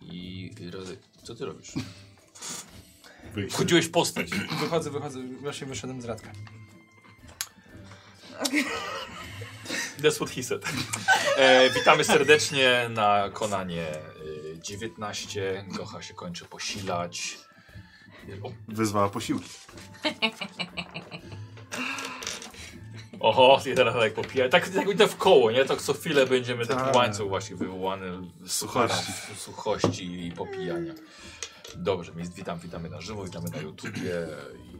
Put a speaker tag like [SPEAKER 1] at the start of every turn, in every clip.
[SPEAKER 1] I Radek, co ty robisz?
[SPEAKER 2] Wyjść.
[SPEAKER 3] Wchodziłeś w postać.
[SPEAKER 4] Wychodzę, wychodzę, właśnie wyszedłem z radka.
[SPEAKER 3] That's what he said. E, witamy serdecznie na Konanie y, 19. Gocha się kończy posilać.
[SPEAKER 2] Wezwała posiłki.
[SPEAKER 3] Oho, i teraz tak popija. Tak, tak idę w koło, nie? Tak co chwilę będziemy taki
[SPEAKER 2] Tak.
[SPEAKER 3] łańcuch właśnie wywołany z
[SPEAKER 2] Suchości.
[SPEAKER 3] suchości. suchości i popijania. Dobrze, więc witam, witamy na żywo, witamy na YouTubie i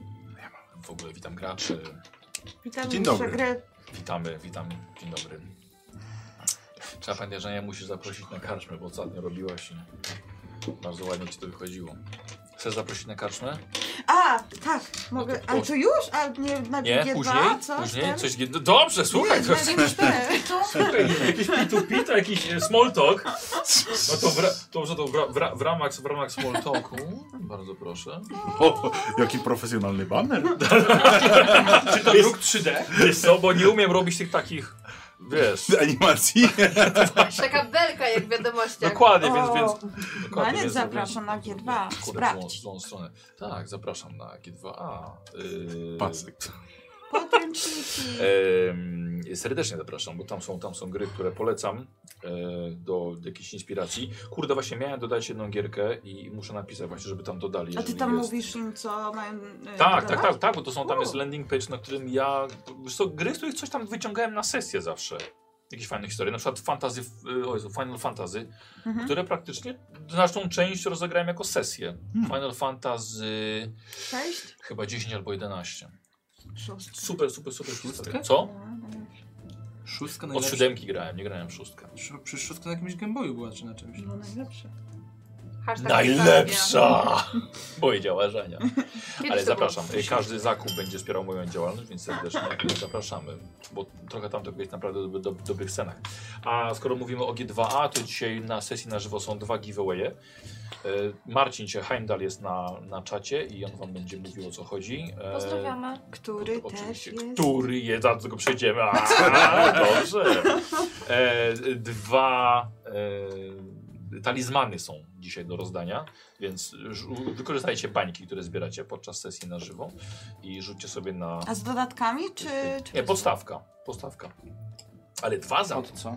[SPEAKER 3] w ogóle witam graczy.
[SPEAKER 5] Witamy
[SPEAKER 2] Dzień
[SPEAKER 5] mistrza
[SPEAKER 2] dobry.
[SPEAKER 5] Gry.
[SPEAKER 3] Witamy, witamy, dzień dobry. Trzeba pamiętać, że ja musisz zaprosić na karczmę, bo ostatnio robiłaś i bardzo ładnie ci to wychodziło. Chcesz zaprosić na karczmę?
[SPEAKER 5] A, tak, mogę.
[SPEAKER 2] No
[SPEAKER 3] to
[SPEAKER 5] Ale
[SPEAKER 3] proszę.
[SPEAKER 5] to już? A nie na
[SPEAKER 3] Nie?
[SPEAKER 5] G2?
[SPEAKER 3] Później?
[SPEAKER 5] Coś
[SPEAKER 3] Później?
[SPEAKER 5] tam?
[SPEAKER 3] Coś... no Dobrze, słuchaj, to
[SPEAKER 5] Na G4.
[SPEAKER 3] Słuchaj, jakiś pitu-pita, jakiś e, small talk. No to, w, ra, to, że to w, ra, w, ra, w, ramach, w ramach small talku, bardzo proszę.
[SPEAKER 2] O, jaki profesjonalny baner.
[SPEAKER 3] Czy to druk 3D? Wiesz co, bo nie umiem robić tych takich, wiesz,
[SPEAKER 2] Animacji.
[SPEAKER 6] Taka belka jak w wiadomościach.
[SPEAKER 3] dokładnie,
[SPEAKER 5] O,
[SPEAKER 3] więc... więc dokładnie,
[SPEAKER 5] Maniek
[SPEAKER 3] więc-
[SPEAKER 5] zapraszam na
[SPEAKER 3] więc-
[SPEAKER 5] G2.
[SPEAKER 3] Kurde, w tą,
[SPEAKER 5] Sprawdź.
[SPEAKER 3] w tą stronę. Tak, zapraszam na G2A. Yy,
[SPEAKER 2] Pasek.
[SPEAKER 5] Podręczniki.
[SPEAKER 3] E, Em, serdecznie zapraszam, bo tam są, tam są gry, które polecam e, do jakiejś inspiracji. Kurde, właśnie miałem dodać jedną gierkę i muszę napisać właśnie, żeby tam dodali.
[SPEAKER 5] A ty
[SPEAKER 3] jeżeli
[SPEAKER 5] tam
[SPEAKER 3] jest.
[SPEAKER 5] mówisz im, co mają. e,
[SPEAKER 3] Tak, tak,
[SPEAKER 5] dodawać?
[SPEAKER 3] tak, tak, bo to są, tam jest
[SPEAKER 5] Wow.
[SPEAKER 3] landing page, na którym ja, wiesz co, gry, z których coś tam wyciągałem na sesję zawsze. Jakieś fajne historie, na przykład fantasy, y, o Jezu, Final Fantasy,
[SPEAKER 5] Mhm.
[SPEAKER 3] które praktycznie znaczną część rozegrałem jako sesję.
[SPEAKER 5] Hmm.
[SPEAKER 3] Final Fantasy
[SPEAKER 5] Sześć?
[SPEAKER 3] chyba 10 albo 11.
[SPEAKER 5] Szóstka.
[SPEAKER 3] Super, super, super
[SPEAKER 1] Szóstkę?
[SPEAKER 3] historia. Co?
[SPEAKER 5] no,
[SPEAKER 1] Szóstka
[SPEAKER 3] Od
[SPEAKER 1] najlepsza.
[SPEAKER 3] siódemki grałem, nie grałem w szóstkę.
[SPEAKER 1] Szó- Przecież szóstka na jakimś Gameboyu była czy na czymś.
[SPEAKER 5] No najlepsze.
[SPEAKER 3] E,
[SPEAKER 5] Tak,
[SPEAKER 6] Hashtag
[SPEAKER 3] Najlepsza! Moje działania.
[SPEAKER 6] Kiedyś
[SPEAKER 3] Ale
[SPEAKER 6] to było.
[SPEAKER 3] zapraszam, Y, każdy zakup będzie wspierał moją działalność, więc serdecznie zapraszamy, bo trochę tam to jest naprawdę do, do, dobrych cenach. A skoro mówimy o G2A, to dzisiaj na sesji na żywo są dwa giveawaye. E, Marcin Cie- Heimdall jest na, na czacie i on wam będzie mówił o co chodzi. E,
[SPEAKER 6] Pozdrawiamy.
[SPEAKER 5] Który też
[SPEAKER 3] Oczywiście,
[SPEAKER 5] jest.
[SPEAKER 3] który jest, zaraz do tego przejdziemy. A, dobrze. E, dwa e, talizmany są dzisiaj do rozdania, więc żu- wykorzystajcie bańki, które zbieracie podczas sesji na żywo i rzućcie sobie na...
[SPEAKER 5] A z dodatkami, czy. czy
[SPEAKER 3] Nie, podstawka, podstawka. Ale dwa za...
[SPEAKER 4] Od No co?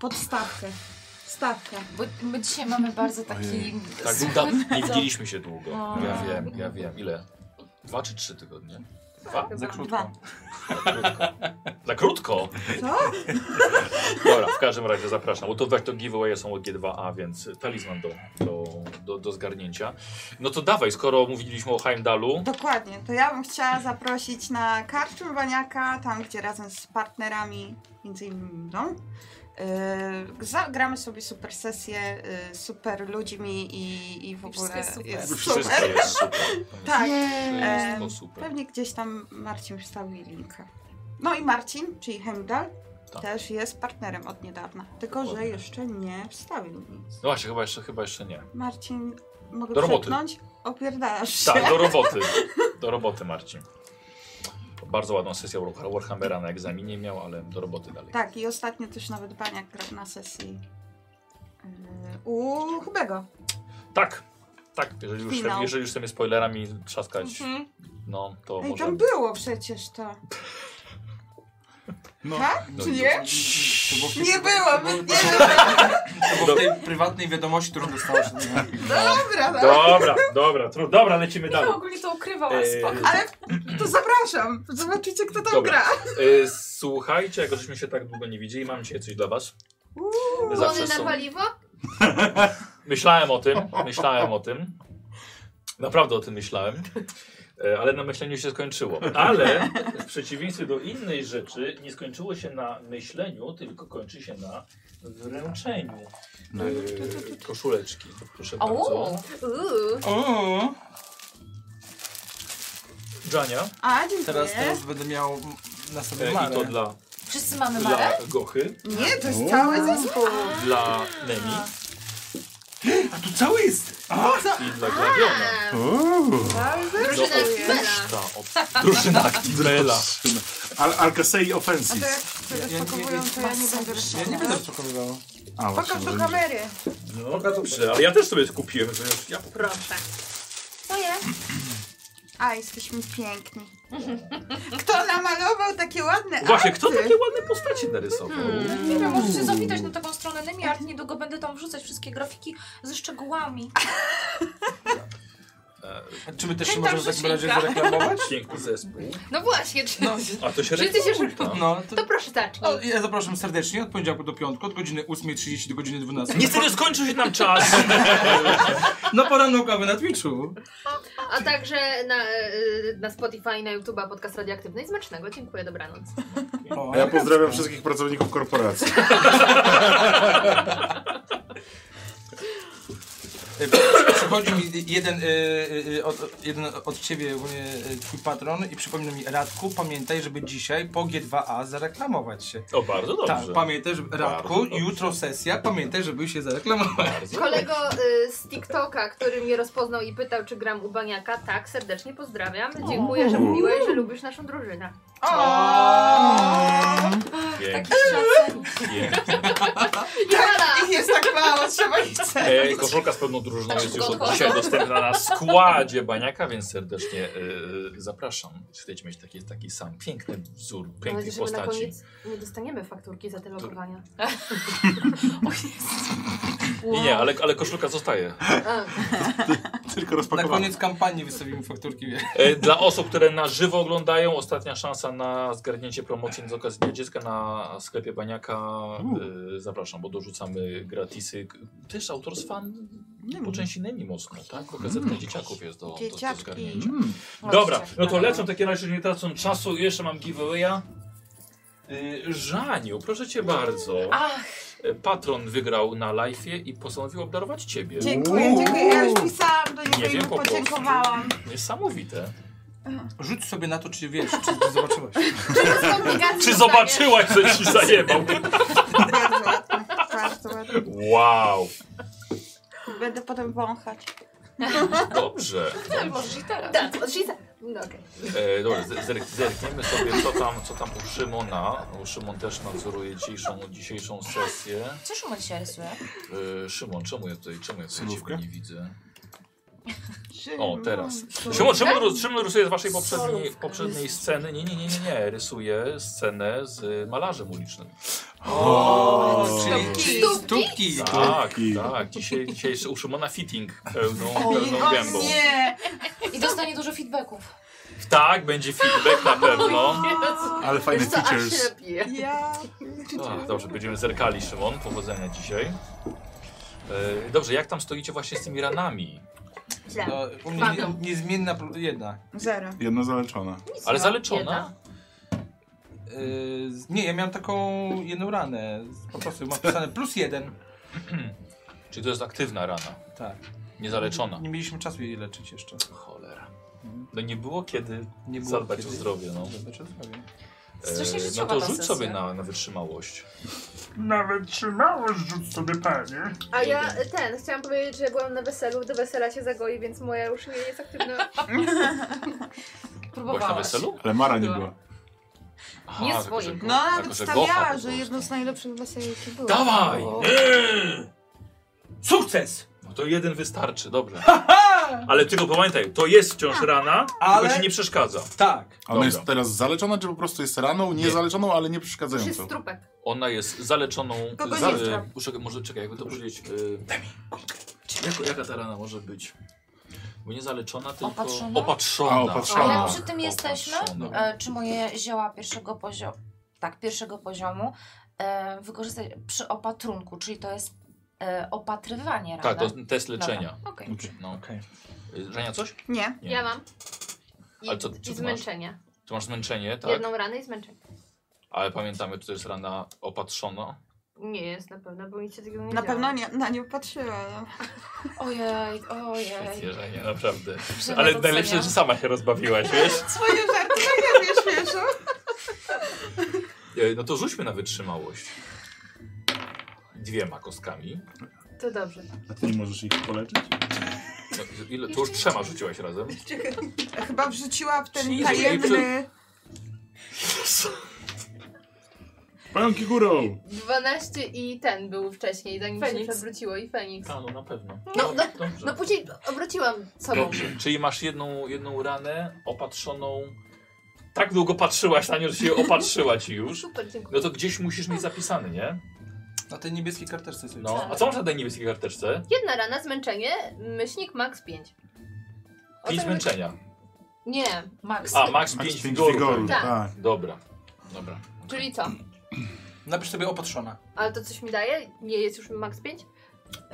[SPEAKER 5] Podstawkę. Stawkę.
[SPEAKER 7] Bo my dzisiaj mamy bardzo taki...
[SPEAKER 2] Ojej.
[SPEAKER 3] Tak, był da... Nie widzieliśmy się długo.
[SPEAKER 7] O.
[SPEAKER 3] Ja wiem, ja wiem. Ile? Dwa czy trzy tygodnie? Dwa?
[SPEAKER 4] Za
[SPEAKER 5] Dwa.
[SPEAKER 4] krótko.
[SPEAKER 3] Za krótko!
[SPEAKER 5] Co?
[SPEAKER 3] Dobra, w każdym razie zapraszam, bo to, to giveawaye są od G2A, więc talizman do, do, do, do zgarnięcia. No to dawaj, skoro mówiliśmy o Heimdalu,
[SPEAKER 5] Dokładnie, to ja bym chciała zaprosić na karczmę Baniaka, tam gdzie razem z partnerami, między innymi mną, yy, zagramy sobie super sesje, yy, super ludźmi i, i w
[SPEAKER 7] I
[SPEAKER 5] ogóle
[SPEAKER 7] wszystko jest super.
[SPEAKER 3] wszystko jest super.
[SPEAKER 5] Tak,
[SPEAKER 3] Wszystko
[SPEAKER 5] Em,
[SPEAKER 3] super.
[SPEAKER 5] pewnie gdzieś tam Marcin wstawi linka. No i Marcin, czyli Heimdall,
[SPEAKER 3] Tak.
[SPEAKER 5] też jest partnerem od niedawna, tylko że
[SPEAKER 3] Dokładnie.
[SPEAKER 5] jeszcze nie wstawił nic.
[SPEAKER 3] No właśnie, chyba jeszcze, chyba jeszcze nie.
[SPEAKER 5] Marcin, mogę
[SPEAKER 3] Do roboty.
[SPEAKER 5] przepnąć? Opierdasz się.
[SPEAKER 3] Tak, do roboty. Do roboty, Marcin. Bardzo ładną sesję War- Warhammera na egzaminie miał, ale do roboty dalej.
[SPEAKER 5] Tak, i ostatnio też nawet Baniak grał na sesji yy, u Chybego.
[SPEAKER 3] Tak, tak, jeżeli już,
[SPEAKER 5] Finał.
[SPEAKER 3] jeżeli już chcemy spoilerami trzaskać,
[SPEAKER 6] Mhm.
[SPEAKER 3] no to
[SPEAKER 5] Ej,
[SPEAKER 3] możemy.
[SPEAKER 5] tam było przecież to.
[SPEAKER 2] No,
[SPEAKER 5] Tak?
[SPEAKER 3] no
[SPEAKER 5] Czy
[SPEAKER 3] i
[SPEAKER 5] nie?
[SPEAKER 1] To było w tej-
[SPEAKER 5] Nie
[SPEAKER 1] to
[SPEAKER 5] było,
[SPEAKER 1] było-
[SPEAKER 5] my- nie
[SPEAKER 1] to było-
[SPEAKER 5] było.
[SPEAKER 1] To było w tej prywatnej wiadomości, którą dostałeś od niego.
[SPEAKER 5] Dobra, no.
[SPEAKER 3] Dobra, dobra, tru, dobra, lecimy dalej.
[SPEAKER 7] ogólnie to ukrywał,
[SPEAKER 3] Eee,
[SPEAKER 7] ale spoko.
[SPEAKER 5] Ale to zapraszam. Zobaczycie, kto tam
[SPEAKER 3] Dobra.
[SPEAKER 5] gra.
[SPEAKER 3] E, słuchajcie, jako żeśmy się tak długo nie widzieli, mam dzisiaj coś dla was.
[SPEAKER 6] Bony na paliwo?
[SPEAKER 3] Myślałem o tym, myślałem o tym. Naprawdę o tym myślałem. E, Ale na myśleniu się skończyło. Ale w przeciwieństwie do innej rzeczy, nie skończyło się na myśleniu, tylko kończy się na wręczeniu e, koszuleczki. Proszę bardzo.
[SPEAKER 7] O,
[SPEAKER 6] Uuu.
[SPEAKER 1] O,
[SPEAKER 3] Jania.
[SPEAKER 5] A, dziękuję.
[SPEAKER 1] teraz, teraz będę miał m- na sobie
[SPEAKER 3] E, I
[SPEAKER 1] marę.
[SPEAKER 3] to dla,
[SPEAKER 7] wszyscy mamy marę?
[SPEAKER 3] dla Gochy,
[SPEAKER 5] Nie, to
[SPEAKER 2] O.
[SPEAKER 5] jest cały zespół.
[SPEAKER 3] dla Nemi
[SPEAKER 1] A tu cały jest!
[SPEAKER 3] i dla Glawiona.
[SPEAKER 2] Uuu.
[SPEAKER 5] Cały zespół.
[SPEAKER 6] Drużyna Kmena.
[SPEAKER 3] Ta od- Drużyna
[SPEAKER 2] tak,
[SPEAKER 3] Aktimela.
[SPEAKER 2] Al Alcasei
[SPEAKER 5] A to jak
[SPEAKER 2] Offensis.
[SPEAKER 5] rozpakowują, to ja nie będę
[SPEAKER 1] Ja nie
[SPEAKER 5] rysować.
[SPEAKER 1] będę przekonywała.
[SPEAKER 2] A,
[SPEAKER 5] Pokaż do
[SPEAKER 2] może nie.
[SPEAKER 5] kamery.
[SPEAKER 3] No dobrze, ale ja też sobie kupiłem, to już ja poprawię.
[SPEAKER 6] Proszę.
[SPEAKER 7] Moje.
[SPEAKER 5] A, jesteśmy piękni. Kto namalował takie ładne
[SPEAKER 3] Właśnie,
[SPEAKER 5] arty?
[SPEAKER 3] kto takie ładne postacie narysował?
[SPEAKER 6] Mhm.
[SPEAKER 7] Nie wiem, możecie zawitać na taką stronę Nemiart. Niedługo będę tam wrzucać wszystkie grafiki ze szczegółami.
[SPEAKER 3] Tak.
[SPEAKER 1] Czy my też się
[SPEAKER 6] Chętna
[SPEAKER 1] możemy w takim razie
[SPEAKER 6] Rzesinka.
[SPEAKER 1] zareklamować?
[SPEAKER 3] Piękny zespół.
[SPEAKER 6] No właśnie, czy...
[SPEAKER 3] A to się
[SPEAKER 6] Czy ty się
[SPEAKER 3] reklama.
[SPEAKER 1] No, to...
[SPEAKER 6] To proszę zacznij.
[SPEAKER 1] O, ja zapraszam serdecznie od poniedziałku do piątku, od godziny 8.30 do godziny 12.
[SPEAKER 3] Niestety Tak. skończył się nam czas.
[SPEAKER 1] Na poranną kawę na Twitchu.
[SPEAKER 6] A także na, y, na Spotify, na YouTube'a podcast radioaktywny. I Smacznego, dziękuję, dobranoc.
[SPEAKER 1] O,
[SPEAKER 2] A ja pozdrawiam wszystkich pracowników korporacji.
[SPEAKER 1] E, Przychodzi mi jeden, e, e, od, jeden od ciebie, ogólnie e, twój patron, i przypomina mi, Radku, pamiętaj, żeby dzisiaj po G2A zareklamować się.
[SPEAKER 3] O, bardzo
[SPEAKER 1] Tak,
[SPEAKER 3] dobrze.
[SPEAKER 1] pamiętaj, żeby, Radku,
[SPEAKER 3] Bardzo dobrze.
[SPEAKER 1] jutro sesja, pamiętaj, żeby się zareklamować.
[SPEAKER 3] Bardzo
[SPEAKER 6] Kolego y, z TikToka, który mnie rozpoznał i pytał, czy gram u Baniaka, tak, serdecznie pozdrawiam. Dziękuję, że mówiłeś, że lubisz naszą drużynę.
[SPEAKER 3] pięknie. pięknie.
[SPEAKER 6] Jola!
[SPEAKER 5] Ich jest tak mało, trzeba ich cenić.
[SPEAKER 3] E, koszulka z pełną drużyną
[SPEAKER 6] Znaczy
[SPEAKER 7] Tak,
[SPEAKER 3] jest już od
[SPEAKER 7] szybko
[SPEAKER 3] dzisiaj dostępna na składzie Baniaka, więc serdecznie e, zapraszam. Jeśli Chcecie mieć taki, taki sam piękny wzór,
[SPEAKER 6] Mam
[SPEAKER 3] pięknej
[SPEAKER 6] nadzieję, że my No, na
[SPEAKER 3] postaci.
[SPEAKER 6] koniec nie dostaniemy fakturki za te logowania.
[SPEAKER 3] Nie, nie, ale, ale koszulka zostaje.
[SPEAKER 6] A,
[SPEAKER 2] Tylko
[SPEAKER 1] Na
[SPEAKER 2] rozpakowane.
[SPEAKER 1] koniec kampanii wystawimy fakturki. wie.
[SPEAKER 3] E, Dla osób, które na żywo oglądają, ostatnia szansa na zgarnięcie promocji z okazji Dnia Dziecka na sklepie Baniaka. E, Zapraszam, bo dorzucamy gratisy. K- Też autor z fan po części Nemi Moskwa, tak? Bo gazetka dzieciaków jest do, do, do
[SPEAKER 5] Dzieciaki.
[SPEAKER 3] zgarnięcia.
[SPEAKER 5] Mm.
[SPEAKER 6] no
[SPEAKER 3] Dobra,
[SPEAKER 6] dzieciaki,
[SPEAKER 3] no to
[SPEAKER 6] dobra.
[SPEAKER 3] lecą w takim razie, nie tracąc czasu. Jeszcze mam giveawaya. Y, Żaniu, proszę cię bardzo.
[SPEAKER 7] Ach,
[SPEAKER 3] E, Patron wygrał na live'ie i postanowił obdarować ciebie.
[SPEAKER 5] Dziękuję, dziękuję. Ja już pisałam do
[SPEAKER 3] Nie
[SPEAKER 5] niego i
[SPEAKER 3] wiem,
[SPEAKER 5] mu
[SPEAKER 3] po prostu.
[SPEAKER 5] podziękowałam.
[SPEAKER 3] Niesamowite.
[SPEAKER 1] Rzuć sobie na to, czy wiesz, czy zobaczyłeś.
[SPEAKER 6] Kombinacji
[SPEAKER 3] Czy
[SPEAKER 6] dostaniesz.
[SPEAKER 3] zobaczyłaś, co ci zajebał?
[SPEAKER 5] Bardzo ładnie, bardzo ładnie.
[SPEAKER 3] Wow.
[SPEAKER 5] Będę potem wąchać.
[SPEAKER 3] Dobrze.
[SPEAKER 7] tak, możesz i teraz.
[SPEAKER 6] Tak, od Shiza. No okej.
[SPEAKER 3] E, dobra, zer- zer- zerkniemy sobie, co tam, co tam u Szymona. U Szymon też nadzoruje dzisiejszą, dzisiejszą sesję.
[SPEAKER 7] Co Szymon dzisiaj rysuje?
[SPEAKER 3] E, Szymon, czemu ja tutaj, czemu ja tutaj ciebie
[SPEAKER 2] Solówkę?
[SPEAKER 3] nie widzę?
[SPEAKER 5] Czy
[SPEAKER 3] O, teraz.
[SPEAKER 5] mam tu-
[SPEAKER 3] Szymon, Szymon, rys- Szymon rysuje z waszej poprzedniej, poprzedniej sceny. Nie, nie, nie, nie, nie. Rysuje scenę z y, malarzem ulicznym.
[SPEAKER 1] O,
[SPEAKER 5] Stópki.
[SPEAKER 1] czyli
[SPEAKER 6] Stópki?
[SPEAKER 1] stópki.
[SPEAKER 3] Tak,
[SPEAKER 2] Pięknie.
[SPEAKER 3] tak. Dzisiaj, dzisiaj jest u Szymona fitting pełną,
[SPEAKER 5] O
[SPEAKER 3] pełną gębą.
[SPEAKER 5] nie!
[SPEAKER 7] I dostanie dużo feedbacków.
[SPEAKER 3] Tak, będzie feedback na pewno.
[SPEAKER 2] Ale fajne
[SPEAKER 6] Wiesz co, aż się
[SPEAKER 2] features.
[SPEAKER 6] napiję.
[SPEAKER 5] Ja...
[SPEAKER 3] A, dobrze, będziemy zerkali, Szymon. Powodzenia dzisiaj. E, dobrze, jak tam stoicie właśnie z tymi ranami?
[SPEAKER 6] Źle.
[SPEAKER 1] No, u mnie nie, niezmienna pro- jedna.
[SPEAKER 5] Zero.
[SPEAKER 2] Jedno zaleczone.
[SPEAKER 3] Ale
[SPEAKER 6] No,
[SPEAKER 3] zaleczona?
[SPEAKER 6] jedna.
[SPEAKER 7] tak.
[SPEAKER 1] Yy, z- nie, ja miałem taką jedną ranę. z- Po prostu mam wpisane plus jeden.
[SPEAKER 3] Czyli to jest aktywna rana,
[SPEAKER 1] Tak.
[SPEAKER 3] niezaleczona.
[SPEAKER 1] Nie mieliśmy czasu jej leczyć jeszcze.
[SPEAKER 3] Cholera. No nie było kiedy
[SPEAKER 1] Nie było
[SPEAKER 3] zadbać
[SPEAKER 1] kiedy.
[SPEAKER 3] o zdrowie, no.
[SPEAKER 1] Zadbać o zdrowie.
[SPEAKER 7] Strasznie
[SPEAKER 3] no
[SPEAKER 7] życiowa
[SPEAKER 3] to
[SPEAKER 7] ta
[SPEAKER 3] rzuć
[SPEAKER 7] sesja.
[SPEAKER 3] sobie na, na wytrzymałość.
[SPEAKER 2] Nawet trzymałość rzuć sobie panie.
[SPEAKER 6] A ja y, ten, chciałam powiedzieć, że byłam na weselu, do wesela się zagoi, więc moja już nie jest aktywna.
[SPEAKER 3] Byłaś na
[SPEAKER 7] Próbowałaś.
[SPEAKER 3] weselu?
[SPEAKER 2] Ale Mara nie była.
[SPEAKER 3] Aha,
[SPEAKER 6] Nie
[SPEAKER 3] tylko,
[SPEAKER 6] swoim.
[SPEAKER 3] że go-
[SPEAKER 5] No,
[SPEAKER 3] tylko,
[SPEAKER 5] nawet
[SPEAKER 3] że gocha po
[SPEAKER 5] stawiała,
[SPEAKER 3] prostu.
[SPEAKER 5] że jedno z najlepszych weseli, jakie było.
[SPEAKER 3] Dawaj!
[SPEAKER 1] No. Sukces!
[SPEAKER 3] No to jeden wystarczy, dobrze. Ale tylko pamiętaj, to jest wciąż rana,
[SPEAKER 1] Tak. Ale-
[SPEAKER 3] tylko ci nie przeszkadza.
[SPEAKER 1] Tak.
[SPEAKER 2] A Ona
[SPEAKER 3] Dobra.
[SPEAKER 2] jest teraz zaleczona, czy po prostu jest raną, niezaleczoną, ale nie przeszkadzającą?
[SPEAKER 6] Wszyscy trupek.
[SPEAKER 3] Ona jest zaleczoną...
[SPEAKER 5] Kogo
[SPEAKER 3] za-
[SPEAKER 5] nie znam.
[SPEAKER 3] e, czekaj, może czekaj, jakby to powiedzieć... E, jak, jaka ta rana może być? Bo nie zaleczona, tylko...
[SPEAKER 7] Opatrzona?
[SPEAKER 3] Opatrzona. Tak,
[SPEAKER 2] A, opatrzona.
[SPEAKER 7] A jak przy tym jesteśmy?
[SPEAKER 3] Opatrzona.
[SPEAKER 7] E, czy moje zioła pierwszego poziomu, tak, pierwszego poziomu e, wykorzystać przy opatrunku, czyli to jest e, opatrywanie,
[SPEAKER 3] Tak, to
[SPEAKER 7] prawda?
[SPEAKER 3] test leczenia.
[SPEAKER 7] Okej.
[SPEAKER 3] No.
[SPEAKER 1] Okej.
[SPEAKER 3] Y, Żenia, coś?
[SPEAKER 5] Nie.
[SPEAKER 3] Nie.
[SPEAKER 6] Ja mam. I,
[SPEAKER 3] Ale co- co ty
[SPEAKER 6] i zmęczenie.
[SPEAKER 3] Ty masz zmęczenie, tak?
[SPEAKER 6] Jedną ranę i zmęczenie.
[SPEAKER 3] Ale pamiętamy, to jest rana opatrzona.
[SPEAKER 6] Nie jest na pewno, bo nic się takiego nie
[SPEAKER 5] Na
[SPEAKER 6] działo.
[SPEAKER 5] pewno nie, na nią patrzyła. No.
[SPEAKER 7] Ojej, ojej.
[SPEAKER 3] Świetnie, Żenia, naprawdę.
[SPEAKER 7] Żena
[SPEAKER 3] Ale
[SPEAKER 7] docenia.
[SPEAKER 3] najlepsze, że sama się rozbawiłaś, wiesz?
[SPEAKER 5] Swoje żarty na mnie śmieszą.
[SPEAKER 3] Y, No to rzućmy na wytrzymałość. Dwiema kostkami.
[SPEAKER 6] To dobrze.
[SPEAKER 2] A ty nie możesz ich poleczyć?
[SPEAKER 3] No, ile, to już trzema rzuciłaś razem.
[SPEAKER 5] Chyba wrzuciła w ten
[SPEAKER 3] Czyli-
[SPEAKER 5] tajemny...
[SPEAKER 2] Pająki górą!
[SPEAKER 6] 12 i ten był wcześniej, zanim się
[SPEAKER 8] Feniks.
[SPEAKER 6] przewróciło i Feniks.
[SPEAKER 3] A, no na pewno.
[SPEAKER 6] No, no,
[SPEAKER 3] Dobrze.
[SPEAKER 6] no później obróciłam sobą.
[SPEAKER 3] Dobrze. Czyli masz jedną, jedną ranę opatrzoną. Tak długo patrzyłaś na nią, że się opatrzyła ci już.
[SPEAKER 6] Super, dziękuję.
[SPEAKER 3] No to gdzieś musisz mieć zapisany, nie?
[SPEAKER 1] Na tej niebieskiej karteczce sobie.
[SPEAKER 3] No. A co masz na tej niebieskiej karteczce?
[SPEAKER 6] Jedna rana, zmęczenie, myślnik max 5. O
[SPEAKER 3] Pięć
[SPEAKER 6] tym-
[SPEAKER 3] męczenia.
[SPEAKER 6] Nie,
[SPEAKER 7] Max.
[SPEAKER 3] A, max
[SPEAKER 2] Masz
[SPEAKER 3] 5
[SPEAKER 2] pięć
[SPEAKER 3] wigoru.
[SPEAKER 2] wigoru,
[SPEAKER 6] Tak.
[SPEAKER 2] tak.
[SPEAKER 3] Dobra. Dobra.
[SPEAKER 6] czyli co?
[SPEAKER 1] Napisz sobie opatrzona.
[SPEAKER 6] Ale to coś mi daje? Nie jest już max 5?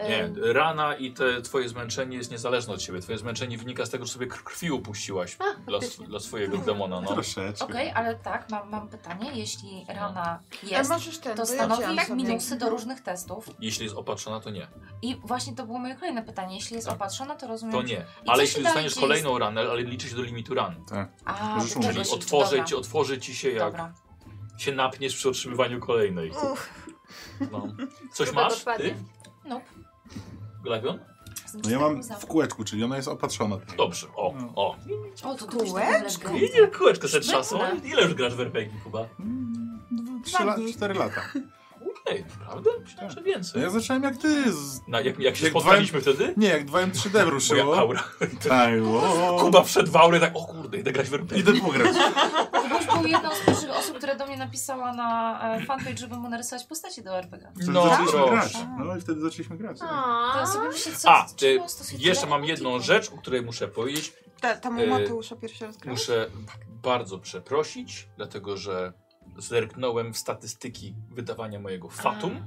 [SPEAKER 3] Nie, rana i te twoje zmęczenie jest niezależne od ciebie. Twoje zmęczenie wynika z tego, że sobie kr- krwi upuściłaś
[SPEAKER 6] A,
[SPEAKER 3] dla,
[SPEAKER 6] faktycznie.
[SPEAKER 3] dla swojego demona. No.
[SPEAKER 2] Troszeczkę.
[SPEAKER 7] Okej, ale tak, mam, mam pytanie. Jeśli rana
[SPEAKER 5] Ale
[SPEAKER 7] jest,
[SPEAKER 5] możesz ten,
[SPEAKER 7] to
[SPEAKER 5] bo ja No.
[SPEAKER 7] stanowi
[SPEAKER 5] wzięłam
[SPEAKER 7] tak
[SPEAKER 5] sobie.
[SPEAKER 7] minusy do różnych testów.
[SPEAKER 3] Jeśli jest opatrzona, to nie.
[SPEAKER 7] I właśnie to było moje kolejne pytanie. Jeśli jest
[SPEAKER 3] Tak.
[SPEAKER 7] opatrzona, to rozumiem.
[SPEAKER 3] To
[SPEAKER 7] że-
[SPEAKER 3] nie.
[SPEAKER 7] Mm. I co
[SPEAKER 3] Ale
[SPEAKER 7] się
[SPEAKER 3] jeśli
[SPEAKER 7] dalej
[SPEAKER 3] dostaniesz
[SPEAKER 7] dzieje
[SPEAKER 3] kolejną ranę, ale liczy się do limitu ran.
[SPEAKER 7] A,
[SPEAKER 2] Możesz
[SPEAKER 7] to
[SPEAKER 2] użyć.
[SPEAKER 7] czegoś
[SPEAKER 3] Czyli
[SPEAKER 7] liczy,
[SPEAKER 3] otworzy
[SPEAKER 7] dobra.
[SPEAKER 3] ci, otworzy ci się, jak
[SPEAKER 7] Dobra.
[SPEAKER 3] się napniesz przy otrzymywaniu kolejnej. No. Coś
[SPEAKER 6] Chyba
[SPEAKER 3] masz?
[SPEAKER 6] dokładnie.
[SPEAKER 3] Ty?
[SPEAKER 7] Nope.
[SPEAKER 3] Glavion?
[SPEAKER 7] Z nim
[SPEAKER 2] No ja
[SPEAKER 7] się tak
[SPEAKER 2] mam
[SPEAKER 7] łza.
[SPEAKER 2] w kółeczku, czyli ona jest opatrzona.
[SPEAKER 3] Dobrze, o,
[SPEAKER 2] No.
[SPEAKER 3] o.
[SPEAKER 7] O, to kiedyś tak
[SPEAKER 5] Kółeczko?
[SPEAKER 7] leży.
[SPEAKER 3] I nie, kółeczko ze trzasą.
[SPEAKER 7] Szpetne.
[SPEAKER 3] Ile już grasz w RPG chyba?
[SPEAKER 2] Mm, dwa- trzy la-
[SPEAKER 5] dni.
[SPEAKER 2] Cztery lata.
[SPEAKER 3] Ej, naprawdę? Myślałem, że
[SPEAKER 2] No
[SPEAKER 3] więcej.
[SPEAKER 2] ja zacząłem jak ty. Z...
[SPEAKER 3] Na, jak, jak się
[SPEAKER 2] Jak
[SPEAKER 3] spotkaliśmy wtedy?
[SPEAKER 2] Nie, jak 2M3D
[SPEAKER 3] Moja
[SPEAKER 2] ruszyło.
[SPEAKER 3] aura.
[SPEAKER 2] Tak, o.
[SPEAKER 3] Kuba wszedł w aurę tak, o kurde, idę grać w RPG.
[SPEAKER 2] Idę pograć.
[SPEAKER 7] Kubuś był jedną z pierwszych osób, która do mnie napisała na e, fanpage, żeby mu narysować postacie do RPG.
[SPEAKER 2] Wtedy
[SPEAKER 3] No,
[SPEAKER 2] zaczęliśmy
[SPEAKER 3] proszę.
[SPEAKER 2] grać. No i wtedy zaczęliśmy grać. tak.
[SPEAKER 7] To ja
[SPEAKER 6] Aaa.
[SPEAKER 7] sobie myślę, co
[SPEAKER 3] A,
[SPEAKER 7] z czym
[SPEAKER 3] y,
[SPEAKER 7] ją stosujecie?
[SPEAKER 3] jeszcze mam
[SPEAKER 7] Jakie
[SPEAKER 3] jedną
[SPEAKER 7] motywy?
[SPEAKER 3] rzecz, o której muszę powiedzieć.
[SPEAKER 5] Ta, tam
[SPEAKER 3] E,
[SPEAKER 5] u Mateusza pierwszy raz grałeś?
[SPEAKER 3] Muszę bardzo przeprosić, dlatego że zerknąłem w statystyki wydawania mojego Fatum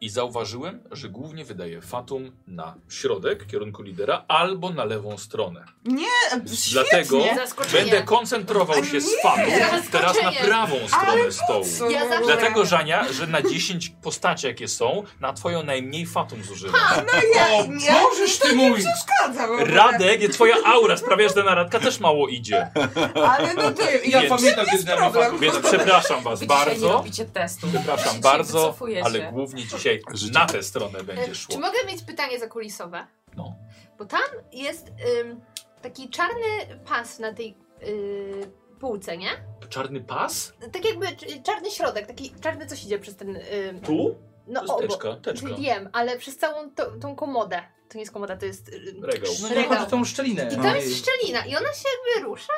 [SPEAKER 3] i zauważyłem, że głównie wydaję Fatum na środek kierunku lidera albo na lewą stronę.
[SPEAKER 5] E, świetnie.
[SPEAKER 3] Dlatego
[SPEAKER 6] Zaskoczenie.
[SPEAKER 3] będę koncentrował się z Fatum teraz na prawą stronę stołu.
[SPEAKER 5] Co
[SPEAKER 6] Ja
[SPEAKER 5] w
[SPEAKER 6] zawsze-
[SPEAKER 5] ogóle?
[SPEAKER 3] Dlatego, Żania, że na 10 postaci, jakie są, na twoją najmniej fatum zużywam.
[SPEAKER 5] No ja,
[SPEAKER 1] O,
[SPEAKER 5] ja
[SPEAKER 1] możesz ty mój!
[SPEAKER 5] przeszkadzam w ogóle.
[SPEAKER 3] Radek, nie, twoja aura sprawia, że ta naradka też mało idzie.
[SPEAKER 5] Ale no to
[SPEAKER 1] Ja
[SPEAKER 3] Więc-
[SPEAKER 1] pamiętam, kiedy
[SPEAKER 5] jest
[SPEAKER 1] miałem
[SPEAKER 5] problem.
[SPEAKER 1] fatum.
[SPEAKER 3] Więc przepraszam was
[SPEAKER 7] Wy dzisiaj nie
[SPEAKER 3] bardzo.
[SPEAKER 7] robicie testu.
[SPEAKER 3] Przepraszam
[SPEAKER 7] Dzisiaj
[SPEAKER 3] bardzo,
[SPEAKER 7] wycofujecie.
[SPEAKER 3] ale głównie dzisiaj
[SPEAKER 2] Życie.
[SPEAKER 3] na tę stronę
[SPEAKER 6] E,
[SPEAKER 3] będzie szło.
[SPEAKER 6] Czy mogę mieć pytanie zakulisowe?
[SPEAKER 3] No.
[SPEAKER 6] Bo tam jest ym, taki czarny pas na tej y, półce, nie?
[SPEAKER 3] Czarny pas?
[SPEAKER 6] Tak jakby c- czarny środek, taki czarny coś idzie przez ten... Ym,
[SPEAKER 3] Tu? To
[SPEAKER 6] no
[SPEAKER 3] jest
[SPEAKER 6] obok.
[SPEAKER 3] teczka, teczka.
[SPEAKER 6] Wiem, ale przez całą tą, tą komodę. To nie jest komoda, to jest... ym,
[SPEAKER 3] Regał.
[SPEAKER 1] No nie chodzi o tą szczelinę. No
[SPEAKER 6] I tam jest szczelina i ona się jakby rusza?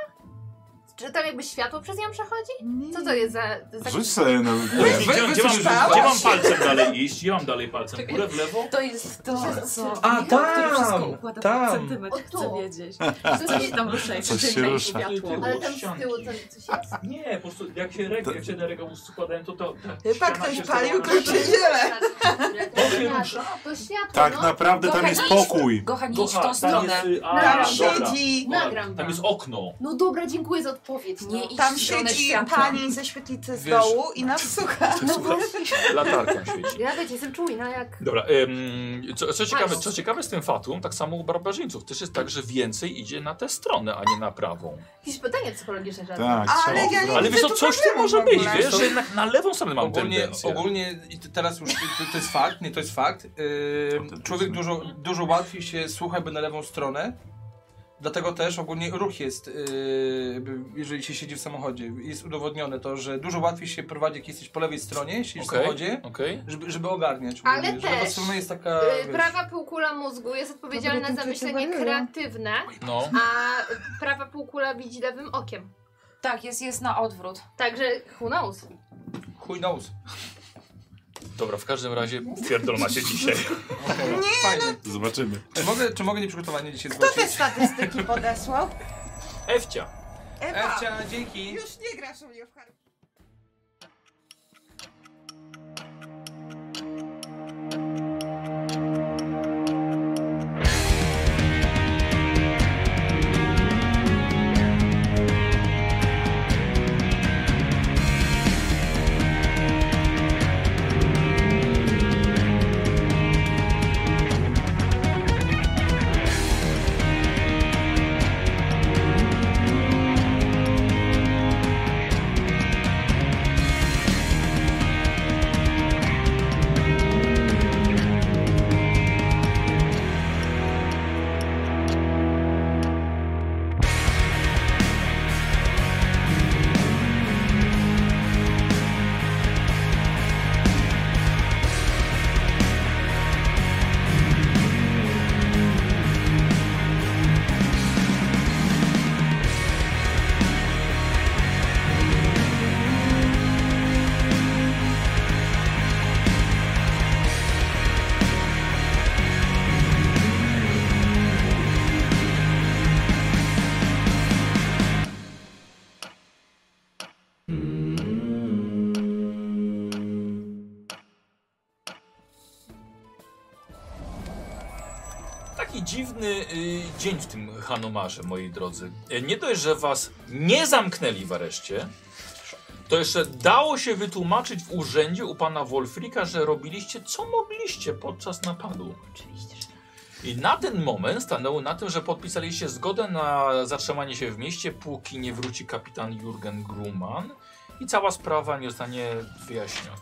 [SPEAKER 6] Czy tam jakby światło przez nią przechodzi? Co to jest za...
[SPEAKER 5] tak.
[SPEAKER 6] za
[SPEAKER 2] Rzuć sobie na
[SPEAKER 1] Ej,
[SPEAKER 3] Gdzie,
[SPEAKER 1] wy-
[SPEAKER 3] gdzie, mam,
[SPEAKER 1] wysłyszałeś?
[SPEAKER 3] gdzie mam palcem dalej iść? Gdzie mam dalej palcem? W górę, w lewo?
[SPEAKER 7] To jest to, co...
[SPEAKER 1] A,
[SPEAKER 7] Michał, który
[SPEAKER 1] tam,
[SPEAKER 7] wszystko układa
[SPEAKER 1] tam.
[SPEAKER 7] pod centymetr,
[SPEAKER 6] O, tu.
[SPEAKER 7] chcę wiedzieć.
[SPEAKER 6] to jest
[SPEAKER 7] Coś tam rusza,
[SPEAKER 2] Coś się rusza.
[SPEAKER 6] Ale tam z tyłu to coś jest.
[SPEAKER 3] Nie, po prostu jak się, reg- jak się na regał składałem, to to... ta
[SPEAKER 5] Chyba
[SPEAKER 3] ściana
[SPEAKER 5] ktoś
[SPEAKER 3] się składała
[SPEAKER 5] palił
[SPEAKER 3] na
[SPEAKER 5] kluczy.
[SPEAKER 6] To światło,
[SPEAKER 3] rusza?
[SPEAKER 6] to światło,
[SPEAKER 2] Tak
[SPEAKER 6] no.
[SPEAKER 2] naprawdę tam jest pokój.
[SPEAKER 7] Gocha, nie idź w
[SPEAKER 3] Gocha,
[SPEAKER 7] tą stronę.
[SPEAKER 3] Tam, jest, y, a,
[SPEAKER 5] Tam
[SPEAKER 3] dobra.
[SPEAKER 5] siedzi,
[SPEAKER 3] Dobra,
[SPEAKER 6] Nagram
[SPEAKER 3] Tam
[SPEAKER 6] wam.
[SPEAKER 3] jest okno.
[SPEAKER 6] No dobra, dziękuję za odpowiedź.
[SPEAKER 7] Nie
[SPEAKER 6] no.
[SPEAKER 7] idź
[SPEAKER 5] tam
[SPEAKER 7] w stronę
[SPEAKER 5] siedzi
[SPEAKER 7] światła.
[SPEAKER 5] pani ze świetlicy z
[SPEAKER 1] Wiesz-
[SPEAKER 5] dołu i nas słucha.
[SPEAKER 3] No Latarką świeci.
[SPEAKER 6] Ja wiecie, jestem czujna jak...
[SPEAKER 3] Dobra, ym, co, co, ciekawe, co ciekawe z tym fatum, tak samo u barbarzyńców, też jest tak, że więcej idzie na tę stronę, a nie na prawą.
[SPEAKER 6] Jakieś pytanie psychologiczne żadne.
[SPEAKER 2] Tak,
[SPEAKER 5] Ale
[SPEAKER 2] trzeba
[SPEAKER 5] ja nie-
[SPEAKER 2] odwrócić.
[SPEAKER 3] Ale wiesz co,
[SPEAKER 5] to
[SPEAKER 3] coś tu
[SPEAKER 5] problemu
[SPEAKER 3] może
[SPEAKER 5] w ogóle.
[SPEAKER 3] być, wiesz, że na, na lewą stronę mam
[SPEAKER 1] Ogólnie,
[SPEAKER 3] tendencję.
[SPEAKER 1] ogólnie i to teraz już to, to jest fakt, nie to jest fakt. Yy, człowiek dużo, dużo łatwiej się słucha jakby na lewą stronę. Dlatego też ogólnie ruch jest, yy, jakby jeżeli się siedzi w samochodzie, jest udowodnione to, że dużo łatwiej się prowadzi, jak jesteś po lewej stronie, siedzisz
[SPEAKER 3] Okej.
[SPEAKER 1] w samochodzie,
[SPEAKER 3] Okej.
[SPEAKER 1] żeby, żeby ogarniać.
[SPEAKER 6] Ale
[SPEAKER 1] ogólnie, że Lewa
[SPEAKER 6] też,
[SPEAKER 1] strona jest taka.
[SPEAKER 6] Y,
[SPEAKER 1] wiesz,
[SPEAKER 6] Prawa półkula mózgu jest odpowiedzialna
[SPEAKER 5] Dobra,
[SPEAKER 6] za
[SPEAKER 5] to
[SPEAKER 6] myślenie
[SPEAKER 5] chyba
[SPEAKER 6] kreatywne,
[SPEAKER 3] No.
[SPEAKER 6] a prawa półkula widzi lewym okiem.
[SPEAKER 7] Tak, jest, jest na odwrót.
[SPEAKER 6] Także who knows?
[SPEAKER 1] Chuj knows.
[SPEAKER 3] Dobra, w każdym razie pierdol macie dzisiaj.
[SPEAKER 1] Okay.
[SPEAKER 6] no.
[SPEAKER 1] Fajnie.
[SPEAKER 2] Zobaczymy.
[SPEAKER 1] Czy mogę, czy mogę nieprzygotowanie dzisiaj
[SPEAKER 5] Kto te
[SPEAKER 1] zgłosić?
[SPEAKER 5] statystyki podesłał?
[SPEAKER 3] Efcia.
[SPEAKER 5] Ewa,
[SPEAKER 1] Ewcia, dzięki.
[SPEAKER 5] już nie grasz u mnie w Harry
[SPEAKER 3] taki dziwny y, dzień w tym Hanumarze, moi drodzy. Y, Nie dość, że was nie zamknęli w areszcie, to jeszcze dało się wytłumaczyć w urzędzie u pana Wolfrika, że robiliście co mogliście podczas napadu.
[SPEAKER 6] Oczywiście, że tak.
[SPEAKER 3] I na ten moment stanęło na tym, że podpisaliście zgodę na zatrzymanie się w mieście, póki nie wróci kapitan Jurgen Gruman i cała sprawa nie zostanie wyjaśniona.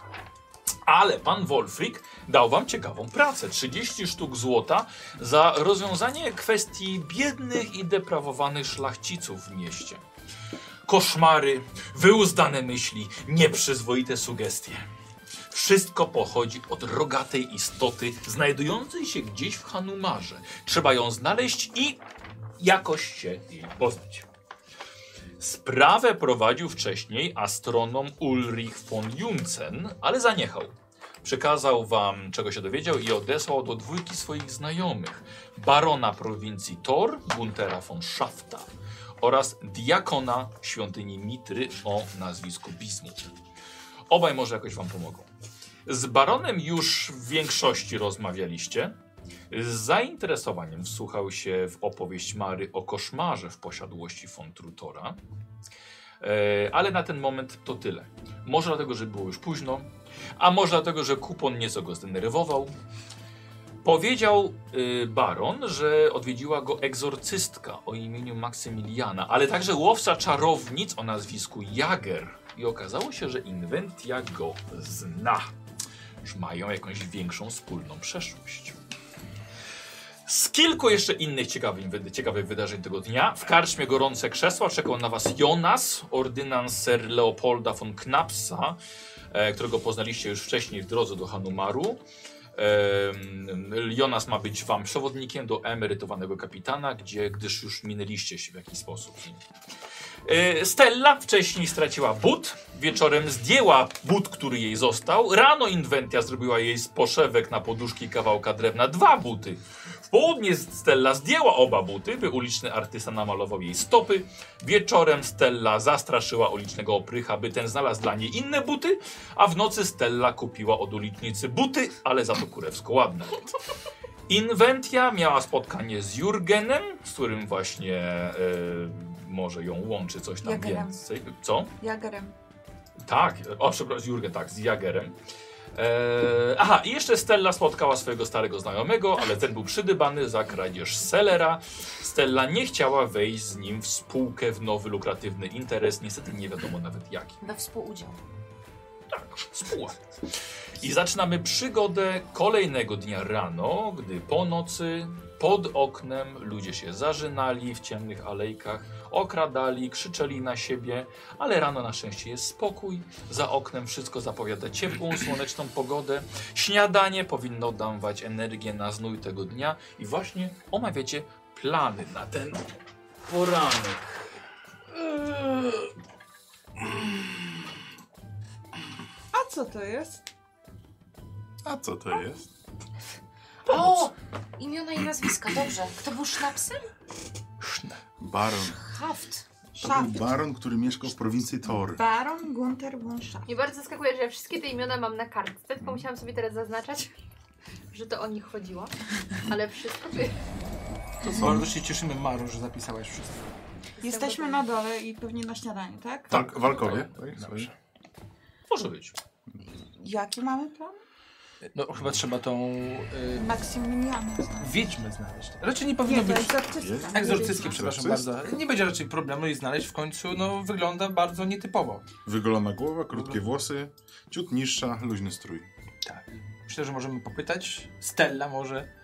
[SPEAKER 3] Ale pan Wolfrik dał wam ciekawą pracę. 30 sztuk złota za rozwiązanie kwestii biednych i deprawowanych szlachciców w mieście. Koszmary, wyuzdane myśli, nieprzyzwoite sugestie. Wszystko pochodzi od rogatej istoty, znajdującej się gdzieś w Hanumarze. Trzeba ją znaleźć i jakoś się jej poznać. Sprawę prowadził wcześniej astronom Ulrich von Juncken, ale zaniechał. Przekazał wam, czego się dowiedział i odesłał do dwójki swoich znajomych. Barona prowincji Tor, Guntera von Schafta oraz diakona świątyni Mitry o nazwisku Bismut. Obaj może jakoś wam pomogą. Z baronem już w większości rozmawialiście. Z zainteresowaniem wsłuchał się w opowieść Mary o koszmarze w posiadłości von Trutora. E, ale na ten moment to tyle. Może dlatego, że było już późno, a może dlatego, że kupon nieco go zdenerwował. Powiedział y, baron, że odwiedziła go egzorcystka o imieniu Maksymiliana, ale także łowca czarownic o nazwisku Jager. I okazało się, że Inventia go zna. Już mają jakąś większą wspólną przeszłość. Z kilku jeszcze innych ciekawych, wyda- ciekawych wydarzeń tego dnia. W karczmie gorące krzesła czekał na was Jonas, ordynanser Leopolda von Knapsa, e, którego poznaliście już wcześniej w drodze do Hanumaru. Em, Jonas ma być wam przewodnikiem do emerytowanego kapitana, gdzie gdyż już minęliście się w jakiś sposób. E, Stella wcześniej straciła but, wieczorem zdjęła but, który jej został. Rano Inwentia zrobiła jej z poszewek na poduszki kawałka drewna dwa buty. W południe Stella zdjęła oba buty, by uliczny artysta namalował jej stopy. Wieczorem Stella zastraszyła ulicznego oprycha, by ten znalazł dla niej inne buty, a w nocy Stella kupiła od ulicznicy buty, ale za to kurewsko ładne. Inwentia miała spotkanie z Jurgenem, z którym właśnie e, może ją łączy coś tam
[SPEAKER 5] Jagerem.
[SPEAKER 3] więcej. Co?
[SPEAKER 5] Jagerem.
[SPEAKER 3] Tak, o przepraszam, Jurgen, tak, z Jagerem. Eee, aha, i jeszcze Stella spotkała swojego starego znajomego, ale ten był przydybany za kradzież selera. Stella nie chciała wejść z nim w spółkę w nowy lukratywny interes, niestety nie wiadomo nawet jaki. Tak,
[SPEAKER 7] We współudział.
[SPEAKER 3] Spółka. I zaczynamy przygodę kolejnego dnia rano, gdy po nocy pod oknem ludzie się zażynali w ciemnych alejkach, okradali, krzyczeli na siebie, ale rano na szczęście jest spokój. Za oknem wszystko zapowiada ciepłą, słoneczną pogodę. Śniadanie powinno dawać energię na znój tego dnia i właśnie omawiacie plany na ten poranek.
[SPEAKER 5] A co to jest?
[SPEAKER 2] A co to jest?
[SPEAKER 7] O! Imiona i nazwiska, dobrze. Kto był sznapsem?
[SPEAKER 2] Baron.
[SPEAKER 7] Haft.
[SPEAKER 2] To był
[SPEAKER 5] Szaft.
[SPEAKER 2] baron, który mieszkał w prowincji Tor.
[SPEAKER 5] Tak. Baron Gunter von Schaft.
[SPEAKER 6] Mnie bardzo zaskakuje, że ja wszystkie te imiona mam na kartce, tylko musiałam sobie teraz zaznaczać, że to o nich chodziło. Ale wszystko by...
[SPEAKER 1] Bardzo się cieszymy, Maro, że zapisałaś wszystko.
[SPEAKER 5] Jesteśmy na dole i pewnie na śniadanie, tak?
[SPEAKER 2] Tak, walkowie.
[SPEAKER 1] Dobrze.
[SPEAKER 3] Może być.
[SPEAKER 5] Jaki mamy plan?
[SPEAKER 1] No chyba trzeba tą y,
[SPEAKER 5] Maksymiliana.
[SPEAKER 1] wiedźmę znaleźć. Raczej nie
[SPEAKER 5] Nie,
[SPEAKER 1] powinno
[SPEAKER 5] to
[SPEAKER 1] być...
[SPEAKER 5] egzorcysta.
[SPEAKER 1] Egzorcyckie, przepraszam
[SPEAKER 2] Egzorcyst?
[SPEAKER 1] bardzo. Nie będzie raczej problemu jej znaleźć w końcu, no wygląda bardzo nietypowo.
[SPEAKER 2] Wygolona głowa, krótkie włosy, ciut niższa, luźny strój.
[SPEAKER 1] Tak. Myślę, że możemy popytać. Stella może.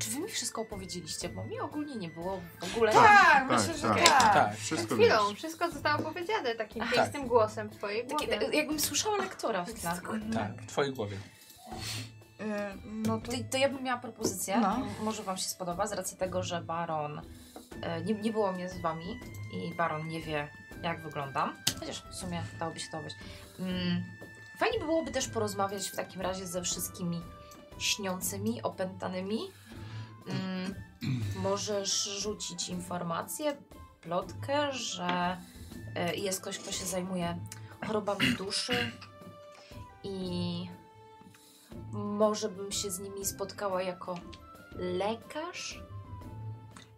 [SPEAKER 7] Czy wy mi wszystko opowiedzieliście? Bo mi ogólnie nie było w ogóle.
[SPEAKER 2] Tak.
[SPEAKER 5] Tak,
[SPEAKER 2] Tak,
[SPEAKER 5] myślę, że
[SPEAKER 2] tak.
[SPEAKER 5] tak.
[SPEAKER 1] Tak.
[SPEAKER 6] Przed
[SPEAKER 2] Wszystko
[SPEAKER 6] chwilą
[SPEAKER 2] wiesz.
[SPEAKER 6] wszystko zostało powiedziane takim pięknym głosem w twojej
[SPEAKER 7] Takie,
[SPEAKER 6] głowie.
[SPEAKER 7] tak jakbym słyszała lektora w tle.
[SPEAKER 6] Mhm.
[SPEAKER 1] Tak, w twojej głowie.
[SPEAKER 5] Y, No to...
[SPEAKER 7] To, to ja bym miała propozycję.
[SPEAKER 5] No.
[SPEAKER 7] Może wam się spodoba, z racji tego, że baron... e, Nie, nie było mnie z wami i baron nie wie, jak wyglądam. Chociaż w sumie dałoby się to obejść. Mm, fajnie byłoby też porozmawiać w takim razie ze wszystkimi śniącymi, opętanymi. Mm, możesz rzucić informację, plotkę, że e, jest ktoś, kto się zajmuje chorobami duszy i może bym się z nimi spotkała jako lekarz?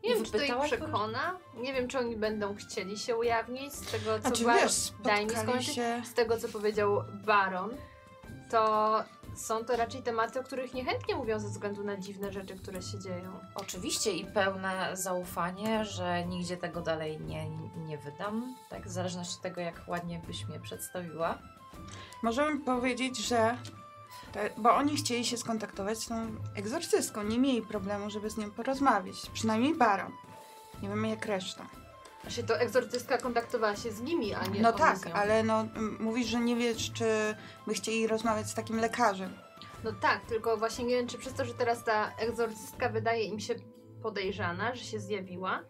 [SPEAKER 6] Nie wiem, czy to ich
[SPEAKER 7] Wypytałaś go?
[SPEAKER 6] przekona. Nie wiem, czy oni będą chcieli się ujawnić z tego, co
[SPEAKER 5] Znaczy
[SPEAKER 6] była-
[SPEAKER 5] wiesz,
[SPEAKER 6] daj mi
[SPEAKER 5] spotkali
[SPEAKER 6] skończyć.
[SPEAKER 5] się...
[SPEAKER 6] z tego, co powiedział Baron, to są to raczej tematy, o których niechętnie mówią ze względu na dziwne rzeczy, które się dzieją.
[SPEAKER 7] Oczywiście i pełne zaufanie, że nigdzie tego dalej nie, nie wydam, tak? W zależności od tego, jak ładnie byś mnie przedstawiła.
[SPEAKER 5] Możemy powiedzieć, że. Te, bo oni chcieli się skontaktować z tą egzorcystką. Nie mieli problemu, żeby z nią porozmawiać. Przynajmniej Baron. Nie wiemy jak reszta.
[SPEAKER 6] Znaczy, to egzorcystka kontaktowała się z nimi, a nie
[SPEAKER 5] No
[SPEAKER 6] one
[SPEAKER 5] tak,
[SPEAKER 6] z nią.
[SPEAKER 5] ale no, m, mówisz, że nie wiesz, czy by chcieli rozmawiać z takim lekarzem.
[SPEAKER 6] No tak, tylko właśnie nie wiem, czy przez to, że teraz ta egzorcystka wydaje im się podejrzana, że się zjawiła,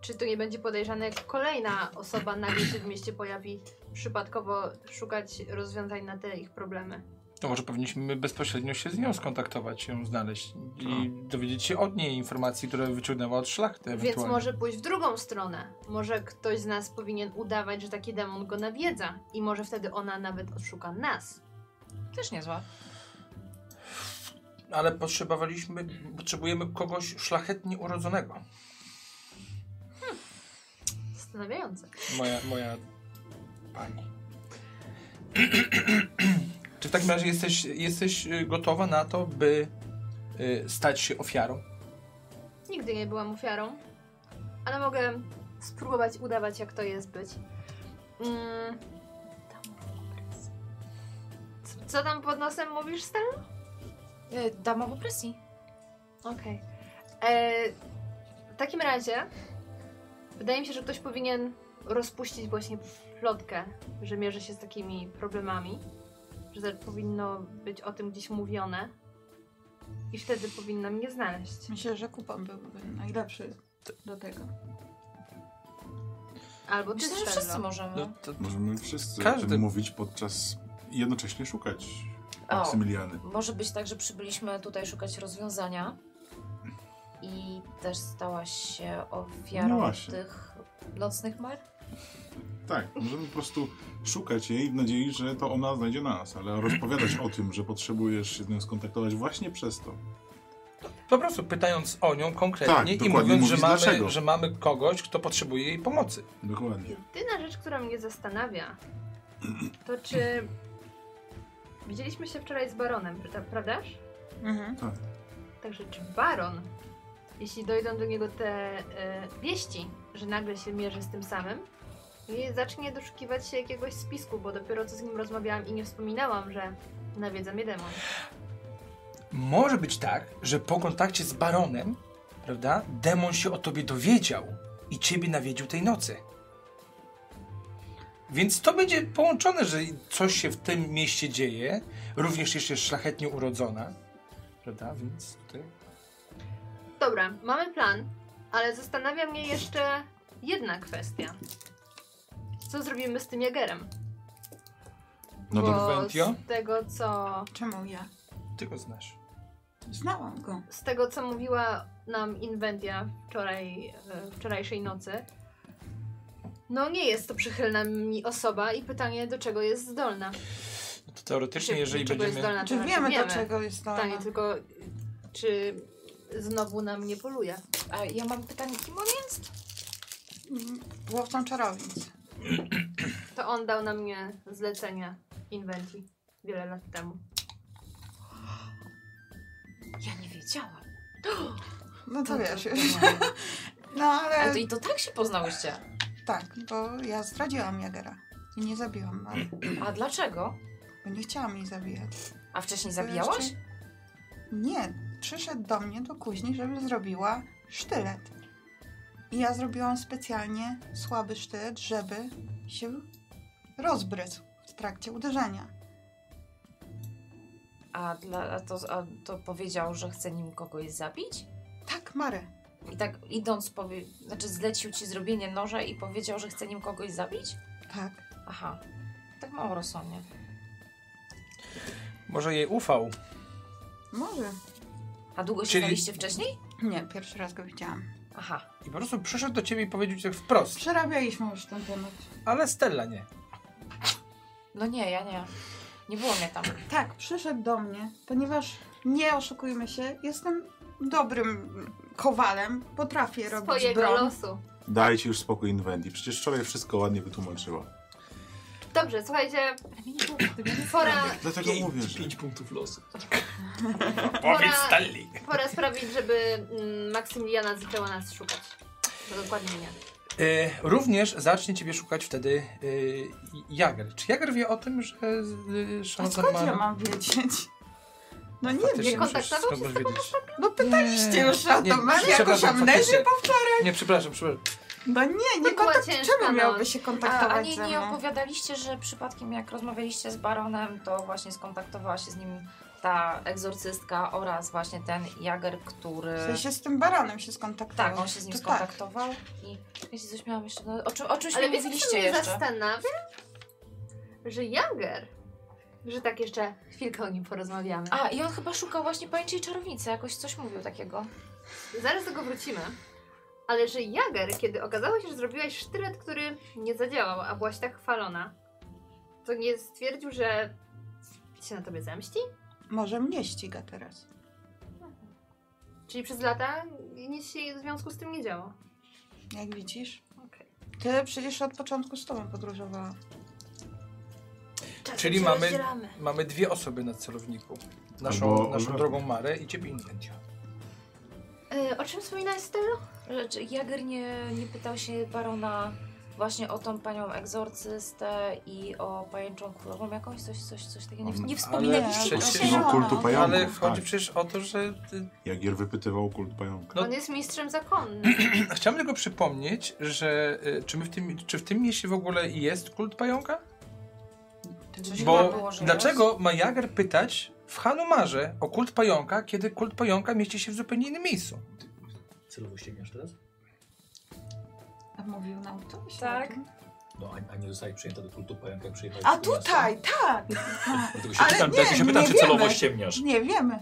[SPEAKER 6] czy to nie będzie podejrzane, jak kolejna osoba nagle się w mieście pojawi przypadkowo szukać rozwiązań na te ich problemy.
[SPEAKER 1] To może powinniśmy bezpośrednio się z nią skontaktować, ją znaleźć i dowiedzieć się od niej informacji, które wyciągnęła od szlachty
[SPEAKER 6] Więc
[SPEAKER 1] ewentualnie.
[SPEAKER 6] może pójść w drugą stronę. Może ktoś z nas powinien udawać, że taki demon go nawiedza i może wtedy ona nawet odszuka nas.
[SPEAKER 7] Też niezła.
[SPEAKER 1] Ale potrzebowaliśmy, potrzebujemy kogoś szlachetnie urodzonego.
[SPEAKER 6] Zastanawiające.
[SPEAKER 1] Moja, moja pani. Czy w takim razie jesteś, jesteś y, gotowa na to, by y, stać się ofiarą?
[SPEAKER 6] Nigdy nie byłam ofiarą, ale mogę spróbować udawać, jak to jest być. Mm. Co- Co tam pod nosem mówisz, Stan?
[SPEAKER 7] Y, Dama w opresji.
[SPEAKER 6] Okej. E, W takim razie wydaje mi się, że ktoś powinien rozpuścić właśnie plotkę, że mierzy się z takimi problemami, że to powinno być o tym gdzieś mówione i wtedy powinna mnie znaleźć.
[SPEAKER 5] Myślę, że kupon byłby najlepszy do tego.
[SPEAKER 6] Albo ty,
[SPEAKER 7] Myślę, że
[SPEAKER 6] Stello.
[SPEAKER 7] wszyscy możemy.
[SPEAKER 1] No,
[SPEAKER 6] Mhm.
[SPEAKER 1] to,
[SPEAKER 2] Możemy wszyscy
[SPEAKER 1] Każdy.
[SPEAKER 2] o tym mówić podczas i jednocześnie szukać
[SPEAKER 7] O.
[SPEAKER 2] Maksymiliany.
[SPEAKER 7] Może być tak, że przybyliśmy tutaj szukać rozwiązania i też stałaś się
[SPEAKER 2] No
[SPEAKER 7] ofiarą
[SPEAKER 2] właśnie.
[SPEAKER 7] tych nocnych mar?
[SPEAKER 2] Tak, możemy po prostu szukać jej w nadziei, że to ona znajdzie nas, ale rozpowiadać o tym, że potrzebujesz się z nią skontaktować właśnie przez to.
[SPEAKER 1] po prostu pytając o nią
[SPEAKER 2] Tak,
[SPEAKER 1] konkretnie i
[SPEAKER 2] dokładnie
[SPEAKER 1] mówiąc, że
[SPEAKER 2] mówić
[SPEAKER 1] mamy,
[SPEAKER 2] dlaczego.
[SPEAKER 1] że mamy kogoś, kto potrzebuje jej pomocy.
[SPEAKER 2] Dokładnie.
[SPEAKER 6] Jedyna rzecz, która mnie zastanawia, to czy widzieliśmy się wczoraj z Baronem, pra- prawdaż?
[SPEAKER 5] Mhm.
[SPEAKER 6] Także czy Baron, jeśli dojdą do niego te e, wieści, że nagle się mierzy z tym samym, i zacznie doszukiwać się jakiegoś spisku, bo dopiero co z nim rozmawiałam i nie wspominałam, że nawiedza mnie demon.
[SPEAKER 1] Może być tak, że po kontakcie z baronem, prawda, demon się o tobie dowiedział i ciebie nawiedził tej nocy. Więc to będzie połączone, że coś się w tym mieście dzieje, również jeszcze jest szlachetnie urodzona, prawda, więc tutaj...
[SPEAKER 6] Dobra, mamy plan, ale zastanawia mnie jeszcze jedna kwestia. Co zrobimy z tym Jagerem?
[SPEAKER 2] No to
[SPEAKER 6] bo
[SPEAKER 1] Ventio?
[SPEAKER 6] z tego, co
[SPEAKER 5] Czemu ja?
[SPEAKER 1] Ty go znasz.
[SPEAKER 5] Znałam go.
[SPEAKER 6] z tego, co mówiła nam Inwentia wczoraj, e, wczorajszej nocy, no nie jest to przychylna mi osoba i pytanie, do czego jest zdolna.
[SPEAKER 1] No to teoretycznie,
[SPEAKER 6] Czy-
[SPEAKER 1] jeżeli
[SPEAKER 6] do czego jest
[SPEAKER 1] będziemy...
[SPEAKER 6] zdolna,
[SPEAKER 5] Czy
[SPEAKER 6] to
[SPEAKER 5] wiemy,
[SPEAKER 6] znaczy
[SPEAKER 5] do czego jest to?
[SPEAKER 6] Pytanie tylko, czy znowu na mnie poluje.
[SPEAKER 7] A ja mam pytanie, kim on jest?
[SPEAKER 5] no, Łowcą czarownic.
[SPEAKER 6] To on dał na mnie zlecenie Inwentii wiele lat temu.
[SPEAKER 7] Ja nie wiedziałam.
[SPEAKER 5] No to wiesz.
[SPEAKER 7] to-
[SPEAKER 5] No ale...
[SPEAKER 7] Ale to i to tak się poznałyście.
[SPEAKER 5] Tak, bo ja zdradziłam Jagera. I nie zabiłam mamy.
[SPEAKER 7] A dlaczego?
[SPEAKER 5] Bo nie chciałam jej zabijać.
[SPEAKER 7] A wcześniej zabijałaś?
[SPEAKER 5] Jeszcze- Nie, przyszedł do mnie do kuźni, żeby zrobiła sztylet. I ja zrobiłam specjalnie słaby sztylet, żeby się rozbryzł w trakcie uderzenia.
[SPEAKER 7] A, dla, a, to, a to powiedział, że chce nim kogoś zabić?
[SPEAKER 5] Tak, Mary.
[SPEAKER 7] I tak idąc, powie, znaczy zlecił ci zrobienie noża i powiedział, że chce nim kogoś zabić?
[SPEAKER 5] Tak.
[SPEAKER 7] Aha, tak mało rozsądnie.
[SPEAKER 1] Może jej ufał.
[SPEAKER 5] Może.
[SPEAKER 7] A długo się
[SPEAKER 1] Czyli-
[SPEAKER 7] znaliście wcześniej?
[SPEAKER 5] Nie, pierwszy raz go widziałam.
[SPEAKER 7] Aha,
[SPEAKER 1] I po prostu przyszedł do ciebie i powiedział ci tak wprost.
[SPEAKER 5] Przerabialiśmy już ten temat.
[SPEAKER 1] Ale Stella nie.
[SPEAKER 7] no nie, ja nie. Nie było mnie tam.
[SPEAKER 5] Tak, przyszedł do mnie, ponieważ nie oszukujmy się, jestem dobrym kowalem, potrafię robić
[SPEAKER 6] Swojego
[SPEAKER 5] broń.
[SPEAKER 6] losu.
[SPEAKER 2] Dajcie już spokój Inwendi, przecież wczoraj wszystko ładnie wytłumaczyła.
[SPEAKER 6] Dobrze, słuchajcie, pora,
[SPEAKER 2] Dlatego mówię, że...
[SPEAKER 3] Pięć punktów losu.
[SPEAKER 6] Powiedz Stanley. pora sprawić, żeby mm, Maksymiliana zaczęła nas szukać. To dokładnie nie.
[SPEAKER 1] E, również zacznie ciebie szukać wtedy e, Jager. Czy Jager wie o tym, że e,
[SPEAKER 5] A
[SPEAKER 1] szansa
[SPEAKER 5] skąd ja mam wiedzieć? No nie
[SPEAKER 1] Faktycznie
[SPEAKER 5] wiem,
[SPEAKER 6] Kontaktował
[SPEAKER 1] przecież
[SPEAKER 6] się z
[SPEAKER 1] skąd
[SPEAKER 6] tobą
[SPEAKER 1] masz wiedzieć?
[SPEAKER 5] no pytaliście
[SPEAKER 1] Nie,
[SPEAKER 5] już o
[SPEAKER 1] nie,
[SPEAKER 5] to, masz
[SPEAKER 1] przepraszam,
[SPEAKER 5] jakąś amnezję
[SPEAKER 1] faktycznie.
[SPEAKER 5] po wczoraj?
[SPEAKER 1] Nie, przepraszam, przepraszam.
[SPEAKER 5] No nie,
[SPEAKER 6] To
[SPEAKER 5] nie
[SPEAKER 6] była
[SPEAKER 5] kontakt,
[SPEAKER 6] ciężka no.
[SPEAKER 5] czemu
[SPEAKER 6] noc.
[SPEAKER 5] miałby się
[SPEAKER 7] A, a
[SPEAKER 5] kontaktować
[SPEAKER 7] nie,
[SPEAKER 5] ze
[SPEAKER 7] nie
[SPEAKER 5] mną?
[SPEAKER 7] opowiadaliście, że przypadkiem jak rozmawialiście z baronem, to właśnie skontaktowała się z nim ta egzorcystka oraz właśnie ten Jager, który...
[SPEAKER 5] W sensie z tym baronem się skontaktował.
[SPEAKER 7] Tak, on się z nim
[SPEAKER 5] To
[SPEAKER 7] skontaktował i jeśli coś miałam jeszcze, no, o, czym, o czymś nie
[SPEAKER 6] Ale wiecie, co
[SPEAKER 7] mówiliście
[SPEAKER 6] mnie
[SPEAKER 7] jeszcze.
[SPEAKER 6] zastanawia? Że Jager, że tak jeszcze chwilkę o nim porozmawiamy.
[SPEAKER 7] A, i on chyba szukał właśnie pajęczej czarownicy, jakoś coś mówił takiego.
[SPEAKER 6] Zaraz do tego wrócimy. Ale że Jager, kiedy okazało się, że zrobiłaś sztylet, który nie zadziałał, a byłaś tak chwalona, to nie stwierdził, że się na tobie zemści?
[SPEAKER 5] Tak. Może mnie ściga teraz.
[SPEAKER 6] Czyli przez lata nic się w związku z tym nie działo.
[SPEAKER 5] Jak widzisz?
[SPEAKER 6] Okej.
[SPEAKER 5] Ty przecież od początku z tobą podróżowała.
[SPEAKER 6] Czasem
[SPEAKER 1] Czyli
[SPEAKER 6] się
[SPEAKER 1] mamy-
[SPEAKER 6] rozdzielamy.
[SPEAKER 1] Mamy dwie osoby na celowniku. Naszą,
[SPEAKER 2] Albo-
[SPEAKER 1] naszą
[SPEAKER 2] albo-
[SPEAKER 1] drogą Marę i ciebie Inwentia.
[SPEAKER 6] E, o czym wspominałeś, Stella?
[SPEAKER 7] Lecz Jager nie, nie pytał się barona właśnie o tą panią egzorcystę i o pajęczą królową jakąś, coś, coś, coś takiego. Nie,
[SPEAKER 2] On-
[SPEAKER 7] nie
[SPEAKER 5] Ale
[SPEAKER 7] wspominaliście
[SPEAKER 1] przecież-
[SPEAKER 7] się.
[SPEAKER 2] No, kultu pająków,
[SPEAKER 1] Ale chodzi
[SPEAKER 2] tak.
[SPEAKER 1] przecież o to, że ty
[SPEAKER 2] Jagier wypytywał o kult pająka.
[SPEAKER 1] No-
[SPEAKER 6] On jest mistrzem zakonnym.
[SPEAKER 1] Chciałbym tylko przypomnieć, że y, czy, my w tym, czy w tym mieście w ogóle jest kult pająka?
[SPEAKER 7] Coś
[SPEAKER 1] Bo
[SPEAKER 7] chyba było, że
[SPEAKER 1] dlaczego ma Jager pytać w Hanumarze o kult pająka, kiedy kult pająka mieści się w zupełnie innym miejscu?
[SPEAKER 3] Celowo ściągniesz teraz?
[SPEAKER 5] A mówił nam ktoś? o
[SPEAKER 7] Tak.
[SPEAKER 5] tym?
[SPEAKER 3] No, a, a nie zostaje przyjęta do kultu pająka, jak przyjechałeś.
[SPEAKER 5] A
[SPEAKER 3] do miasta.
[SPEAKER 5] tutaj, tak!
[SPEAKER 3] Dlatego się
[SPEAKER 5] Ale
[SPEAKER 3] pytam,
[SPEAKER 5] nie,
[SPEAKER 3] dlatego się
[SPEAKER 5] nie
[SPEAKER 3] pytam czy
[SPEAKER 5] wiemy. No.
[SPEAKER 3] celowo ściemniasz.
[SPEAKER 5] Nie wiemy.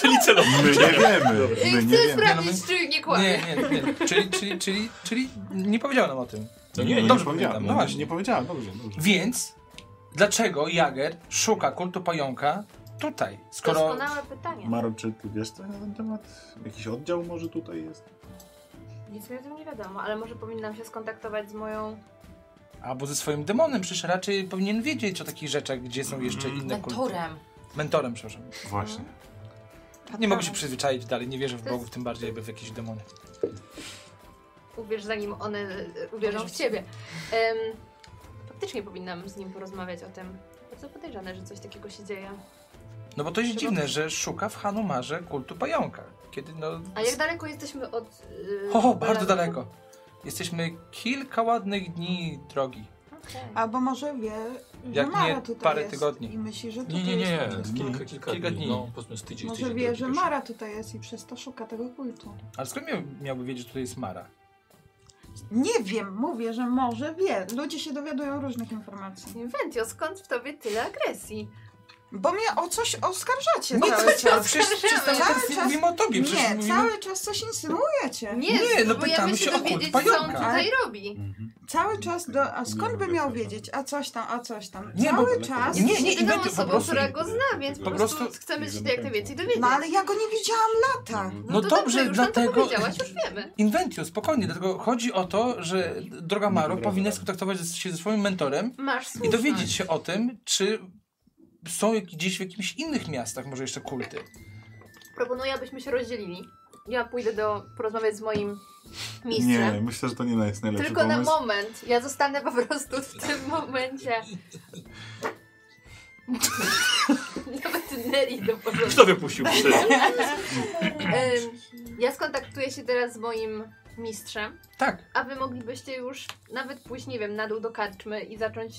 [SPEAKER 3] Czyli celowo.
[SPEAKER 2] My nie wiemy,
[SPEAKER 3] Dobra.
[SPEAKER 2] my nie
[SPEAKER 6] Chcę
[SPEAKER 2] wiemy.
[SPEAKER 1] Nie, no
[SPEAKER 6] sprawdzić, czy nie kłamie.
[SPEAKER 1] Nie, nie, nie. Czyli, czyli, czyli, czyli nie powiedział nam o tym.
[SPEAKER 3] No
[SPEAKER 2] No
[SPEAKER 3] nie,
[SPEAKER 2] nie
[SPEAKER 3] nie.
[SPEAKER 1] dobrze
[SPEAKER 2] powiedziała,
[SPEAKER 1] pamiętam,
[SPEAKER 2] no
[SPEAKER 1] no
[SPEAKER 2] nie,
[SPEAKER 1] właśnie.
[SPEAKER 2] nie powiedziała, dobrze, dobrze.
[SPEAKER 1] Więc dlaczego Jager szuka kultu pająka tutaj? Skoro.
[SPEAKER 6] Doskonałe pytanie.
[SPEAKER 2] Maro, czy ty wiesz coś na ten temat? Jakiś oddział może tutaj jest?
[SPEAKER 6] Nic mi o tym nie wiadomo, ale może powinnam się skontaktować z moją...
[SPEAKER 1] Albo ze swoim demonem, przecież raczej powinien wiedzieć o takich rzeczach, gdzie są jeszcze
[SPEAKER 6] Mm.
[SPEAKER 1] inne kulty.
[SPEAKER 7] Mentorem.
[SPEAKER 1] Mentorem, przepraszam.
[SPEAKER 2] Właśnie.
[SPEAKER 1] Nie mogę się
[SPEAKER 5] Patronem.
[SPEAKER 1] przyzwyczaić dalej, nie wierzę w
[SPEAKER 6] To jest-
[SPEAKER 1] Bogów, tym bardziej jakby w jakieś demony.
[SPEAKER 6] Uwierz, zanim one e, uwierzą w ciebie. Em, faktycznie powinnam z nim porozmawiać o tym. Bardzo podejrzane, że coś takiego się dzieje.
[SPEAKER 1] No bo to jest
[SPEAKER 6] Trzeba-
[SPEAKER 1] dziwne, że szuka w Hanumarze kultu pająka. Kiedy no...
[SPEAKER 6] A jak daleko jesteśmy od...
[SPEAKER 1] O,
[SPEAKER 6] y, Belenu?
[SPEAKER 1] bardzo daleko. Jesteśmy kilka ładnych dni drogi.
[SPEAKER 6] Okej.
[SPEAKER 5] Albo może wie,
[SPEAKER 1] Jak
[SPEAKER 5] że No Mara
[SPEAKER 1] nie,
[SPEAKER 5] tutaj
[SPEAKER 1] parę
[SPEAKER 5] jest
[SPEAKER 1] tygodni.
[SPEAKER 5] i myśli, że tutaj
[SPEAKER 3] Nie, nie, nie.
[SPEAKER 5] jest.
[SPEAKER 2] dni.
[SPEAKER 3] Kilka, kilka,
[SPEAKER 1] Kilka
[SPEAKER 3] dni.
[SPEAKER 1] dni.
[SPEAKER 3] No, powiedzmy z tydzień, z
[SPEAKER 5] Może
[SPEAKER 3] tydzień
[SPEAKER 5] wie,
[SPEAKER 3] do
[SPEAKER 5] że
[SPEAKER 3] pierwszej.
[SPEAKER 5] Mara tutaj jest i przez to szuka tego kultu.
[SPEAKER 1] Ale skąd miał, miałby wiedzieć, że tutaj jest Mara?
[SPEAKER 5] Nie wiem, mówię, że może wie. Ludzie się dowiadują różnych informacji.
[SPEAKER 6] Inventio, skąd w tobie tyle agresji?
[SPEAKER 5] Bo mnie o coś oskarżacie
[SPEAKER 1] No
[SPEAKER 5] cały
[SPEAKER 1] No
[SPEAKER 5] czas.
[SPEAKER 1] przecież, przecież cały
[SPEAKER 5] Cały
[SPEAKER 1] czas
[SPEAKER 5] czas-
[SPEAKER 1] mówimy o tobie. Przecież
[SPEAKER 5] Nie,
[SPEAKER 1] mówimy...
[SPEAKER 5] cały czas coś insynuujecie.
[SPEAKER 6] Nie,
[SPEAKER 1] Nie, no
[SPEAKER 6] próbujemy
[SPEAKER 1] pytamy się o kult
[SPEAKER 6] dowiedzieć, co on
[SPEAKER 1] pająka.
[SPEAKER 6] tutaj robi.
[SPEAKER 5] Cały czas do... A skąd
[SPEAKER 2] Nie
[SPEAKER 5] by
[SPEAKER 2] lubię
[SPEAKER 5] miał
[SPEAKER 2] tego.
[SPEAKER 5] wiedzieć? A coś tam, a coś tam.
[SPEAKER 1] Nie, bo-
[SPEAKER 5] Cały czas...
[SPEAKER 1] Nie, nie,
[SPEAKER 6] Jedyną
[SPEAKER 1] Inventio, po
[SPEAKER 6] osobą,
[SPEAKER 1] prostu
[SPEAKER 6] która
[SPEAKER 2] nie.
[SPEAKER 6] go zna, więc po
[SPEAKER 2] Po
[SPEAKER 6] prostu,
[SPEAKER 1] prostu-
[SPEAKER 6] chcemy się
[SPEAKER 2] Nie
[SPEAKER 6] jak najwięcej dowiedzieć.
[SPEAKER 5] No ale ja go nie widziałam
[SPEAKER 6] Tak,
[SPEAKER 5] lata.
[SPEAKER 2] Mhm.
[SPEAKER 1] No dobrze,
[SPEAKER 6] już nam
[SPEAKER 1] dlatego-
[SPEAKER 6] To powiedziałaś, już wiemy.
[SPEAKER 1] Inventio, spokojnie, dlatego chodzi o to, że droga Maro powinna skontaktować się ze swoim mentorem
[SPEAKER 6] Masz
[SPEAKER 1] i
[SPEAKER 6] słuszność.
[SPEAKER 1] dowiedzieć się o tym, czy są jak- gdzieś w jakimś innych miastach może jeszcze kulty.
[SPEAKER 6] Proponuję, abyśmy się rozdzielili. Ja pójdę do porozmawiać z moim
[SPEAKER 2] Nie,
[SPEAKER 6] mistrzem.
[SPEAKER 2] myślę, że to nie jest najlepszy
[SPEAKER 6] Tylko na
[SPEAKER 2] Znaczy, pomysł.
[SPEAKER 6] moment. Ja zostanę po prostu w tym momencie. Nawet Neri do porządku.
[SPEAKER 3] Kto wypuścił psy?
[SPEAKER 6] Em, Ja skontaktuję się teraz z moim mistrzem,
[SPEAKER 1] Tak,
[SPEAKER 6] a wy moglibyście już nawet pójść, nie wiem, na dół do karczmy i zacząć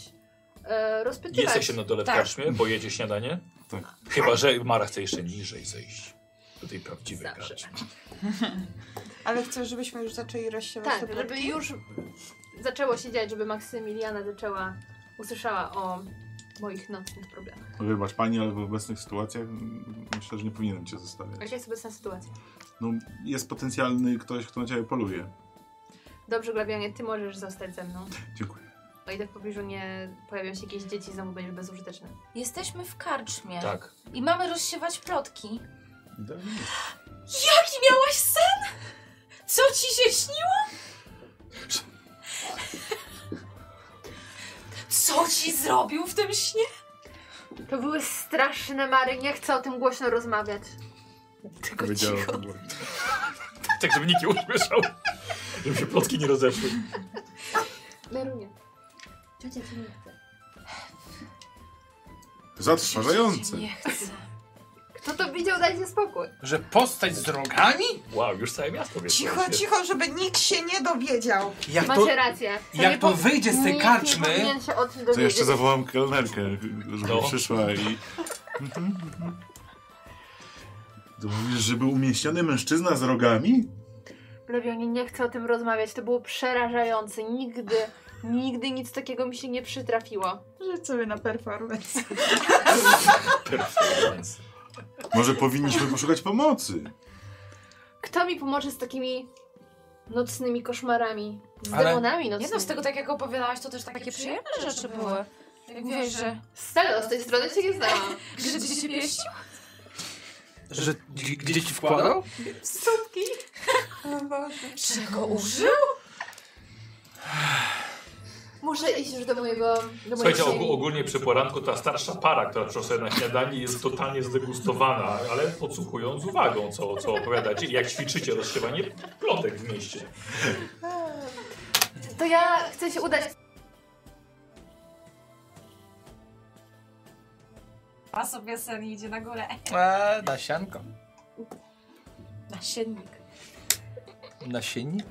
[SPEAKER 6] e, rozpytywać.
[SPEAKER 3] Jest jak się na dole w
[SPEAKER 7] Tak.
[SPEAKER 3] karczmie, bo jedzie śniadanie.
[SPEAKER 2] Tak.
[SPEAKER 3] Chyba, że Mara chce jeszcze niżej zejść. Do tej prawdziwej
[SPEAKER 6] Zawsze.
[SPEAKER 3] karczmy.
[SPEAKER 5] Ale chcę, żebyśmy już zaczęli rozsiewać
[SPEAKER 6] Tak,
[SPEAKER 5] te
[SPEAKER 6] żeby
[SPEAKER 5] plotki?
[SPEAKER 6] już zaczęło się dziać, żeby Maksymiliana zaczęła, usłyszała o moich nocnych problemach.
[SPEAKER 2] Wybacz pani, ale w obecnych sytuacjach mm, myślę, że nie powinienem cię zostawiać.
[SPEAKER 6] Jaka jest obecna sytuacja?
[SPEAKER 2] No, jest potencjalny ktoś, kto na ciebie poluje.
[SPEAKER 6] Dobrze, Glawianie, ty możesz zostać ze mną.
[SPEAKER 2] Dziękuję.
[SPEAKER 6] O ile tak w pobliżu nie pojawią się jakieś dzieci, znowu będziesz bezużyteczny.
[SPEAKER 7] Jesteśmy w karczmie
[SPEAKER 3] Tak.
[SPEAKER 7] i mamy rozsiewać plotki.
[SPEAKER 2] Idealnie.
[SPEAKER 7] Jaki miałaś sen? Co ci się śniło? Co ci zrobił w tym śnie?
[SPEAKER 6] To były straszne mary, nie chcę o tym głośno rozmawiać.
[SPEAKER 7] Tylko
[SPEAKER 2] Powiedziała.
[SPEAKER 7] cicho.
[SPEAKER 3] Tak, żeby nikt nie usłyszał. Żeby się plotki nie rozeszły.
[SPEAKER 6] Merunie.
[SPEAKER 2] Zatrważające.
[SPEAKER 7] Nie chcę.
[SPEAKER 6] Kto to widział, dajcie spokój.
[SPEAKER 1] Że postać z rogami?
[SPEAKER 3] Wow, już całe miasto wie. co
[SPEAKER 5] Cicho,
[SPEAKER 3] jest.
[SPEAKER 5] cicho, żeby nikt się nie dowiedział.
[SPEAKER 1] Jak to,
[SPEAKER 6] Macie rację.
[SPEAKER 1] jak to wyjdzie z tej
[SPEAKER 6] Nikt Nie
[SPEAKER 1] karczmy,
[SPEAKER 6] powinien się o tym
[SPEAKER 2] To jeszcze
[SPEAKER 6] dowiedzieć.
[SPEAKER 2] zawołam kelnerkę, żeby
[SPEAKER 3] No.
[SPEAKER 2] przyszła i... Mhm, To mówisz, że był umieśniony mężczyzna z rogami?
[SPEAKER 6] Lewionie, nie chcę o tym rozmawiać, to było przerażające. Nigdy, nigdy nic takiego mi się nie przytrafiło.
[SPEAKER 5] Rzuć sobie na performance.
[SPEAKER 3] Performance.
[SPEAKER 2] Może powinniśmy poszukać pomocy?
[SPEAKER 6] Kto mi pomoże z takimi nocnymi koszmarami? Z
[SPEAKER 1] Ale-
[SPEAKER 6] demonami
[SPEAKER 7] Nie
[SPEAKER 6] nocnymi?
[SPEAKER 7] no, z tego tak jak opowiadałaś, to też takie przyjemne rzeczy były. Jak mówiłeś, że
[SPEAKER 6] Stelo, z tej strony się nie znałam.
[SPEAKER 7] grzyb ci się pieścił?
[SPEAKER 1] że gdzie- gdzie ci wkładał?
[SPEAKER 5] Stópki. O Boże.
[SPEAKER 7] Czego użył?
[SPEAKER 6] Muszę iść już do mojego... Do mojej
[SPEAKER 3] Słuchajcie, og-
[SPEAKER 6] sieni.
[SPEAKER 3] ogólnie przy poranku ta starsza para, która przyszła sobie na śniadanie, jest totalnie zdegustowana, ale podsłuchując z uwagą, co, co opowiadacie, jak ćwiczycie rozsiewanie plotek w mieście.
[SPEAKER 6] To ja chcę się udać.
[SPEAKER 8] A sobie sen idzie na górę.
[SPEAKER 1] A, nasianko.
[SPEAKER 7] Nasiennik.
[SPEAKER 1] Nasiennik?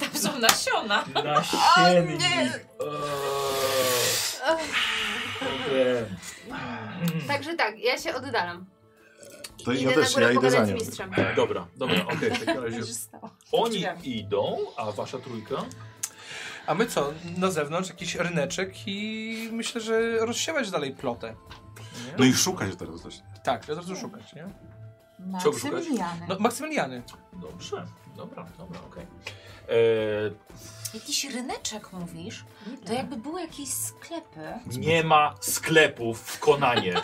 [SPEAKER 7] Tam są nasiona.
[SPEAKER 3] Na
[SPEAKER 7] nie.
[SPEAKER 6] Także tak, ja się oddalam.
[SPEAKER 2] To
[SPEAKER 6] idę
[SPEAKER 2] No ja też,
[SPEAKER 6] na górę
[SPEAKER 2] ja idę za
[SPEAKER 6] pogadać
[SPEAKER 2] nią.
[SPEAKER 6] z mistrzem.
[SPEAKER 3] Dobra, dobra, okej, w takim razie.
[SPEAKER 8] Już stało.
[SPEAKER 3] Oni idą, a wasza trójka?
[SPEAKER 1] A my co? Na zewnątrz jakiś ryneczek i myślę, że rozsiewać dalej plotę.
[SPEAKER 2] No i szukać teraz coś.
[SPEAKER 1] Tak, od razu szukać, nie?
[SPEAKER 3] Co szukać?
[SPEAKER 5] Maksymiliany.
[SPEAKER 1] No, Maksymiliany.
[SPEAKER 3] Dobrze, dobra, dobra, okej. E,
[SPEAKER 7] Jakiś ryneczek mówisz? To jakby były jakieś sklepy.
[SPEAKER 3] E, Nie ma sklepów w Konanie.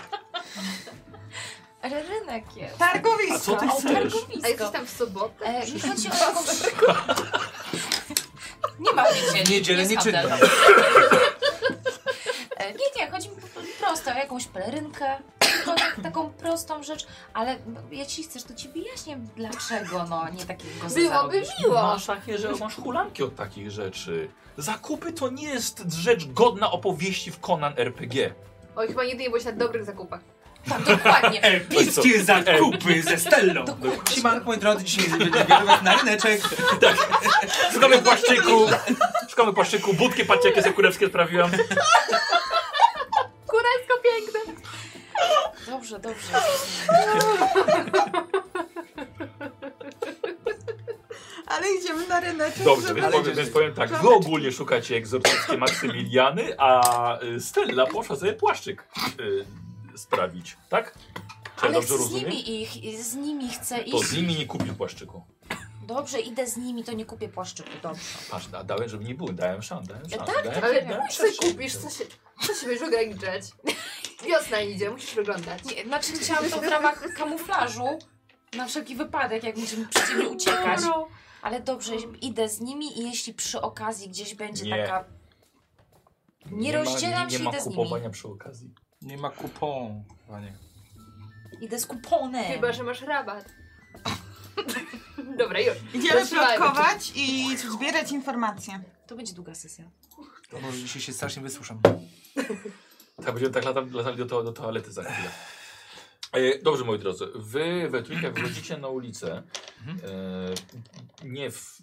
[SPEAKER 7] Ale rynek jest.
[SPEAKER 5] Targowisko.
[SPEAKER 3] A co ty chcesz?
[SPEAKER 6] A jesteś
[SPEAKER 7] Targowisko.
[SPEAKER 6] tam w sobotę?
[SPEAKER 7] E, nie chodzi o jakąś... Nie ma w niedzielę.
[SPEAKER 1] W niedzielę
[SPEAKER 7] jest
[SPEAKER 1] nie czynno.
[SPEAKER 7] handel. E, Nie, nie, chodzi mi po prostu prosto o jakąś pelerynkę, to tak- taką prostą rzecz, ale no, jeśli chcesz, to ci wyjaśnię dlaczego, no, nie takiego
[SPEAKER 6] Byłoby
[SPEAKER 7] zarobisz.
[SPEAKER 6] miło.
[SPEAKER 3] Masz takie, że masz hulanki od takich rzeczy. Zakupy to nie jest rzecz godna opowieści w Conan RPG.
[SPEAKER 6] Oj, chyba nigdy nie byłeś na dobrych zakupach.
[SPEAKER 7] Tak, dokładnie.
[SPEAKER 1] Wszystkie zakupy ze Stellą!
[SPEAKER 7] Dokładnie.
[SPEAKER 1] Siemanko, moi drodzy, dzisiaj będziemy kierować na ryneczek.
[SPEAKER 3] Szukamy płaszczyku, szukamy płaszczyku, budki, patrzcie jakie sobie kurewskie sprawiłam.
[SPEAKER 6] Kuracko piękne!
[SPEAKER 7] Dobrze, dobrze.
[SPEAKER 5] Ale idziemy na ryneczek,
[SPEAKER 3] Dobrze,
[SPEAKER 5] żeby...
[SPEAKER 3] więc powiem, więc powiem tak, wy ogólnie szukacie egzorcyckie Maksymiliany, a y, Stella poszła sobie płaszczyk y, sprawić, tak? Czy ja
[SPEAKER 7] Ale
[SPEAKER 3] dobrze
[SPEAKER 7] chcę z
[SPEAKER 3] rozumiem?
[SPEAKER 7] nimi ich, z nimi chcę
[SPEAKER 3] To
[SPEAKER 7] iść.
[SPEAKER 3] z nimi nie kupił płaszczyku.
[SPEAKER 7] Dobrze, idę z nimi, to nie kupię płaszczyku, dobrze.
[SPEAKER 3] Patrz, da- dałem, żeby nie było, dałem szans, dałem szans.
[SPEAKER 7] tak,
[SPEAKER 3] dałem,
[SPEAKER 7] tak,
[SPEAKER 6] Ale
[SPEAKER 7] tak.
[SPEAKER 3] dałem
[SPEAKER 6] co
[SPEAKER 3] szansę.
[SPEAKER 6] kupisz? Co się, co się będziesz ograniczać? Wiosna idzie, musisz wyglądać.
[SPEAKER 7] Nie, znaczy chciałam to w ramach kamuflażu, na wszelki wypadek, jak będziemy przeciwnie uciekać. Ale dobrze, idę z nimi i jeśli przy okazji gdzieś będzie
[SPEAKER 3] Nie.
[SPEAKER 7] taka... Nie rozdzielam się,
[SPEAKER 3] nie ma
[SPEAKER 7] idę z nimi.
[SPEAKER 3] kupowania przy okazji.
[SPEAKER 1] Nie ma kupon, panie.
[SPEAKER 7] Idę z kuponem.
[SPEAKER 6] Chyba, że masz rabat. Dobra, już.
[SPEAKER 5] Idziemy
[SPEAKER 6] Zaczynajmy.
[SPEAKER 5] plotkować i zbierać informacje.
[SPEAKER 7] To będzie długa sesja.
[SPEAKER 1] To może dzisiaj się strasznie wysłucham.
[SPEAKER 3] Tak, będziemy tak latam, latali do, to, do toalety za chwilę. E, dobrze, moi drodzy, wy we trójkę wychodzicie na ulicę. E, nie w,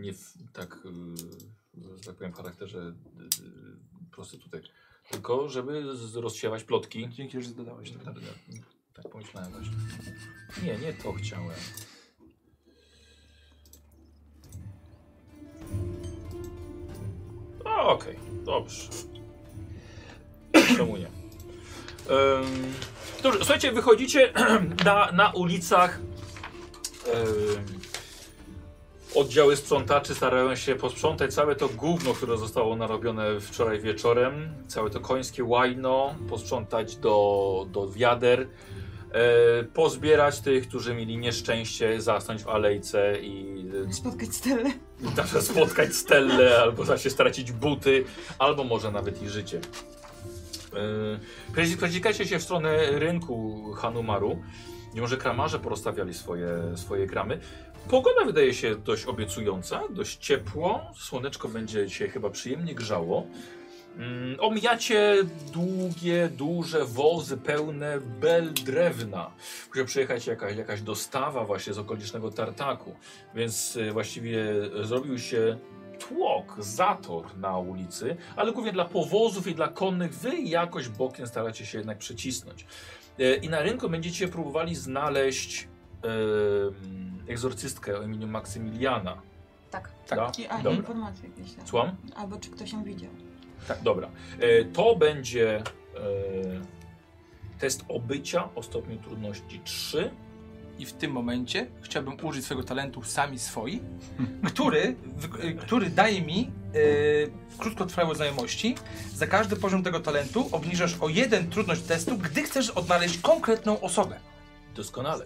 [SPEAKER 3] nie w tak, e, że tak powiem, w charakterze e, prostytutek, tylko żeby z- rozsiewać plotki.
[SPEAKER 1] Dzięki, że dodałeś.
[SPEAKER 3] Tak, tak pomyślałem właśnie. Nie, nie to chciałem. A, No, Okej, dobrze. Czemu nie? Em, dobrze, słuchajcie, wychodzicie na, na ulicach. em, Oddziały sprzątaczy starają się posprzątać całe to gówno, które zostało narobione wczoraj wieczorem, całe to końskie łajno, posprzątać do, do wiader. e, pozbierać tych, którzy mieli nieszczęście zasnąć w alejce i
[SPEAKER 5] Spotkać Stellę.
[SPEAKER 3] e, zawsze spotkać Stellę, albo zawsze stracić buty, albo może nawet i życie. E, prezi- Przedzikacie się w stronę rynku Hanumaru, mimo że kramarze porozstawiali swoje, swoje kramy. Pogoda wydaje się dość obiecująca, dość ciepło, słoneczko będzie się chyba przyjemnie grzało. Mm, Omijacie długie, duże wozy pełne bel drewna. Musiał przyjechać jakaś, jakaś dostawa właśnie z okolicznego tartaku, więc y, właściwie y, zrobił się tłok, zator na ulicy, ale głównie dla powozów i dla konnych wy jakoś bokiem staracie się jednak przecisnąć. E, I na rynku będziecie próbowali znaleźć em, egzorcystkę o imieniu Maksymiliana.
[SPEAKER 7] Tak.
[SPEAKER 3] Tak.
[SPEAKER 5] I, a,
[SPEAKER 3] Dobra.
[SPEAKER 5] informacje jakieś tam.
[SPEAKER 3] Słucham?
[SPEAKER 5] Albo czy ktoś ją widział.
[SPEAKER 3] Tak, dobra. E, to będzie e, test obycia o stopniu trudności 3.
[SPEAKER 1] I w tym momencie chciałbym użyć swojego talentu sami swoi, który, wy- y, który daje mi y, w krótkotrwałe znajomości. Za każdy poziom tego talentu obniżasz o jeden trudność testu, gdy chcesz odnaleźć konkretną osobę.
[SPEAKER 3] Doskonale.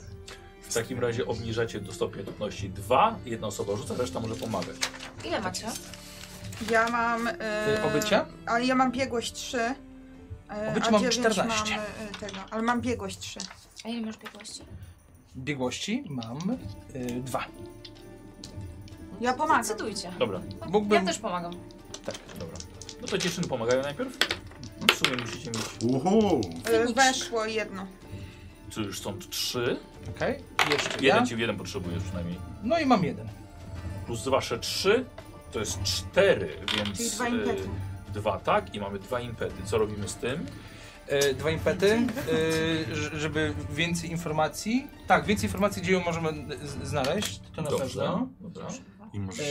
[SPEAKER 3] W takim razie obniżacie do stopnia trudności 2. Jedna osoba rzuca, reszta może pomagać.
[SPEAKER 7] Ile
[SPEAKER 3] Tak
[SPEAKER 7] macie?
[SPEAKER 5] Ja mam... Yy,
[SPEAKER 3] E,
[SPEAKER 1] Y, obycia?
[SPEAKER 5] Ale ja mam biegłość 3. Yy,
[SPEAKER 1] Obycie
[SPEAKER 5] a
[SPEAKER 1] mam
[SPEAKER 5] dziewięć
[SPEAKER 1] 14.
[SPEAKER 5] Mam, y, tego, ale mam biegłość 3.
[SPEAKER 7] A ile masz biegłości?
[SPEAKER 1] Biegłości mam y, dwa.
[SPEAKER 5] Ja pomagam.
[SPEAKER 7] Decydujcie.
[SPEAKER 3] Dobra,
[SPEAKER 1] Mógłbym-
[SPEAKER 7] Ja też pomagam.
[SPEAKER 3] tak, dobra. No to dziewczyny pomagają najpierw. No, W sumie musicie mieć.
[SPEAKER 2] Uhu!
[SPEAKER 5] Y, weszło jedno.
[SPEAKER 3] Tu już są trzy.
[SPEAKER 1] Okej? Jeszcze
[SPEAKER 3] Jeden
[SPEAKER 1] ja.
[SPEAKER 3] ci jeden potrzebujesz przynajmniej.
[SPEAKER 1] No i mam jeden.
[SPEAKER 3] Plus wasze trzy to jest cztery, więc.
[SPEAKER 5] Czyli dwa
[SPEAKER 3] e,
[SPEAKER 5] impety.
[SPEAKER 3] Dwa, tak? I mamy dwa impety. Co robimy z tym?
[SPEAKER 1] E, dwa impety, e, ż- żeby więcej informacji. Tak, więcej informacji, gdzie ją możemy y, z- znaleźć, to na
[SPEAKER 3] Dobrze.
[SPEAKER 1] pewno.
[SPEAKER 3] Dobra.
[SPEAKER 2] I możesz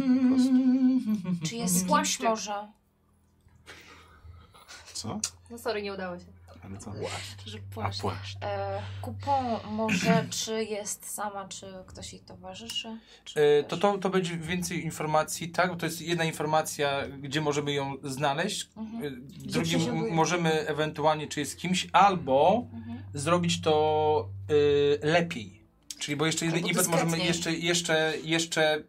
[SPEAKER 1] Ehm...
[SPEAKER 7] Czy jest z kimś może?
[SPEAKER 2] Co?
[SPEAKER 6] No sorry, nie udało się.
[SPEAKER 2] Ale co?
[SPEAKER 7] Że
[SPEAKER 2] A
[SPEAKER 7] płaszcz.
[SPEAKER 2] płaszcz.
[SPEAKER 7] E, kupon może, czy jest sama, czy ktoś jej towarzyszy? Czy
[SPEAKER 1] E, To,
[SPEAKER 7] też-
[SPEAKER 1] to, to będzie więcej informacji, tak? Bo to jest jedna informacja, gdzie możemy ją znaleźć.
[SPEAKER 7] Mhm,
[SPEAKER 1] E, Drugim
[SPEAKER 5] przeziębuje.
[SPEAKER 1] m- możemy ewentualnie, czy jest kimś, albo
[SPEAKER 7] mhm.
[SPEAKER 1] zrobić to e, lepiej. Czyli bo jeszcze jeden
[SPEAKER 7] Albo
[SPEAKER 1] impet możemy
[SPEAKER 7] dyskretniej.
[SPEAKER 1] jeszcze, jeszcze, jeszcze...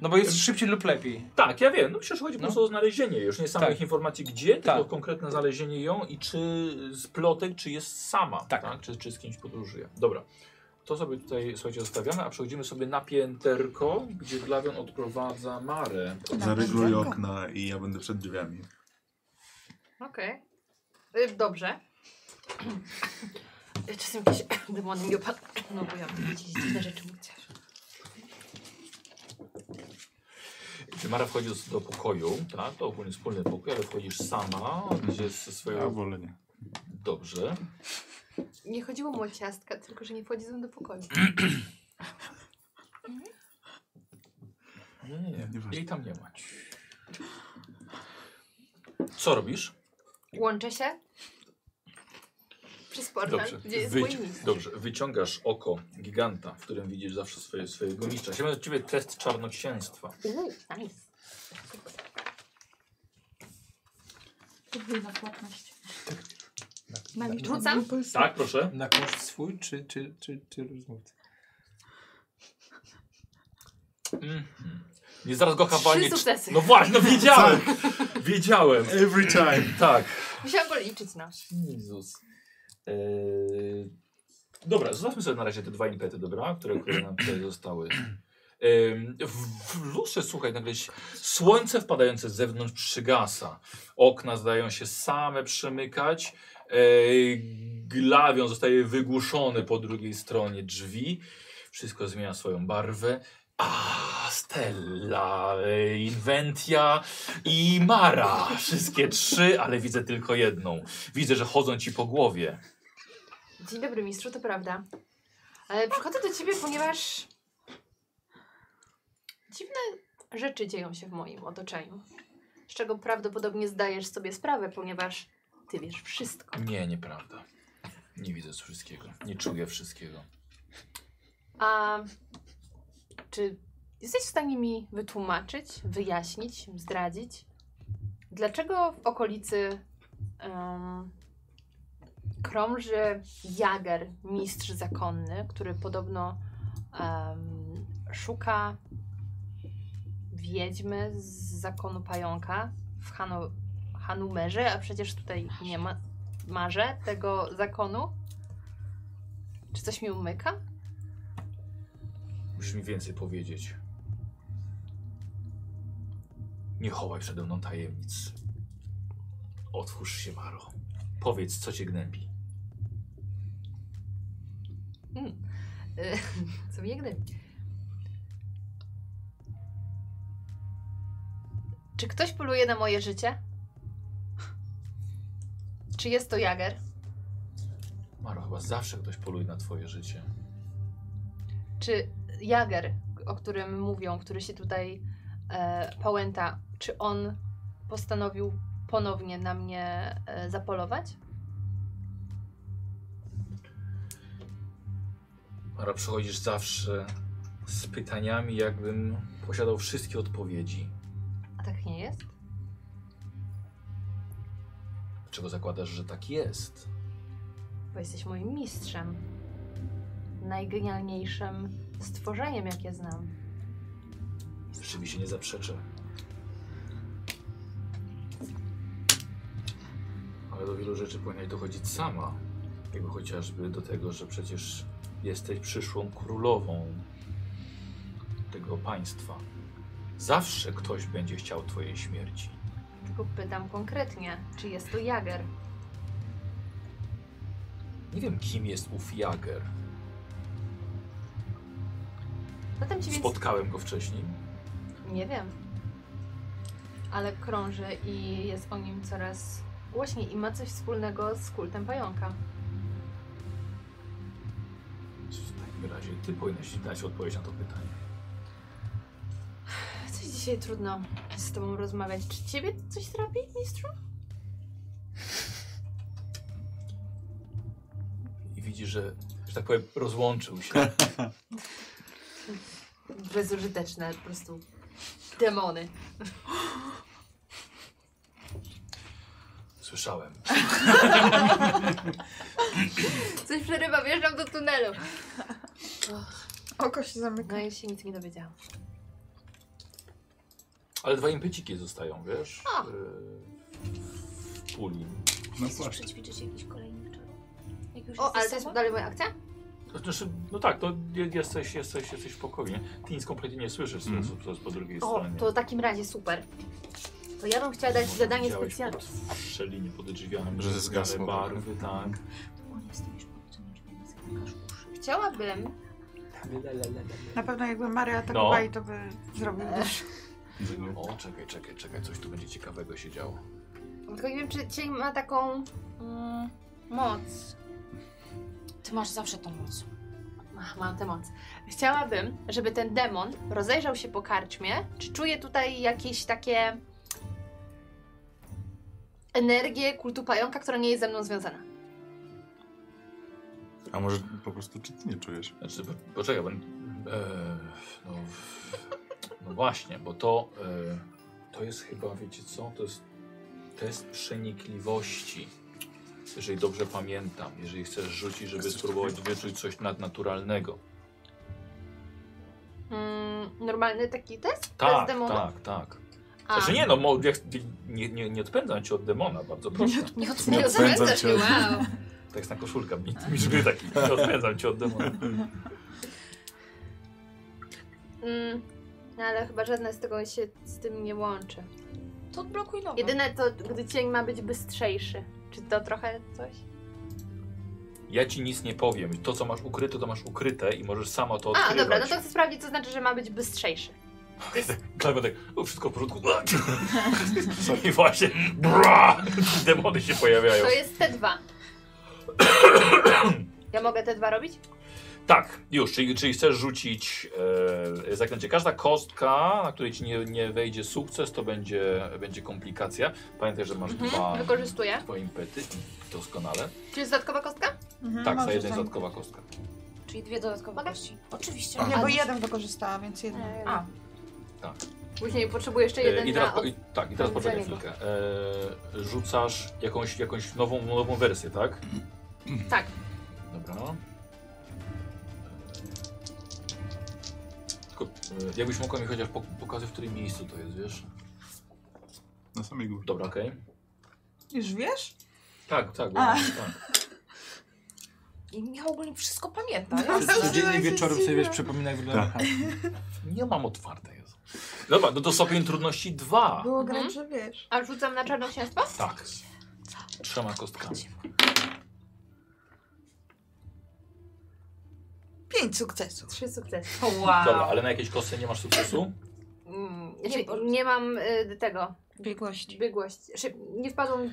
[SPEAKER 1] No bo jest szybciej lub lepiej.
[SPEAKER 3] Tak, ja wiem. No myślę, że chodzi po
[SPEAKER 1] No.
[SPEAKER 3] prostu o znalezienie. Już nie samych
[SPEAKER 1] Tak.
[SPEAKER 3] informacji gdzie, tylko
[SPEAKER 1] Tak.
[SPEAKER 3] o konkretne znalezienie ją i czy z plotek, czy jest sama, tak.
[SPEAKER 1] Tak.
[SPEAKER 3] Czy, czy z kimś podróżuje. Dobra. To sobie tutaj, słuchajcie, zostawiamy, a przechodzimy sobie na pięterko, gdzie Glawion odprowadza Marę.
[SPEAKER 2] Zarygluj okna i ja będę przed drzwiami.
[SPEAKER 6] Okej. Y, Dobrze. Czasem jakieś demony mi opadają. No bo ja gdzieś dziwne rzeczy mówię.
[SPEAKER 3] Gdy Mara wchodzi do- do pokoju, tak? To ogólnie wspólny pokój, ale wchodzisz sama, gdzie ze
[SPEAKER 2] Ja
[SPEAKER 3] swoją...
[SPEAKER 2] wolę nie.
[SPEAKER 3] Dobrze.
[SPEAKER 6] Nie chodziło mu o ciastka, tylko że nie wchodzi ze mną do pokoju.
[SPEAKER 3] Nie, nie, nie.
[SPEAKER 2] Nieważne.
[SPEAKER 3] Jej tam nie ma. Co robisz?
[SPEAKER 6] Łączę się. Przysporna.
[SPEAKER 3] Dobrze.
[SPEAKER 6] Gdzie jest
[SPEAKER 3] Wyjdź.
[SPEAKER 6] mój mistrz?
[SPEAKER 3] Dobrze, wyciągasz oko giganta, w którym widzisz zawsze swoje, swojego mistrza. Chciałbym od ciebie test czarnoksięstwa.
[SPEAKER 6] Uuu, nice.
[SPEAKER 5] Podwójna płatność.
[SPEAKER 2] Tak.
[SPEAKER 1] Na,
[SPEAKER 6] Rzucam?
[SPEAKER 3] Tak, proszę.
[SPEAKER 1] na koszt swój czy, czy, czy, czy rozmówcy?
[SPEAKER 3] Mhm. Nie zaraz go hawanie.
[SPEAKER 6] Trzy sukcesy.
[SPEAKER 3] No właśnie, no wiedziałem. wiedziałem.
[SPEAKER 2] Tak. Every time!
[SPEAKER 3] Tak.
[SPEAKER 6] Musiałam no. go liczyć na.
[SPEAKER 3] Jezus. Eee, dobra, zostawmy sobie na razie te dwa impety, dobra, które, które nam tutaj zostały. Ehm, W, w lustrze, słuchaj, nagle się- słońce wpadające z zewnątrz przygasa. Okna zdają się same przymykać. Eee, glawion zostaje wygłuszony po drugiej stronie drzwi. Wszystko zmienia swoją barwę. A, Stella, e, Inventia i Mara. Wszystkie trzy, ale widzę tylko jedną. Widzę, że chodzą ci po głowie.
[SPEAKER 6] Dzień dobry, mistrzu, to prawda. Ale przychodzę do ciebie, ponieważ dziwne rzeczy dzieją się w moim otoczeniu. Z czego prawdopodobnie zdajesz sobie sprawę, ponieważ ty wiesz wszystko.
[SPEAKER 3] Nie, nieprawda. Nie widzę wszystkiego. Nie czuję wszystkiego.
[SPEAKER 6] A czy jesteś w stanie mi wytłumaczyć, wyjaśnić, zdradzić, dlaczego w okolicy em, krąży Jager, mistrz zakonny, który podobno em, szuka wiedźmy z zakonu pająka w Hanu Hanumerze, a przecież tutaj nie ma marze tego zakonu. Czy coś mi umyka?
[SPEAKER 3] Musisz mi więcej powiedzieć. Nie chowaj przede mną tajemnic. Otwórz się, Maro. Powiedz, co cię gnębi.
[SPEAKER 6] Y, Co mnie gnębi? Czy ktoś poluje na moje życie? Czy jest to Jager?
[SPEAKER 3] Maro, chyba zawsze ktoś poluje na twoje życie.
[SPEAKER 6] Czy Jager, o którym mówią, który się tutaj e, pałęta, czy on postanowił ponownie na mnie e, zapolować?
[SPEAKER 3] Mara, przychodzisz zawsze z pytaniami, jakbym posiadał wszystkie odpowiedzi.
[SPEAKER 6] A tak nie jest?
[SPEAKER 3] Dlaczego zakładasz, że tak jest?
[SPEAKER 6] Bo jesteś moim mistrzem. Najgenialniejszym stworzeniem, jakie znam.
[SPEAKER 3] Rzeczywiście nie zaprzeczę. Ale do wielu rzeczy powinnaś dochodzić sama. Jakby chociażby do tego, że przecież jesteś przyszłą królową tego państwa. Zawsze ktoś będzie chciał twojej śmierci.
[SPEAKER 6] Tylko pytam konkretnie, czy jest to Jager?
[SPEAKER 3] Nie wiem, kim jest ów Jager.
[SPEAKER 6] Zatem ci więc
[SPEAKER 3] Spotkałem go wcześniej.
[SPEAKER 6] Nie wiem. Ale krąży i jest o nim coraz głośniej i ma coś wspólnego z kultem pająka.
[SPEAKER 3] W takim razie ty powinnaś dać odpowiedź na to pytanie.
[SPEAKER 6] Coś dzisiaj trudno z tobą rozmawiać. Czy ciebie coś trapi, mistrzu?
[SPEAKER 3] I widzisz, że, że tak powiem, rozłączył się.
[SPEAKER 6] Bezużyteczne po prostu demony.
[SPEAKER 3] Słyszałem.
[SPEAKER 6] Coś przerywa, wjeżdżam do tunelu.
[SPEAKER 5] Oko się zamyka.
[SPEAKER 6] No i się nic nie dowiedziałam.
[SPEAKER 3] Ale dwa impeciki zostają, wiesz?
[SPEAKER 6] A.
[SPEAKER 3] y, W puli. No
[SPEAKER 2] Na
[SPEAKER 7] Chcesz
[SPEAKER 2] płaszcz.
[SPEAKER 7] przećwiczyć jakiś kolejny czar? Jak już
[SPEAKER 6] O,
[SPEAKER 7] jesteś
[SPEAKER 6] ale to jest
[SPEAKER 7] sama?
[SPEAKER 6] dalej moja akcja?
[SPEAKER 3] To Znaczy, no tak, to je- jesteś, jesteś, jesteś w pokoju. nie? Ty nic kompletnie nie słyszysz, co
[SPEAKER 2] Mhm.
[SPEAKER 3] jest- co jest po drugiej
[SPEAKER 6] O,
[SPEAKER 3] stronie.
[SPEAKER 6] to w takim razie super. To ja bym chciała dać
[SPEAKER 3] Może
[SPEAKER 6] zadanie
[SPEAKER 3] widziałeś
[SPEAKER 6] specjalne.
[SPEAKER 3] Pod szczelinie pod drzwiami,
[SPEAKER 2] Że zgasło.
[SPEAKER 3] barwy, tak.
[SPEAKER 7] Ładnie stoisz pod tym, już nie zamykasz uszy.
[SPEAKER 6] Chciałabym
[SPEAKER 5] Na pewno jakby Maria
[SPEAKER 3] No.
[SPEAKER 5] atakowali, to by zrobił też.
[SPEAKER 2] Mhm.
[SPEAKER 3] O, czekaj, czekaj, czekaj, coś tu będzie ciekawego się działo.
[SPEAKER 6] Tylko nie wiem, czy cień ma taką mm, moc.
[SPEAKER 7] Ty masz zawsze tą moc.
[SPEAKER 6] Ach, mam tę moc. Chciałabym, żeby ten demon rozejrzał się po karczmie. Czy czuje tutaj jakieś takie energię kultu pająka, która nie jest ze mną związana?
[SPEAKER 2] A może po prostu czy ty nie czujesz?
[SPEAKER 3] Znaczy, po- poczekaj, bo... E, no, no właśnie, bo to... E, to jest chyba, wiecie co, to jest test przenikliwości. Jeżeli dobrze pamiętam, jeżeli chcesz rzucić, żeby spróbować wyczuć coś nadnaturalnego.
[SPEAKER 6] Mm, normalny taki test? test
[SPEAKER 3] Tak,
[SPEAKER 6] demona?
[SPEAKER 3] tak, tak.
[SPEAKER 6] A,
[SPEAKER 3] Znaczy nie no, mo- jak- nie, nie, nie odpędzam cię od demona, bardzo proszę.
[SPEAKER 7] Nie
[SPEAKER 6] nie
[SPEAKER 2] Nie
[SPEAKER 3] no,
[SPEAKER 7] odpędzę.
[SPEAKER 2] odpędzam
[SPEAKER 6] odpędzasz
[SPEAKER 2] cię.
[SPEAKER 6] mnie, wow.
[SPEAKER 3] Tak jest na koszulka, mi, mi gry taki, nie odpędzam cię od demona.
[SPEAKER 6] Mm, no ale chyba żadne z tego się z tym nie łączy.
[SPEAKER 7] To odblokuj nowe.
[SPEAKER 6] Jedyne to, gdy cień ma być bystrzejszy. Czy to trochę coś?
[SPEAKER 3] Ja ci nic nie powiem, to co masz ukryte, to masz ukryte i możesz sama to
[SPEAKER 6] A,
[SPEAKER 3] odkrywać.
[SPEAKER 6] dobra, no to chcę sprawdzić, co znaczy, że ma być bystrzejszy.
[SPEAKER 3] Klawia tak, o, wszystko w porządku. I właśnie, bra, demony się pojawiają.
[SPEAKER 6] To jest te dwa. Ja mogę te dwa robić?
[SPEAKER 3] Tak, już, czyli, czyli chcesz rzucić e, zaklęcie. Każda kostka, na której ci nie, nie wejdzie sukces, to będzie, będzie komplikacja. Pamiętaj, że masz dwa,
[SPEAKER 6] Mhm, Wykorzystuję.
[SPEAKER 3] dwa impety. Doskonale.
[SPEAKER 6] Czy jest dodatkowa kostka?
[SPEAKER 5] Mhm,
[SPEAKER 3] Tak, za
[SPEAKER 5] może
[SPEAKER 3] jeden
[SPEAKER 5] tam-
[SPEAKER 3] dodatkowa kostka.
[SPEAKER 7] Czyli dwie dodatkowe
[SPEAKER 6] Mogę?
[SPEAKER 7] kości. Oczywiście.
[SPEAKER 5] Nie, bo
[SPEAKER 7] A,
[SPEAKER 5] jeden wykorzystała, więc jeden.
[SPEAKER 7] A,
[SPEAKER 6] E, Później potrzebuję jeszcze jeden
[SPEAKER 3] Y, I teraz,
[SPEAKER 6] na...
[SPEAKER 3] po, i, tak, i teraz poczekaj
[SPEAKER 6] odwrócenie
[SPEAKER 3] chwilkę. E, rzucasz jakąś, jakąś nową, nową wersję, tak?
[SPEAKER 6] Tak.
[SPEAKER 3] Dobra. E, Tylko, e, jakbyś mogła mi chociaż pok- pokazać, w którym miejscu to jest, wiesz?
[SPEAKER 2] Na samej górze.
[SPEAKER 3] Dobra, okej.
[SPEAKER 5] Już wiesz?
[SPEAKER 3] Tak, tak,
[SPEAKER 5] A.
[SPEAKER 3] bo- tak.
[SPEAKER 7] I Michał ogólnie wszystko pamięta.
[SPEAKER 6] No,
[SPEAKER 1] Codziennie wieczorem sobie wiesz, przypomina jak wygląda
[SPEAKER 2] Tak.
[SPEAKER 1] chatka.
[SPEAKER 3] Nie mam otwarte jest. Dobra, no to stopień trudności 2.
[SPEAKER 5] Było
[SPEAKER 6] Mhm.
[SPEAKER 5] grać, że wiesz.
[SPEAKER 6] A rzucam na czarnoksięstwo?
[SPEAKER 3] Tak. Trzema kostkami.
[SPEAKER 5] Pięć sukcesów.
[SPEAKER 6] Trzy sukcesy.
[SPEAKER 7] Wow.
[SPEAKER 3] Dobra, ale na jakiejś kostce nie masz sukcesu?
[SPEAKER 6] Mm,
[SPEAKER 7] Nie,
[SPEAKER 6] nie,
[SPEAKER 7] bo-
[SPEAKER 6] nie mam y, tego.
[SPEAKER 5] Biegłości.
[SPEAKER 6] Biegłość. Znaczy, Nie wpadłam. y,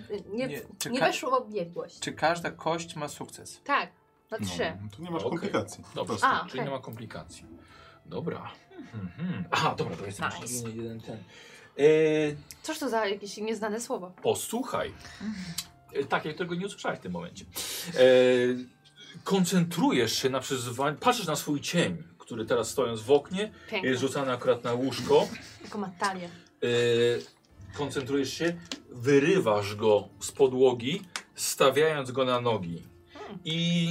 [SPEAKER 1] Nie,
[SPEAKER 6] Nie, nie,
[SPEAKER 1] czy
[SPEAKER 6] nie
[SPEAKER 1] ka-
[SPEAKER 6] weszło w biegłość.
[SPEAKER 1] Czy każda kość ma sukces?
[SPEAKER 6] Tak. Na
[SPEAKER 2] No,
[SPEAKER 6] trzy.
[SPEAKER 2] tu nie masz
[SPEAKER 3] Okej.
[SPEAKER 2] komplikacji. Po
[SPEAKER 3] Dobra,
[SPEAKER 2] prostu.
[SPEAKER 6] A,
[SPEAKER 3] czyli
[SPEAKER 6] okej.
[SPEAKER 3] nie ma komplikacji. Dobra. Mhm. Aha, dobra, to jest
[SPEAKER 7] Nice.
[SPEAKER 3] jeszcze jeden ten. Yy,
[SPEAKER 6] Cóż to za jakieś nieznane słowo?
[SPEAKER 3] posłuchaj. Yy, tak, jak tego nie usłyszałeś w tym momencie. Yy, koncentrujesz się na przyzwaniu, patrzysz na swój cień, który teraz stojąc w oknie,
[SPEAKER 6] Piękne.
[SPEAKER 3] jest rzucany akurat na łóżko.
[SPEAKER 6] Taką ma talię.
[SPEAKER 3] Yy, koncentrujesz się, wyrywasz go z podłogi, stawiając go na nogi. I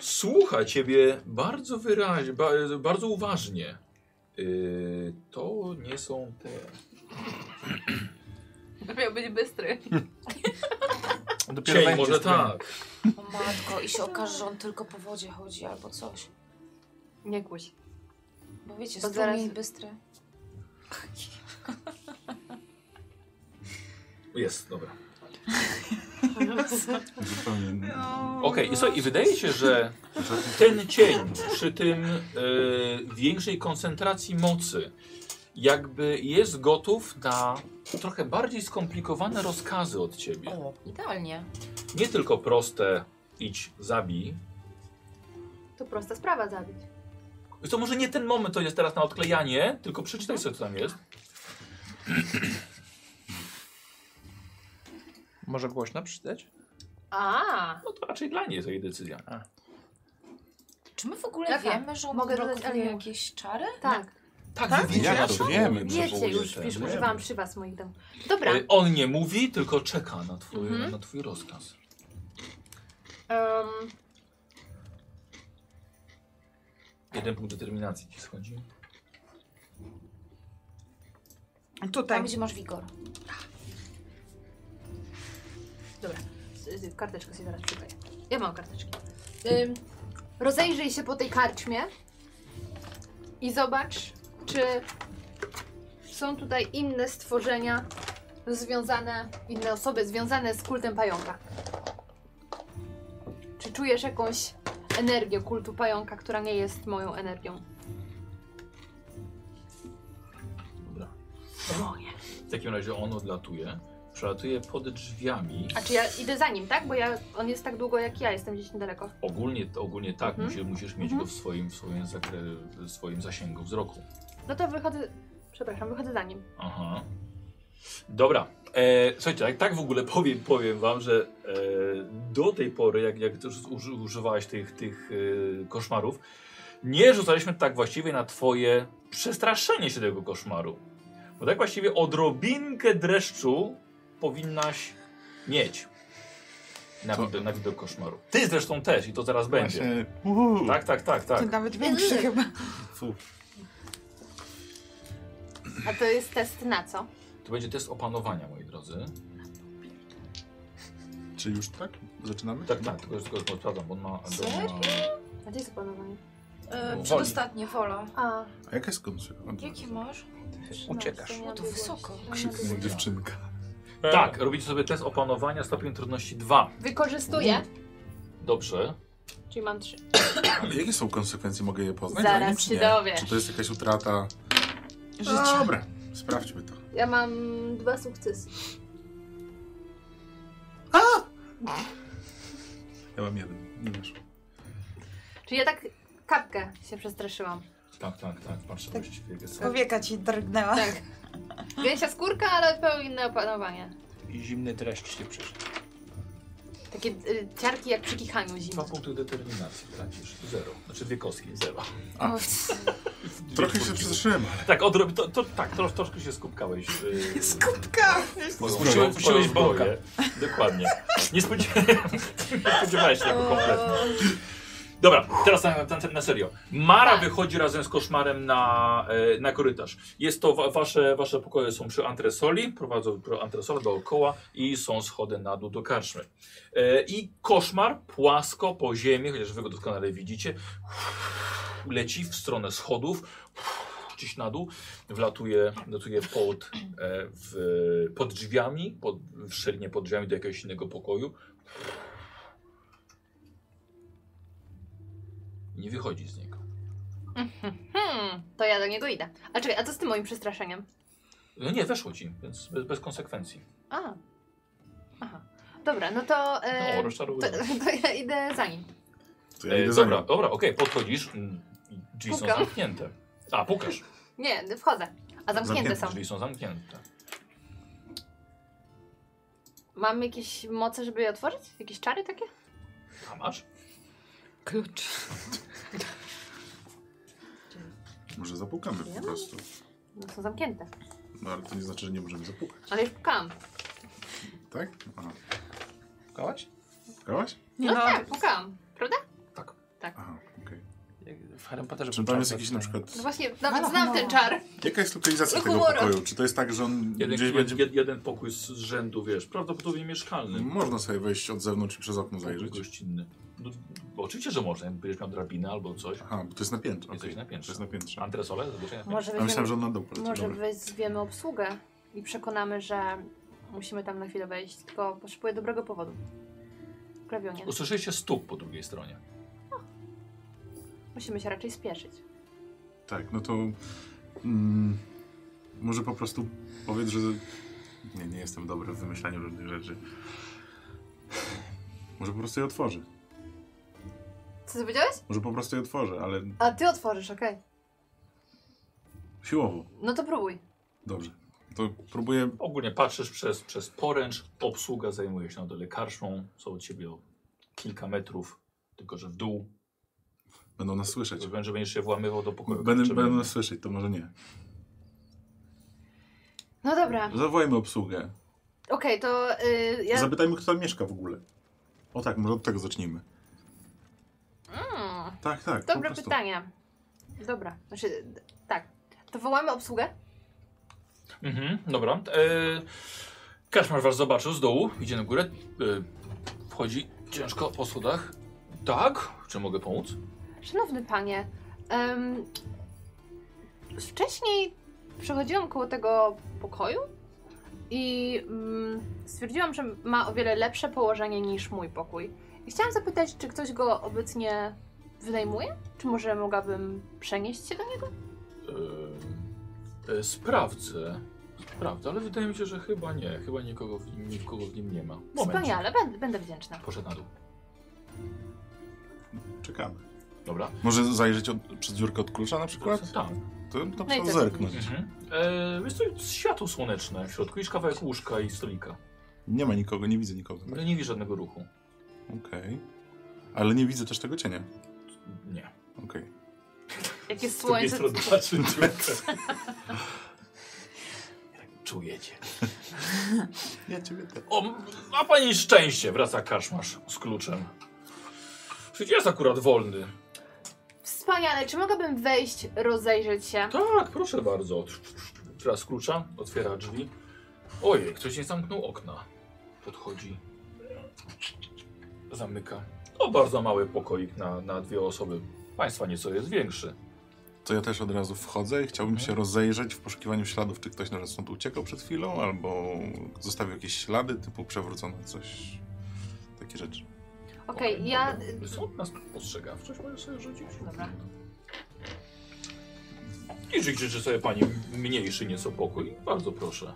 [SPEAKER 3] słucha ciebie bardzo wyraźnie, ba, bardzo uważnie. Yy, to nie są te.
[SPEAKER 6] Miał być bystry.
[SPEAKER 1] Dopiero
[SPEAKER 3] Cień,
[SPEAKER 1] będzie
[SPEAKER 3] może
[SPEAKER 1] sprawny.
[SPEAKER 3] tak.
[SPEAKER 7] O matko, i się okaże, że on tylko po wodzie chodzi albo coś.
[SPEAKER 6] Nie głoś.
[SPEAKER 7] Bo wiecie,
[SPEAKER 6] To
[SPEAKER 7] strumień
[SPEAKER 6] zaraz-
[SPEAKER 7] bystry.
[SPEAKER 3] Jest, dobra.
[SPEAKER 2] Zupełnie.
[SPEAKER 6] No.
[SPEAKER 3] Okej, i słuchaj, i wydaje się, że ten cień przy tym e, większej koncentracji mocy jakby jest gotów na trochę bardziej skomplikowane rozkazy od ciebie.
[SPEAKER 7] O, idealnie.
[SPEAKER 3] Nie tylko proste idź, zabij.
[SPEAKER 6] To prosta sprawa zabić.
[SPEAKER 3] Wiesz Co może nie ten moment to jest teraz na odklejanie, tylko przeczytaj sobie, co tam jest.
[SPEAKER 1] Może głośno przeczytać?
[SPEAKER 6] A,
[SPEAKER 3] No to raczej dla niej jest jej decyzja.
[SPEAKER 7] Czy my w ogóle
[SPEAKER 6] Lata.
[SPEAKER 7] wiemy, że on
[SPEAKER 6] Mogę
[SPEAKER 7] Mogę
[SPEAKER 6] dodać
[SPEAKER 7] blokuje
[SPEAKER 6] alię.
[SPEAKER 7] jakieś czary?
[SPEAKER 6] tak.
[SPEAKER 3] Tak,
[SPEAKER 5] Tak?
[SPEAKER 3] wy wiecie,
[SPEAKER 2] Ja
[SPEAKER 3] na
[SPEAKER 2] to
[SPEAKER 3] to.
[SPEAKER 2] wiemy.
[SPEAKER 6] Wiecie, już
[SPEAKER 3] Ten,
[SPEAKER 6] wiesz,
[SPEAKER 3] wiemy.
[SPEAKER 6] używałam przy was moich domów. Dobra,
[SPEAKER 3] Y, On nie mówi, tylko czeka na twój,
[SPEAKER 6] Mhm.
[SPEAKER 3] na twój rozkaz.
[SPEAKER 6] em,
[SPEAKER 3] Jeden punkt determinacji ci schodzi.
[SPEAKER 7] Tam,
[SPEAKER 5] Tutaj.
[SPEAKER 7] gdzie masz wigor.
[SPEAKER 6] dobra. Y, y, Karteczkę sobie zaraz przydaję. Ja mam karteczki. Ym, rozejrzyj się po tej karczmie i zobacz, czy są tutaj inne stworzenia związane, inne osoby związane z kultem pająka. Czy czujesz jakąś energię kultu pająka, która nie jest moją energią?
[SPEAKER 3] Dobra. W takim razie on odlatuje, przelatuje pod drzwiami.
[SPEAKER 6] A czy ja idę za nim, tak? Bo ja, on jest tak długo jak ja, jestem gdzieś niedaleko.
[SPEAKER 3] Ogólnie, ogólnie tak,
[SPEAKER 6] Mhm.
[SPEAKER 3] musisz, musisz mieć go w swoim, w, swoim zakre, w swoim zasięgu wzroku.
[SPEAKER 6] No to wychodzę, przepraszam, wychodzę za nim.
[SPEAKER 3] Aha. Dobra. E, słuchajcie, tak, tak w ogóle powiem, powiem wam, że e, do tej pory, jak, jak też uży, używałaś tych, tych e, koszmarów, nie rzucaliśmy tak właściwie na twoje przestraszenie się tego koszmaru. Bo tak właściwie odrobinkę dreszczu powinnaś mieć na,
[SPEAKER 2] To-
[SPEAKER 3] widok, na widok koszmaru. Ty zresztą też i to zaraz będzie.
[SPEAKER 2] Właśnie, uhu.
[SPEAKER 3] Tak, tak, tak,
[SPEAKER 5] To
[SPEAKER 3] tak.
[SPEAKER 5] nawet większy chyba.
[SPEAKER 2] Fu.
[SPEAKER 6] A to jest test na co?
[SPEAKER 3] To będzie test opanowania, moi drodzy.
[SPEAKER 2] Czy już tak? Zaczynamy?
[SPEAKER 3] Tak, tak, tylko, tylko tylko sprawdzam, bo on ma... bo on ma-
[SPEAKER 6] A gdzie jest opanowanie?
[SPEAKER 7] Yy,
[SPEAKER 3] Woli.
[SPEAKER 7] przedostatnie, wola.
[SPEAKER 6] A,
[SPEAKER 2] A jaka jest konsekwencja?
[SPEAKER 7] Jakie masz?
[SPEAKER 1] Uciekasz.
[SPEAKER 6] No,
[SPEAKER 7] to wysoko.
[SPEAKER 2] Krzyknęła dziewczynka.
[SPEAKER 3] Tak, robicie sobie test opanowania stopień trudności 2.
[SPEAKER 6] Wykorzystuję,
[SPEAKER 3] Dobrze.
[SPEAKER 6] czyli mam trzy.
[SPEAKER 2] Ale jakie są konsekwencje? Mogę je poznać?
[SPEAKER 6] Zaraz
[SPEAKER 2] Zanim, czy
[SPEAKER 6] się
[SPEAKER 2] nie?
[SPEAKER 6] dowiesz.
[SPEAKER 2] Czy to jest jakaś utrata?
[SPEAKER 5] Życia.
[SPEAKER 2] Dobra, sprawdźmy to.
[SPEAKER 6] Ja mam dwa sukcesy.
[SPEAKER 2] Ja mam jeden. Nie wiesz.
[SPEAKER 6] Czyli ja tak kapkę się przestraszyłam.
[SPEAKER 3] Tak, tak, tak. Patrzę tak. właściwie. jak jest.
[SPEAKER 5] Powieka ci drgnęła.
[SPEAKER 6] Tak. Gęsia skórka, ale pełne opanowanie.
[SPEAKER 1] I zimny dreszcz się przyszedł.
[SPEAKER 6] Takie y, ciarki jak przy kichaniu
[SPEAKER 3] Dwa
[SPEAKER 6] zimą.
[SPEAKER 3] punkty determinacji tracisz. Zero. Znaczy dwie kostki. Zero.
[SPEAKER 7] O,
[SPEAKER 2] Trochę się przestraszyłem,
[SPEAKER 3] Tak, odrob... to, to, tak trosz, troszkę się skupkałeś. Yy,
[SPEAKER 5] Skupka!
[SPEAKER 3] po-
[SPEAKER 2] Spuściłeś-
[SPEAKER 3] po-
[SPEAKER 1] spuściłeś
[SPEAKER 3] po rozboju. Dokładnie. Nie spodziewałem spodziewałeś się tego kompletnie. Dobra, teraz na, na, na serio. Mara wychodzi razem z koszmarem na, e, na korytarz. Jest to, wa, wasze, wasze pokoje są przy antresoli, prowadzą do antresola dookoła i są schody na dół do karczmy. E, I koszmar płasko po ziemi, chociaż wy go doskonale widzicie, leci w stronę schodów, gdzieś na dół, wlatuje, wlatuje pod, e, w, pod drzwiami, pod, w szczelinie pod drzwiami do jakiegoś innego pokoju. Nie wychodzi z niego.
[SPEAKER 6] Hmm, to ja do niego idę. A czekaj, a co z tym moim przestraszeniem?
[SPEAKER 3] No nie, weszło ci, więc bez, bez konsekwencji.
[SPEAKER 6] A. Aha. Dobra, no to, e,
[SPEAKER 3] No,
[SPEAKER 6] to,
[SPEAKER 3] rozczarowuję.
[SPEAKER 6] to ja idę za nim.
[SPEAKER 2] to ja
[SPEAKER 3] E,
[SPEAKER 2] idę za
[SPEAKER 3] dobra,
[SPEAKER 2] nim.
[SPEAKER 3] dobra, okej, podchodzisz. mm, i Drzwi są
[SPEAKER 6] Pukam.
[SPEAKER 3] zamknięte. A, pukasz.
[SPEAKER 6] Nie, wchodzę. A zamknięte są.
[SPEAKER 3] Drzwi są zamknięte.
[SPEAKER 6] Mam jakieś moce, żeby je otworzyć? Jakieś czary takie?
[SPEAKER 3] A masz?
[SPEAKER 7] Klucz.
[SPEAKER 2] Może zapukamy
[SPEAKER 6] Ja?
[SPEAKER 2] po prostu.
[SPEAKER 6] No są zamknięte.
[SPEAKER 2] No ale to nie znaczy, że nie możemy zapukać,
[SPEAKER 6] Ale już pukałam.
[SPEAKER 2] tak? Aha.
[SPEAKER 1] Pukałaś?
[SPEAKER 2] Pukałaś?
[SPEAKER 6] No, tak, pukałam. Prawda?
[SPEAKER 2] Aha, okej.
[SPEAKER 1] Jak W Harry Potterze
[SPEAKER 2] Czy
[SPEAKER 1] był
[SPEAKER 2] tam jest
[SPEAKER 1] czas
[SPEAKER 2] jakiś
[SPEAKER 1] na
[SPEAKER 2] na przykład...
[SPEAKER 6] No właśnie, nawet
[SPEAKER 5] Ale
[SPEAKER 6] znam ten
[SPEAKER 5] humora.
[SPEAKER 6] czar.
[SPEAKER 2] Jaka jest lokalizacja
[SPEAKER 6] No
[SPEAKER 2] tego
[SPEAKER 6] humoru.
[SPEAKER 2] pokoju? Czy to jest tak, że on
[SPEAKER 3] Jeden,
[SPEAKER 2] gdzieś będzie...
[SPEAKER 3] jed, jeden pokój z z rzędu, wiesz, prawdopodobnie mieszkalny.
[SPEAKER 2] Można sobie wejść od zewnątrz i przez okno zajrzeć?
[SPEAKER 3] Gościnny. No, bo oczywiście, że można. jak Będziesz miał drabinę albo coś.
[SPEAKER 2] Aha, bo to jest na piętrze.
[SPEAKER 3] Jesteś
[SPEAKER 2] okej.
[SPEAKER 3] na piętrze.
[SPEAKER 2] To jest na piętrze.
[SPEAKER 3] Antresole? Zobaczenia.
[SPEAKER 6] Może
[SPEAKER 2] A myślałem,
[SPEAKER 6] weźmiemy,
[SPEAKER 2] że on na dół poleci.
[SPEAKER 6] może
[SPEAKER 2] Dobra.
[SPEAKER 6] weźmiemy obsługę i przekonamy, że musimy tam na chwilę wejść, tylko potrzebuję dobrego powodu. Klawionie.
[SPEAKER 3] Usłyszeliście stóp po drugiej stronie.
[SPEAKER 6] Musimy się raczej spieszyć.
[SPEAKER 2] Tak, no to... Mm, może po prostu powiedz, że... Nie, nie jestem dobry w wymyślaniu różnych rzeczy. Może po prostu je otworzy.
[SPEAKER 6] Co ty powiedziałeś?
[SPEAKER 2] Może po prostu je otworzę, ale
[SPEAKER 6] A ty otworzysz, okej.
[SPEAKER 2] siłowo.
[SPEAKER 6] No to próbuj.
[SPEAKER 2] Dobrze. To próbuję
[SPEAKER 3] Ogólnie patrzysz przez, przez poręcz, obsługa zajmuje się na dole karczmą, są od ciebie o kilka metrów, tylko że w dół.
[SPEAKER 2] Będą nas słyszeć.
[SPEAKER 3] Wiem, że będziesz się włamywał do pokoju.
[SPEAKER 2] Będę,
[SPEAKER 3] Czy-
[SPEAKER 2] będą nas słyszeć, to może nie.
[SPEAKER 6] No dobra, okej,
[SPEAKER 2] Zawołajmy obsługę.
[SPEAKER 6] to y, ja...
[SPEAKER 2] Zapytajmy, kto tam mieszka w ogóle. O tak, może od tego zacznijmy.
[SPEAKER 6] Mm,
[SPEAKER 2] Tak, tak. po
[SPEAKER 6] dobre
[SPEAKER 2] prostu.
[SPEAKER 6] pytanie. Dobra, znaczy, d- tak. To wołamy obsługę?
[SPEAKER 3] Mhm, dobra. E, Kaszmar was zobaczył z dołu, idzie na górę, e, wchodzi ciężko po schodach. Tak? Czy mogę pomóc?
[SPEAKER 6] Szanowny panie, em, wcześniej przechodziłam koło tego pokoju i mm, stwierdziłam, że ma o wiele lepsze położenie niż mój pokój. I chciałam zapytać, czy ktoś go obecnie wynajmuje? Czy może mogłabym przenieść się do niego?
[SPEAKER 3] E, e, sprawdzę. Sprawdzę, ale wydaje mi się, że chyba nie. Chyba nikogo w, nikogo w nim nie ma. Moment.
[SPEAKER 6] Wspaniale, będę, będę wdzięczna.
[SPEAKER 3] Poszedł na dół.
[SPEAKER 2] Czekamy.
[SPEAKER 3] Dobra.
[SPEAKER 2] Może zajrzeć od, przez dziurkę od klucza na przykład?
[SPEAKER 3] Tak.
[SPEAKER 2] To tam
[SPEAKER 6] No i
[SPEAKER 2] trzeba
[SPEAKER 6] co
[SPEAKER 2] zerknąć.
[SPEAKER 3] Mhm. E, jest to światło słoneczne w środku, i kawałek łóżka i stolika.
[SPEAKER 2] Nie ma nikogo, nie widzę nikogo.
[SPEAKER 3] Ale nie widzisz żadnego ruchu.
[SPEAKER 2] Okej. Ale nie widzę też tego cienia.
[SPEAKER 3] Nie.
[SPEAKER 2] Okej.
[SPEAKER 6] Jakie słońce...
[SPEAKER 3] patrzy Czujecie.
[SPEAKER 2] Ja ciebie też.
[SPEAKER 3] O, ma pani szczęście, wraca kaszmarz z kluczem. Przecież jest akurat wolny.
[SPEAKER 6] Wspaniale, czy mogłabym wejść, rozejrzeć się?
[SPEAKER 3] Tak, proszę bardzo. Teraz z klucza, otwiera drzwi. Ojej, ktoś nie zamknął okna. Podchodzi. Zamyka. O, bardzo mały pokoik na, na dwie osoby. Państwa nieco jest większy.
[SPEAKER 2] To ja też od razu wchodzę i chciałbym
[SPEAKER 3] Mhm.
[SPEAKER 2] się rozejrzeć w poszukiwaniu śladów, czy ktoś nas stąd uciekał przed chwilą, albo zostawił jakieś ślady, typu przewrócone coś. Takie rzeczy.
[SPEAKER 6] Okej, ja...
[SPEAKER 3] dobra. Sąd nas postrzegawczość może sobie rzucić.
[SPEAKER 6] Dobra.
[SPEAKER 3] I ży- życzy sobie pani mniejszy nieco pokój. Bardzo proszę.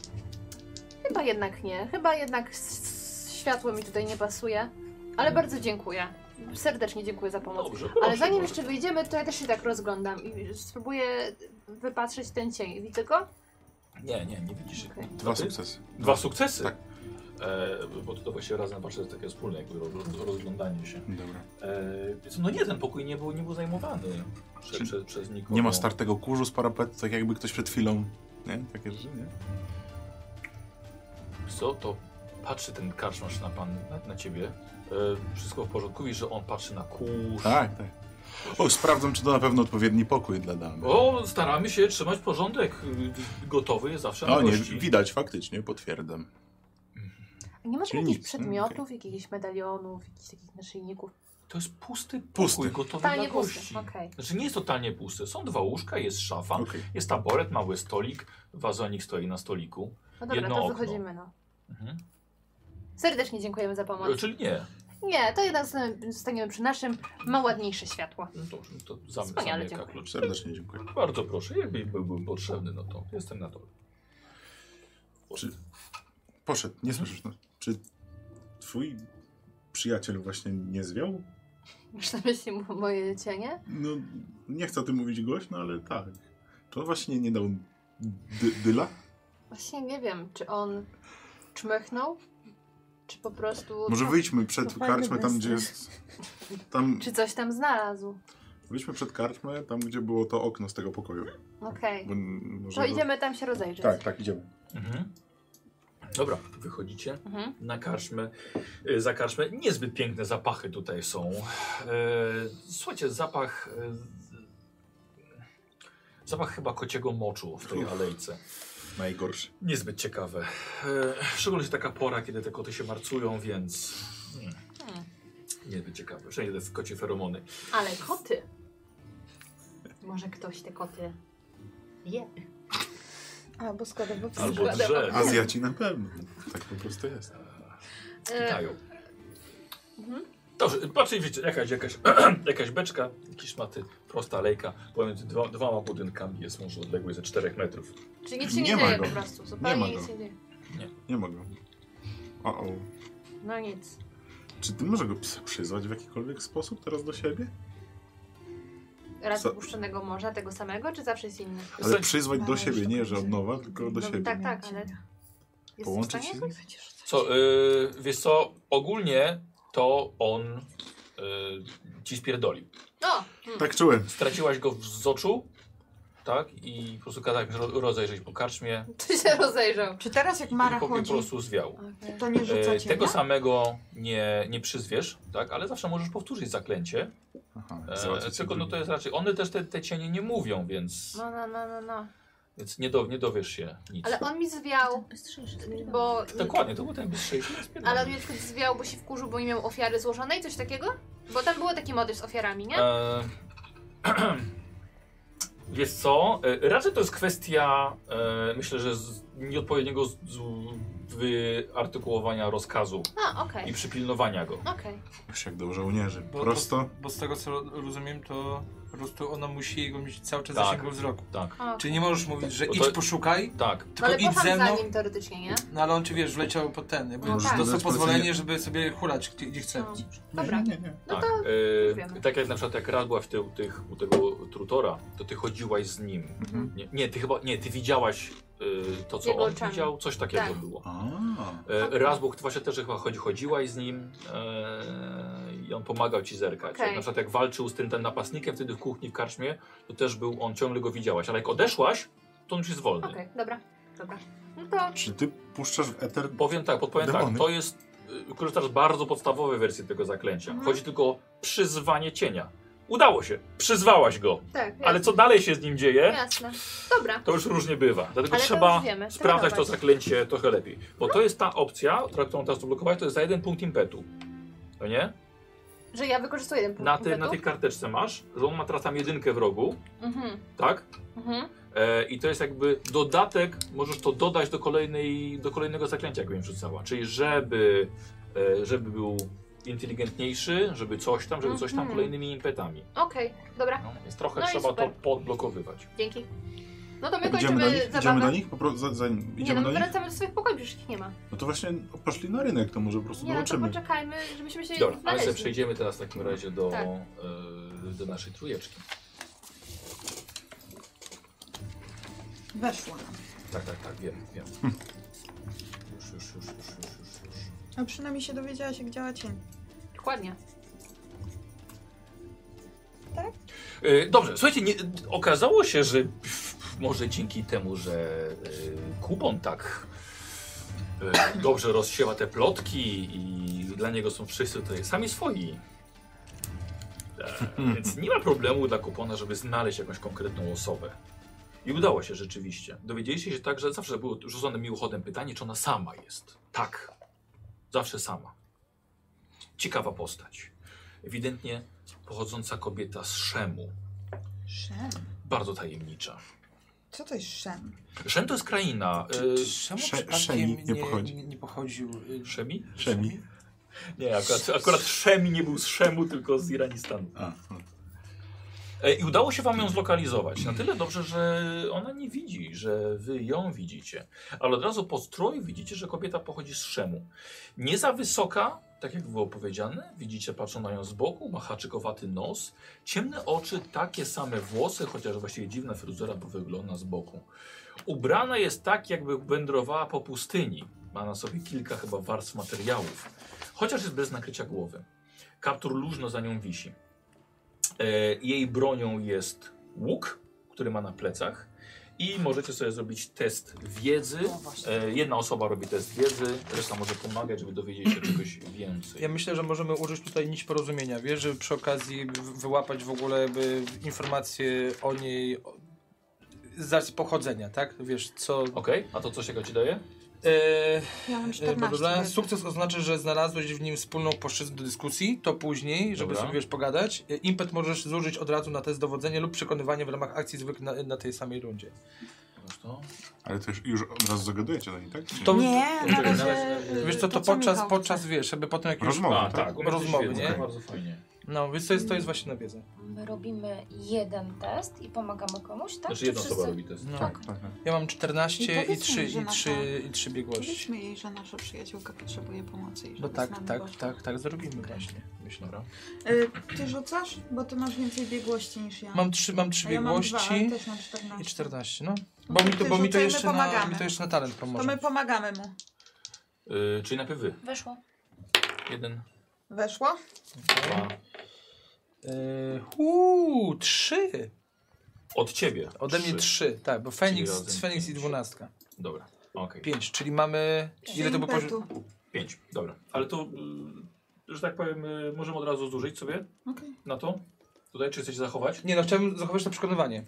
[SPEAKER 6] Chyba jednak nie. Chyba jednak s- s- światło mi tutaj nie pasuje. Ale bardzo dziękuję. Serdecznie dziękuję za pomoc.
[SPEAKER 3] Dobrze, proszę.
[SPEAKER 6] Ale zanim
[SPEAKER 3] bardzo.
[SPEAKER 6] jeszcze wyjdziemy, to ja też się tak rozglądam i spróbuję wypatrzeć ten cień. Widzę go?
[SPEAKER 3] Nie, nie, nie widzisz.
[SPEAKER 6] Okej.
[SPEAKER 2] Dwa
[SPEAKER 3] Ty?
[SPEAKER 2] sukcesy.
[SPEAKER 3] Dwa sukcesy?
[SPEAKER 2] Tak.
[SPEAKER 3] E, bo tutaj właśnie razem patrzę, to takie wspólne jakby roz- rozglądanie się.
[SPEAKER 2] Dobra.
[SPEAKER 3] E, więc no nie, ten pokój nie był, nie był zajmowany prze, prze, przez nikogo.
[SPEAKER 2] Nie ma startego kurzu z parapetu, tak jakby ktoś przed chwilą. Nie? Takie rzeczy, nie?
[SPEAKER 3] Co to? Patrzy ten karczmasz na pan, na, na ciebie. E, wszystko w porządku, widzisz, że on patrzy na kurz.
[SPEAKER 2] Tak, tak. O, sprawdzam, czy to na pewno odpowiedni pokój dla damy.
[SPEAKER 3] O, staramy się trzymać porządek. Y, Gotowy jest zawsze na
[SPEAKER 2] O nie,
[SPEAKER 3] gości.
[SPEAKER 2] widać faktycznie, potwierdzam.
[SPEAKER 6] Nie masz
[SPEAKER 2] Czyli
[SPEAKER 6] jakichś
[SPEAKER 2] nic, no,
[SPEAKER 6] przedmiotów, jakichś medalionów, jakichs takich naszyjników?
[SPEAKER 3] To jest pusty pokój,
[SPEAKER 2] Pusty.
[SPEAKER 3] gotowy
[SPEAKER 6] Totalnie
[SPEAKER 3] dla gości.
[SPEAKER 6] pusty, okej.
[SPEAKER 3] Znaczy nie jest totalnie pusty. Są dwa łóżka, jest szafa,
[SPEAKER 2] Okej.
[SPEAKER 3] jest taboret, mały stolik, wazonik stoi na stoliku.
[SPEAKER 6] No dobra,
[SPEAKER 3] Jedno
[SPEAKER 6] to
[SPEAKER 3] okno.
[SPEAKER 6] wychodzimy, no.
[SPEAKER 3] Mhm.
[SPEAKER 6] Serdecznie dziękujemy za
[SPEAKER 3] E,
[SPEAKER 6] pomoc.
[SPEAKER 3] Czyli nie.
[SPEAKER 6] Nie, to jednak zostaniemy- zostaniemy przy naszym, ma ładniejsze światło.
[SPEAKER 3] No dobrze, to zam,
[SPEAKER 6] Wspaniale,
[SPEAKER 3] zamyka
[SPEAKER 6] dziękuję.
[SPEAKER 3] klucz.
[SPEAKER 2] Serdecznie dziękuję.
[SPEAKER 3] Bardzo proszę, jakby byłbym potrzebny, no to jestem na dole.
[SPEAKER 2] Czy... Poszedł, nie słyszysz. No. Czy twój przyjaciel właśnie nie zwiał?
[SPEAKER 6] Masz na myśli mo- moje cienie?
[SPEAKER 2] No, nie chcę o tym mówić głośno, ale tak. To właśnie nie dał dy dyla?
[SPEAKER 6] Właśnie nie wiem, czy on czmychnął, czy po prostu...
[SPEAKER 2] Może wyjdźmy przed
[SPEAKER 5] To fajny
[SPEAKER 2] karczmę, tam gdzie jest... Tam,
[SPEAKER 6] Czy coś tam znalazł?
[SPEAKER 2] wyjdźmy przed karczmę, tam gdzie było to okno z tego pokoju.
[SPEAKER 6] Okej.
[SPEAKER 2] Bo n- może
[SPEAKER 6] To idziemy tam się rozejrzeć.
[SPEAKER 2] Tak, tak, idziemy.
[SPEAKER 3] Mhm. Dobra, wychodzicie.
[SPEAKER 6] Mhm.
[SPEAKER 3] na karczmę, y, za karczmę. Niezbyt piękne zapachy tutaj są. E, Słuchajcie, zapach... e, z- Zapach chyba kociego moczu w tej
[SPEAKER 2] Uff.
[SPEAKER 3] alejce.
[SPEAKER 2] Najgorszy.
[SPEAKER 3] Niezbyt ciekawe. E, Szczególnie że taka pora, kiedy te koty się marcują, więc... mm,
[SPEAKER 6] Hmm.
[SPEAKER 3] Niezbyt ciekawe. Wszędzie te kocie feromony.
[SPEAKER 6] Ale koty. Może ktoś te koty je.
[SPEAKER 5] Albo składowo
[SPEAKER 3] Albo drzew.
[SPEAKER 2] Azjaci na pewno. Tak po prostu jest.
[SPEAKER 6] E,
[SPEAKER 2] Tak.
[SPEAKER 3] Pytają.
[SPEAKER 6] Mhm.
[SPEAKER 3] Dobrze, patrzcie, wiecie, jakaś, jakaś, jakaś beczka, jakieś maty, prosta lejka, pomiędzy dwa, dwoma budynkami jest może odległość ze 4 metrów.
[SPEAKER 6] Czyli nic się nie,
[SPEAKER 2] Nie ma
[SPEAKER 6] dzieje
[SPEAKER 2] go.
[SPEAKER 6] po prostu.
[SPEAKER 2] Nie ma
[SPEAKER 6] Zupełnie
[SPEAKER 2] go.
[SPEAKER 6] nic się nie dzieje.
[SPEAKER 2] Nie mogę. O, o.
[SPEAKER 6] No nic.
[SPEAKER 2] Czy ty może go ps- przyzwać w jakikolwiek sposób teraz do siebie?
[SPEAKER 6] Raz
[SPEAKER 2] Co-
[SPEAKER 6] opuszczonego morza, tego samego, czy zawsze jest inny?
[SPEAKER 2] Ale
[SPEAKER 3] Słuchaj-
[SPEAKER 2] przyzwać do
[SPEAKER 5] Znaleźć
[SPEAKER 2] siebie,
[SPEAKER 5] to
[SPEAKER 2] nie, że od
[SPEAKER 5] będzie.
[SPEAKER 2] nowa, tylko do
[SPEAKER 5] No,
[SPEAKER 2] siebie.
[SPEAKER 6] Tak, tak, ale jest
[SPEAKER 2] Połączyć
[SPEAKER 6] w
[SPEAKER 2] się?
[SPEAKER 6] stanie?
[SPEAKER 2] z nim?
[SPEAKER 3] Co, yy, wiesz co, ogólnie to on yy, ci spierdolił.
[SPEAKER 6] O! Hmm.
[SPEAKER 2] Tak czułem.
[SPEAKER 3] Straciłaś go z oczu, tak? I po prostu kazałeś ro rozejrzeć po karczmie
[SPEAKER 6] Ty się rozejrzał.
[SPEAKER 5] Czy teraz jak
[SPEAKER 3] i
[SPEAKER 5] Mara
[SPEAKER 3] po, po
[SPEAKER 5] chodzi,
[SPEAKER 3] prostu zwiał.
[SPEAKER 5] to
[SPEAKER 1] E,
[SPEAKER 5] nie
[SPEAKER 3] Yy,
[SPEAKER 5] rzuca cię?
[SPEAKER 3] tego samego nie, nie przyzwiesz, tak? Ale zawsze możesz powtórzyć zaklęcie.
[SPEAKER 2] Aha,
[SPEAKER 3] E,
[SPEAKER 2] załatwić
[SPEAKER 3] tylko no
[SPEAKER 2] drugi.
[SPEAKER 3] to jest raczej, one też te, te cienie nie mówią, więc,
[SPEAKER 6] No, no, no, no, no.
[SPEAKER 3] więc nie, do, nie dowiesz się nic.
[SPEAKER 6] Ale on mi zwiał, bo...
[SPEAKER 3] Dokładnie, to był ten bez sześciu.
[SPEAKER 6] Ale on mnie wtedy zwiał, bo się wkurzył, bo nie miał ofiary złożonej, coś takiego? Bo tam było taki motyw z ofiarami, nie?
[SPEAKER 3] E, Wiesz co? E, Raczej to jest kwestia, e, myślę, że z nieodpowiedniego z, z, wyartykułowania rozkazu
[SPEAKER 6] A, okej.
[SPEAKER 3] i przypilnowania go.
[SPEAKER 6] Okej.
[SPEAKER 2] Już jak do żołnierzy.
[SPEAKER 1] Bo-
[SPEAKER 2] Prosto.
[SPEAKER 1] Bo z tego co rozumiem, to po prostu ona musi go mieć cały czas
[SPEAKER 3] Tak.
[SPEAKER 1] tak. No zasięgu wzroku.
[SPEAKER 3] Tak,
[SPEAKER 6] O.
[SPEAKER 1] Czyli nie możesz mówić, że
[SPEAKER 3] Bo
[SPEAKER 1] idź
[SPEAKER 3] to-
[SPEAKER 1] poszukaj,
[SPEAKER 3] tak.
[SPEAKER 1] tylko
[SPEAKER 6] No ale
[SPEAKER 1] idź
[SPEAKER 6] poszłam
[SPEAKER 1] ze mną.
[SPEAKER 6] za nim teoretycznie, nie?
[SPEAKER 1] No ale on ci wiesz, wleciał po ten, jakby
[SPEAKER 6] No
[SPEAKER 1] no,
[SPEAKER 6] tak.
[SPEAKER 1] dostał
[SPEAKER 2] Dodać
[SPEAKER 1] pozwolenie,
[SPEAKER 2] polecenie.
[SPEAKER 1] żeby sobie hulać gdzie, gdzie chce.
[SPEAKER 6] No. Dobra.
[SPEAKER 2] Nie, nie, nie.
[SPEAKER 6] No
[SPEAKER 3] tak.
[SPEAKER 6] to
[SPEAKER 3] E,
[SPEAKER 6] wiemy.
[SPEAKER 3] tak jak na przykład jak raz byłaś w ty, u, tych, u tego Trutora, to ty chodziłaś z nim.
[SPEAKER 2] Mhm.
[SPEAKER 3] Nie, nie ty chyba, nie, ty widziałaś e, to, co
[SPEAKER 6] Jego
[SPEAKER 3] on
[SPEAKER 6] oczami.
[SPEAKER 3] widział, coś takiego
[SPEAKER 6] Tak.
[SPEAKER 3] było.
[SPEAKER 2] A,
[SPEAKER 3] E, Raz Bóg właśnie też chyba chodzi, chodziłaś z nim e, i on pomagał ci zerkać.
[SPEAKER 6] Okej.
[SPEAKER 3] Jak Na przykład jak walczył z tym ten napastnikiem wtedy w kuchni w karczmie, to też był on, ciągle go widziałaś, ale jak odeszłaś, to on już jest wolny.
[SPEAKER 6] Okej, dobra, dobra. No to
[SPEAKER 2] Czy ty puszczasz w eter?
[SPEAKER 3] Powiem tak, podpowiem tak,
[SPEAKER 2] Demony.
[SPEAKER 3] to jest, y, korzystasz z bardzo podstawowej wersji tego zaklęcia.
[SPEAKER 6] Mhm.
[SPEAKER 3] Chodzi tylko o przyzwanie cienia. Udało się, przyzwałaś go,
[SPEAKER 6] tak, jasne.
[SPEAKER 3] ale co dalej się z nim dzieje,
[SPEAKER 6] jasne. Dobra.
[SPEAKER 3] to już różnie bywa. Dlatego
[SPEAKER 6] Ale to
[SPEAKER 3] trzeba
[SPEAKER 6] już wiemy,
[SPEAKER 3] sprawdzać to
[SPEAKER 6] trenować.
[SPEAKER 3] zaklęcie trochę lepiej. Bo to jest ta opcja, która- którą teraz blokowałeś, to jest za jeden punkt impetu. No nie?
[SPEAKER 6] Że ja wykorzystuję jeden punkt
[SPEAKER 3] Na, ty,
[SPEAKER 6] impetu?
[SPEAKER 3] na tej karteczce masz, że on ma teraz tam jedynkę w rogu,
[SPEAKER 6] Mhm,
[SPEAKER 3] tak?
[SPEAKER 6] mhm.
[SPEAKER 3] E, I to jest jakby dodatek, możesz to dodać do, kolejnej, do kolejnego zaklęcia, jakbym rzucała. Czyli żeby, e, żeby był inteligentniejszy, żeby coś tam, żeby coś tam
[SPEAKER 6] Mhm.
[SPEAKER 3] kolejnymi impetami.
[SPEAKER 6] Okej, dobra,
[SPEAKER 3] No, więc trochę
[SPEAKER 6] No i
[SPEAKER 3] trzeba to
[SPEAKER 6] super.
[SPEAKER 3] podblokowywać.
[SPEAKER 6] dzięki. No to my
[SPEAKER 2] Idziemy do
[SPEAKER 6] kończymy
[SPEAKER 2] nich? Idziemy do
[SPEAKER 6] zabawę.
[SPEAKER 2] nich? Po pro... za, za... Idziemy
[SPEAKER 6] Nie, no
[SPEAKER 2] do
[SPEAKER 6] my
[SPEAKER 2] nich?
[SPEAKER 6] wracamy do swoich pokoi, przecież ich nie ma.
[SPEAKER 2] No to właśnie poszli na rynek, to może po prostu
[SPEAKER 6] Nie, no to
[SPEAKER 2] dołączymy.
[SPEAKER 6] poczekajmy, żebyśmy się
[SPEAKER 3] Dobra, ale sobie
[SPEAKER 6] znaleźli.
[SPEAKER 3] przejdziemy teraz w takim razie do,
[SPEAKER 6] Tak.
[SPEAKER 3] e, do naszej trójeczki.
[SPEAKER 5] Weszło nam.
[SPEAKER 3] Tak, tak, tak, wiem, wiem. Już, już, już, już, już, już, już.
[SPEAKER 5] A przynajmniej się dowiedziałaś, jak działa cień.
[SPEAKER 6] Dokładnie.
[SPEAKER 3] E, Dobrze, słuchajcie, nie, okazało się, że pff, może dzięki temu, że e, Kubon tak e, dobrze rozsiewa te plotki i dla niego są wszyscy tutaj sami swoi. E, Więc nie ma problemu dla Kupona, żeby znaleźć jakąś konkretną osobę. I udało się rzeczywiście. Dowiedzieliście się tak, że zawsze było rzucone miłochodem pytanie, czy ona sama jest. Tak. Zawsze sama. Ciekawa postać. Ewidentnie pochodząca kobieta z Szemu.
[SPEAKER 5] Szem.
[SPEAKER 3] Bardzo tajemnicza.
[SPEAKER 5] Co to jest szem?
[SPEAKER 3] Szem to jest kraina.
[SPEAKER 1] Czy,
[SPEAKER 3] y,
[SPEAKER 1] czemu
[SPEAKER 2] Sze-
[SPEAKER 1] przypadkiem
[SPEAKER 2] Szemi
[SPEAKER 1] nie,
[SPEAKER 2] nie pochodzi.
[SPEAKER 1] nie, nie pochodził... y,
[SPEAKER 3] Szemi?
[SPEAKER 2] Szemi.
[SPEAKER 3] Nie, akurat, akurat Szemi nie był z Szemu, tylko z Iranistanu.
[SPEAKER 2] A,
[SPEAKER 3] E, I udało się wam ją zlokalizować. Na tyle dobrze, że ona nie widzi, że wy ją widzicie. Ale od razu po stroju widzicie, że kobieta pochodzi z Szemu. Nie za wysoka, tak jak było powiedziane. Widzicie, patrzą na nią z boku, ma haczykowaty nos, ciemne oczy, takie same włosy, chociaż właściwie dziwna fryzura, bo wygląda z boku. Ubrana jest tak, jakby wędrowała po pustyni. Ma na sobie kilka chyba warstw materiałów. Chociaż jest bez nakrycia głowy. Kaptur luźno za nią wisi. E, jej bronią jest łuk, który ma na plecach. I możecie sobie zrobić test wiedzy.
[SPEAKER 7] No właśnie.
[SPEAKER 3] E, jedna osoba robi test wiedzy, reszta może pomagać, żeby dowiedzieć się czegoś więcej.
[SPEAKER 1] Ja myślę, że możemy użyć tutaj nić porozumienia, wiesz, żeby przy okazji w- wyłapać w ogóle jakby informacje o niej o- z racji pochodzenia, tak? Wiesz, co...
[SPEAKER 3] Okej, a to co się go ci daje?
[SPEAKER 1] Eee,
[SPEAKER 5] Ja mam
[SPEAKER 1] E,
[SPEAKER 5] 14.
[SPEAKER 1] bla, bla, bla.
[SPEAKER 5] wiedzy.
[SPEAKER 1] Sukces oznacza, że znalazłeś w nim wspólną płaszczyznę do dyskusji, to później, żeby
[SPEAKER 3] Dobra.
[SPEAKER 1] sobie wiesz, pogadać. E, Impet możesz zużyć od razu na test dowodzenia lub przekonywanie w ramach akcji zwykłych na, na tej samej rundzie.
[SPEAKER 3] Masz to?
[SPEAKER 2] ale to już, już od razu zagadujecie do niej, tak? Czy
[SPEAKER 1] To-
[SPEAKER 5] Nie, na
[SPEAKER 3] Czekaj, na
[SPEAKER 5] razie...
[SPEAKER 3] razie-
[SPEAKER 5] y,
[SPEAKER 1] Wiesz co, to,
[SPEAKER 5] co
[SPEAKER 1] podczas,
[SPEAKER 5] Michał
[SPEAKER 1] podczas
[SPEAKER 5] chce?
[SPEAKER 1] wiesz, żeby potem jak już...
[SPEAKER 2] Rozmowa, tak?
[SPEAKER 1] Rozmowy, nie?
[SPEAKER 3] Bardzo fajnie.
[SPEAKER 1] No, więc to jest, to jest właśnie na wiedzę.
[SPEAKER 7] My robimy jeden test i pomagamy komuś, tak?
[SPEAKER 3] Znaczy
[SPEAKER 7] Czy
[SPEAKER 3] jedna
[SPEAKER 7] wszyscy-
[SPEAKER 3] osoba robi test.
[SPEAKER 1] No.
[SPEAKER 2] Tak, tak. tak.
[SPEAKER 1] Ja mam 14
[SPEAKER 5] I
[SPEAKER 1] i 3,
[SPEAKER 5] powiedzmy, że
[SPEAKER 1] i
[SPEAKER 5] na
[SPEAKER 1] 3, i 3 biegłości.
[SPEAKER 5] Powiedzmy jej, że nasza przyjaciółka potrzebuje pomocy i żeby
[SPEAKER 1] No
[SPEAKER 5] z
[SPEAKER 1] tak,
[SPEAKER 5] nami
[SPEAKER 1] tak,
[SPEAKER 5] była.
[SPEAKER 1] tak, tak zrobimy właśnie. Myślę.
[SPEAKER 5] Y, ty rzucasz? Bo ty masz więcej biegłości niż ja.
[SPEAKER 1] Mam 3, mam 3
[SPEAKER 5] A ja mam dwa, ale
[SPEAKER 1] biegłości
[SPEAKER 5] też mam 14.
[SPEAKER 1] i 14, no. Bo mi to, bo mi to
[SPEAKER 5] Rzucajmy,
[SPEAKER 1] jeszcze na,
[SPEAKER 5] pomagamy.
[SPEAKER 1] mi to jeszcze na talent
[SPEAKER 5] To
[SPEAKER 1] pomoże.
[SPEAKER 5] my pomagamy mu.
[SPEAKER 3] Yy, czyli najpierw wy.
[SPEAKER 7] Weszło. No
[SPEAKER 3] Jeden,
[SPEAKER 5] Weszło?
[SPEAKER 1] Tak.
[SPEAKER 3] dwa.
[SPEAKER 1] Eee, Uuu, 3!
[SPEAKER 3] Od ciebie.
[SPEAKER 1] Ode mnie
[SPEAKER 3] Trzy.
[SPEAKER 1] 3, tak, bo
[SPEAKER 3] Czyli razem
[SPEAKER 1] Feniks, Feniks i
[SPEAKER 3] pięć.
[SPEAKER 1] dwunastka.
[SPEAKER 3] Dobra. Okej.
[SPEAKER 1] 5, czyli mamy. Ile to było
[SPEAKER 5] Impetu.
[SPEAKER 1] poziom?
[SPEAKER 3] Pięć. Dobra. Ale to, y, że tak powiem, y, możemy od razu zużyć sobie
[SPEAKER 5] Okej.
[SPEAKER 3] na to? Tutaj, czy chcecie zachować?
[SPEAKER 1] Nie no, chciałbym zachować to przekonywanie.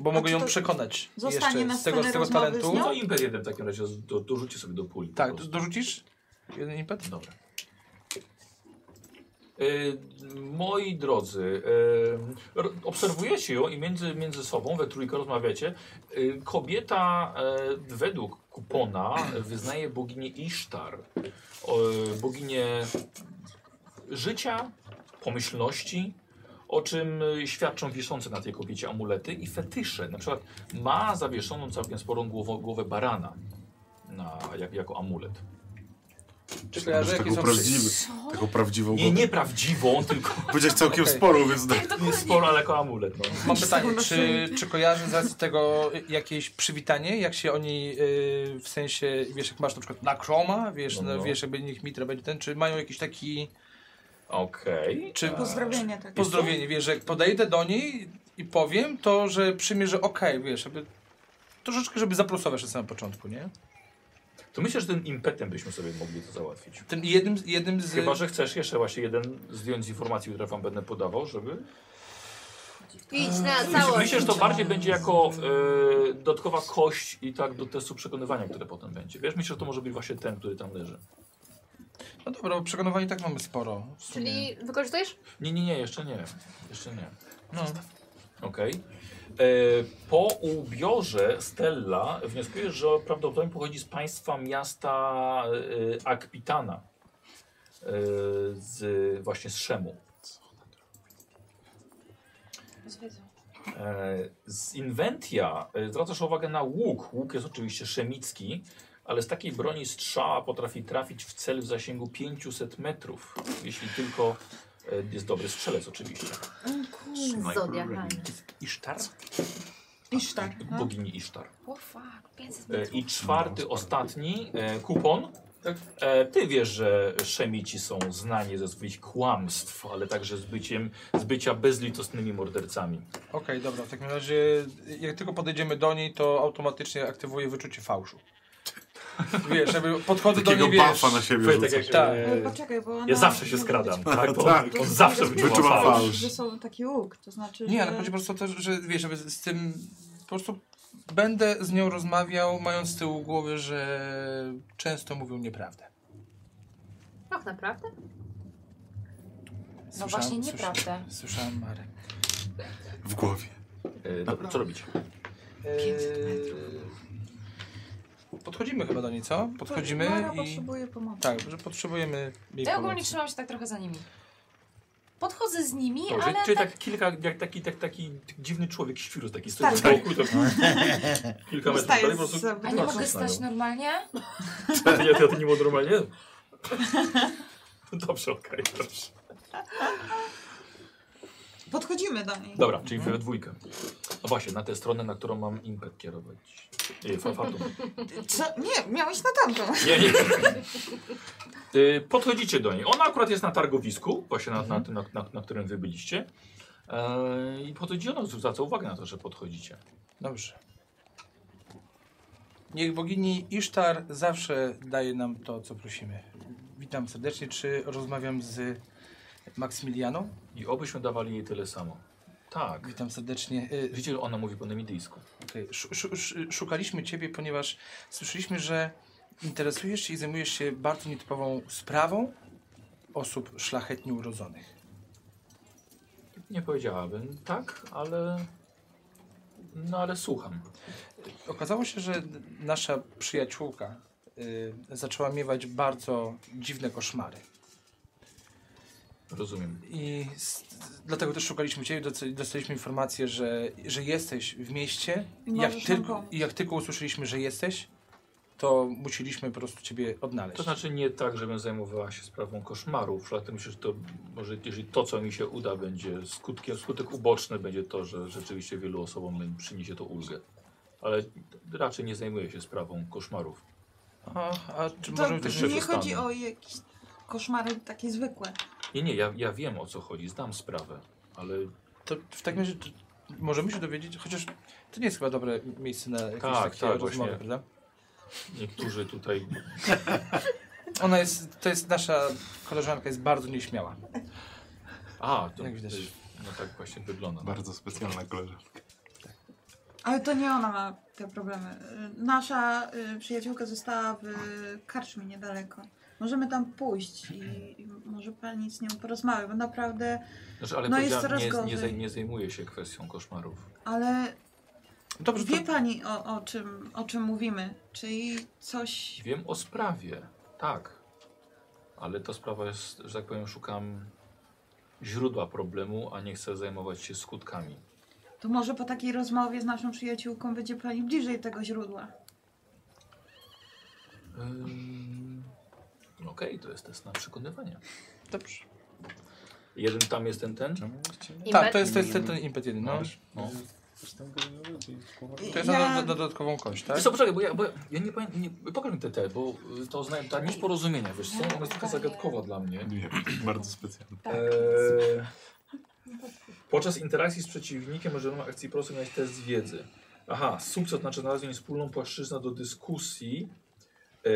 [SPEAKER 1] Bo
[SPEAKER 5] A
[SPEAKER 1] mogę
[SPEAKER 5] czy
[SPEAKER 1] ją
[SPEAKER 5] to
[SPEAKER 1] przekonać.
[SPEAKER 5] zostanie na
[SPEAKER 1] Jeszcze z tego,
[SPEAKER 5] scenę
[SPEAKER 1] z tego
[SPEAKER 5] rozmowy z
[SPEAKER 1] talentu.
[SPEAKER 5] nią?
[SPEAKER 3] No to imper jeden w takim razie do, dorzucie sobie do puli. po
[SPEAKER 1] Tak,
[SPEAKER 3] prostu.
[SPEAKER 1] dorzucisz? Jeden impet?
[SPEAKER 3] Dobra. E, moi drodzy, e, ro- obserwujecie ją i między, między sobą we trójkę rozmawiacie. E, kobieta e, według kupona wyznaje boginię Isztar. O, e, boginię życia, pomyślności, o czym e, świadczą wiszące na tej kobiecie amulety i fetysze. Na przykład ma zawieszoną całkiem sporą głowę, głowę barana na, jak, jako amulet.
[SPEAKER 1] Czy
[SPEAKER 2] Taką- taką, prawdziwy, taką prawdziwą
[SPEAKER 3] Nie,
[SPEAKER 2] głowę.
[SPEAKER 3] nieprawdziwą, tylko
[SPEAKER 2] Powiedziałeś całkiem
[SPEAKER 1] Okej.
[SPEAKER 2] sporą, więc tak.
[SPEAKER 3] nie sporo, ale jako amulet. No.
[SPEAKER 1] Mam pytanie, czy, czy kojarzy z racji tego jakieś przywitanie, jak się oni yy, w sensie, wiesz, jak masz na przykład na Chroma, wiesz,
[SPEAKER 3] No,
[SPEAKER 1] no,
[SPEAKER 3] no.
[SPEAKER 1] wiesz, jakby niech mitra będzie ten, czy mają jakiś taki
[SPEAKER 3] Okej.
[SPEAKER 1] Czy-
[SPEAKER 3] Eee,
[SPEAKER 5] Pozdrowienie takie.
[SPEAKER 1] pozdrowienie, wiesz, że jak podejdę do niej i powiem, to że przyjmie, że okej, wiesz, jakby troszeczkę, żeby zaplusować na samym początku, nie?
[SPEAKER 3] To myślę, że tym impetem byśmy sobie mogli to załatwić.
[SPEAKER 1] Tym jednym, z- jednym z...
[SPEAKER 3] Chyba, że chcesz jeszcze właśnie jeden zdjąć z informacji, które wam będę podawał, żeby...
[SPEAKER 6] Idź na
[SPEAKER 3] Myślę,
[SPEAKER 6] całość.
[SPEAKER 3] myślę, że to bardziej będzie jako e, dodatkowa kość i tak do testu przekonywania, które potem będzie. Wiesz, myślę, że to może być właśnie ten, który tam leży.
[SPEAKER 1] No dobra, bo przekonywanie tak mamy sporo. w sumie.
[SPEAKER 6] Czyli wykorzystujesz?
[SPEAKER 3] Nie, nie, nie, jeszcze nie. Jeszcze nie.
[SPEAKER 1] No.
[SPEAKER 3] Okej. E, Po ubiorze Stella wnioskujesz, że prawdopodobnie pochodzi z państwa miasta e, Akpitana. E, Z, właśnie z Szemu. E, Z Inventia e, zwracasz uwagę na łuk. Łuk jest oczywiście szemicki, ale z takiej broni strzała potrafi trafić w cel w zasięgu 500 metrów. Jeśli tylko e, jest dobry strzelec oczywiście.
[SPEAKER 6] Zodiakalnie.
[SPEAKER 3] Isztar?
[SPEAKER 5] Iż tak. No.
[SPEAKER 3] Bogini Isztar.
[SPEAKER 7] O fuck, 500
[SPEAKER 3] E,
[SPEAKER 7] metrów.
[SPEAKER 3] I czwarty, ostatni e, kupon. E, ty wiesz, że szemici są znani ze swoich kłamstw, ale także z, byciem, z bycia bezlitosnymi mordercami.
[SPEAKER 1] Okej, dobra, w takim razie jak tylko podejdziemy do niej, to automatycznie aktywuję wyczucie fałszu. Wiesz, jakby podchodzę do
[SPEAKER 2] Takiego
[SPEAKER 1] niej, wiesz...
[SPEAKER 2] buffa na siebie
[SPEAKER 3] Powiem
[SPEAKER 2] rzuca.
[SPEAKER 3] jak-
[SPEAKER 1] Tak.
[SPEAKER 3] e,
[SPEAKER 5] No, poczekaj, bo ona
[SPEAKER 3] ja zawsze się
[SPEAKER 5] może
[SPEAKER 3] skradam.
[SPEAKER 5] być-
[SPEAKER 3] Tak, to,
[SPEAKER 2] Tak.
[SPEAKER 5] no,
[SPEAKER 3] On zawsze
[SPEAKER 5] Wyczuwam
[SPEAKER 3] wyczuwa
[SPEAKER 2] fałsz.
[SPEAKER 3] fałsz.
[SPEAKER 5] Że są taki łuk, to znaczy,
[SPEAKER 1] Nie,
[SPEAKER 5] że...
[SPEAKER 1] ale chodzi po prostu o to, że wiesz, żeby z tym po prostu będę z nią rozmawiał, mając z tyłu głowy, że często mówią nieprawdę.
[SPEAKER 6] Tak naprawdę?
[SPEAKER 7] No
[SPEAKER 1] Słyszałem-
[SPEAKER 7] właśnie,
[SPEAKER 1] słyszałem-
[SPEAKER 7] nieprawda.
[SPEAKER 1] Słyszałem Marek.
[SPEAKER 2] W głowie.
[SPEAKER 3] E, dobra, co robicie?
[SPEAKER 1] Eee, Podchodzimy chyba do niej, co? Podchodzimy
[SPEAKER 5] Mara
[SPEAKER 1] i...
[SPEAKER 5] potrzebuje pomocy.
[SPEAKER 1] Tak, że potrzebujemy jej
[SPEAKER 7] no, Ja ogólnie
[SPEAKER 1] pomocy.
[SPEAKER 7] trzymam się tak trochę za nimi. Podchodzę z nimi,
[SPEAKER 3] Dobrze,
[SPEAKER 7] ale
[SPEAKER 3] czyli
[SPEAKER 7] tak...
[SPEAKER 3] tak kilka, jak taki, tak, taki dziwny człowiek, świrus taki stoi
[SPEAKER 5] Tak.
[SPEAKER 3] z boku i to kilka metrów
[SPEAKER 5] Wstaję
[SPEAKER 3] dalej po
[SPEAKER 5] z
[SPEAKER 3] prostu...
[SPEAKER 5] zabudowy.
[SPEAKER 7] A nie
[SPEAKER 3] patrzą
[SPEAKER 7] mogę
[SPEAKER 3] na nią.
[SPEAKER 7] stać normalnie?
[SPEAKER 3] Ja, ja, ja to nie było normalnie. Dobrze, okej, dobrze.
[SPEAKER 5] Podchodzimy do niej.
[SPEAKER 3] Dobra, czyli we dwójkę. A właśnie, na tę stronę, na którą mam impet kierować. Nie, fa- fatum.
[SPEAKER 5] Co? Nie, miałeś na tamtą.
[SPEAKER 3] Nie, nie. Y, Podchodzicie do niej. Ona akurat jest na targowisku, właśnie na, na, tym, na, na, na którym wy byliście. E, I podchodzi ona, zwraca uwagę na to, że podchodzicie.
[SPEAKER 1] Dobrze. Niech bogini Isztar zawsze daje nam to, co prosimy. Witam serdecznie. Czy rozmawiam z Maksymilianą?
[SPEAKER 3] I obyśmy dawali jej tyle samo. Tak.
[SPEAKER 1] Witam serdecznie. Y,
[SPEAKER 3] Widzicie, że ona mówi po nemidyjsku.
[SPEAKER 1] Okej, Szu- szu- sz- Szukaliśmy Ciebie, ponieważ słyszeliśmy, że interesujesz się i zajmujesz się bardzo nietypową sprawą osób szlachetnie urodzonych.
[SPEAKER 3] Nie powiedziałabym tak, ale... No ale słucham.
[SPEAKER 1] Okazało się, że nasza przyjaciółka y, zaczęła miewać bardzo dziwne koszmary.
[SPEAKER 3] Rozumiem.
[SPEAKER 1] I s- dlatego też szukaliśmy Ciebie, doc- dostaliśmy informację, że, że jesteś w mieście.
[SPEAKER 5] I
[SPEAKER 1] Jak,
[SPEAKER 5] możesz nam
[SPEAKER 1] tylko-
[SPEAKER 5] No, pomóc.
[SPEAKER 1] I jak tylko usłyszeliśmy, że jesteś, to musieliśmy po prostu Ciebie odnaleźć.
[SPEAKER 3] To znaczy nie tak, żebym zajmowała się sprawą koszmarów, ale myślę, że to może, jeżeli to, co mi się uda, będzie skutkiem, skutek uboczny będzie to, że rzeczywiście wielu osobom przyniesie to ulgę. Ale raczej nie zajmuję się sprawą koszmarów.
[SPEAKER 1] A, a czy
[SPEAKER 5] To
[SPEAKER 1] możemy też...
[SPEAKER 3] też-
[SPEAKER 5] nie
[SPEAKER 3] przeczytamy.
[SPEAKER 5] chodzi o jakieś koszmary takie zwykłe.
[SPEAKER 3] Nie, nie, ja, ja wiem o co chodzi, znam sprawę, ale
[SPEAKER 1] To w takim razie to możemy się dowiedzieć, chociaż to nie jest chyba dobre miejsce na jakieś
[SPEAKER 3] Tak,
[SPEAKER 1] takie
[SPEAKER 3] tak,
[SPEAKER 1] rozmowy,
[SPEAKER 3] właśnie.
[SPEAKER 1] prawda?
[SPEAKER 3] niektórzy tutaj...
[SPEAKER 1] Ona jest, to jest nasza koleżanka, jest bardzo nieśmiała.
[SPEAKER 3] A, to,
[SPEAKER 1] Jak widać.
[SPEAKER 3] no tak właśnie wygląda.
[SPEAKER 2] Bardzo specjalna koleżanka.
[SPEAKER 5] Ale to nie ona ma te problemy. Y, Nasza y, przyjaciółka została w karczmie niedaleko. Możemy tam pójść i, i może pani z nią porozmawia, bo naprawdę,
[SPEAKER 3] Znaczy, ale
[SPEAKER 5] No jest
[SPEAKER 3] powiedziałem,
[SPEAKER 5] coraz
[SPEAKER 3] nie, nie,
[SPEAKER 5] gorzej.
[SPEAKER 3] zaj, nie zajmuję się kwestią koszmarów.
[SPEAKER 5] ale
[SPEAKER 1] Dobrze, to,
[SPEAKER 5] wie pani o, o, czym, o czym mówimy, czyli coś...
[SPEAKER 3] Wiem o sprawie, tak. Ale to sprawa jest, że tak powiem, szukam źródła problemu, a nie chcę zajmować się skutkami.
[SPEAKER 5] To może po takiej rozmowie z naszą przyjaciółką będzie pani bliżej tego źródła.
[SPEAKER 3] Ym... Okej, to jest test na przekonywanie.
[SPEAKER 1] dobrze.
[SPEAKER 3] Jeden tam jest ten, ten?
[SPEAKER 1] Tak, to jest, to jest
[SPEAKER 3] Mm.
[SPEAKER 1] ten, ten impet jeden, no.
[SPEAKER 3] No.
[SPEAKER 1] To jest
[SPEAKER 5] Ja-
[SPEAKER 1] na do, do, dodatkową kość, tak?
[SPEAKER 3] Wiesz co, poczekaj, bo ja, bo ja- ja nie pamiętam, nie, pokaż mi te te, bo y, to zna, ta nić porozumienia, wiesz co, ona jest taka zagadkowa dla mnie.
[SPEAKER 2] Nie, bardzo specjalna.
[SPEAKER 7] Tak.
[SPEAKER 3] Eee, podczas interakcji z przeciwnikiem możemy akcji prostej mieć test wiedzy. Aha, sukces znaczy znalezienie wspólną płaszczyznę do dyskusji. Eee,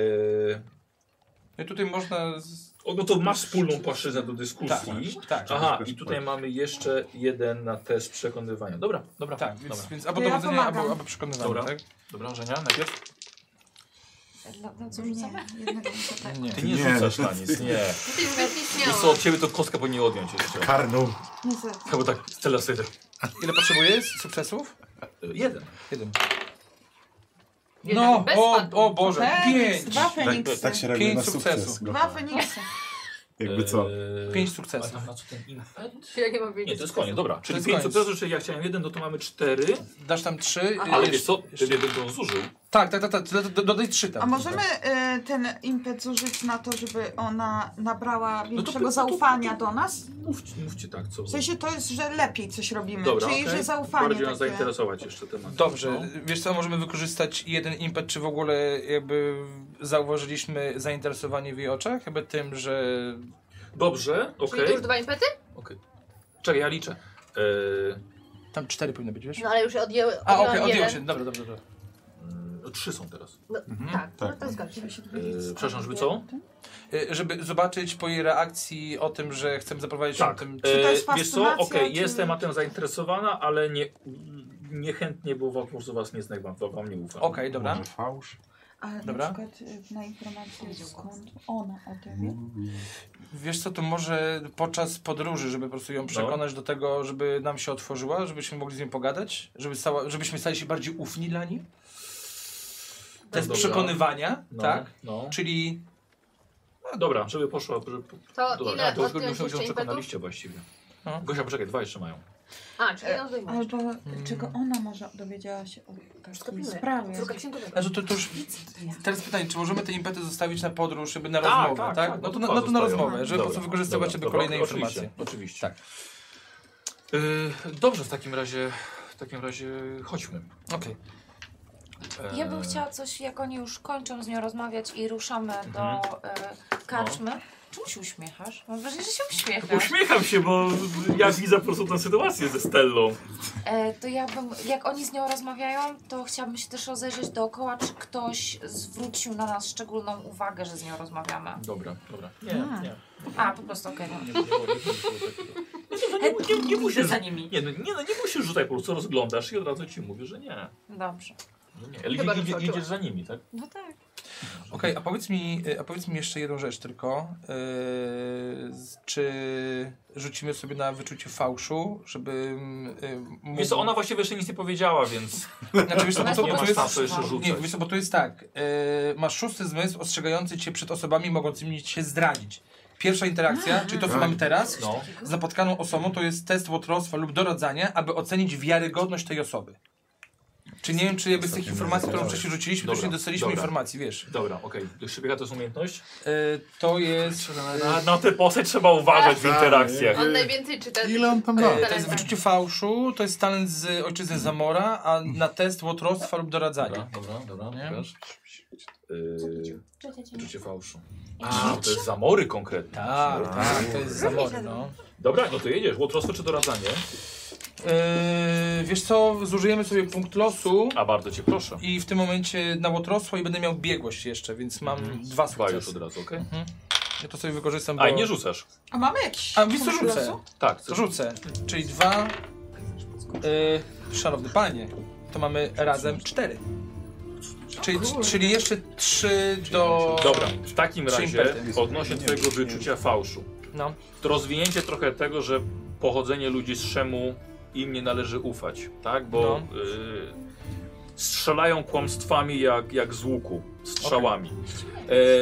[SPEAKER 1] No i tutaj można... Z...
[SPEAKER 3] o, no to masz wspólną płaszczyznę do dyskusji.
[SPEAKER 1] Tak, tak,
[SPEAKER 3] Aha, i tutaj mamy jeszcze jeden na test przekonywania. Dobra, dobra,
[SPEAKER 1] tak
[SPEAKER 3] dobra.
[SPEAKER 1] więc, więc albo
[SPEAKER 5] To ja
[SPEAKER 1] dowodzenie,
[SPEAKER 5] pomagam.
[SPEAKER 1] albo, albo przekonywanie,
[SPEAKER 3] Dobra.
[SPEAKER 1] tak?
[SPEAKER 3] Dobra, Żenia, najpierw.
[SPEAKER 7] Dla- No co,
[SPEAKER 5] Nie,
[SPEAKER 7] rzucamy?
[SPEAKER 5] jednego muszę tak.
[SPEAKER 1] Nie.
[SPEAKER 3] Ty nie,
[SPEAKER 2] Nie.
[SPEAKER 3] rzucasz na nic, nie.
[SPEAKER 6] Ty już nie
[SPEAKER 3] Wiesz co, od ciebie to kostka powinien odjąć jeszcze.
[SPEAKER 2] Karną.
[SPEAKER 5] Niestety.
[SPEAKER 3] Chyba tak, tyle sobie tak.
[SPEAKER 1] Ile potrzebuje sukcesów?
[SPEAKER 3] Jeden.
[SPEAKER 1] Jeden.
[SPEAKER 6] Jeden,
[SPEAKER 1] No,
[SPEAKER 6] bez
[SPEAKER 1] o,
[SPEAKER 6] padu.
[SPEAKER 1] o Boże,
[SPEAKER 5] Feniks,
[SPEAKER 1] pięć!
[SPEAKER 5] dwa
[SPEAKER 2] Tak,
[SPEAKER 5] Feniksy.
[SPEAKER 2] tak się reaguje
[SPEAKER 1] Pięć
[SPEAKER 2] na sukces.
[SPEAKER 1] sukcesów.
[SPEAKER 2] Gotowe.
[SPEAKER 5] Dwa Feniksy.
[SPEAKER 2] Jakby co.
[SPEAKER 3] Eee,
[SPEAKER 1] Pięć
[SPEAKER 3] A
[SPEAKER 1] sukcesów.
[SPEAKER 3] tam na co ten impet?
[SPEAKER 6] Ja nie mam wiedzieć.
[SPEAKER 3] Nie, to jest koniec, dobra. Czyli
[SPEAKER 1] jest
[SPEAKER 3] pięć
[SPEAKER 1] koniec.
[SPEAKER 3] sukcesów, czyli ja chciałem jeden, no to mamy cztery.
[SPEAKER 1] Dasz tam trzy. i
[SPEAKER 3] Ale
[SPEAKER 1] jeszcze-
[SPEAKER 3] wiesz co,
[SPEAKER 1] jeszcze-
[SPEAKER 3] gdyby to zużył,
[SPEAKER 1] Tak, tak, tak, tak. do- do- Dodaj trzy tam.
[SPEAKER 5] A możemy y, ten impet zużyć na to, żeby ona nabrała większego
[SPEAKER 1] No to- to-
[SPEAKER 5] zaufania do nas?
[SPEAKER 3] Mówcie, mówcie tak, co.
[SPEAKER 5] W sensie to jest, że lepiej coś robimy,
[SPEAKER 3] Dobra,
[SPEAKER 5] czyli
[SPEAKER 3] okej.
[SPEAKER 5] że zaufanie
[SPEAKER 3] Bardziej
[SPEAKER 5] takie.
[SPEAKER 3] nas zainteresować jeszcze tematem. no.
[SPEAKER 1] Dobrze, wiesz co, możemy wykorzystać jeden impet, czy w ogóle jakby zauważyliśmy zainteresowanie w jej oczach, jakby tym, że...
[SPEAKER 3] Dobrze,
[SPEAKER 6] Czyli
[SPEAKER 3] okej.
[SPEAKER 6] to już dwa impety?
[SPEAKER 3] Czekaj, ja liczę. E,
[SPEAKER 1] Tam cztery powinno być, wiesz?
[SPEAKER 6] No ale już odjęły.
[SPEAKER 1] A, okej,
[SPEAKER 5] no,
[SPEAKER 6] odjęłam
[SPEAKER 1] odjęło
[SPEAKER 6] jeden.
[SPEAKER 1] się, dobra, dobra, dobra.
[SPEAKER 3] mm, trzy są teraz.
[SPEAKER 6] No, Tak, no
[SPEAKER 2] tak.
[SPEAKER 6] to zgadza się.
[SPEAKER 3] E, przepraszam, żeby co?
[SPEAKER 1] Y, Żeby zobaczyć po jej reakcji o tym, że chcemy zaprowadzić ją
[SPEAKER 3] Tak.
[SPEAKER 1] tym...
[SPEAKER 3] E,
[SPEAKER 5] to jest
[SPEAKER 3] wiesz co,
[SPEAKER 5] fascynacja,
[SPEAKER 3] okej,
[SPEAKER 5] czy-
[SPEAKER 3] jest tematem zainteresowana, ale nie, niechętnie, bo po prostu was nie znam, wam, wam nie ufam.
[SPEAKER 1] Okej, dobra.
[SPEAKER 2] Może fałsz?
[SPEAKER 5] Ale
[SPEAKER 1] Dobra.
[SPEAKER 5] na przykład y, na informację skąd ona o tym wie.
[SPEAKER 1] Wiesz co, to może podczas podróży, żeby po prostu
[SPEAKER 3] No.
[SPEAKER 1] ją przekonać do tego, żeby nam się otworzyła, żebyśmy mogli z nią pogadać, żeby stała, żebyśmy stali się bardziej ufni dla niej. To jest
[SPEAKER 3] dobra.
[SPEAKER 1] przekonywania,
[SPEAKER 3] No,
[SPEAKER 1] tak?
[SPEAKER 3] No.
[SPEAKER 1] Czyli
[SPEAKER 3] No, dobra, żeby poszła. Żeby,
[SPEAKER 6] To
[SPEAKER 3] dobra,
[SPEAKER 6] ile
[SPEAKER 3] a, to już
[SPEAKER 6] odjąć
[SPEAKER 3] byśmy
[SPEAKER 6] jeszcze
[SPEAKER 3] ją
[SPEAKER 6] impetów?
[SPEAKER 3] przekonaliście właściwie.
[SPEAKER 1] No.
[SPEAKER 3] Gosia, poczekaj, dwa jeszcze mają.
[SPEAKER 6] A, czyli jedną zdejmujesz.
[SPEAKER 5] Albo czego
[SPEAKER 1] Hmm.
[SPEAKER 5] ona może dowiedziała się o takiej
[SPEAKER 6] pilnuje.
[SPEAKER 5] sprawie.
[SPEAKER 6] Córka księgowego.
[SPEAKER 1] Znaczy, to, to już, teraz pytanie, czy możemy te impety zostawić na podróż, żeby na
[SPEAKER 3] Tak,
[SPEAKER 1] rozmowę,
[SPEAKER 3] tak,
[SPEAKER 1] tak?
[SPEAKER 3] tak,
[SPEAKER 1] no, to
[SPEAKER 3] no
[SPEAKER 1] na,
[SPEAKER 3] to
[SPEAKER 1] no to na
[SPEAKER 3] zostają.
[SPEAKER 1] rozmowę, żeby
[SPEAKER 3] Dobra,
[SPEAKER 1] po prostu wykorzystywać
[SPEAKER 3] dobra,
[SPEAKER 1] sobie
[SPEAKER 3] dobra,
[SPEAKER 1] kolejne
[SPEAKER 3] oczywiście,
[SPEAKER 1] informacje.
[SPEAKER 3] oczywiście.
[SPEAKER 1] Tak. Y,
[SPEAKER 3] E, dobrze, w takim razie, w takim razie chodźmy.
[SPEAKER 1] Okej.
[SPEAKER 3] E,
[SPEAKER 7] Ja bym chciała coś, jak oni już kończą z nią rozmawiać i ruszamy
[SPEAKER 3] Mhm.
[SPEAKER 7] do y, karczmy.
[SPEAKER 3] No.
[SPEAKER 7] Czemu się uśmiechasz? Mam wrażenie, że się uśmiechasz.
[SPEAKER 3] Uśmiecham się, bo ja widzę po prostu tę sytuację ze Stellą.
[SPEAKER 7] E, to ja bym, jak oni z nią rozmawiają, to chciałabym się też rozejrzeć dookoła, czy ktoś zwrócił na nas szczególną uwagę, że z nią rozmawiamy.
[SPEAKER 3] Dobra, dobra. Nie,
[SPEAKER 5] A.
[SPEAKER 3] nie.
[SPEAKER 7] A, po prostu okej. no.
[SPEAKER 3] Nie, nie, było- nie, było takiego. nie, nie, nie, nie musisz.
[SPEAKER 7] Idę za nimi.
[SPEAKER 3] Nie, no, nie, no, nie musisz rzucać, po prostu rozglądasz i od razu ci mówię, że nie.
[SPEAKER 7] Dobrze.
[SPEAKER 3] No nie. Ale
[SPEAKER 6] Chyba, że
[SPEAKER 3] idzie, idzie,
[SPEAKER 6] skończyła.
[SPEAKER 3] idziesz za nimi, tak?
[SPEAKER 7] No tak.
[SPEAKER 1] Okej, a powiedz mi, e, a powiedz mi jeszcze jedną rzecz tylko. Yy, z- czy rzucimy sobie na wyczucie fałszu, żeby... Yy, mógł...
[SPEAKER 3] Wiesz co, ona właściwie jeszcze nic nie powiedziała, więc
[SPEAKER 1] Znaczy, wiesz co, bo
[SPEAKER 7] Ona
[SPEAKER 1] to,
[SPEAKER 3] nie
[SPEAKER 1] bo to
[SPEAKER 3] masz
[SPEAKER 1] jest...
[SPEAKER 3] czasu jeszcze rzucać.
[SPEAKER 1] Nie, wiesz co, bo to jest tak. Yy, masz szósty zmysł ostrzegający cię przed osobami mogącymi cię zdradzić. Pierwsza interakcja, czyli to, co
[SPEAKER 2] Tak.
[SPEAKER 1] mamy teraz,
[SPEAKER 3] No.
[SPEAKER 1] z napotkaną osobą to jest test łotrostwa lub doradzania, aby ocenić wiarygodność tej osoby. Czy nie wiem, czy jakby z tych
[SPEAKER 2] Ostatnio
[SPEAKER 1] informacji, którą
[SPEAKER 2] nie
[SPEAKER 1] wcześniej rzuciliśmy,
[SPEAKER 3] Dobra,
[SPEAKER 1] to już nie dostaliśmy
[SPEAKER 3] dobra.
[SPEAKER 1] informacji, wiesz.
[SPEAKER 3] Dobra, okej. Do szybiega to jest umiejętność?
[SPEAKER 1] E, to jest...
[SPEAKER 3] Na, na tę postać trzeba uważać w
[SPEAKER 2] Tak.
[SPEAKER 3] interakcjach.
[SPEAKER 6] On Yy, najwięcej czyta.
[SPEAKER 2] Ile on tam
[SPEAKER 1] E,
[SPEAKER 2] da?
[SPEAKER 1] to jest wyczucie fałszu, to jest talent z ojczyzny Zamora, a na test łotrostwa lub doradzania.
[SPEAKER 3] dobra, dobra.
[SPEAKER 1] Nie?
[SPEAKER 3] Wiesz? Yy, Życie fałszu.
[SPEAKER 7] A,
[SPEAKER 3] A, to jest zamory konkretnie.
[SPEAKER 1] Tak, tak, to jest Zamora, no.
[SPEAKER 3] Dobra, no to jedziesz. Łotrostwo czy doradzanie?
[SPEAKER 1] E, wiesz co, zużyjemy sobie punkt losu
[SPEAKER 3] A bardzo cię proszę.
[SPEAKER 1] i w tym momencie na łotrostwo i będę miał biegłość jeszcze, więc mam
[SPEAKER 3] Mhm.
[SPEAKER 1] dwa
[SPEAKER 3] Dwa już od
[SPEAKER 1] sukcesy.
[SPEAKER 3] razu, okej?
[SPEAKER 1] Ja to sobie wykorzystam, bo...
[SPEAKER 3] A, i nie rzucasz.
[SPEAKER 5] A mamy jakiś
[SPEAKER 1] A, wiesz co,
[SPEAKER 5] punkt
[SPEAKER 1] rzucę.
[SPEAKER 5] losu?
[SPEAKER 3] Tak,
[SPEAKER 1] To rzucę. Czyli dwa. Yy, szanowny panie, to mamy razem cztery. Czyli, czyli jeszcze trzy do.
[SPEAKER 3] Dobra, w takim
[SPEAKER 1] Trzy
[SPEAKER 3] razie
[SPEAKER 1] impety.
[SPEAKER 3] odnośnie twojego wyczucia fałszu.
[SPEAKER 1] No.
[SPEAKER 3] To rozwinięcie trochę tego, że pochodzenie ludzi z Szemu im nie należy ufać, tak? Bo
[SPEAKER 1] No.
[SPEAKER 3] y, strzelają kłamstwami jak, jak z łuku, strzałami.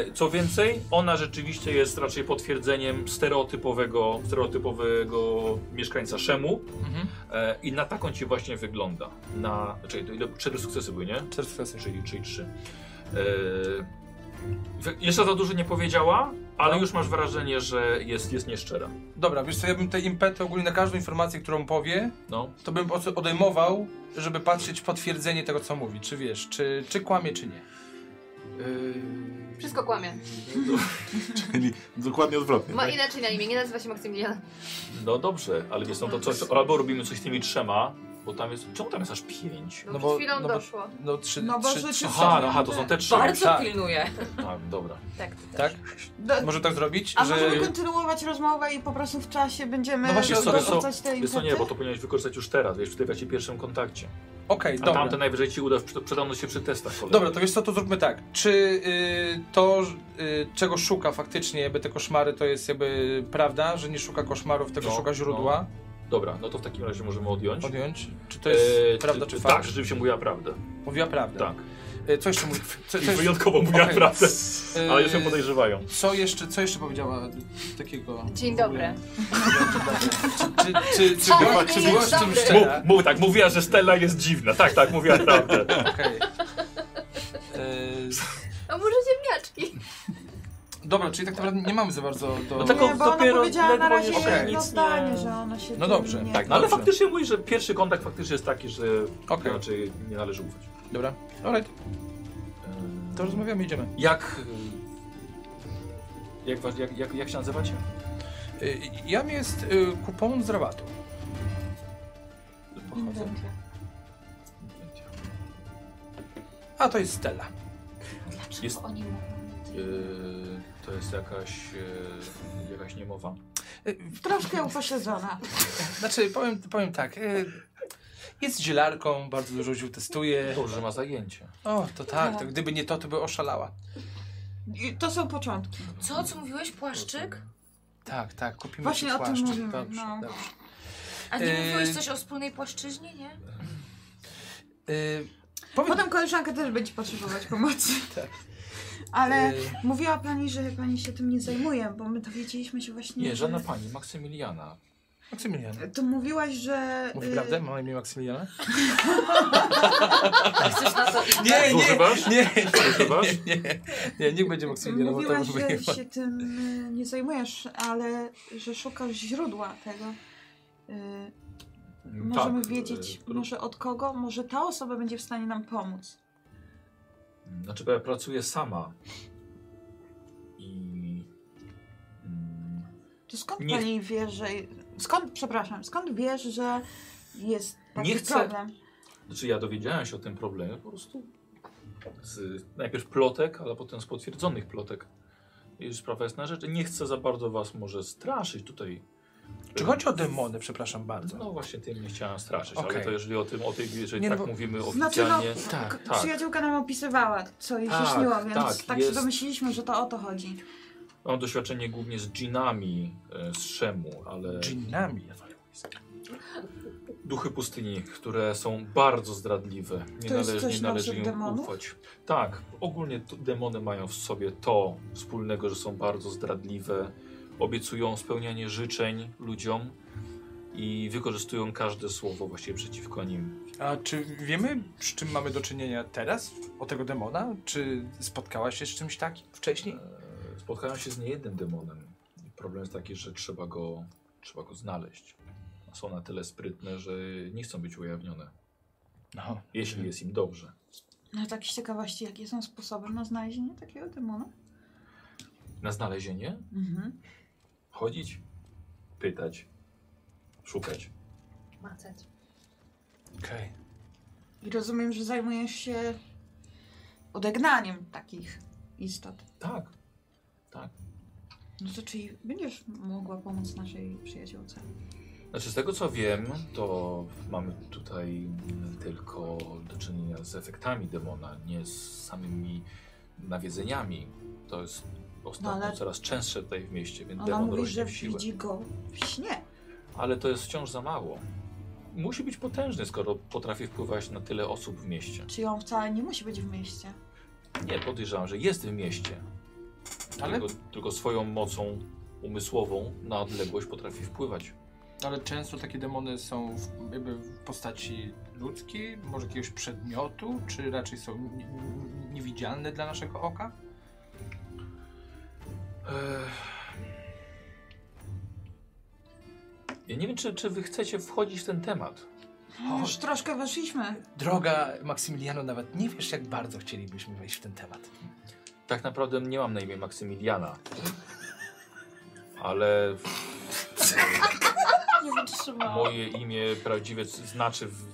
[SPEAKER 3] E, co więcej, ona rzeczywiście jest raczej potwierdzeniem stereotypowego, stereotypowego mieszkańca Szemu
[SPEAKER 1] Mhm.
[SPEAKER 3] e, i na taką ci właśnie wygląda. Na, czekaj, to ile, cztery sukcesy były, nie?
[SPEAKER 1] Cztery sukcesy.
[SPEAKER 3] czyli, czyli trzy. Yy, jeszcze za dużo nie powiedziała, ale
[SPEAKER 1] No.
[SPEAKER 3] już masz wrażenie, że jest, jest nieszczera.
[SPEAKER 1] Dobra, wiesz co, ja bym te impety ogólnie na każdą informację, którą powie,
[SPEAKER 3] No.
[SPEAKER 1] to bym od- odejmował, żeby patrzeć w potwierdzenie tego, co mówi. Czy wiesz, czy, czy kłamie, czy nie.
[SPEAKER 6] Wszystko kłamie.
[SPEAKER 2] Czyli dokładnie odwrotnie.
[SPEAKER 6] Ma
[SPEAKER 2] tak?
[SPEAKER 6] inaczej na imię, nie nazywa się Maksymilian.
[SPEAKER 3] No dobrze, ale jest no to coś, albo robimy coś z tymi trzema, bo tam jest, czemu tam jest aż pięć?
[SPEAKER 6] No,
[SPEAKER 1] No
[SPEAKER 6] przed
[SPEAKER 1] bo-
[SPEAKER 6] chwilą
[SPEAKER 1] no bo-
[SPEAKER 6] doszło.
[SPEAKER 1] No trzy,
[SPEAKER 5] No bo
[SPEAKER 1] trzy,
[SPEAKER 5] życie-
[SPEAKER 1] trzy
[SPEAKER 3] Aha,
[SPEAKER 1] są.
[SPEAKER 3] no, aha, to są te trzy.
[SPEAKER 7] Bardzo
[SPEAKER 1] Tak.
[SPEAKER 7] pilnuję.
[SPEAKER 3] Tak, dobra.
[SPEAKER 7] Tak, ty też.
[SPEAKER 1] Tak?
[SPEAKER 5] Do,
[SPEAKER 1] Może tak zrobić,
[SPEAKER 5] A
[SPEAKER 1] że...
[SPEAKER 5] możemy kontynuować rozmowę i po prostu w czasie będziemy
[SPEAKER 1] No właśnie,
[SPEAKER 5] roz-
[SPEAKER 1] sorry, so-
[SPEAKER 5] rozrzucać te
[SPEAKER 3] Wiesz co, nie,
[SPEAKER 5] impety?
[SPEAKER 3] bo to powinieneś wykorzystać już teraz, wiesz, w tym właśnie pierwszym kontakcie.
[SPEAKER 1] Okej,
[SPEAKER 3] A
[SPEAKER 1] dobra.
[SPEAKER 3] tamte najwyżej ci uda przy- przydadzą się przy testach kolejnych.
[SPEAKER 1] Dobra, to wiesz co, to zróbmy tak. Czy y, to, y, czego szuka faktycznie jakby te koszmary, to jest jakby prawda, że nie szuka koszmarów, tylko
[SPEAKER 3] No,
[SPEAKER 1] szuka źródła?
[SPEAKER 3] Dobra, no to w takim razie możemy odjąć.
[SPEAKER 1] Podjąć? Czy to jest
[SPEAKER 3] Eee,
[SPEAKER 1] prawda,
[SPEAKER 3] ty-
[SPEAKER 1] czy
[SPEAKER 3] Tak,
[SPEAKER 1] fakt?
[SPEAKER 3] rzeczywiście mówiła prawdę.
[SPEAKER 1] Mówiła prawdę.
[SPEAKER 3] Tak.
[SPEAKER 1] Y, co jeszcze mówi? Co,
[SPEAKER 3] I
[SPEAKER 1] co, jeszcze,
[SPEAKER 3] wyjątkowo mówiła
[SPEAKER 1] Okej.
[SPEAKER 3] prawdę,
[SPEAKER 1] y,
[SPEAKER 3] ale już ją podejrzewają.
[SPEAKER 1] co jeszcze, co jeszcze powiedziała takiego?
[SPEAKER 6] Dzień
[SPEAKER 1] w ogóle?
[SPEAKER 6] dobry.
[SPEAKER 1] Czy, czy, czy, czy,
[SPEAKER 6] Ale
[SPEAKER 1] była,
[SPEAKER 6] nie
[SPEAKER 1] czy
[SPEAKER 6] jest
[SPEAKER 1] byłaś z tym
[SPEAKER 6] dobry.
[SPEAKER 1] szczera? Tak,
[SPEAKER 3] Mów, mów tak, mówiła, że Stella jest dziwna. Tak, tak, mówiła prawdę.
[SPEAKER 1] Okej. E, Dobra, czyli tak naprawdę nie mamy za bardzo do...
[SPEAKER 3] No tak
[SPEAKER 5] Nie,
[SPEAKER 3] o-
[SPEAKER 5] bo ona
[SPEAKER 3] dopiero
[SPEAKER 5] powiedziała na
[SPEAKER 3] ledwo
[SPEAKER 5] razie
[SPEAKER 1] jeszcze
[SPEAKER 5] jedno
[SPEAKER 3] nic nie-
[SPEAKER 5] zdanie, że ona się...
[SPEAKER 1] No
[SPEAKER 5] tym
[SPEAKER 1] dobrze,
[SPEAKER 5] nie-
[SPEAKER 1] tak,
[SPEAKER 3] No ale
[SPEAKER 1] dobrze.
[SPEAKER 3] faktycznie mówi, że pierwszy kontakt faktycznie jest taki, że
[SPEAKER 1] Okej,
[SPEAKER 3] raczej nie należy ufać.
[SPEAKER 1] dobra. Alright, to rozmawiamy, idziemy.
[SPEAKER 3] Jak... y, Jak, was- jak, jak, jak się nazywacie?
[SPEAKER 1] Y, Jam jest y, kupon z rabatu.
[SPEAKER 3] Pochodzę.
[SPEAKER 1] A, to jest Stella.
[SPEAKER 7] Dlaczego
[SPEAKER 3] Jest-
[SPEAKER 7] oni mówią?
[SPEAKER 3] Yy, to jest jakaś... Yy, jakaś niemowa?
[SPEAKER 1] Y,
[SPEAKER 5] Troszkę uposiedzona.
[SPEAKER 1] Znaczy, powiem, powiem tak. y, Jest zielarką, bardzo dużo ziół testuje.
[SPEAKER 3] Dobrze, że ma zajęcie.
[SPEAKER 1] O, to tak, to gdyby nie to, to by oszalała.
[SPEAKER 5] I to są początki.
[SPEAKER 7] Co, co mówiłeś? Płaszczyk?
[SPEAKER 1] Tak, tak, kupimy
[SPEAKER 5] Właśnie
[SPEAKER 1] ci
[SPEAKER 5] o tym
[SPEAKER 1] płaszczyk.
[SPEAKER 5] mówimy,
[SPEAKER 1] Dobrze,
[SPEAKER 5] no.
[SPEAKER 1] dobrze.
[SPEAKER 7] A nie
[SPEAKER 1] Yy.
[SPEAKER 7] mówiłeś coś o wspólnej płaszczyźnie, nie?
[SPEAKER 1] Y, powiedz,
[SPEAKER 5] Potem koleżanka też będzie potrzebować pomocy.
[SPEAKER 1] Tak.
[SPEAKER 5] Ale
[SPEAKER 1] y,
[SPEAKER 5] mówiła pani, że pani się tym nie zajmuje, bo my dowiedzieliśmy się właśnie...
[SPEAKER 3] Nie,
[SPEAKER 5] że-
[SPEAKER 3] żadna pani, Maksymiliana.
[SPEAKER 1] Maksymilian.
[SPEAKER 5] To mówiłaś, że...
[SPEAKER 1] Mówi
[SPEAKER 5] y,
[SPEAKER 1] prawdę? Mam na imię Maksymiliana?
[SPEAKER 7] Chcesz na to inne?
[SPEAKER 1] Nie, nie,
[SPEAKER 3] Używasz?
[SPEAKER 1] nie,
[SPEAKER 3] Używasz?
[SPEAKER 1] nie, nie, nie, niech będzie Maksymiliana, bo to
[SPEAKER 5] Mówiłaś,
[SPEAKER 1] by
[SPEAKER 5] że się tym y, nie zajmujesz, ale że szukasz źródła tego. Y, Możemy
[SPEAKER 3] Tak,
[SPEAKER 5] wiedzieć,
[SPEAKER 3] e,
[SPEAKER 5] może od kogo, może ta osoba będzie w stanie nam pomóc.
[SPEAKER 3] Znaczy, bo ja pracuję sama. I. mm,
[SPEAKER 5] To skąd
[SPEAKER 3] Nie-
[SPEAKER 5] pani wie, że. Skąd, przepraszam, skąd wiesz, że jest taki
[SPEAKER 3] Nie chcę-
[SPEAKER 5] problem?
[SPEAKER 3] Znaczy, ja dowiedziałem się o tym problemie po prostu z najpierw plotek, ale potem z potwierdzonych plotek. I sprawa jest na rzeczy. Nie chcę za bardzo was może straszyć tutaj.
[SPEAKER 1] Czy chodzi o demony, przepraszam bardzo?
[SPEAKER 3] No właśnie, tym nie chciałem straszyć,
[SPEAKER 1] Okej.
[SPEAKER 3] ale to jeżeli o tym, o tej, jeżeli
[SPEAKER 1] Nie, no
[SPEAKER 3] tak
[SPEAKER 1] bo-
[SPEAKER 3] mówimy
[SPEAKER 5] Znaczy, no,
[SPEAKER 3] oficjalnie.
[SPEAKER 1] Tak,
[SPEAKER 5] K-
[SPEAKER 3] tak.
[SPEAKER 5] Przyjaciółka nam opisywała, co jej
[SPEAKER 3] Tak,
[SPEAKER 5] się śniło, więc
[SPEAKER 3] tak,
[SPEAKER 5] tak, się
[SPEAKER 3] jest-
[SPEAKER 5] domyśliliśmy, że to o to chodzi.
[SPEAKER 3] Mam doświadczenie głównie z dżinami e, z Szemu, ale.
[SPEAKER 1] Dżinami.
[SPEAKER 3] duchy pustyni, które są bardzo zdradliwe. Nie
[SPEAKER 5] To jest
[SPEAKER 3] należy,
[SPEAKER 5] coś
[SPEAKER 3] nie
[SPEAKER 5] na
[SPEAKER 3] należy
[SPEAKER 5] wzór
[SPEAKER 3] im
[SPEAKER 5] demonów?
[SPEAKER 3] ufać. Tak, ogólnie to, demony mają w sobie to wspólnego, że są bardzo zdradliwe, obiecują spełnianie życzeń ludziom i wykorzystują każde słowo właściwie przeciwko nim.
[SPEAKER 1] A czy wiemy, z czym mamy do czynienia teraz? O tego demona? Czy spotkałaś się z czymś takim wcześniej?
[SPEAKER 3] E, Spotkałem się z niejednym demonem. Problem jest taki, że trzeba go, trzeba go znaleźć. Są na tyle sprytne, że nie chcą być ujawnione,
[SPEAKER 1] No.
[SPEAKER 3] jeśli
[SPEAKER 5] Mhm.
[SPEAKER 3] jest im dobrze.
[SPEAKER 5] No tak z ciekawości, jakie są sposoby na znalezienie takiego demona?
[SPEAKER 3] Na znalezienie
[SPEAKER 5] Mhm.
[SPEAKER 3] Chodzić, pytać, szukać.
[SPEAKER 6] Macać.
[SPEAKER 1] Okej.
[SPEAKER 5] I rozumiem, że zajmujesz się odegnaniem takich istot.
[SPEAKER 3] Tak.
[SPEAKER 5] No to czyli będziesz mogła pomóc naszej przyjaciółce?
[SPEAKER 3] Znaczy, z tego co wiem, to mamy tutaj tylko do czynienia z efektami demona, nie z samymi nawiedzeniami. To jest ostatnio
[SPEAKER 5] No, ale-
[SPEAKER 3] coraz częstsze tutaj w mieście, więc
[SPEAKER 5] Ona
[SPEAKER 3] demon
[SPEAKER 5] mówi,
[SPEAKER 3] rośnie
[SPEAKER 5] że
[SPEAKER 3] w siłę.
[SPEAKER 5] widzi go w śnie.
[SPEAKER 3] Ale to jest wciąż za mało. Musi być potężny, skoro potrafi wpływać na tyle osób w mieście.
[SPEAKER 5] Czy on wcale nie musi być w mieście?
[SPEAKER 3] Nie, podejrzewam, że jest w mieście.
[SPEAKER 1] Ale-
[SPEAKER 3] Tylko, tylko swoją mocą umysłową na odległość potrafi wpływać.
[SPEAKER 1] Ale często takie demony są w, jakby w postaci ludzkiej, może jakiegoś przedmiotu, czy raczej są ni- ni- niewidzialne dla naszego oka?
[SPEAKER 3] Ja nie wiem, czy, czy wy chcecie wchodzić w ten temat.
[SPEAKER 1] O.
[SPEAKER 5] Już troszkę weszliśmy.
[SPEAKER 1] Droga Maksymiliano, nawet nie wiesz, jak bardzo chcielibyśmy wejść w ten temat.
[SPEAKER 3] Tak naprawdę nie mam na imię Maksymiliana. Ale
[SPEAKER 7] Nie wytrzymałam.
[SPEAKER 3] moje imię prawdziwe c- znaczy w,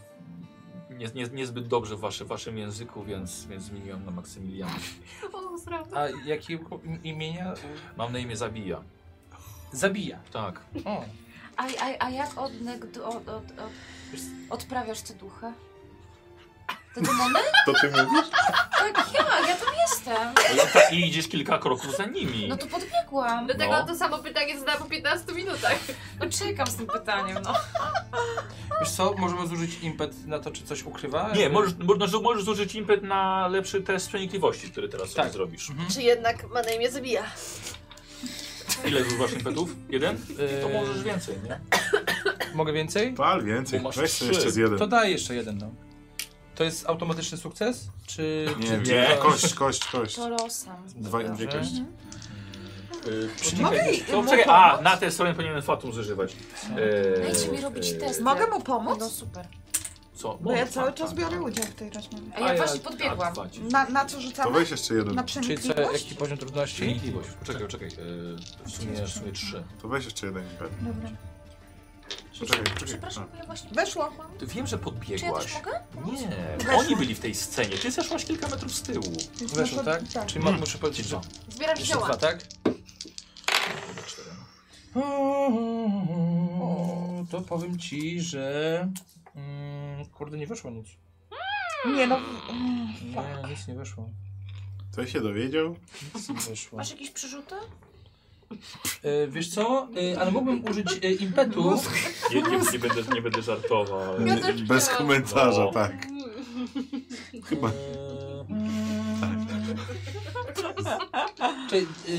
[SPEAKER 3] nie, nie, niezbyt dobrze w wasze, waszym języku, więc, więc zmieniłem na Maksymiliana.
[SPEAKER 6] O, zra-
[SPEAKER 1] A jakie im- imienia?
[SPEAKER 3] Mam na imię Zabija.
[SPEAKER 1] Zabija.
[SPEAKER 3] Tak.
[SPEAKER 1] O,
[SPEAKER 7] A, a, a jak odnegd- od, od, od, odprawiasz te duchy? Te demony?
[SPEAKER 2] To ty mówisz?
[SPEAKER 7] Tak, ja, ja tam jestem.
[SPEAKER 3] No i tak- I idziesz kilka kroków za nimi.
[SPEAKER 7] No to podbiegłam.
[SPEAKER 6] Dlatego
[SPEAKER 3] No.
[SPEAKER 6] to samo pytanie zadałam po 15 minutach.
[SPEAKER 7] No czekam z tym pytaniem, no.
[SPEAKER 1] wiesz co, możemy zużyć impet na to, czy coś ukrywa?
[SPEAKER 3] Nie,
[SPEAKER 1] Jakby-
[SPEAKER 3] możesz, można- że możesz zużyć impet na lepszy test przenikliwości, który teraz
[SPEAKER 1] Tak.
[SPEAKER 3] sobie zrobisz.
[SPEAKER 6] Czy jednak ma na imię zabija?
[SPEAKER 3] Ile zużywasz impetów? Jeden?
[SPEAKER 7] Y,
[SPEAKER 3] To
[SPEAKER 1] Eee,
[SPEAKER 3] możesz więcej, nie?
[SPEAKER 1] Mogę więcej?
[SPEAKER 2] Pal więcej,
[SPEAKER 3] Bo masz
[SPEAKER 2] weź
[SPEAKER 3] trzy.
[SPEAKER 2] sobie jeszcze z jeden.
[SPEAKER 1] To daj jeszcze jeden, no. To jest automatyczny sukces? Czy...
[SPEAKER 2] Nie,
[SPEAKER 1] czy
[SPEAKER 2] nie, kość, kość, kość.
[SPEAKER 7] To losem.
[SPEAKER 2] Dwa,
[SPEAKER 1] Dobrze.
[SPEAKER 2] dwie kości.
[SPEAKER 7] y,
[SPEAKER 3] Yy,
[SPEAKER 5] Mogę
[SPEAKER 3] poczekaj,
[SPEAKER 5] i-
[SPEAKER 3] to,
[SPEAKER 5] mu
[SPEAKER 3] czekaj, a,
[SPEAKER 5] pomóc?
[SPEAKER 3] na tę stronę powinienem fatum zużywać. Eee,
[SPEAKER 7] No, Dajcie mi robić
[SPEAKER 3] eee,
[SPEAKER 7] test.
[SPEAKER 5] Mogę mu
[SPEAKER 7] No
[SPEAKER 5] pomóc?
[SPEAKER 7] super.
[SPEAKER 3] Co?
[SPEAKER 5] Bo No, ja
[SPEAKER 3] Możesz,
[SPEAKER 5] cały
[SPEAKER 3] tak,
[SPEAKER 5] czas
[SPEAKER 3] tak,
[SPEAKER 5] biorę
[SPEAKER 3] tak.
[SPEAKER 5] udział w tej rozmowie.
[SPEAKER 7] A ja właśnie
[SPEAKER 1] tak
[SPEAKER 7] podbiegłam.
[SPEAKER 3] A, dwa,
[SPEAKER 5] Na, na co
[SPEAKER 2] To
[SPEAKER 5] rzucamy?
[SPEAKER 2] weź jeszcze jeden.
[SPEAKER 5] Na
[SPEAKER 1] Czyli co,
[SPEAKER 5] przenikliwość?
[SPEAKER 1] jaki poziom trudności?
[SPEAKER 3] Przenikliwość. Poczekaj, poczekaj. Eee, w sumie, w sumie trzy.
[SPEAKER 2] To weź jeszcze jeden impet.
[SPEAKER 5] Dobra.
[SPEAKER 2] Poczekaj, poczekaj.
[SPEAKER 7] Przepraszam, bo ja właśnie...
[SPEAKER 5] Weszło.
[SPEAKER 3] Ty Wiem, że
[SPEAKER 7] Czy ja
[SPEAKER 3] podbiegłaś.
[SPEAKER 7] też mogę?
[SPEAKER 3] Nie,
[SPEAKER 5] Weszło.
[SPEAKER 3] oni byli w tej scenie. Ty zeszłaś kilka metrów z tyłu.
[SPEAKER 5] Więc
[SPEAKER 1] Weszło,
[SPEAKER 5] no to-
[SPEAKER 1] tak?
[SPEAKER 5] Tak.
[SPEAKER 1] Czyli mam, muszę powiedzieć, że
[SPEAKER 6] Zbieram
[SPEAKER 1] jeszcze
[SPEAKER 6] zioła.
[SPEAKER 1] dwa, tak?
[SPEAKER 3] Cztery.
[SPEAKER 1] O, To powiem ci, że... Mm, kurde, nie wyszło nic.
[SPEAKER 5] Nie no,
[SPEAKER 1] Nie, nic nie wyszło.
[SPEAKER 2] To się dowiedział?
[SPEAKER 1] Nic nie wyszło.
[SPEAKER 7] Masz jakieś przerzuty?
[SPEAKER 1] No, E, wiesz co? E, ale mógłbym użyć e, impetu.
[SPEAKER 3] Nie, nie, nie, będę, nie będę żartował. ale-
[SPEAKER 6] Ja też
[SPEAKER 2] E, Bez
[SPEAKER 6] chciałam.
[SPEAKER 2] komentarza,
[SPEAKER 3] No.
[SPEAKER 2] tak.
[SPEAKER 1] E,
[SPEAKER 2] Chyba.
[SPEAKER 1] Tak, Czyli, e,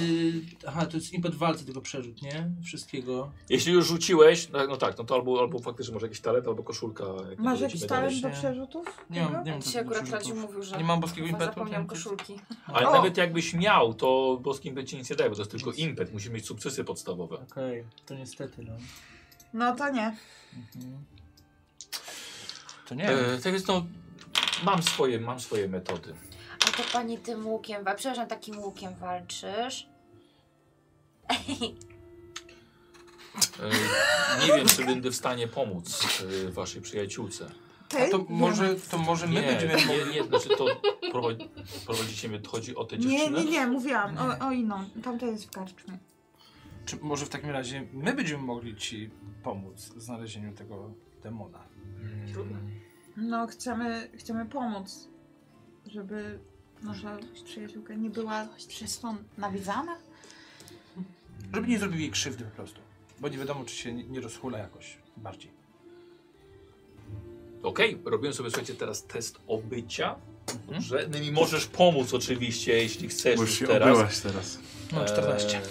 [SPEAKER 1] aha, to jest impet walce, tylko przerzut, nie? Wszystkiego.
[SPEAKER 3] Jeśli już rzuciłeś, no, no tak, no to albo, albo faktycznie może jakiś talet, albo koszulka. Jak będzie
[SPEAKER 5] masz
[SPEAKER 3] ci
[SPEAKER 5] jakiś talent
[SPEAKER 3] medaliście.
[SPEAKER 5] do przerzutów?
[SPEAKER 1] Nie mam, nie mam
[SPEAKER 7] Dzisiaj
[SPEAKER 1] takiego
[SPEAKER 7] akurat Radziu
[SPEAKER 1] przerzutu.
[SPEAKER 7] mówił, że...
[SPEAKER 1] Nie mam boskiego
[SPEAKER 7] Chyba
[SPEAKER 1] impetu.
[SPEAKER 7] Zapomniałam
[SPEAKER 1] tak?
[SPEAKER 7] koszulki.
[SPEAKER 3] Ale
[SPEAKER 5] O!
[SPEAKER 3] nawet jakbyś miał, to boskim by ci nic nie daje, bo to jest tylko impet. Musisz mieć sukcesy podstawowe.
[SPEAKER 1] Okej, to niestety, no.
[SPEAKER 5] No to nie.
[SPEAKER 1] Mhm. To nie.
[SPEAKER 3] E, tak więc no, mam swoje, mam swoje metody.
[SPEAKER 7] A to pani tym łukiem, wa- przepraszam, takim łukiem walczysz.
[SPEAKER 3] E, nie wiem, czy będę w stanie pomóc e, waszej przyjaciółce.
[SPEAKER 5] Ty?
[SPEAKER 1] A to może, to może my
[SPEAKER 3] Nie,
[SPEAKER 1] będziemy mogli.
[SPEAKER 3] nie, nie, znaczy to prowadzi, prowadzicie mnie, chodzi o tę
[SPEAKER 5] Nie,
[SPEAKER 3] dziewczynę?
[SPEAKER 5] nie, nie, mówiłam. O, o inną. Tamto jest w karczmie.
[SPEAKER 1] Czy może w takim razie my będziemy mogli ci pomóc w znalezieniu tego demona?
[SPEAKER 3] Trudno.
[SPEAKER 5] No, chcemy, chcemy pomóc, żeby może przyjaciółka nie była przez to nawiedzana.
[SPEAKER 1] Żeby nie zrobił jej krzywdy po prostu. Bo nie wiadomo, czy się nie- nie rozhula jakoś bardziej.
[SPEAKER 3] Okej, robiłem sobie, słuchajcie, teraz test obycia.
[SPEAKER 1] Mhm.
[SPEAKER 3] Że no mi możesz pomóc oczywiście, jeśli chcesz
[SPEAKER 2] Już
[SPEAKER 3] już
[SPEAKER 2] się
[SPEAKER 3] teraz. E,
[SPEAKER 2] obyłaś teraz.
[SPEAKER 3] No,
[SPEAKER 1] Mam 14.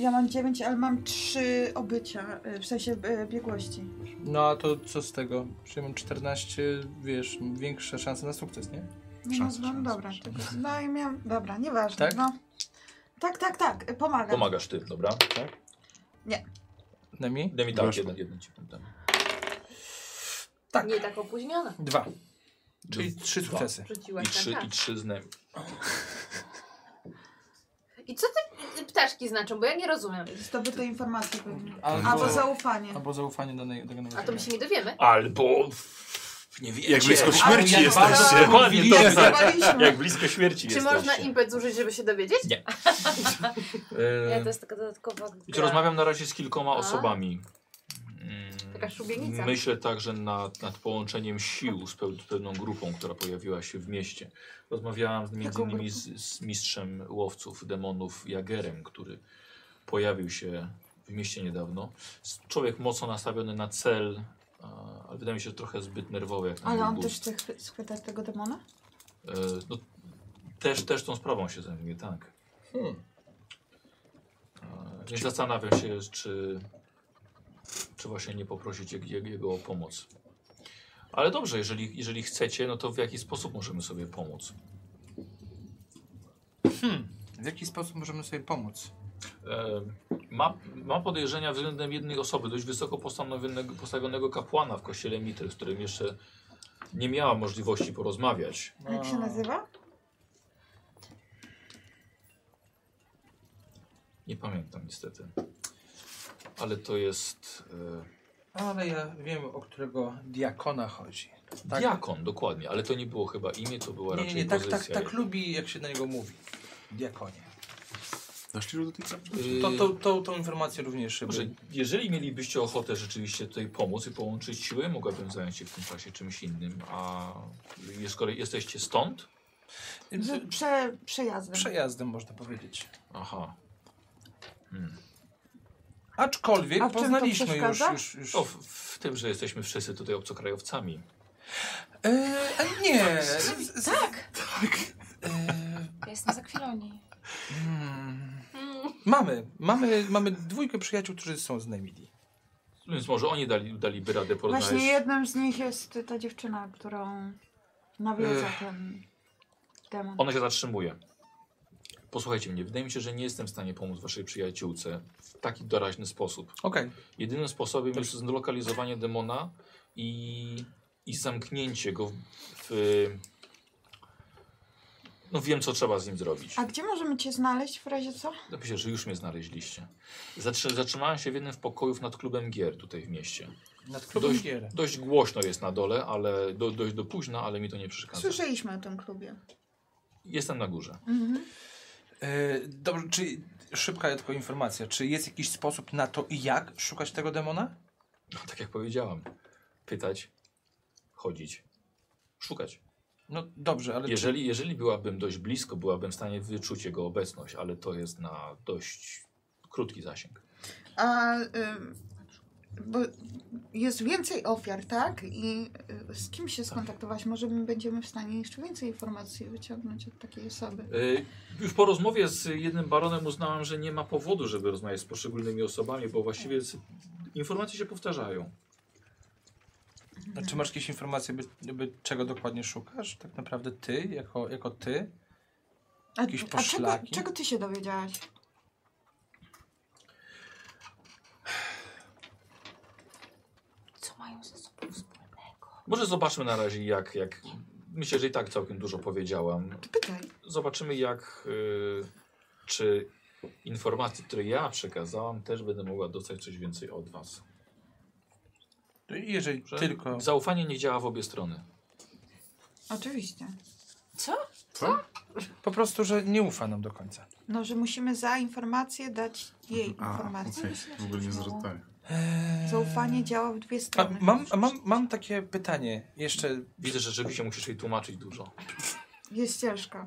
[SPEAKER 5] Ja mam 9, ale mam 3 obycia, y, w sensie y, biegłości.
[SPEAKER 1] No a to co z tego? Czyli mam 14, wiesz, większe szanse na sukces, nie?
[SPEAKER 5] No,
[SPEAKER 2] Szansa,
[SPEAKER 5] no, no
[SPEAKER 2] szansa,
[SPEAKER 5] dobra,
[SPEAKER 2] szansa.
[SPEAKER 5] tylko no i miałam, dobra, nieważne.
[SPEAKER 1] Tak?
[SPEAKER 5] Tak? No. Tak, tak, tak, y, pomagam.
[SPEAKER 3] Pomagasz ty, dobra? Tak?
[SPEAKER 1] Nemi?
[SPEAKER 3] Daj mi tak,
[SPEAKER 2] Weszło.
[SPEAKER 3] jeden, jeden ci tam.
[SPEAKER 1] Tak.
[SPEAKER 6] Nie tak opóźniona.
[SPEAKER 1] Dwa. Czyli trzy
[SPEAKER 3] Dwa.
[SPEAKER 1] sukcesy.
[SPEAKER 3] I
[SPEAKER 6] Rzuciłaś
[SPEAKER 3] trzy,
[SPEAKER 6] tam,
[SPEAKER 3] i
[SPEAKER 6] tak.
[SPEAKER 3] trzy z nami.
[SPEAKER 6] I co te ptaszki znaczą? Bo ja nie rozumiem.
[SPEAKER 5] Zdobyte informacje pewnie.
[SPEAKER 1] Albo,
[SPEAKER 5] Albo zaufanie.
[SPEAKER 1] No. albo zaufanie danej, danego
[SPEAKER 6] A to my się nie dowiemy.
[SPEAKER 3] Albo... Nie wiecie.
[SPEAKER 2] Jak blisko śmierci
[SPEAKER 1] jak
[SPEAKER 2] jesteście.
[SPEAKER 1] bardzo-
[SPEAKER 3] Dokładnie, to
[SPEAKER 1] Mówiliśmy.
[SPEAKER 3] znaczy.
[SPEAKER 5] Zdawaliśmy.
[SPEAKER 3] Jak blisko śmierci
[SPEAKER 6] Czy
[SPEAKER 3] jesteście.
[SPEAKER 6] można impet zużyć, żeby się dowiedzieć?
[SPEAKER 3] Nie.
[SPEAKER 7] Ja
[SPEAKER 3] E,
[SPEAKER 7] to jest taka dodatkowa
[SPEAKER 3] Wiecie,
[SPEAKER 7] gra.
[SPEAKER 3] rozmawiam na razie z kilkoma
[SPEAKER 6] A.
[SPEAKER 3] osobami. Mm,
[SPEAKER 6] Taka szubienica.
[SPEAKER 3] Myślę także nad, nad połączeniem sił z peł- pewną grupą, która pojawiła się w mieście. Rozmawiałam z- między
[SPEAKER 5] Jaką
[SPEAKER 3] innymi z, z mistrzem łowców demonów Jagerem, który pojawił się w mieście niedawno. S- Człowiek mocno nastawiony na cel, a- ale wydaje mi się że trochę zbyt nerwowy. Jak na
[SPEAKER 5] Ale
[SPEAKER 3] mój
[SPEAKER 5] on
[SPEAKER 3] gust.
[SPEAKER 5] też chce chwy- schwytać tego demona?
[SPEAKER 3] E, no, też, też tą sprawą się zajmuje, tak. E, Więc zastanawiam się, czy, czy właśnie nie poprosić je- je- jego o pomoc. Ale dobrze, jeżeli, jeżeli chcecie, no to w jaki sposób możemy sobie pomóc?
[SPEAKER 1] W jaki sposób możemy sobie pomóc?
[SPEAKER 3] E, ma, ma podejrzenia względem jednej osoby, dość wysoko postanowionego, postawionego kapłana w kościele Mitry, z którym jeszcze nie miała możliwości porozmawiać.
[SPEAKER 5] Jak
[SPEAKER 1] No.
[SPEAKER 5] się nazywa?
[SPEAKER 3] Nie pamiętam niestety. Ale to jest... E,
[SPEAKER 1] Ale ja wiem, o którego diakona chodzi. Tak.
[SPEAKER 3] Diakon, dokładnie, ale to nie było chyba imię, to była
[SPEAKER 1] Nie, nie,
[SPEAKER 3] raczej
[SPEAKER 1] nie, tak, tak,
[SPEAKER 3] pozycja.
[SPEAKER 1] tak lubi, jak się na niego mówi. Diakonie.
[SPEAKER 2] Doszli już do tej kapli?
[SPEAKER 3] Yy,
[SPEAKER 1] To, to, to, tą informację również
[SPEAKER 3] Dobrze,
[SPEAKER 1] żeby...
[SPEAKER 3] jeżeli mielibyście ochotę rzeczywiście tutaj pomóc i połączyć siły, mogłabym zająć się w tym czasie czymś innym, a je- skoro jesteście stąd,
[SPEAKER 5] Z prze, przejazdem.
[SPEAKER 1] Przejazdem można powiedzieć.
[SPEAKER 3] aha,
[SPEAKER 1] Aczkolwiek
[SPEAKER 5] A w czym to
[SPEAKER 1] poznaliśmy już,
[SPEAKER 5] przeszkadza?
[SPEAKER 1] już, już...
[SPEAKER 3] o, No, w, w tym, że jesteśmy wszyscy tutaj obcokrajowcami.
[SPEAKER 1] Eee, a nie. z- z-
[SPEAKER 7] Tak,
[SPEAKER 1] eee,
[SPEAKER 7] ja jestem za chwiloni.
[SPEAKER 1] hmm. Mamy, mamy, mamy dwójkę przyjaciół, którzy są z Nemidi.
[SPEAKER 3] Więc może oni dali, daliby radę porozmawiać.
[SPEAKER 5] Właśnie jednym z nich jest ta dziewczyna, którą nawiedza ten demon.
[SPEAKER 3] Ona się zatrzymuje. Posłuchajcie mnie, wydaje mi się, że nie jestem w stanie pomóc waszej przyjaciółce w taki doraźny sposób.
[SPEAKER 1] Okej,
[SPEAKER 3] Jedynym sposobem jest zlokalizowanie demona i, i zamknięcie go w, w... No wiem, co trzeba z nim zrobić.
[SPEAKER 5] A gdzie możemy cię znaleźć w razie co?
[SPEAKER 3] Napiszę, że już mnie znaleźliście. Zatrzy, zatrzymałem się w jednym z pokojów nad klubem gier tutaj w mieście.
[SPEAKER 1] nad
[SPEAKER 3] Dość-
[SPEAKER 1] klubem gier.
[SPEAKER 3] Dość głośno jest na dole, ale do, dość do późna, ale mi to nie przeszkadza.
[SPEAKER 5] Słyszeliśmy o tym klubie.
[SPEAKER 3] Jestem na górze.
[SPEAKER 5] Mhm.
[SPEAKER 1] E, dobrze, czy szybka tylko informacja, czy jest jakiś sposób na to i jak szukać tego demona?
[SPEAKER 3] No, tak jak powiedziałem. Pytać, chodzić, szukać.
[SPEAKER 1] No dobrze, ale czy,
[SPEAKER 3] Jeżeli, jeżeli byłabym dość blisko, byłabym w stanie wyczuć jego obecność, ale to jest na dość krótki zasięg.
[SPEAKER 5] A ym, bo jest więcej ofiar, tak? I y, z kim się skontaktować? Może my będziemy w stanie jeszcze więcej informacji wyciągnąć od takiej osoby.
[SPEAKER 3] Y, Już po rozmowie z jednym baronem uznałem, że nie ma powodu, żeby rozmawiać z poszczególnymi osobami, bo właściwie z- informacje się powtarzają.
[SPEAKER 1] czy masz jakieś informacje, by, by czego dokładnie szukasz? Tak naprawdę ty, jako, jako ty?
[SPEAKER 5] A,
[SPEAKER 1] jakieś
[SPEAKER 5] a czego,
[SPEAKER 1] poszlaki?
[SPEAKER 5] czego ty się dowiedziałaś?
[SPEAKER 7] Co mają ze sobą wspólnego?
[SPEAKER 3] Może zobaczmy na razie, jak. jak... Myślę, że i tak całkiem dużo powiedziałam.
[SPEAKER 5] Pytaj.
[SPEAKER 3] Zobaczymy, jak. y, czy informacje, które ja przekazałam, też będę mogła dostać coś więcej od Was.
[SPEAKER 1] Jeżeli
[SPEAKER 3] Że
[SPEAKER 1] tylko...
[SPEAKER 3] Zaufanie nie działa w obie strony.
[SPEAKER 5] Oczywiście.
[SPEAKER 2] Co?
[SPEAKER 1] Po prostu, że nie ufa nam do końca.
[SPEAKER 5] No, że musimy za informację dać jej
[SPEAKER 2] A,
[SPEAKER 5] informację.
[SPEAKER 2] okej. W ogóle nie zrozumiałem.
[SPEAKER 1] Eee,
[SPEAKER 5] Zaufanie działa w dwie
[SPEAKER 1] A,
[SPEAKER 3] Tak.
[SPEAKER 5] strony.
[SPEAKER 1] mam, a mam, mam takie pytanie jeszcze
[SPEAKER 3] Widzę, że rzeczywiście musisz jej tłumaczyć dużo.
[SPEAKER 5] Jest ciężko.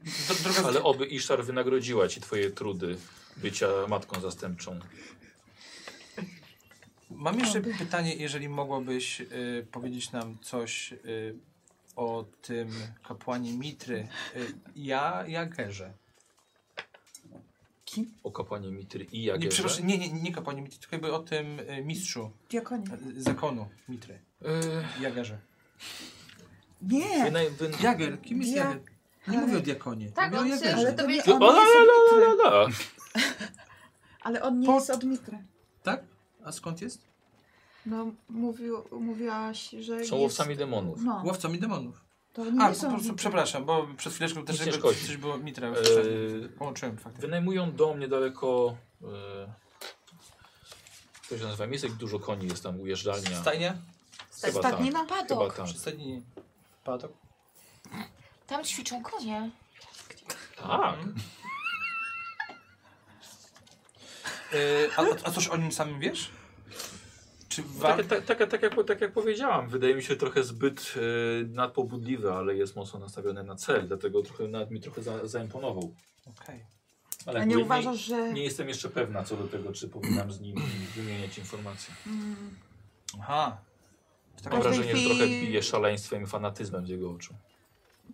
[SPEAKER 1] Dro, droga,
[SPEAKER 3] Ale oby Iszar wynagrodziła Ci Twoje trudy bycia matką zastępczą.
[SPEAKER 1] Mam jeszcze pytanie, jeżeli mogłabyś y, powiedzieć nam coś y, o tym kapłanie Mitry. Y, ja, Jagerze.
[SPEAKER 5] Kim?
[SPEAKER 3] O kapłanie Mitry i
[SPEAKER 1] Nie,
[SPEAKER 3] Jagerze.
[SPEAKER 1] przepraszam, nie, nie, nie kapłanie Mitry, tylko jakby o tym y, mistrzu
[SPEAKER 5] Diakonie.
[SPEAKER 1] y, zakonu Mitry.
[SPEAKER 3] Yy,
[SPEAKER 1] Jagerze.
[SPEAKER 5] Nie!
[SPEAKER 3] wynaj- wyn-
[SPEAKER 1] Jager, kim jest
[SPEAKER 5] Ja-
[SPEAKER 1] Jager? Nie mówię o diakonie.
[SPEAKER 6] Tak,
[SPEAKER 1] mówię o
[SPEAKER 6] on się
[SPEAKER 1] Jagerze.
[SPEAKER 6] ale
[SPEAKER 5] to nie
[SPEAKER 6] dowiedział.
[SPEAKER 3] O, la,
[SPEAKER 5] on
[SPEAKER 3] la,
[SPEAKER 5] jest od
[SPEAKER 3] la,
[SPEAKER 5] Mitry.
[SPEAKER 3] la, la.
[SPEAKER 5] Ale on nie
[SPEAKER 1] Pod-
[SPEAKER 5] jest od Mitry.
[SPEAKER 1] Tak? A skąd jest?
[SPEAKER 5] No, mówił, mówiłaś, że
[SPEAKER 3] Są
[SPEAKER 5] jest...
[SPEAKER 3] łowcami demonów.
[SPEAKER 5] No,
[SPEAKER 1] Łowcami demonów.
[SPEAKER 5] to nie
[SPEAKER 1] A,
[SPEAKER 5] są
[SPEAKER 1] po prostu
[SPEAKER 5] Mitry.
[SPEAKER 1] przepraszam, bo przed chwileczką też
[SPEAKER 3] Nic nie
[SPEAKER 1] jakby
[SPEAKER 3] szkodzi.
[SPEAKER 1] coś było Mitra.
[SPEAKER 3] Eee,
[SPEAKER 1] Połączyłem faktycznie.
[SPEAKER 3] Wynajmują dom niedaleko. E, to się nazywa miejsce, gdzie dużo koni jest tam, ujeżdżalnia.
[SPEAKER 1] Stajnia?
[SPEAKER 3] Chyba tak.
[SPEAKER 5] Stadnina?
[SPEAKER 3] Chyba
[SPEAKER 7] Padok.
[SPEAKER 3] tak.
[SPEAKER 1] Przy stajni Padok?
[SPEAKER 7] Tam ćwiczą konie.
[SPEAKER 3] tak.
[SPEAKER 1] Yy, a, a- a coś o nim samym wiesz? Czy wa-
[SPEAKER 3] Tak, tak, tak, tak, jak, tak jak powiedziałam, wydaje mi się trochę zbyt e, nadpobudliwy, ale jest mocno nastawiony na cel, dlatego trochę, nawet mi trochę za, zaimponował.
[SPEAKER 1] Okej.
[SPEAKER 3] Ale
[SPEAKER 5] A
[SPEAKER 3] jakby
[SPEAKER 5] nie uważasz, że...
[SPEAKER 3] nie, nie jestem jeszcze pewna co do tego, czy powinnam z nim wymieniać informacje.
[SPEAKER 5] Mm,
[SPEAKER 1] Aha. tak
[SPEAKER 3] Mam
[SPEAKER 1] W takim
[SPEAKER 5] Każdej
[SPEAKER 1] razie.
[SPEAKER 3] wrażenie, że
[SPEAKER 5] chwili-
[SPEAKER 3] trochę bije szaleństwem i fanatyzmem z jego oczu.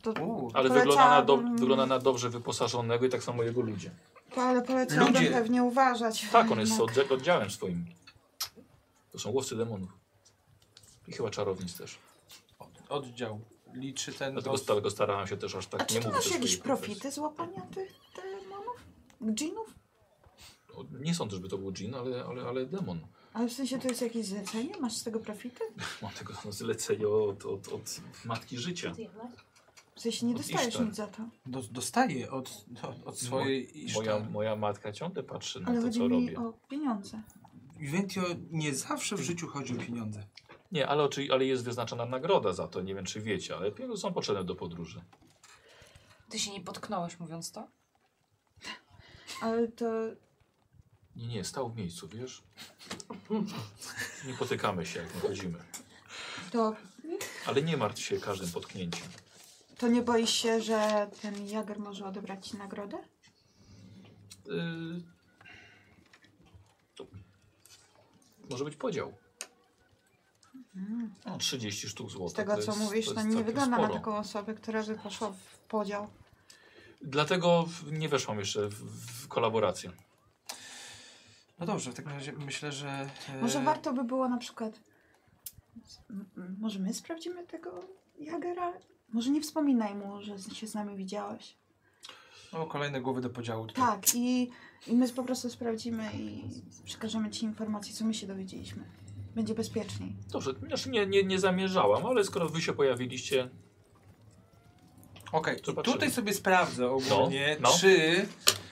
[SPEAKER 5] to,
[SPEAKER 1] Uuu.
[SPEAKER 3] Ale wygląda na, do,
[SPEAKER 5] Polecam-
[SPEAKER 3] wygląda na dobrze wyposażonego i tak samo jego ludzie.
[SPEAKER 5] to, ale polecałabym
[SPEAKER 1] Ludzie.
[SPEAKER 5] pewnie uważać.
[SPEAKER 3] Tak, on jest
[SPEAKER 5] Jednak.
[SPEAKER 3] oddzia- oddziałem swoim. To są łowcy demonów. I chyba czarownic też.
[SPEAKER 1] Oddział. Liczy ten.
[SPEAKER 3] Dlatego,
[SPEAKER 1] Od...
[SPEAKER 3] dlatego starałem się też aż tak
[SPEAKER 5] A
[SPEAKER 3] nie
[SPEAKER 5] czy ty
[SPEAKER 3] mówić.
[SPEAKER 5] masz
[SPEAKER 3] o
[SPEAKER 5] jakieś
[SPEAKER 3] swojej profesji.
[SPEAKER 5] profity z łapania tych demonów? Dżinów?
[SPEAKER 3] O, Nie sądzę, żeby to był dżin, ale, ale, ale demon.
[SPEAKER 5] Ale w sensie to jest jakieś zlecenie? Masz z tego profity?
[SPEAKER 3] Mam tego zlecenie od, od, od matki życia.
[SPEAKER 5] W sensie nie
[SPEAKER 3] Od
[SPEAKER 5] dostajesz
[SPEAKER 3] Ishtar.
[SPEAKER 5] nic za to.
[SPEAKER 1] Do, dostaje od, od, od swojej
[SPEAKER 3] Moja,
[SPEAKER 1] iszczary.
[SPEAKER 3] moja matka ciągle patrzy na
[SPEAKER 5] Ale
[SPEAKER 3] to,
[SPEAKER 5] chodzi
[SPEAKER 3] co
[SPEAKER 5] mi
[SPEAKER 3] robię.
[SPEAKER 5] o pieniądze.
[SPEAKER 1] Inventio nie zawsze w życiu chodzi o pieniądze.
[SPEAKER 3] Nie, ale, oczy, ale jest wyznaczona nagroda za to. Nie wiem, czy wiecie, ale pieniądze są potrzebne do podróży.
[SPEAKER 7] Ty się nie potknąłeś mówiąc to?
[SPEAKER 5] Ale to...
[SPEAKER 3] Nie, nie, stał w miejscu, wiesz? Nie potykamy się, jak my chodzimy.
[SPEAKER 5] to
[SPEAKER 3] Ale nie martw się każdym potknięciem.
[SPEAKER 5] To nie boisz się, że ten Jager może odebrać ci nagrodę?
[SPEAKER 3] No Y, to Może być podział. No, 30 sztuk złota.
[SPEAKER 5] Z tego,
[SPEAKER 3] tak, to
[SPEAKER 5] co
[SPEAKER 3] jest-
[SPEAKER 5] mówisz,
[SPEAKER 3] to
[SPEAKER 5] to
[SPEAKER 3] jest
[SPEAKER 5] nie
[SPEAKER 3] całkiem
[SPEAKER 5] wygląda na
[SPEAKER 3] sporo.
[SPEAKER 5] taką osobę, która by poszła w podział.
[SPEAKER 3] Dlatego w- nie weszłam jeszcze w, w kolaborację.
[SPEAKER 1] No dobrze, w takim razie myślę, że. e,
[SPEAKER 5] Może warto by było na przykład... M- m- Może my sprawdzimy tego Jagera? Może nie wspominaj mu, że z- się z nami widziałeś.
[SPEAKER 1] No, kolejne głowy do podziału. tutaj.
[SPEAKER 5] Tak, i, i my po prostu sprawdzimy i przekażemy ci informacje, co my się dowiedzieliśmy. Będzie bezpieczniej.
[SPEAKER 3] Dobrze, znaczy nie, nie, nie zamierzałam, ale skoro wy się pojawiliście,
[SPEAKER 1] Okej, i
[SPEAKER 3] Zobaczymy.
[SPEAKER 1] tutaj sobie sprawdzę ogólnie,
[SPEAKER 3] No, no.
[SPEAKER 1] czy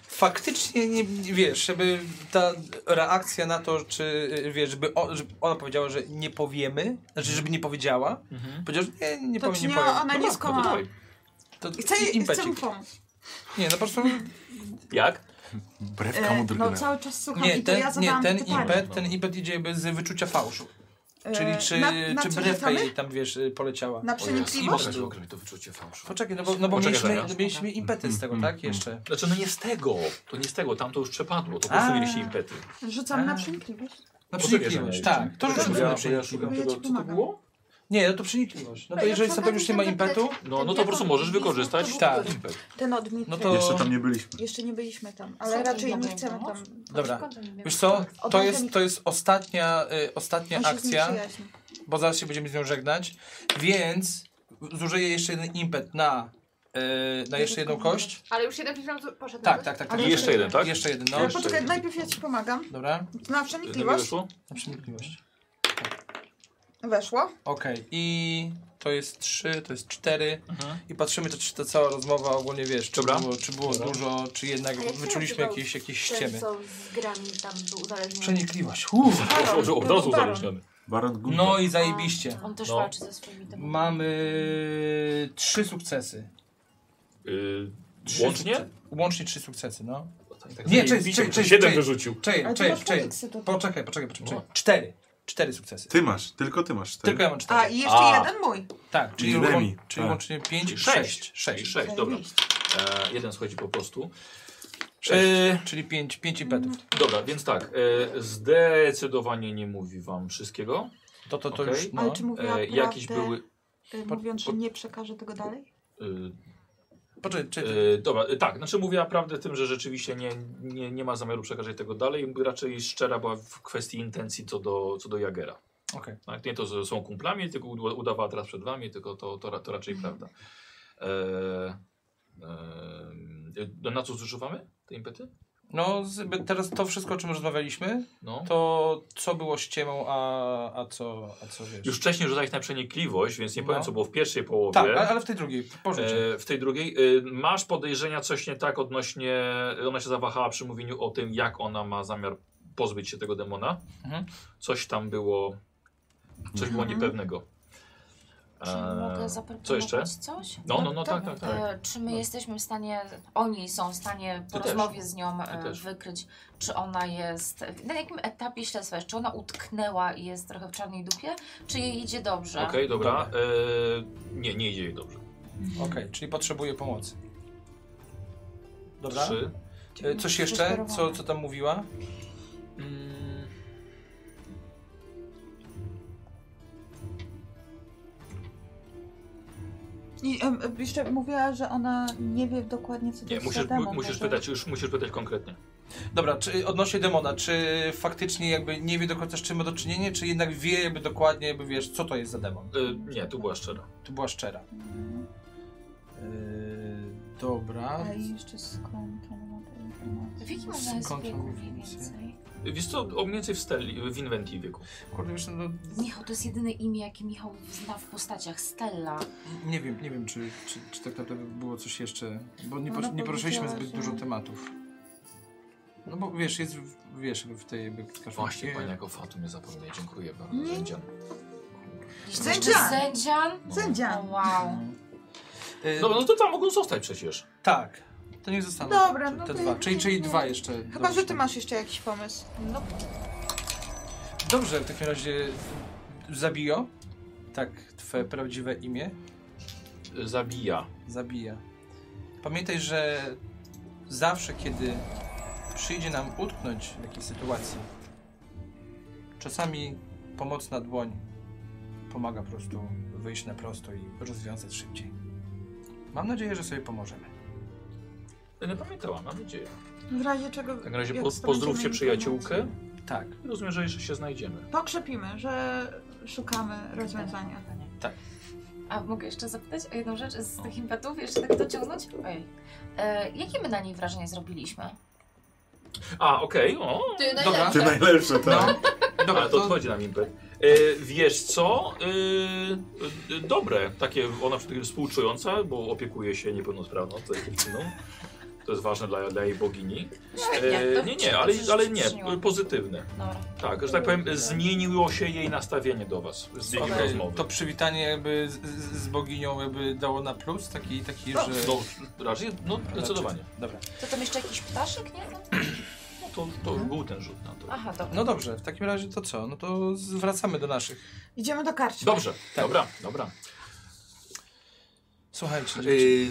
[SPEAKER 1] faktycznie, nie, nie- wiesz, żeby ta reakcja na to, czy, y, wiesz, żeby, o, żeby ona powiedziała, że nie powiemy, znaczy, żeby nie powiedziała, powiedziała, że nie, nie
[SPEAKER 5] To
[SPEAKER 1] powiem,
[SPEAKER 5] ci nie-
[SPEAKER 1] nie powiem.
[SPEAKER 5] ona nie
[SPEAKER 1] Dobra,
[SPEAKER 5] skłamała.
[SPEAKER 1] no to dawaj. To
[SPEAKER 5] I Chcę, chcę mu
[SPEAKER 1] impecik.
[SPEAKER 5] pomóc.
[SPEAKER 1] Nie, no po prostu,
[SPEAKER 3] jak?
[SPEAKER 2] Wbrew
[SPEAKER 5] E,
[SPEAKER 2] kamu
[SPEAKER 5] no
[SPEAKER 2] drgnęła.
[SPEAKER 5] cały czas słucham
[SPEAKER 1] nie,
[SPEAKER 5] i to
[SPEAKER 1] ten,
[SPEAKER 5] ja
[SPEAKER 1] nie,
[SPEAKER 5] zadałam
[SPEAKER 1] ten
[SPEAKER 5] pytanie.
[SPEAKER 1] impet,
[SPEAKER 3] No.
[SPEAKER 1] ten impet idzie bez wyczucia fałszu.
[SPEAKER 5] E,
[SPEAKER 1] Czyli czy,
[SPEAKER 5] na, na
[SPEAKER 1] czy
[SPEAKER 5] co
[SPEAKER 1] brewka
[SPEAKER 5] rzucamy?
[SPEAKER 1] jej tam, wiesz, y, poleciała.
[SPEAKER 5] Na przenikliwość?
[SPEAKER 1] Możesz
[SPEAKER 9] Możesz w ogóle to wyczucie fałszu.
[SPEAKER 1] Poczekaj, no bo, no bo
[SPEAKER 3] Poczekaj,
[SPEAKER 1] mieliśmy,
[SPEAKER 3] zaraz.
[SPEAKER 1] mieliśmy impety z tego,
[SPEAKER 2] Mm,
[SPEAKER 1] tak?
[SPEAKER 2] mm,
[SPEAKER 1] Jeszcze.
[SPEAKER 3] Znaczy no nie z tego, to nie z tego, tam to już przepadło, to po
[SPEAKER 1] A.
[SPEAKER 3] prostu mieliście impety.
[SPEAKER 5] Rzucam
[SPEAKER 1] A.
[SPEAKER 5] na przenikliwość.
[SPEAKER 1] Na
[SPEAKER 3] No Poczekaj,
[SPEAKER 1] przenikliwość,
[SPEAKER 3] zaraz.
[SPEAKER 1] tak. To
[SPEAKER 3] Ja-
[SPEAKER 1] rzućmy
[SPEAKER 3] ja-
[SPEAKER 1] sobie na
[SPEAKER 3] ja
[SPEAKER 1] przenikliwość.
[SPEAKER 3] szukam
[SPEAKER 5] Ja ci
[SPEAKER 3] tego, co to
[SPEAKER 5] pomagam.
[SPEAKER 3] było?
[SPEAKER 1] Nie, no to przenikliwość. No to
[SPEAKER 5] Ja
[SPEAKER 1] jeżeli
[SPEAKER 5] przed
[SPEAKER 1] sobie już nie ma
[SPEAKER 5] razem
[SPEAKER 1] impetu,
[SPEAKER 5] zapytać-
[SPEAKER 3] No, no to po prostu możesz wykorzystać
[SPEAKER 1] Tak.
[SPEAKER 3] ten impet.
[SPEAKER 5] Ten odmit.
[SPEAKER 1] No to-
[SPEAKER 2] Jeszcze tam nie byliśmy.
[SPEAKER 5] Jeszcze nie byliśmy tam,
[SPEAKER 7] Co
[SPEAKER 5] ale
[SPEAKER 7] ty,
[SPEAKER 5] raczej
[SPEAKER 7] mogę
[SPEAKER 5] nie
[SPEAKER 7] im
[SPEAKER 5] chcemy
[SPEAKER 7] pomóc?
[SPEAKER 5] tam.
[SPEAKER 1] dobra.
[SPEAKER 6] Skąd oni mnie-
[SPEAKER 1] Wiesz co, to
[SPEAKER 5] Odwagę
[SPEAKER 1] jest,
[SPEAKER 5] mi-
[SPEAKER 1] to jest ostatnia, y, ostatnia
[SPEAKER 5] On się z nim
[SPEAKER 1] akcja,
[SPEAKER 5] przyjaźni.
[SPEAKER 1] bo zaraz się będziemy z nią żegnać, więc zużyję jeszcze jeden impet na, y, na jeszcze jedną kość.
[SPEAKER 6] Ale już jeden film poszedł.
[SPEAKER 1] Tak, tak, tak. tak
[SPEAKER 3] I jeszcze jeden, tak?
[SPEAKER 1] Jeszcze jeden, no.
[SPEAKER 5] Ale
[SPEAKER 3] Jeszcze
[SPEAKER 5] poczekaj,
[SPEAKER 3] jeden.
[SPEAKER 5] najpierw ja ci pomagam.
[SPEAKER 1] Dobra,
[SPEAKER 5] Na
[SPEAKER 3] Jednego
[SPEAKER 5] przenikliwość
[SPEAKER 3] wyszło?
[SPEAKER 1] na przenikliwość.
[SPEAKER 5] weszło.
[SPEAKER 1] Okej, i to jest 3, to jest 4 i patrzymy, czy, czy ta cała rozmowa ogólnie, wiesz, czy
[SPEAKER 3] Mhm. Dobra.
[SPEAKER 1] było, czy było
[SPEAKER 3] Dobra.
[SPEAKER 1] dużo, czy jednak
[SPEAKER 6] Ale jak się
[SPEAKER 1] wyczuliśmy
[SPEAKER 6] nazywał
[SPEAKER 1] jakieś, jakieś
[SPEAKER 6] Ten,
[SPEAKER 1] ściemy.
[SPEAKER 6] co z grami tam był uzależniony.
[SPEAKER 1] Przenikliwość, uff.
[SPEAKER 3] Od razu- Od razu
[SPEAKER 5] Baron.
[SPEAKER 3] uzależniony.
[SPEAKER 2] Baron Gunter.
[SPEAKER 1] No i zajebiście.
[SPEAKER 7] On też
[SPEAKER 3] No.
[SPEAKER 7] walczy ze swoimi demonami.
[SPEAKER 1] Mamy trzy sukcesy.
[SPEAKER 3] Y,
[SPEAKER 1] Trzy
[SPEAKER 3] Łącznie?
[SPEAKER 1] sukce- Łącznie trzy sukcesy, no.
[SPEAKER 3] Tak,
[SPEAKER 1] Nie,
[SPEAKER 3] tak,
[SPEAKER 1] cześć,
[SPEAKER 3] tak,
[SPEAKER 1] cześć, cześć,
[SPEAKER 3] Siedem
[SPEAKER 1] cześć.
[SPEAKER 3] wyrzucił.
[SPEAKER 1] Czekaj,
[SPEAKER 5] Ale ty
[SPEAKER 1] czekaj,
[SPEAKER 5] masz
[SPEAKER 1] czekaj.
[SPEAKER 5] komiksy tutaj.
[SPEAKER 1] Poczekaj, poczekaj, poczekaj. poczekaj.
[SPEAKER 3] No.
[SPEAKER 1] Cztery. Cztery sukcesy.
[SPEAKER 2] Ty masz, tylko ty masz. tak? Ten.
[SPEAKER 1] Tylko ja mam cztery.
[SPEAKER 5] A i jeszcze
[SPEAKER 3] A.
[SPEAKER 5] jeden mój.
[SPEAKER 1] Tak, czyli,
[SPEAKER 2] I
[SPEAKER 1] łą-
[SPEAKER 2] Remi,
[SPEAKER 1] czyli
[SPEAKER 2] tak.
[SPEAKER 1] łącznie pięć,
[SPEAKER 3] Czyli
[SPEAKER 1] sześć.
[SPEAKER 3] Sześć,
[SPEAKER 1] Sześć.
[SPEAKER 3] sześć, dobra.
[SPEAKER 5] Zajebiście.
[SPEAKER 3] E, jeden schodzi po prostu.
[SPEAKER 1] E, czyli pięć, pięć impetów.
[SPEAKER 3] Dobra, więc tak, e, zdecydowanie nie mówi wam wszystkiego.
[SPEAKER 1] To, to, to
[SPEAKER 3] Okej.
[SPEAKER 1] już,
[SPEAKER 5] Ale
[SPEAKER 1] no.
[SPEAKER 5] czy mówiła
[SPEAKER 3] E, jakieś
[SPEAKER 5] prawdę,
[SPEAKER 3] były...
[SPEAKER 5] y, mówiąc, że nie przekaże tego dalej?
[SPEAKER 3] e,
[SPEAKER 1] Poczekaj, czy,
[SPEAKER 3] E, dobra, e, tak, znaczy mówiła prawdę tym, że rzeczywiście nie, nie, nie ma zamiaru przekazać tego dalej. Raczej szczera była w kwestii intencji co do, co do Jagera.
[SPEAKER 1] Okej.
[SPEAKER 3] Tak, nie to, że są kumplami, tylko ud- udawała teraz przed wami, tylko to, to, ra- to raczej prawda. E, e, no na co zużywamy te impety?
[SPEAKER 1] No, z, teraz to wszystko, o czym rozmawialiśmy,
[SPEAKER 3] No.
[SPEAKER 1] to co było ściemą, a, a, co, a co wiesz.
[SPEAKER 3] Już wcześniej rzucałeś na przenikliwość, więc nie powiem,
[SPEAKER 1] No.
[SPEAKER 3] co było w pierwszej połowie.
[SPEAKER 1] tak, a- ale w tej drugiej, porzucę.
[SPEAKER 3] E, w tej drugiej. E, masz podejrzenia coś nie tak odnośnie. Ona się zawahała przy mówieniu o tym, jak ona ma zamiar pozbyć się tego demona.
[SPEAKER 1] Mhm.
[SPEAKER 3] Coś tam było. Coś było
[SPEAKER 5] Mhm.
[SPEAKER 3] niepewnego. E,
[SPEAKER 7] Czy mogę
[SPEAKER 3] Eee, co jeszcze?
[SPEAKER 7] zaproponować coś?
[SPEAKER 3] No, no, no, tak, tak, tak.
[SPEAKER 7] E, Czy my jesteśmy w stanie, oni są w stanie po
[SPEAKER 3] też.
[SPEAKER 7] rozmowie z nią e,
[SPEAKER 3] też.
[SPEAKER 7] wykryć, czy ona jest, na jakim etapie śledztwa jest, czy ona utknęła i jest trochę w czarnej dupie, czy jej idzie dobrze?
[SPEAKER 3] Okej, dobra. E, nie, nie idzie jej dobrze.
[SPEAKER 1] Okej, czyli potrzebuję pomocy. Dobra.
[SPEAKER 3] Trzy.
[SPEAKER 1] E, Coś jeszcze? Co, co tam mówiła?
[SPEAKER 3] Mm.
[SPEAKER 5] I em, em, jeszcze mówiła, że ona nie wie dokładnie, co to
[SPEAKER 3] Nie,
[SPEAKER 5] jest
[SPEAKER 3] musisz,
[SPEAKER 5] za demon,
[SPEAKER 3] mu- musisz
[SPEAKER 5] także-
[SPEAKER 3] pytać, już musisz pytać konkretnie.
[SPEAKER 1] Dobra, czy odnośnie demona, czy faktycznie jakby nie wie do końca z czym ma do czynienia, czy jednak wie jakby dokładnie, jakby wiesz, co to jest za demon?
[SPEAKER 3] E, nie, tu była szczera.
[SPEAKER 1] To była szczera. Yy, dobra.
[SPEAKER 5] Mhm. A i jeszcze no, skąd ona ma te informacje?
[SPEAKER 7] W jakim ona jest
[SPEAKER 1] Skąd
[SPEAKER 7] wieku
[SPEAKER 1] mamy
[SPEAKER 7] mniej
[SPEAKER 1] więcej?
[SPEAKER 7] więcej?
[SPEAKER 3] E, Wiesz co, o mniej więcej w Stelli, w Inventii wieku.
[SPEAKER 1] Kurde, wiesz, no,
[SPEAKER 7] Michał, to jest jedyne imię, jakie Michał zna w postaciach, Stella.
[SPEAKER 1] nie wiem, nie wiem, czy, czy, czy tak naprawdę było coś jeszcze, bo nie,
[SPEAKER 5] Ona
[SPEAKER 1] por- nie poruszyliśmy
[SPEAKER 5] powiedziała,
[SPEAKER 1] zbyt
[SPEAKER 5] że-
[SPEAKER 1] dużo tematów. No bo wiesz, jest, w- wiesz, jakby w tej jakby kaszanki-
[SPEAKER 9] Właśnie, pani jako Fatumie zapomniał. Dziękuję bardzo.
[SPEAKER 5] Nie.
[SPEAKER 9] Sędzian.
[SPEAKER 7] Jeszcze
[SPEAKER 5] Sędzian!
[SPEAKER 7] Sędzian? O,
[SPEAKER 5] Sędzia.
[SPEAKER 7] wow.
[SPEAKER 1] Yy,
[SPEAKER 3] No, no to tam mogą zostać przecież.
[SPEAKER 1] Tak, to nie zostaną
[SPEAKER 5] Dobra,
[SPEAKER 1] te,
[SPEAKER 5] no
[SPEAKER 1] te
[SPEAKER 5] to
[SPEAKER 1] dwa,
[SPEAKER 5] ja-
[SPEAKER 1] czyli, czyli dwa jeszcze.
[SPEAKER 5] Chyba,
[SPEAKER 1] dorzucę.
[SPEAKER 5] że ty masz jeszcze jakiś pomysł.
[SPEAKER 7] No,
[SPEAKER 1] Dobrze, w takim razie Zabio, tak twoje prawdziwe imię,
[SPEAKER 3] E, Zabija.
[SPEAKER 1] Zabija. Pamiętaj, że zawsze kiedy przyjdzie nam utknąć w jakiejś sytuacji, czasami pomocna dłoń pomaga po prostu wyjść na prosto i rozwiązać szybciej. Mam nadzieję, że sobie pomożemy.
[SPEAKER 3] E, Nie pamiętałam, mam nadzieję.
[SPEAKER 5] W razie czego...
[SPEAKER 3] W takim razie
[SPEAKER 5] jak
[SPEAKER 3] po,
[SPEAKER 5] zdobędziemy
[SPEAKER 3] pozdrówcie
[SPEAKER 5] informacje.
[SPEAKER 3] przyjaciółkę
[SPEAKER 1] Tak,
[SPEAKER 3] i rozumiem, że jeszcze się znajdziemy.
[SPEAKER 5] Pokrzepimy, że szukamy rozwiązania.
[SPEAKER 1] Tak.
[SPEAKER 7] A A mogę jeszcze zapytać o jedną rzecz z tych impetów? Jeszcze tak dociągnąć? Ojej. E, jakie my na niej wrażenie zrobiliśmy?
[SPEAKER 3] A, okej, o.
[SPEAKER 6] Ty no
[SPEAKER 1] Dobra.
[SPEAKER 2] Ty
[SPEAKER 6] najlepsza.
[SPEAKER 2] najlepsze, tak.
[SPEAKER 1] No, dobra,
[SPEAKER 3] Ale to
[SPEAKER 1] to,
[SPEAKER 3] odchodzi nam impet. E, wiesz co? E, e, dobre, takie ona w- współczująca, bo opiekuje się niepełnosprawną tutaj dziewczyną. To jest ważne dla, dla jej bogini.
[SPEAKER 7] Tak, to
[SPEAKER 3] E, nie, nie, ale,
[SPEAKER 7] dobrze, że
[SPEAKER 3] ale
[SPEAKER 7] się
[SPEAKER 3] nie,
[SPEAKER 7] przyczyniłam.
[SPEAKER 3] pozytywne.
[SPEAKER 7] Dobra.
[SPEAKER 3] Tak, że tak powiem, zmieniło się jej nastawienie do was z biegiem
[SPEAKER 1] okej,
[SPEAKER 3] rozmowy.
[SPEAKER 1] to przywitanie jakby z, z z boginią jakby dało na plus, taki, taki
[SPEAKER 3] No,
[SPEAKER 1] że...
[SPEAKER 3] no, raczej, no zdecydowanie.
[SPEAKER 1] Dobra.
[SPEAKER 7] To tam jeszcze jakiś ptaszek, nie?
[SPEAKER 3] No, to to był ten rzut na to.
[SPEAKER 7] Aha, dobra.
[SPEAKER 1] No dobrze, w takim razie to co? No to z- wracamy do naszych.
[SPEAKER 5] Idziemy do karczmy.
[SPEAKER 3] Dobrze, dobra, dobra.
[SPEAKER 1] Słuchajcie, dzieci.
[SPEAKER 3] Yy,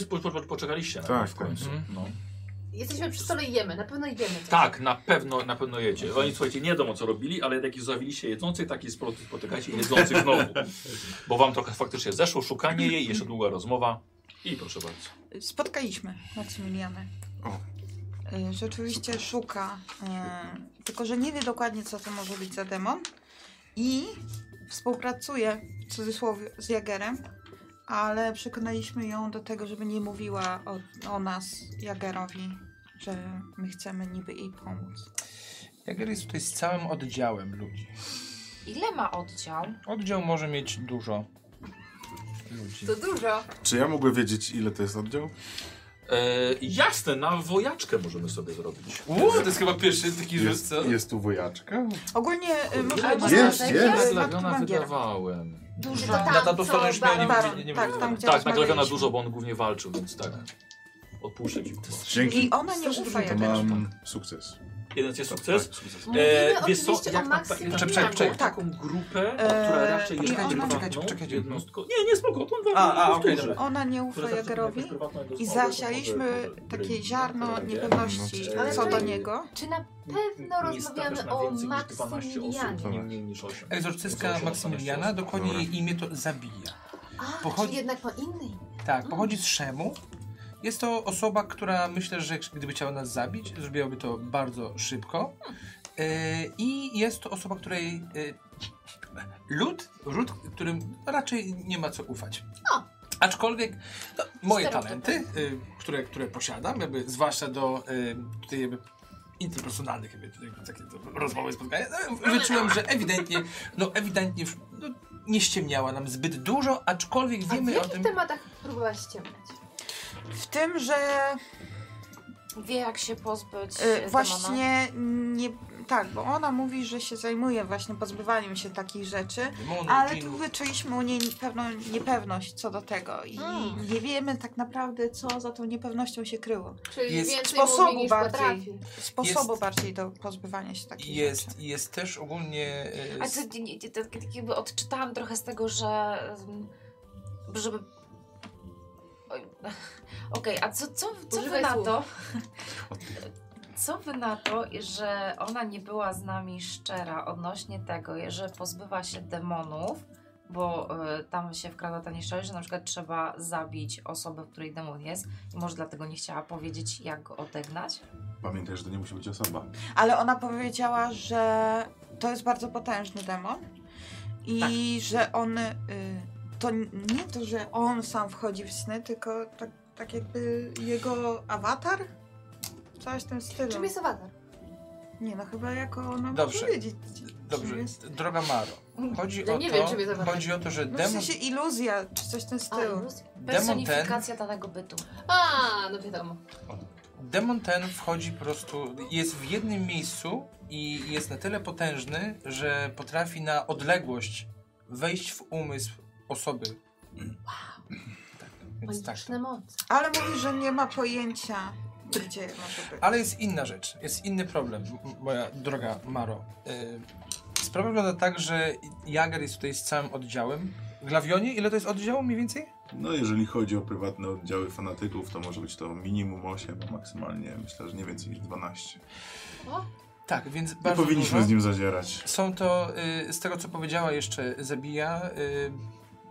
[SPEAKER 3] Wy po, po, poczekaliście na
[SPEAKER 2] Tak,
[SPEAKER 3] mnie w
[SPEAKER 2] tak.
[SPEAKER 3] końcu.
[SPEAKER 1] Mhm.
[SPEAKER 3] No.
[SPEAKER 6] Jesteśmy przy stole i jemy, na pewno jemy. coś.
[SPEAKER 3] Tak, na pewno, na pewno jecie. Oni słuchajcie, nie wiadomo co robili, ale jak zostawiliście jedzących, tak i spo- spotykacie jedzących znowu. Bo wam trochę faktycznie zeszło, szukanie jej, jeszcze długa rozmowa. I proszę bardzo.
[SPEAKER 5] Spotkaliśmy Maksymilianę.
[SPEAKER 2] O.
[SPEAKER 5] Y, Rzeczywiście szuka, y, tylko że nie wie dokładnie, co to może być za demon. I współpracuje w cudzysłowie z Jagerem, ale przekonaliśmy ją do tego, żeby nie mówiła o, o nas Jagerowi, że my chcemy niby jej pomóc.
[SPEAKER 1] Jager jest tutaj z całym oddziałem ludzi.
[SPEAKER 7] Ile ma oddział?
[SPEAKER 1] Oddział może mieć dużo ludzi.
[SPEAKER 6] To dużo.
[SPEAKER 2] Czy ja mogę wiedzieć, ile to jest oddział?
[SPEAKER 3] E, jasne, na wojaczkę możemy sobie zrobić.
[SPEAKER 1] Uuu, to jest chyba pierwszy taki rzut,
[SPEAKER 2] Jest,
[SPEAKER 1] co?
[SPEAKER 2] jest tu wojaczka?
[SPEAKER 5] Ogólnie y, może
[SPEAKER 7] Albo
[SPEAKER 2] Jest,
[SPEAKER 7] strażek
[SPEAKER 6] Tak,
[SPEAKER 2] jest.
[SPEAKER 9] Zlewiona
[SPEAKER 5] Bangiera.
[SPEAKER 9] wydawałem.
[SPEAKER 6] Dużo.
[SPEAKER 5] Na-
[SPEAKER 1] Na tamtą stronę już nie, nie,
[SPEAKER 5] Baron,
[SPEAKER 1] nie, nie
[SPEAKER 5] tak, tam gdzie
[SPEAKER 3] tak, nagrawiona
[SPEAKER 5] rozmawialiśmy.
[SPEAKER 3] dużo, bo on głównie walczył, więc tak. Odpuszczę ci.
[SPEAKER 2] Dzięki.
[SPEAKER 5] I ona nie ufa
[SPEAKER 2] To
[SPEAKER 5] Jagerowi.
[SPEAKER 2] mam sukces.
[SPEAKER 3] Jeden jest sukces.
[SPEAKER 2] Tak, sukces.
[SPEAKER 6] Mówimy
[SPEAKER 3] wiesz co,
[SPEAKER 6] oczywiście
[SPEAKER 3] jak
[SPEAKER 6] o
[SPEAKER 3] na-
[SPEAKER 6] Maksymilianie.
[SPEAKER 1] Czekaj, czekaj, czekaj.
[SPEAKER 3] Taką grupę,
[SPEAKER 5] Eee,
[SPEAKER 3] która raczej
[SPEAKER 5] i
[SPEAKER 3] jest
[SPEAKER 5] ona-
[SPEAKER 3] prywatną
[SPEAKER 1] czekajcie, czekajcie.
[SPEAKER 3] jednostką. Nie, nie, spoko, to on
[SPEAKER 1] A, a, okej,
[SPEAKER 3] powtórzy.
[SPEAKER 1] dobra.
[SPEAKER 5] Ona nie ufa
[SPEAKER 3] Które zawsze
[SPEAKER 5] Jagerowi.
[SPEAKER 3] jakąś prywatną jednostką,
[SPEAKER 5] I
[SPEAKER 3] może- może-
[SPEAKER 5] zasialiśmy
[SPEAKER 3] może-
[SPEAKER 5] takie
[SPEAKER 3] może-
[SPEAKER 5] ziarno
[SPEAKER 3] może-
[SPEAKER 5] niepewności
[SPEAKER 3] Ale
[SPEAKER 5] co do
[SPEAKER 3] czekaj.
[SPEAKER 5] niego.
[SPEAKER 6] Czy na
[SPEAKER 3] Nie
[SPEAKER 6] pewno
[SPEAKER 3] stawiasz
[SPEAKER 6] rozmawiamy
[SPEAKER 3] na
[SPEAKER 6] o
[SPEAKER 3] więcej niż 12 osób,
[SPEAKER 6] Maksymilianie?
[SPEAKER 3] nie mniej niż 8.
[SPEAKER 1] Egzorcyska Maksymiliana, dokładnie jej imię to Zabija.
[SPEAKER 6] A,
[SPEAKER 1] Pochodzi-
[SPEAKER 6] czyli jednak po innej.
[SPEAKER 1] Tak, pochodzi z Szemu. Jest to osoba, która myślę, że gdyby chciała nas zabić, zrobiłaby to bardzo szybko. Yy, I jest to osoba, której yy, lud, lud, którym raczej nie ma co ufać.
[SPEAKER 6] O.
[SPEAKER 1] Aczkolwiek no, moje
[SPEAKER 7] Stereotypy.
[SPEAKER 1] talenty, yy, które, które posiadam, jakby, zwłaszcza do yy, tutaj jakby interpersonalnych jakby, tutaj takie to rozmowy, spotkania, no, wyczułem, że ewidentnie, no ewidentnie no, nie ściemniała nam zbyt dużo, aczkolwiek
[SPEAKER 6] A w
[SPEAKER 1] wiemy o
[SPEAKER 6] jakich
[SPEAKER 1] tym...
[SPEAKER 6] tematach próbowałaś ściemniać?
[SPEAKER 5] W tym, że
[SPEAKER 7] Wie jak się pozbyć
[SPEAKER 5] y,
[SPEAKER 7] y,
[SPEAKER 5] właśnie nie. Tak, bo ona mówi, że się zajmuje właśnie pozbywaniem się takich rzeczy,
[SPEAKER 1] Demony,
[SPEAKER 5] ale tu
[SPEAKER 1] dżinów.
[SPEAKER 5] wyczuliśmy u niej pewną niepewność co do tego i
[SPEAKER 6] Mm.
[SPEAKER 5] nie wiemy tak naprawdę, co za tą niepewnością się kryło.
[SPEAKER 6] Czyli
[SPEAKER 1] Jest
[SPEAKER 6] więcej
[SPEAKER 5] sposobu
[SPEAKER 6] mówi niż
[SPEAKER 5] bardziej.
[SPEAKER 6] potrafi.
[SPEAKER 5] Sposobu bardziej do pozbywania się takich rzeczy.
[SPEAKER 1] Jest, jest też ogólnie. e,
[SPEAKER 7] A
[SPEAKER 1] s-
[SPEAKER 7] ty, nie, nie, tak, tak jakby odczytałam trochę z tego, że mm, żeby... Oj, Okej, a co, co, co wy
[SPEAKER 6] Używaj
[SPEAKER 7] na
[SPEAKER 6] słów.
[SPEAKER 7] to? Co wy na to, że ona nie była z nami szczera odnośnie tego, że pozbywa się demonów, bo y, tam się wkrada ta nieszczerość, że na przykład trzeba zabić osobę, w której demon jest i może dlatego nie chciała powiedzieć, jak go odegnać?
[SPEAKER 2] Pamiętaj, że to nie musi być osoba.
[SPEAKER 5] Ale ona powiedziała, że to jest bardzo potężny demon i
[SPEAKER 1] Tak.
[SPEAKER 5] że on. Y, to nie to, że on sam wchodzi w sny, tylko tak, tak jakby jego awatar? Coś w tym stylu.
[SPEAKER 6] Czym jest awatar?
[SPEAKER 5] Nie, no chyba jako ona
[SPEAKER 1] Dobrze.
[SPEAKER 5] może wiedzieć.
[SPEAKER 1] Dobrze,
[SPEAKER 5] czym jest.
[SPEAKER 1] droga Maro. Chodzi,
[SPEAKER 6] Ja
[SPEAKER 1] o
[SPEAKER 6] nie
[SPEAKER 1] to,
[SPEAKER 6] wiem, czym jest awatar.
[SPEAKER 1] chodzi o to, że
[SPEAKER 5] No w
[SPEAKER 1] demon,
[SPEAKER 5] sensie iluzja, czy coś w tym
[SPEAKER 6] A,
[SPEAKER 5] stylu.
[SPEAKER 6] iluzja.
[SPEAKER 1] demon, ten,
[SPEAKER 7] Personifikacja danego bytu.
[SPEAKER 6] A, no wiadomo.
[SPEAKER 1] demon ten wchodzi po prostu. Jest w jednym miejscu i jest na tyle potężny, że potrafi na odległość wejść w umysł osoby. Tak, więc tak.
[SPEAKER 6] Magiczne moce.
[SPEAKER 5] Ale mówi, że nie ma pojęcia, gdzie może być.
[SPEAKER 1] Ale jest inna rzecz, jest inny problem, m- moja droga Maro. Y, Sprawa wygląda tak, że Jager jest tutaj z całym oddziałem. Glawionie, ile to jest oddziału mniej więcej?
[SPEAKER 2] No jeżeli chodzi o prywatne oddziały fanatyków, to może być to minimum 8, a maksymalnie myślę, że nie więcej niż 12.
[SPEAKER 1] Tak, więc
[SPEAKER 2] Nie
[SPEAKER 1] bardzo
[SPEAKER 2] powinniśmy
[SPEAKER 1] dużo.
[SPEAKER 2] z nim zadzierać.
[SPEAKER 1] Są to, y, z tego co powiedziała jeszcze Zabija, y,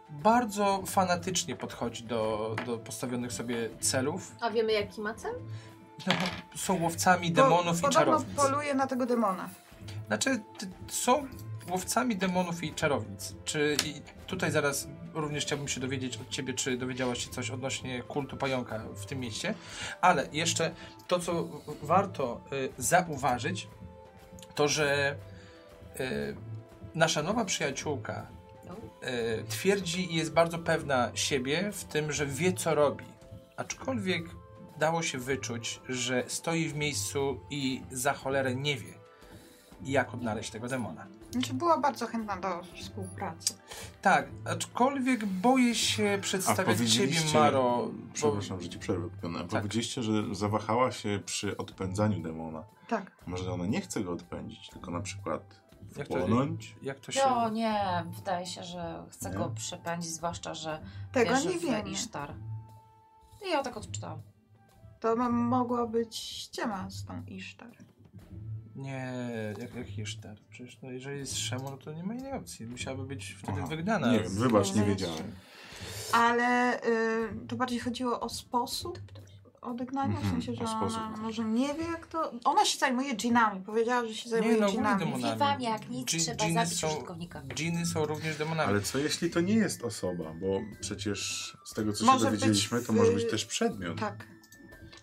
[SPEAKER 1] bardzo fanatycznie podchodzi do, do postawionych sobie celów.
[SPEAKER 6] A wiemy jaki ma cel?
[SPEAKER 1] No, są łowcami
[SPEAKER 5] Bo
[SPEAKER 1] demonów i
[SPEAKER 5] podobno
[SPEAKER 1] czarownic.
[SPEAKER 5] poluje na tego demona.
[SPEAKER 1] Znaczy, t- są łowcami demonów i czarownic. Czy i tutaj zaraz również chciałbym się dowiedzieć od ciebie, czy dowiedziałaś się coś odnośnie kultu pająka w tym mieście, ale jeszcze to, co w- warto y, zauważyć, to że y, nasza nowa przyjaciółka y, twierdzi i jest bardzo pewna siebie w tym, że wie, co robi. Aczkolwiek dało się wyczuć, że stoi w miejscu i za cholerę nie wie, jak odnaleźć tego demona.
[SPEAKER 5] Znaczy była bardzo chętna do współpracy.
[SPEAKER 1] Tak, aczkolwiek boję się przedstawiać ciebie,
[SPEAKER 2] powiedzieliście-
[SPEAKER 1] Maro. Bo...
[SPEAKER 2] Przepraszam, że ci przerwę. Piona.
[SPEAKER 1] Tak.
[SPEAKER 2] Powiedzieliście, że zawahała się przy odpędzaniu demona.
[SPEAKER 5] Tak.
[SPEAKER 2] Może ona nie chce go odpędzić, tylko na przykład
[SPEAKER 1] Jak to-
[SPEAKER 2] wchłonąć?
[SPEAKER 1] Jak to się.
[SPEAKER 7] No nie, wydaje się, że chce
[SPEAKER 2] Nie?
[SPEAKER 7] go przepędzić, zwłaszcza, że
[SPEAKER 5] Tego
[SPEAKER 7] wierzy
[SPEAKER 5] nie
[SPEAKER 7] w
[SPEAKER 5] wiemy.
[SPEAKER 7] Isztar. I ja tak odczytałam.
[SPEAKER 5] To m- mogła być ściema z tą Isztar.
[SPEAKER 1] Nie, jak, jak Hiszter. Przecież no, jeżeli jest Szemo, no to nie ma innej opcji. Musiałaby być wtedy
[SPEAKER 2] Aha,
[SPEAKER 1] wygnana.
[SPEAKER 2] Nie wiem, wybacz, nie
[SPEAKER 5] Zależy.
[SPEAKER 2] wiedziałem.
[SPEAKER 5] Ale y, to bardziej chodziło o sposób odegnania, w
[SPEAKER 2] Mhm,
[SPEAKER 5] sensie, że
[SPEAKER 2] o sposób.
[SPEAKER 5] ona może nie wie jak to... Ona się zajmuje dżinami, powiedziała, że się zajmuje
[SPEAKER 1] no, głównie
[SPEAKER 5] dżinami.
[SPEAKER 1] demonami.
[SPEAKER 7] Mówi wam jak nic,
[SPEAKER 1] Dżin-
[SPEAKER 7] trzeba
[SPEAKER 1] dżiny
[SPEAKER 7] zabić
[SPEAKER 1] są-
[SPEAKER 7] użytkownika.
[SPEAKER 1] Dżiny są również demonami.
[SPEAKER 2] Ale co jeśli to nie jest osoba? Bo przecież z tego, co
[SPEAKER 5] Może
[SPEAKER 2] się dowiedzieliśmy,
[SPEAKER 5] być
[SPEAKER 2] to
[SPEAKER 5] w-
[SPEAKER 2] może być też przedmiot.
[SPEAKER 5] Tak,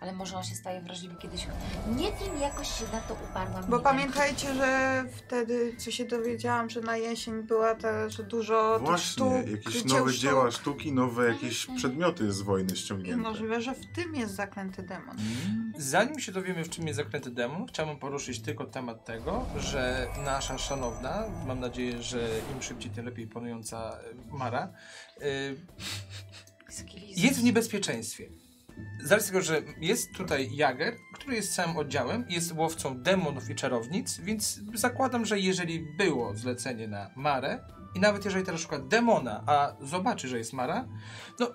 [SPEAKER 7] Ale może on się staje wrażliwy kiedyś. Nie wiem, jakoś się na to
[SPEAKER 5] bo
[SPEAKER 7] uparłam. nie wiem.
[SPEAKER 5] pamiętajcie, że wtedy, co się dowiedziałam, że na jesień była też dużo tych
[SPEAKER 2] Właśnie,
[SPEAKER 5] sztuk,
[SPEAKER 2] jakieś
[SPEAKER 5] dzieł
[SPEAKER 2] nowe
[SPEAKER 5] sztuk. Tak.
[SPEAKER 2] dzieła sztuki, nowe jakieś przedmioty z wojny
[SPEAKER 5] I
[SPEAKER 2] ściągnięte.
[SPEAKER 5] możliwe, że w tym jest zaklęty demon.
[SPEAKER 1] Zanim się dowiemy, w czym jest zaklęty demon, chciałbym poruszyć tylko temat tego, że nasza szanowna, mam nadzieję, że im szybciej, tym lepiej panująca y, Mara, y, jest w niebezpieczeństwie. Z racji tego, że jest tutaj Jager, który jest całym oddziałem, jest łowcą demonów i czarownic, więc zakładam, że jeżeli było zlecenie na Marę i nawet jeżeli teraz szuka demona, a zobaczy, że jest Mara, no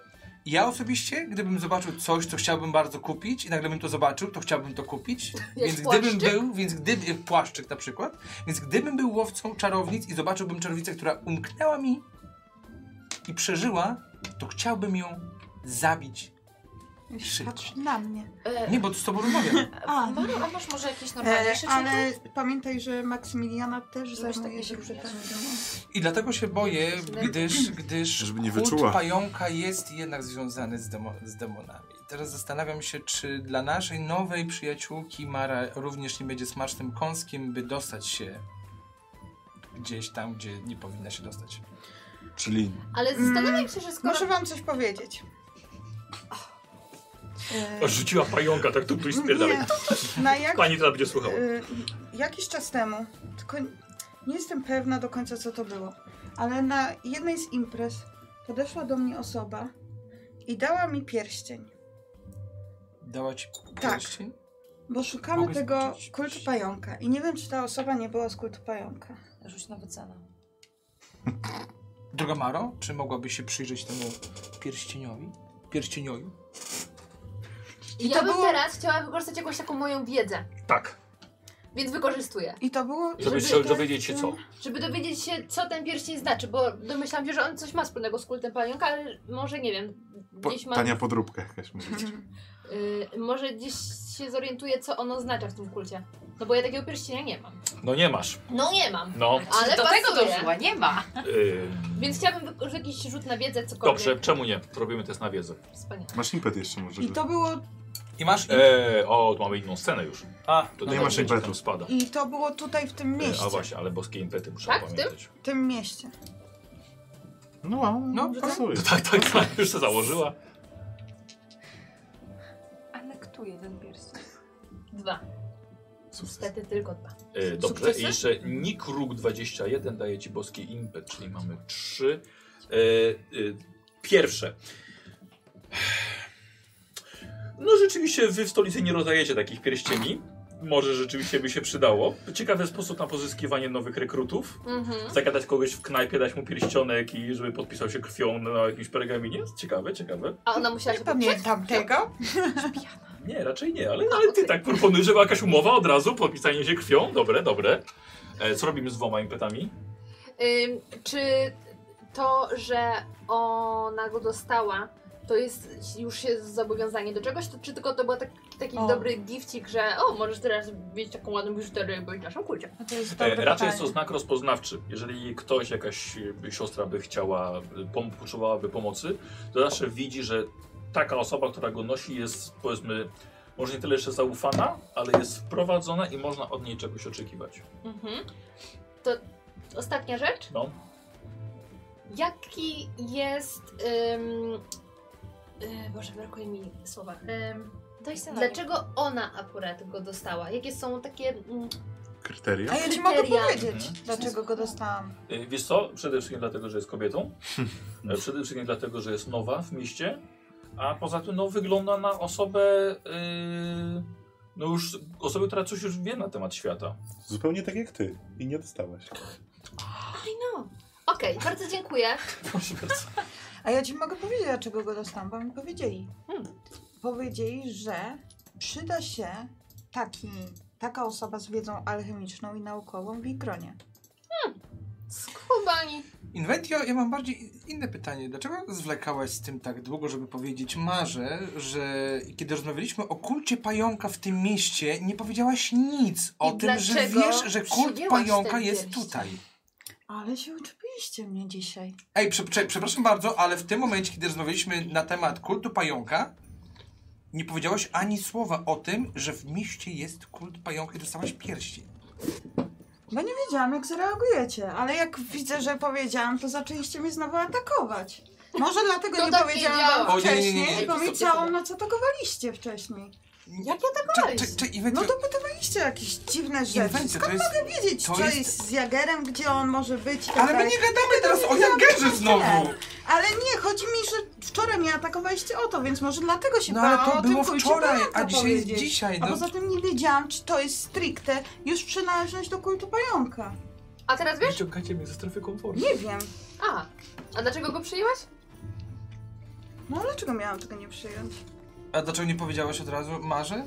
[SPEAKER 1] ja osobiście, gdybym zobaczył coś, co chciałbym bardzo kupić i nagle bym to zobaczył, to chciałbym to kupić, więc gdybym
[SPEAKER 6] płaszczyk?
[SPEAKER 1] był, więc gdyby, płaszczyk na przykład, więc gdybym był łowcą czarownic i zobaczyłbym czarownicę, która umknęła mi i przeżyła, to chciałbym ją zabić. Szybko.
[SPEAKER 5] Patrz na mnie.
[SPEAKER 7] E,
[SPEAKER 1] Nie, bo z tobą rozmawiam.
[SPEAKER 5] A,
[SPEAKER 7] Mario, a masz może jakieś
[SPEAKER 5] E,
[SPEAKER 7] normalniejsze
[SPEAKER 5] ale pamiętaj, że Maksymiliana też
[SPEAKER 7] Lubisz
[SPEAKER 5] zajmuje
[SPEAKER 7] takie
[SPEAKER 5] tak się
[SPEAKER 7] różnice?
[SPEAKER 5] przedmiotami demona.
[SPEAKER 1] I dlatego się boję, gdyż, gdyż
[SPEAKER 2] Żeby nie
[SPEAKER 1] kult
[SPEAKER 2] wyczuła.
[SPEAKER 1] pająka jest jednak związany z, demo, z demonami. Teraz zastanawiam się, czy dla naszej nowej przyjaciółki Mara również nie będzie smacznym kąskiem, by dostać się gdzieś tam, gdzie nie powinna się dostać.
[SPEAKER 2] Czyli
[SPEAKER 6] Ale
[SPEAKER 1] Mm.
[SPEAKER 6] zastanawiam się, że skoro...
[SPEAKER 5] Muszę wam coś powiedzieć. E,
[SPEAKER 3] Rzuciła pająka, tak tu tu i spierdalaj.
[SPEAKER 5] nie, na jak,
[SPEAKER 3] Pani teraz będzie słuchała.
[SPEAKER 5] e, jakiś czas temu, tylko nie jestem pewna do końca co to było, ale na jednej z imprez podeszła do mnie osoba i dała mi pierścień,
[SPEAKER 1] Dała ci
[SPEAKER 5] Tak.
[SPEAKER 1] pierścień?
[SPEAKER 5] bo szukamy
[SPEAKER 1] Mogę
[SPEAKER 5] tego
[SPEAKER 1] zobaczyć?
[SPEAKER 5] kultu pająka i nie wiem czy ta osoba nie była z kultu pająka.
[SPEAKER 7] Rzuć na wycenę.
[SPEAKER 1] Droga Maro, czy mogłabyś się przyjrzeć temu pierścieniowi? Pierścieniowi?
[SPEAKER 5] I
[SPEAKER 6] ja
[SPEAKER 5] to
[SPEAKER 6] bym
[SPEAKER 5] było-
[SPEAKER 6] teraz chciała wykorzystać jakąś taką moją wiedzę,
[SPEAKER 3] Tak.
[SPEAKER 6] więc wykorzystuję.
[SPEAKER 5] I to było...
[SPEAKER 3] Żeby się
[SPEAKER 5] żeby ten-
[SPEAKER 3] dowiedzieć się co.
[SPEAKER 6] Żeby dowiedzieć się, co ten pierścień znaczy, bo domyślam się, że on coś ma wspólnego z kultem pająka, ale może, nie wiem,
[SPEAKER 2] po,
[SPEAKER 6] gdzieś ma...
[SPEAKER 2] tania podróbka jakaś może być.
[SPEAKER 6] Y, może gdzieś się zorientuję, co ono oznacza w tym kulcie. No bo ja takiego pierścienia nie mam.
[SPEAKER 3] No nie masz.
[SPEAKER 6] No nie mam.
[SPEAKER 3] No.
[SPEAKER 6] Ale
[SPEAKER 7] Do
[SPEAKER 6] pasuje.
[SPEAKER 7] tego dożyła, nie ma.
[SPEAKER 3] Yy,
[SPEAKER 6] Więc chciałabym wyko- jakiś rzut na wiedzę, cokolwiek.
[SPEAKER 3] dobrze, czemu nie? Robimy test na wiedzę.
[SPEAKER 6] Wspaniale.
[SPEAKER 2] Masz impet jeszcze może.
[SPEAKER 5] I
[SPEAKER 2] że-
[SPEAKER 5] to było
[SPEAKER 1] I masz...
[SPEAKER 3] Eee, o, tu mamy inną scenę już.
[SPEAKER 1] A, no
[SPEAKER 3] To
[SPEAKER 2] Nie
[SPEAKER 3] tak
[SPEAKER 2] masz
[SPEAKER 3] będzie,
[SPEAKER 2] impetu.
[SPEAKER 3] tam spada.
[SPEAKER 5] I to było tutaj w tym
[SPEAKER 3] Eee,
[SPEAKER 5] mieście.
[SPEAKER 3] a właśnie, ale boskie impety muszę
[SPEAKER 6] Tak, w tym?
[SPEAKER 3] pamiętać.
[SPEAKER 5] W tym mieście.
[SPEAKER 2] No, a
[SPEAKER 1] No,
[SPEAKER 2] pasuje.
[SPEAKER 3] No tak, tak, tak, już się założyła.
[SPEAKER 8] Anektuję ten pierścień.
[SPEAKER 6] Dwa.
[SPEAKER 2] Sukces.
[SPEAKER 6] Niestety tylko dwa.
[SPEAKER 3] E, dobrze,
[SPEAKER 1] Sukcesy?
[SPEAKER 3] i jeszcze Nikruk 21 daje ci boski impet, czyli mamy trzy. E, e, pierwsze. No rzeczywiście wy w stolicy nie rozdajecie takich pierścieni. Może rzeczywiście by się przydało. Ciekawy sposób na pozyskiwanie nowych rekrutów.
[SPEAKER 6] Mhm.
[SPEAKER 3] Zagadać kogoś w knajpie, dać mu pierścionek i żeby podpisał się krwią na jakimś pergaminie. Ciekawe, ciekawe.
[SPEAKER 6] A ona musiała
[SPEAKER 5] Nie
[SPEAKER 6] się
[SPEAKER 5] pamiętam tego.
[SPEAKER 3] Nie, raczej nie, ale, ale ty tak proponujesz, że była jakaś umowa od razu, podpisanie się krwią. Dobre, dobre. E, co robimy z dwoma impetami?
[SPEAKER 6] Ym, czy to, że ona go dostała, to jest już się zobowiązanie do czegoś, to, czy tylko to był tak, taki
[SPEAKER 5] O.
[SPEAKER 6] dobry gifcik, że o, możesz teraz mieć taką ładną biżuterię, bo naszą kulcię.
[SPEAKER 5] To jest
[SPEAKER 3] E,
[SPEAKER 5] dobre
[SPEAKER 3] raczej
[SPEAKER 5] pytanie.
[SPEAKER 3] jest to znak rozpoznawczy. Jeżeli ktoś, jakaś e, siostra by chciała, e, pom- potrzebowałaby pomocy, to zawsze widzi, że taka osoba, która go nosi jest powiedzmy, może nie tyle jeszcze zaufana, ale jest wprowadzona i można od niej czegoś oczekiwać.
[SPEAKER 6] Mhm. To ostatnia rzecz.
[SPEAKER 3] No.
[SPEAKER 6] Jaki jest. Ym, yy, Boże, brakuje mi słowa. Ym,
[SPEAKER 7] Daj sobie na nie.
[SPEAKER 6] dlaczego ona akurat go dostała? Jakie są takie. Mm,
[SPEAKER 2] Kryteria?
[SPEAKER 5] A ja ci mogę
[SPEAKER 6] kryteria.
[SPEAKER 5] powiedzieć,
[SPEAKER 3] Mhm.
[SPEAKER 5] dlaczego go dostałam.
[SPEAKER 3] E, Wiesz co? Przede wszystkim dlatego, że jest kobietą. E, Przede wszystkim dlatego, że jest nowa w mieście. A poza tym, no, wygląda na osobę. e, no już osobę, która coś już wie na temat świata.
[SPEAKER 2] Zupełnie tak jak ty. I nie dostałaś.
[SPEAKER 6] no. Okej, bardzo dziękuję.
[SPEAKER 3] Proszę bardzo.
[SPEAKER 5] A ja ci mogę powiedzieć, dlaczego go dostałam, bo mi powiedzieli.
[SPEAKER 6] Hmm.
[SPEAKER 5] Powiedzieli, że przyda się taki, taka osoba z wiedzą alchemiczną i naukową w Ikronie.
[SPEAKER 6] Skubani.
[SPEAKER 1] Inventio, ja mam bardziej inne pytanie. Dlaczego zwlekałaś z tym tak długo, żeby powiedzieć Marze, że kiedy rozmawialiśmy o kulcie pająka w tym mieście, nie powiedziałaś nic o
[SPEAKER 6] I
[SPEAKER 1] tym, że
[SPEAKER 6] dlaczego
[SPEAKER 1] wiesz, że kult
[SPEAKER 6] przyjęłaś
[SPEAKER 1] pająka
[SPEAKER 6] ten
[SPEAKER 1] jest
[SPEAKER 6] pierścień?
[SPEAKER 1] tutaj?
[SPEAKER 5] Ale się uczpiliście mnie dzisiaj.
[SPEAKER 1] Ej, prze, prze, przepraszam bardzo, ale w tym momencie, kiedy rozmawialiśmy na temat kultu pająka, nie powiedziałaś ani słowa o tym, że w mieście jest kult pająka i dostałaś pierścień.
[SPEAKER 5] Bo nie wiedziałam, jak zareagujecie, ale jak widzę, że powiedziałam, to zaczęliście mnie znowu atakować. Może dlatego
[SPEAKER 1] No
[SPEAKER 6] To
[SPEAKER 5] nie
[SPEAKER 6] tak
[SPEAKER 5] powiedziałam
[SPEAKER 6] wiedziałam.
[SPEAKER 5] wam
[SPEAKER 1] O, nie, nie, nie, nie,
[SPEAKER 5] wcześniej,
[SPEAKER 1] nie,
[SPEAKER 5] bo
[SPEAKER 6] to sobie-
[SPEAKER 5] wiedziałam, na co atakowaliście wcześniej.
[SPEAKER 6] Jak ja tak
[SPEAKER 1] Czy, czy, czy Inventio,
[SPEAKER 5] No dopytywaliście jakieś dziwne rzeczy.
[SPEAKER 1] Inventio, to
[SPEAKER 5] Skąd
[SPEAKER 1] jest...
[SPEAKER 5] wiedzieć,
[SPEAKER 1] no to
[SPEAKER 5] co
[SPEAKER 1] jest-
[SPEAKER 5] jest z Jagerem, gdzie on może być i tak
[SPEAKER 1] Ale my
[SPEAKER 5] dalej?
[SPEAKER 1] nie gadamy teraz o Jagerze znowu!
[SPEAKER 5] Ale nie, chodzi mi, że wczoraj mnie atakowaliście o to, więc może dlatego się
[SPEAKER 1] No
[SPEAKER 5] bałam
[SPEAKER 1] ale to
[SPEAKER 5] o
[SPEAKER 1] było
[SPEAKER 5] tym kulcie
[SPEAKER 1] wczoraj,
[SPEAKER 5] pająka
[SPEAKER 1] a dzisiaj jest
[SPEAKER 5] powiedzieć.
[SPEAKER 1] dzisiaj.
[SPEAKER 5] A
[SPEAKER 1] No,
[SPEAKER 5] poza tym nie wiedziałam, czy to jest stricte już przynależność do kultu pająka.
[SPEAKER 6] A teraz wiesz?
[SPEAKER 3] Wyciągajcie mnie ze strefy komfortu.
[SPEAKER 5] Nie wiem.
[SPEAKER 6] A. A dlaczego go przyjęłaś?
[SPEAKER 5] No dlaczego miałam tego nie przyjąć?
[SPEAKER 1] A dlaczego nie powiedziałaś od razu Marze?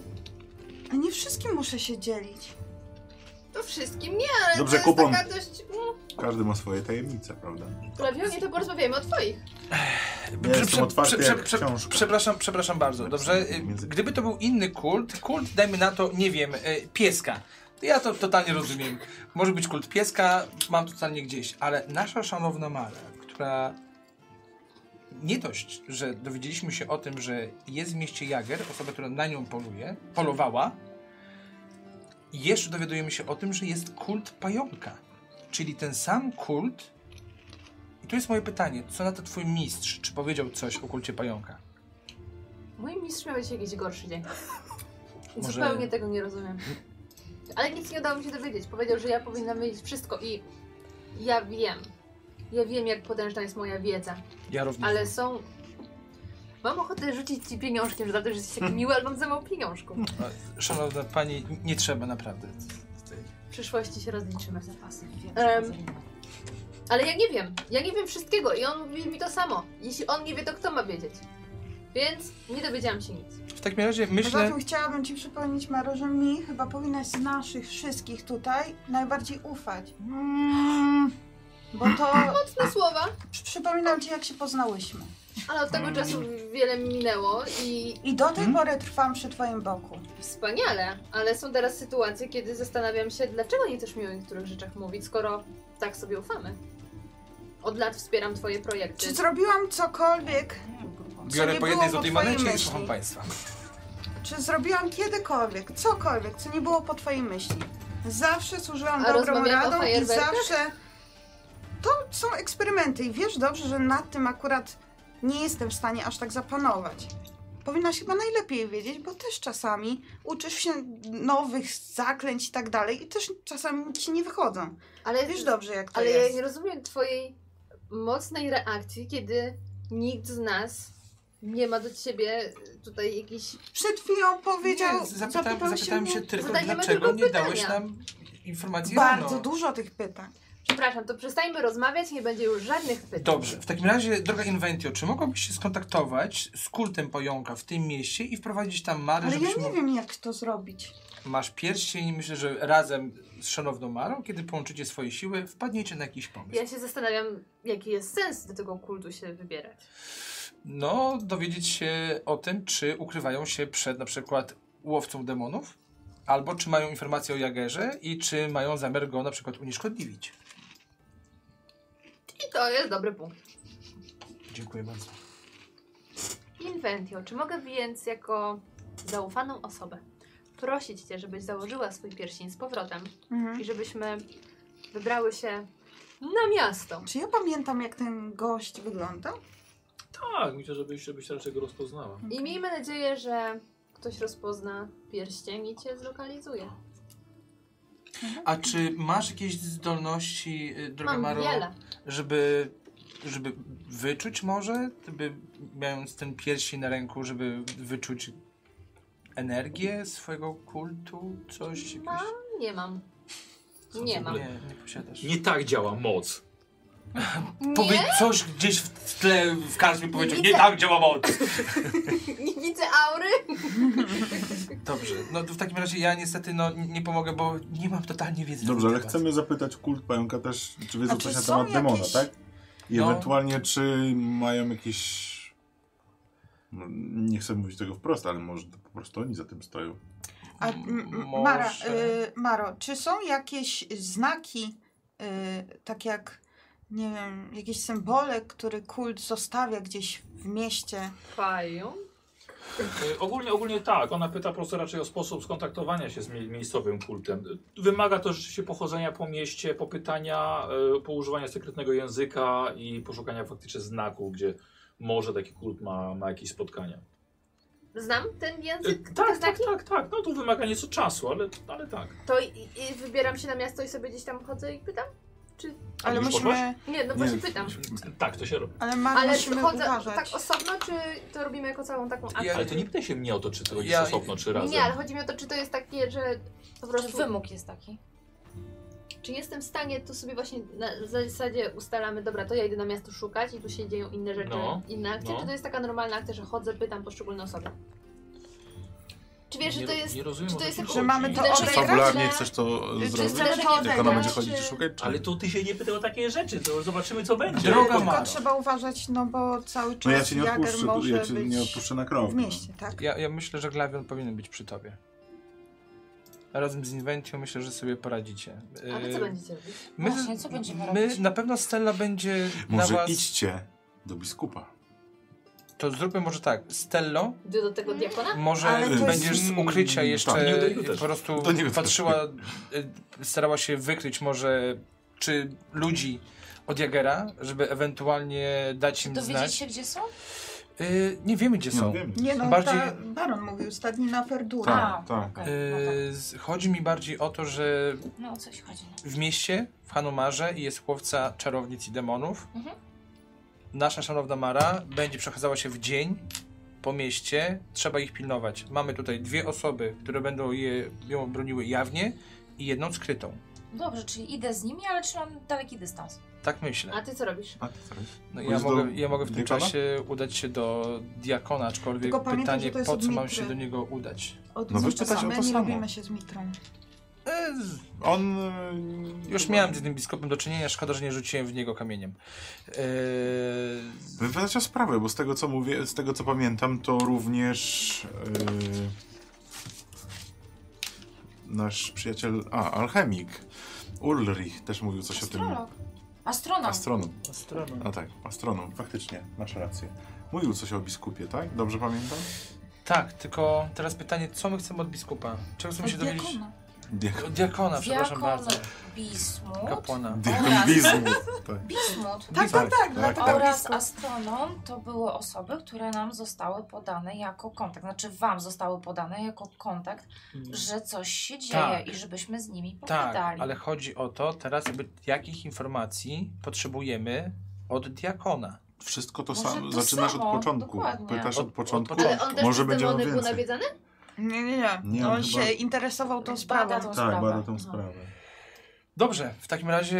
[SPEAKER 5] A nie wszystkim muszę się dzielić.
[SPEAKER 6] To wszystkim nie, ale
[SPEAKER 2] Dobrze,
[SPEAKER 6] to jest
[SPEAKER 2] kupon.
[SPEAKER 6] taka dość... Mm,
[SPEAKER 2] Każdy ma swoje tajemnice, prawda?
[SPEAKER 6] Lewionie, to porozmawiajmy o twoich.
[SPEAKER 2] Ja jestem otwarty jak książka.
[SPEAKER 1] Przepraszam, przepraszam bardzo, dobrze? Y, Gdyby to był inny kult, kult dajmy na to, nie wiem, y, pieska. Ja to totalnie rozumiem. Może być kult pieska, mam to totalnie gdzieś, ale nasza szanowna Mara, która nie dość, że dowiedzieliśmy się o tym, że jest w mieście Jager, osoba, która na nią poluje, polowała, jeszcze dowiadujemy się o tym, że jest kult pająka. Czyli ten sam kult, i tu jest moje pytanie, co na to twój mistrz? Czy powiedział coś o kulcie pająka?
[SPEAKER 6] Mój mistrz miał dzisiaj jakiś gorszy dzień.
[SPEAKER 1] Może-
[SPEAKER 6] Zupełnie tego nie rozumiem. Ale nic nie udało mi się dowiedzieć. Powiedział, że ja powinnam wiedzieć wszystko i ja wiem. Ja wiem, jak potężna jest moja wiedza.
[SPEAKER 1] Ja również.
[SPEAKER 6] Ale są... Mam ochotę rzucić ci pieniążkiem, że za to, że jesteś taki miły, ale mam za mało pieniążków.
[SPEAKER 1] Szanowna pani, nie trzeba naprawdę.
[SPEAKER 6] W przyszłości się rozliczymy z zapasy.
[SPEAKER 7] Wiem,
[SPEAKER 6] Em,
[SPEAKER 7] że nie.
[SPEAKER 6] Ale ja nie wiem. Ja nie wiem wszystkiego i on mówi mi to samo. Jeśli on nie wie, to kto ma wiedzieć? Więc nie dowiedziałam się nic.
[SPEAKER 1] W takim razie
[SPEAKER 5] Poza
[SPEAKER 1] myślę,
[SPEAKER 5] tym chciałabym ci przypomnieć, Maro, że mi chyba powinnaś z naszych wszystkich tutaj najbardziej ufać. Mm, bo to...
[SPEAKER 6] Mocne słowa,
[SPEAKER 5] przy- Przypominam ci, jak się poznałyśmy.
[SPEAKER 6] ale od tego czasu wiele minęło i
[SPEAKER 5] I do tej
[SPEAKER 1] Mm.
[SPEAKER 5] pory trwam przy twoim boku.
[SPEAKER 6] Wspaniale, ale są teraz sytuacje, kiedy zastanawiam się, dlaczego nie też mi o niektórych rzeczach mówić, skoro tak sobie ufamy. Od lat wspieram twoje projekty.
[SPEAKER 5] Czy zrobiłam cokolwiek,
[SPEAKER 1] biorę
[SPEAKER 5] nie
[SPEAKER 1] po
[SPEAKER 5] było
[SPEAKER 1] jednej
[SPEAKER 5] po
[SPEAKER 1] złotej
[SPEAKER 5] twojej
[SPEAKER 1] monecie i
[SPEAKER 5] myśli?
[SPEAKER 1] słucham państwa.
[SPEAKER 5] czy zrobiłam kiedykolwiek, cokolwiek, co nie było po twojej myśli? Zawsze służyłam
[SPEAKER 6] A
[SPEAKER 5] dobrą
[SPEAKER 6] rozmawiamy o
[SPEAKER 5] radą i
[SPEAKER 6] fajerwerkach?
[SPEAKER 5] zawsze... To są eksperymenty i wiesz dobrze, że nad tym akurat nie jestem w stanie aż tak zapanować. Powinnaś chyba najlepiej wiedzieć, bo też czasami uczysz się nowych zaklęć i tak dalej i też czasami ci nie wychodzą.
[SPEAKER 6] ale
[SPEAKER 5] Wiesz dobrze, jak to
[SPEAKER 6] ale
[SPEAKER 5] jest.
[SPEAKER 6] ja nie rozumiem twojej mocnej reakcji, kiedy nikt z nas nie ma do ciebie y, tutaj jakichś...
[SPEAKER 5] Przed chwilą powiedział...
[SPEAKER 1] Nie, zapytałem,
[SPEAKER 5] zapytał
[SPEAKER 1] zapytałem
[SPEAKER 5] mnie-
[SPEAKER 1] się tylko,
[SPEAKER 6] Zadajemy
[SPEAKER 1] dlaczego
[SPEAKER 6] tylko
[SPEAKER 1] nie dałeś
[SPEAKER 6] pytania.
[SPEAKER 1] nam informacji no.
[SPEAKER 5] Bardzo
[SPEAKER 1] rano.
[SPEAKER 5] dużo tych pytań.
[SPEAKER 6] Przepraszam, to przestańmy rozmawiać, nie będzie już żadnych pytań.
[SPEAKER 1] Dobrze, w takim razie, droga Inventio, czy mogłabyś się skontaktować z kultem pająka w tym mieście i wprowadzić tam Marę,
[SPEAKER 5] Ale ja
[SPEAKER 1] żebyś
[SPEAKER 5] nie
[SPEAKER 1] mógł...
[SPEAKER 5] wiem, jak to zrobić.
[SPEAKER 1] Masz pierścień i myślę, że razem z szanowną Marą, kiedy połączycie swoje siły, wpadniecie na jakiś pomysł.
[SPEAKER 6] Ja się zastanawiam, jaki jest sens do tego kultu się wybierać.
[SPEAKER 1] No, dowiedzieć się o tym, czy ukrywają się przed na przykład łowcą demonów, albo czy mają informacje o Jagerze i czy mają zamiar go na przykład unieszkodliwić.
[SPEAKER 6] I to jest dobry punkt.
[SPEAKER 1] Dziękuję bardzo.
[SPEAKER 6] Inventio, czy mogę więc jako zaufaną osobę prosić Cię, żebyś założyła swój pierścień z powrotem
[SPEAKER 5] Mhm.
[SPEAKER 6] i żebyśmy wybrały się na miasto?
[SPEAKER 5] Czy ja pamiętam, jak ten gość wygląda?
[SPEAKER 3] Tak, myślę, żebyś, żebyś raczej go rozpoznała.
[SPEAKER 6] I miejmy nadzieję, że ktoś rozpozna pierścień i Cię zlokalizuje.
[SPEAKER 1] A czy masz jakieś zdolności, y, droga
[SPEAKER 6] Mam
[SPEAKER 1] Maro,
[SPEAKER 6] wiele.
[SPEAKER 1] żeby, żeby wyczuć może, by mając ten pierścień na ręku, żeby wyczuć energię swojego kultu, coś?
[SPEAKER 6] Mam,
[SPEAKER 1] Jakieś...
[SPEAKER 6] nie mam.
[SPEAKER 3] Co
[SPEAKER 6] Nie
[SPEAKER 3] w
[SPEAKER 6] mam.
[SPEAKER 3] ogóle?
[SPEAKER 1] Nie, nie posiadasz.
[SPEAKER 3] Nie tak działa moc.
[SPEAKER 1] Powiedz coś gdzieś w tle, w każdym powiedział, nie tak działa moc.
[SPEAKER 6] Nie widzę aury.
[SPEAKER 1] Dobrze, no to w takim razie ja niestety no, nie pomogę, bo nie mam totalnie wiedzy. na
[SPEAKER 2] Dobrze,
[SPEAKER 1] ten
[SPEAKER 2] ale
[SPEAKER 1] temat.
[SPEAKER 2] chcemy zapytać kult pająka też, czy wiedzą
[SPEAKER 5] A czy
[SPEAKER 2] coś na
[SPEAKER 5] są
[SPEAKER 2] temat demona,
[SPEAKER 5] jakieś-
[SPEAKER 2] tak? I
[SPEAKER 1] No.
[SPEAKER 2] ewentualnie, czy mają jakieś... No, Nie chcę mówić tego wprost, ale może to po prostu oni za tym stoją.
[SPEAKER 5] A, m, m,
[SPEAKER 1] Może.
[SPEAKER 5] Mara, y, Maro, czy są jakieś znaki, y, tak jak, nie wiem, jakieś symbole, który kult zostawia gdzieś w mieście?
[SPEAKER 6] Fają.
[SPEAKER 3] E, Ogólnie, ogólnie tak. Ona pyta po prostu raczej o sposób skontaktowania się z mie- miejscowym kultem. Wymaga to rzeczywiście pochodzenia po mieście, popytania, e, po używania sekretnego języka i poszukania faktycznie znaku, gdzie może taki kult ma, ma jakieś spotkania.
[SPEAKER 6] Znam ten
[SPEAKER 3] E,
[SPEAKER 6] język.
[SPEAKER 3] Tak,
[SPEAKER 6] te
[SPEAKER 3] tak,
[SPEAKER 6] znaki?
[SPEAKER 3] tak, tak. No tu wymaga nieco czasu, ale, ale tak.
[SPEAKER 6] To i, i wybieram się na miasto i sobie gdzieś tam chodzę i pytam?
[SPEAKER 5] Ale
[SPEAKER 3] już
[SPEAKER 5] musimy,
[SPEAKER 6] Nie, no właśnie pytam.
[SPEAKER 3] Tak, to się robi.
[SPEAKER 5] ale Maro,
[SPEAKER 6] Ale
[SPEAKER 5] musimy
[SPEAKER 6] chodzę tak
[SPEAKER 5] uważać.
[SPEAKER 6] osobno, czy to robimy jako całą taką akcję?
[SPEAKER 1] Ja-
[SPEAKER 3] Ale to nie pytaj się mnie o to, czy to jest
[SPEAKER 1] Ja-
[SPEAKER 3] osobno, czy razem.
[SPEAKER 6] Nie, ale chodzi mi o to, czy to jest takie, że po
[SPEAKER 7] Czy
[SPEAKER 6] prostu...
[SPEAKER 7] wymóg jest taki?
[SPEAKER 6] Czy jestem w stanie, to sobie właśnie na zasadzie ustalamy, dobra, to ja idę na miasto szukać i tu się dzieją inne rzeczy,
[SPEAKER 3] No,
[SPEAKER 6] inne akcje,
[SPEAKER 3] no.
[SPEAKER 6] czy to jest taka normalna akcja, że chodzę, pytam poszczególne osoby? Czy wiesz, że
[SPEAKER 9] Nie
[SPEAKER 6] to
[SPEAKER 9] ro-
[SPEAKER 6] jest...
[SPEAKER 9] Nie rozumiem,
[SPEAKER 6] czy
[SPEAKER 9] o
[SPEAKER 6] to
[SPEAKER 9] co
[SPEAKER 6] jest
[SPEAKER 9] ci
[SPEAKER 6] tylko-
[SPEAKER 5] Że
[SPEAKER 9] chodzi.
[SPEAKER 5] mamy to
[SPEAKER 6] Czy
[SPEAKER 5] odegrać?
[SPEAKER 2] Fabularnie
[SPEAKER 6] że-
[SPEAKER 2] chcesz to
[SPEAKER 5] Czy
[SPEAKER 2] zrobić?
[SPEAKER 5] chcemy
[SPEAKER 6] Jak
[SPEAKER 5] to
[SPEAKER 6] ona
[SPEAKER 2] Jak ona będzie
[SPEAKER 5] odegrać?
[SPEAKER 2] chodzić i
[SPEAKER 6] Czy-
[SPEAKER 2] szukać? Czy...
[SPEAKER 3] Ale to ty się nie pytaj o takie rzeczy, to zobaczymy co będzie.
[SPEAKER 1] Droga
[SPEAKER 5] Tylko
[SPEAKER 1] Maro.
[SPEAKER 5] trzeba uważać, no bo cały czas
[SPEAKER 2] No ja cię nie
[SPEAKER 5] Jager
[SPEAKER 2] odpuszczę, tu-
[SPEAKER 5] może
[SPEAKER 2] ja cię nie
[SPEAKER 5] być
[SPEAKER 2] odpuszczę na krok.
[SPEAKER 5] w
[SPEAKER 2] no.
[SPEAKER 5] mieście, tak?
[SPEAKER 1] Ja, ja myślę, że Glawion powinien być przy tobie. Razem z Inventio myślę, że sobie poradzicie.
[SPEAKER 6] A wy
[SPEAKER 1] Yy,
[SPEAKER 6] co będziecie robić?
[SPEAKER 1] My,
[SPEAKER 7] Właśnie, co będziemy
[SPEAKER 1] my
[SPEAKER 7] robić?
[SPEAKER 1] na pewno Stella będzie
[SPEAKER 2] Może
[SPEAKER 1] na was...
[SPEAKER 2] idźcie do biskupa.
[SPEAKER 1] To zróbmy może tak. Stello,
[SPEAKER 6] Do, do tego diakona?
[SPEAKER 1] może
[SPEAKER 5] Ale to jest-
[SPEAKER 1] będziesz z ukrycia
[SPEAKER 2] Mm,
[SPEAKER 1] jeszcze
[SPEAKER 2] tak, nie udaje
[SPEAKER 3] też.
[SPEAKER 1] po prostu
[SPEAKER 2] To nie udaje.
[SPEAKER 1] patrzyła, y, starała się wykryć może czy ludzi od Jagera, żeby ewentualnie dać
[SPEAKER 7] Czy
[SPEAKER 1] im
[SPEAKER 7] dowiedzieć
[SPEAKER 1] znać. e,
[SPEAKER 7] się, gdzie są?
[SPEAKER 1] Y, nie wiemy gdzie
[SPEAKER 2] Nie
[SPEAKER 1] są.
[SPEAKER 2] no, wiemy.
[SPEAKER 5] Nie no,
[SPEAKER 1] Bardziej-
[SPEAKER 5] ta, Baron mówił, stadni na Perdura.
[SPEAKER 2] Tak,
[SPEAKER 7] A,
[SPEAKER 2] tak.
[SPEAKER 7] okej, no,
[SPEAKER 1] Y, z- chodzi mi bardziej o to, że
[SPEAKER 7] tak. no o coś chodzi. No.
[SPEAKER 1] w mieście, w Hanumarze jest łowca czarownic i demonów.
[SPEAKER 7] Mhm.
[SPEAKER 1] Nasza szanowna Mara będzie przechadzała się w dzień po mieście. Trzeba ich pilnować. Mamy tutaj dwie osoby, które będą je, ją broniły jawnie i jedną skrytą.
[SPEAKER 7] Dobrze, czyli idę z nimi, ale trzymam daleki dystans.
[SPEAKER 1] Tak myślę.
[SPEAKER 6] A ty co robisz?
[SPEAKER 2] A, ty co robisz?
[SPEAKER 1] No, ja,
[SPEAKER 2] Pójdziesz do
[SPEAKER 1] mogę, ja mogę w tym
[SPEAKER 2] diakona?
[SPEAKER 1] czasie udać się do diakona, aczkolwiek
[SPEAKER 5] Tylko pamiętaj, że
[SPEAKER 1] pytanie,
[SPEAKER 5] to jest
[SPEAKER 1] po
[SPEAKER 5] od
[SPEAKER 1] co mam
[SPEAKER 5] mitry.
[SPEAKER 1] się do niego udać?
[SPEAKER 5] Od
[SPEAKER 2] No
[SPEAKER 5] no,
[SPEAKER 2] weź pytać o
[SPEAKER 5] same,
[SPEAKER 2] to
[SPEAKER 5] nie
[SPEAKER 2] samo.
[SPEAKER 5] robimy się z mitrą.
[SPEAKER 1] E, z-
[SPEAKER 2] On... y,
[SPEAKER 1] Już
[SPEAKER 2] chyba-
[SPEAKER 1] miałem z jednym biskupem do czynienia, szkoda, że nie rzuciłem w niego kamieniem. E,
[SPEAKER 2] Wypowiadać o sprawę, bo z tego co mówię, z tego co pamiętam, to również e, yy, nasz przyjaciel, a alchemik Ulrich też mówił coś o
[SPEAKER 7] Astrolog. No.
[SPEAKER 2] tym.
[SPEAKER 7] Astronom.
[SPEAKER 2] Astronom.
[SPEAKER 1] Astronom.
[SPEAKER 2] A tak, astronom, faktycznie, masz rację. Mówił coś o biskupie, tak? Dobrze pamiętam?
[SPEAKER 1] Tak, tylko teraz pytanie, co my chcemy od biskupa? Czego chcemy się dowiedzieć?
[SPEAKER 7] Diakona.
[SPEAKER 2] Diak-
[SPEAKER 1] Od diakona, przepraszam
[SPEAKER 7] Diakon
[SPEAKER 1] bardzo.
[SPEAKER 7] Bismut.
[SPEAKER 1] Kapłana.
[SPEAKER 7] Oraz-
[SPEAKER 2] Diakon Bizmut. Tak.
[SPEAKER 7] Bismut.
[SPEAKER 5] Tak, tak, tak.
[SPEAKER 2] tak,
[SPEAKER 5] dlatego
[SPEAKER 7] Oraz
[SPEAKER 5] blisko.
[SPEAKER 7] astronom to były osoby, które nam zostały podane jako kontakt. Znaczy wam zostały podane jako kontakt, że coś się dzieje
[SPEAKER 1] Mhm. Tak.
[SPEAKER 7] i żebyśmy z nimi
[SPEAKER 1] Tak,
[SPEAKER 7] pogadali.
[SPEAKER 1] ale chodzi o to teraz, jakby jakich informacji potrzebujemy od diakona.
[SPEAKER 2] Wszystko to
[SPEAKER 7] Może
[SPEAKER 2] samo,
[SPEAKER 7] to
[SPEAKER 2] zaczynasz
[SPEAKER 7] samo,
[SPEAKER 2] od początku.
[SPEAKER 7] dokładnie.
[SPEAKER 2] Pytasz
[SPEAKER 1] Od-
[SPEAKER 2] od,
[SPEAKER 1] od
[SPEAKER 2] początku.
[SPEAKER 1] początku.
[SPEAKER 6] Ale on też
[SPEAKER 2] Może
[SPEAKER 6] przez
[SPEAKER 2] będzie
[SPEAKER 6] demony był
[SPEAKER 2] więcej.
[SPEAKER 6] nawiedzany?
[SPEAKER 5] Nie, nie, nie.
[SPEAKER 2] Nie,
[SPEAKER 5] on
[SPEAKER 2] on chyba-
[SPEAKER 5] się interesował tą
[SPEAKER 7] Bada
[SPEAKER 5] sprawą.
[SPEAKER 7] tą
[SPEAKER 2] Tak,
[SPEAKER 7] sprawę. No.
[SPEAKER 2] bada tą sprawę.
[SPEAKER 1] Dobrze, w takim razie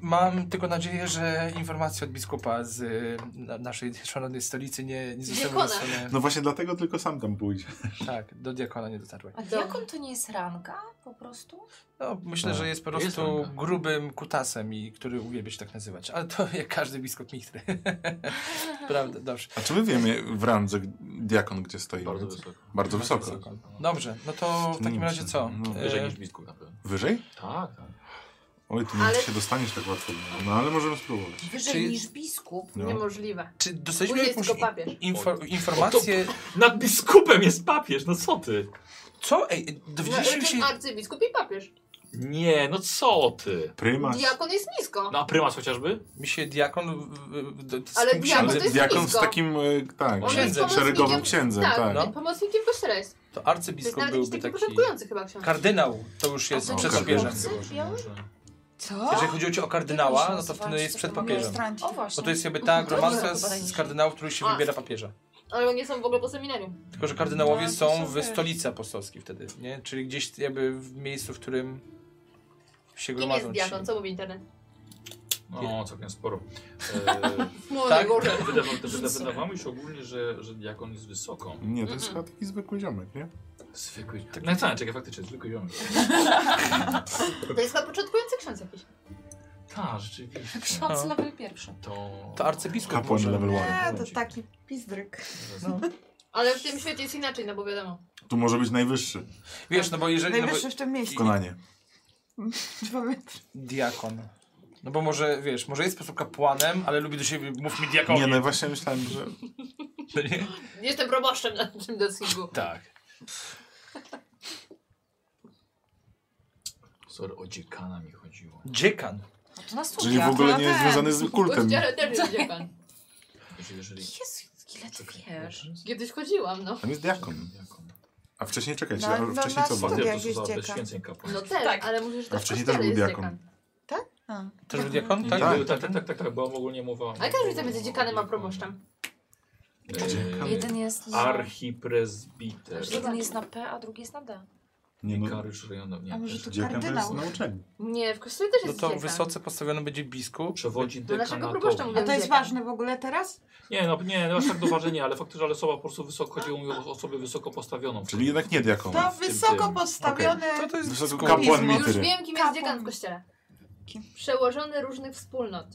[SPEAKER 1] mam tylko nadzieję, że informacje od biskupa z y, na, naszej szanownej stolicy nie, nie zostały
[SPEAKER 6] Diakona.
[SPEAKER 1] wysłane.
[SPEAKER 2] No właśnie dlatego tylko sam tam pójdzie.
[SPEAKER 1] Tak, do diakona nie dotarły.
[SPEAKER 7] A diakon to nie jest ranga po prostu?
[SPEAKER 1] No, myślę,
[SPEAKER 9] Tak,
[SPEAKER 1] że jest po
[SPEAKER 9] to jest
[SPEAKER 1] prostu
[SPEAKER 9] ranga.
[SPEAKER 1] grubym kutasem, i który uwielbia się tak nazywać. Ale to jak każdy biskup Michtry. Prawda, dobrze.
[SPEAKER 2] A czy my wiemy w randze g- diakon, gdzie stoi?
[SPEAKER 9] Bardzo wysoko.
[SPEAKER 2] Bardzo wysoko.
[SPEAKER 1] Dobrze, no to w takim
[SPEAKER 2] Nim
[SPEAKER 1] razie
[SPEAKER 2] się-
[SPEAKER 1] co?
[SPEAKER 2] no,
[SPEAKER 1] E,
[SPEAKER 9] Wyżej niż biskup na pewno.
[SPEAKER 2] Wyżej?
[SPEAKER 9] Tak, tak.
[SPEAKER 2] Oj, tu nie
[SPEAKER 6] Ale-
[SPEAKER 2] się dostaniesz tak łatwo. No ale możemy spróbować.
[SPEAKER 7] Wyżej
[SPEAKER 1] Czy-
[SPEAKER 7] niż biskup?
[SPEAKER 2] No.
[SPEAKER 6] Niemożliwe.
[SPEAKER 1] Czy
[SPEAKER 6] Bo
[SPEAKER 1] dostaliśmy
[SPEAKER 6] jest
[SPEAKER 1] jakąś
[SPEAKER 6] tylko papież.
[SPEAKER 1] info- informację?
[SPEAKER 2] no
[SPEAKER 3] Nad biskupem jest papież, no co ty?
[SPEAKER 1] Co? Ej,
[SPEAKER 6] No,
[SPEAKER 1] dowiedzieliśmy się...
[SPEAKER 6] ten arcybiskup i papież.
[SPEAKER 3] Nie, no co ty?
[SPEAKER 2] Prymas.
[SPEAKER 6] Diakon jest nisko.
[SPEAKER 3] No a prymas chociażby?
[SPEAKER 1] Mi się diakon... w- w- do-
[SPEAKER 6] Ale
[SPEAKER 1] skończy-
[SPEAKER 6] diakon-
[SPEAKER 2] Ale
[SPEAKER 6] to jest
[SPEAKER 2] diakon z
[SPEAKER 6] blisko.
[SPEAKER 2] takim, e, tak,
[SPEAKER 1] On jest
[SPEAKER 2] szeregowym
[SPEAKER 6] pomocnikiem-
[SPEAKER 2] księdzem,
[SPEAKER 6] tak,
[SPEAKER 2] tak.
[SPEAKER 1] no.
[SPEAKER 6] Pomocnikiem kościoła jest.
[SPEAKER 1] To
[SPEAKER 6] To jest
[SPEAKER 1] arcybiskup
[SPEAKER 6] nawet jakiś
[SPEAKER 1] byłby
[SPEAKER 6] taki
[SPEAKER 1] taki...
[SPEAKER 6] początkujący chyba ksiądz.
[SPEAKER 1] Kardynał to już jest
[SPEAKER 7] A to
[SPEAKER 1] przed
[SPEAKER 2] czy
[SPEAKER 1] papieżem.
[SPEAKER 7] chłopcy?
[SPEAKER 5] Co?
[SPEAKER 1] Jeżeli chodzi o kardynała, no to wtedy jest przed papieżem.
[SPEAKER 5] Ministranci.
[SPEAKER 7] O
[SPEAKER 1] Bo
[SPEAKER 7] właśnie.
[SPEAKER 1] to jest jakby ta
[SPEAKER 7] To
[SPEAKER 1] gromadka
[SPEAKER 7] nie,
[SPEAKER 1] z, z kardynałów, który się
[SPEAKER 6] A.
[SPEAKER 1] wybiera papieża.
[SPEAKER 6] Ale oni są w ogóle po seminarium.
[SPEAKER 1] Tylko, że kardynałowie
[SPEAKER 7] No, to
[SPEAKER 1] są
[SPEAKER 7] są
[SPEAKER 1] w
[SPEAKER 7] też.
[SPEAKER 1] stolicy apostolskiej wtedy, nie? Czyli gdzieś jakby w miejscu, w którym się
[SPEAKER 6] Kim
[SPEAKER 1] gromadzą
[SPEAKER 6] jest
[SPEAKER 1] ci.
[SPEAKER 6] diakon? Co mówi internet?
[SPEAKER 3] No, całkiem sporo.
[SPEAKER 6] Młody
[SPEAKER 1] Tak?
[SPEAKER 6] Boże.
[SPEAKER 3] E, wydawa, wyda- wydawało mi się ogólnie, że, że diakon jest wysoko.
[SPEAKER 2] Nie, to jest
[SPEAKER 6] Mhm.
[SPEAKER 2] chyba taki zwykły ziomek, nie?
[SPEAKER 9] Zwykły. Tak.
[SPEAKER 3] No tak, czekaj, faktycznie, zwykły ziomek.
[SPEAKER 6] To jest chyba początkujący ksiądz jakiś.
[SPEAKER 3] Tak, rzeczywiście.
[SPEAKER 7] Ksiądz
[SPEAKER 1] no.
[SPEAKER 7] level pierwszy.
[SPEAKER 3] To...
[SPEAKER 1] To arcybiskup
[SPEAKER 2] Kapłan
[SPEAKER 1] może.
[SPEAKER 2] level 1.
[SPEAKER 5] Nie, to taki pizdryk.
[SPEAKER 1] No.
[SPEAKER 6] Ale w tym świecie jest inaczej, no bo wiadomo.
[SPEAKER 2] Tu może być najwyższy
[SPEAKER 1] Wiesz, no bo jeżeli... No bo
[SPEAKER 5] Najwyższy w tym mieście.
[SPEAKER 2] konanie.
[SPEAKER 5] Dwa metry.
[SPEAKER 1] diakon. No bo może, wiesz, może jest po prostu kapłanem, ale lubi do siebie, mów mi diakon.
[SPEAKER 2] Nie, no właśnie myślałem, że...
[SPEAKER 6] Jestem proboszczem na tym docingu.
[SPEAKER 1] Tak.
[SPEAKER 9] Sorry, o dziekana mi chodziło.
[SPEAKER 1] Dziekan.
[SPEAKER 7] No to na
[SPEAKER 2] Czyli w
[SPEAKER 7] studiach.
[SPEAKER 2] ogóle
[SPEAKER 5] to
[SPEAKER 2] nie jest
[SPEAKER 5] ten.
[SPEAKER 2] związany z
[SPEAKER 6] W
[SPEAKER 2] kultem.
[SPEAKER 6] kościele też jest dziekan.
[SPEAKER 3] Znaczy,
[SPEAKER 9] Że jeżeli...
[SPEAKER 7] Jezu, ile ty wiesz?
[SPEAKER 6] Kiedyś chodziłam, no.
[SPEAKER 2] Tam jest diakon.
[SPEAKER 9] Diakon.
[SPEAKER 2] A wcześniej, czekajcie,
[SPEAKER 5] No,
[SPEAKER 2] a
[SPEAKER 5] no,
[SPEAKER 2] wcześniej co
[SPEAKER 5] nas
[SPEAKER 2] było?
[SPEAKER 5] to-
[SPEAKER 3] Papież to
[SPEAKER 5] jakiś
[SPEAKER 3] są
[SPEAKER 5] dziekan.
[SPEAKER 3] bez święceń kapłan.
[SPEAKER 6] No też,
[SPEAKER 8] Tak.
[SPEAKER 6] ale mówisz, że
[SPEAKER 2] A
[SPEAKER 6] też
[SPEAKER 2] wcześniej
[SPEAKER 6] w
[SPEAKER 2] też
[SPEAKER 6] kościele
[SPEAKER 2] był
[SPEAKER 6] jest
[SPEAKER 2] diakon.
[SPEAKER 6] dziekan.
[SPEAKER 5] A.
[SPEAKER 1] Też był diakon?
[SPEAKER 3] Tak,
[SPEAKER 1] Tak.
[SPEAKER 3] tak, tak, tak, tak, tak, tak była ogólnie mowa.
[SPEAKER 6] Ale każdy chce między dziekanem a proboszczem.
[SPEAKER 3] E,
[SPEAKER 9] Dziekan.
[SPEAKER 7] Jeden jest na,
[SPEAKER 3] Archipresbiter.
[SPEAKER 7] jeden jest na P, a drugi jest na D.
[SPEAKER 2] Nie, no,
[SPEAKER 9] Karysz rejonu. Nie,
[SPEAKER 5] A może
[SPEAKER 9] też
[SPEAKER 5] to
[SPEAKER 9] nie.
[SPEAKER 2] dziekan to jest
[SPEAKER 5] Kardynał.
[SPEAKER 2] nauczenie.
[SPEAKER 6] Nie, w kościele też
[SPEAKER 1] No
[SPEAKER 6] jest
[SPEAKER 1] to
[SPEAKER 6] dziekan.
[SPEAKER 1] wysoce postawiony będzie biskup.
[SPEAKER 3] Przewodzi
[SPEAKER 6] No naszego proboszcza
[SPEAKER 3] dekanatowi.
[SPEAKER 5] A
[SPEAKER 6] mówią
[SPEAKER 5] to jest
[SPEAKER 6] dziekan.
[SPEAKER 5] ważne w ogóle teraz?
[SPEAKER 3] Nie, no nie, no aż tak do ważenia, ale faktycznie, ale osoba po prostu wysoko, chodziło mi o osobę wysoko postawioną.
[SPEAKER 2] Czyli jednak nie diakon.
[SPEAKER 5] To
[SPEAKER 3] tym,
[SPEAKER 5] wysoko
[SPEAKER 3] tym.
[SPEAKER 5] postawione...
[SPEAKER 1] To to jest
[SPEAKER 2] Wysoko
[SPEAKER 1] biskup.
[SPEAKER 5] kap-
[SPEAKER 2] kapłan
[SPEAKER 5] Już
[SPEAKER 6] Już
[SPEAKER 2] mitry.
[SPEAKER 6] wiem, kim jest
[SPEAKER 5] Kapłan.
[SPEAKER 6] dziekan w kościele.
[SPEAKER 5] Kim?
[SPEAKER 6] Przełożony różnych wspólnot.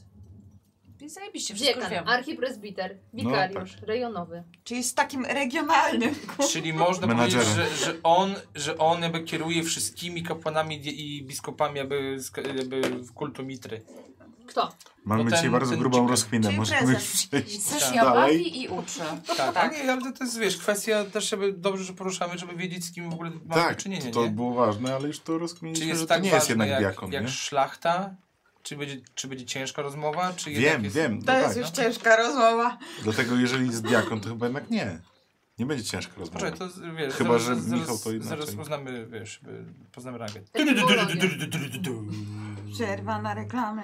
[SPEAKER 7] I zajebiście, wszystko już wiem.
[SPEAKER 6] Dziekan, archipresbiter, wikariusz, rejonowy.
[SPEAKER 5] Czyli jest takim regionalnym.
[SPEAKER 1] Czyli można
[SPEAKER 2] Menadżerem.
[SPEAKER 1] powiedzieć, że, że, on, że on jakby kieruje wszystkimi kapłanami di- i biskupami jakby, z- jakby w kultu mitry.
[SPEAKER 6] Kto?
[SPEAKER 2] Mamy
[SPEAKER 1] No ten-
[SPEAKER 2] dzisiaj bardzo
[SPEAKER 1] ten
[SPEAKER 2] grubą
[SPEAKER 1] dziekan.
[SPEAKER 2] rozkminę.
[SPEAKER 5] Czyli
[SPEAKER 2] Możemy
[SPEAKER 5] prezes.
[SPEAKER 2] przejść.
[SPEAKER 7] Chcesz
[SPEAKER 1] Tak.
[SPEAKER 7] ja
[SPEAKER 2] Dalej.
[SPEAKER 7] bawi i uczy.
[SPEAKER 1] Tak, tak. Nie, ale to jest, wiesz, kwestia też jakby dobrze, że poruszamy, żeby wiedzieć z kim w ogóle mamy do
[SPEAKER 2] Tak,
[SPEAKER 1] czynienia,
[SPEAKER 2] to
[SPEAKER 1] nie?
[SPEAKER 2] było ważne, ale już to
[SPEAKER 1] Czy
[SPEAKER 2] rozkminiliśmy,
[SPEAKER 1] jest
[SPEAKER 2] że
[SPEAKER 1] tak
[SPEAKER 2] to nie
[SPEAKER 1] ważne
[SPEAKER 2] jest jednak
[SPEAKER 1] jak,
[SPEAKER 2] diakon,
[SPEAKER 1] jak
[SPEAKER 2] nie?
[SPEAKER 1] szlachta? Czy będzie, czy będzie ciężka rozmowa? Czy jednak
[SPEAKER 2] Wiem,
[SPEAKER 1] jest...
[SPEAKER 2] wiem, no
[SPEAKER 5] To jest
[SPEAKER 2] tak.
[SPEAKER 5] już ciężka rozmowa.
[SPEAKER 2] Dlatego jeżeli jest diakon, to chyba jednak nie. Nie będzie ciężko rozmowa.
[SPEAKER 1] Poczekaj, to z- wiesz,
[SPEAKER 2] Chyba,
[SPEAKER 1] zaraz,
[SPEAKER 2] że
[SPEAKER 1] zaraz,
[SPEAKER 2] Michał to inaczej.
[SPEAKER 1] Zaraz poznamy, wiesz, y, poznamy rangę.
[SPEAKER 6] Etyologia.
[SPEAKER 5] Przerwa na reklamy.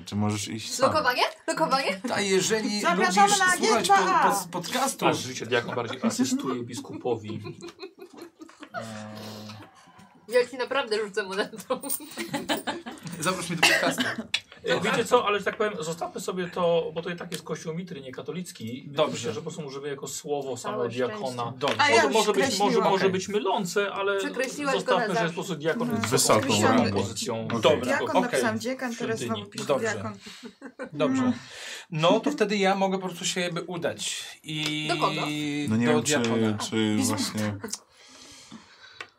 [SPEAKER 2] A, czy możesz iść sam?
[SPEAKER 6] Lokowanie? Lokowanie?
[SPEAKER 1] A jeżeli
[SPEAKER 5] Zapraszamy
[SPEAKER 1] lubisz
[SPEAKER 5] na
[SPEAKER 1] słuchać po,
[SPEAKER 5] agenta
[SPEAKER 1] po,
[SPEAKER 5] A.
[SPEAKER 1] podcastu,
[SPEAKER 3] Aż życie diakon bardziej asystuje biskupowi.
[SPEAKER 6] Ja ci naprawdę rzucę monetą.
[SPEAKER 1] zaprosz mnie do podcastu.
[SPEAKER 3] E, Wiecie co, ale że tak powiem, zostawmy sobie to, bo to i tak jest kościół mitry, nie katolicki.
[SPEAKER 1] Dobrze.
[SPEAKER 3] Myślę, że po prostu użymy jako słowo samo
[SPEAKER 6] Całe
[SPEAKER 3] diakona.
[SPEAKER 1] Dobrze.
[SPEAKER 5] A ja
[SPEAKER 3] Może,
[SPEAKER 5] już
[SPEAKER 3] może, być, może,
[SPEAKER 5] skreśliłam.
[SPEAKER 3] może
[SPEAKER 1] Okej.
[SPEAKER 3] być mylące, ale
[SPEAKER 6] Przekreśliłaś go na
[SPEAKER 3] zostawmy, że
[SPEAKER 6] zawsze.
[SPEAKER 3] jest po prostu diakon jest
[SPEAKER 2] Wysoką
[SPEAKER 5] rangą.
[SPEAKER 3] pozycją.
[SPEAKER 2] Okej.
[SPEAKER 1] Dobra,
[SPEAKER 5] No. Diakon
[SPEAKER 1] okej.
[SPEAKER 5] napisałam dziekan, teraz
[SPEAKER 3] Świątyni.
[SPEAKER 5] znowu piszę
[SPEAKER 1] Dobrze.
[SPEAKER 5] diakon. Mm.
[SPEAKER 1] Dobrze. No to wtedy ja mogę po prostu się jakby udać. I
[SPEAKER 6] Do kogo?
[SPEAKER 2] No nie
[SPEAKER 1] do
[SPEAKER 2] wiem,
[SPEAKER 1] diakona.
[SPEAKER 2] czy, czy właśnie...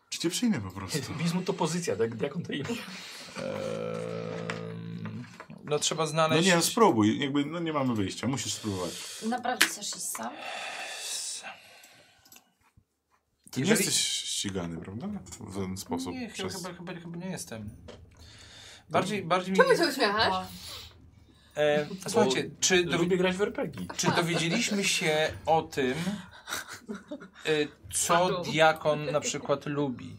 [SPEAKER 2] Czy cię przyjmie po prostu?
[SPEAKER 3] Bizmut to pozycja, tak? diakon to imię.
[SPEAKER 1] Ehm, No trzeba
[SPEAKER 2] No
[SPEAKER 1] znaleźć.
[SPEAKER 2] nie, no spróbuj. Jakby, no nie mamy wyjścia, musisz spróbować.
[SPEAKER 7] Naprawdę chcesz iść sam?
[SPEAKER 2] Ty
[SPEAKER 1] Jeżeli-
[SPEAKER 2] nie jesteś ścigany, prawda? W ten sposób.
[SPEAKER 1] nie chyba,
[SPEAKER 2] przez...
[SPEAKER 1] chyba, chyba, chyba nie jestem. Bardziej, bardziej mi...
[SPEAKER 6] Czemu się uśmiechasz?
[SPEAKER 1] E, słuchajcie, czy, do,
[SPEAKER 3] Lubię grać w RPG.
[SPEAKER 1] czy dowiedzieliśmy się o tym, e, co diakon na przykład lubi?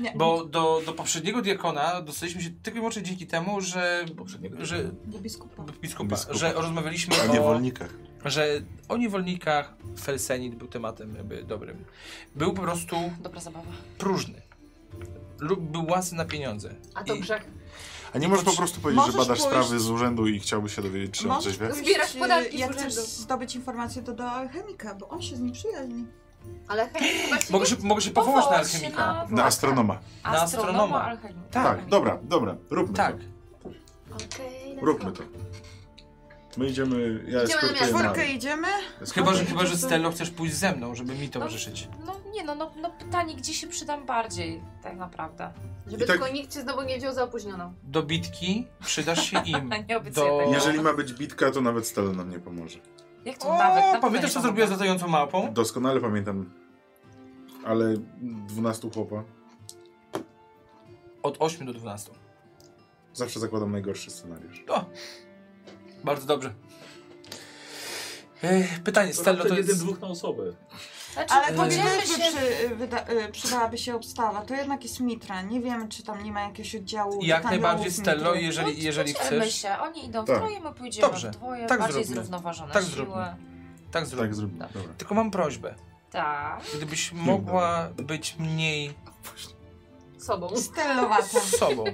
[SPEAKER 5] Nie.
[SPEAKER 1] Bo do, do poprzedniego diakona dostaliśmy się tylko i wyłącznie dzięki temu, że,
[SPEAKER 3] Poprzedniego.
[SPEAKER 1] że
[SPEAKER 5] Do biskupa.
[SPEAKER 1] biskupa,
[SPEAKER 2] Biskupa.
[SPEAKER 1] że rozmawialiśmy
[SPEAKER 2] A
[SPEAKER 1] o,
[SPEAKER 2] niewolnikach.
[SPEAKER 1] że o niewolnikach Felsenit był tematem jakby dobrym. Był po prostu
[SPEAKER 7] Dobra zabawa.
[SPEAKER 1] próżny. Lub był łasy na pieniądze.
[SPEAKER 6] A to
[SPEAKER 1] I-
[SPEAKER 6] grzech.
[SPEAKER 2] A nie możesz po prostu powiedzieć, że
[SPEAKER 5] Możesz
[SPEAKER 2] badasz
[SPEAKER 5] pójść-
[SPEAKER 2] sprawy z urzędu i chciałbyś się dowiedzieć, czy on
[SPEAKER 5] Możesz
[SPEAKER 2] coś wie?
[SPEAKER 5] pójść,
[SPEAKER 6] Zbierasz podatki
[SPEAKER 5] y,
[SPEAKER 6] z
[SPEAKER 5] jak
[SPEAKER 6] urzędu.
[SPEAKER 5] chcesz zdobyć informację, to do alchemika, bo on się z nim przyjaźni.
[SPEAKER 6] Ale chemik chyba się
[SPEAKER 1] Mogę się, mogę
[SPEAKER 6] No
[SPEAKER 1] się powołać na alchemika.
[SPEAKER 7] Na,
[SPEAKER 2] Na astronoma.
[SPEAKER 1] na
[SPEAKER 7] astronoma.
[SPEAKER 1] astronoma.
[SPEAKER 7] alchemika.
[SPEAKER 2] Tak, dobra, dobra, róbmy
[SPEAKER 1] Tak.
[SPEAKER 2] to.
[SPEAKER 6] Okej, let's
[SPEAKER 2] Róbmy
[SPEAKER 6] go.
[SPEAKER 2] to. My idziemy, ja
[SPEAKER 6] Idziemy na
[SPEAKER 2] eskortuję
[SPEAKER 6] miasto.
[SPEAKER 5] Czwórkę
[SPEAKER 2] Marię.
[SPEAKER 5] idziemy.
[SPEAKER 1] Chyba, że, chyba, że Stello chcesz pójść ze mną, żeby mi towarzyszyć.
[SPEAKER 7] No nie no, no, no pytanie, gdzie się przydam bardziej tak naprawdę.
[SPEAKER 6] Żeby
[SPEAKER 2] I tak-
[SPEAKER 6] tylko nikt cię znowu nie wziął za opóźnioną.
[SPEAKER 1] Do bitki przydasz się im.
[SPEAKER 7] Nie obiecuję
[SPEAKER 1] Do...
[SPEAKER 7] tego.
[SPEAKER 2] Jeżeli ma być bitka, to nawet Stello nam nie pomoże.
[SPEAKER 7] Jak to nawet?
[SPEAKER 1] O,
[SPEAKER 7] na
[SPEAKER 1] pamiętasz co
[SPEAKER 7] pewno. No,
[SPEAKER 1] zrobiła z latającą małpą?
[SPEAKER 2] Doskonale pamiętam, ale 12 chłopa.
[SPEAKER 1] Od 8 do 12.
[SPEAKER 2] Zawsze zakładam najgorszy scenariusz.
[SPEAKER 1] Bardzo dobrze. Ech, Pytanie, Stello no to
[SPEAKER 3] jeden,
[SPEAKER 1] jest...
[SPEAKER 3] Znaczy, dwóch na osobę.
[SPEAKER 7] Znaczy,
[SPEAKER 5] Ale to nie
[SPEAKER 7] podzielmy
[SPEAKER 5] też by
[SPEAKER 7] się...
[SPEAKER 5] przy, y, wyda, y, przydała się obstawa. To jednak jest Mitra. Nie wiemy, czy tam nie ma jakiegoś oddziału.
[SPEAKER 1] Jak
[SPEAKER 5] taniołów
[SPEAKER 1] najbardziej
[SPEAKER 5] Mitry.
[SPEAKER 1] Stello,
[SPEAKER 7] No,
[SPEAKER 1] jeżeli, jeżeli
[SPEAKER 7] podzielmy
[SPEAKER 1] chcesz,
[SPEAKER 7] się, oni idą w
[SPEAKER 2] Tak.
[SPEAKER 7] troje, my pójdziemy
[SPEAKER 1] Dobrze,
[SPEAKER 7] w dwoje,
[SPEAKER 1] tak
[SPEAKER 7] bardziej
[SPEAKER 1] zróbmy.
[SPEAKER 7] zrównoważone
[SPEAKER 1] Tak
[SPEAKER 7] siły.
[SPEAKER 1] zróbmy. tak zrób.
[SPEAKER 2] Tak zrobimy. Dobra.
[SPEAKER 1] Tylko mam prośbę.
[SPEAKER 7] Tak.
[SPEAKER 1] Gdybyś mogła być mniej
[SPEAKER 6] Sobą.
[SPEAKER 7] tak.
[SPEAKER 5] Stellowata.
[SPEAKER 1] sobą.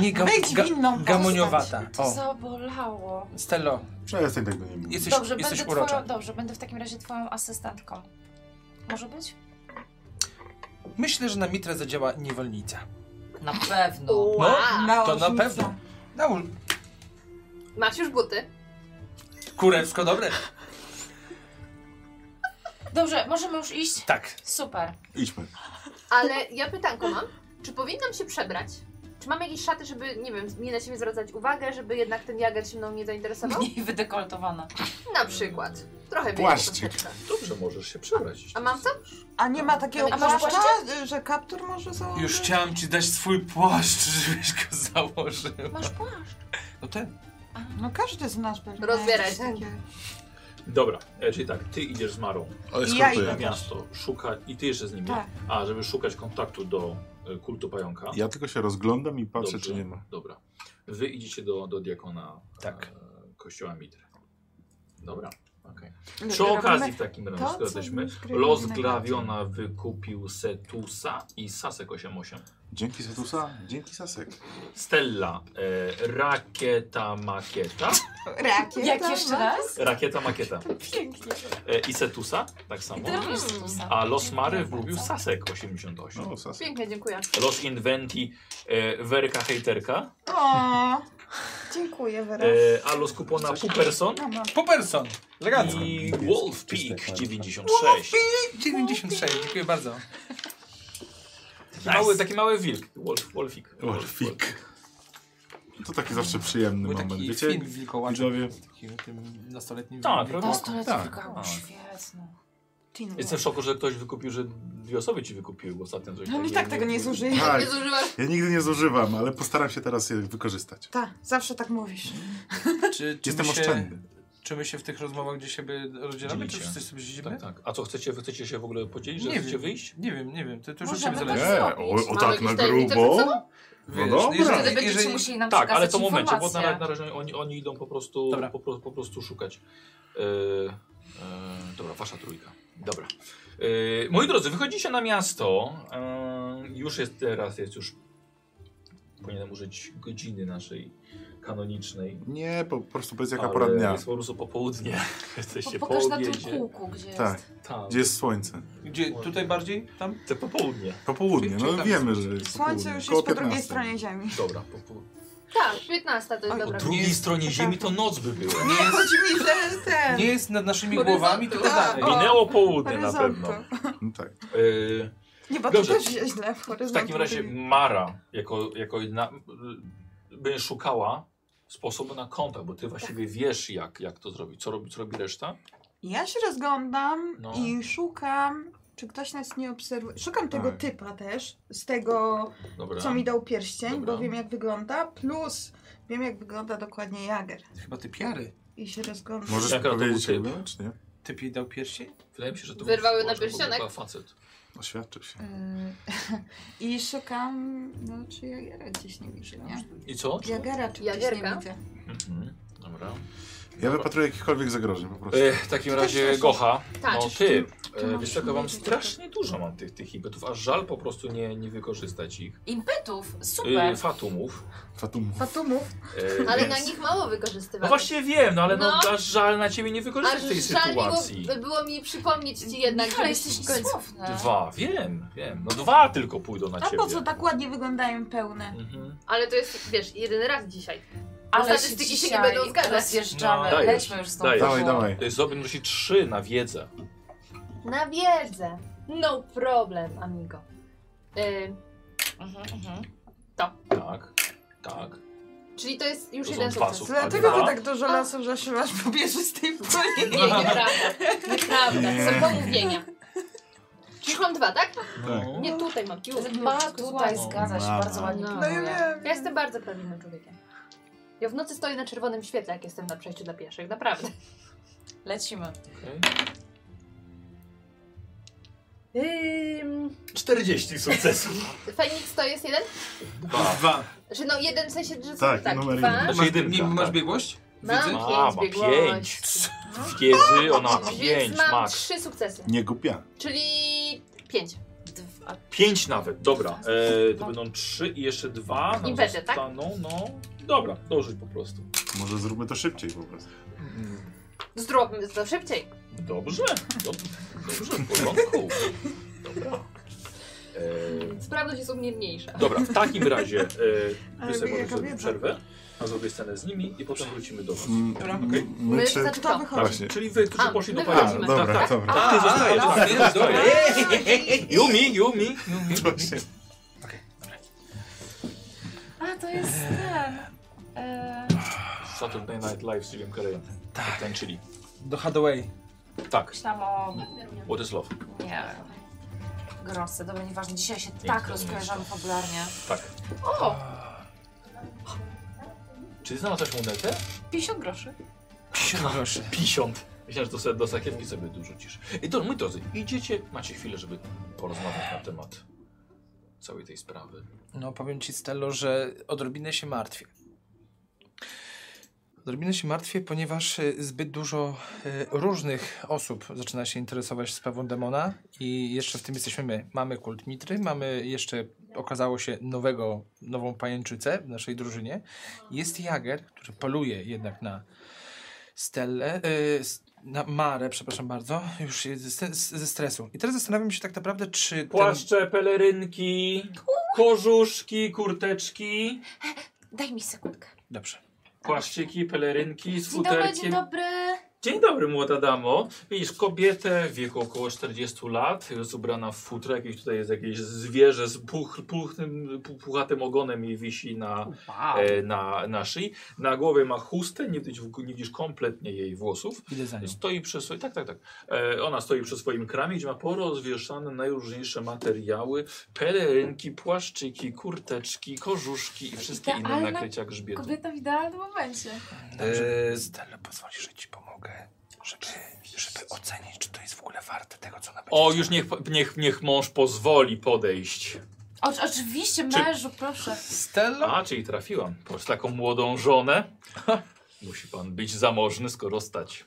[SPEAKER 1] Nie ga,
[SPEAKER 5] Być
[SPEAKER 1] ga,
[SPEAKER 5] winną postać.
[SPEAKER 1] gamoniowata.
[SPEAKER 7] To
[SPEAKER 1] O,
[SPEAKER 7] zabolało.
[SPEAKER 1] Stello,
[SPEAKER 2] Przestań tak do niej mówić.
[SPEAKER 1] jesteś,
[SPEAKER 7] Dobrze,
[SPEAKER 1] jesteś
[SPEAKER 7] będę
[SPEAKER 1] urocza.
[SPEAKER 7] twoją, dobrze, będę w takim razie twoją asystentką. Może być?
[SPEAKER 1] Myślę, że na Mitrę zadziała niewolnica.
[SPEAKER 7] Na pewno.
[SPEAKER 6] Wow.
[SPEAKER 5] No,
[SPEAKER 1] To na pewno. Nałóż.
[SPEAKER 6] Masz już buty.
[SPEAKER 1] Kurewsko dobre.
[SPEAKER 7] Dobrze, możemy już iść?
[SPEAKER 1] Tak.
[SPEAKER 7] Super.
[SPEAKER 2] Idźmy.
[SPEAKER 6] Ale ja pytanko mam. Czy powinnam się przebrać? Czy mam jakieś szaty, żeby, nie wiem, nie na siebie zwracać uwagę, żeby jednak ten jager się mną nie zainteresował?
[SPEAKER 7] Mniej wydekoltowana.
[SPEAKER 6] Na przykład. Trochę
[SPEAKER 2] Płaszczyk.
[SPEAKER 6] więcej. troszeczkę.
[SPEAKER 3] Dobrze, możesz się przebrać.
[SPEAKER 6] A mam co?
[SPEAKER 5] A nie ma takiego
[SPEAKER 6] A
[SPEAKER 7] masz
[SPEAKER 5] płaszcza, y, że kaptur może założyć?
[SPEAKER 1] Już chciałam ci dać swój płaszcz, żebyś go założył.
[SPEAKER 7] Masz płaszcz.
[SPEAKER 1] No ten.
[SPEAKER 5] No każdy z nas pewnie. ma
[SPEAKER 6] Rozbieraj
[SPEAKER 5] jakieś
[SPEAKER 6] się.
[SPEAKER 5] takie-
[SPEAKER 3] Dobra, e, czyli tak, ty idziesz z Marą
[SPEAKER 5] Ja
[SPEAKER 3] na
[SPEAKER 5] idę.
[SPEAKER 2] Eskortuję.
[SPEAKER 3] miasto, szuka i ty jeszcze z nimi.
[SPEAKER 5] Tak.
[SPEAKER 3] A, żeby szukać kontaktu do e, kultu pająka.
[SPEAKER 2] Ja tylko się rozglądam i patrzę,
[SPEAKER 3] Dobrze,
[SPEAKER 2] czy nie ma.
[SPEAKER 3] Dobra. Wy idziecie do, do diakona
[SPEAKER 1] Tak.
[SPEAKER 3] e, kościoła Mitry. Dobra, okej.
[SPEAKER 5] Robimy
[SPEAKER 3] Przy okazji w takim razie,
[SPEAKER 5] No to,
[SPEAKER 3] skoro
[SPEAKER 5] co
[SPEAKER 3] jesteśmy,
[SPEAKER 5] już graliśmy
[SPEAKER 3] Los
[SPEAKER 5] na
[SPEAKER 3] Glaviona wykupił Setusa i Sasek 88.
[SPEAKER 2] Dzięki Satusa, dzięki Sasek.
[SPEAKER 3] Stella, e, rakieta, makieta.
[SPEAKER 5] Rakieta,
[SPEAKER 7] Jak jeszcze
[SPEAKER 5] ma-
[SPEAKER 7] raz?
[SPEAKER 3] Rakieta, makieta.
[SPEAKER 5] Pięknie.
[SPEAKER 3] E, I Setusa, tak samo.
[SPEAKER 7] Ty robisz
[SPEAKER 1] Mm.
[SPEAKER 7] Stusa.
[SPEAKER 3] A Los Mary wgubił Sasek 88.
[SPEAKER 2] No, Sasek.
[SPEAKER 6] Pięknie, dziękuję.
[SPEAKER 3] Los Inventi, e, Werka Hejterka.
[SPEAKER 5] O, dziękuję Wera.
[SPEAKER 3] E, a Los Kupona Puperson.
[SPEAKER 5] No, mam.
[SPEAKER 1] Poperson. Elegancko.
[SPEAKER 3] I Wolf Peak 96.
[SPEAKER 1] 96, dziękuję bardzo.
[SPEAKER 3] Taki mały, taki mały wilk. Wolf, wolfik.
[SPEAKER 2] Wolfik. To taki zawsze przyjemny
[SPEAKER 1] Był
[SPEAKER 2] moment.
[SPEAKER 1] taki
[SPEAKER 2] Wiecie,
[SPEAKER 1] film wilkołaczy.
[SPEAKER 2] widzowie,
[SPEAKER 1] Taki o tym nastoletnim
[SPEAKER 3] Tak,
[SPEAKER 1] wilku.
[SPEAKER 3] prawda?
[SPEAKER 7] Nastoletni
[SPEAKER 2] Tak.
[SPEAKER 7] wygał,
[SPEAKER 3] Tak.
[SPEAKER 7] świetny.
[SPEAKER 5] Teen
[SPEAKER 3] Jestem w szoku, że ktoś wykupił, że dwie osoby ci wykupiły, bo ostatnio coś
[SPEAKER 5] No i
[SPEAKER 3] takiego
[SPEAKER 5] tak tego nie zużyję.
[SPEAKER 2] tak,
[SPEAKER 6] Nie zużywasz.
[SPEAKER 2] ja nigdy nie zużywam, ale postaram się teraz je wykorzystać.
[SPEAKER 5] Tak, zawsze tak mówisz.
[SPEAKER 1] Czy, czy, my
[SPEAKER 2] Jestem
[SPEAKER 1] się,
[SPEAKER 2] oszczędny.
[SPEAKER 1] czy my się w tych rozmowach gdzie siebie rozdzielamy, czy
[SPEAKER 3] Dzielicie.
[SPEAKER 1] wszyscy sobie dzielimy?
[SPEAKER 3] Tak, tak. A co chcecie? Wy chcecie się w ogóle podzielić? Że
[SPEAKER 1] Nie
[SPEAKER 3] chcecie
[SPEAKER 1] wiem.
[SPEAKER 3] wyjść?
[SPEAKER 1] Nie wiem, nie wiem, to, to już od
[SPEAKER 7] Możemy
[SPEAKER 1] ciebie
[SPEAKER 7] tak
[SPEAKER 1] zależy.
[SPEAKER 2] Nie, o, o
[SPEAKER 7] Mamy
[SPEAKER 2] tak
[SPEAKER 6] jakieś
[SPEAKER 2] na
[SPEAKER 6] tajemnice
[SPEAKER 2] grubo?
[SPEAKER 6] przed sobą?
[SPEAKER 1] Wiesz,
[SPEAKER 2] dobra.
[SPEAKER 1] jeżeli-
[SPEAKER 2] Tak.
[SPEAKER 7] Wtedy będziecie
[SPEAKER 1] jeżeli-
[SPEAKER 7] musieli nam
[SPEAKER 3] Tak, ale
[SPEAKER 7] przekazać
[SPEAKER 3] to momencie, bo na,
[SPEAKER 7] informacje.
[SPEAKER 3] na razie oni, oni idą po prostu,
[SPEAKER 1] Dobra.
[SPEAKER 3] po, pro- po prostu szukać. E, e, dobra, wasza trójka. Dobra. E, moi drodzy, wychodzicie na miasto. E, już jest teraz, jest już. Powinienem użyć godziny naszej kanonicznej.
[SPEAKER 2] Nie, po prostu powiedz jaka
[SPEAKER 3] ale
[SPEAKER 2] pora dnia,
[SPEAKER 3] Jest po prostu popołudnie. Jesteście
[SPEAKER 7] Po,
[SPEAKER 3] po,
[SPEAKER 7] pokaż na
[SPEAKER 3] obiedzie.
[SPEAKER 7] tym kółku, gdzie
[SPEAKER 2] Tak.
[SPEAKER 7] jest.
[SPEAKER 3] Tak,
[SPEAKER 2] gdzie jest słońce.
[SPEAKER 1] Gdzie, tutaj bardziej? Tam?
[SPEAKER 3] to popołudnie.
[SPEAKER 2] Popołudnie,
[SPEAKER 1] Czyli- czyli
[SPEAKER 2] no
[SPEAKER 1] tam
[SPEAKER 2] wiemy, że jest
[SPEAKER 5] Słońce
[SPEAKER 2] popołudnie.
[SPEAKER 5] już
[SPEAKER 2] Koło
[SPEAKER 5] jest po drugiej
[SPEAKER 2] 15.
[SPEAKER 5] stronie Ziemi.
[SPEAKER 3] Dobra, popołudnie.
[SPEAKER 6] Tak, 15 to jest
[SPEAKER 5] Oj,
[SPEAKER 6] dobra.
[SPEAKER 3] Po drugiej stronie Ziemi to noc by była.
[SPEAKER 5] Nie, chodzi mi, że ten...
[SPEAKER 1] Nie jest nad naszymi
[SPEAKER 6] Horyzontu.
[SPEAKER 1] głowami, tylko
[SPEAKER 5] Tak.
[SPEAKER 1] dalej.
[SPEAKER 5] O,
[SPEAKER 3] Minęło południe na
[SPEAKER 5] Horyzontu.
[SPEAKER 3] pewno.
[SPEAKER 2] No tak.
[SPEAKER 3] Yy,
[SPEAKER 5] Nie, bo
[SPEAKER 3] Dobrze.
[SPEAKER 5] to też jest źle.
[SPEAKER 3] w takim razie Mara, jako, jako jedna, y, będzie szukała sposobu na kontakt, bo ty właściwie wiesz, jak, jak to zrobić. Co robi, co robi reszta?
[SPEAKER 5] Ja się rozglądam
[SPEAKER 3] No.
[SPEAKER 5] i szukam, czy ktoś nas nie obserwuje. Szukam tego
[SPEAKER 2] Tak.
[SPEAKER 5] typa też, z tego,
[SPEAKER 3] Dobra.
[SPEAKER 5] co mi dał pierścień,
[SPEAKER 3] Dobra.
[SPEAKER 5] bo wiem jak wygląda, plus wiem jak wygląda dokładnie Jager.
[SPEAKER 1] Chyba ty piary.
[SPEAKER 5] I się rozglądam.
[SPEAKER 2] Możesz
[SPEAKER 3] Jaka to był
[SPEAKER 2] powiedzieć,
[SPEAKER 3] typ?
[SPEAKER 2] jak czy nie?
[SPEAKER 1] Ty jej dał pierścień?
[SPEAKER 3] Wydaje mi się, że to
[SPEAKER 6] Wyrwały
[SPEAKER 3] był-
[SPEAKER 6] na
[SPEAKER 3] to był
[SPEAKER 6] pierścionek?
[SPEAKER 3] chyba facet.
[SPEAKER 2] Oświadczy się.
[SPEAKER 5] Mm, I szukam, no czy Jagera gdzieś nie widzę, nie?
[SPEAKER 3] I co?
[SPEAKER 5] Jagera czy gdzieś nie
[SPEAKER 6] Jagerka?
[SPEAKER 5] widzę.
[SPEAKER 3] Mhm. Dobra.
[SPEAKER 2] Ja wypatruję jakichkolwiek zagrożeń po prostu.
[SPEAKER 3] E, w takim
[SPEAKER 5] Czy to
[SPEAKER 3] razie
[SPEAKER 5] jest
[SPEAKER 3] Gocha,
[SPEAKER 6] Tak,
[SPEAKER 3] no
[SPEAKER 6] czy-
[SPEAKER 3] ty,
[SPEAKER 5] czy
[SPEAKER 3] e,
[SPEAKER 5] masz
[SPEAKER 3] wiesz co, ja wam
[SPEAKER 5] wiedzieć,
[SPEAKER 3] strasznie dużo mam tych, tych impetów, aż żal po prostu nie, nie wykorzystać ich.
[SPEAKER 7] Impetów,
[SPEAKER 3] Yy,
[SPEAKER 7] super.
[SPEAKER 3] fatumów.
[SPEAKER 2] Fatum.
[SPEAKER 5] Fatumów.
[SPEAKER 3] Yy,
[SPEAKER 6] Ale
[SPEAKER 3] więc-
[SPEAKER 6] na nich mało
[SPEAKER 3] No
[SPEAKER 6] wykorzystywasz.
[SPEAKER 3] właśnie wiem, no ale no,
[SPEAKER 6] No.
[SPEAKER 3] aż żal na ciebie nie wykorzystać tej
[SPEAKER 6] żal mi
[SPEAKER 3] sytuacji.
[SPEAKER 6] było, było mi przypomnieć ci jednak,
[SPEAKER 7] Michał,
[SPEAKER 6] żebyś
[SPEAKER 7] jesteś
[SPEAKER 6] w końcu-
[SPEAKER 7] niesłowny.
[SPEAKER 3] Dwa, wiem, wiem. No dwa tylko pójdą na
[SPEAKER 5] A
[SPEAKER 3] ciebie.
[SPEAKER 5] po co tak ładnie wyglądają pełne?
[SPEAKER 3] Mhm.
[SPEAKER 6] Ale to jest, wiesz, jedyny raz dzisiaj.
[SPEAKER 7] Ale
[SPEAKER 6] statystyki się nie
[SPEAKER 7] dzisiaj
[SPEAKER 6] będą zgadzać.
[SPEAKER 7] Rozjeżdżamy,
[SPEAKER 3] No. Dajesz,
[SPEAKER 7] lećmy już stąd.
[SPEAKER 3] dajesz.
[SPEAKER 2] Dawaj, dawaj.
[SPEAKER 3] To jest Zobin musi trzy na wiedzę.
[SPEAKER 6] Na wiedzę. No problem, amigo. Y,
[SPEAKER 7] Mhm, mhm.
[SPEAKER 3] Tak, tak.
[SPEAKER 6] czyli to jest już
[SPEAKER 3] To są
[SPEAKER 6] jeden
[SPEAKER 3] dwa
[SPEAKER 6] sukces.
[SPEAKER 3] sukcesy.
[SPEAKER 5] Dlatego ty
[SPEAKER 3] Dwa.
[SPEAKER 5] tak dużo lasów zasiewasz po bierze z tej poli.
[SPEAKER 6] Nie, nieprawda. Nieprawda.
[SPEAKER 2] Nie.
[SPEAKER 6] Są pomówienia. Już mam dwa, tak?
[SPEAKER 1] No.
[SPEAKER 2] Tak.
[SPEAKER 6] Nie, tutaj mam. Już, już,
[SPEAKER 7] Ma
[SPEAKER 6] wszystko
[SPEAKER 7] tutaj
[SPEAKER 6] złapie.
[SPEAKER 7] zgadza się,
[SPEAKER 2] Mama.
[SPEAKER 7] bardzo ładnie
[SPEAKER 6] No.
[SPEAKER 5] No ja
[SPEAKER 7] pilnuje.
[SPEAKER 5] wiem.
[SPEAKER 6] Ja jestem bardzo prawidłowym człowiekiem. Ja w nocy stoję na czerwonym świetle, jak jestem na przejściu dla pieszych, naprawdę.
[SPEAKER 7] Lecimy.
[SPEAKER 3] Okay.
[SPEAKER 6] Ym,
[SPEAKER 3] 40 sukcesów.
[SPEAKER 6] Feniks to jest jeden?
[SPEAKER 3] Dwa.
[SPEAKER 1] Dwa.
[SPEAKER 6] Znaczy no jeden w sensie, że są
[SPEAKER 2] Tak,
[SPEAKER 6] tak,
[SPEAKER 2] numer
[SPEAKER 6] dwa.
[SPEAKER 2] jeden.
[SPEAKER 3] Znaczy
[SPEAKER 1] Masz,
[SPEAKER 3] jedynka,
[SPEAKER 1] nie, masz
[SPEAKER 3] tak.
[SPEAKER 1] biegłość?
[SPEAKER 6] Mam
[SPEAKER 1] Widzę?
[SPEAKER 3] A, ma
[SPEAKER 6] pięć biegłości.
[SPEAKER 3] pięć. Wiedzy, ona ma
[SPEAKER 6] Więc
[SPEAKER 3] 5,
[SPEAKER 6] mam
[SPEAKER 3] max.
[SPEAKER 6] trzy sukcesy,
[SPEAKER 2] Nie głupia.
[SPEAKER 6] czyli pięć.
[SPEAKER 7] Dwa.
[SPEAKER 3] 5 nawet, dobra. E, to będą 3 i jeszcze 2.
[SPEAKER 6] No. I będę, tak?
[SPEAKER 3] No, no. Dobra, dołożyć po prostu.
[SPEAKER 2] Może zróbmy to szybciej po prostu.
[SPEAKER 6] Zdrowmy to szybciej.
[SPEAKER 3] Dobrze, dob dobrze, w porządku. Dobra. E,
[SPEAKER 6] Sprawność jest u mnie mniejsza.
[SPEAKER 3] Tak. dobra, w takim razie e,
[SPEAKER 5] Ale
[SPEAKER 3] wy sobie
[SPEAKER 5] jaka
[SPEAKER 3] możecie zrobić
[SPEAKER 5] wiedza.
[SPEAKER 3] przerwę, a zrobię scenę z nimi i potem wrócimy do was.
[SPEAKER 2] Mm,
[SPEAKER 1] Dobra.
[SPEAKER 2] m-
[SPEAKER 1] Okej.
[SPEAKER 2] My,
[SPEAKER 6] My
[SPEAKER 2] czy...
[SPEAKER 6] znaczy
[SPEAKER 5] To
[SPEAKER 6] to.
[SPEAKER 5] wychodzi.
[SPEAKER 2] Właśnie.
[SPEAKER 3] Czyli wy, którzy
[SPEAKER 6] A,
[SPEAKER 3] poszli do
[SPEAKER 6] my
[SPEAKER 2] A,
[SPEAKER 3] palicy.
[SPEAKER 6] wchodzimy.
[SPEAKER 2] dobra,
[SPEAKER 3] tak, tak.
[SPEAKER 2] dobra.
[SPEAKER 3] Tak, ty zostajesz,
[SPEAKER 1] dobra,
[SPEAKER 3] tak, ty zostajesz. Yumi, Yumi.
[SPEAKER 2] Właśnie.
[SPEAKER 7] A, to jest ten. e,
[SPEAKER 3] Saturday Night Live z Jimem Carreyem. Tak. Tańczyli.
[SPEAKER 1] Do Hadaway.
[SPEAKER 3] Tak,
[SPEAKER 7] Myślałam o...
[SPEAKER 3] What is Love.
[SPEAKER 7] nie... Grosce, dobra, nieważne. Dzisiaj się
[SPEAKER 3] Piękne
[SPEAKER 7] tak rozkojarzamy fabularnie.
[SPEAKER 3] Tak.
[SPEAKER 7] O!
[SPEAKER 3] Czy ty znalazłeś monetę?
[SPEAKER 7] 50 groszy.
[SPEAKER 3] 50. Myślałem, że to sobie do sakiewki sobie dużo ciszy. I to, moi drodzy, idziecie, macie chwilę, żeby porozmawiać na temat całej tej sprawy.
[SPEAKER 1] No powiem ci Stello, że odrobinę się martwię. Odrobinę się martwię, ponieważ y, zbyt dużo y, różnych osób zaczyna się interesować sprawą demona i jeszcze w tym jesteśmy my. Mamy kult Mitry, mamy jeszcze, okazało się, nowego, nową pajęczycę w naszej drużynie. Jest Jager, który poluje jednak na Stellę, y, s- na Marę, przepraszam bardzo, już jest ze, stre- ze stresu. I teraz zastanawiam się tak naprawdę, czy ten-
[SPEAKER 3] Płaszcze, pelerynki, kożuszki, kurteczki,
[SPEAKER 7] Daj mi sekundkę.
[SPEAKER 1] Dobrze.
[SPEAKER 3] płaszczyki, pelerynki z
[SPEAKER 7] Dzień dobry, dzień
[SPEAKER 3] futerkiem.
[SPEAKER 7] dobry.
[SPEAKER 3] Dzień dobry, młoda damo. Widzisz kobietę w wieku około 40 lat, jest ubrana w futro, jakieś tutaj jest jakieś zwierzę z puch, puchnym, pu- puchatym ogonem i wisi na, e, na, na szyi. Na głowie ma chustę, nie widzisz, w- nie widzisz kompletnie jej włosów.
[SPEAKER 1] Idę
[SPEAKER 8] No.
[SPEAKER 1] za nią.
[SPEAKER 3] Stoi przy swoim, tak, tak, tak. E, ona stoi przy swoim kramie, gdzie ma porozwieszane najróżniejsze materiały, pelerynki, płaszczyki, kurteczki, kożuszki i wszystkie inne
[SPEAKER 8] Idealna
[SPEAKER 3] nakrycia grzbietu.
[SPEAKER 8] Kobieta w idealnym momencie.
[SPEAKER 1] Dobrze. Stella, E, pozwolisz, że ci pomogę, żeby, żeby ocenić, czy to jest w ogóle warte tego, co na
[SPEAKER 3] O, już niech, niech, niech mąż pozwoli podejść.
[SPEAKER 8] O, oczywiście,
[SPEAKER 3] Czy-
[SPEAKER 8] mężu, proszę.
[SPEAKER 1] Stella?
[SPEAKER 3] A, czyli trafiłam. Proszę taką młodą żonę. Ha, Musi pan być zamożny, skoro stać.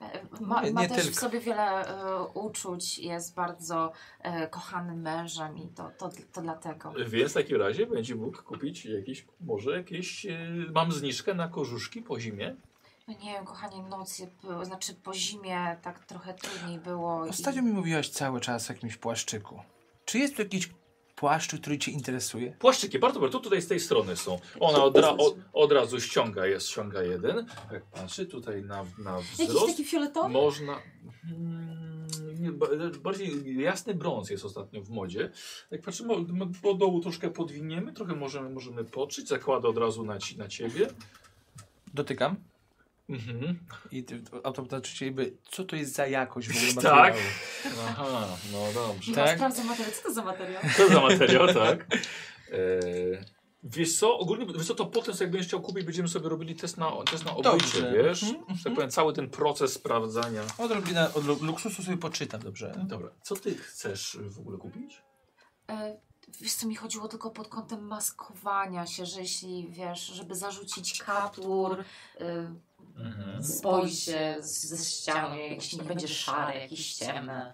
[SPEAKER 7] E, Ma,
[SPEAKER 1] Nie-
[SPEAKER 7] ma
[SPEAKER 1] nie
[SPEAKER 7] też w
[SPEAKER 1] tylko.
[SPEAKER 7] sobie wiele e, uczuć, jest bardzo e, kochanym mężem i to, to, to dlatego.
[SPEAKER 3] Więc w takim razie będzie mógł kupić jakieś, może jakieś, e, mam zniżkę na korzuszki po zimie.
[SPEAKER 7] No nie wiem, kochanie, noc, je- p- znaczy po zimie tak trochę trudniej było.
[SPEAKER 1] Ostatnio mi mówiłaś cały czas o jakimś płaszczyku. Czy jest tu jakiś płaszcz, który cię interesuje?
[SPEAKER 3] Płaszczyki, bardzo dobrze, to tutaj z tej strony są. Ona od, ra, od, od razu ściąga, jest, ściąga jeden. Jak patrzy tutaj na, na
[SPEAKER 8] Jakiś
[SPEAKER 3] wzrost,
[SPEAKER 8] taki fioletowy?
[SPEAKER 3] można... Mm, nie, ba- Bardziej jasny brąz jest ostatnio w modzie. Jak patrzymy, m- po dołu troszkę podwiniemy, trochę możemy, możemy poczyć. Zakłada od razu na, ci, na ciebie.
[SPEAKER 1] Dotykam
[SPEAKER 3] Mhm.
[SPEAKER 1] i ty- automatycznie jakby, co to jest za jakość w ogóle
[SPEAKER 3] Tak.
[SPEAKER 1] materiału?
[SPEAKER 3] Aha, no dobrze.
[SPEAKER 1] tak?
[SPEAKER 8] Sprawdzę materiał. Co to za materiał?
[SPEAKER 3] Co za materiał, tak? Eee, wiesz co, ogólnie, wiesz co, to potem jak będziesz chciał kupić, będziemy sobie robili test na, test na obycie,
[SPEAKER 1] Dobrze.
[SPEAKER 3] wiesz?
[SPEAKER 1] Mhm,
[SPEAKER 3] Że tak powiem, cały ten proces sprawdzania.
[SPEAKER 1] Odrobinę od lu- luksusu sobie poczytam,
[SPEAKER 3] No
[SPEAKER 1] dobrze?
[SPEAKER 3] Dobra, co ty chcesz w ogóle kupić?
[SPEAKER 7] E, Wiesz co, mi chodziło tylko pod kątem maskowania się, że jeśli, wiesz, żeby zarzucić kaptur, e,
[SPEAKER 10] Mhm.
[SPEAKER 7] Spój się z- ze ścianą, jakiś nie będzie szary, jakiś ciemny.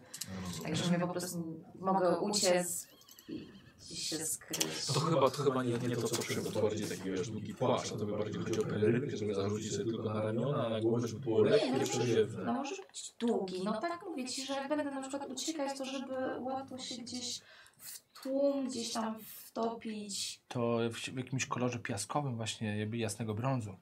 [SPEAKER 7] Także mnie po prostu mogę uciec i i się skryć.
[SPEAKER 3] No to chyba, to chyba nie, nie to, co przyjął, to bardziej taki wiesz, długi płaszcz, a to by bardziej chodzi o pelerynkę, żeby zarzucić sobie tylko na ramiona, a na głowę, żeby było
[SPEAKER 7] Nie,
[SPEAKER 3] lekkie,
[SPEAKER 7] no,
[SPEAKER 3] przeziewne.
[SPEAKER 7] No może być długi. No tak mówię ci, że jak będę na przykład uciekać, to żeby łatwo się gdzieś w tłum, gdzieś tam wtopić.
[SPEAKER 1] To w, w jakimś kolorze piaskowym właśnie, jakby jasnego brązu.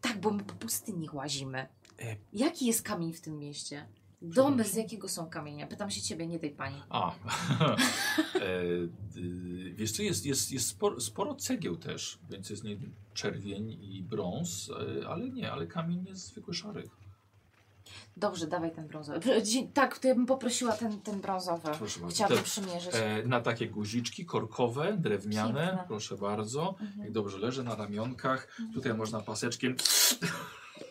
[SPEAKER 7] Tak, bo my po pustyni łazimy.
[SPEAKER 1] E.
[SPEAKER 7] Jaki jest kamień w tym mieście? Domy z jakiego są kamienia? Pytam się ciebie, nie tej pani.
[SPEAKER 3] A, e, y, wiesz co, jest, jest, jest sporo, sporo cegieł też, więc jest nie czerwień i brąz, e, ale nie, ale kamień jest zwykły szary.
[SPEAKER 7] Dobrze, dawaj ten brązowy. Pr- dzi- Tak, to ja bym poprosiła ten, ten brązowy.
[SPEAKER 3] Proszę bardzo.
[SPEAKER 7] Tak. Chciałabym
[SPEAKER 3] Te,
[SPEAKER 7] przymierzyć.
[SPEAKER 3] e, na takie guziczki korkowe, drewniane,
[SPEAKER 7] Piękne.
[SPEAKER 3] proszę bardzo.
[SPEAKER 7] Mhm.
[SPEAKER 3] Jak dobrze leży na ramionkach, tutaj można paseczkiem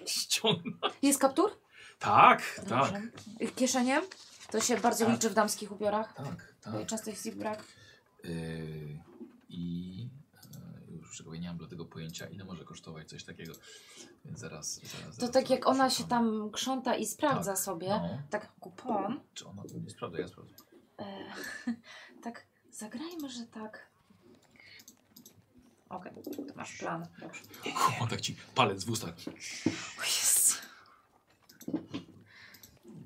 [SPEAKER 3] ściągnąć.
[SPEAKER 7] Jest kaptur?
[SPEAKER 3] Tak, tak,
[SPEAKER 7] Dobrze. Y, Kieszeniem? To się bardzo
[SPEAKER 3] Tak.
[SPEAKER 7] liczy w damskich ubiorach.
[SPEAKER 3] tak, tak.
[SPEAKER 7] Często jest ich brak.
[SPEAKER 3] Yy, I yy, już czego nie mam do tego pojęcia, ile może kosztować coś takiego. Więc zaraz. zaraz
[SPEAKER 7] To
[SPEAKER 3] zaraz
[SPEAKER 7] tak jak ona się
[SPEAKER 3] szukam.
[SPEAKER 7] tam krząta i sprawdza
[SPEAKER 3] Tak,
[SPEAKER 7] sobie,
[SPEAKER 3] No,
[SPEAKER 7] tak kupon,
[SPEAKER 3] czy ona to nie sprawdza? Ja sprawdzę.
[SPEAKER 7] E, tak, zagrajmy, że tak. Okej, to masz plan. Dobrze.
[SPEAKER 3] O, tak ci palec w ustach.
[SPEAKER 7] O Jezu.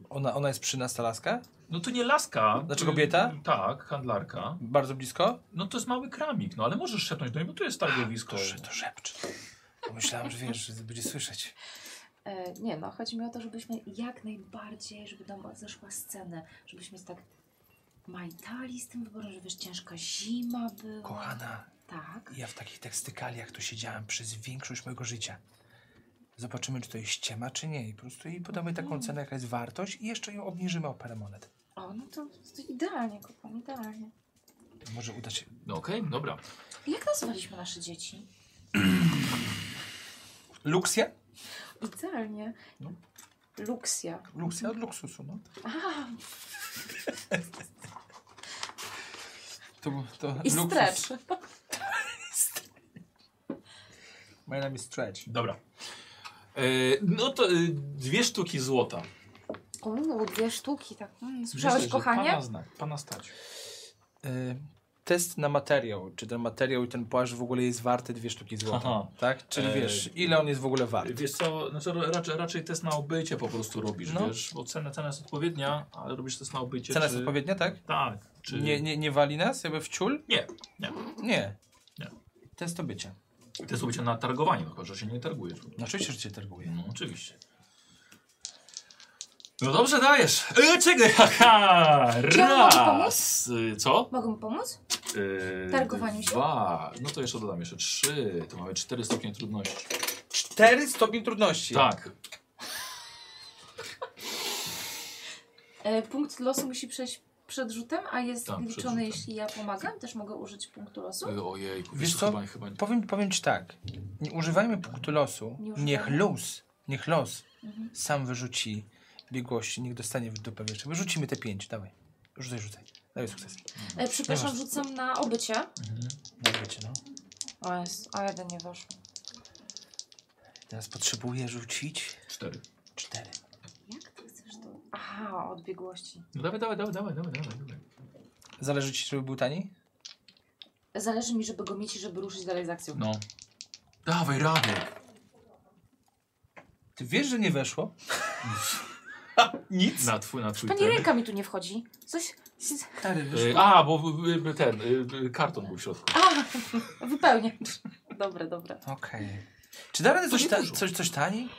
[SPEAKER 1] Ona, ona jest przy nas, ta laska?
[SPEAKER 3] No to nie laska.
[SPEAKER 1] Znaczy
[SPEAKER 3] to-
[SPEAKER 1] kobieta?
[SPEAKER 3] Tak, handlarka.
[SPEAKER 1] Bardzo blisko?
[SPEAKER 3] No to jest mały kramik, no ale możesz szepnąć do niej, bo tu jest targowisko.
[SPEAKER 1] Dobrze, to szepcz. Myślałem, że wiesz, że będzie słyszeć.
[SPEAKER 7] E, nie no, chodzi mi o to, żebyśmy jak najbardziej, żeby nam zeszła scenę, żebyśmy tak majtali z tym wyborem, że wiesz, ciężka zima była.
[SPEAKER 1] Kochana,
[SPEAKER 7] Tak.
[SPEAKER 1] ja w takich tekstykaliach tu siedziałem przez większość mojego życia. Zobaczymy, czy to jest ściema, czy nie. I po prostu jej podamy taką cenę, jaka jest wartość i jeszcze ją obniżymy o parę monet.
[SPEAKER 7] O, no to, to idealnie, kupon, idealnie.
[SPEAKER 1] To może uda się...
[SPEAKER 3] No okej, dobra.
[SPEAKER 7] Jak nazwaliśmy nasze dzieci?
[SPEAKER 1] Luksja?
[SPEAKER 7] Idealnie.
[SPEAKER 1] No.
[SPEAKER 7] Luksja.
[SPEAKER 1] Luksja od luksusu, no.
[SPEAKER 7] A,
[SPEAKER 1] To, to
[SPEAKER 7] i
[SPEAKER 1] Tak, luksus.
[SPEAKER 7] stretch.
[SPEAKER 1] My name is Stretch.
[SPEAKER 3] Dobra. E, no to e, dwie sztuki złota.
[SPEAKER 7] Uuu, dwie sztuki, tak. Mm, słyszałeś,
[SPEAKER 3] Myślę, że
[SPEAKER 7] kochanie?
[SPEAKER 3] Pana, zna, pana stać.
[SPEAKER 1] Y, Test na materiał. Czy ten materiał i ten płaszcz w ogóle jest warty dwie sztuki złota?
[SPEAKER 3] Aha.
[SPEAKER 1] Tak? Czyli
[SPEAKER 3] E,
[SPEAKER 1] wiesz, ile on jest w ogóle wart?
[SPEAKER 3] Wiesz co, znaczy ra- raczej, raczej test na obycie po prostu robisz,
[SPEAKER 1] No.
[SPEAKER 3] wiesz, bo cena, cena jest odpowiednia, ale robisz test na obycie.
[SPEAKER 1] Cena
[SPEAKER 3] czy...
[SPEAKER 1] jest odpowiednia, tak?
[SPEAKER 3] Tak. Czy...
[SPEAKER 1] Nie, nie, nie wali nas jakby w ciul?
[SPEAKER 3] Nie, nie.
[SPEAKER 1] Nie.
[SPEAKER 3] Nie.
[SPEAKER 1] Test obycia.
[SPEAKER 3] Test obycia na targowanie, no chyba, że się nie targujesz.
[SPEAKER 1] No oczywiście, że cię targuje.
[SPEAKER 3] No oczywiście. No dobrze, dajesz. E, czego? Haha,
[SPEAKER 7] Czy ja mogę
[SPEAKER 3] raz. Y, Co?
[SPEAKER 7] Mogę mu pomóc?
[SPEAKER 3] Y,
[SPEAKER 7] Targowaniu się?
[SPEAKER 3] Dwa. No to jeszcze dodam, jeszcze trzy. To mamy cztery stopnie trudności.
[SPEAKER 1] Cztery stopień trudności.
[SPEAKER 3] Tak.
[SPEAKER 7] E, punkt losu musi przejść przed rzutem, a jest
[SPEAKER 3] Tak, przed
[SPEAKER 7] liczony,
[SPEAKER 3] rzutem.
[SPEAKER 7] jeśli ja pomagam. Też mogę użyć punktu losu.
[SPEAKER 3] Y, Ojejku,
[SPEAKER 1] Wiesz
[SPEAKER 3] wiesz
[SPEAKER 1] co?
[SPEAKER 3] co? Chyba, chyba...
[SPEAKER 1] Powiem, powiem ci tak. Nie używajmy punktu losu.
[SPEAKER 7] Nie używajmy.
[SPEAKER 1] niech los, niech los
[SPEAKER 7] Mhm.
[SPEAKER 1] sam wyrzuci biegłości. Niech dostanie w dupę wieczór. Wyrzucimy te pięć. Dawaj. Rzucaj, rzucaj. Dawaj sukces.
[SPEAKER 7] E, przepraszam,
[SPEAKER 1] Dobra.
[SPEAKER 7] rzucam na obycie.
[SPEAKER 3] Mhm.
[SPEAKER 1] No wiecie, no.
[SPEAKER 7] O jest, a jeden nie weszł.
[SPEAKER 1] Teraz potrzebuję rzucić
[SPEAKER 3] Cztery.
[SPEAKER 1] cztery.
[SPEAKER 7] Jak ty chcesz to? Aha, od biegłości.
[SPEAKER 3] No dawaj, dawaj, dawaj, dawaj, dawaj, dawaj. dawaj.
[SPEAKER 1] Zależy ci, żeby był taniej?
[SPEAKER 7] Zależy mi, żeby go mieć i żeby ruszyć dalej z akcją.
[SPEAKER 3] No. Dawaj, Radek.
[SPEAKER 1] Ty wiesz, że nie weszło? Nic.
[SPEAKER 3] Na twój, na twój
[SPEAKER 7] Pani ręka mi tu nie wchodzi. Coś...
[SPEAKER 1] Stary,
[SPEAKER 3] Y, A, bo y, y, ten, y, y, karton był w środku.
[SPEAKER 7] A, wypełnię. Dobre, dobre.
[SPEAKER 1] Okej. Czy da radę
[SPEAKER 3] To
[SPEAKER 1] coś,
[SPEAKER 3] nie
[SPEAKER 1] ta,
[SPEAKER 3] dużo.
[SPEAKER 1] coś, coś taniej?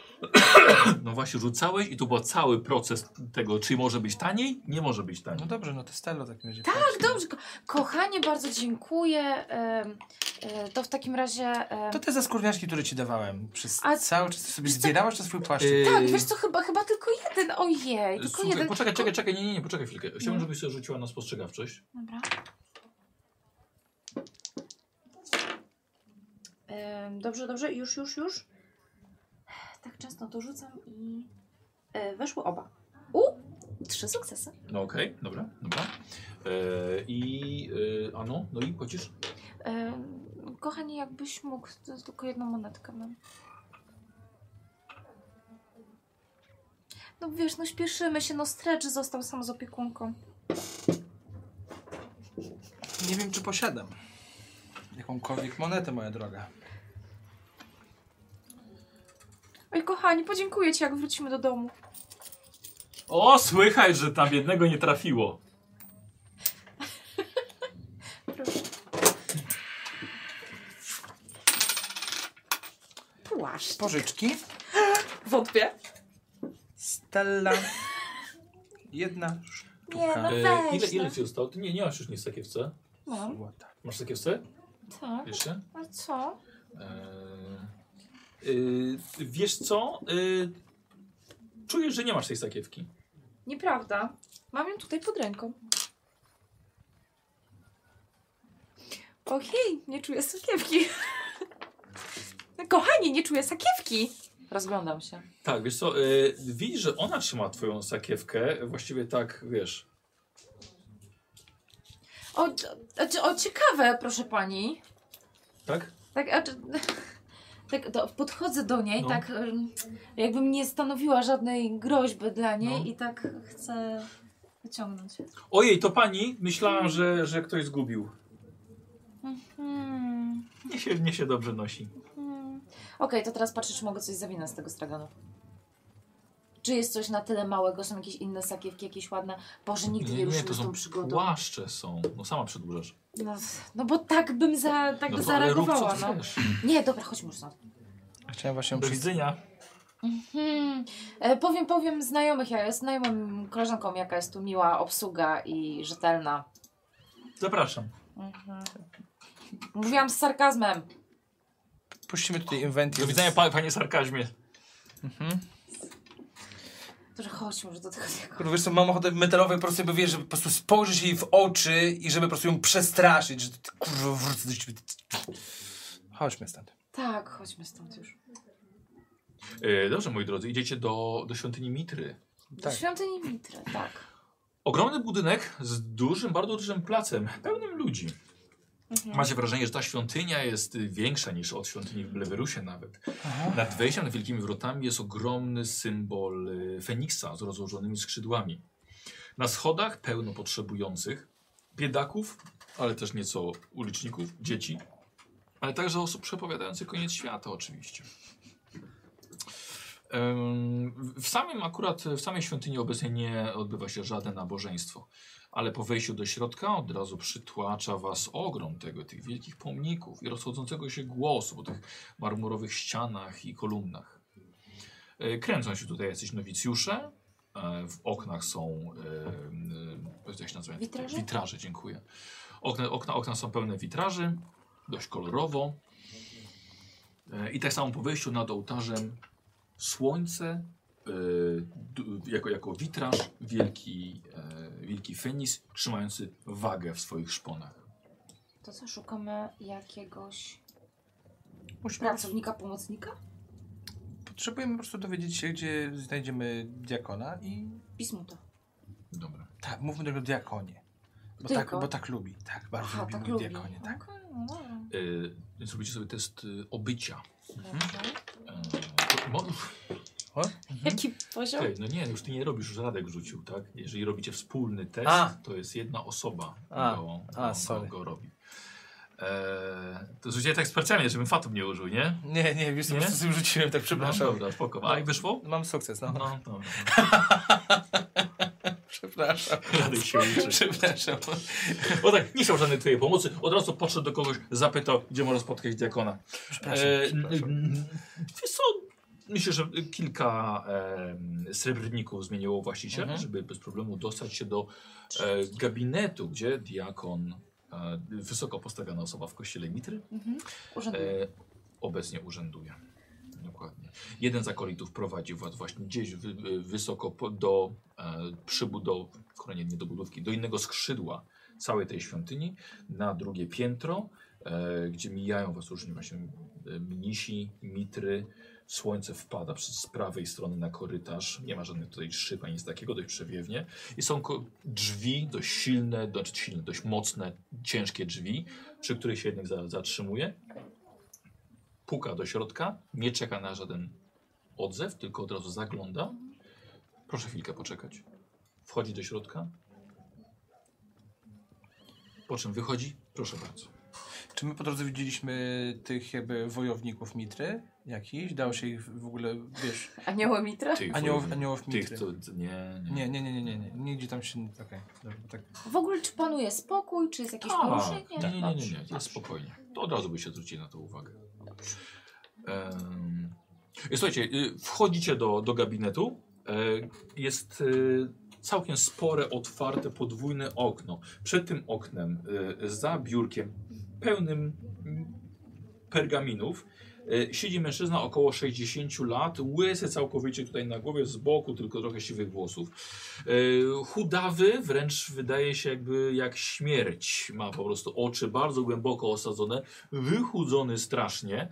[SPEAKER 3] No właśnie, rzucałeś i tu był cały proces tego, czy może być taniej, nie może być
[SPEAKER 1] No
[SPEAKER 3] taniej.
[SPEAKER 1] dobrze, no to Stella tak będzie.
[SPEAKER 7] Tak, dobrze. Ko kochanie, bardzo dziękuję. Em, e, to w takim razie... em,
[SPEAKER 1] To te zaskurniaczki, które ci dawałem. Przez
[SPEAKER 7] A-
[SPEAKER 1] cały czas sobie
[SPEAKER 7] wiesz co?
[SPEAKER 1] zbierałaś to swój płaszczyk.
[SPEAKER 3] Y,
[SPEAKER 7] Tak, wiesz co, chyba, chyba tylko jeden, ojej, tylko
[SPEAKER 3] słuchaj,
[SPEAKER 7] jeden.
[SPEAKER 3] Poczekaj, czekaj,
[SPEAKER 7] tylko...
[SPEAKER 3] czekaj, nie, nie, nie, poczekaj chwilkę. Chciałbym,
[SPEAKER 7] No.
[SPEAKER 3] żebyś sobie rzuciła na spostrzegawczość.
[SPEAKER 7] Dobra. Em, dobrze, dobrze, już, już, już. Tak często to rzucam i e, weszły oba. U, trzy sukcesy.
[SPEAKER 3] No okej, dobra, dobra. Y, I, y, a no, no i płacisz?
[SPEAKER 7] Em, kochanie, jakbyś mógł, to tylko jedną monetkę mam. No wiesz, no śpieszymy się, no stretch został sam z opiekunką.
[SPEAKER 1] Nie wiem, czy posiadam jakąkolwiek monetę, moja droga.
[SPEAKER 7] Oj, kochani, podziękuję ci, jak wrócimy do domu.
[SPEAKER 11] O, słychać, że tam jednego nie trafiło.
[SPEAKER 12] Płaszcz.
[SPEAKER 1] Pożyczki.
[SPEAKER 7] Wątpię.
[SPEAKER 1] Stella. Jedna
[SPEAKER 7] Nie, no
[SPEAKER 1] sztuka.
[SPEAKER 3] E,
[SPEAKER 7] weź.
[SPEAKER 11] ile, ile
[SPEAKER 7] no.
[SPEAKER 11] ci zostało? Ty nie, nie masz już nic w sakiewce.
[SPEAKER 7] Mam,
[SPEAKER 1] Złota.
[SPEAKER 11] Masz sakiewce?
[SPEAKER 7] tak.
[SPEAKER 11] Jeszcze?
[SPEAKER 7] A co?
[SPEAKER 3] E,
[SPEAKER 11] Eee, y, wiesz co?
[SPEAKER 3] E,
[SPEAKER 11] Eee, czujesz, że nie masz tej sakiewki.
[SPEAKER 7] Nieprawda. Mam ją tutaj pod ręką. Ojej, nie czuję sakiewki. No, Kochani, nie czuję sakiewki. Rozglądam się.
[SPEAKER 11] Tak, wiesz co, y, widzisz, że ona trzyma twoją sakiewkę, właściwie tak, wiesz.
[SPEAKER 7] O, o, o ciekawe, proszę pani.
[SPEAKER 11] Tak?
[SPEAKER 7] Tak, a, czy- tak do, podchodzę do niej,
[SPEAKER 11] No.
[SPEAKER 7] tak em, jakbym nie stanowiła żadnej groźby dla niej
[SPEAKER 11] No.
[SPEAKER 7] i tak chcę wyciągnąć.
[SPEAKER 11] Ojej, to pani, myślałam, że, że ktoś zgubił.
[SPEAKER 7] Hmm,
[SPEAKER 11] Nie się, nie się dobrze nosi.
[SPEAKER 7] hmm. Okej, to teraz patrzę, czy mogę coś zawinąć z tego straganu. Czy jest coś na tyle małego, są jakieś inne sakiewki, jakieś ładne? Boże, nigdy nie, ruszymy z tą przygodą.
[SPEAKER 3] płaszcze są. No sama przedłużasz.
[SPEAKER 7] No, no bo tak bym, za, tak by
[SPEAKER 3] no, ale rób, co
[SPEAKER 7] zareagowała. No.
[SPEAKER 3] chcesz.
[SPEAKER 7] Nie, dobra, chodźmy już no. stąd.
[SPEAKER 1] Chciałem właśnie
[SPEAKER 11] Do
[SPEAKER 1] przy...
[SPEAKER 11] widzenia.
[SPEAKER 7] Hmm. E, powiem, powiem znajomych, ja, znajomym koleżankom, jaka jest tu miła obsługa i rzetelna.
[SPEAKER 11] Zapraszam.
[SPEAKER 7] Mówiłam z sarkazmem.
[SPEAKER 1] Puścimy tutaj inwenty.
[SPEAKER 11] Do widzenia, pa, panie sarkazmie.
[SPEAKER 1] Mhm.
[SPEAKER 7] Dobrze, chodźmy już do tego niego.
[SPEAKER 1] Kurwa, wiesz co, mam ochotę metalowej po prostu, jakby wiesz, żeby po prostu spojrzeć jej w oczy i żeby po prostu ją przestraszyć, że ty, kurwa wrócę do ciebie. Chodźmy stąd.
[SPEAKER 7] Tak, chodźmy stąd już.
[SPEAKER 11] Y,
[SPEAKER 3] E, dobrze, moi drodzy, idziecie do, do świątyni Mitry.
[SPEAKER 7] Do
[SPEAKER 1] Tak.
[SPEAKER 7] świątyni Mitry, tak.
[SPEAKER 3] Ogromny budynek z dużym, bardzo dużym placem, pełnym ludzi. Macie wrażenie, że ta świątynia jest y, większa niż od świątyni w Blewerusie nawet. Nad wejściem, nad wielkimi wrotami jest ogromny symbol y, Feniksa z rozłożonymi skrzydłami. Na schodach pełno potrzebujących, biedaków, ale też nieco uliczników, dzieci, ale także osób przepowiadających koniec świata oczywiście. Em, w- W samym akurat, w samej świątyni obecnie nie odbywa się żadne nabożeństwo, ale po wejściu do środka od razu przytłacza was ogrom tego, tych wielkich pomników i rozchodzącego się głosu po tych marmurowych ścianach i kolumnach. E, Kręcą się tutaj jacyś nowicjusze, e, w oknach są, e, e, jak się nazywa?
[SPEAKER 7] Witraże?
[SPEAKER 3] Witraże, dziękuję. Okna, okna, okna są pełne witraży, dość kolorowo. E, I tak samo po wejściu nad ołtarzem słońce, e, du- jako, jako witraż, wielki, e, wielki feniks trzymający wagę w swoich szponach.
[SPEAKER 7] To co, szukamy jakiegoś pracownika, pomocnika?
[SPEAKER 1] Potrzebujemy po prostu dowiedzieć się, gdzie znajdziemy diakona i...
[SPEAKER 7] Bismuta.
[SPEAKER 3] Dobra.
[SPEAKER 1] Tak, mówmy do niego diakonie. Bo tak,
[SPEAKER 7] Tylko?
[SPEAKER 1] bo tak lubi. Tak, bardzo
[SPEAKER 7] Aha,
[SPEAKER 1] lubi
[SPEAKER 7] tak
[SPEAKER 1] mój
[SPEAKER 7] lubi.
[SPEAKER 1] diakonie. Tak.
[SPEAKER 7] Okej, no dobra.
[SPEAKER 3] E, więc robicie sobie test y, obycia.
[SPEAKER 7] Dobrze.
[SPEAKER 3] E, to- mo-
[SPEAKER 7] Jaki poziom?
[SPEAKER 3] Okej, no nie, już Mhm. ty nie robisz, już Radek rzucił, tak? Jeżeli robicie wspólny test,
[SPEAKER 1] A.
[SPEAKER 3] to jest jedna osoba,
[SPEAKER 1] A.
[SPEAKER 3] go,
[SPEAKER 1] A,
[SPEAKER 3] go-
[SPEAKER 1] sorry.
[SPEAKER 3] go robi. E, to rzuciłem tak specjalnie, żebym fatum nie użył, nie?
[SPEAKER 1] Nie, nie, wiesz, co,
[SPEAKER 3] Nie?
[SPEAKER 1] po prostu sobie rzuciłem, tak
[SPEAKER 3] No,
[SPEAKER 1] przepraszam.
[SPEAKER 3] dobra, spoko. A i wyszło?
[SPEAKER 1] Mam sukces, no.
[SPEAKER 3] No, dobra.
[SPEAKER 1] Przepraszam.
[SPEAKER 3] Radek się liczy.
[SPEAKER 1] Przepraszam.
[SPEAKER 3] Bo tak, nie chciał żadnej twojej pomocy, od razu podszedł do kogoś, zapytał, gdzie może spotkać diakona.
[SPEAKER 1] Przepraszam,
[SPEAKER 3] E,
[SPEAKER 1] przepraszam.
[SPEAKER 3] n- Wiesz co, myślę, że kilka em, srebrników zmieniło właściciela,
[SPEAKER 1] Mhm.
[SPEAKER 3] żeby bez problemu dostać się do e, gabinetu, gdzie diakon, e, wysoko postawiona osoba w kościele Mitry,
[SPEAKER 7] Mhm.
[SPEAKER 3] e,
[SPEAKER 7] Urzędnik.
[SPEAKER 3] obecnie urzęduje. Dokładnie. Jeden z akolitów prowadzi was właśnie gdzieś wy, wy- wysoko po, do e, przybudow, nie, nie do budówki, do innego skrzydła całej tej świątyni, na drugie piętro, e, gdzie mijają was różni właśnie e, mnisi, mitry. Słońce wpada przy- z prawej strony na korytarz. Nie ma żadnych tutaj szyb ani nic takiego, dość przewiewnie. I są ko- drzwi dość silne, dość silne, dość mocne, ciężkie drzwi, przy których się jednak za- zatrzymuje puka do środka, nie czeka na żaden odzew, tylko od razu zagląda. Proszę chwilkę poczekać. Wchodzi do środka. Po czym wychodzi? Proszę bardzo.
[SPEAKER 1] Czy my po drodze widzieliśmy tych jakby wojowników Mitry jakichś? Dało się ich w ogóle, wiesz,
[SPEAKER 7] Anioła Mitra?
[SPEAKER 3] Tych,
[SPEAKER 1] aniołów,
[SPEAKER 3] wojowni-
[SPEAKER 1] aniołów
[SPEAKER 3] tych
[SPEAKER 1] Mitry?
[SPEAKER 3] co... Nie, nie.
[SPEAKER 1] Nie, nie, nie, nie, nie, nie, nigdzie tam się, okej, dobra, tak.
[SPEAKER 7] W ogóle czy panuje spokój, czy jest jakieś
[SPEAKER 3] Tak,
[SPEAKER 7] poruszenie?
[SPEAKER 3] Nie, nie, nie, nie,
[SPEAKER 7] Dobrze,
[SPEAKER 3] nie, nie
[SPEAKER 7] dobrze.
[SPEAKER 3] spokojnie. To od razu by się zwrócili na to uwagę. Em, słuchajcie, y, wchodzicie do, do gabinetu. E, jest y, całkiem spore, otwarte, podwójne okno. Przed tym oknem, y, za biurkiem pełnym mm, pergaminów, y, siedzi mężczyzna około 60 lat, łysy całkowicie tutaj na głowie, z boku tylko trochę siwych włosów. E, Chudawy, wręcz wydaje się jakby jak śmierć. Ma po prostu oczy bardzo głęboko osadzone, wychudzony strasznie. E,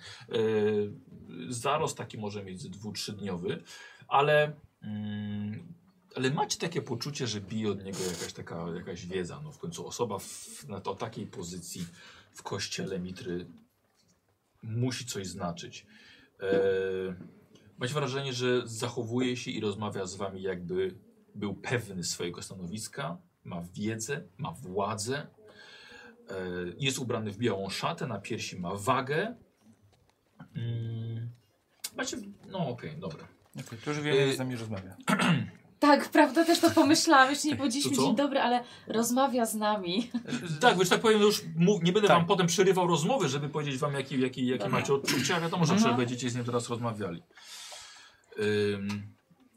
[SPEAKER 3] Zarost taki może mieć dwu, trzydniowy, ale, mm, ale macie takie poczucie, że bije od niego jakaś taka jakaś wiedza. No w końcu osoba w, na to, takiej pozycji w kościele Mitry musi coś znaczyć. E, macie wrażenie, że zachowuje się i rozmawia z wami jakby był pewny swojego stanowiska, ma wiedzę, ma władzę. E, Jest ubrany w białą szatę, na piersi ma wagę. Mm, Macie. No okej, dobra.
[SPEAKER 1] Okej, to już wiemy,
[SPEAKER 3] Y-
[SPEAKER 1] że z nami rozmawia.
[SPEAKER 7] Tak, prawda, też to pomyślałam, jeszcze nie
[SPEAKER 3] To
[SPEAKER 7] powiedzieliśmy
[SPEAKER 3] co?
[SPEAKER 7] dzień dobry, ale rozmawia z nami.
[SPEAKER 3] Tak, bo że tak powiem, już mu- nie będę
[SPEAKER 1] Tak.
[SPEAKER 3] wam potem przerywał rozmowy, żeby powiedzieć wam, jakie jaki, jaki
[SPEAKER 7] Dobra.
[SPEAKER 3] macie odczucia. Wiadomo, że
[SPEAKER 7] Mhm.
[SPEAKER 3] przecież będziecie z nim teraz rozmawiali. Ym,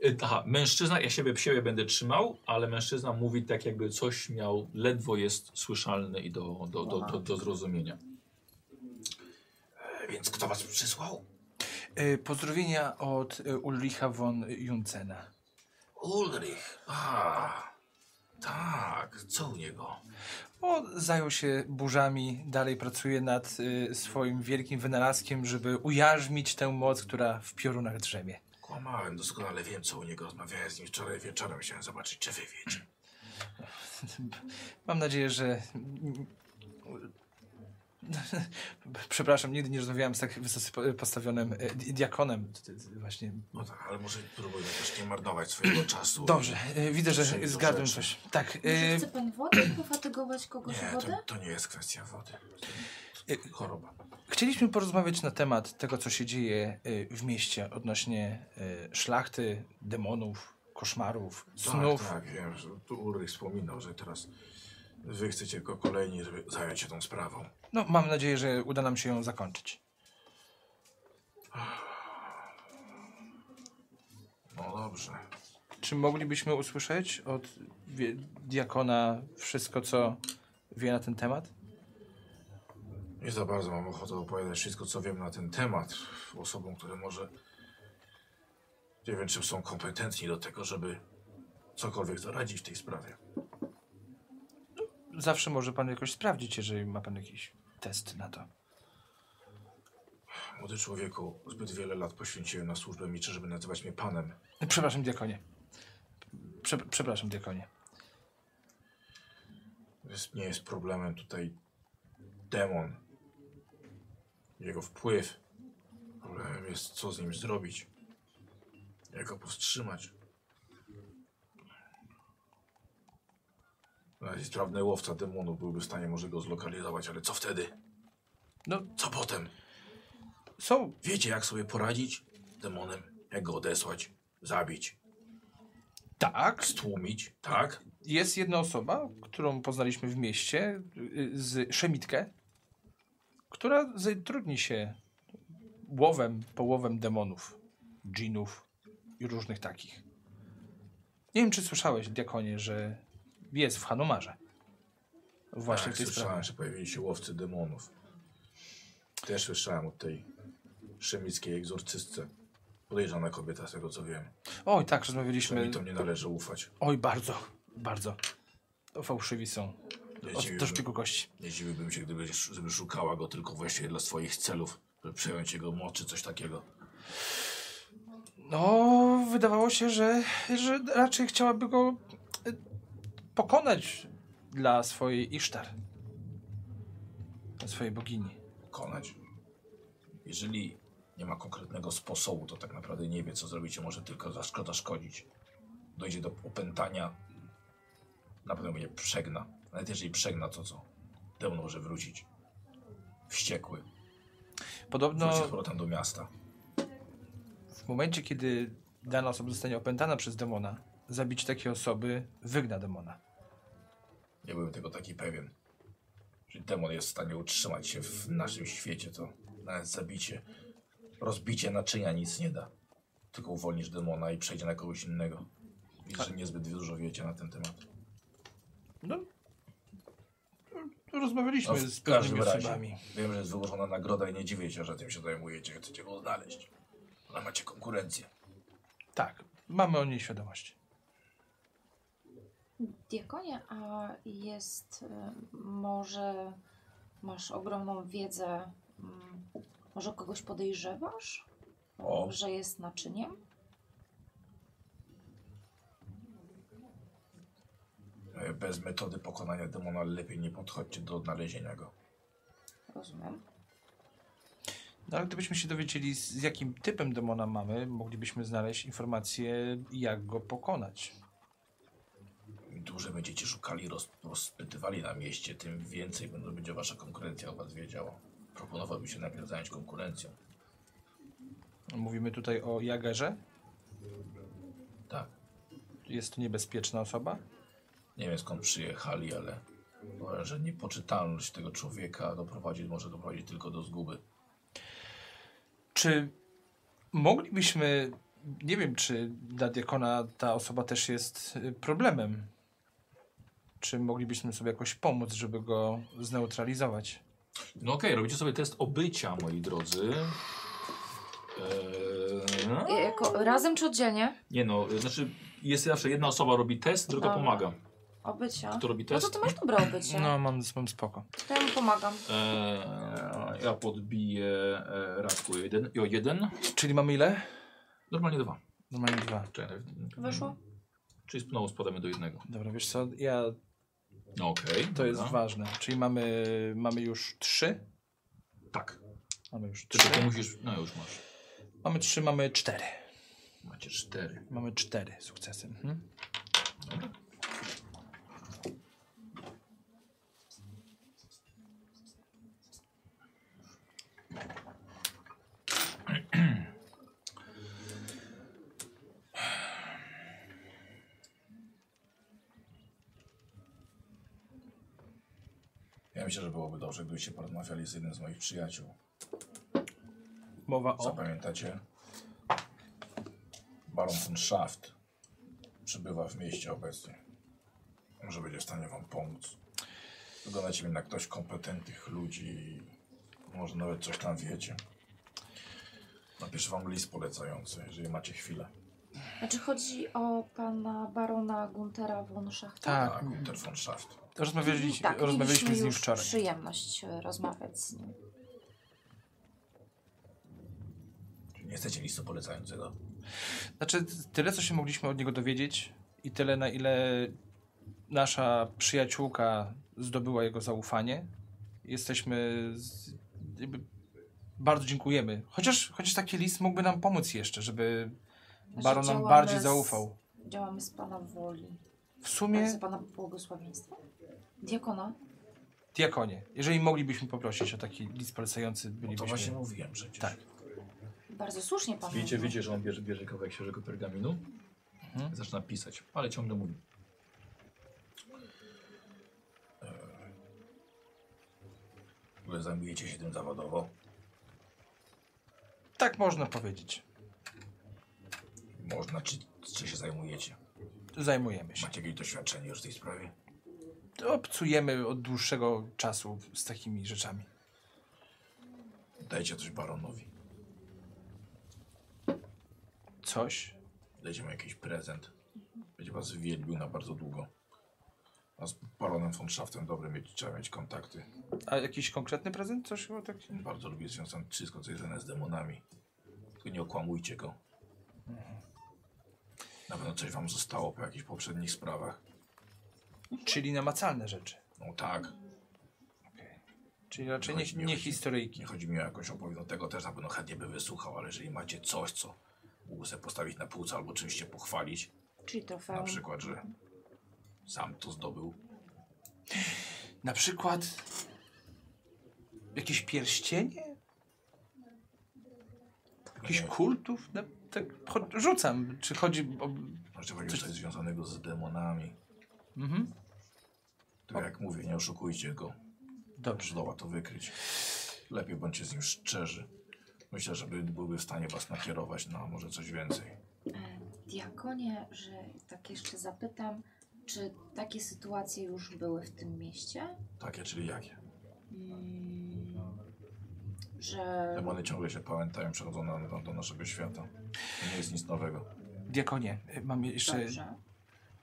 [SPEAKER 3] y, aha, mężczyzna, ja siebie, siebie będę trzymał, ale mężczyzna mówi tak, jakby coś miał, ledwo jest słyszalny i do, do, do, do, do zrozumienia. E, Więc kto was przysłał?
[SPEAKER 1] Y, Pozdrowienia od y, Ulricha von Juncena.
[SPEAKER 3] Ulrich. A, tak, co u niego?
[SPEAKER 1] O, zajął się burzami, dalej pracuje nad y, swoim wielkim wynalazkiem, żeby ujarzmić tę moc, która w piorunach drzemie.
[SPEAKER 3] Kłamałem, doskonale wiem, co u niego. Rozmawiałem z nim wczoraj wieczorem, chciałem zobaczyć, czy wy wiecie.
[SPEAKER 1] Mam nadzieję, że... Przepraszam, nigdy nie rozmawiałem z tak wysoko postawionym y, di- diakonem. To- to- to Właśnie.
[SPEAKER 3] No tak, ale może próbujmy też nie marnować swojego czasu.
[SPEAKER 1] Dobrze, y, widzę,
[SPEAKER 3] Przejdź do
[SPEAKER 1] że zgadłem
[SPEAKER 3] rzeczy.
[SPEAKER 1] coś. Tak,
[SPEAKER 2] Może
[SPEAKER 1] y,
[SPEAKER 2] chce pan wodę? Pofatygować kogoś o
[SPEAKER 3] E, Nie,
[SPEAKER 2] wodę?
[SPEAKER 3] to, to nie jest kwestia wody.
[SPEAKER 1] Y-
[SPEAKER 3] Choroba. Tak,
[SPEAKER 1] Chcieliśmy porozmawiać na temat tego, co się dzieje y, w mieście odnośnie y, szlachty, demonów, koszmarów, snów.
[SPEAKER 3] Tak, tak, wiem, że tu Ulrich wspominał, że teraz wy chcecie jako kolejni, żeby zająć się tą sprawą.
[SPEAKER 1] No, mam nadzieję, że uda nam się ją zakończyć.
[SPEAKER 3] No dobrze.
[SPEAKER 1] Czy moglibyśmy usłyszeć od wie- diakona wszystko, co wie na ten temat?
[SPEAKER 3] Nie za bardzo mam ochotę opowiadać wszystko, co wiem na ten temat osobom, które może nie wiem, czy są kompetentni do tego, żeby cokolwiek doradzić w tej sprawie.
[SPEAKER 1] Zawsze może pan jakoś sprawdzić, jeżeli ma pan jakiś test na to.
[SPEAKER 3] Młody człowieku, zbyt wiele lat poświęciłem na służbę miczy, żeby nazywać mnie panem.
[SPEAKER 1] Przepraszam, diakonie. Prze przepraszam, diakonie.
[SPEAKER 3] Jest, nie jest problemem tutaj demon. Jego wpływ. Problemem jest, co z nim zrobić. Jak go powstrzymać. Nawet sprawny łowca demonów byłby w stanie może go zlokalizować, ale co wtedy?
[SPEAKER 1] No.
[SPEAKER 3] Co potem?
[SPEAKER 1] Są
[SPEAKER 3] Wiecie, jak sobie poradzić z demonem? Jak go odesłać? Zabić?
[SPEAKER 1] tak,
[SPEAKER 3] Stłumić? Tak?
[SPEAKER 1] Jest jedna osoba, którą poznaliśmy w mieście, y, z Szemitkę, która zatrudni się łowem, połowem demonów, dżinów i różnych takich. Nie wiem, czy słyszałeś, diakonie, że jest w Hanumarze. Właśnie
[SPEAKER 3] tak,
[SPEAKER 1] w tej
[SPEAKER 3] słyszałem,
[SPEAKER 1] sprawie.
[SPEAKER 3] że pojawili się łowcy demonów. Też słyszałem o tej szemickiej egzorcystce. Podejrzana kobieta, z tego co wiem.
[SPEAKER 1] Oj, tak,
[SPEAKER 3] Mi
[SPEAKER 1] rozmawialiśmy.
[SPEAKER 3] to nie należy ufać.
[SPEAKER 1] Oj, bardzo, bardzo. To fałszywi są.
[SPEAKER 3] Nie
[SPEAKER 1] Od do
[SPEAKER 3] dziwiłbym,
[SPEAKER 1] szpiku kości.
[SPEAKER 3] nie dziwiłbym się, gdyby sz- gdyby szukała go tylko właśnie dla swoich celów, żeby przejąć jego moc czy coś takiego.
[SPEAKER 1] No, wydawało się, że, że raczej chciałaby go y, pokonać dla swojej Isztar. Dla swojej bogini.
[SPEAKER 3] Konać. Jeżeli nie ma konkretnego sposobu, to tak naprawdę nie wie, co zrobicie. Może tylko zaszkoda szkodzić. dojdzie do opętania, na pewno mnie przegna. Nawet jeżeli przegna, to co? Demon może wrócić. Wściekły.
[SPEAKER 1] Podobno
[SPEAKER 3] Wróci z powrotem do miasta.
[SPEAKER 1] w momencie, kiedy dana osoba zostanie opętana przez demona, zabić takiej osoby wygna demona.
[SPEAKER 3] Nie byłem tego taki pewien. Jeżeli demon jest w stanie utrzymać się w naszym świecie, to nawet zabicie, rozbicie naczynia nic nie da. Tylko uwolnisz demona i przejdzie na kogoś innego. Widzę, że niezbyt dużo wiecie na ten temat.
[SPEAKER 1] No. Rozmawialiśmy
[SPEAKER 3] No, w
[SPEAKER 1] z pewnymi
[SPEAKER 3] każdym razie.
[SPEAKER 1] osobami.
[SPEAKER 3] Wiem, że jest wyłożona nagroda i nie dziwię się, że tym się zajmujecie, chcecie go znaleźć. Ale macie konkurencję.
[SPEAKER 1] Tak, mamy o niej świadomość.
[SPEAKER 7] Diakonie, a jest y, może masz ogromną wiedzę, mm, może kogoś podejrzewasz,
[SPEAKER 3] O.
[SPEAKER 7] że jest naczyniem?
[SPEAKER 3] E, Bez metody pokonania demona lepiej nie podchodźcie do odnalezienia go.
[SPEAKER 7] Rozumiem.
[SPEAKER 1] No, ale gdybyśmy się dowiedzieli, z z jakim typem demona mamy, moglibyśmy znaleźć informację, jak go pokonać.
[SPEAKER 3] Im dłużej będziecie szukali, roz, rozpytywali na mieście, tym więcej będą- będzie wasza konkurencja o was wiedziała. Proponowałbym się najpierw zająć konkurencją.
[SPEAKER 1] Mówimy tutaj o Jagerze.
[SPEAKER 3] Tak.
[SPEAKER 1] Jest to niebezpieczna osoba.
[SPEAKER 3] Nie wiem skąd przyjechali, ale powiem, że niepoczytalność tego człowieka doprowadzi, może doprowadzić tylko do zguby.
[SPEAKER 1] Czy moglibyśmy, nie wiem, czy dla diakona ta osoba też jest y, problemem? Czy moglibyśmy sobie jakoś pomóc, żeby go zneutralizować?
[SPEAKER 3] No okej, robicie sobie test obycia, moi drodzy. Eee,
[SPEAKER 7] Y, Jako, razem czy oddzielnie?
[SPEAKER 3] nie no, znaczy jest zawsze jedna osoba robi test, druga
[SPEAKER 7] Dobra.
[SPEAKER 3] pomaga.
[SPEAKER 7] Obycia.
[SPEAKER 3] Kto robi
[SPEAKER 7] No to
[SPEAKER 3] test?
[SPEAKER 7] ty masz dobre obycie.
[SPEAKER 1] No, mam, mam spoko.
[SPEAKER 7] To ja mu pomagam.
[SPEAKER 3] Eee, ja podbiję e, Radku o jeden, i o jeden.
[SPEAKER 1] Czyli mamy ile?
[SPEAKER 3] Normalnie dwa.
[SPEAKER 1] Normalnie dwa.
[SPEAKER 3] Czekaj, najpierw-
[SPEAKER 7] Weszło?
[SPEAKER 3] Czyli znowu spadamy do jednego.
[SPEAKER 1] Dobra, wiesz co, ja,
[SPEAKER 3] No okej.
[SPEAKER 1] to jest
[SPEAKER 3] dobra.
[SPEAKER 1] ważne. Czyli mamy, mamy już trzy?
[SPEAKER 3] Tak.
[SPEAKER 1] Mamy już
[SPEAKER 3] Czy
[SPEAKER 1] trzy.
[SPEAKER 3] tylko musisz... No już masz.
[SPEAKER 1] Mamy trzy, mamy cztery.
[SPEAKER 3] Macie cztery.
[SPEAKER 1] Mamy cztery sukcesy. Mhm.
[SPEAKER 3] Ja myślę, że byłoby dobrze, gdybyście porozmawiali z jednym z moich przyjaciół.
[SPEAKER 1] Mowa o...
[SPEAKER 3] Zapamiętacie? Baron von Schaft przybywa w mieście obecnie. Może będzie w stanie wam pomóc. Wyglądacie mi na ktoś kompetentnych ludzi i może nawet coś tam wiecie. Napiszę wam list polecający, jeżeli macie chwilę.
[SPEAKER 7] Znaczy chodzi o pana barona Guntera von Schachta?
[SPEAKER 1] Tak,
[SPEAKER 3] Tak, Gunter von Schaft.
[SPEAKER 1] rozmawialiśmy,
[SPEAKER 7] Tak,
[SPEAKER 1] rozmawialiśmy
[SPEAKER 7] mieliśmy
[SPEAKER 1] z nim
[SPEAKER 7] już
[SPEAKER 1] wczoraj.
[SPEAKER 7] przyjemność e, rozmawiać z nim.
[SPEAKER 3] Czy nie chcecie listu polecającego?
[SPEAKER 1] Znaczy, tyle co się mogliśmy od niego dowiedzieć i tyle na ile nasza przyjaciółka zdobyła jego zaufanie. Jesteśmy z, jakby, bardzo dziękujemy. Chociaż, chociaż taki list mógłby nam pomóc jeszcze, żeby
[SPEAKER 7] Znaczy,
[SPEAKER 1] Baron nam
[SPEAKER 7] działamy
[SPEAKER 1] bardziej
[SPEAKER 7] z-
[SPEAKER 1] zaufał.
[SPEAKER 7] Działamy z pana woli.
[SPEAKER 1] W
[SPEAKER 7] Bardzo
[SPEAKER 1] sumie
[SPEAKER 7] pana błogosławieństwa? Diakona?
[SPEAKER 1] diakonie. Jeżeli moglibyśmy poprosić o taki list polecający,
[SPEAKER 3] No to
[SPEAKER 1] bylibyśmy...
[SPEAKER 3] właśnie mówiłem przecież.
[SPEAKER 1] Tak.
[SPEAKER 7] Bardzo słusznie pan
[SPEAKER 3] Wiecie,
[SPEAKER 7] mówi.
[SPEAKER 3] wiecie, że on bierze, bierze kawałek świeżego pergaminu,
[SPEAKER 1] Mhm.
[SPEAKER 3] zaczyna pisać, ale ciągle mówi.
[SPEAKER 2] E,
[SPEAKER 3] Ale zajmujecie się tym zawodowo.
[SPEAKER 1] Tak można powiedzieć.
[SPEAKER 3] Można, czy, czy się zajmujecie?
[SPEAKER 1] Zajmujemy się.
[SPEAKER 3] Macie jakieś doświadczenie już w tej sprawie?
[SPEAKER 1] Obcujemy od dłuższego czasu z takimi rzeczami.
[SPEAKER 3] Dajcie coś baronowi.
[SPEAKER 1] Coś?
[SPEAKER 3] Dajcie mu jakiś prezent. Będzie was wielbił na bardzo długo. A z baronem von Schaftem dobrym mieć, trzeba mieć kontakty.
[SPEAKER 1] A jakiś konkretny prezent? Coś o taki?
[SPEAKER 3] Bardzo lubię związane wszystko, co jest związane z demonami. Tylko nie okłamujcie go. Na pewno coś wam zostało po jakichś poprzednich sprawach.
[SPEAKER 1] Czyli namacalne rzeczy.
[SPEAKER 3] No tak,
[SPEAKER 1] Czyli raczej
[SPEAKER 3] Nie
[SPEAKER 1] nie,
[SPEAKER 3] chodzi mi o
[SPEAKER 1] nie
[SPEAKER 3] chodzi.
[SPEAKER 1] historyjki.
[SPEAKER 3] nie chodzi mi o jakąś opowieść, no tego też na pewno chętnie by wysłuchał, ale jeżeli macie coś, co mógł sobie postawić na półce albo czymś się pochwalić, Czyli
[SPEAKER 2] Na
[SPEAKER 3] trofeum.
[SPEAKER 2] przykład, że sam to zdobył.
[SPEAKER 1] Na przykład jakieś pierścienie? Jakichś kultów? No, tak cho- rzucam. Czy chodzi o...
[SPEAKER 3] Znaczy,
[SPEAKER 2] Może powiedzieć, że coś związanego z demonami.
[SPEAKER 1] Mhm.
[SPEAKER 2] To Tak jak mówię, nie oszukujcie go.
[SPEAKER 1] Dobrze.
[SPEAKER 2] Zdoła to wykryć. Lepiej bądźcie z nim szczerzy. Myślę, że by- byłby w stanie was nakierować na może coś więcej.
[SPEAKER 7] E, Diakonie, że tak jeszcze zapytam, czy takie sytuacje już były w tym mieście?
[SPEAKER 2] Takie, czyli jakie?
[SPEAKER 7] Mm, że
[SPEAKER 2] Demony ciągle się pamiętają, przechodzą na, na, do naszego świata. To nie jest nic nowego.
[SPEAKER 1] Diakonie, mam jeszcze...
[SPEAKER 7] dobrze.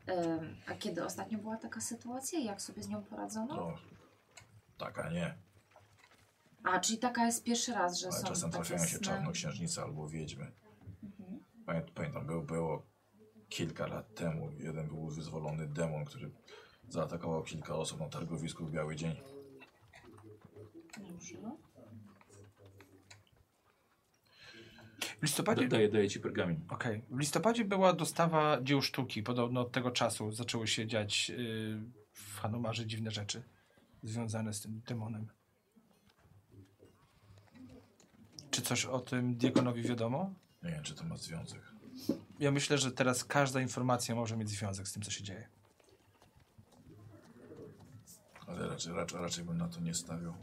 [SPEAKER 7] Em, A kiedy ostatnio była taka sytuacja? Jak sobie z nią poradzono?
[SPEAKER 2] No, tak, a nie.
[SPEAKER 7] A, czyli taka jest pierwszy raz, że
[SPEAKER 2] Ale
[SPEAKER 7] są
[SPEAKER 2] czasem
[SPEAKER 7] takie
[SPEAKER 2] trafiają się
[SPEAKER 7] sny.
[SPEAKER 2] czarnoksiężnice albo wiedźmy.
[SPEAKER 7] Mhm.
[SPEAKER 2] Pamię- Pamiętam, było, było kilka lat temu. Jeden był wyzwolony demon, który zaatakował kilka osób na targowisku w Biały Dzień.
[SPEAKER 7] Dobrze.
[SPEAKER 1] W listopadzie...
[SPEAKER 2] Daję, daję ci pergamin.
[SPEAKER 1] Okej. W listopadzie była dostawa dzieł sztuki. Podobno od tego czasu zaczęły się dziać yy, w Hanumarze dziwne rzeczy związane z tym demonem. Czy coś o tym diakonowi wiadomo?
[SPEAKER 2] Nie wiem, czy to ma związek.
[SPEAKER 1] Ja myślę, że teraz każda informacja może mieć związek z tym, co się dzieje.
[SPEAKER 2] Ale raczej, raczej, raczej bym na to nie stawiał.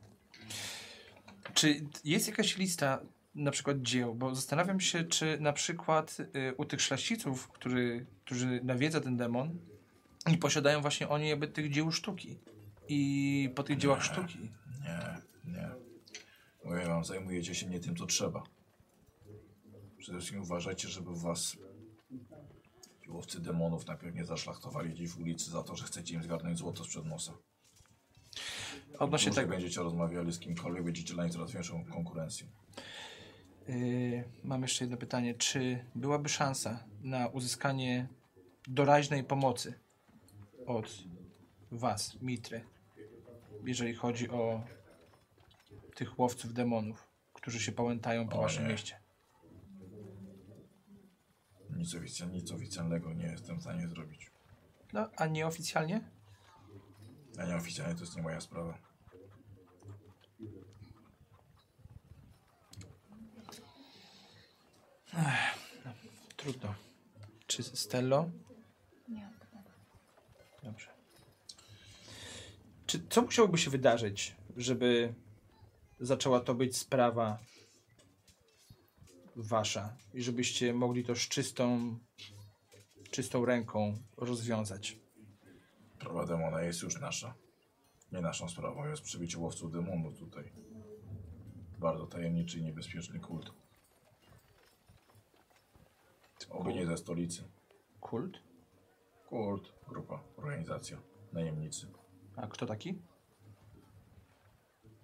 [SPEAKER 1] Czy jest jakaś lista na przykład dzieł? Bo zastanawiam się, czy na przykład y, u tych szlachciców, który, którzy nawiedza ten demon, i posiadają właśnie oni jakby tych dzieł sztuki. I po tych dziełach sztuki.
[SPEAKER 2] Nie, nie. Mówię wam, zajmujecie się nie tym, co trzeba. Przede wszystkim uważajcie, żeby was ci łowcy demonów najpierw nie zaszlachtowali gdzieś w ulicy za to, że chcecie im zgarnąć złoto sprzed nosa.
[SPEAKER 1] Odnośnie
[SPEAKER 2] Może
[SPEAKER 1] tego.
[SPEAKER 2] będziecie rozmawiali z kimkolwiek, będziecie dla nich coraz większą konkurencję.
[SPEAKER 1] Y, mam jeszcze jedno pytanie. Czy byłaby szansa na uzyskanie doraźnej pomocy od Was, Mitry, jeżeli chodzi o tych łowców demonów, którzy się pałętają po
[SPEAKER 2] O
[SPEAKER 1] Waszym
[SPEAKER 2] nie.
[SPEAKER 1] mieście?
[SPEAKER 2] Nic, oficjal, nic oficjalnego nie jestem w stanie zrobić.
[SPEAKER 1] No, a nieoficjalnie?
[SPEAKER 2] A nieoficjalnie to jest nie moja sprawa.
[SPEAKER 1] Trudno. Czy Stello?
[SPEAKER 7] Nie.
[SPEAKER 1] Dobrze. Czy co musiałoby się wydarzyć, żeby zaczęła to być sprawa wasza i żebyście mogli to z czystą, czystą ręką rozwiązać?
[SPEAKER 2] Sprawa demona jest już nasza. Nie naszą sprawą jest przybicie łowców demonu tutaj. Bardzo tajemniczy i niebezpieczny kult. Oby nie ze stolicy.
[SPEAKER 1] Kult?
[SPEAKER 2] Kult, grupa, organizacja, najemnicy.
[SPEAKER 1] A kto taki?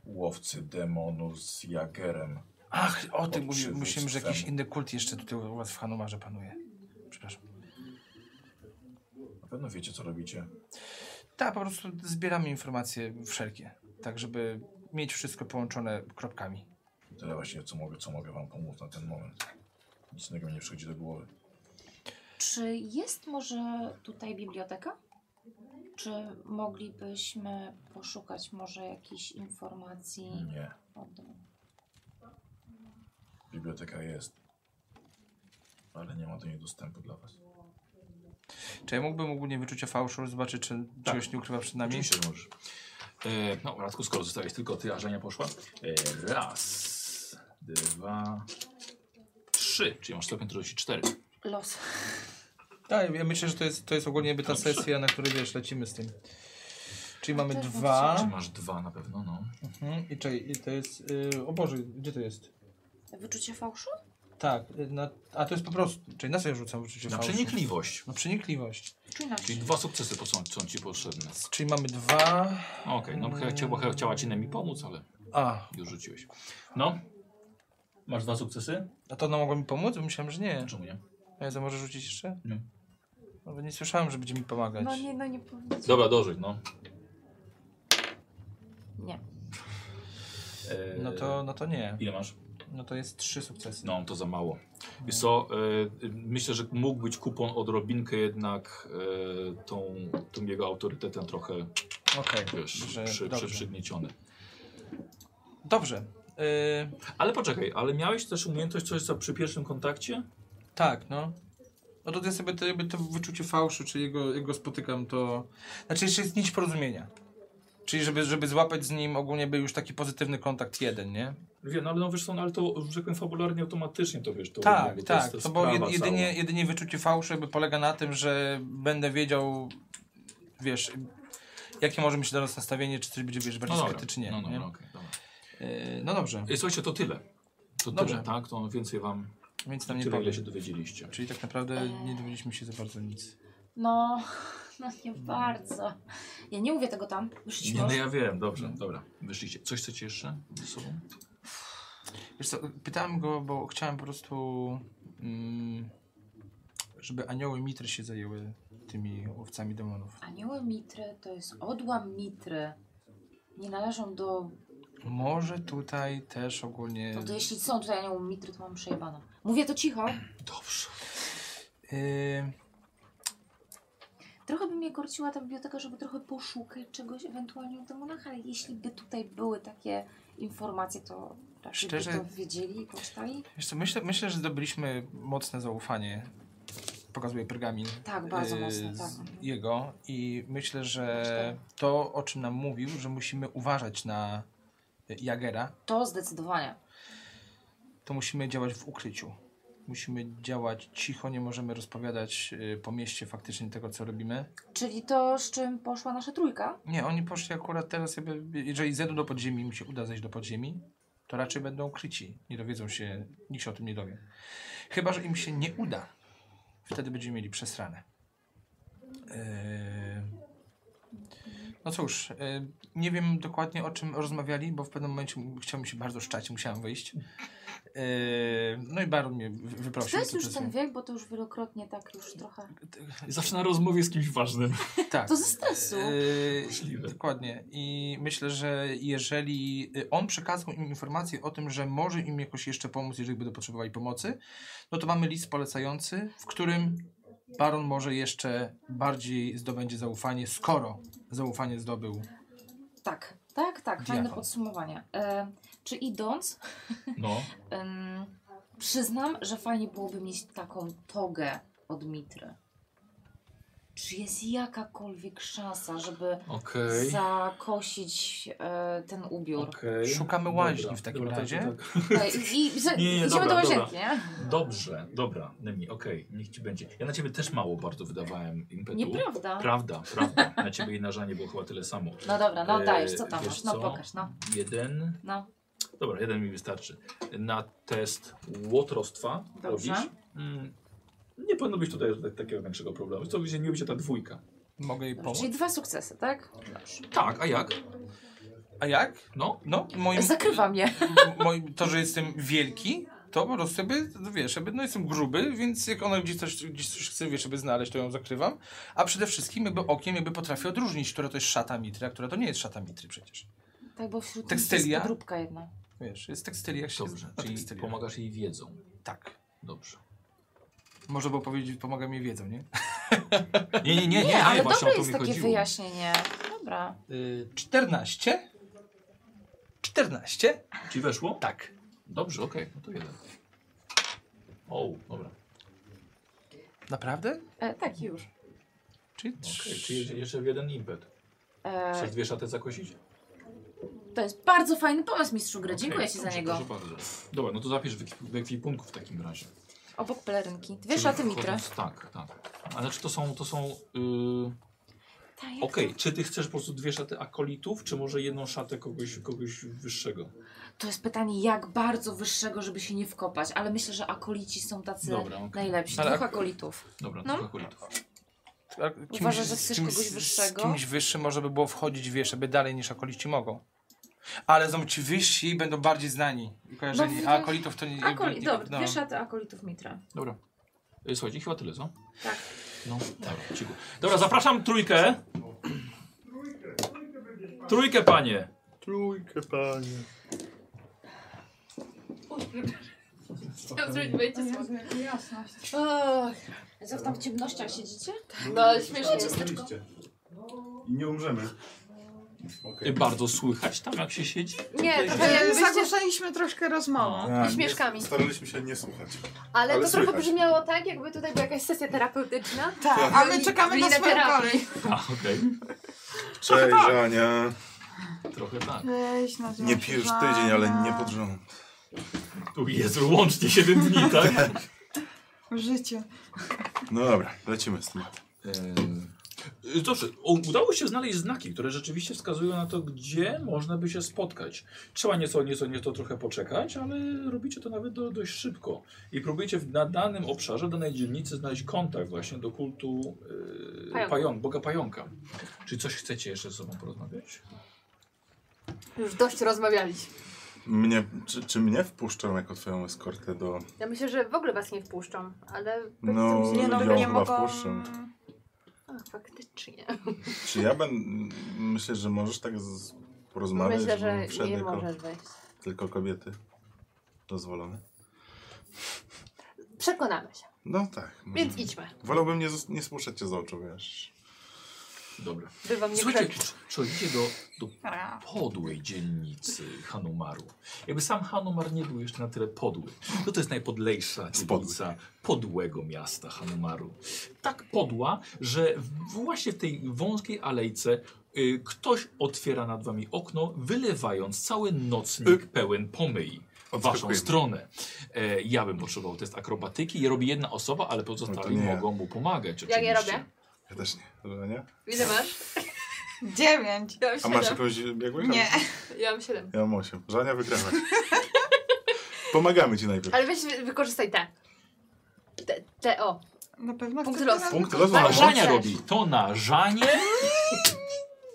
[SPEAKER 2] Łowcy demonów z Jagerem.
[SPEAKER 1] Ach, o tym
[SPEAKER 2] Pod
[SPEAKER 1] mówił. Myślałem, że jakiś
[SPEAKER 2] przywództwem.
[SPEAKER 1] inny kult jeszcze tutaj u was w Hanumarze panuje. Przepraszam.
[SPEAKER 2] Na pewno wiecie co robicie.
[SPEAKER 1] Tak, po prostu zbieramy informacje wszelkie, tak żeby mieć wszystko połączone kropkami.
[SPEAKER 2] Tyle właśnie co mogę, co mogę wam pomóc na ten moment. Nic innego mi nie przychodzi do głowy.
[SPEAKER 7] Czy jest może tutaj biblioteka? Czy moglibyśmy poszukać może jakichś informacji
[SPEAKER 2] Nie.
[SPEAKER 7] od...
[SPEAKER 2] Biblioteka jest. Ale nie ma do niej dostępu dla was.
[SPEAKER 1] Czy ja mógłbym ogólnie wyczucia fałszu, zobaczyć, czy
[SPEAKER 2] Tak.
[SPEAKER 1] czegoś nie ukrywa przed nami?
[SPEAKER 2] Oczywiście, że możesz. E, no, Radku, skoro zostawiłeś tylko ty, a Żenia poszła. E, raz, dwa, trzy. Czyli masz stopień trudności cztery.
[SPEAKER 7] Los.
[SPEAKER 1] Tak, ja myślę, że to jest, to jest ogólnie jakby ta
[SPEAKER 2] Dobrze.
[SPEAKER 1] sesja, na której wiesz, lecimy z tym. Czyli mamy
[SPEAKER 7] też bym
[SPEAKER 2] Czy
[SPEAKER 1] dwa.
[SPEAKER 2] masz dwa na pewno, no.
[SPEAKER 1] Mhm. I czekaj, i to jest. Yy, o Boże, gdzie to jest?
[SPEAKER 7] Wyczucie fałszu?
[SPEAKER 1] Tak, y, na, a to jest po prostu. Czyli na co ja rzucam wyczucie
[SPEAKER 2] Na
[SPEAKER 1] fałszu?
[SPEAKER 2] przenikliwość.
[SPEAKER 1] Na przenikliwość.
[SPEAKER 7] Czy na
[SPEAKER 2] Czyli dwa sukcesy po- są, są ci potrzebne.
[SPEAKER 1] Czyli mamy dwa.
[SPEAKER 2] Okej, no chyba chciała, chyba chciała ci mi pomóc, ale
[SPEAKER 1] A,
[SPEAKER 2] już rzuciłeś. No. Masz dwa sukcesy?
[SPEAKER 1] a to ona mogła mi pomóc? Bo Myślałem, że nie.
[SPEAKER 2] Czemu nie?
[SPEAKER 1] A ja to może rzucić jeszcze?
[SPEAKER 2] Nie.
[SPEAKER 1] No, bo nie słyszałem, że będzie mi pomagać.
[SPEAKER 7] No nie, no nie powiem.
[SPEAKER 2] Dobra, dożyć, no.
[SPEAKER 7] Nie.
[SPEAKER 2] E,
[SPEAKER 1] No to, no to nie.
[SPEAKER 3] Eee,
[SPEAKER 2] Ile masz?
[SPEAKER 1] No to jest trzy sukcesy.
[SPEAKER 3] Yy, No, to za mało. I co, e, myślę, że mógł być kupon odrobinkę jednak e, tą, tym jego autorytetem trochę,
[SPEAKER 1] Okej.
[SPEAKER 3] wiesz,
[SPEAKER 1] Że-
[SPEAKER 3] przy, przy,
[SPEAKER 1] dobrze.
[SPEAKER 3] przygnieciony.
[SPEAKER 1] Dobrze. Y,
[SPEAKER 3] Ale poczekaj, ale miałeś też umiejętność coś co przy pierwszym kontakcie?
[SPEAKER 1] tak, no. No to jest jakby to, jakby to wyczucie fałszu, czyli jego, jego spotykam, to... Znaczy jeszcze jest nić porozumienia. Czyli żeby, żeby złapać z nim ogólnie był już taki pozytywny kontakt jeden, nie?
[SPEAKER 3] Wiem, no, ale no wiesz co, no, ale to, że tak powiem, fabularnie automatycznie to wiesz. To
[SPEAKER 1] Tak,
[SPEAKER 3] jakby to
[SPEAKER 1] tak.
[SPEAKER 3] jest
[SPEAKER 1] To bo
[SPEAKER 3] sprawa
[SPEAKER 1] jed, jedynie,
[SPEAKER 3] cała.
[SPEAKER 1] jedynie wyczucie fałszu jakby polega na tym, że będę wiedział, wiesz, jakie może mieć do nas nastawienie, czy coś będzie wiesz, bardziej
[SPEAKER 3] dobra.
[SPEAKER 1] skrytycznie.
[SPEAKER 3] No,
[SPEAKER 1] No,
[SPEAKER 3] no,
[SPEAKER 1] nie?
[SPEAKER 3] no, okej, dobra.
[SPEAKER 1] Y, no dobrze,
[SPEAKER 3] I Słuchajcie, to tyle. To
[SPEAKER 1] Dobrze.
[SPEAKER 3] tyle, tak? To więcej wam,
[SPEAKER 1] więc nam nie
[SPEAKER 3] tyle ile
[SPEAKER 1] powie.
[SPEAKER 3] się dowiedzieliście.
[SPEAKER 1] Czyli tak naprawdę nie dowiedzieliśmy się za bardzo nic.
[SPEAKER 7] No, no nie bardzo.
[SPEAKER 13] Ja nie mówię tego tam. Już
[SPEAKER 3] Nie, no ja wiem, dobrze, dobra. Wyszliście. Coś chcecie jeszcze ze sobą?
[SPEAKER 1] Wiesz co, pytałem go, bo chciałem po prostu, mm, żeby anioły mitry się zajęły tymi łowcami demonów.
[SPEAKER 7] Anioły mitry to jest odłam mitry. Nie należą do...
[SPEAKER 1] Może tutaj też ogólnie...
[SPEAKER 7] No to jeśli są tutaj anioły mitry, to mam przejebane. Mówię to cicho.
[SPEAKER 3] Dobrze.
[SPEAKER 1] Y,
[SPEAKER 7] Trochę by mnie korciła ta biblioteka, żeby trochę poszukać czegoś ewentualnie o demonach, ale jeśli by tutaj były takie informacje, to raczej
[SPEAKER 1] Szczerze-
[SPEAKER 7] by to wiedzieli i powstali.
[SPEAKER 1] Wiesz co, myślę, myślę, że zdobyliśmy mocne zaufanie. Pokazuje pergamin.
[SPEAKER 7] Tak, bardzo
[SPEAKER 1] yy,
[SPEAKER 7] mocne,
[SPEAKER 1] z
[SPEAKER 7] tak.
[SPEAKER 1] Jego i myślę, że to, o czym nam mówił, że musimy uważać na Jagera,
[SPEAKER 7] To zdecydowanie.
[SPEAKER 1] to musimy działać w ukryciu. Musimy działać cicho, nie możemy rozpowiadać yy, po mieście faktycznie tego, co robimy.
[SPEAKER 7] Czyli to, z czym poszła nasza trójka?
[SPEAKER 1] Nie, oni poszli akurat teraz, jakby, jeżeli zejdą do podziemi, im się uda zejść do podziemi, to raczej będą kryci. Nie dowiedzą się, nikt się o tym nie dowie. Chyba, że im się nie uda. Wtedy będziemy mieli przesrane. Eee, No cóż, e, nie wiem dokładnie o czym rozmawiali, bo w pewnym momencie m- chciał mi się bardzo szczać, musiałem wyjść. Eee, No i Baron mnie wy-
[SPEAKER 7] Czy to
[SPEAKER 1] wyprosił.
[SPEAKER 7] jest
[SPEAKER 1] to
[SPEAKER 7] już
[SPEAKER 1] jest-
[SPEAKER 7] ten wiek, bo to już wielokrotnie tak już trochę...
[SPEAKER 3] Zawsze na rozmowie z kimś ważnym.
[SPEAKER 1] Tak.
[SPEAKER 7] To ze stresu.
[SPEAKER 1] Yy,
[SPEAKER 3] Możliwe.
[SPEAKER 1] dokładnie. I myślę, że jeżeli y, on przekazał im informację o tym, że może im jakoś jeszcze pomóc, jeżeli będą potrzebowali pomocy, no to mamy list polecający, w którym baron może jeszcze bardziej zdobędzie zaufanie, skoro zaufanie zdobył.
[SPEAKER 7] Tak, tak, tak. Fajne
[SPEAKER 1] Diakon.
[SPEAKER 7] podsumowanie. E, czy idąc,
[SPEAKER 3] No.
[SPEAKER 7] em, przyznam, że fajnie byłoby mieć taką togę od mitry. Czy jest jakakolwiek szansa, żeby
[SPEAKER 3] Okej.
[SPEAKER 7] zakosić e, ten ubiór?
[SPEAKER 3] Okej.
[SPEAKER 1] Szukamy łaźni w takim
[SPEAKER 3] tak,
[SPEAKER 1] razie.
[SPEAKER 3] tak,
[SPEAKER 7] E, I, i,
[SPEAKER 3] Nie, nie,
[SPEAKER 7] idziemy
[SPEAKER 3] dobra, dobra.
[SPEAKER 7] do łazienki, nie?
[SPEAKER 3] tak. Dobrze, dobra, Nemi, okej, niech ci będzie. Ja na ciebie też mało bardzo wydawałem impetu.
[SPEAKER 7] Nieprawda.
[SPEAKER 3] Prawda, prawda. Na ciebie i na żanie było chyba tyle samo.
[SPEAKER 7] No dobra, no
[SPEAKER 3] E,
[SPEAKER 7] dajesz, co tam
[SPEAKER 3] wiesz
[SPEAKER 7] masz? No
[SPEAKER 3] co?
[SPEAKER 7] pokaż, no.
[SPEAKER 3] Jeden.
[SPEAKER 7] No.
[SPEAKER 3] Dobra, jeden mi wystarczy. Na test łotrostwa
[SPEAKER 7] Dobrze.
[SPEAKER 3] robisz. Mm, nie powinno być tutaj tak- takiego większego problemu. Co widzę, nie będzie ta dwójka.
[SPEAKER 1] Mogę jej
[SPEAKER 7] Dobrze,
[SPEAKER 1] pomóc.
[SPEAKER 7] czyli dwa sukcesy, tak? Dobrze.
[SPEAKER 3] Tak, a jak?
[SPEAKER 1] A jak?
[SPEAKER 3] No,
[SPEAKER 1] No, moim,
[SPEAKER 7] Zakrywa mnie.
[SPEAKER 1] moim, to, że jestem wielki, to po prostu sobie, wiesz, jakby, no jestem gruby, więc jak ona gdzieś coś, gdzieś coś chce, wiesz, żeby znaleźć, to ją zakrywam. A przede wszystkim jakby okiem jakby potrafię odróżnić, która to jest szata mitry, a która to nie jest szata mitry przecież.
[SPEAKER 7] Tak, bo wśród nich jest
[SPEAKER 1] Tekstylia?
[SPEAKER 7] podróbka jedna.
[SPEAKER 1] Wiesz, jest tekstylia, się
[SPEAKER 3] dobrze.
[SPEAKER 1] na
[SPEAKER 3] Czyli
[SPEAKER 1] tekstyliach.
[SPEAKER 3] pomagasz jej wiedzą.
[SPEAKER 1] Tak.
[SPEAKER 3] Dobrze.
[SPEAKER 1] Można było powiedzieć, pomaga mi wiedzą, nie?
[SPEAKER 3] Nie, nie, nie, nie,
[SPEAKER 7] Nie, ale
[SPEAKER 3] właśnie
[SPEAKER 7] dobre
[SPEAKER 3] o to
[SPEAKER 7] jest
[SPEAKER 3] mi
[SPEAKER 7] takie
[SPEAKER 3] chodziło.
[SPEAKER 7] wyjaśnienie. Dobra.
[SPEAKER 1] Yy, 14? 14?
[SPEAKER 3] Ci weszło?
[SPEAKER 1] Tak.
[SPEAKER 3] Dobrze, okej, no to jeden. O, dobra.
[SPEAKER 1] Naprawdę?
[SPEAKER 7] E, tak, już.
[SPEAKER 1] Czyli
[SPEAKER 3] Okay.
[SPEAKER 1] trzy.
[SPEAKER 3] Czyli jeszcze- jeszcze w jeden impet. Chcesz
[SPEAKER 7] E,
[SPEAKER 3] dwie szaty zakosić?
[SPEAKER 7] to jest bardzo fajny pomysł, mistrzu gry. Dziękuję
[SPEAKER 3] Okej,
[SPEAKER 7] Ci za
[SPEAKER 3] dobrze,
[SPEAKER 7] niego.
[SPEAKER 3] Proszę bardzo. Dobra, no to zapisz w, ekwi- w ekwipunku w takim razie.
[SPEAKER 7] Obok pelerynki. Dwie
[SPEAKER 3] Czyli
[SPEAKER 7] szaty mitry.
[SPEAKER 3] wchodząc- Tak, tak. Ale czy to są, to są, yy...
[SPEAKER 7] Ta, jak
[SPEAKER 3] okej, czy ty chcesz po prostu dwie szaty akolitów, czy może jedną szatę kogoś, kogoś wyższego?
[SPEAKER 7] To jest pytanie, jak bardzo wyższego, żeby się nie wkopać, ale myślę, że akolici są tacy
[SPEAKER 3] Dobra, okej.
[SPEAKER 7] najlepsi.
[SPEAKER 1] Ale
[SPEAKER 7] Dwóch
[SPEAKER 1] ak-
[SPEAKER 7] akolitów.
[SPEAKER 3] Dobra,
[SPEAKER 7] No.
[SPEAKER 3] tylko akolitów.
[SPEAKER 1] A Tak, kimś-
[SPEAKER 7] Uważasz, że
[SPEAKER 1] z
[SPEAKER 7] chcesz
[SPEAKER 1] kimś-
[SPEAKER 7] kogoś wyższego?
[SPEAKER 1] Z kimś wyższym może by było wchodzić, wiesz, żeby dalej niż akolici mogą. Ale są ci wyżsi i będą bardziej znani i kojarzeni,
[SPEAKER 7] No,
[SPEAKER 1] a akolitów to nie...
[SPEAKER 7] Akoli...
[SPEAKER 1] nie-
[SPEAKER 7] Dobra,
[SPEAKER 1] no.
[SPEAKER 7] dwie szaty akolitów mitra.
[SPEAKER 3] Dobra. Yy, Słuchajcie, chyba tyle, co?
[SPEAKER 7] Tak.
[SPEAKER 3] No, dobra, cicho. Dobra, zapraszam trójkę. Trójkę, panie.
[SPEAKER 14] Trójkę, panie.
[SPEAKER 6] Chciałam zrobić wejście słodkie.
[SPEAKER 5] Jasność.
[SPEAKER 7] Co tam w ciemnościach siedzicie?
[SPEAKER 6] No, ale śmiesznie jest.
[SPEAKER 2] Oczywiście. I nie umrzemy.
[SPEAKER 3] Y,
[SPEAKER 2] Okej.
[SPEAKER 3] Bardzo słychać tam, jak się siedzi.
[SPEAKER 6] Nie, trochę
[SPEAKER 5] Ale
[SPEAKER 6] jakbyście...
[SPEAKER 5] zagłuszaliśmy troszkę rozmową.
[SPEAKER 2] Tak,
[SPEAKER 6] I śmieszkami.
[SPEAKER 2] nie- Staraliśmy się nie słuchać.
[SPEAKER 6] Ale,
[SPEAKER 2] Ale
[SPEAKER 6] to
[SPEAKER 2] słychać.
[SPEAKER 6] trochę brzmiało tak, jakby tutaj była jakaś sesja terapeutyczna.
[SPEAKER 5] Tak, a my czekamy na
[SPEAKER 6] Linę
[SPEAKER 5] swoją
[SPEAKER 6] terapii.
[SPEAKER 5] kolej.
[SPEAKER 3] A, okej.
[SPEAKER 2] Cześć, Żania.
[SPEAKER 3] Trochę tak.
[SPEAKER 5] Weź na
[SPEAKER 2] Nie pijesz tydzień, ale nie pod rząd.
[SPEAKER 3] Tu jest łącznie 7 dni, tak?
[SPEAKER 5] W życiu.
[SPEAKER 2] No dobra, lecimy z tematem.
[SPEAKER 3] Eee, Dobrze, o- udało się znaleźć znaki, które rzeczywiście wskazują na to, gdzie można by się spotkać. Trzeba nieco, nieco, nieco trochę poczekać, ale robicie to nawet do, dość szybko. I próbujecie w- na danym obszarze, w danej dzielnicy znaleźć kontakt właśnie do kultu yy,
[SPEAKER 6] Pająka.
[SPEAKER 3] pajon, Boga Pająka. Czy coś chcecie jeszcze ze sobą porozmawiać?
[SPEAKER 6] Już dość rozmawialiśmy.
[SPEAKER 2] Mnie, czy, czy mnie wpuszczą jako twoją eskortę do...
[SPEAKER 6] Ja myślę, że w ogóle was nie wpuszczą, ale...
[SPEAKER 2] No,
[SPEAKER 5] Nie no,
[SPEAKER 2] ja
[SPEAKER 5] nie
[SPEAKER 2] chyba
[SPEAKER 5] mogą...
[SPEAKER 2] wpuszczą.
[SPEAKER 6] A, faktycznie.
[SPEAKER 2] Czy ja będę... Myślę, że możesz tak z... porozmawiać?
[SPEAKER 6] Myślę,
[SPEAKER 2] żebym
[SPEAKER 6] że
[SPEAKER 2] wszedł
[SPEAKER 6] nie
[SPEAKER 2] jako
[SPEAKER 6] możesz wejść.
[SPEAKER 2] Tylko kobiety. Dozwolone.
[SPEAKER 6] Przekonamy się.
[SPEAKER 2] No tak.
[SPEAKER 6] Więc
[SPEAKER 2] może.
[SPEAKER 6] idźmy.
[SPEAKER 2] Wolałbym nie, zos- nie spuszczać cię z oczu, wiesz.
[SPEAKER 3] Dobra.
[SPEAKER 6] Bywam nie
[SPEAKER 3] Słuchajcie,
[SPEAKER 6] przed...
[SPEAKER 3] przechodzicie do, do podłej dzielnicy Hanumaru. Jakby sam Hanumar nie był jeszcze na tyle podły. No to jest najpodlejsza dzielnica podłego miasta Hanumaru. Tak podła, że w- właśnie w tej wąskiej alejce y, ktoś otwiera nad wami okno, wylewając cały nocnik pełen pomyj. W waszą
[SPEAKER 2] Y- Odskakujemy.
[SPEAKER 3] stronę. E, ja bym potrzebował test akrobatyki. Je robi jedna osoba, ale pozostali
[SPEAKER 2] No to nie.
[SPEAKER 3] mogą mu pomagać.
[SPEAKER 6] Ja nie
[SPEAKER 3] oczywiście.
[SPEAKER 6] robię.
[SPEAKER 2] Ja też nie. Żania?
[SPEAKER 6] Ile masz?
[SPEAKER 5] Dziewięć.
[SPEAKER 6] Ja mam
[SPEAKER 2] A masz
[SPEAKER 6] 7.
[SPEAKER 2] jakąś biegłych?
[SPEAKER 5] Nie.
[SPEAKER 6] Ja mam 7.
[SPEAKER 2] Ja mam 8. Żania wygrywa. Pomagamy ci najpierw.
[SPEAKER 6] Ale weź, wy- wykorzystaj te. Te, te o.
[SPEAKER 5] Na pewno
[SPEAKER 6] Punkt
[SPEAKER 5] chcecie
[SPEAKER 6] losu.
[SPEAKER 5] razem-
[SPEAKER 2] Punkty losu
[SPEAKER 6] Tak,
[SPEAKER 2] na
[SPEAKER 3] To Żania
[SPEAKER 6] Chcesz.
[SPEAKER 3] robi. To na Żanie.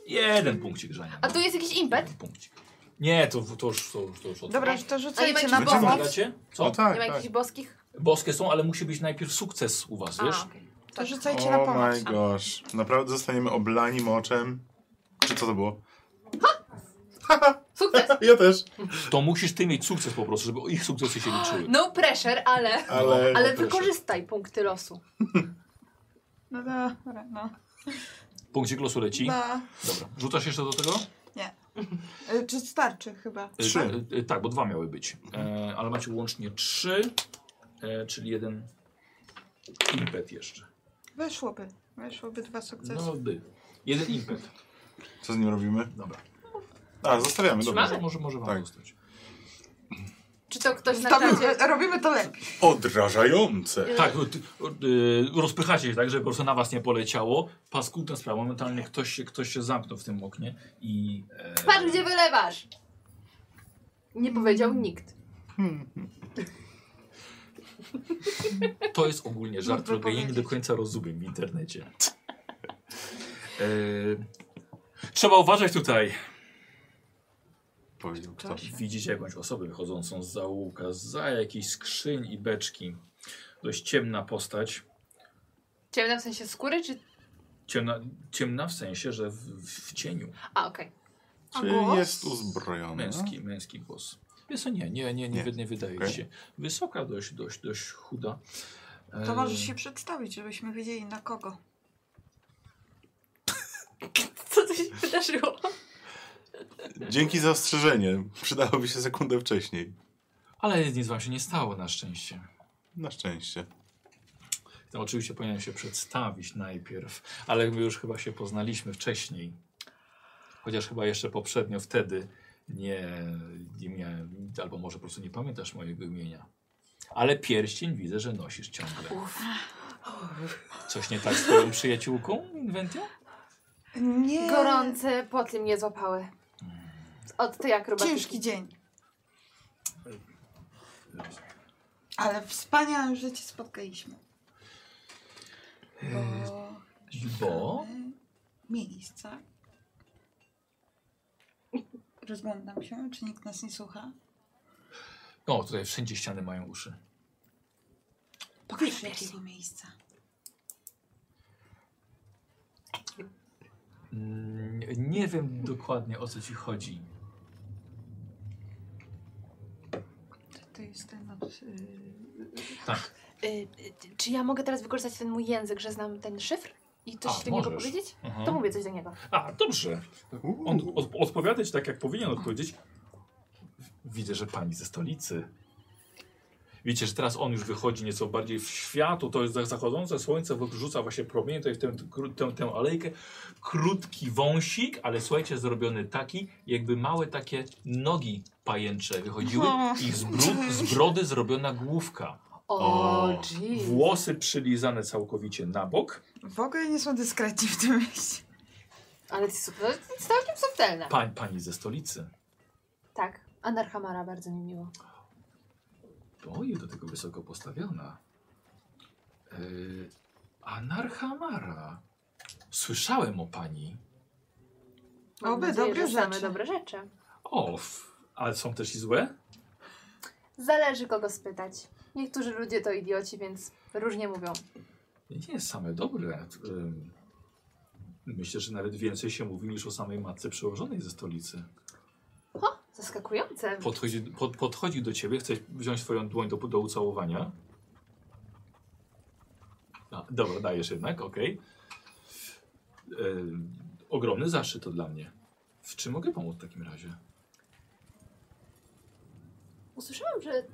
[SPEAKER 3] Jeden punkcik Żania.
[SPEAKER 6] A tu jest jakiś impet?
[SPEAKER 3] Jeden punkcik. Nie, to, to już to, już- to już od-
[SPEAKER 5] Dobra, to rzucajcie
[SPEAKER 6] będzie
[SPEAKER 5] na
[SPEAKER 2] Będziemy
[SPEAKER 5] pomoc.
[SPEAKER 3] Pomagacie?
[SPEAKER 2] O
[SPEAKER 3] Co?
[SPEAKER 2] tak,
[SPEAKER 6] Nie ma
[SPEAKER 2] tak.
[SPEAKER 6] jakichś boskich?
[SPEAKER 3] Boskie są, ale musi być najpierw sukces u was, wiesz?
[SPEAKER 6] A, okej.
[SPEAKER 5] To rzucajcie na
[SPEAKER 2] O
[SPEAKER 5] pomoc.
[SPEAKER 2] Oh my gosh. Naprawdę zostaniemy oblani moczem. Czy co to było?
[SPEAKER 6] Sukces!
[SPEAKER 2] Ja też.
[SPEAKER 3] To musisz ty mieć sukces po prostu, żeby ich sukcesy się liczyły.
[SPEAKER 6] No pressure, ale...
[SPEAKER 2] Ale...
[SPEAKER 6] Ale
[SPEAKER 3] pressure.
[SPEAKER 6] wykorzystaj punkty losu.
[SPEAKER 5] No dobra, no.
[SPEAKER 3] Punkcik losu leci.
[SPEAKER 5] no.
[SPEAKER 3] Dobra. Rzucasz jeszcze do tego?
[SPEAKER 5] Y, Czy starczy chyba?
[SPEAKER 3] E,
[SPEAKER 2] Trzy.
[SPEAKER 3] e, e, tak, bo dwa miały być. E, ale macie łącznie trzy, e, czyli jeden impet jeszcze.
[SPEAKER 5] Weszłoby. Weszłoby dwa sukcesy.
[SPEAKER 3] No by. Jeden impet.
[SPEAKER 2] Co z nim robimy?
[SPEAKER 3] Dobra.
[SPEAKER 2] A, zostawiamy, dobra.
[SPEAKER 3] Może, może, może wam
[SPEAKER 2] No Tak.
[SPEAKER 3] zostać.
[SPEAKER 6] Czy to ktoś na
[SPEAKER 5] To my,
[SPEAKER 6] czacie...
[SPEAKER 5] robimy to lepiej.
[SPEAKER 2] Odrażające.
[SPEAKER 3] Tak, y, y, rozpychacie się tak, żeby po prostu na was nie poleciało. Paskudna sprawa, momentalnie ktoś się, ktoś się zamknął w tym oknie i... E,
[SPEAKER 6] Patrz, gdzie wylewasz! Nie powiedział nikt.
[SPEAKER 3] To jest ogólnie żart,
[SPEAKER 5] Mógłby
[SPEAKER 3] którego ja nie do
[SPEAKER 5] powiedzieć.
[SPEAKER 3] końca rozumiem w internecie. E, trzeba uważać tutaj.
[SPEAKER 2] Powiedział kto.
[SPEAKER 3] Widzicie jakąś osobę wychodzącą z zaułka, za jakiejś skrzyń i beczki. Dość ciemna postać.
[SPEAKER 6] Ciemna w sensie skóry, czy...
[SPEAKER 3] Ciemna, ciemna w sensie, że w, w cieniu.
[SPEAKER 6] A, okej.
[SPEAKER 5] A
[SPEAKER 2] Czy
[SPEAKER 5] głos?
[SPEAKER 2] jest uzbrojony?
[SPEAKER 3] Męski, męski głos. Wiesz co, nie, nie, nie, nie,
[SPEAKER 2] No. Nie.
[SPEAKER 3] wy- nie wydaje
[SPEAKER 2] Okej.
[SPEAKER 3] się. Wysoka dość, dość, dość chuda.
[SPEAKER 5] To
[SPEAKER 3] E,
[SPEAKER 5] możesz się przedstawić, żebyśmy wiedzieli na kogo.
[SPEAKER 6] Co tu się wydarzyło?
[SPEAKER 2] Dzięki za ostrzeżenie. Przydałoby się sekundę wcześniej.
[SPEAKER 3] Ale nic wam się nie stało na szczęście.
[SPEAKER 2] Na szczęście.
[SPEAKER 3] No, oczywiście powinienem się przedstawić najpierw, ale my już chyba się poznaliśmy wcześniej. Chociaż chyba jeszcze poprzednio wtedy nie, nie miałem, albo może po prostu nie pamiętasz mojego imienia. Ale pierścień widzę, że nosisz ciągle. Coś nie tak z twoją przyjaciółką, Inventio?
[SPEAKER 6] Yy.
[SPEAKER 5] Nie.
[SPEAKER 6] Gorące poty mnie złapały. Od tej akrobatyki.
[SPEAKER 5] Ciężki dzień. Ale wspaniałe, że cię spotkaliśmy. Bo...
[SPEAKER 3] Bo
[SPEAKER 5] Miejsca. Rozglądam się, czy nikt nas nie słucha.
[SPEAKER 3] no, tutaj wszędzie ściany mają uszy.
[SPEAKER 5] Pokaż jakie to miejsca.
[SPEAKER 3] Mm, Nie wiem dokładnie o co ci chodzi.
[SPEAKER 5] To to jest ten od... Yy,
[SPEAKER 6] Y, y, czy ja mogę teraz wykorzystać ten mój język, że znam ten szyfr? I coś
[SPEAKER 3] A,
[SPEAKER 6] do niego
[SPEAKER 3] możesz.
[SPEAKER 6] powiedzieć?
[SPEAKER 3] Mhm.
[SPEAKER 6] To mówię coś do niego.
[SPEAKER 3] A, dobrze. On od, odpowiadać tak, jak powinien odpowiedzieć. Widzę, że pani ze stolicy. Wiecie, że teraz on już wychodzi nieco bardziej w światło, to jest za- zachodzące słońce, wyrzuca właśnie promienie tutaj w tę, kró- tę, tę alejkę. Krótki wąsik, ale słuchajcie, zrobiony taki, jakby małe takie nogi pajęcze wychodziły i z, bru- z brody zrobiona główka.
[SPEAKER 6] O,
[SPEAKER 3] O. Włosy przylizane całkowicie na bok.
[SPEAKER 5] w ogóle nie są dyskretni w tym mieście.
[SPEAKER 6] Ale to jest, to jest całkiem subtelne.
[SPEAKER 3] Pań, pani ze stolicy.
[SPEAKER 6] Tak, Anarchamara bardzo mi miło.
[SPEAKER 3] Boję do tego wysoko postawiona. Yy, Anarchamara. Słyszałem o pani.
[SPEAKER 6] Mam
[SPEAKER 5] Oby
[SPEAKER 6] nadzieję,
[SPEAKER 5] dobre
[SPEAKER 6] że same
[SPEAKER 5] rzeczy.
[SPEAKER 6] dobre rzeczy.
[SPEAKER 3] O, f- ale są też i złe?
[SPEAKER 6] Zależy kogo spytać. Niektórzy ludzie to idioci, więc różnie mówią.
[SPEAKER 3] Nie, same dobre. Ym, myślę, że nawet więcej się mówi niż o samej matce przełożonej ze stolicy.
[SPEAKER 6] Ho, zaskakujące.
[SPEAKER 3] Podchodzi, pod, podchodzi do ciebie, chce wziąć swoją dłoń do, do ucałowania. A, dobra, dajesz jednak, okej. Ym, ogromny zaszczyt to dla mnie. W czym mogę pomóc w takim razie?
[SPEAKER 6] Usłyszałam, że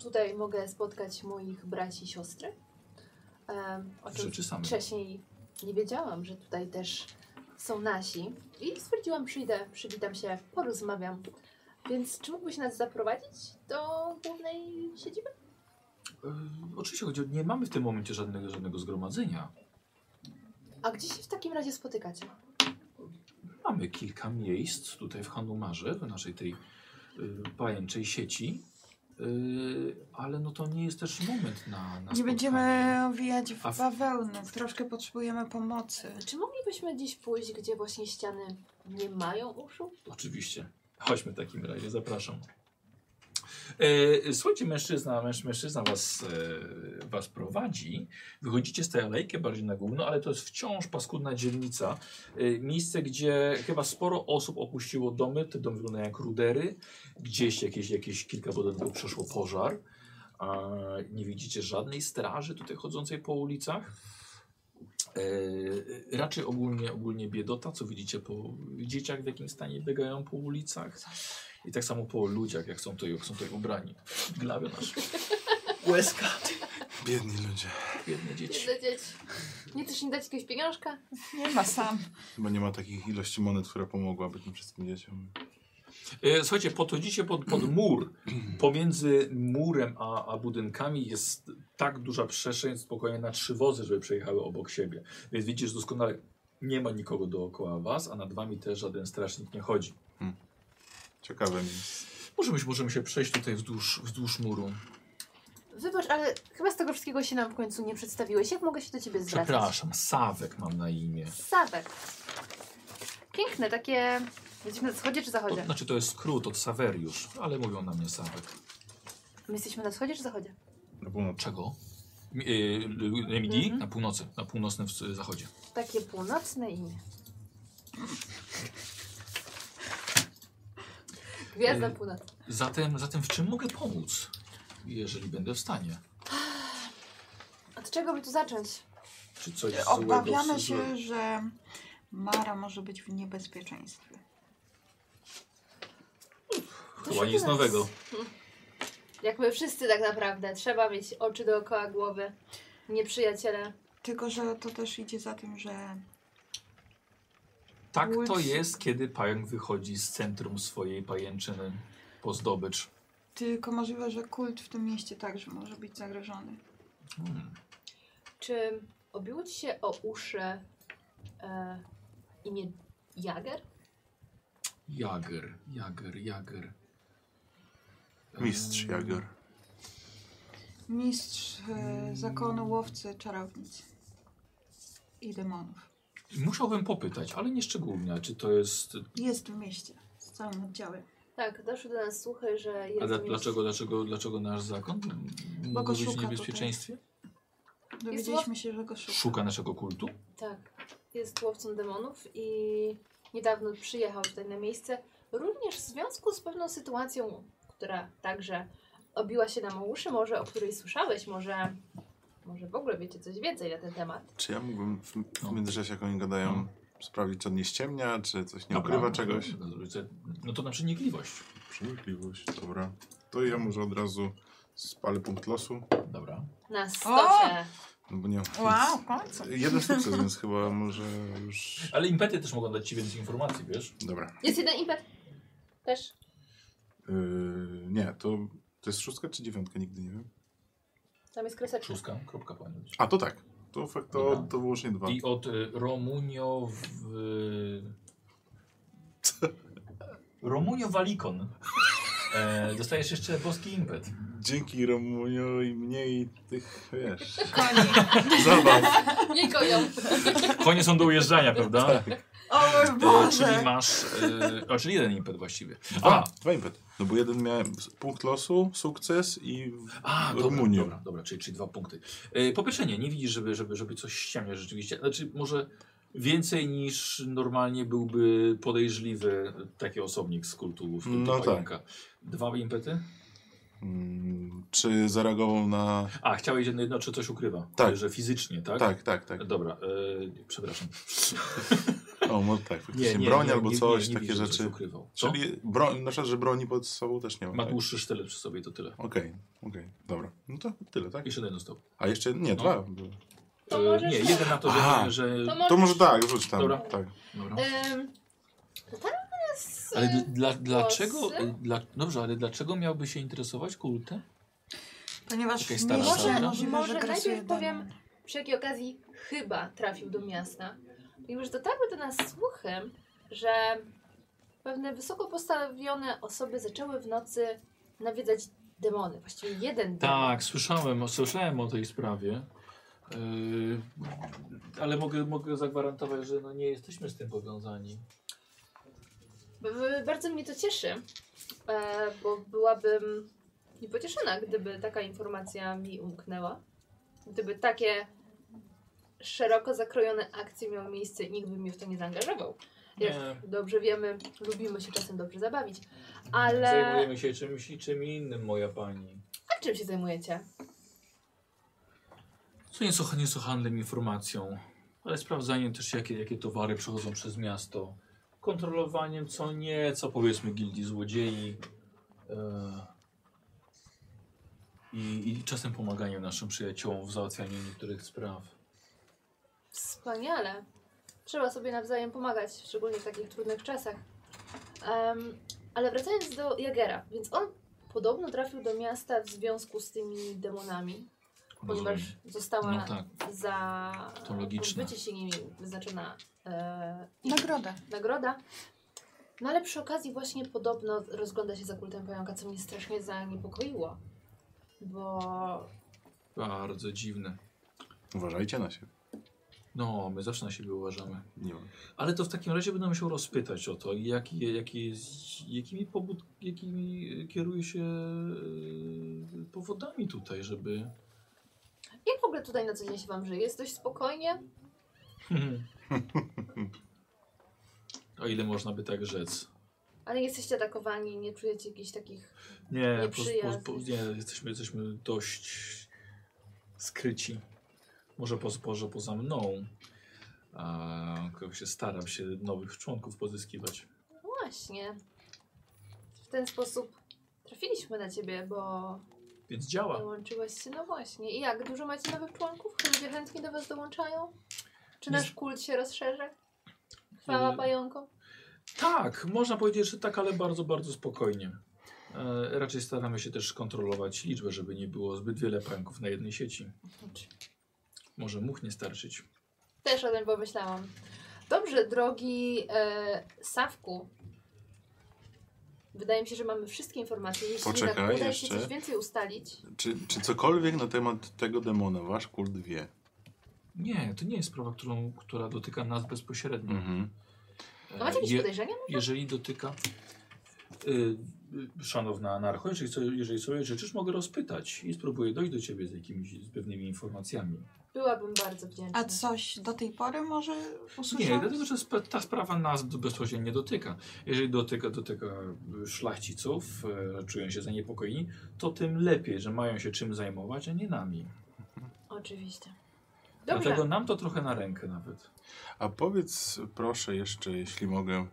[SPEAKER 6] tutaj mogę spotkać moich braci i siostry. Um, o czym
[SPEAKER 3] Rzeczy same.
[SPEAKER 6] wcześniej nie wiedziałam, że tutaj też są nasi. I stwierdziłam, przyjdę, przywitam się, porozmawiam. Więc czy mógłbyś nas zaprowadzić do głównej siedziby?
[SPEAKER 3] E, Oczywiście chodzi o, nie mamy w tym momencie żadnego, żadnego zgromadzenia.
[SPEAKER 6] A gdzie się w takim razie spotykacie?
[SPEAKER 3] Mamy kilka miejsc tutaj w Hanumarze, w naszej tej y, pajęczej sieci, y, ale no to nie jest też moment na, na
[SPEAKER 5] Nie
[SPEAKER 3] spotkanie.
[SPEAKER 5] będziemy owijać
[SPEAKER 3] A
[SPEAKER 5] w
[SPEAKER 3] w-
[SPEAKER 5] bawełnę. Troszkę potrzebujemy pomocy.
[SPEAKER 6] Czy moglibyśmy dziś pójść, gdzie właśnie ściany nie mają uszu?
[SPEAKER 3] Oczywiście. Chodźmy w takim razie, zapraszam. E, Słuchajcie, mężczyzna, męż, mężczyzna was, e, was prowadzi. Wychodzicie z tej alejki bardziej na górno, ale to jest wciąż paskudna dzielnica. E, Miejsce, gdzie chyba sporo osób opuściło domy. Te domy wyglądają jak rudery. Gdzieś jakieś, jakieś kilka budynków przeszło pożar. A nie widzicie żadnej straży tutaj chodzącej po ulicach. E, raczej ogólnie, ogólnie biedota, co widzicie po dzieciach, w jakim stanie biegają po ulicach. I tak samo po ludziach, jak są tutaj, jak są tutaj ubrani. Glawią nasz. Łezka.
[SPEAKER 2] Biedni ludzie.
[SPEAKER 3] Biedne dzieci.
[SPEAKER 6] Nie dać, nie chcesz im dać jakiegoś pieniążka?
[SPEAKER 5] Nie ma sam.
[SPEAKER 2] Chyba nie ma takich ilości monet, która pomogłaby tym wszystkim dzieciom.
[SPEAKER 3] E, słuchajcie, podchodzicie pod, pod mur. Pomiędzy murem a, a budynkami jest tak duża przestrzeń spokojnie na trzy wozy, żeby przejechały obok siebie. Więc widzisz doskonale, nie ma nikogo dookoła was, a nad wami też żaden strażnik nie chodzi.
[SPEAKER 2] Ciekawe mi jest.
[SPEAKER 3] Możemy, się- możemy się przejść tutaj wzdłuż, wzdłuż muru.
[SPEAKER 6] Wybacz, ale chyba z tego wszystkiego się nam w końcu nie przedstawiłeś. Jak mogę się do ciebie zwracać?
[SPEAKER 3] Przepraszam, Sawek mam na imię.
[SPEAKER 6] Sawek. Piękne, takie... Jesteśmy na wschodzie czy
[SPEAKER 3] To,
[SPEAKER 6] zachodzie?
[SPEAKER 3] znaczy to jest skrót od Saveriusz, ale mówią na mnie Sawek.
[SPEAKER 6] My jesteśmy na wschodzie czy zachodzie?
[SPEAKER 2] Na północ.
[SPEAKER 3] Czego? Mi- y, y, y, Midi?
[SPEAKER 6] Mhm.
[SPEAKER 3] Na północy, na północnym w- zachodzie.
[SPEAKER 6] Takie północne imię. Gwiazda
[SPEAKER 3] Ej.
[SPEAKER 6] północna.
[SPEAKER 3] Zatem, zatem w czym mogę pomóc? Jeżeli będę w stanie.
[SPEAKER 6] Od czego by tu zacząć?
[SPEAKER 3] Czy coś złego
[SPEAKER 5] Obawiamy
[SPEAKER 3] w-
[SPEAKER 5] się, że Mara może być w niebezpieczeństwie.
[SPEAKER 3] Chyba nic nowego.
[SPEAKER 6] Jak my wszyscy tak naprawdę. Trzeba mieć oczy dookoła głowy. Nieprzyjaciele.
[SPEAKER 5] Tylko, że to też idzie za tym, że
[SPEAKER 3] Tak to
[SPEAKER 5] Łódź.
[SPEAKER 3] jest, kiedy pająk wychodzi z centrum swojej pajęczyny po zdobycz.
[SPEAKER 5] tylko możliwe, że kult w tym mieście także może być zagrożony.
[SPEAKER 3] Hmm.
[SPEAKER 6] Czy obiło ci się o uszy e, imię Jager?
[SPEAKER 3] Jager, Jager, Jager.
[SPEAKER 2] Mistrz
[SPEAKER 3] Em,
[SPEAKER 2] Jager.
[SPEAKER 5] Mistrz e, zakonu łowcy czarownic i demonów.
[SPEAKER 3] Musiałbym popytać, ale nie szczególnie, czy to jest...
[SPEAKER 5] Jest w mieście z całym oddziałem.
[SPEAKER 6] Tak, doszły do nas słuchy, że
[SPEAKER 3] A dla,
[SPEAKER 6] jest,
[SPEAKER 3] dlaczego, dlaczego, dlaczego nasz zakon mógł
[SPEAKER 5] go
[SPEAKER 3] być
[SPEAKER 5] szuka
[SPEAKER 3] w
[SPEAKER 5] tutaj.
[SPEAKER 3] niebezpieczeństwie?
[SPEAKER 5] Dowiedzieliśmy się, że go szuka.
[SPEAKER 3] Szuka naszego kultu?
[SPEAKER 6] Tak, jest łowcą demonów i niedawno przyjechał tutaj na miejsce. Również w związku z pewną sytuacją, która także obiła się nam o uszy, może o której słyszałeś, może, może w ogóle wiecie coś więcej na ten temat.
[SPEAKER 2] Czy ja mógłbym w, w międzyczasie, jak oni gadają, sprawdzić, czy on nie ściemnia, czy coś nie
[SPEAKER 3] Dobra,
[SPEAKER 2] ukrywa czegoś?
[SPEAKER 3] no, no, No to na przenikliwość.
[SPEAKER 2] Przenikliwość. Dobra. To ja może od razu spalę punkt losu,
[SPEAKER 3] Dobra.
[SPEAKER 6] Na stosie.
[SPEAKER 2] no bo nie mam
[SPEAKER 5] Wow, w końcu.
[SPEAKER 2] Jeden sukces, więc chyba może już...
[SPEAKER 3] Ale impety też mogą dać ci więcej informacji, wiesz?
[SPEAKER 2] Dobra.
[SPEAKER 6] Jest jeden impet. Też.
[SPEAKER 2] Yy, nie, to, to jest szóstka czy dziewiątka? Nigdy nie wiem.
[SPEAKER 6] Tam jest kreseczka.
[SPEAKER 3] Szóstka, kropka powinna być.
[SPEAKER 2] A, to tak. To fakt, to,
[SPEAKER 3] Dobra.
[SPEAKER 2] to wyłącznie dwa.
[SPEAKER 3] I od y, Romunio w... y, Romunio Walikon. E, dostajesz jeszcze boski impet.
[SPEAKER 2] Dzięki Romunio i mniej tych, wiesz,
[SPEAKER 15] Koni,
[SPEAKER 2] zabaw.
[SPEAKER 15] nie koją.
[SPEAKER 3] Konie są do ujeżdżania, prawda?
[SPEAKER 5] O mój
[SPEAKER 3] E, czyli
[SPEAKER 5] Boże!
[SPEAKER 3] masz... E, o, czyli jeden impet właściwie.
[SPEAKER 2] Dwa,
[SPEAKER 3] A,
[SPEAKER 2] dwa impet. No bo jeden miałem s- punkt losu, sukces i
[SPEAKER 3] A, dobra,
[SPEAKER 2] Rumunią.
[SPEAKER 3] dobra, dobra czyli, czyli dwa punkty. E, po pierwsze nie, nie widzisz, żeby, żeby, żeby coś ściemnia rzeczywiście. Znaczy może więcej niż normalnie byłby podejrzliwy taki osobnik z kultu, z kultu
[SPEAKER 2] No tak.
[SPEAKER 3] pająka. Dwa impety?
[SPEAKER 2] Mm, czy zareagował na...
[SPEAKER 3] A, chciałeś jedno, jedno czy coś ukrywa.
[SPEAKER 2] Tak.
[SPEAKER 3] Że fizycznie, tak?
[SPEAKER 2] Tak, tak, tak.
[SPEAKER 3] Dobra, e, przepraszam.
[SPEAKER 2] O, może tak, faktycznie broń albo coś,
[SPEAKER 3] nie
[SPEAKER 2] takie
[SPEAKER 3] widzę, że
[SPEAKER 2] rzeczy.
[SPEAKER 3] Coś ukrywał. Co?
[SPEAKER 2] Czyli broń, na przykład, że broni pod sobą też nie ma.
[SPEAKER 3] Ma
[SPEAKER 2] tak?
[SPEAKER 3] dłuższy sztylet przy sobie, to tyle.
[SPEAKER 2] Okej, okej, dobra. No to tyle, tak?
[SPEAKER 3] Jeszcze jeden został.
[SPEAKER 2] A jeszcze,
[SPEAKER 3] No.
[SPEAKER 2] nie, dwa. były.
[SPEAKER 6] To
[SPEAKER 3] E,
[SPEAKER 6] możesz-
[SPEAKER 3] nie, jeden na to, że...
[SPEAKER 2] Aha.
[SPEAKER 3] że
[SPEAKER 6] To y,
[SPEAKER 2] To
[SPEAKER 6] może...
[SPEAKER 2] może tak, rzuć tam.
[SPEAKER 3] Dobra.
[SPEAKER 2] Tak.
[SPEAKER 3] dobra.
[SPEAKER 6] Ym, to tam jest...
[SPEAKER 3] Ale
[SPEAKER 6] y,
[SPEAKER 3] dl- dla, dlaczego, y,
[SPEAKER 6] włosy?
[SPEAKER 3] dla, dobrze, ale dlaczego miałby się interesować kultem?
[SPEAKER 5] Ponieważ
[SPEAKER 3] Jakaś stara
[SPEAKER 5] może-
[SPEAKER 3] szansa.
[SPEAKER 5] możliwe,
[SPEAKER 6] Może
[SPEAKER 5] że
[SPEAKER 6] najpierw
[SPEAKER 5] grasuje
[SPEAKER 6] powiem, przy jakiej okazji chyba trafił do miasta. I już dotarły do nas słuchy, że pewne wysoko postawione osoby zaczęły w nocy nawiedzać demony. Właściwie jeden demon.
[SPEAKER 3] Tak, słyszałem, słyszałem o tej sprawie. Yy, ale mogę, mogę zagwarantować, że no nie jesteśmy z tym powiązani.
[SPEAKER 6] B- b- Bardzo mnie to cieszy, e, bo byłabym niepocieszona, gdyby taka informacja mi umknęła. Gdyby takie szeroko zakrojone akcje miały miejsce i nikt by mnie w to nie zaangażował. Jak
[SPEAKER 3] Nie.
[SPEAKER 6] dobrze wiemy, lubimy się czasem dobrze zabawić, ale
[SPEAKER 3] Zajmujemy się czymś i czym innym, moja pani.
[SPEAKER 6] a czym się zajmujecie?
[SPEAKER 3] Co nieco, nieco handlem informacją, ale sprawdzaniem też jakie, jakie towary przechodzą przez miasto. Kontrolowaniem co nieco powiedzmy gildii złodziei. E, i, I czasem pomaganiem naszym przyjaciołom w załatwianiu niektórych spraw.
[SPEAKER 6] Wspaniale. Trzeba sobie nawzajem pomagać, szczególnie w takich trudnych czasach. Em, ale wracając do Jagera, więc on podobno trafił do miasta w związku z tymi demonami, ponieważ
[SPEAKER 3] Rozumiem.
[SPEAKER 6] została
[SPEAKER 3] No tak.
[SPEAKER 6] za
[SPEAKER 3] To logiczne.
[SPEAKER 6] bycie się nimi wyznaczona e,
[SPEAKER 5] Nagroda.
[SPEAKER 6] nagroda. No ale przy okazji właśnie podobno rozgląda się za kultem pająka, co mnie strasznie zaniepokoiło, bo
[SPEAKER 3] Bardzo dziwne.
[SPEAKER 2] Uważajcie na siebie.
[SPEAKER 3] No, my zawsze na siebie uważamy.
[SPEAKER 2] Nie wiem.
[SPEAKER 3] Ale to w takim razie będę musiał rozpytać o to, jaki, jaki jest, jakimi, pobud, jakimi kieruje się e, powodami tutaj, żeby...
[SPEAKER 6] jak w ogóle tutaj na co dzień się wam żyje? Jest dość spokojnie?
[SPEAKER 3] o Hmm. ile można by tak rzec.
[SPEAKER 6] Ale nie jesteście atakowani, nie czujecie jakichś takich.
[SPEAKER 3] Nie, po, po,
[SPEAKER 6] Nieprzyjazny.
[SPEAKER 3] po, nie jesteśmy, jesteśmy dość skryci. Może po, może poza mną. A, tylko się staram się nowych członków pozyskiwać.
[SPEAKER 6] No Właśnie. W ten sposób trafiliśmy na ciebie, bo
[SPEAKER 3] Więc działa.
[SPEAKER 6] dołączyłaś się. No właśnie. I jak dużo macie nowych członków? Czy ludzie chętnie do was dołączają? Czy
[SPEAKER 3] Nie-
[SPEAKER 6] nasz kult się rozszerzy? Chwała
[SPEAKER 3] Y-
[SPEAKER 6] pająkom.
[SPEAKER 3] Tak, można powiedzieć, że tak, ale bardzo, bardzo spokojnie. E, raczej staramy się też kontrolować liczbę, żeby nie było zbyt wiele pająków na jednej sieci. Może much nie starczyć.
[SPEAKER 6] Też o tym pomyślałam. Dobrze, drogi e, Sawku. Wydaje mi się, że mamy wszystkie informacje. Jeśli
[SPEAKER 2] Poczekaj
[SPEAKER 6] jednak uda się
[SPEAKER 2] jeszcze.
[SPEAKER 6] coś więcej ustalić,
[SPEAKER 2] Czy, czy cokolwiek na temat tego demona wasz kult wie?
[SPEAKER 3] Nie, to nie jest sprawa, którą, która dotyka nas bezpośrednio.
[SPEAKER 2] Mhm.
[SPEAKER 6] no macie jakieś
[SPEAKER 3] Je-
[SPEAKER 6] podejrzenia?
[SPEAKER 3] jeżeli dotyka. Y, y, szanowna anarcho, jeżeli, co- jeżeli sobie życzysz, mogę rozpytać i spróbuję dojść do ciebie z jakimiś z pewnymi informacjami.
[SPEAKER 6] Byłabym bardzo wdzięczna.
[SPEAKER 5] A coś do tej pory może
[SPEAKER 3] Nie,
[SPEAKER 5] usłyszałeś?
[SPEAKER 3] dlatego, że sp- ta sprawa nas bezpośrednio nie dotyka. Jeżeli dotyka, dotyka y, szlachciców, y, czują się zaniepokojeni, to tym lepiej, że mają się czym zajmować, a nie nami.
[SPEAKER 6] Oczywiście. Dobrze.
[SPEAKER 3] Dlatego nam to trochę na rękę nawet.
[SPEAKER 2] A powiedz proszę jeszcze, jeśli mogę,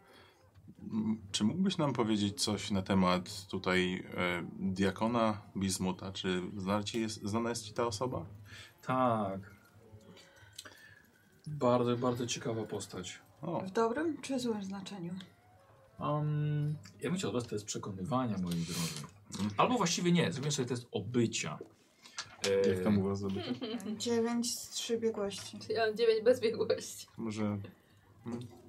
[SPEAKER 2] m, czy mógłbyś nam powiedzieć coś na temat tutaj e, diakona Bizmuta? Czy zna ci jest, znana jest ci ta osoba?
[SPEAKER 3] Tak. Bardzo, bardzo ciekawa postać.
[SPEAKER 2] O,
[SPEAKER 5] W dobrym czy złym znaczeniu?
[SPEAKER 3] Um, ja bym chciał dać test przekonywania, moi drodzy. Albo właściwie nie, zrobię sobie test obycia. E,
[SPEAKER 2] jak tam u was zdobyć?
[SPEAKER 5] Dziewięć z trzy biegłości.
[SPEAKER 6] Ja mam 9 bez biegłości.
[SPEAKER 2] Może e,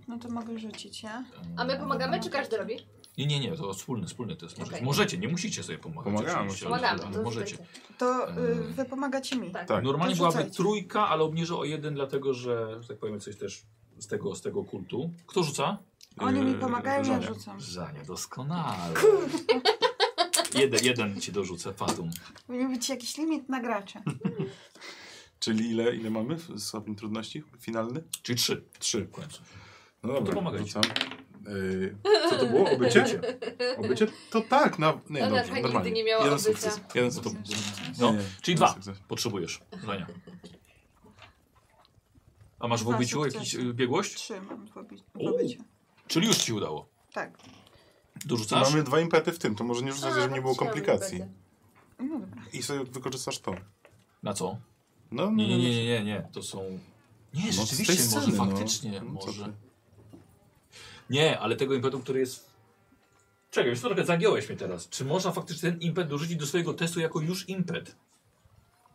[SPEAKER 5] No to mogę rzucić, ja?
[SPEAKER 6] A my pomagamy, czy każdy robi?
[SPEAKER 3] Nie, nie, nie, to wspólny, wspólny test. Może,
[SPEAKER 6] Okej.
[SPEAKER 3] Możecie, nie musicie sobie pomagać.
[SPEAKER 2] Pomagamy,
[SPEAKER 3] oczywiście, ale-
[SPEAKER 6] Pomagamy. Tak.
[SPEAKER 3] ale
[SPEAKER 6] to
[SPEAKER 3] Możecie.
[SPEAKER 6] rzucajcie.
[SPEAKER 5] To y,
[SPEAKER 3] Eee.
[SPEAKER 5] wy pomagacie mi.
[SPEAKER 6] Tak.
[SPEAKER 2] Tak.
[SPEAKER 3] Normalnie
[SPEAKER 5] To
[SPEAKER 3] byłaby
[SPEAKER 5] rzucajcie.
[SPEAKER 3] trójka, ale obniżę o jeden, dlatego że, że tak powiem, coś też z tego, z tego kultu. Kto rzuca?
[SPEAKER 5] Oni
[SPEAKER 3] Yy,
[SPEAKER 5] mi
[SPEAKER 2] e,
[SPEAKER 5] pomagają, ja
[SPEAKER 2] Żania.
[SPEAKER 5] rzucam.
[SPEAKER 3] Żania, doskonale. jeden, jeden ci dorzucę, padł.
[SPEAKER 5] Powinien być jakiś limit na graczy.
[SPEAKER 2] Czyli ile, ile mamy w stopień trudności? Finalny?
[SPEAKER 3] Czyli trzy.
[SPEAKER 2] Trzy.
[SPEAKER 3] W końcu.
[SPEAKER 2] No dobra,
[SPEAKER 3] To pomagajcie.
[SPEAKER 2] rzucam. Yy, co to było? Obycie? Obycie? To tak, na... Nie,
[SPEAKER 6] Ona
[SPEAKER 2] dobrze,
[SPEAKER 6] nigdy
[SPEAKER 2] normalnie.
[SPEAKER 6] nie miała
[SPEAKER 2] Jeden
[SPEAKER 6] obycia.
[SPEAKER 2] sukces. Jeden sukces.
[SPEAKER 3] No,
[SPEAKER 2] Nie, nie,
[SPEAKER 3] czyli
[SPEAKER 2] jeden
[SPEAKER 3] dwa.
[SPEAKER 2] sukces.
[SPEAKER 3] Potrzebujesz, Żania. A masz w
[SPEAKER 5] Dwa
[SPEAKER 3] obyciu
[SPEAKER 5] sukcesy.
[SPEAKER 3] jakąś y, biegłość?
[SPEAKER 5] Trzy mam w obi- w
[SPEAKER 3] U.
[SPEAKER 5] obyciu.
[SPEAKER 3] Czyli już ci udało.
[SPEAKER 5] Tak.
[SPEAKER 3] Dorzucasz?
[SPEAKER 2] Mamy dwa impety w tym, to może nie rzucać, żeby nie było komplikacji.
[SPEAKER 5] No dobra.
[SPEAKER 2] I sobie wykorzystasz to.
[SPEAKER 3] Na co?
[SPEAKER 2] No, no,
[SPEAKER 3] Nie, nie,
[SPEAKER 2] no,
[SPEAKER 3] nie, nie, nie, nie. To są... Nie,
[SPEAKER 2] no, z
[SPEAKER 3] rzeczywiście,
[SPEAKER 2] tej
[SPEAKER 3] może
[SPEAKER 2] sceny, no.
[SPEAKER 3] faktycznie,
[SPEAKER 2] No, co
[SPEAKER 3] może.
[SPEAKER 2] ty.
[SPEAKER 3] Nie, ale tego impetu, który jest... Czekaj, już trochę zagiąłeś mnie teraz. Czy można faktycznie ten impet dorzucić do swojego testu jako już impet?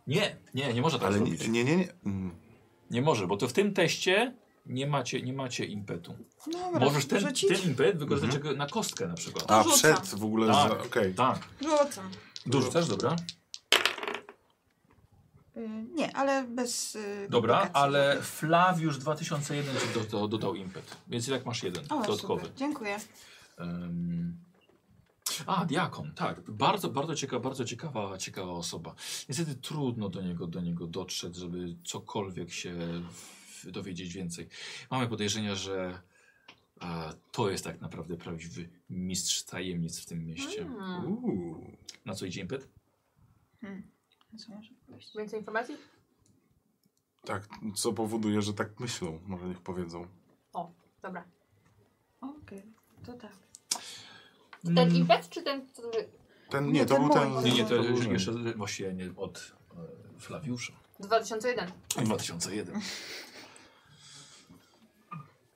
[SPEAKER 3] Nie, nie, nie można tak
[SPEAKER 2] Ale
[SPEAKER 3] zrobić.
[SPEAKER 2] nie,
[SPEAKER 3] Nie,
[SPEAKER 2] nie, nie. nie. Mm.
[SPEAKER 3] może, bo to w tym teście nie macie, nie macie impetu.
[SPEAKER 5] No, Dobra,
[SPEAKER 3] Możesz ten,
[SPEAKER 5] rzucić?
[SPEAKER 3] ten impet wykorzystać jako na kostkę na przykład.
[SPEAKER 2] Mhm. A,
[SPEAKER 5] Rzucam.
[SPEAKER 2] przed w ogóle,
[SPEAKER 3] Tak.
[SPEAKER 2] za- okej.
[SPEAKER 3] Tak.
[SPEAKER 5] Rzucam.
[SPEAKER 3] Dorzucasz, dobra?
[SPEAKER 5] Y, nie, ale bez y,
[SPEAKER 3] Dobra,
[SPEAKER 5] komplikacji.
[SPEAKER 3] ale Flawiusz 2001 ci do, do, dodał impet. Więc i tak masz jeden
[SPEAKER 5] O,
[SPEAKER 3] dodatkowy.
[SPEAKER 5] super. Dziękuję.
[SPEAKER 3] Em, a, diakon, tak. Bardzo, bardzo ciekawa, bardzo ciekawa, ciekawa osoba. Niestety trudno do niego, do niego dotrzeć, żeby cokolwiek się w- dowiedzieć więcej. Mamy podejrzenia, że a, to jest tak naprawdę prawdziwy mistrz tajemnic w tym mieście.
[SPEAKER 5] Mm.
[SPEAKER 6] Hmm.
[SPEAKER 2] Uuu.
[SPEAKER 3] Na co idzie impet?
[SPEAKER 5] Co może powiedzieć?
[SPEAKER 6] Więcej informacji?
[SPEAKER 2] Tak, co powoduje, że tak myślą, może niech powiedzą.
[SPEAKER 6] Dobra.
[SPEAKER 5] Okej, to tak.
[SPEAKER 6] Ten impet, czy ten, znaczy, który...
[SPEAKER 2] Ten, nie,
[SPEAKER 5] Nie,
[SPEAKER 2] to
[SPEAKER 5] ten
[SPEAKER 2] był ten...
[SPEAKER 5] mój.
[SPEAKER 3] Mm. Nie, nie, to
[SPEAKER 2] był
[SPEAKER 3] już
[SPEAKER 2] ten.
[SPEAKER 3] jeszcze właściwie nie od e, Flawiusza.
[SPEAKER 6] 2001.
[SPEAKER 3] 2001.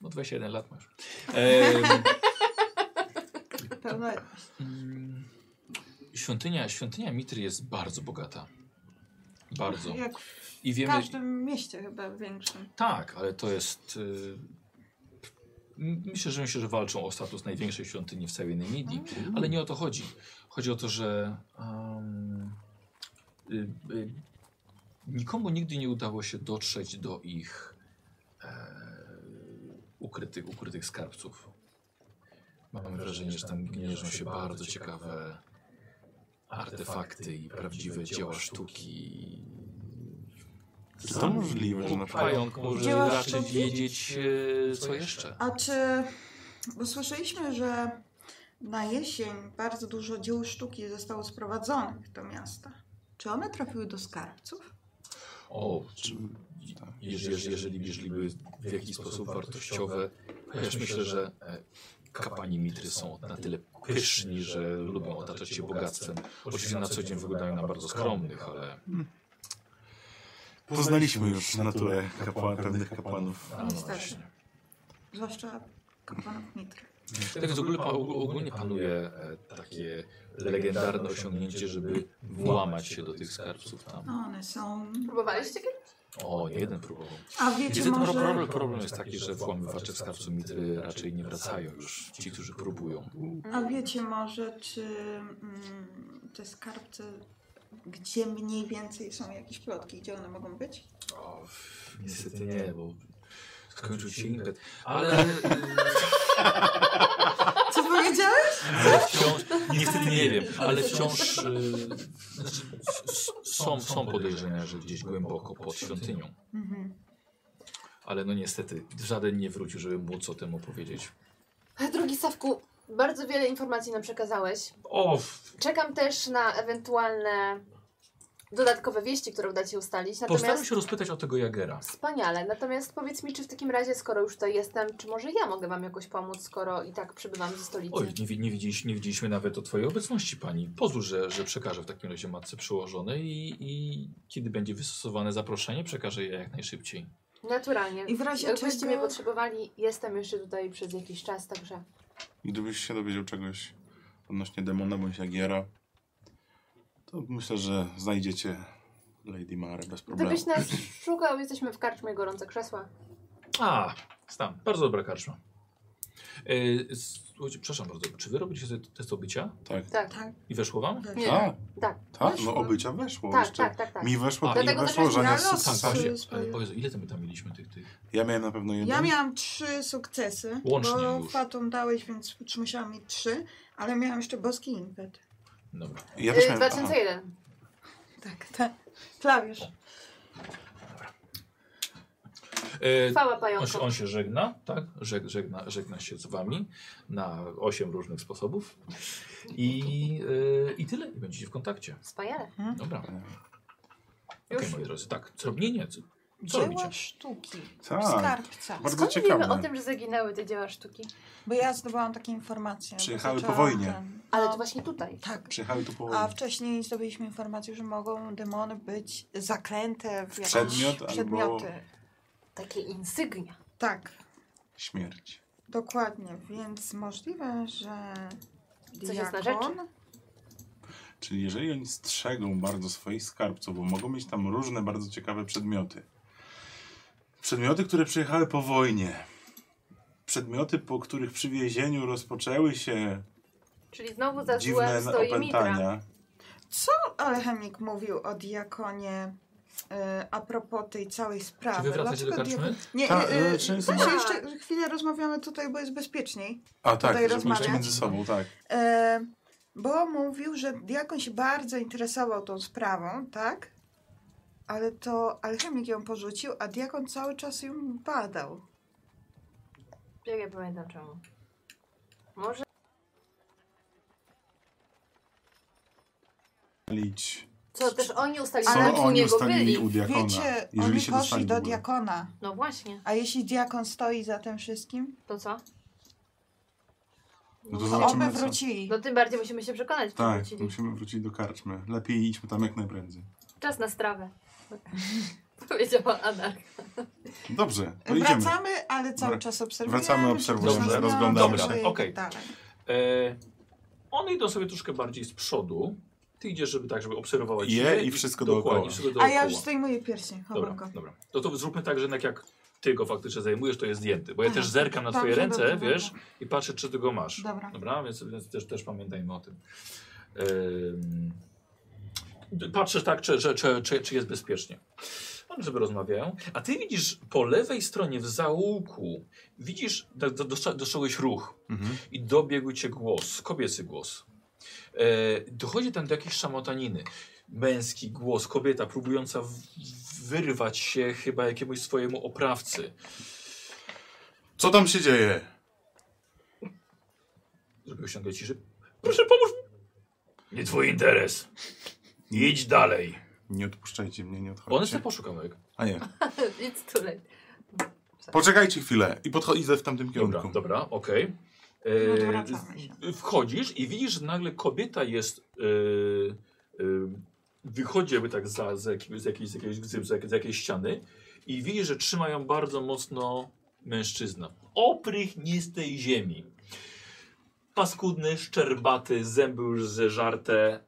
[SPEAKER 3] No 21 lat masz. Em,
[SPEAKER 5] Pełno...
[SPEAKER 3] Mm, Świątynia, świątynia Mitry jest bardzo bogata. Bardzo.
[SPEAKER 5] Jak w
[SPEAKER 3] I wiemy.
[SPEAKER 5] każdym mieście chyba większym.
[SPEAKER 3] Tak, ale to jest. y, m- Myślę, że myślę, że walczą o status największej świątyni w całej Nemidii, ale nie o to chodzi. Chodzi o to, że em, y, y, nikomu nigdy nie udało się dotrzeć do ich e, ukrytych, ukrytych skarbców. Mam wrażenie, że tam gnieżdżą się bardzo ciekawe artefakty i prawdziwe dzieła sztuki.
[SPEAKER 2] Czy to możliwe, że na przykład...
[SPEAKER 3] Pająk może
[SPEAKER 5] Dzieła
[SPEAKER 3] raczej
[SPEAKER 5] sztuki?
[SPEAKER 3] wiedzieć, e, co jeszcze.
[SPEAKER 5] A czy. Bo słyszeliśmy, że na jesień bardzo dużo dzieł sztuki zostało sprowadzonych do miasta. Czy one trafiły do skarbców?
[SPEAKER 3] O, czy, jeżeli, jeżeli, jeżeli były w jakiś sposób wartościowe, chociaż myślę, że e, kapłani mitry są na tyle pyszni, że lubią otaczać się bogactwem. Oczywiście na co dzień wyglądają na bardzo skromnych, ale
[SPEAKER 2] Poznaliśmy już naturę kapła, pewnych kapłanów.
[SPEAKER 3] a, no
[SPEAKER 5] Niestety.
[SPEAKER 3] właśnie.
[SPEAKER 5] Zwłaszcza kapłanów mitry.
[SPEAKER 3] Tak więc ogólnie, pa- ogólnie panuje e, takie legendarne osiągnięcie, żeby włamać się do tych skarbców tam.
[SPEAKER 5] No one są.
[SPEAKER 6] Próbowaliście kiedyś?
[SPEAKER 3] O, nie jeden próbował.
[SPEAKER 5] A wiecie
[SPEAKER 3] Niestety pro-
[SPEAKER 5] może.
[SPEAKER 3] problem, problem jest taki, że włamywacze skarbców mitry raczej nie wracają już ci, którzy próbują.
[SPEAKER 5] A wiecie może, czy mm, te skarbce. Gdzie mniej więcej są jakieś plotki, gdzie one mogą być?
[SPEAKER 3] O, niestety nie, bo skończył się impet. Ale
[SPEAKER 5] Co powiedziałeś?
[SPEAKER 3] wciąż, niestety nie wiem, ale wciąż y, znaczy, s- s- Są, są podejrzenia, że gdzieś głęboko pod świątynią.
[SPEAKER 5] Mhm.
[SPEAKER 3] Ale no niestety, żaden nie wrócił, żeby móc o tym opowiedzieć.
[SPEAKER 6] Drogi Sawku, bardzo wiele informacji nam przekazałeś.
[SPEAKER 3] O, w-
[SPEAKER 6] Czekam też na ewentualne dodatkowe wieści, które uda ci ustalić.
[SPEAKER 3] postaram
[SPEAKER 6] Natomiast
[SPEAKER 3] się rozpytać o tego Jagera.
[SPEAKER 6] Wspaniale. Natomiast powiedz mi, czy w takim razie, skoro już tutaj jestem, czy może ja mogę wam jakoś pomóc, skoro i tak przybywam ze stolicy?
[SPEAKER 3] Oj, nie, wi- nie, widzieliśmy, nie widzieliśmy nawet o twojej obecności, pani. Pozwól, że, że przekażę w takim razie matce przyłożonej i, i kiedy będzie wystosowane zaproszenie, przekażę je jak najszybciej.
[SPEAKER 6] Naturalnie.
[SPEAKER 5] I w razie
[SPEAKER 6] Jakbyście
[SPEAKER 5] czego-
[SPEAKER 6] mnie potrzebowali, jestem jeszcze tutaj przez jakiś czas, także
[SPEAKER 2] Gdybyś się dowiedział czegoś odnośnie demona bądź Jagiera, to myślę, że znajdziecie Lady Mare bez problemu.
[SPEAKER 6] gdybyś nas szukał, jesteśmy w karczmie gorące krzesła.
[SPEAKER 3] A, znam. Bardzo dobra karczma. E, słuchajcie, przepraszam bardzo, czy wy robicie sobie test obycia
[SPEAKER 2] Tak.
[SPEAKER 6] Tak,
[SPEAKER 5] Tak.
[SPEAKER 3] i weszło wam?
[SPEAKER 5] Tak.
[SPEAKER 6] Nie.
[SPEAKER 2] Tak,
[SPEAKER 6] tak,
[SPEAKER 2] tak,
[SPEAKER 5] Weszło.
[SPEAKER 2] no obycia weszło
[SPEAKER 6] tak,
[SPEAKER 2] jeszcze.
[SPEAKER 6] tak, tak, tak.
[SPEAKER 2] Mi weszło,
[SPEAKER 3] A,
[SPEAKER 2] tak,
[SPEAKER 6] dlatego
[SPEAKER 2] weszło,
[SPEAKER 6] też
[SPEAKER 2] że nie
[SPEAKER 5] miałam los.
[SPEAKER 3] Tak,
[SPEAKER 2] sukces.
[SPEAKER 3] właśnie.
[SPEAKER 5] swoje.
[SPEAKER 3] E, o Jezu, ile tam my tam mieliśmy tych, tych?
[SPEAKER 2] Ja miałem na pewno jeden.
[SPEAKER 5] Ja miałam trzy sukcesy,
[SPEAKER 3] Łącznie
[SPEAKER 5] bo
[SPEAKER 3] już.
[SPEAKER 5] Fatum dałeś, więc musiałam mieć trzy, ale miałam jeszcze boski impet.
[SPEAKER 3] Dobra.
[SPEAKER 2] ja też
[SPEAKER 6] Y,
[SPEAKER 2] miałem... aha.
[SPEAKER 6] 2001.
[SPEAKER 5] Tak, tak. Klawisz.
[SPEAKER 3] E,
[SPEAKER 6] Chwała
[SPEAKER 3] on, się,
[SPEAKER 6] pająkom.
[SPEAKER 3] on się żegna, tak? Żeg, żegna, żegna się z wami na osiem różnych sposobów. I, e, I tyle. I będziecie w kontakcie.
[SPEAKER 6] Wspaniale.
[SPEAKER 3] Dobra. Okej,
[SPEAKER 5] E. Już.
[SPEAKER 3] moi drodzy, tak. Co, nie, nie. Co, co
[SPEAKER 5] Dzieła
[SPEAKER 3] robicie?
[SPEAKER 5] sztuki.
[SPEAKER 2] Tak,
[SPEAKER 5] Skarbca.
[SPEAKER 2] bardzo
[SPEAKER 6] Skąd wiemy o
[SPEAKER 2] ciekawe.
[SPEAKER 6] tym, że zaginęły te dzieła sztuki?
[SPEAKER 5] Bo ja zdobyłam takie informacje. bo
[SPEAKER 2] Przyjechały po
[SPEAKER 5] zaczęłam
[SPEAKER 2] wojnie.
[SPEAKER 5] ten-
[SPEAKER 6] Ale
[SPEAKER 5] no,
[SPEAKER 6] to właśnie tutaj.
[SPEAKER 5] Tak.
[SPEAKER 2] Przyjechały tu po
[SPEAKER 5] A wcześniej zdobyliśmy informację, że mogą demony być zaklęte w jakieś
[SPEAKER 2] przedmiot albo-
[SPEAKER 5] przedmioty.
[SPEAKER 6] Takie insygnia.
[SPEAKER 5] Tak,
[SPEAKER 2] śmierć.
[SPEAKER 5] dokładnie. Więc możliwe, że
[SPEAKER 6] Coś jest na
[SPEAKER 5] diakon-
[SPEAKER 6] rzeczy.
[SPEAKER 2] Czyli jeżeli oni strzegą bardzo swoich skarbców, bo mogą mieć tam różne bardzo ciekawe przedmioty. Przedmioty, które przyjechały po wojnie. Przedmioty, po których przywiezieniu rozpoczęły się
[SPEAKER 6] Czyli znowu za
[SPEAKER 2] dziwne
[SPEAKER 6] złem stoi Mitra.
[SPEAKER 2] opętania.
[SPEAKER 5] Alchemik mówił o diakonie y, a propos tej całej sprawy.
[SPEAKER 3] Czy wy wracacie do
[SPEAKER 5] Dlaczego
[SPEAKER 3] karczmy?
[SPEAKER 5] Nie,
[SPEAKER 2] Ta,
[SPEAKER 5] y, y,
[SPEAKER 2] y, czyli są-
[SPEAKER 5] właśnie jeszcze chwilę rozmawiamy tutaj, bo jest bezpieczniej.
[SPEAKER 2] A
[SPEAKER 5] Tutaj
[SPEAKER 2] tak, żeby
[SPEAKER 5] rozmawiać.
[SPEAKER 2] mieć między sobą, tak.
[SPEAKER 5] E, bo mówił, że diakon się bardzo interesował tą sprawą, tak? Ale to alchemik ją porzucił, a diakon cały czas ją badał.
[SPEAKER 6] Jak ja pamiętam czemu. Może
[SPEAKER 2] Lić.
[SPEAKER 6] Co też oni ustalili,
[SPEAKER 2] Co
[SPEAKER 6] że u
[SPEAKER 2] oni
[SPEAKER 6] niego
[SPEAKER 2] ustalili u
[SPEAKER 6] byli.
[SPEAKER 2] diakona,
[SPEAKER 5] Wiecie,
[SPEAKER 2] jeżeli
[SPEAKER 5] oni
[SPEAKER 2] się
[SPEAKER 5] poszli
[SPEAKER 2] dostali w
[SPEAKER 5] do
[SPEAKER 2] ogóle.
[SPEAKER 5] diakona.
[SPEAKER 6] No właśnie,
[SPEAKER 5] A jeśli diakon stoi za tym wszystkim,
[SPEAKER 6] to co?
[SPEAKER 2] No to
[SPEAKER 5] to oby
[SPEAKER 2] zobaczymy, co.
[SPEAKER 5] wrócili.
[SPEAKER 6] No tym bardziej musimy się przekonać, czy
[SPEAKER 2] Tak,
[SPEAKER 6] wrócili.
[SPEAKER 2] musimy wrócić do karczmy. Lepiej idźmy tam jak najprędzej.
[SPEAKER 6] Czas na strawę. Powiedziała Anar.
[SPEAKER 2] Dobrze, to idziemy.
[SPEAKER 5] Wracamy, ale cały
[SPEAKER 2] Wra-
[SPEAKER 5] czas obserwujemy.
[SPEAKER 2] wracamy,
[SPEAKER 5] czy
[SPEAKER 2] obserwujemy,
[SPEAKER 5] ktoś nas nie
[SPEAKER 2] rozglądamy
[SPEAKER 5] obserwuje
[SPEAKER 3] się.
[SPEAKER 5] i tak
[SPEAKER 3] Okej.
[SPEAKER 5] dalej.
[SPEAKER 3] E, one idą sobie troszkę bardziej z przodu. Ty idziesz, żeby tak, żeby obserwować
[SPEAKER 2] Je
[SPEAKER 3] siebie
[SPEAKER 2] i wszystko
[SPEAKER 3] dokładnie,
[SPEAKER 2] dookoła.
[SPEAKER 3] i wszystko
[SPEAKER 5] A
[SPEAKER 3] dookoła.
[SPEAKER 5] ja już zdejmuję pierścień, chowam
[SPEAKER 3] Dobra,
[SPEAKER 5] go.
[SPEAKER 3] dobra. No to zróbmy tak, że jednak jak ty go faktycznie zajmujesz, to jest zdjęty. Bo ja
[SPEAKER 5] Tak.
[SPEAKER 3] też zerkam na
[SPEAKER 5] Dobrze,
[SPEAKER 3] twoje ręce,
[SPEAKER 5] dobrze,
[SPEAKER 3] wiesz,
[SPEAKER 5] dobra.
[SPEAKER 3] i patrzę, czy ty go masz.
[SPEAKER 5] Dobra.
[SPEAKER 3] Dobra, więc, więc też, też pamiętajmy o tym. Ym... Patrzysz tak, czy, czy, czy, czy, czy jest bezpiecznie. Oni sobie rozmawiają. A ty widzisz po lewej stronie w zaułku, widzisz, do- do- dostrzeg- dostrzegłeś ruch
[SPEAKER 2] Mhm.
[SPEAKER 3] i dobiegł cię głos, kobiecy głos. E, dochodzi tam do jakiejś szamotaniny. Męski głos, kobieta próbująca w- wyrwać się chyba jakiemuś swojemu oprawcy.
[SPEAKER 2] Co tam się dzieje?
[SPEAKER 3] Zrobił się ciszy. Proszę pomóż mi. Nie twój interes. Idź dalej.
[SPEAKER 2] Nie odpuszczajcie mnie, nie
[SPEAKER 3] Bo on jest
[SPEAKER 2] odchodźcie.
[SPEAKER 3] poszukamek.
[SPEAKER 2] A nie.
[SPEAKER 6] Więc tulej.
[SPEAKER 2] Poczekajcie chwilę i podchodzę w tamtym kierunku.
[SPEAKER 3] Dobra, dobra, okej.
[SPEAKER 5] No to
[SPEAKER 3] E,
[SPEAKER 5] wracamy się.
[SPEAKER 3] wchodzisz i widzisz, że nagle kobieta jest. E, e, wychodzi jakby tak za, za, jakiegoś, z, jakiejś, z, jakiegoś, gzy- z, jak- z jakiejś ściany i widzisz, że trzyma ją bardzo mocno mężczyzna. Oprych nie z tej ziemi. Paskudny, szczerbaty, zęby już zeżarte,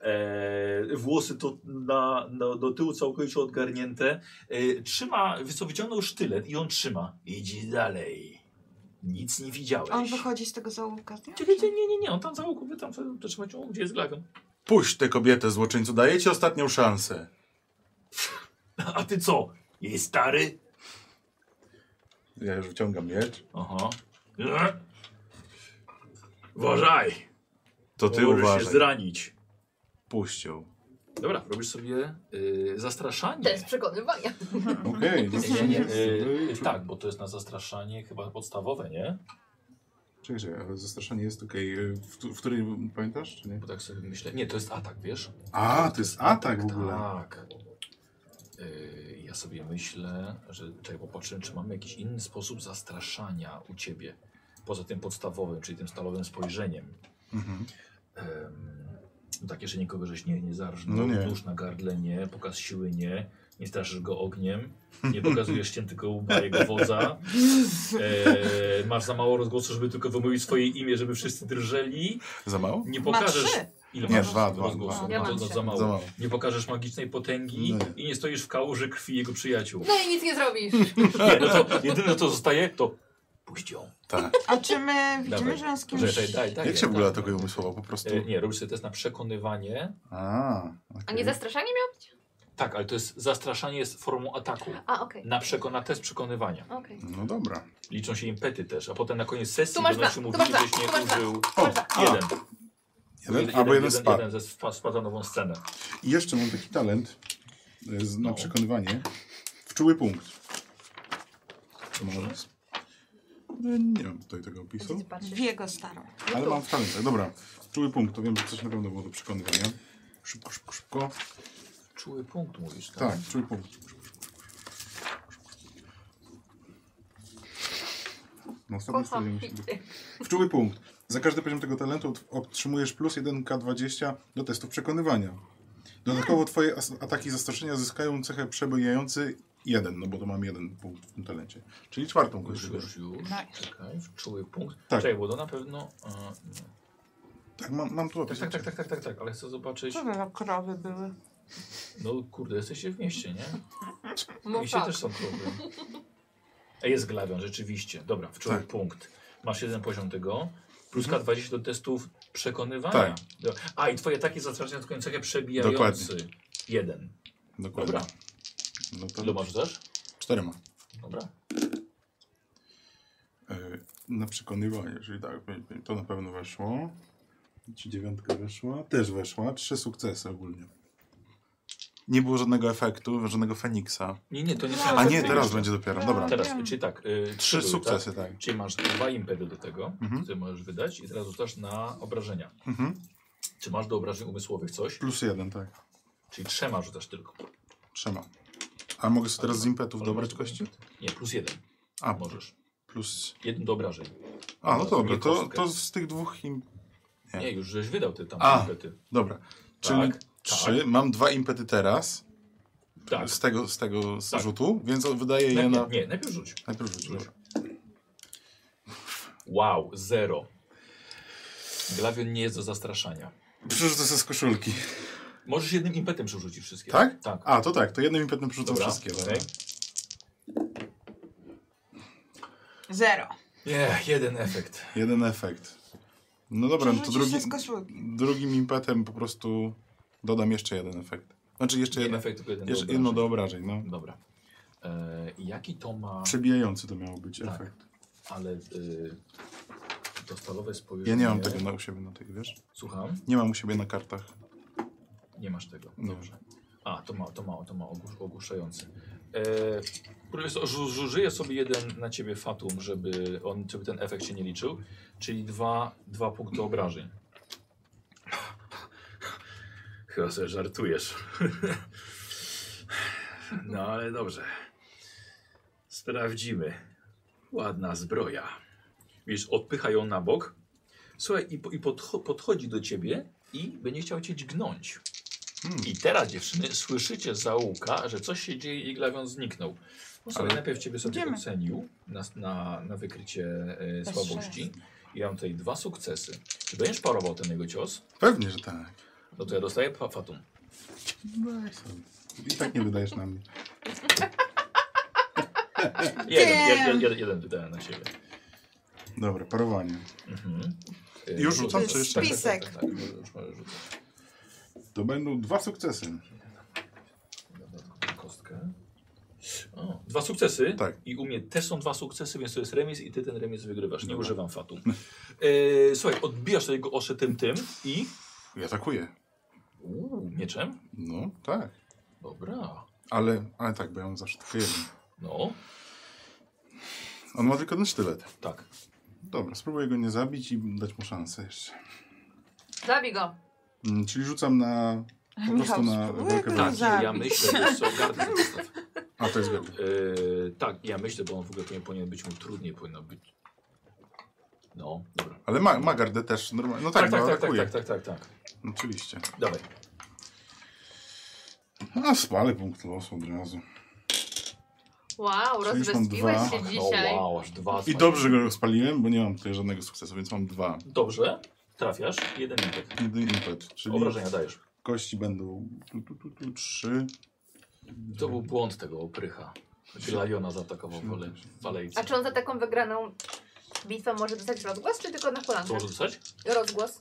[SPEAKER 3] e, włosy to na, na, do tyłu całkowicie odgarnięte. E, trzyma, wiesz co, wyciągnął sztylet i on trzyma. Idź dalej. Nic nie widziałeś.
[SPEAKER 5] On wychodzi z tego zaułka. z nią,
[SPEAKER 3] Czekaj,
[SPEAKER 5] czy-
[SPEAKER 3] nie, nie, nie, nie, on tam za łuku, wy tam sobie trzymać, on gdzie jest glagan.
[SPEAKER 2] Puść tę kobietę, złoczyńcu, daję ci ostatnią szansę.
[SPEAKER 3] A ty co? Jest stary?
[SPEAKER 2] Ja już wyciągam miecz.
[SPEAKER 3] Aha. E? Uważaj,
[SPEAKER 2] To
[SPEAKER 3] bo
[SPEAKER 2] ty
[SPEAKER 3] możesz się
[SPEAKER 2] uważaj.
[SPEAKER 3] zranić.
[SPEAKER 2] Puść ją.
[SPEAKER 3] Dobra, robisz sobie y, zastraszanie.
[SPEAKER 6] Test przekonywania.
[SPEAKER 2] Okej, okay,
[SPEAKER 3] Nie,
[SPEAKER 2] dobrze.
[SPEAKER 3] nie,
[SPEAKER 2] Yy,
[SPEAKER 3] y, tak, bo to jest na zastraszanie chyba podstawowe, nie?
[SPEAKER 2] Czekaj, czekaj, ale zastraszanie jest okej. Okay. W, tu- w której pamiętasz, czy nie?
[SPEAKER 3] Bo tak sobie myślę. Nie, to jest atak, wiesz?
[SPEAKER 2] A, to jest atak w ogóle.
[SPEAKER 3] Tak. Y, ja sobie myślę, że czekaj, popatrzę, czy mamy jakiś inny sposób zastraszania u ciebie. Poza tym podstawowym, czyli tym stalowym spojrzeniem.
[SPEAKER 2] Mhm.
[SPEAKER 3] Em, no tak, jeszcze nikogo żeś nie, nie zarżnął.
[SPEAKER 2] No nie.
[SPEAKER 3] Nóż na gardle nie, pokaz siły nie, nie straszysz go ogniem, nie pokazujesz cię tylko łba jego wodza. E, masz za mało rozgłosu, żeby tylko wymówić swoje imię, żeby wszyscy drżeli.
[SPEAKER 16] Za mało?
[SPEAKER 3] Nie
[SPEAKER 5] Ma
[SPEAKER 3] pokażesz...
[SPEAKER 5] trzy.
[SPEAKER 3] Ile
[SPEAKER 2] Nie,
[SPEAKER 3] masz
[SPEAKER 2] dwa, dwa,
[SPEAKER 3] rozgłosu?
[SPEAKER 2] dwa.
[SPEAKER 3] No,
[SPEAKER 6] Ja mam
[SPEAKER 3] to, to
[SPEAKER 6] trzy.
[SPEAKER 3] za mało.
[SPEAKER 2] Za mało.
[SPEAKER 3] Nie pokażesz magicznej potęgi
[SPEAKER 2] No
[SPEAKER 3] i nie stoisz w kałuży krwi jego przyjaciół.
[SPEAKER 6] No i nic nie zrobisz.
[SPEAKER 3] Nie, no to jedyne co zostaje to puść ją.
[SPEAKER 16] Tak.
[SPEAKER 5] A czy my widzimy, że on z kimś...
[SPEAKER 3] Czekaj, daj, daj,
[SPEAKER 16] Jak się
[SPEAKER 3] daj,
[SPEAKER 16] w ogóle
[SPEAKER 3] daj.
[SPEAKER 16] atakuje umysłowo? Po prostu...
[SPEAKER 3] Tak, E, Nie, robisz sobie test na przekonywanie.
[SPEAKER 2] A, okej.
[SPEAKER 6] A nie zastraszanie miał być?
[SPEAKER 3] Tak, ale to jest zastraszanie jest formą ataku.
[SPEAKER 6] A, okej.
[SPEAKER 3] Na, przeko- na test przekonywania.
[SPEAKER 6] Okej.
[SPEAKER 2] No dobra.
[SPEAKER 3] Liczą się impety też, a potem na koniec sesji
[SPEAKER 6] Tu masz
[SPEAKER 3] będą
[SPEAKER 6] dwa,
[SPEAKER 3] się
[SPEAKER 6] tu
[SPEAKER 3] mówić,
[SPEAKER 6] masz dwa,
[SPEAKER 3] żeś nie
[SPEAKER 6] tu masz dwa.
[SPEAKER 3] użył.
[SPEAKER 2] O,
[SPEAKER 3] Jeden.
[SPEAKER 2] jeden, albo jeden spadł.
[SPEAKER 3] Jeden ze spa- spada nową scenę.
[SPEAKER 2] I jeszcze mam taki talent e, z- na
[SPEAKER 3] No.
[SPEAKER 2] przekonywanie. Wczuły punkt. To może jest? E, Nie mam tutaj tego
[SPEAKER 6] Gdzie
[SPEAKER 2] opisu,
[SPEAKER 6] ty patrzysz?
[SPEAKER 5] W jego starą.
[SPEAKER 2] ale mam w talentach. Dobra, wczuły punkt. To wiem, że coś na pewno było do przekonywania. Szybko, szybko, szybko.
[SPEAKER 3] Czuły punkt mówisz, tak?
[SPEAKER 2] Tak, wczuły punkt. No, ostatnio
[SPEAKER 6] Kocham
[SPEAKER 2] się.
[SPEAKER 6] pity.
[SPEAKER 2] Wczuły punkt. Za każdy poziom tego talentu ot- otrzymujesz plus 1k20 do testów przekonywania. Dodatkowo twoje as- ataki zastraszenia zyskają cechę przebijający 1, no bo to mam jeden punkt w tym talencie. Czyli czwartą
[SPEAKER 3] Już,
[SPEAKER 2] kończymy.
[SPEAKER 3] już, już. Czekaj, czuły punkt.
[SPEAKER 2] Tak.
[SPEAKER 3] Czekaj, bo to na pewno... e,
[SPEAKER 2] Tak, mam, mam tu
[SPEAKER 3] Tak,
[SPEAKER 2] opis.
[SPEAKER 3] tak, tak, tak, tak, tak, tak, ale chcę zobaczyć.
[SPEAKER 5] Co by za krowy były?
[SPEAKER 3] No kurde, jesteście w mieście, nie? W
[SPEAKER 6] No
[SPEAKER 3] mieście
[SPEAKER 6] tak.
[SPEAKER 3] też są krowy. A jest glawion, rzeczywiście. Dobra, wczoraj
[SPEAKER 2] Tak.
[SPEAKER 3] punkt. Masz jeden poziom tego. Plus K20 do testów przekonywania.
[SPEAKER 2] Tak.
[SPEAKER 3] Do- A i twoje takie zastraszenia tylko cechę przebijający.
[SPEAKER 2] Dokładnie.
[SPEAKER 3] Jeden.
[SPEAKER 2] Dokładnie.
[SPEAKER 3] Dobra.
[SPEAKER 2] No to
[SPEAKER 3] Ile masz też?
[SPEAKER 2] czterema.
[SPEAKER 3] Dobra.
[SPEAKER 2] E, na przekonywanie, czyli tak, pe- pe- to na pewno weszło. Ci dziewiątka weszła, też weszła. Trzy sukcesy ogólnie.
[SPEAKER 16] Nie było żadnego efektu, żadnego Feniksa.
[SPEAKER 3] Nie, nie, to
[SPEAKER 5] No,
[SPEAKER 3] nie są
[SPEAKER 16] A nie,
[SPEAKER 3] efekty
[SPEAKER 16] teraz
[SPEAKER 3] jeszcze.
[SPEAKER 16] będzie dopiero. Dobra.
[SPEAKER 3] Teraz, czyli tak. Y,
[SPEAKER 16] Trzy
[SPEAKER 3] były,
[SPEAKER 16] sukcesy, tak.
[SPEAKER 3] Tak? Czyli masz dwa impety do tego,
[SPEAKER 16] Mhm.
[SPEAKER 3] które możesz wydać i teraz rzucasz na obrażenia.
[SPEAKER 16] Mhm.
[SPEAKER 3] Czy masz do obrażeń umysłowych coś?
[SPEAKER 2] Plus jeden, tak.
[SPEAKER 3] Czyli trzema rzucasz tylko.
[SPEAKER 2] Trzema. A mogę sobie teraz z impetów
[SPEAKER 3] Ale
[SPEAKER 2] dobrać
[SPEAKER 3] masz-
[SPEAKER 2] kości?
[SPEAKER 3] Nie, plus jeden.
[SPEAKER 2] A, może.
[SPEAKER 3] Możesz.
[SPEAKER 2] Plus
[SPEAKER 3] Jeden do obrażeń.
[SPEAKER 2] A,
[SPEAKER 3] Na
[SPEAKER 2] no dobra,
[SPEAKER 3] drugiej
[SPEAKER 2] to,
[SPEAKER 3] kostkę.
[SPEAKER 2] to z tych dwóch im... Nie.
[SPEAKER 3] Nie, już żeś wydał te tam
[SPEAKER 2] A.
[SPEAKER 3] impety.
[SPEAKER 2] Dobra, czyli
[SPEAKER 3] tak.
[SPEAKER 2] trzy, mam dwa impety teraz
[SPEAKER 3] Tak.
[SPEAKER 2] z tego, z tego
[SPEAKER 3] Tak.
[SPEAKER 2] rzutu, więc wydaje je na...
[SPEAKER 3] Najpierw, nie, najpierw rzuć.
[SPEAKER 2] Najpierw rzuć,
[SPEAKER 3] Rzuć.
[SPEAKER 2] dobra.
[SPEAKER 3] Wow, zero. Glawion nie jest do zastraszania.
[SPEAKER 2] Przerzucę sobie z koszulki.
[SPEAKER 3] Możesz jednym impetem przerzucić wszystkie.
[SPEAKER 2] Tak?
[SPEAKER 3] Tak.
[SPEAKER 2] A, to tak, to jednym impetem przerzucam
[SPEAKER 3] Dobra,
[SPEAKER 2] wszystkie. Dobra.
[SPEAKER 3] okej.
[SPEAKER 5] Zero.
[SPEAKER 3] Nie, jeden efekt.
[SPEAKER 2] Jeden efekt. No dobra, no to
[SPEAKER 5] Przerzucisz się
[SPEAKER 2] drugi,
[SPEAKER 5] z koszulki.
[SPEAKER 2] drugim impetem po prostu dodam jeszcze jeden efekt. Znaczy jeszcze
[SPEAKER 3] Jeden
[SPEAKER 2] jeden,
[SPEAKER 3] efekt, tylko jeden
[SPEAKER 2] jeszcze
[SPEAKER 3] do
[SPEAKER 2] jedno do
[SPEAKER 3] obrażeń.
[SPEAKER 2] obrażeń, no.
[SPEAKER 3] Dobra. E, jaki to ma...
[SPEAKER 2] Przebijający to miał być
[SPEAKER 3] Tak.
[SPEAKER 2] efekt.
[SPEAKER 3] Ale... Y, to stalowe spojrzenie...
[SPEAKER 2] Ja nie mam tego na, u siebie na tych, wiesz?
[SPEAKER 3] Słucham?
[SPEAKER 2] Nie mam u siebie na kartach.
[SPEAKER 3] Nie masz tego.
[SPEAKER 2] Nie.
[SPEAKER 3] Dobrze. A, to ma, to ma, to ma ogłusz, ogłuszający. E, profesor, żu- żu- żyję sobie jeden na ciebie fatum, żeby, on, żeby ten efekt się nie liczył, czyli dwa, dwa punkty obrażeń. Chyba sobie żartujesz. No ale dobrze. Sprawdzimy. Ładna zbroja. Wiesz, odpycha ją na bok. Słuchaj, i, po- i podcho podchodzi do ciebie i będzie chciał cię dźgnąć.
[SPEAKER 2] Hmm.
[SPEAKER 3] I teraz, dziewczyny, słyszycie z załuka, że coś się dzieje i glawion zniknął. No sobie
[SPEAKER 2] Ale-
[SPEAKER 3] najpierw ciebie sobie
[SPEAKER 5] Idziemy.
[SPEAKER 3] ocenił na, na, na wykrycie e,
[SPEAKER 17] Bez
[SPEAKER 3] słabości. Ja mam tutaj dwa sukcesy. Czy będziesz parował ten jego cios?
[SPEAKER 2] Pewnie, że tak.
[SPEAKER 3] No to ja dostaję fa- fatum.
[SPEAKER 2] Daj sobie. I tak nie wydajesz na mnie.
[SPEAKER 3] Jeden, jeden, jeden, jeden wydaje na siebie.
[SPEAKER 2] Dobra, parowanie.
[SPEAKER 3] Mhm. E,
[SPEAKER 2] Już rzucam,
[SPEAKER 3] to-
[SPEAKER 2] czy jeszcze?
[SPEAKER 3] tak, tak,
[SPEAKER 5] Spisek.
[SPEAKER 3] Tak, tak, tak, Może już może rzucę.
[SPEAKER 2] To będą dwa sukcesy.
[SPEAKER 3] Dodatkową Kostkę. O, dwa sukcesy.
[SPEAKER 2] Tak.
[SPEAKER 3] I u mnie też są dwa sukcesy, więc to jest remis i ty ten remis wygrywasz. Nie
[SPEAKER 2] Dobra.
[SPEAKER 3] używam fatum. E, słuchaj, odbijasz tego oszy tym tym i...
[SPEAKER 2] I atakuję.
[SPEAKER 3] Uuu, Mieczem?
[SPEAKER 2] No, tak.
[SPEAKER 3] Dobra.
[SPEAKER 2] Ale, ale tak, bo ja mam zawsze tylko jeden.
[SPEAKER 3] No,
[SPEAKER 2] On ma tylko ten sztylet.
[SPEAKER 3] tak.
[SPEAKER 2] Dobra, spróbuję go nie zabić i dać mu szansę jeszcze.
[SPEAKER 6] Zabij go.
[SPEAKER 2] Mm, Czyli rzucam na... Po prostu na
[SPEAKER 5] spróbuj
[SPEAKER 2] walkę
[SPEAKER 5] go
[SPEAKER 2] wręcz.
[SPEAKER 3] Tak,
[SPEAKER 5] zabić.
[SPEAKER 3] ja myślę, że co gardę zostaw.
[SPEAKER 2] A, to jest gardło.
[SPEAKER 3] Yy, tak, ja myślę, bo on w ogóle powinien, powinien być mu trudniej, powinno być. No, dobra.
[SPEAKER 2] Ale ma, ma gardę też normalnie. No tak,
[SPEAKER 3] Tak, tak,
[SPEAKER 2] bo
[SPEAKER 3] tak, tak,
[SPEAKER 2] atakuje.
[SPEAKER 3] tak, tak, tak, tak.
[SPEAKER 2] Oczywiście.
[SPEAKER 3] Dawaj.
[SPEAKER 2] A, spalę punkt losu od razu.
[SPEAKER 6] Wow,
[SPEAKER 2] Czyli już mam
[SPEAKER 6] rozwespiłeś
[SPEAKER 2] dwa.
[SPEAKER 6] się dzisiaj.
[SPEAKER 3] No, wow, aż dwa.
[SPEAKER 2] I dobrze go spaliłem, bo nie mam tutaj żadnego sukcesu, więc mam dwa.
[SPEAKER 3] Dobrze, trafiasz. Jeden impet.
[SPEAKER 2] Jeden impet, czyli
[SPEAKER 3] Obrażenia dajesz.
[SPEAKER 2] kości będą tu, tu, tu, tu, trzy.
[SPEAKER 3] To był błąd tego oprycha. Znaczy Lajona zaatakował w ale- w alejce.
[SPEAKER 6] A czy on za taką wygraną bitwę może dostać rozgłos, czy tylko na
[SPEAKER 3] Co
[SPEAKER 6] kolankę?
[SPEAKER 3] może dostać?
[SPEAKER 6] Rozgłos.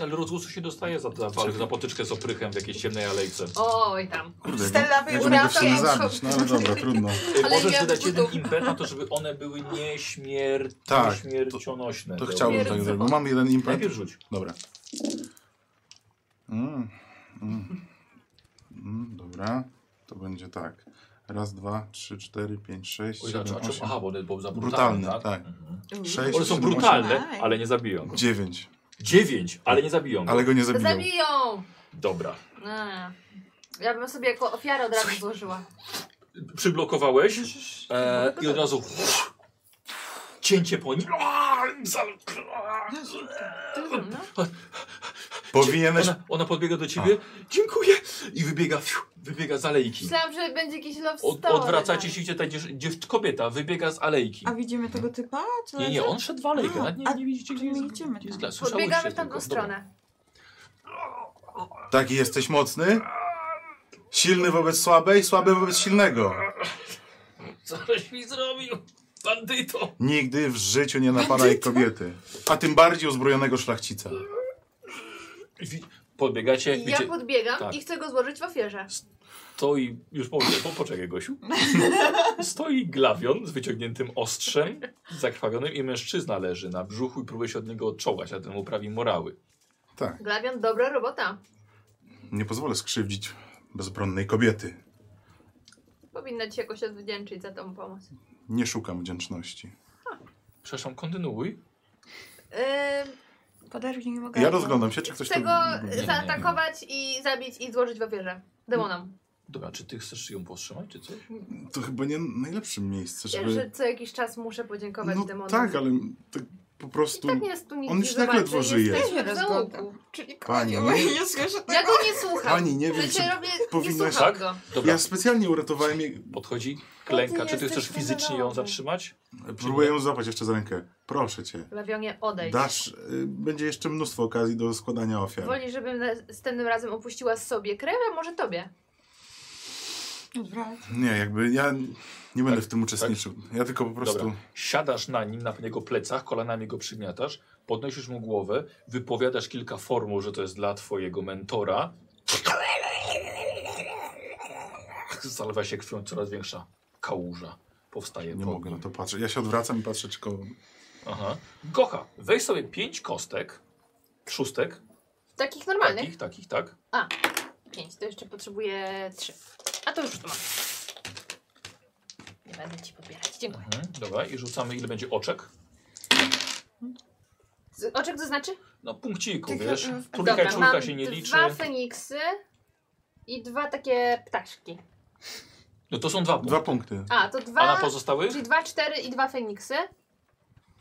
[SPEAKER 3] Ale rozgłosu się dostaje za, za walkę, za potyczkę z oprychem w jakiejś ciemnej alejce.
[SPEAKER 6] Oj tam.
[SPEAKER 2] Kurde,
[SPEAKER 5] Stella
[SPEAKER 2] jak
[SPEAKER 5] wyjmuje
[SPEAKER 2] go w sumie
[SPEAKER 5] ręką.
[SPEAKER 2] zabić, no ale dobra, trudno.
[SPEAKER 3] Ty
[SPEAKER 6] Ale
[SPEAKER 3] Y, możesz
[SPEAKER 6] nie
[SPEAKER 3] wydać jeden
[SPEAKER 6] budów.
[SPEAKER 3] impet na to, żeby one były nieśmier...
[SPEAKER 2] Tak,
[SPEAKER 3] nieśmiercionośne.
[SPEAKER 2] To
[SPEAKER 3] Te
[SPEAKER 2] chciałbym tak
[SPEAKER 3] oprychy.
[SPEAKER 2] zrobić, bo mam jeden impet.
[SPEAKER 3] Najpierw rzuć.
[SPEAKER 2] Dobra. Mm, mm. Mm, dobra, to będzie tak. Raz, dwa, trzy, cztery, pięć, sześć,
[SPEAKER 3] Oj,
[SPEAKER 2] siedem,
[SPEAKER 3] znaczy,
[SPEAKER 2] osiem,
[SPEAKER 3] aha, bo one były za brutalne,
[SPEAKER 2] Brutalne,
[SPEAKER 3] tak?
[SPEAKER 2] tak.
[SPEAKER 3] Mhm.
[SPEAKER 2] sześć,
[SPEAKER 3] One są
[SPEAKER 2] siedem, osiem,
[SPEAKER 3] brutalne,
[SPEAKER 5] osiem.
[SPEAKER 3] ale nie zabiją go.
[SPEAKER 2] dziewięć.
[SPEAKER 3] Dziewięć, ale nie zabiją go.
[SPEAKER 2] Ale go nie
[SPEAKER 6] To
[SPEAKER 2] zabiją.
[SPEAKER 6] zabiją!
[SPEAKER 3] Dobra.
[SPEAKER 6] A. Ja bym sobie jako ofiarę od razu złożyła.
[SPEAKER 3] Przyblokowałeś e, i od razu cięcie po nim.
[SPEAKER 6] No.
[SPEAKER 2] Powinieneś...
[SPEAKER 3] Ona, ona podbiega do ciebie, dziękuję i wybiega, fiu, wybiega z alejki.
[SPEAKER 6] Myślałam, że będzie jakiś love story. no.
[SPEAKER 3] Od, odwracacie
[SPEAKER 6] tam.
[SPEAKER 3] się, gdzie ta dziew, dziew, kobieta wybiega z alejki.
[SPEAKER 5] A widzimy tego typa? Co
[SPEAKER 3] Nie, nie, on szedł w alejkę,
[SPEAKER 5] A,
[SPEAKER 3] nawet nie,
[SPEAKER 5] a
[SPEAKER 3] nie widzicie gdzie
[SPEAKER 5] my
[SPEAKER 3] jest.
[SPEAKER 5] idziemy
[SPEAKER 3] gdzie jest
[SPEAKER 5] tam.
[SPEAKER 3] las. Słyszałyście
[SPEAKER 6] Podbiegamy w
[SPEAKER 3] tylko.
[SPEAKER 6] tamtą stronę.
[SPEAKER 2] Taki jesteś mocny? Silny wobec słabej, słaby wobec silnego.
[SPEAKER 3] Dobra. Coś mi zrobił, bandyto.
[SPEAKER 2] Nigdy w życiu nie napadaj kobiety. A tym bardziej uzbrojonego szlachcica.
[SPEAKER 3] Wi- Podbiegacie,
[SPEAKER 6] I ja
[SPEAKER 3] wiecie,
[SPEAKER 6] podbiegam
[SPEAKER 3] tak.
[SPEAKER 6] i chcę go złożyć w ofierze.
[SPEAKER 3] stoi, już po, po, poczekaj Gosiu, stoi glawion z wyciągniętym ostrzem, zakrwawionym i mężczyzna leży na brzuchu i próbuje się od niego odczołgać, a ten mu prawi morały.
[SPEAKER 2] Tak,
[SPEAKER 6] Glawion, dobra robota.
[SPEAKER 2] nie pozwolę skrzywdzić bezbronnej kobiety.
[SPEAKER 6] Powinna ci jakoś odwdzięczyć za tą pomoc.
[SPEAKER 2] Nie szukam wdzięczności.
[SPEAKER 3] Przepraszam, kontynuuj.
[SPEAKER 6] Yy,
[SPEAKER 5] Podarli nie mogę.
[SPEAKER 2] Ja rozglądam się, czy ktoś
[SPEAKER 6] chcę
[SPEAKER 2] tu...
[SPEAKER 6] go zaatakować i zabić i złożyć w ofierze. Demonom.
[SPEAKER 3] Dobra, czy ty chcesz ją powstrzymać, czy coś?
[SPEAKER 2] To chyba nie najlepszym miejsce,
[SPEAKER 6] Ja, że
[SPEAKER 2] żeby...
[SPEAKER 6] co jakiś czas muszę podziękować
[SPEAKER 2] No
[SPEAKER 6] demonom.
[SPEAKER 2] tak, ale tak po prostu...
[SPEAKER 6] Tak nie jest tu nic
[SPEAKER 2] On
[SPEAKER 6] nie
[SPEAKER 2] już tak
[SPEAKER 6] zobaczy,
[SPEAKER 2] ledwo
[SPEAKER 6] jest
[SPEAKER 2] żyje.
[SPEAKER 6] też w
[SPEAKER 5] Ja się
[SPEAKER 6] załuku.
[SPEAKER 5] rozglądam. Czyli
[SPEAKER 2] Pani, no
[SPEAKER 5] pani,
[SPEAKER 2] nie-
[SPEAKER 5] nie słyszę
[SPEAKER 6] Ja
[SPEAKER 5] tego.
[SPEAKER 6] go nie słucham.
[SPEAKER 2] Pani, nie wiem,
[SPEAKER 6] Życie
[SPEAKER 2] czy
[SPEAKER 6] robię, nie
[SPEAKER 2] powinnaś-
[SPEAKER 6] słucham
[SPEAKER 3] Tak?
[SPEAKER 6] go.
[SPEAKER 3] Dobra,
[SPEAKER 2] Ja specjalnie uratowałem jej...
[SPEAKER 3] podchodzi, klęka.
[SPEAKER 6] Ty
[SPEAKER 3] Czy ty
[SPEAKER 6] jesteś
[SPEAKER 3] chcesz fizycznie ją
[SPEAKER 6] generałem.
[SPEAKER 3] zatrzymać?
[SPEAKER 2] Próbuję ją złapać jeszcze za rękę. Proszę cię.
[SPEAKER 6] Lawionie, odejdź.
[SPEAKER 2] Dasz... y, Będzie jeszcze mnóstwo okazji do składania ofiar.
[SPEAKER 6] Woli, żebym na- następnym razem opuściła sobie krew, a może tobie.
[SPEAKER 5] Dobra.
[SPEAKER 2] Nie, jakby ja nie będę w tym uczestniczył. Ja tylko po prostu...
[SPEAKER 3] Dobra. Siadasz na nim, na jego plecach, kolanami go przygniatasz, podnosisz mu głowę, wypowiadasz kilka formuł, że to jest dla twojego mentora. Zalewa się krwią coraz większa kałuża. Powstaje
[SPEAKER 2] Nie
[SPEAKER 3] po
[SPEAKER 2] mogę na
[SPEAKER 3] nim.
[SPEAKER 2] to patrzeć. Ja się odwracam i patrzę, czy koło...
[SPEAKER 3] Aha. Gocha, weź sobie pięć kostek, szóstek,
[SPEAKER 6] Takich normalnych?
[SPEAKER 3] takich, takich, tak.
[SPEAKER 6] Pięć, to jeszcze potrzebuję trzy. A to już tu mam. Nie będę ci pobierać, dziękuję.
[SPEAKER 3] Mhm. Dobra, i rzucamy ile będzie oczek.
[SPEAKER 6] Z oczek to znaczy?
[SPEAKER 3] No punkciku,
[SPEAKER 5] Tylko,
[SPEAKER 3] wiesz.
[SPEAKER 5] mm,
[SPEAKER 3] Trójka, czwórka
[SPEAKER 6] mam
[SPEAKER 3] się nie liczy.
[SPEAKER 6] dwa feniksy i dwa takie ptaszki.
[SPEAKER 3] No to są dwa punkty.
[SPEAKER 2] Dwa punkty.
[SPEAKER 6] A, to dwa,
[SPEAKER 3] A na pozostałych?
[SPEAKER 6] czyli dwa, cztery i dwa feniksy.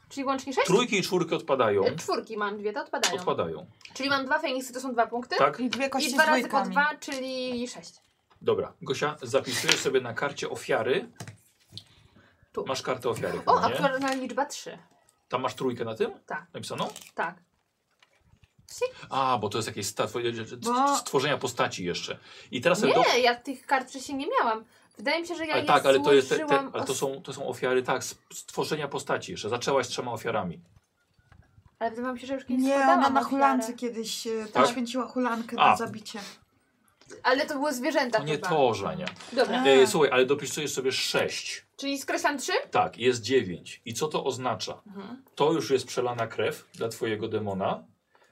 [SPEAKER 6] Czyli łącznie sześć?
[SPEAKER 3] Trójki i czwórki odpadają.
[SPEAKER 6] E, Czwórki mam, dwie to odpadają.
[SPEAKER 3] Odpadają.
[SPEAKER 6] Czyli mam dwa feniksy, to są dwa punkty.
[SPEAKER 3] Tak?
[SPEAKER 5] I dwie kości
[SPEAKER 6] I
[SPEAKER 5] z
[SPEAKER 6] dwa razy po
[SPEAKER 5] dwójkami.
[SPEAKER 6] dwa, czyli sześć.
[SPEAKER 3] Dobra. Gosia, zapisujesz sobie na karcie ofiary.
[SPEAKER 6] Tu.
[SPEAKER 3] Masz kartę ofiary.
[SPEAKER 6] O,
[SPEAKER 3] chyba, nie?
[SPEAKER 6] aktualna liczba trzy.
[SPEAKER 3] Tam masz trójkę na tym?
[SPEAKER 6] Tak.
[SPEAKER 3] Napisaną?
[SPEAKER 6] Tak.
[SPEAKER 3] A, bo to jest jakieś sta-
[SPEAKER 5] Bo-
[SPEAKER 3] stworzenia postaci jeszcze. I teraz sobie do...
[SPEAKER 6] Nie, ja tych kart wcześniej nie miałam. Wydaje mi się, że ja
[SPEAKER 3] ale
[SPEAKER 6] je
[SPEAKER 3] tak, ale to, jest te, te,
[SPEAKER 6] złożyłam
[SPEAKER 3] ale to,
[SPEAKER 6] os-
[SPEAKER 3] są, to są ofiary, tak, s- stworzenia postaci jeszcze. Zaczęłaś trzema ofiarami.
[SPEAKER 6] Ale wydaje mi się, że już kiedyś
[SPEAKER 5] Nie,
[SPEAKER 6] składałam
[SPEAKER 5] ona na
[SPEAKER 6] ofiarę.
[SPEAKER 5] hulance kiedyś e,
[SPEAKER 3] Tak?
[SPEAKER 5] poświęciła hulankę
[SPEAKER 3] A.
[SPEAKER 5] na zabicie.
[SPEAKER 6] Ale to były zwierzęta
[SPEAKER 3] To nie
[SPEAKER 6] chyba.
[SPEAKER 3] to, Żania.
[SPEAKER 6] Dobra,
[SPEAKER 3] E, słuchaj, ale dopisujesz sobie sześć.
[SPEAKER 6] czyli skreślam trzy?
[SPEAKER 3] Tak, jest dziewięć. I co to oznacza?
[SPEAKER 6] Mhm.
[SPEAKER 3] To już jest przelana krew dla twojego demona.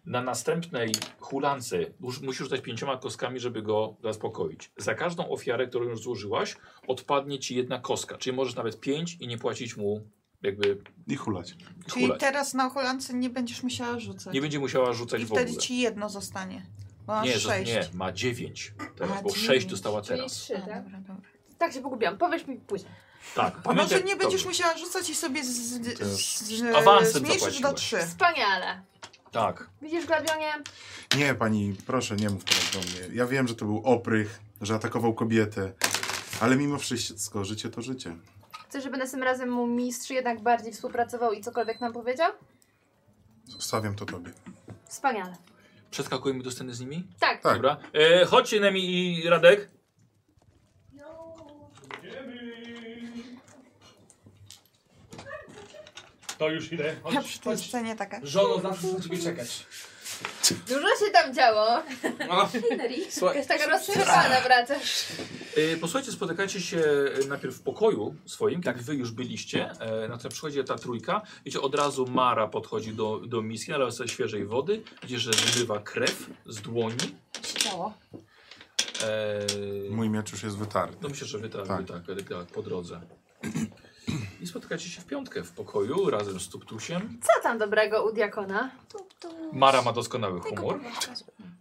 [SPEAKER 3] Na następnej hulance mus- musisz dać pięcioma kostkami, żeby go zaspokoić. Za każdą ofiarę, którą już złożyłaś, odpadnie ci jedna kostka. Czyli możesz nawet pięć i nie płacić mu jakby
[SPEAKER 2] I hulać.
[SPEAKER 5] Czyli
[SPEAKER 3] hulać.
[SPEAKER 5] teraz na hulance nie będziesz musiała rzucać.
[SPEAKER 3] Nie będzie musiała rzucać
[SPEAKER 5] I
[SPEAKER 3] w ogóle.
[SPEAKER 5] wtedy ci jedno zostanie. Bo masz
[SPEAKER 3] Nie,
[SPEAKER 5] nie,
[SPEAKER 3] że-
[SPEAKER 5] sześć.
[SPEAKER 3] nie, ma dziewięć teraz,
[SPEAKER 5] A,
[SPEAKER 3] bo sześć
[SPEAKER 5] dziewięć,
[SPEAKER 3] dostała
[SPEAKER 6] Czyli
[SPEAKER 3] teraz.
[SPEAKER 6] trzy,
[SPEAKER 5] A,
[SPEAKER 6] tak?
[SPEAKER 5] dobra, dobra.
[SPEAKER 6] Tak się pogubiłam, powiesz mi później.
[SPEAKER 3] Tak.
[SPEAKER 5] A może
[SPEAKER 3] Pamiętaj-
[SPEAKER 5] nie będziesz
[SPEAKER 3] dobrze.
[SPEAKER 5] musiała rzucać i sobie z, z, z,
[SPEAKER 3] Awansem
[SPEAKER 5] zmniejszysz do
[SPEAKER 3] zapłaciłaś.
[SPEAKER 5] trzy.
[SPEAKER 6] Wspaniale.
[SPEAKER 3] Tak.
[SPEAKER 6] Widzisz, Glabionie?
[SPEAKER 2] Nie, pani, proszę, nie mów teraz do mnie. Ja wiem, że to był oprych, że atakował kobietę, ale mimo wszystko życie to życie.
[SPEAKER 6] Chcesz, żeby następnym razem mu mistrz jednak bardziej współpracował i cokolwiek nam powiedział?
[SPEAKER 2] Zostawiam to tobie.
[SPEAKER 6] Wspaniale.
[SPEAKER 18] Przeskakujemy do sceny z nimi?
[SPEAKER 6] Tak.
[SPEAKER 2] Tak.
[SPEAKER 3] Dobra. E, chodźcie Nemi i Radek.
[SPEAKER 19] To już idę.
[SPEAKER 5] Ja przy
[SPEAKER 19] Chodź,
[SPEAKER 5] tej
[SPEAKER 19] chodź.
[SPEAKER 5] scenie taka.
[SPEAKER 19] Żono, zawsze muszę ciebie czekać.
[SPEAKER 6] Dużo się tam działo.
[SPEAKER 1] No,
[SPEAKER 6] Henry,
[SPEAKER 1] słuchaj,
[SPEAKER 6] jakaś taka rozszerzana wracasz.
[SPEAKER 18] E, posłuchajcie, spotykacie się e, najpierw w pokoju swoim, tak wy już byliście. E, na tym przychodzi ta trójka. Wiecie, od razu Mara podchodzi do, do miski, nalewa sobie świeżej wody. Widzicie, że zbywa krew z dłoni.
[SPEAKER 7] się działo.
[SPEAKER 18] E,
[SPEAKER 2] Mój miecz już jest wytarty.
[SPEAKER 18] No myślę, że wy tak,
[SPEAKER 2] Tak.
[SPEAKER 18] Wy tak, wy tak po drodze. I spotkacie się w piątkę w pokoju razem z Tuptusiem.
[SPEAKER 6] Co tam dobrego u diakona?
[SPEAKER 18] Mara ma doskonały humor.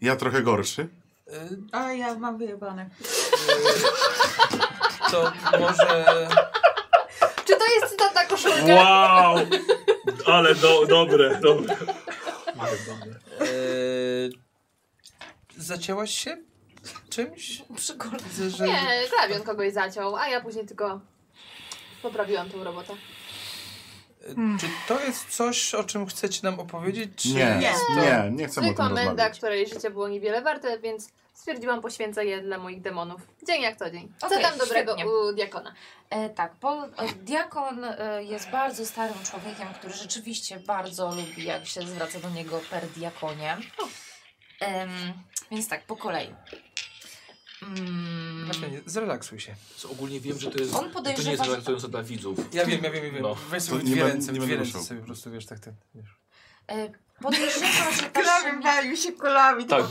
[SPEAKER 2] Ja trochę gorszy.
[SPEAKER 1] y,
[SPEAKER 5] A ja mam wyjebane.
[SPEAKER 1] to może...
[SPEAKER 6] Czy to jest cytat na koszulkę?
[SPEAKER 3] Wow! Ale do, dobre, dobre.
[SPEAKER 1] y, zacięłaś się czymś? Że, e, że...
[SPEAKER 6] Nie, Glabion kogoś zaciął, a ja później tylko poprawiłam tą robotę.
[SPEAKER 1] Czy to jest coś, o czym chcecie nam opowiedzieć? Czy
[SPEAKER 2] Nie,
[SPEAKER 1] jest to-
[SPEAKER 2] nie, nie chcę o tym
[SPEAKER 6] Zwykła menda,
[SPEAKER 2] rozmawiać.
[SPEAKER 6] której życie było niewiele warte, więc stwierdziłam poświęcę je dla moich demonów. Dzień jak co dzień. Co
[SPEAKER 20] Okej,
[SPEAKER 6] tam dobrego
[SPEAKER 20] świetnie.
[SPEAKER 6] u diakona?
[SPEAKER 7] E, tak, bo e, diakon e, jest bardzo starym człowiekiem, który rzeczywiście bardzo lubi, jak się zwraca do niego per diakonie. Em, więc tak, po kolei. Mm,
[SPEAKER 1] Znaczy, nie, zrelaksuj się.
[SPEAKER 18] Co ogólnie wiem, że to jest.
[SPEAKER 7] On
[SPEAKER 18] To nie
[SPEAKER 7] podejrzewa,
[SPEAKER 18] jest
[SPEAKER 7] że-
[SPEAKER 18] relaksujące dla widzów.
[SPEAKER 1] Ja wiem, ja wiem, ja wiem.
[SPEAKER 18] No.
[SPEAKER 1] Weź sobie
[SPEAKER 2] To
[SPEAKER 1] dwie
[SPEAKER 2] nie będę-
[SPEAKER 1] ręce,
[SPEAKER 2] nie
[SPEAKER 1] dwie
[SPEAKER 2] będę
[SPEAKER 1] ręce
[SPEAKER 2] ruszał.
[SPEAKER 1] sobie po prostu, wiesz, tak ten... Wiesz.
[SPEAKER 7] e, podejrzewa, że ta
[SPEAKER 5] Kulami
[SPEAKER 7] szmia...
[SPEAKER 5] walił się kulami.
[SPEAKER 3] Tak,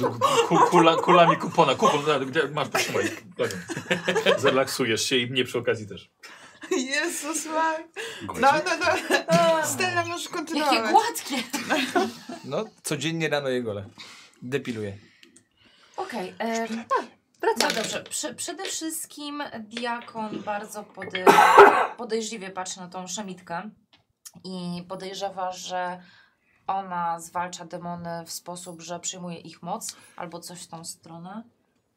[SPEAKER 3] ku, kula, kulami kupona. Kupon, da- gdzie- masz potrzymaj. Dobra. Zrelaksujesz się i mnie przy okazji też.
[SPEAKER 5] Jezus Maria. No, no, no. Stella, możesz
[SPEAKER 7] Jakie
[SPEAKER 5] kontynuować.
[SPEAKER 7] gładkie!
[SPEAKER 1] No, codziennie rano je gole. Depiluję.
[SPEAKER 7] Okej, okay,
[SPEAKER 6] Wracamy.
[SPEAKER 7] No dobrze, Prze- przede wszystkim diakon bardzo pode- podejrzliwie patrzy na tą szemitkę i podejrzewa, że ona zwalcza demony w sposób, że przyjmuje ich moc albo coś w tą stronę.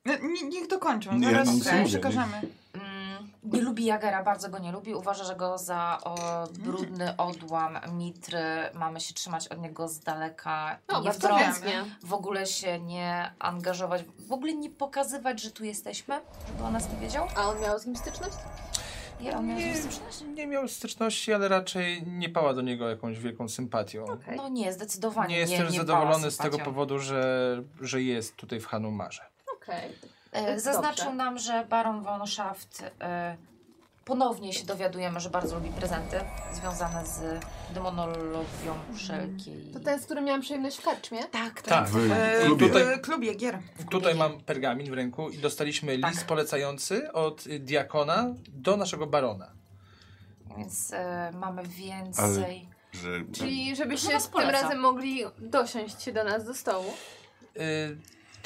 [SPEAKER 5] No, ni- niech dokończą,
[SPEAKER 2] Nie,
[SPEAKER 5] zaraz
[SPEAKER 2] nic nie
[SPEAKER 5] okay.
[SPEAKER 2] mówię,
[SPEAKER 5] przekażemy.
[SPEAKER 7] Mm, nie lubi Jagera, bardzo go nie lubi. Uważa, że go za o, brudny odłam mitry. Mamy się trzymać od niego z daleka. i
[SPEAKER 6] No,
[SPEAKER 7] nie
[SPEAKER 6] bardzo
[SPEAKER 7] wtrącać
[SPEAKER 6] chętnie.
[SPEAKER 7] w ogóle się nie angażować, w ogóle nie pokazywać, że tu jesteśmy, żeby o nas nie wiedział.
[SPEAKER 6] A on miał z nim styczność?
[SPEAKER 7] Ja on miał
[SPEAKER 1] Nie.
[SPEAKER 7] z tym styczność?
[SPEAKER 1] Nie miał styczności, ale raczej nie pała do niego jakąś wielką sympatią.
[SPEAKER 6] Okej.
[SPEAKER 7] No nie, zdecydowanie
[SPEAKER 1] Nie jest
[SPEAKER 7] nie,
[SPEAKER 1] też
[SPEAKER 7] nie
[SPEAKER 1] zadowolony
[SPEAKER 7] pała
[SPEAKER 1] z tego
[SPEAKER 7] sympatią.
[SPEAKER 1] powodu, że, że jest tutaj w Hanumarze.
[SPEAKER 6] Okej.
[SPEAKER 7] E, Zaznaczył nam, że baron von Schaft e, ponownie się dowiadujemy, że bardzo lubi prezenty związane z demonologią wszelkiej.
[SPEAKER 6] To ten, z którym miałam przyjemność w karczmie?
[SPEAKER 7] Tak, tak.
[SPEAKER 1] Tak.
[SPEAKER 2] W
[SPEAKER 5] E,
[SPEAKER 2] klubie.
[SPEAKER 1] tutaj-
[SPEAKER 5] w klubie gier.
[SPEAKER 1] Tutaj mam pergamin w ręku i dostaliśmy
[SPEAKER 7] Tak.
[SPEAKER 1] list polecający od y, diakona do naszego barona.
[SPEAKER 7] Więc e, mamy więcej.
[SPEAKER 2] Że...
[SPEAKER 6] Czyli żebyście
[SPEAKER 7] Chyba
[SPEAKER 6] z tym
[SPEAKER 7] poleca.
[SPEAKER 6] razem mogli dosiąść się do nas do stołu.
[SPEAKER 1] Y,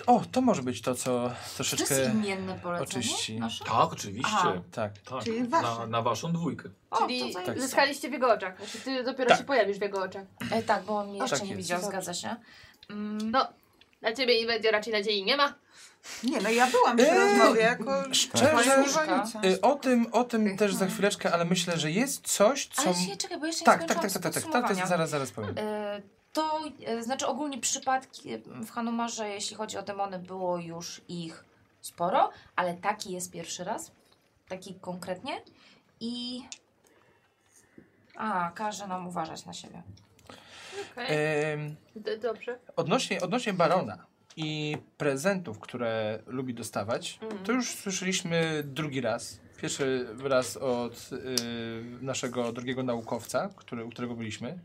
[SPEAKER 1] o, to może być to, co
[SPEAKER 7] Czy to jest
[SPEAKER 1] troszeczkę...
[SPEAKER 7] imienne polecenie
[SPEAKER 1] oczyści.
[SPEAKER 7] nasze?
[SPEAKER 18] Tak, oczywiście.
[SPEAKER 7] A.
[SPEAKER 1] Tak.
[SPEAKER 18] Tak.
[SPEAKER 5] Czyli
[SPEAKER 18] Na,
[SPEAKER 5] wasze.
[SPEAKER 18] na waszą dwójkę.
[SPEAKER 7] O, to
[SPEAKER 6] Czyli
[SPEAKER 7] zajebiste.
[SPEAKER 6] zyskaliście w jego oczach. Znaczy, ty dopiero
[SPEAKER 1] Tak.
[SPEAKER 6] się pojawisz w jego oczach.
[SPEAKER 7] E, tak, bo on mnie jeszcze
[SPEAKER 1] Tak
[SPEAKER 7] nie
[SPEAKER 1] jest.
[SPEAKER 7] widział,
[SPEAKER 6] Dobrze.
[SPEAKER 7] zgadza się. Mm,
[SPEAKER 6] No, na ciebie i będzie raczej nadziei nie ma.
[SPEAKER 5] Nie, no ja byłam przy
[SPEAKER 1] Eee,
[SPEAKER 5] rozmowie jako
[SPEAKER 1] Szczerze,
[SPEAKER 5] twoja służka.
[SPEAKER 1] y, o tym, o tym też za chwileczkę, ale myślę, że jest coś, co...
[SPEAKER 7] Ale się, czekaj, bo jeszcze
[SPEAKER 1] Tak,
[SPEAKER 7] nie
[SPEAKER 1] tak, tak,
[SPEAKER 7] skończyłam
[SPEAKER 1] tak, tak, tak, tak,
[SPEAKER 7] podsumowania.
[SPEAKER 1] to zaraz, zaraz powiem.
[SPEAKER 7] E, To e, znaczy ogólnie przypadki e, w Hanumarze, jeśli chodzi o demony, było już ich sporo, ale taki jest pierwszy raz. Taki konkretnie. I. A, każe nam uważać na siebie.
[SPEAKER 6] Okej.
[SPEAKER 1] Ym,
[SPEAKER 6] D- Dobrze.
[SPEAKER 1] Odnośnie, odnośnie barona i prezentów, które lubi dostawać, to
[SPEAKER 5] Mm.
[SPEAKER 1] już słyszeliśmy drugi raz. Pierwszy raz od y, naszego drugiego naukowca, który, u którego byliśmy.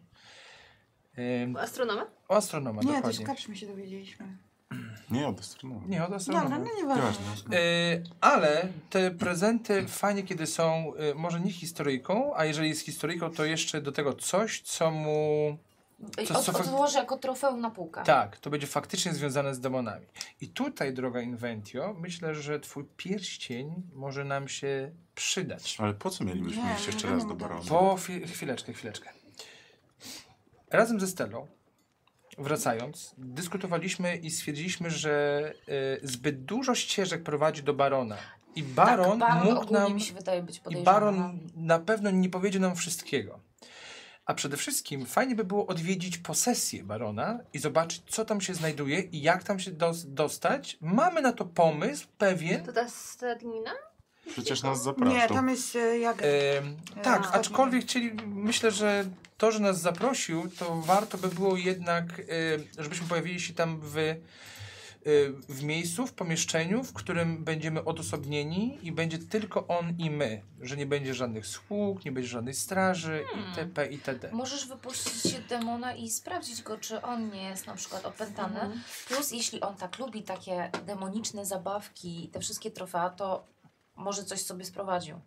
[SPEAKER 1] Ym,
[SPEAKER 6] Astronoma?
[SPEAKER 1] o astronoma,
[SPEAKER 5] Nie, to z
[SPEAKER 1] dokładnie.
[SPEAKER 5] Karczmy się dowiedzieliśmy.
[SPEAKER 21] Nie, od astronomii.
[SPEAKER 1] Nie, od
[SPEAKER 5] Dobra,
[SPEAKER 1] astronoma.
[SPEAKER 5] no nieważne.
[SPEAKER 1] Y, ale te prezenty fajnie, kiedy są y, może nie historyjką, a jeżeli jest historyjką, to jeszcze do tego coś, co mu.
[SPEAKER 7] I
[SPEAKER 1] Co-
[SPEAKER 7] od,
[SPEAKER 1] co-
[SPEAKER 7] odłożę jako trofeum na półkę.
[SPEAKER 1] Tak, to będzie faktycznie związane z demonami. I tutaj, droga Inventio, myślę, że twój pierścień może nam się przydać.
[SPEAKER 21] Ale po co mielibyśmy
[SPEAKER 5] Nie,
[SPEAKER 21] iść jeszcze
[SPEAKER 5] nie
[SPEAKER 21] raz do
[SPEAKER 5] mam
[SPEAKER 21] barona?
[SPEAKER 1] Po chwi- chwileczkę, chwileczkę. Razem ze Stellą, wracając, dyskutowaliśmy i stwierdziliśmy, że y, zbyt dużo ścieżek prowadzi do barona. I baron,
[SPEAKER 7] tak, baron
[SPEAKER 1] mógł
[SPEAKER 7] ogólnie
[SPEAKER 1] nam.
[SPEAKER 7] mi się wydaje być
[SPEAKER 1] I
[SPEAKER 7] podejrzany.
[SPEAKER 1] baron na pewno nie powiedział nam wszystkiego. A przede wszystkim fajnie by było odwiedzić posesję barona i zobaczyć, co tam się znajduje i jak tam się dos- dostać. Mamy na to pomysł pewien.
[SPEAKER 6] To ta stadnina?
[SPEAKER 21] Przecież nas
[SPEAKER 5] Nie,
[SPEAKER 21] zapraszał.
[SPEAKER 5] tam jest e, jak...
[SPEAKER 1] Em, tak,
[SPEAKER 5] ostatnio.
[SPEAKER 1] aczkolwiek chcieli, myślę, że to, że nas zaprosił, to warto by było jednak, e, żebyśmy pojawili się tam w, e, w miejscu, w pomieszczeniu, w którym będziemy odosobnieni i będzie tylko on i my, że nie będzie żadnych sług, nie będzie żadnej straży itp. itd.
[SPEAKER 7] Możesz wypuścić demona i sprawdzić go, czy on nie jest na przykład opętany.
[SPEAKER 6] Mhm.
[SPEAKER 7] Plus, jeśli on tak lubi takie demoniczne zabawki i te wszystkie trofea, to może coś sobie sprowadził.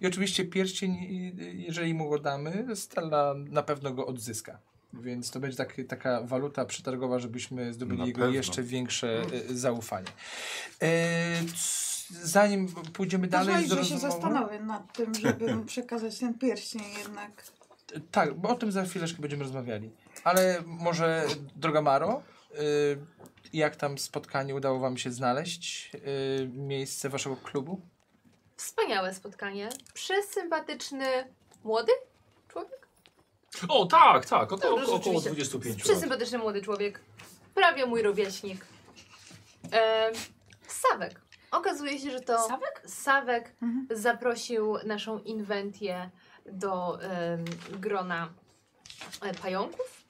[SPEAKER 1] I oczywiście pierścień, i- i- jeżeli mu go damy, Stella na pewno go odzyska. Więc to będzie taki, taka waluta przetargowa, żebyśmy zdobyli
[SPEAKER 21] Na
[SPEAKER 1] jego
[SPEAKER 21] pewno.
[SPEAKER 1] jeszcze większe e, zaufanie. E, c- zanim pójdziemy dalej
[SPEAKER 5] Pozwolić,
[SPEAKER 1] z
[SPEAKER 5] że się
[SPEAKER 1] rozmową-
[SPEAKER 5] zastanowię nad tym, żeby mu przekazać ten pierścień jednak.
[SPEAKER 1] E, Tak, bo o tym za chwileczkę będziemy rozmawiali. Ale może, droga Maro, e, jak tam spotkanie udało wam się znaleźć? E, miejsce waszego klubu?
[SPEAKER 6] Wspaniałe spotkanie. Przesympatyczny młody człowiek?
[SPEAKER 9] O, tak, tak,
[SPEAKER 6] No,
[SPEAKER 9] około, około
[SPEAKER 6] rzeczywiście.
[SPEAKER 9] 25 lat.
[SPEAKER 6] Przesympatyczny młody człowiek. Prawie mój rówieśnik. E, Sawek. Okazuje się, że to
[SPEAKER 7] Sawek?
[SPEAKER 6] Sawek
[SPEAKER 5] Mhm.
[SPEAKER 6] zaprosił naszą inwentję do em, grona e, pająków.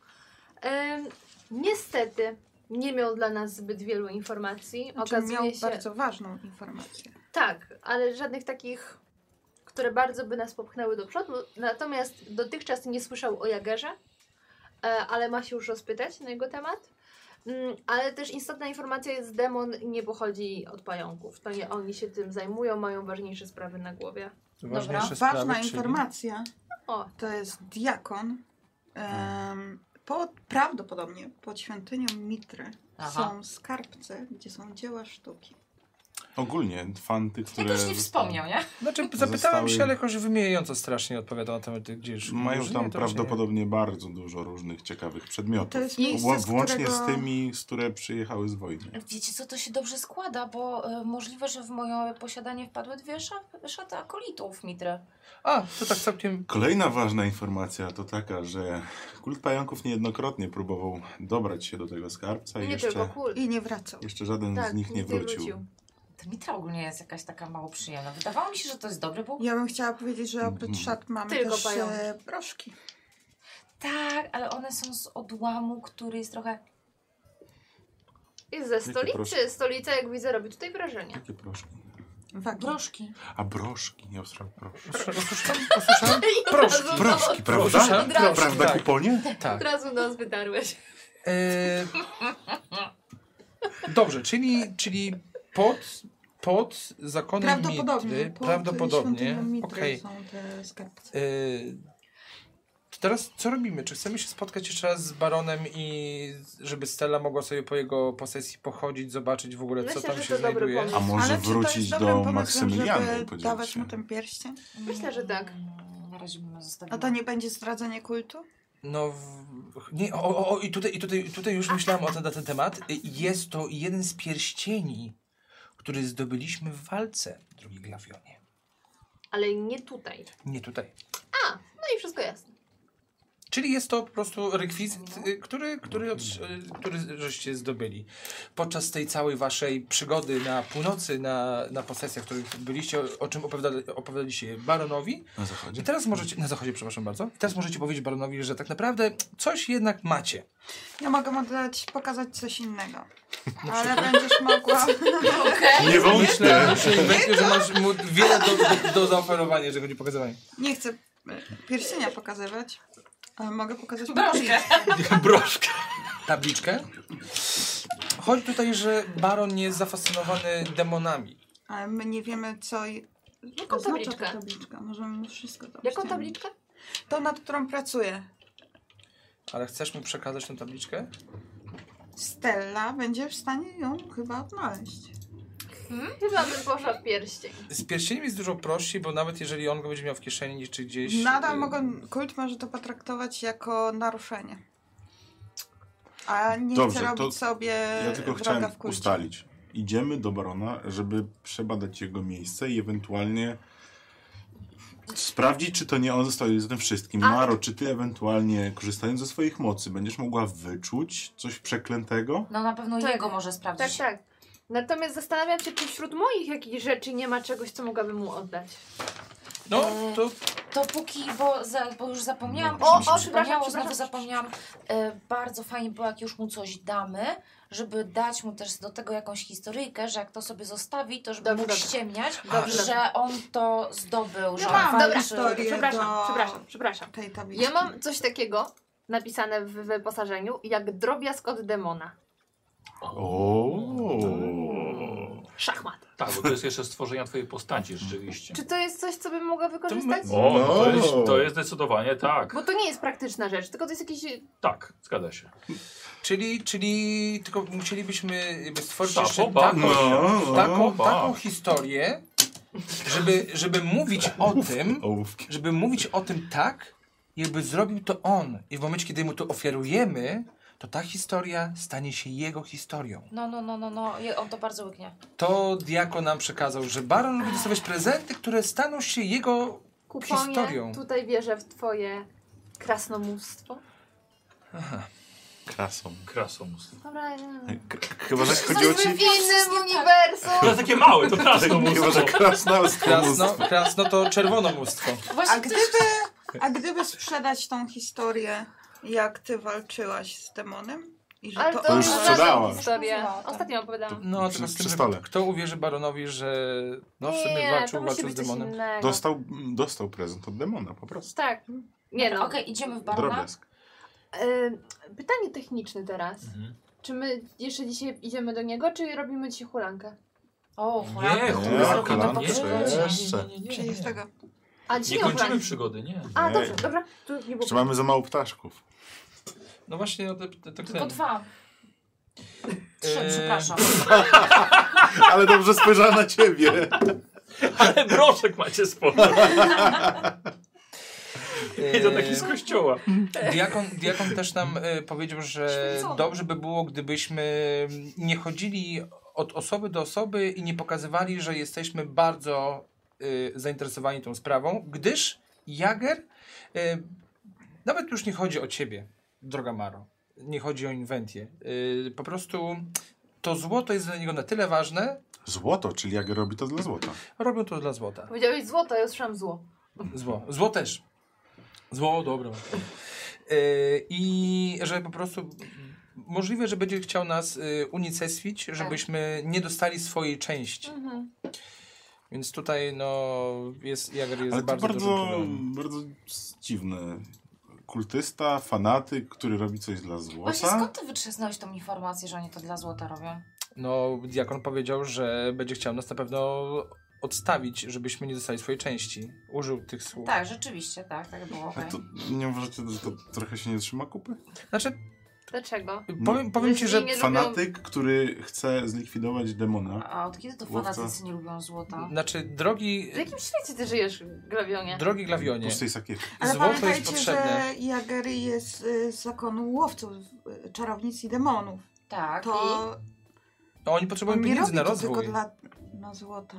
[SPEAKER 6] Em, niestety nie miał dla nas zbyt wielu informacji.
[SPEAKER 5] Znaczy, miał
[SPEAKER 6] Okazuje się,
[SPEAKER 5] bardzo ważną informację.
[SPEAKER 6] tak, ale żadnych takich, które bardzo by nas popchnęły do przodu. Natomiast dotychczas nie słyszał o Jagerze, e, ale ma się już rozpytać na jego temat. Mm, Ale też istotna informacja jest, demon nie pochodzi od pająków. To nie oni się tym zajmują, mają ważniejsze sprawy na głowie.
[SPEAKER 1] Ważniejsze
[SPEAKER 5] Ważna
[SPEAKER 1] sprawy, czyli-
[SPEAKER 5] informacja
[SPEAKER 6] O,
[SPEAKER 5] to jest diakon. em, po, prawdopodobnie pod świątynią Mitry
[SPEAKER 7] Aha.
[SPEAKER 5] są skarbce, gdzie są dzieła sztuki.
[SPEAKER 21] Ogólnie fan tych, które...
[SPEAKER 7] Jakoś nie
[SPEAKER 21] zosta-
[SPEAKER 7] wspomniał, nie?
[SPEAKER 1] Znaczy,
[SPEAKER 21] No Zostały-
[SPEAKER 1] zapytałem się, ale jakoś wymijająco strasznie odpowiadał na temat, gdzie już...
[SPEAKER 21] Mają
[SPEAKER 1] że
[SPEAKER 21] tam
[SPEAKER 1] nie, to już nie.
[SPEAKER 21] prawdopodobnie bardzo dużo różnych ciekawych
[SPEAKER 5] To
[SPEAKER 21] przedmiotów.
[SPEAKER 5] jest miejsce,
[SPEAKER 21] Wła-
[SPEAKER 5] z
[SPEAKER 21] Włącznie
[SPEAKER 5] którego...
[SPEAKER 21] z tymi, z które przyjechały z wojny.
[SPEAKER 7] Wiecie co, to się dobrze składa, bo y, możliwe, że w moje posiadanie wpadły dwie szaf- szaty akolitów Mitry.
[SPEAKER 1] A, to tak całkiem...
[SPEAKER 21] Kolejna ważna informacja to taka, że kult pająków niejednokrotnie próbował dobrać się do tego skarbca i
[SPEAKER 6] nie tylko
[SPEAKER 21] jeszcze,
[SPEAKER 6] kul. tak,
[SPEAKER 5] I nie wracał.
[SPEAKER 21] jeszcze żaden z nich nie
[SPEAKER 6] nigdy
[SPEAKER 21] wrócił.
[SPEAKER 7] Ta Mitra ogólnie jest jakaś taka mało przyjemna. Wydawało mi się, że to jest dobry Bóg.
[SPEAKER 5] Ja bym chciała powiedzieć, że oprócz
[SPEAKER 21] Mhm.
[SPEAKER 5] szat mamy
[SPEAKER 6] Tylko
[SPEAKER 5] też e,
[SPEAKER 6] pająki.
[SPEAKER 5] proszki.
[SPEAKER 7] Tak, ale one są z odłamu, który jest trochę...
[SPEAKER 6] Jest ze
[SPEAKER 21] proszę.
[SPEAKER 6] stolicy. Stolica, jak widzę, robi tutaj wrażenie.
[SPEAKER 21] Jakie proszki?
[SPEAKER 5] Wagi.
[SPEAKER 7] Broszki.
[SPEAKER 21] A broszki, nie ostrzał proszki.
[SPEAKER 1] Usłyszałem, usłyszałem proszki.
[SPEAKER 21] Broszki, prawda?
[SPEAKER 1] Usłyszałem No, proszki,
[SPEAKER 21] Prawda,
[SPEAKER 1] tak.
[SPEAKER 21] kuponie?
[SPEAKER 6] Od
[SPEAKER 1] tak.
[SPEAKER 6] razu nas wytarłeś.
[SPEAKER 1] E, dobrze, czyli, czyli pod, pod zakonem
[SPEAKER 5] Prawdopodobnie.
[SPEAKER 1] Mitry,
[SPEAKER 5] pod
[SPEAKER 1] prawdopodobnie,
[SPEAKER 5] świątynią Mitry
[SPEAKER 1] okej.
[SPEAKER 5] są te skarbce.
[SPEAKER 1] E, to teraz co robimy? Czy chcemy się spotkać jeszcze raz z Baronem i żeby Stella mogła sobie po jego posesji pochodzić, zobaczyć w ogóle, co
[SPEAKER 6] Myślę,
[SPEAKER 1] tam
[SPEAKER 6] że
[SPEAKER 1] się
[SPEAKER 6] to dobry
[SPEAKER 1] znajduje?
[SPEAKER 6] pomysł.
[SPEAKER 21] A może
[SPEAKER 5] Ale czy to
[SPEAKER 21] wrócić
[SPEAKER 5] jest dobrym
[SPEAKER 21] do
[SPEAKER 5] pomysłem,
[SPEAKER 21] Maksymiliana i
[SPEAKER 5] żeby
[SPEAKER 21] podzielić
[SPEAKER 5] dawać
[SPEAKER 21] się?
[SPEAKER 5] mu ten pierścień?
[SPEAKER 6] Myślę, że tak. No
[SPEAKER 7] Mm, Na razie bym
[SPEAKER 5] A
[SPEAKER 7] zostawiła.
[SPEAKER 5] to nie będzie zdradzenie kultu?
[SPEAKER 1] No, w, nie, o, o, o, i tutaj, i tutaj, tutaj już myślałem o ten, na ten temat. Y, Jest to jeden z pierścieni, który zdobyliśmy w walce, drogi Glawionie.
[SPEAKER 6] Ale nie tutaj.
[SPEAKER 1] Nie tutaj.
[SPEAKER 6] No i wszystko jasne.
[SPEAKER 1] Czyli jest to po prostu rekwizyt, y, który, który, otrz- y, który żeście zdobyli. Podczas tej całej waszej przygody na północy, na, na posesjach, w których byliście, o, o czym opowiadali, opowiadaliście baronowi.
[SPEAKER 21] Na zachodzie?
[SPEAKER 1] I teraz możecie, na zachodzie, przepraszam bardzo, I teraz możecie powiedzieć baronowi, że tak naprawdę coś jednak macie.
[SPEAKER 5] Ja mogę mu dać, pokazać coś innego. Ale będziesz mogła...
[SPEAKER 21] Nie
[SPEAKER 1] Myślę, że, Inwenty, że masz mu wiele do, do, do zaoferowania, jeżeli chodzi o pokazywanie.
[SPEAKER 5] Nie chcę e, pierścienia pokazywać, A mogę pokazać
[SPEAKER 22] Broszkę.
[SPEAKER 23] Broszkę.
[SPEAKER 1] Tabliczkę. Chodzi tutaj, że baron jest zafascynowany demonami.
[SPEAKER 5] Ale my nie wiemy, co. i-
[SPEAKER 6] Jaką
[SPEAKER 5] oznacza ta
[SPEAKER 6] tabliczkę?
[SPEAKER 5] tabliczka. Możemy wszystko to
[SPEAKER 6] Jaką
[SPEAKER 5] obstawić.
[SPEAKER 6] tabliczkę?
[SPEAKER 5] Tą, nad którą pracuję.
[SPEAKER 1] Ale chcesz mi przekazać tę tabliczkę?
[SPEAKER 5] Stella będzie w stanie ją chyba odnaleźć.
[SPEAKER 6] Chyba bym poszła w pierścień.
[SPEAKER 1] Z pierścieniem jest dużo prościej, bo nawet jeżeli on go będzie miał w kieszeni czy gdzieś...
[SPEAKER 5] Nadal
[SPEAKER 1] y,
[SPEAKER 5] mogą, kult może to potraktować jako naruszenie. A nie
[SPEAKER 2] Dobrze,
[SPEAKER 5] chcę
[SPEAKER 2] to
[SPEAKER 5] robić sobie
[SPEAKER 6] E,
[SPEAKER 2] Ja tylko chciałem
[SPEAKER 5] wroga w kulcie.
[SPEAKER 2] ustalić. Idziemy do barona, żeby przebadać jego miejsce i ewentualnie sprawdzić, czy to nie on został z tym wszystkim.
[SPEAKER 6] A-
[SPEAKER 2] Maro, czy ty ewentualnie, korzystając ze swoich mocy, będziesz mogła wyczuć coś przeklętego?
[SPEAKER 7] No na pewno
[SPEAKER 6] Tak.
[SPEAKER 7] jego może
[SPEAKER 6] Tak,
[SPEAKER 7] sprawdzić.
[SPEAKER 6] tak. Natomiast zastanawiam się, czy wśród moich jakichś rzeczy nie ma czegoś, co mogłabym mu oddać.
[SPEAKER 1] No, to
[SPEAKER 7] To póki, bo, za, bo już zapomniałam,
[SPEAKER 6] O,
[SPEAKER 7] bo mi
[SPEAKER 6] o,
[SPEAKER 7] się przypomniało, znowu
[SPEAKER 6] przepraszam, przepraszam.
[SPEAKER 7] zapomniałam. E, bardzo fajnie było, jak już mu coś damy, żeby dać mu też do tego jakąś historyjkę, że jak to sobie zostawi, to żeby
[SPEAKER 6] Dobrze,
[SPEAKER 7] mógł
[SPEAKER 6] dobrze.
[SPEAKER 7] ściemniać,
[SPEAKER 6] Dobrze,
[SPEAKER 7] że on to zdobył, że
[SPEAKER 5] Ja
[SPEAKER 7] on
[SPEAKER 5] mam, dobra,
[SPEAKER 7] walczył.
[SPEAKER 5] to- Historię
[SPEAKER 6] Przepraszam,
[SPEAKER 5] do-
[SPEAKER 6] przepraszam, przepraszam.
[SPEAKER 5] Tej tabliczki.
[SPEAKER 6] Ja mam coś takiego napisane w wyposażeniu, jak drobiazg od demona.
[SPEAKER 2] O.
[SPEAKER 6] Szachmat.
[SPEAKER 3] Tak, bo to jest jeszcze stworzenia twojej postaci rzeczywiście.
[SPEAKER 6] Czy to jest coś, co bym mogła wykorzystać?
[SPEAKER 3] O, no to,
[SPEAKER 2] No.
[SPEAKER 3] jest, to jest zdecydowanie tak.
[SPEAKER 6] Bo to nie jest praktyczna rzecz, tylko to jest jakiś...
[SPEAKER 3] Tak, zgadza się.
[SPEAKER 1] Czyli, czyli tylko musielibyśmy jakby stworzyć
[SPEAKER 3] Ta
[SPEAKER 1] jeszcze
[SPEAKER 3] popa.
[SPEAKER 1] taką,
[SPEAKER 2] No.
[SPEAKER 1] taką,
[SPEAKER 3] Popa.
[SPEAKER 1] taką historię, żeby, żeby mówić o tym,
[SPEAKER 2] Ołówki.
[SPEAKER 1] żeby mówić o tym tak, jakby zrobił to on. I w momencie, kiedy mu to ofiarujemy, to ta historia stanie się jego historią.
[SPEAKER 7] No, no, no, no, no, je- on to bardzo łyknie.
[SPEAKER 1] To Diako nam przekazał, że baron lubi dostawać prezenty, które staną się jego...
[SPEAKER 6] Kuponie,
[SPEAKER 1] Historią.
[SPEAKER 6] tutaj wierzę w twoje krasnomóstwo.
[SPEAKER 2] Krasą.
[SPEAKER 3] Krasomus.
[SPEAKER 6] Dobra, nie wiem.
[SPEAKER 2] K- Chyba, że chodzi o ci...
[SPEAKER 6] Jesteśmy w innym uniwersum!
[SPEAKER 3] To jest takie małe, to krasomus.
[SPEAKER 2] Chyba, że
[SPEAKER 1] Krasno,
[SPEAKER 2] krasnolstwo.
[SPEAKER 1] krasno to czerwonomóstwo.
[SPEAKER 5] A gdyby, a gdyby sprzedać tą historię, jak ty walczyłaś z demonem? I że
[SPEAKER 6] Ale
[SPEAKER 5] to,
[SPEAKER 6] to,
[SPEAKER 2] To już
[SPEAKER 5] ona-
[SPEAKER 6] znalazłam
[SPEAKER 2] sprzedała.
[SPEAKER 6] historię.
[SPEAKER 7] Sprzedała, tak.
[SPEAKER 6] Ostatnio opowiadałam.
[SPEAKER 1] No,
[SPEAKER 2] Przy-
[SPEAKER 1] tylko z
[SPEAKER 2] przy
[SPEAKER 1] tym, że
[SPEAKER 2] stole.
[SPEAKER 1] kto uwierzy baronowi, że no w sumie
[SPEAKER 6] nie, to
[SPEAKER 1] walczył,
[SPEAKER 6] musi
[SPEAKER 1] walczył z
[SPEAKER 6] być coś
[SPEAKER 1] demonem.
[SPEAKER 6] innego.
[SPEAKER 2] Dostał, dostał prezent od demona po prostu.
[SPEAKER 6] Tak. Nie
[SPEAKER 7] Okej,
[SPEAKER 6] no.
[SPEAKER 7] idziemy w barona.
[SPEAKER 2] Drobiazg.
[SPEAKER 6] Y, pytanie techniczne teraz.
[SPEAKER 3] Mhm.
[SPEAKER 6] Czy my jeszcze dzisiaj idziemy do niego, czy robimy dzisiaj hulankę?
[SPEAKER 7] O,
[SPEAKER 3] Nie,
[SPEAKER 7] chłopie.
[SPEAKER 3] chłopaka,
[SPEAKER 2] hulanka
[SPEAKER 3] tam nie.
[SPEAKER 7] to
[SPEAKER 2] Tak, no, jeszcze.
[SPEAKER 3] Nie, nie, nie,
[SPEAKER 5] Czyli z
[SPEAKER 3] nie.
[SPEAKER 5] tego.
[SPEAKER 6] A
[SPEAKER 3] Nie
[SPEAKER 6] dzisiaj
[SPEAKER 3] kończymy
[SPEAKER 6] hulankę.
[SPEAKER 3] przygody, nie.
[SPEAKER 6] A,
[SPEAKER 2] Nie.
[SPEAKER 6] dobrze, dobra. Tu nie było.
[SPEAKER 2] Czy mamy za mało ptaszków?
[SPEAKER 1] No właśnie, no, to, to, to
[SPEAKER 7] Tylko
[SPEAKER 1] ten.
[SPEAKER 7] dwa.
[SPEAKER 2] Yy,
[SPEAKER 7] Trzy,
[SPEAKER 1] Eee.
[SPEAKER 7] przepraszam.
[SPEAKER 2] Ale dobrze spojrzała na ciebie.
[SPEAKER 3] Ale broszek macie sporo.
[SPEAKER 1] Eee,
[SPEAKER 3] I to taki z kościoła.
[SPEAKER 1] diakon, diakon też nam e, powiedział, że
[SPEAKER 7] Święcony.
[SPEAKER 1] dobrze by było, gdybyśmy nie chodzili od osoby do osoby i nie pokazywali, że jesteśmy bardzo e, zainteresowani tą sprawą, gdyż Jager e, nawet już nie chodzi o ciebie, droga Maro. Nie chodzi o inwentję. E, po prostu to złoto jest dla niego na tyle ważne,
[SPEAKER 2] Złoto, czyli jak robi to dla złota.
[SPEAKER 1] robią to dla złota.
[SPEAKER 6] Powiedziałeś złoto, ja usłyszałam zło.
[SPEAKER 1] Zło. Zło też. Zło, dobra. Yy, I że po prostu możliwe, że będzie chciał nas yy, unicestwić,
[SPEAKER 5] Tak.
[SPEAKER 1] żebyśmy nie dostali swojej części.
[SPEAKER 6] Mhm.
[SPEAKER 1] Więc tutaj no jest, Jager jest
[SPEAKER 2] Ale to
[SPEAKER 1] bardzo, dużym
[SPEAKER 2] bardzo,
[SPEAKER 1] problemem.
[SPEAKER 2] bardzo dziwne. Kultysta, fanatyk, który robi coś dla
[SPEAKER 7] Właśnie
[SPEAKER 2] złota.
[SPEAKER 7] skąd ty wytrzasnąłeś tą informację, że oni to dla złota robią?
[SPEAKER 1] No diakon powiedział, że będzie chciał nas na pewno odstawić, żebyśmy nie dostali swojej części. Użył tych słów.
[SPEAKER 7] Tak, rzeczywiście, tak, tak było.
[SPEAKER 2] A
[SPEAKER 7] okej.
[SPEAKER 2] to nie uważacie, że to trochę się nie trzyma kupy?
[SPEAKER 1] Znaczy,
[SPEAKER 6] Dlaczego?
[SPEAKER 1] powiem, powiem ci, że
[SPEAKER 6] Nie lubią-
[SPEAKER 2] Fanatyk, który chce zlikwidować demona.
[SPEAKER 7] A od kiedy to
[SPEAKER 2] Łowca.
[SPEAKER 7] fanatycy nie lubią złota?
[SPEAKER 1] znaczy drogi,
[SPEAKER 6] W jakim świecie ty żyjesz, Glawionie?
[SPEAKER 2] No
[SPEAKER 1] drogi Glawionie,
[SPEAKER 2] Pustej sakiewki.
[SPEAKER 5] Ale
[SPEAKER 1] złoto jest
[SPEAKER 5] pamiętajcie,
[SPEAKER 1] potrzebne.
[SPEAKER 5] że Jager jest y, z zakonu łowców, y, czarownic i demonów.
[SPEAKER 7] Tak. I?
[SPEAKER 5] To
[SPEAKER 1] No, oni potrzebują
[SPEAKER 5] on nie
[SPEAKER 1] pieniędzy
[SPEAKER 5] robi
[SPEAKER 1] na
[SPEAKER 5] to
[SPEAKER 1] rozwój.
[SPEAKER 5] tylko dla no, złota.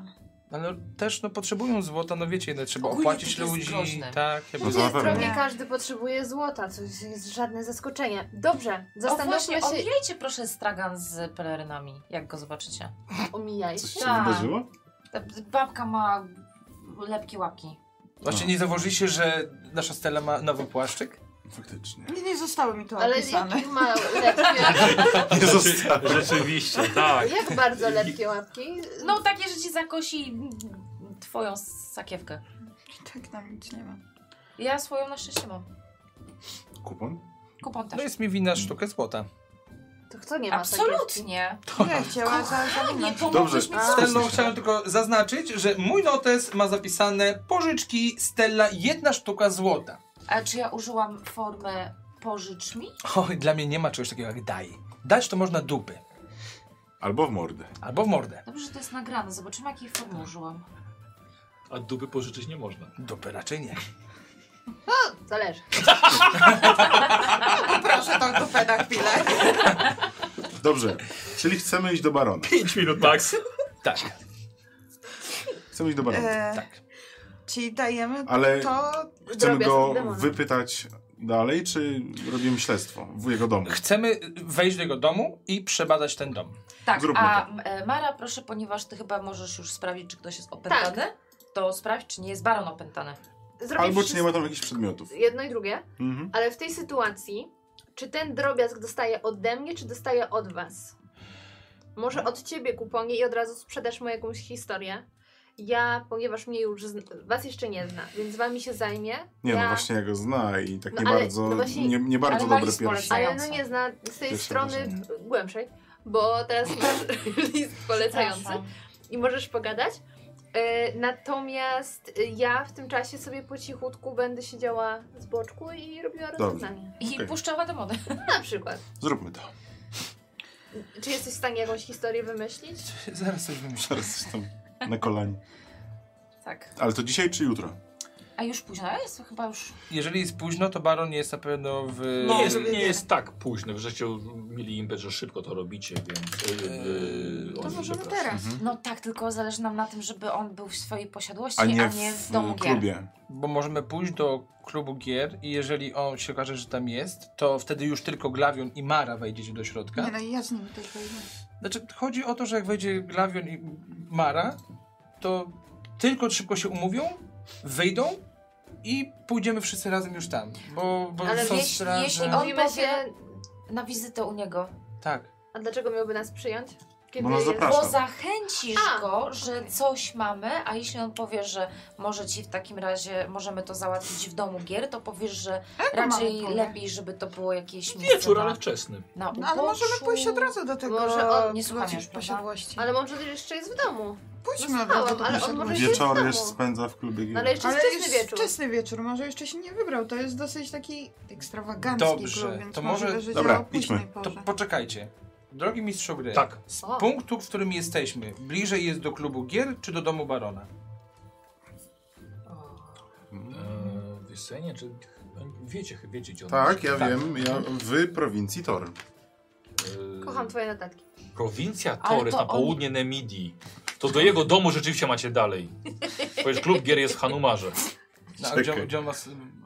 [SPEAKER 1] Ale też no, potrzebują złota, no wiecie, ile trzeba
[SPEAKER 7] Ogólnie
[SPEAKER 1] opłacić
[SPEAKER 7] to jest
[SPEAKER 1] ludzi.
[SPEAKER 7] groźne.
[SPEAKER 1] Tak, ja
[SPEAKER 6] No
[SPEAKER 2] to na
[SPEAKER 6] nie,
[SPEAKER 2] pewno.
[SPEAKER 6] drogie, każdy potrzebuje złota, co jest żadne zaskoczenie. Dobrze,
[SPEAKER 7] O właśnie,
[SPEAKER 6] zastanówmy się.
[SPEAKER 7] omijajcie proszę stragan z pelerynami, jak go zobaczycie.
[SPEAKER 6] Omijaj
[SPEAKER 2] Coś
[SPEAKER 6] się.
[SPEAKER 2] się
[SPEAKER 7] Tak.
[SPEAKER 2] wydarzyło?
[SPEAKER 7] Ta Babka ma lepkie łapki.
[SPEAKER 1] Właśnie Znaczy, nie zauważyliście, że nasza Stella ma nowy płaszczyk?
[SPEAKER 7] Tak.
[SPEAKER 2] Faktycznie.
[SPEAKER 5] Nie, nie zostały mi to
[SPEAKER 6] Ale
[SPEAKER 5] opisane.
[SPEAKER 6] jakie ma lepkie,
[SPEAKER 2] Nie
[SPEAKER 1] Znaczy-
[SPEAKER 2] zostało.
[SPEAKER 3] Rzeczywiście, tak.
[SPEAKER 6] jak bardzo lepkie łapki?
[SPEAKER 7] No takie, że ci zakosi twoją sakiewkę.
[SPEAKER 5] I tak tam nic nie ma.
[SPEAKER 7] Ja swoją na szczęście mam.
[SPEAKER 2] Kupon?
[SPEAKER 7] Kupon
[SPEAKER 1] No
[SPEAKER 7] też.
[SPEAKER 1] jest mi winna sztukę złota.
[SPEAKER 6] To kto nie ma
[SPEAKER 7] Absolutnie.
[SPEAKER 5] Nie chciała za
[SPEAKER 7] Nie
[SPEAKER 5] zamienić.
[SPEAKER 7] pomożesz mi
[SPEAKER 1] Z Stellą chciałem tylko zaznaczyć, że mój notes ma zapisane pożyczki Stella jedna sztuka złota.
[SPEAKER 7] A czy ja użyłam formy pożycz mi?
[SPEAKER 1] Oj, dla mnie nie ma czegoś takiego jak daj. Dać to można dupy.
[SPEAKER 2] Albo w mordę.
[SPEAKER 1] Albo w mordę.
[SPEAKER 7] Dobrze, że to jest nagrane. Zobaczymy, jakiej formy użyłam.
[SPEAKER 3] A dupy pożyczyć nie można.
[SPEAKER 1] Dupy raczej nie.
[SPEAKER 6] taki? Zależy.
[SPEAKER 5] Proszę tą dupę na chwilę.
[SPEAKER 2] Dobrze, czyli chcemy iść do barona.
[SPEAKER 3] 5 minut max.
[SPEAKER 1] Tak,
[SPEAKER 2] Chcemy iść do barona.
[SPEAKER 5] E,
[SPEAKER 1] tak.
[SPEAKER 5] Czyli dajemy
[SPEAKER 2] Ale
[SPEAKER 5] to...
[SPEAKER 2] chcemy
[SPEAKER 6] Drobiazg
[SPEAKER 2] go
[SPEAKER 6] demona.
[SPEAKER 2] wypytać dalej, czy robimy śledztwo w jego domu?
[SPEAKER 1] Chcemy wejść do jego domu i przebadać ten dom.
[SPEAKER 7] Tak,
[SPEAKER 2] Zróbmy
[SPEAKER 7] a e, Mara, proszę, ponieważ ty chyba możesz już sprawdzić, czy ktoś jest opętany,
[SPEAKER 6] Tak.
[SPEAKER 7] to sprawdź, czy nie jest baron opętany.
[SPEAKER 6] Zrobię
[SPEAKER 2] Albo czy
[SPEAKER 6] wszystko-
[SPEAKER 2] nie ma tam jakichś przedmiotów.
[SPEAKER 6] Jedno i drugie,
[SPEAKER 2] Mhm.
[SPEAKER 6] ale w tej sytuacji, czy ten drobiazg dostaje ode mnie, czy dostaje od was? Może od ciebie kuponie i od razu sprzedasz mu jakąś historię. Ja, ponieważ mnie już zn- was jeszcze nie zna, więc wami się zajmie.
[SPEAKER 2] Nie
[SPEAKER 6] ja,
[SPEAKER 2] no, właśnie ja go zna i tak
[SPEAKER 6] No
[SPEAKER 2] nie
[SPEAKER 6] ale-
[SPEAKER 2] bardzo,
[SPEAKER 6] no właśnie-
[SPEAKER 2] nie, nie bardzo
[SPEAKER 7] ale
[SPEAKER 2] dobre
[SPEAKER 7] walizki
[SPEAKER 2] piersi.
[SPEAKER 6] Ale no
[SPEAKER 7] Zająca.
[SPEAKER 6] nie zna z tej
[SPEAKER 2] Pierwsze
[SPEAKER 6] strony
[SPEAKER 2] wrażenie.
[SPEAKER 6] b- głębszej, bo teraz masz list polecający
[SPEAKER 7] Przepraszam.
[SPEAKER 6] i możesz pogadać. E, Natomiast e, ja w tym czasie sobie po cichutku będę siedziała z boczku i robiła
[SPEAKER 2] Dobrze.
[SPEAKER 6] rozpoznanie.
[SPEAKER 7] I
[SPEAKER 2] Okej.
[SPEAKER 7] puszczała do mody.
[SPEAKER 6] Na przykład.
[SPEAKER 2] Zróbmy to.
[SPEAKER 6] Czy jesteś w stanie jakąś historię wymyślić?
[SPEAKER 1] Zaraz coś wymyślę.
[SPEAKER 2] Teraz jestem na kolanie.
[SPEAKER 7] Tak.
[SPEAKER 2] Ale to dzisiaj czy jutro?
[SPEAKER 7] A już późno jest? To Chyba już.
[SPEAKER 1] Jeżeli jest późno, to baron jest na pewno w...
[SPEAKER 3] Nie jest, nie jest tak późno, żeście mieli impet, że szybko to robicie, więc... Yy,
[SPEAKER 1] Eee,
[SPEAKER 3] oni,
[SPEAKER 5] To możemy
[SPEAKER 3] przepraszam.
[SPEAKER 5] teraz.
[SPEAKER 7] No tak, tylko zależy nam na tym, żeby on był w swojej posiadłości,
[SPEAKER 2] Mhm. A nie,
[SPEAKER 7] w
[SPEAKER 2] w,
[SPEAKER 7] domu gier.
[SPEAKER 2] klubie.
[SPEAKER 1] Bo możemy pójść do klubu gier i jeżeli on się okaże, że tam jest, to wtedy już tylko Glavion i Mara wejdziecie do środka.
[SPEAKER 5] Nie no, ja z nimi też wejdę.
[SPEAKER 1] Znaczy, chodzi o to, że jak wejdzie Glavion i Mara, to tylko szybko się umówią, wyjdą i pójdziemy wszyscy razem już tam. Bo, bo
[SPEAKER 6] Ale
[SPEAKER 1] są
[SPEAKER 7] jeśli-
[SPEAKER 1] straże.
[SPEAKER 7] jeśli on-
[SPEAKER 6] Mówimy się,
[SPEAKER 7] Na wizytę u niego.
[SPEAKER 1] Tak.
[SPEAKER 6] a dlaczego miałby nas przyjąć? Kiedy
[SPEAKER 2] Bo nas
[SPEAKER 6] jest...
[SPEAKER 2] zaprasza.
[SPEAKER 7] Bo
[SPEAKER 2] Przepraszam.
[SPEAKER 7] zachęcisz
[SPEAKER 6] A,
[SPEAKER 7] go, że
[SPEAKER 6] okej.
[SPEAKER 7] coś mamy, a jeśli on powie, że może ci w takim razie możemy to załatwić w domu gier, to powiesz, że raczej
[SPEAKER 5] mamy pole.
[SPEAKER 7] lepiej, żeby to było jakieś miejsce
[SPEAKER 3] Wieczór,
[SPEAKER 7] na,
[SPEAKER 3] ale wczesny.
[SPEAKER 7] na
[SPEAKER 5] No, ale
[SPEAKER 7] uboczu.
[SPEAKER 5] możemy pójść od razu do tego...
[SPEAKER 6] Może on
[SPEAKER 7] nie słucha mnie,
[SPEAKER 5] złodziej
[SPEAKER 7] prawda?
[SPEAKER 5] posiadłości.
[SPEAKER 6] Ale może jeszcze jest w domu.
[SPEAKER 5] Pójdźmy od
[SPEAKER 6] Zostałam,
[SPEAKER 5] razu do
[SPEAKER 6] ale on może
[SPEAKER 5] posiadłości.
[SPEAKER 6] się-
[SPEAKER 2] Wieczory
[SPEAKER 6] domu.
[SPEAKER 2] jeszcze spędza w klubie gier.
[SPEAKER 6] Ale jeszcze
[SPEAKER 5] Ale
[SPEAKER 6] jest wczesny
[SPEAKER 5] jest
[SPEAKER 6] wieczór.
[SPEAKER 5] wczesny wieczór, może jeszcze się nie wybrał. To jest dosyć taki ekstrawagancki
[SPEAKER 1] Dobrze,
[SPEAKER 5] klub, więc
[SPEAKER 1] to
[SPEAKER 5] może
[SPEAKER 1] może-
[SPEAKER 5] że
[SPEAKER 2] Dobra,
[SPEAKER 5] działa o późnej
[SPEAKER 2] idźmy.
[SPEAKER 1] To
[SPEAKER 5] porze.
[SPEAKER 1] poczekajcie. Drogi mistrzu gry,
[SPEAKER 3] Tak.
[SPEAKER 1] z
[SPEAKER 6] O.
[SPEAKER 1] punktu, w którym jesteśmy, bliżej jest do klubu gier czy do domu barona?
[SPEAKER 2] Mm.
[SPEAKER 3] Eee, wiesz co, ja nie, czy... Wiecie, wiecie gdzie on
[SPEAKER 2] Tak,
[SPEAKER 3] jest.
[SPEAKER 2] ja wiem, ja w prowincji Tor.
[SPEAKER 3] Eee,
[SPEAKER 6] Kocham twoje notatki.
[SPEAKER 3] Prowincja
[SPEAKER 7] Ale
[SPEAKER 3] Torys
[SPEAKER 7] to
[SPEAKER 3] na
[SPEAKER 7] on-
[SPEAKER 3] południe Nemidii. To do jego domu rzeczywiście macie dalej. Bo już klub gier jest w Hanumarze.
[SPEAKER 1] No, a gdzie, on-
[SPEAKER 2] Czekaj.
[SPEAKER 1] gdzie on, ma,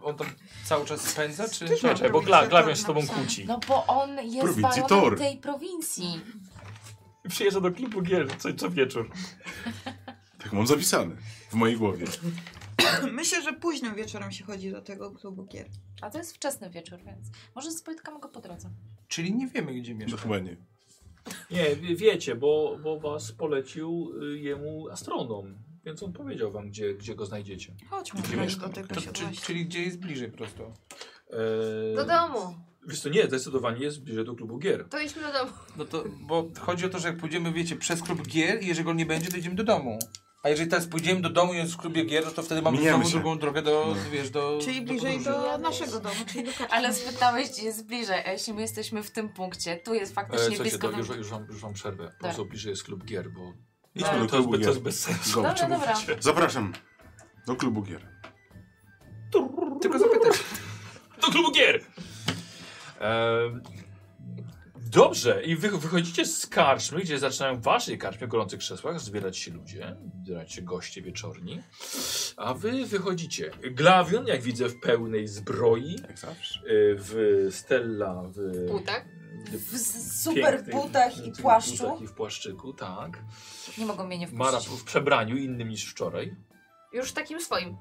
[SPEAKER 1] on tam cały czas spędza? Czy...
[SPEAKER 5] Ty-
[SPEAKER 3] Czekaj, bo Gla, Glawion się z tobą kłóci.
[SPEAKER 7] No bo on jest
[SPEAKER 2] Prowincji
[SPEAKER 7] baronem
[SPEAKER 2] Tor.
[SPEAKER 7] tej prowincji.
[SPEAKER 3] I Przyjeżdża do klubu gier co, co wieczór.
[SPEAKER 2] Tak mam zapisane w mojej głowie.
[SPEAKER 5] Myślę, że późnym wieczorem się chodzi do tego klubu gier.
[SPEAKER 7] A to jest wczesny wieczór, więc może spotkamy go po drodze.
[SPEAKER 1] Czyli nie wiemy, gdzie
[SPEAKER 2] No
[SPEAKER 1] mieszka.
[SPEAKER 2] chyba nie.
[SPEAKER 3] Nie, wie- wiecie, bo, bo was polecił y, jemu astronom. Więc on powiedział wam, gdzie, gdzie go znajdziecie.
[SPEAKER 5] Chodźmy
[SPEAKER 2] Gdzie
[SPEAKER 5] od razu
[SPEAKER 2] mieszkam?
[SPEAKER 5] do tego
[SPEAKER 1] To, czyli,
[SPEAKER 5] posiadłości.
[SPEAKER 1] czyli gdzie jest bliżej prosto?
[SPEAKER 3] Eee,
[SPEAKER 6] Do domu.
[SPEAKER 3] Wiesz co, nie, zdecydowanie jest bliżej do klubu gier.
[SPEAKER 6] To idźmy do domu.
[SPEAKER 1] No to, bo chodzi o to, że jak pójdziemy, wiecie, przez klub gier i jeżeli go nie będzie, to idziemy do domu. A jeżeli teraz pójdziemy do domu i jest w klubie gier, no to wtedy mamy
[SPEAKER 2] Miniemy
[SPEAKER 1] znowu
[SPEAKER 2] się. No.
[SPEAKER 1] drugą drogę do, wiesz, do
[SPEAKER 5] Czyli
[SPEAKER 1] do
[SPEAKER 5] bliżej
[SPEAKER 1] podróży.
[SPEAKER 5] do naszego domu, czyli do karczmy.
[SPEAKER 7] Ale spytałeś, gdzie jest bliżej, a jeśli my jesteśmy w tym punkcie, tu jest
[SPEAKER 3] Eee,
[SPEAKER 7] faktycznie
[SPEAKER 3] słuchajcie,
[SPEAKER 7] blisko
[SPEAKER 3] to
[SPEAKER 7] do...
[SPEAKER 3] już, już, wam, już wam przerwę. Po prostu bliżej jest klub gier, bo
[SPEAKER 2] Idźmy do
[SPEAKER 3] to jest,
[SPEAKER 2] klubu
[SPEAKER 3] be- to jest
[SPEAKER 2] gier.
[SPEAKER 3] bez sensu.
[SPEAKER 2] Go.
[SPEAKER 7] Dobra, dobra.
[SPEAKER 2] Zapraszam do klubu gier.
[SPEAKER 1] Tylko zapytać.
[SPEAKER 3] do klubu gier. Em, Dobrze, i wy wychodzicie z karczmy, gdzie zaczynają w waszej karczmie, w gorących krzesłach, zbierać się ludzie, zbierać się goście wieczorni, a wy wychodzicie. Glawion, jak widzę, w pełnej zbroi,
[SPEAKER 2] Jak zawsze.
[SPEAKER 3] y, w Stella w...
[SPEAKER 6] Butach?
[SPEAKER 7] W z-
[SPEAKER 3] pięknych-
[SPEAKER 7] super butach i
[SPEAKER 3] pięknych
[SPEAKER 7] płaszczu.
[SPEAKER 3] butach I w płaszczyku, tak.
[SPEAKER 7] Nie mogą mnie nie
[SPEAKER 3] Mara
[SPEAKER 7] wpuścić.
[SPEAKER 3] w przebraniu innym niż wczoraj.
[SPEAKER 6] Już takim swoim.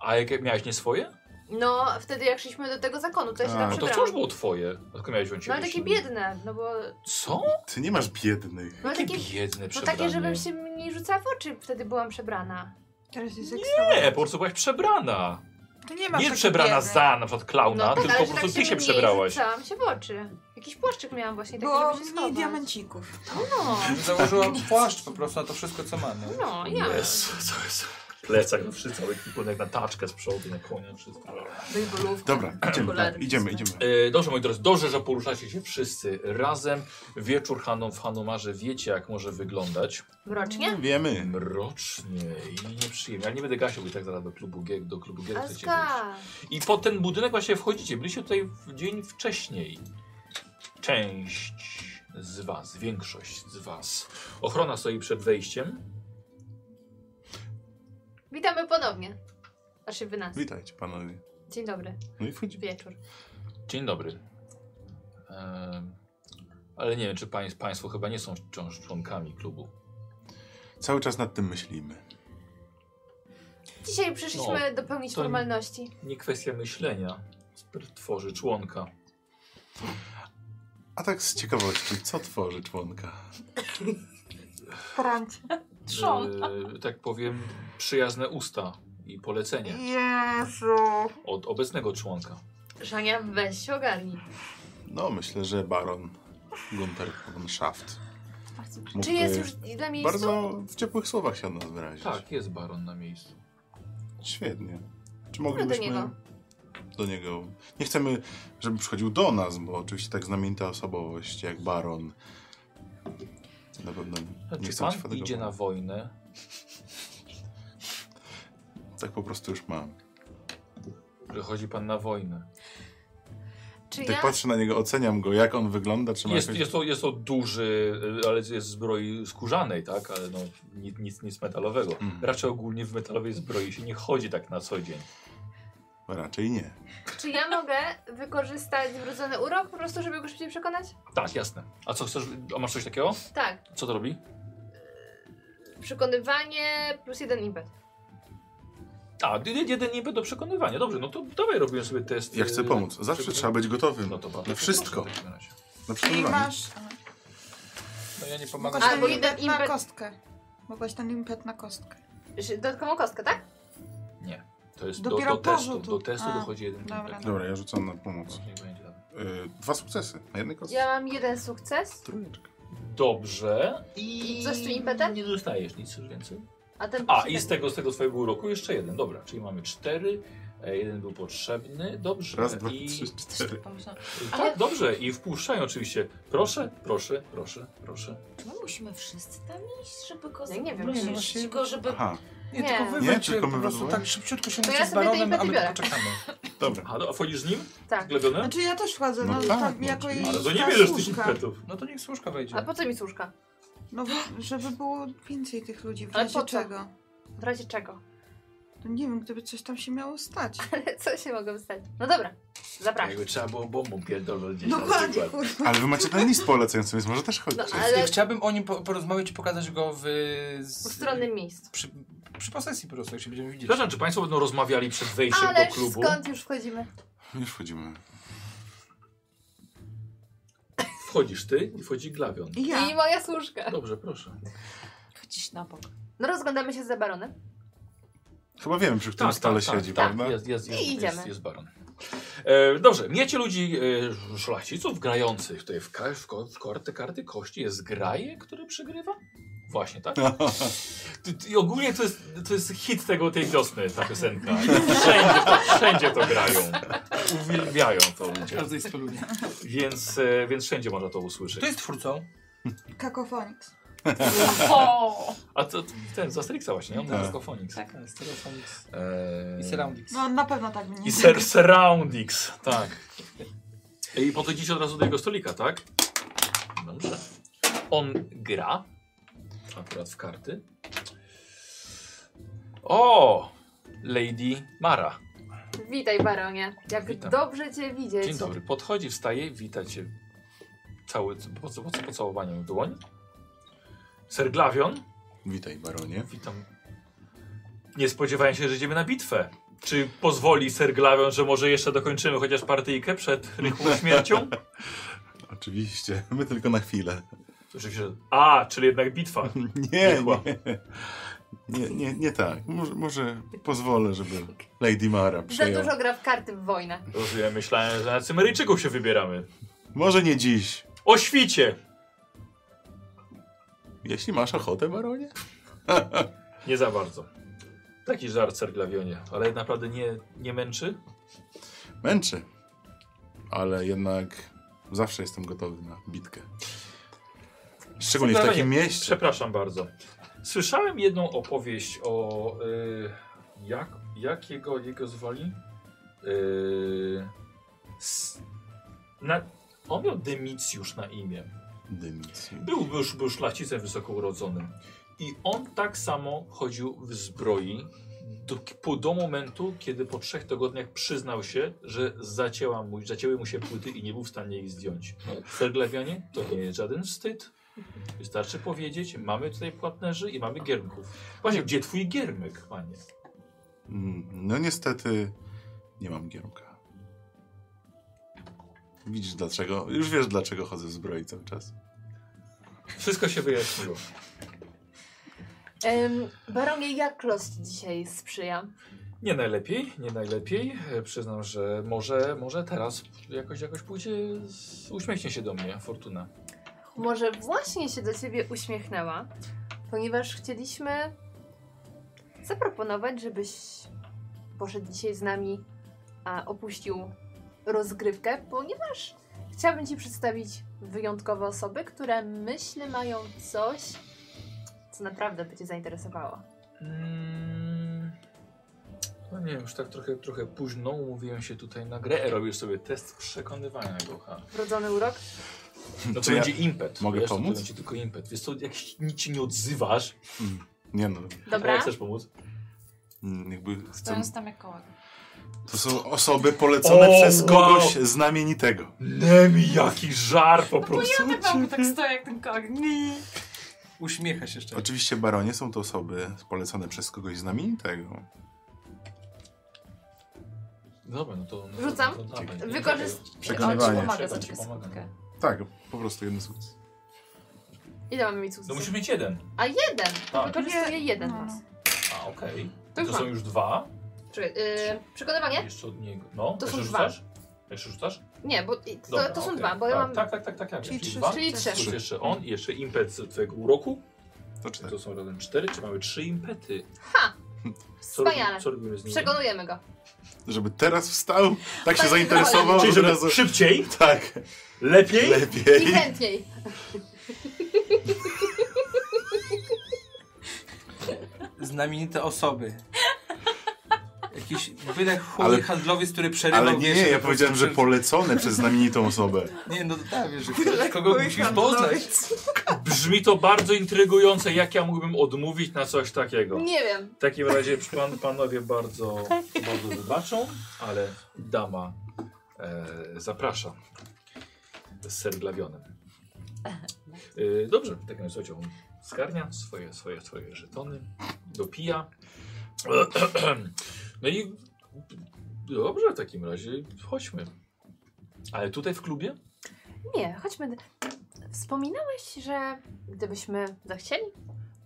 [SPEAKER 3] A jak miałeś nie swoje?
[SPEAKER 6] No, wtedy jak szliśmy do tego zakonu, to ja się
[SPEAKER 2] A,
[SPEAKER 6] tam
[SPEAKER 2] no
[SPEAKER 3] No to
[SPEAKER 6] przebrałam.
[SPEAKER 3] wciąż było twoje. A Tylko miałeś
[SPEAKER 6] No ale takie biedne, no bo...
[SPEAKER 3] Co?
[SPEAKER 2] Ty nie masz biednych.
[SPEAKER 6] No
[SPEAKER 3] Takie
[SPEAKER 6] takie,
[SPEAKER 3] biedne
[SPEAKER 6] no
[SPEAKER 3] przebranie.
[SPEAKER 6] takie, żebym się mniej rzucała w oczy, wtedy byłam przebrana.
[SPEAKER 5] Teraz jest
[SPEAKER 3] Nie,
[SPEAKER 5] ekstra.
[SPEAKER 3] po prostu byłaś przebrana.
[SPEAKER 5] Ty nie masz
[SPEAKER 3] Nie
[SPEAKER 5] takiej
[SPEAKER 3] przebrana
[SPEAKER 5] wiedzy.
[SPEAKER 3] za na przykład klauna,
[SPEAKER 5] No tak,
[SPEAKER 3] tylko
[SPEAKER 6] ale
[SPEAKER 3] po
[SPEAKER 6] że
[SPEAKER 3] prostu
[SPEAKER 6] tak
[SPEAKER 3] ty się
[SPEAKER 6] mniej
[SPEAKER 3] przebrałaś.
[SPEAKER 6] rzucałam się w oczy. Jakiś płaszczyk miałam właśnie taki,
[SPEAKER 5] Było Tak,
[SPEAKER 6] żeby się
[SPEAKER 5] mniej
[SPEAKER 6] schować.
[SPEAKER 5] diamencików.
[SPEAKER 6] No,
[SPEAKER 1] Założyłam płaszcz po prostu na to wszystko, co mamy.
[SPEAKER 6] no, ja.
[SPEAKER 3] Jest, co jest. Plecak, no wszystko, cały ekwipunek na taczkę z przodu, na konia, wszystko.
[SPEAKER 6] Bejbolówka.
[SPEAKER 2] Dobra, idziemy, tak, idziemy, idziemy.
[SPEAKER 3] E, Dobrze, moi drodzy, dobrze, że poruszacie się wszyscy razem. Wieczór Hanom w Hanomarze wiecie, jak może wyglądać.
[SPEAKER 6] Mrocznie?
[SPEAKER 2] Wiemy.
[SPEAKER 3] Mrocznie i nieprzyjemnie. Ja nie będę gasił, bo i tak zaraz do klubu gier, do klubu gier chcecie wejść.
[SPEAKER 6] Aska.
[SPEAKER 3] I pod ten budynek właśnie wchodzicie. Byliście tutaj w dzień wcześniej. Część z was, większość z was. Ochrona stoi przed wejściem.
[SPEAKER 6] Witamy ponownie. Znaczy wy nas.
[SPEAKER 2] Witajcie panowie.
[SPEAKER 6] Dzień dobry,
[SPEAKER 2] No i wchodzimy.
[SPEAKER 6] wieczór.
[SPEAKER 3] Dzień dobry. Em, Ehm, ale nie wiem, czy pań, państwo chyba nie są wciąż członkami klubu.
[SPEAKER 2] Cały czas nad tym myślimy.
[SPEAKER 6] Dzisiaj przyszliśmy dopełnić
[SPEAKER 3] No, to-
[SPEAKER 6] formalności.
[SPEAKER 3] Nie kwestia myślenia sp- tworzy członka.
[SPEAKER 2] A tak z ciekawości, co tworzy członka?
[SPEAKER 5] Franc.
[SPEAKER 7] Trzon.
[SPEAKER 3] Eee, tak powiem, przyjazne usta i polecenie
[SPEAKER 5] Jezu.
[SPEAKER 3] od obecnego członka.
[SPEAKER 6] Żania, weź się ogarnij.
[SPEAKER 2] No, myślę, że baron Gunter von Schaft. mógłby
[SPEAKER 6] Czy
[SPEAKER 3] Y,
[SPEAKER 6] jest już na miejscu?
[SPEAKER 2] Bardzo w ciepłych słowach się od nas wyrazić.
[SPEAKER 3] Tak, jest baron na miejscu.
[SPEAKER 2] Świetnie. Czy
[SPEAKER 6] do
[SPEAKER 2] moglibyśmy
[SPEAKER 6] niego.
[SPEAKER 2] do niego. Nie chcemy, żeby przychodził do nas, bo oczywiście tak znamienita osobowość jak baron. Na pewno
[SPEAKER 3] Czy
[SPEAKER 2] nie chcę
[SPEAKER 3] Znaczy, pan
[SPEAKER 2] być fatygowana.
[SPEAKER 3] idzie na wojnę?
[SPEAKER 2] Tak po prostu już mam.
[SPEAKER 3] Wychodzi pan na wojnę.
[SPEAKER 6] Czy
[SPEAKER 2] Tak
[SPEAKER 6] ja?
[SPEAKER 2] patrzę na niego, oceniam go, jak on wygląda, czy ma
[SPEAKER 3] Jest,
[SPEAKER 2] jakieś...
[SPEAKER 3] jest, to, jest to duży, y, ale jest zbroi skórzanej, tak? Ale no, nic, nic, nic metalowego.
[SPEAKER 2] Mhm.
[SPEAKER 3] Raczej ogólnie w metalowej zbroi się nie chodzi tak na co dzień.
[SPEAKER 2] Raczej nie.
[SPEAKER 6] Czy ja mogę wykorzystać wrodzony urok po prostu, żeby go szybciej przekonać?
[SPEAKER 3] Tak, jasne. A co chcesz? A masz coś takiego?
[SPEAKER 6] Tak,
[SPEAKER 3] Co to robi?
[SPEAKER 6] przekonywanie plus jeden impet.
[SPEAKER 3] A, jed- jeden niby do przekonywania. Dobrze, no to dawaj robiłem sobie test.
[SPEAKER 2] Ja
[SPEAKER 3] y,
[SPEAKER 2] chcę pomóc. Zawsze
[SPEAKER 3] przekonywania.
[SPEAKER 2] trzeba być gotowym.
[SPEAKER 3] No to bardzo
[SPEAKER 2] Na wszystko.
[SPEAKER 3] proszę w takim razie.
[SPEAKER 2] Na
[SPEAKER 5] I
[SPEAKER 2] przykład.
[SPEAKER 5] masz...
[SPEAKER 1] No ja nie
[SPEAKER 5] Mogłaś
[SPEAKER 1] pomagam.
[SPEAKER 6] Albo
[SPEAKER 5] ten
[SPEAKER 6] jeden
[SPEAKER 5] impet na
[SPEAKER 6] impet.
[SPEAKER 5] kostkę. Mogłaś ten impet na kostkę.
[SPEAKER 6] Że- Dodatkową kostkę, tak?
[SPEAKER 3] Nie. To jest do,
[SPEAKER 5] Dopiero
[SPEAKER 3] do testu.
[SPEAKER 5] porzutu.
[SPEAKER 3] Do testu
[SPEAKER 5] A,
[SPEAKER 3] dochodzi jeden
[SPEAKER 5] dobra.
[SPEAKER 3] impet.
[SPEAKER 2] Dobra, ja rzucam na pomoc.
[SPEAKER 3] Niech będzie tak.
[SPEAKER 2] Yy, dwa sukcesy na jednej kostce.
[SPEAKER 6] Ja mam jeden sukces,
[SPEAKER 2] Trójeczka.
[SPEAKER 3] Dobrze. I
[SPEAKER 6] Coś tu impetem?
[SPEAKER 3] Nie dostajesz nic już więcej.
[SPEAKER 6] a ten
[SPEAKER 3] A, i z tego, z tego swojego uroku jeszcze jeden. Dobra, czyli mamy cztery. E, Jeden był potrzebny. Dobrze.
[SPEAKER 2] Raz, dwa,
[SPEAKER 3] I...
[SPEAKER 2] trzy, cztery.
[SPEAKER 7] Pomyślałam,
[SPEAKER 3] Tak, dobrze. I wpuszczają oczywiście. Proszę, proszę, proszę, proszę.
[SPEAKER 7] czy my musimy wszyscy tam iść, żeby go
[SPEAKER 6] Ja nie wiem,
[SPEAKER 7] zaprosić,
[SPEAKER 1] no właśnie-
[SPEAKER 7] go, żeby...
[SPEAKER 2] Aha,
[SPEAKER 1] Nie,
[SPEAKER 6] Nie.
[SPEAKER 1] tylko wy
[SPEAKER 2] Nie,
[SPEAKER 1] wejdźcie
[SPEAKER 2] tylko my
[SPEAKER 1] po prostu
[SPEAKER 2] rozmawiamy.
[SPEAKER 1] tak szybciutko się
[SPEAKER 6] To ja
[SPEAKER 1] ja z
[SPEAKER 6] sobie te
[SPEAKER 1] baronem,
[SPEAKER 6] impety
[SPEAKER 1] ale
[SPEAKER 6] biorę.
[SPEAKER 1] poczekamy.
[SPEAKER 2] dobra.
[SPEAKER 3] A, do, a wchodzisz z nim?
[SPEAKER 6] Tak.
[SPEAKER 3] Zglebiony?
[SPEAKER 5] Znaczy ja też chodzę, no,
[SPEAKER 2] No tak,
[SPEAKER 5] tam
[SPEAKER 2] no
[SPEAKER 5] jako
[SPEAKER 2] oczywiście.
[SPEAKER 5] i
[SPEAKER 3] Ale to nie
[SPEAKER 5] ta
[SPEAKER 3] bierzesz tych
[SPEAKER 5] służka.
[SPEAKER 3] impetów.
[SPEAKER 1] No to niech służka wejdzie.
[SPEAKER 6] A po co mi służka?
[SPEAKER 5] No bo- żeby było więcej tych ludzi, w
[SPEAKER 6] Ale po
[SPEAKER 5] razie
[SPEAKER 6] co?
[SPEAKER 5] czego.
[SPEAKER 6] W razie czego?
[SPEAKER 5] No nie wiem, gdyby coś tam się miało stać.
[SPEAKER 6] Co się mogę wstać? No dobra, zapraszam.
[SPEAKER 3] Jakby trzeba było bombą pierdolnąć gdzieś na
[SPEAKER 5] Dokładnie,
[SPEAKER 3] przykład.
[SPEAKER 5] kurwa.
[SPEAKER 2] Ale wy macie ten list polecający, więc może też chodźcie.
[SPEAKER 6] No ale w
[SPEAKER 1] Chciałbym o nim po- porozmawiać i pokazać go w... Z...
[SPEAKER 6] ustronnym miejscu.
[SPEAKER 1] Przy, przy posesji po prostu, jak się będziemy widzieć.
[SPEAKER 3] Przepraszam, czy Państwo będą rozmawiali przed wejściem
[SPEAKER 6] Ale
[SPEAKER 3] do klubu?
[SPEAKER 6] skąd już wchodzimy?
[SPEAKER 2] Już wchodzimy.
[SPEAKER 3] Wchodzisz ty i wchodzi Glawion.
[SPEAKER 5] I Ja.
[SPEAKER 6] I moja służka.
[SPEAKER 3] Dobrze, proszę.
[SPEAKER 7] Chodzić na bok.
[SPEAKER 6] No rozglądamy się za baronem.
[SPEAKER 2] Chyba wiemy, przy którym stole siedzi,
[SPEAKER 3] tak,
[SPEAKER 2] prawda?
[SPEAKER 3] Jest, jest,
[SPEAKER 6] I
[SPEAKER 3] jest,
[SPEAKER 6] idziemy.
[SPEAKER 3] Jest, jest baron. E, dobrze, miecie ludzi e, szlachciców grających tutaj w, ka- w, ko- w korty, karty kości. Jest graje, który przegrywa? Właśnie, tak? Ty- ty- I ogólnie to jest, to jest hit tego, tej wiosny, ta piosenka. Wszędzie to, wszędzie to grają. Uwielbiają to
[SPEAKER 1] W
[SPEAKER 3] ludzie.
[SPEAKER 1] każdej spelunie.
[SPEAKER 3] Więc, e, więc wszędzie można to usłyszeć.
[SPEAKER 1] Kto jest twórcą?
[SPEAKER 5] Kakofoniks.
[SPEAKER 7] O!
[SPEAKER 3] A to ten z Asterixa właśnie, nie? On
[SPEAKER 2] Tak.
[SPEAKER 3] tak. Kofonix.
[SPEAKER 1] Tak, Stereophonics.
[SPEAKER 3] Eee,
[SPEAKER 1] I Surroundings.
[SPEAKER 5] No na pewno tak mnie
[SPEAKER 3] I ser surroundings, tak. I podchodzicie od razu do jego stolika, tak? Dobrze. On gra akurat w karty. O! Lady Mara.
[SPEAKER 6] Witaj baronie. Jak
[SPEAKER 3] Witam.
[SPEAKER 6] dobrze cię widzieć.
[SPEAKER 3] Dzień dobry. Podchodzi, wstaje, wita cię. Cały, po, po, pocałowaniem w dłoń. Ser Glawion.
[SPEAKER 2] Witaj, baronie.
[SPEAKER 3] Witam. Nie spodziewałem się, że idziemy na bitwę. Czy pozwoli Ser Glawion, że może jeszcze dokończymy chociaż partyjkę przed rychłą śmiercią?
[SPEAKER 2] Oczywiście, my tylko na chwilę.
[SPEAKER 3] Oczywiście. A, czyli jednak bitwa.
[SPEAKER 2] Nie,
[SPEAKER 3] Rychła.
[SPEAKER 2] nie. Nie, nie, nie tak. Może, może pozwolę, żeby Lady Mara
[SPEAKER 6] Za
[SPEAKER 2] przejęła.
[SPEAKER 6] dużo gra w karty w wojnę.
[SPEAKER 3] Rozumiem, myślałem, że na Cymeryjczyków się wybieramy.
[SPEAKER 2] Może nie dziś.
[SPEAKER 3] O świcie!
[SPEAKER 2] Jeśli masz ochotę, baronie.
[SPEAKER 3] Nie za bardzo. Taki żart, Serglawionie, ale naprawdę nie, nie męczy?
[SPEAKER 2] Męczy. Ale jednak zawsze jestem gotowy na bitkę. Szczególnie w takim
[SPEAKER 3] Serglawionie,
[SPEAKER 2] mieście.
[SPEAKER 3] Przepraszam bardzo. Słyszałem jedną opowieść o... Y, jak, jak jego, jego zwali? Y, s, na, on miał Demicjusz na imię.
[SPEAKER 2] Dymisji.
[SPEAKER 3] Był, był, już- był szlachcicem wysoko urodzonym. I on tak samo chodził w zbroi do, po- do momentu, kiedy po trzech tygodniach przyznał się, że zacięła mu, zacięły mu się płyty i nie był w stanie ich zdjąć. Serglawianie, to nie jest żaden wstyd. Wystarczy powiedzieć, mamy tutaj płatnerzy i mamy giermków. Właśnie, gdzie twój giermek, panie?
[SPEAKER 2] Mm, No niestety nie mam giermka. Widzisz dlaczego? Już wiesz dlaczego chodzę w zbroi cały czas.
[SPEAKER 3] Wszystko się wyjaśniło.
[SPEAKER 6] Em, baronie, jak los ci dzisiaj sprzyja?
[SPEAKER 3] Nie najlepiej, nie najlepiej. E, Przyznam, że może, może teraz jakoś, jakoś pójdzie, z- uśmiechnie się do mnie fortuna.
[SPEAKER 6] Może właśnie się do ciebie uśmiechnęła, ponieważ chcieliśmy zaproponować, żebyś poszedł dzisiaj z nami, a opuścił rozgrywkę, ponieważ chciałabym ci przedstawić wyjątkowe osoby, które myślę mają coś, co naprawdę by cię zainteresowało.
[SPEAKER 3] Mm, No nie wiem, już tak trochę, trochę późno umówiłem się tutaj na grę. E, Robisz sobie test przekonywania, kocha.
[SPEAKER 6] Wrodzony urok?
[SPEAKER 3] No to
[SPEAKER 2] Czy ja
[SPEAKER 3] będzie impet.
[SPEAKER 2] mogę
[SPEAKER 3] wiesz, To
[SPEAKER 2] pomóc?
[SPEAKER 3] będzie tylko impet. Wiesz co, jak się- nic ci nie odzywasz,
[SPEAKER 2] Nie no,
[SPEAKER 3] a
[SPEAKER 6] Dobra.
[SPEAKER 3] jak chcesz pomóc?
[SPEAKER 2] mm, jakby chcę...
[SPEAKER 7] Stojąc tam jak kołak.
[SPEAKER 2] To są osoby polecone
[SPEAKER 3] O,
[SPEAKER 2] przez
[SPEAKER 3] wow.
[SPEAKER 2] kogoś znamienitego.
[SPEAKER 3] Nemi, jaki żar
[SPEAKER 6] No
[SPEAKER 3] po prostu.
[SPEAKER 7] Ja tak mam, tak stoję jak ten kołak. Nie.
[SPEAKER 1] Uśmiecha się jeszcze.
[SPEAKER 2] Oczywiście baronie są to osoby polecone przez kogoś znamienitego.
[SPEAKER 3] Dobra, no to... No, to-
[SPEAKER 6] Rzucam.
[SPEAKER 3] to dawaj.
[SPEAKER 6] Wykorzyst...
[SPEAKER 2] Przekonywanie.
[SPEAKER 7] Pomaga za
[SPEAKER 3] Siadam ci,
[SPEAKER 7] ciebie
[SPEAKER 3] pomagam.
[SPEAKER 7] sekundkę.
[SPEAKER 2] Tak, po prostu jeden sukces.
[SPEAKER 6] Ile mamy mieć
[SPEAKER 3] No
[SPEAKER 6] sukcesów?
[SPEAKER 3] musisz mieć jeden.
[SPEAKER 6] A jeden!
[SPEAKER 3] Tak.
[SPEAKER 6] Wykorzystuję jeden
[SPEAKER 5] No.
[SPEAKER 6] was.
[SPEAKER 3] A, okej.
[SPEAKER 6] To już
[SPEAKER 3] To są
[SPEAKER 6] mam.
[SPEAKER 3] już dwa.
[SPEAKER 6] Czekaj, y, Przekonywanie?
[SPEAKER 3] Jeszcze od niego. No,
[SPEAKER 6] To są
[SPEAKER 3] jeszcze
[SPEAKER 6] dwa.
[SPEAKER 3] rzucasz? Jeszcze rzucasz?
[SPEAKER 6] Nie, bo i- to,
[SPEAKER 3] Dobra,
[SPEAKER 6] to są
[SPEAKER 3] okej.
[SPEAKER 6] dwa, bo ja
[SPEAKER 3] tak,
[SPEAKER 6] mam...
[SPEAKER 3] Tak, tak, tak, tak. tak.
[SPEAKER 5] Czyli trzy
[SPEAKER 3] dwa.
[SPEAKER 6] Czyli trzy.
[SPEAKER 3] Plus jeszcze on i jeszcze impet z twojego uroku.
[SPEAKER 2] To
[SPEAKER 3] Czy
[SPEAKER 2] cztery.
[SPEAKER 3] to są razem cztery, czy mamy trzy impety? Co,
[SPEAKER 6] Wspaniale.
[SPEAKER 3] robimy- co robimy z nimi?
[SPEAKER 6] Przekonujemy go.
[SPEAKER 2] Żeby teraz wstał, tak się
[SPEAKER 6] Panie
[SPEAKER 2] zainteresował,
[SPEAKER 3] Czyli
[SPEAKER 2] że
[SPEAKER 3] żeby
[SPEAKER 2] razu...
[SPEAKER 3] szybciej,
[SPEAKER 2] Tak,
[SPEAKER 3] lepiej.
[SPEAKER 2] lepiej.
[SPEAKER 6] I chętniej.
[SPEAKER 1] Znamienite osoby. Jakiś wydech chuj
[SPEAKER 2] Ale-
[SPEAKER 1] handlowiec, który przerywał...
[SPEAKER 2] Ale nie,
[SPEAKER 1] wiesz,
[SPEAKER 2] nie, ja
[SPEAKER 1] po
[SPEAKER 2] powiedziałem,
[SPEAKER 1] prostu
[SPEAKER 2] że polecone przez znamienitą osobę.
[SPEAKER 1] Nie, no to tak, wiesz, że ktoś, kogo musisz poznać.
[SPEAKER 3] Brzmi to bardzo intrygujące. Jak ja mógłbym odmówić na coś takiego?
[SPEAKER 6] Nie wiem.
[SPEAKER 3] W takim razie pan, panowie bardzo, bardzo wybaczą, ale dama e, zaprasza z serglawionem. E, dobrze, w takim razie słuchajcie, on zgarnia swoje, swoje, swoje żetony, dopija. No i dobrze, w takim razie chodźmy. Ale tutaj w klubie?
[SPEAKER 6] Nie, chodźmy. d- Wspominałeś, że gdybyśmy zachcieli,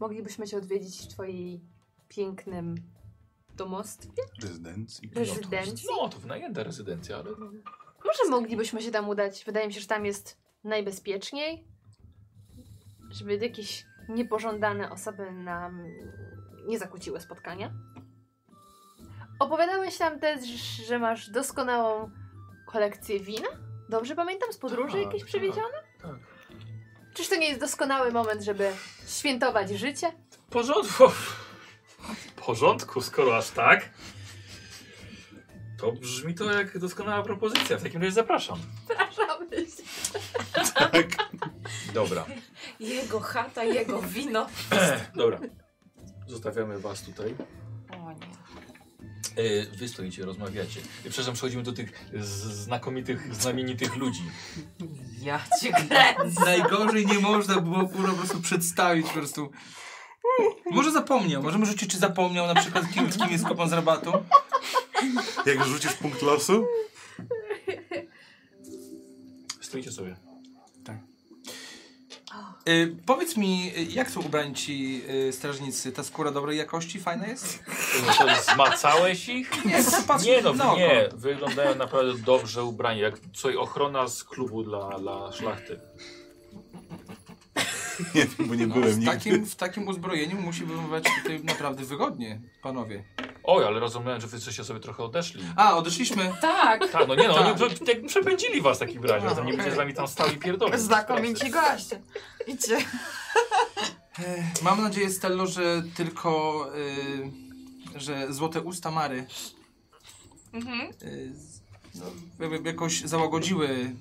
[SPEAKER 6] moglibyśmy cię odwiedzić w twojej pięknym domostwie,
[SPEAKER 2] Rezydencji.
[SPEAKER 6] rezydencji.
[SPEAKER 3] No to wynajęta rezydencja, ale no,
[SPEAKER 6] Może moglibyśmy się tam udać. Wydaje mi się, że tam jest najbezpieczniej, żeby jakieś niepożądane osoby nam nie zakłóciły spotkania. Opowiadałeś nam też, że masz doskonałą kolekcję wina. Dobrze pamiętam? Z podróży
[SPEAKER 3] Tak,
[SPEAKER 6] jakieś
[SPEAKER 3] tak,
[SPEAKER 6] przywiezione?
[SPEAKER 3] tak.
[SPEAKER 6] Czyż to nie jest doskonały moment, żeby świętować życie?
[SPEAKER 3] W porządku. W porządku, skoro aż tak. To brzmi to jak doskonała propozycja. W takim razie zapraszam.
[SPEAKER 6] Przepraszamy się.
[SPEAKER 2] Tak.
[SPEAKER 3] Dobra,
[SPEAKER 7] Jego chata, jego wino.
[SPEAKER 3] dobra. Zostawiamy was tutaj.
[SPEAKER 7] O nie.
[SPEAKER 3] E, Wy stoicie, rozmawiacie. E, Przepraszam, przechodzimy do tych z- znakomitych, znamienitych ludzi.
[SPEAKER 7] Ja cię kręcę.
[SPEAKER 1] Najgorzej nie można było kurwa, po prostu przedstawić po prostu. Może zapomniał, możemy rzucić, czy zapomniał na przykład kim, kim jest kopan z rabatu.
[SPEAKER 2] Jak rzucisz punkt losu?
[SPEAKER 3] Stoicie sobie.
[SPEAKER 1] Tak.
[SPEAKER 6] Och,
[SPEAKER 1] Y, powiedz mi, y, jak są ubrani ci y, strażnicy? Ta skóra dobrej jakości, fajna jest?
[SPEAKER 3] No To zmacałeś ich?
[SPEAKER 1] Nie, patrz
[SPEAKER 3] Nie no,
[SPEAKER 1] na oko.
[SPEAKER 3] nie. Wyglądają naprawdę dobrze ubrani. Jak co i ochrona z klubu dla, dla szlachty.
[SPEAKER 2] Nie wiem, bo nie
[SPEAKER 1] No,
[SPEAKER 2] byłem
[SPEAKER 1] w,
[SPEAKER 2] nigdy.
[SPEAKER 1] takim, w takim uzbrojeniu musi wyglądać tutaj naprawdę wygodnie, panowie.
[SPEAKER 3] Oj, ale rozumiałem, że wy jesteście sobie trochę odeszli.
[SPEAKER 1] A, odeszliśmy.
[SPEAKER 24] Tak,
[SPEAKER 3] Tak, no nie no,
[SPEAKER 1] Tak.
[SPEAKER 3] oni prze- jak przepędzili was w takim razie. To nie będzie z nami tam stali pierdolni.
[SPEAKER 5] Znakomici goście. Idźcie.
[SPEAKER 1] Ech, Mam nadzieję, Stello, że tylko, y, że złote usta Mary
[SPEAKER 7] Mhm.
[SPEAKER 1] y, z- no, jakby jakoś załagodziły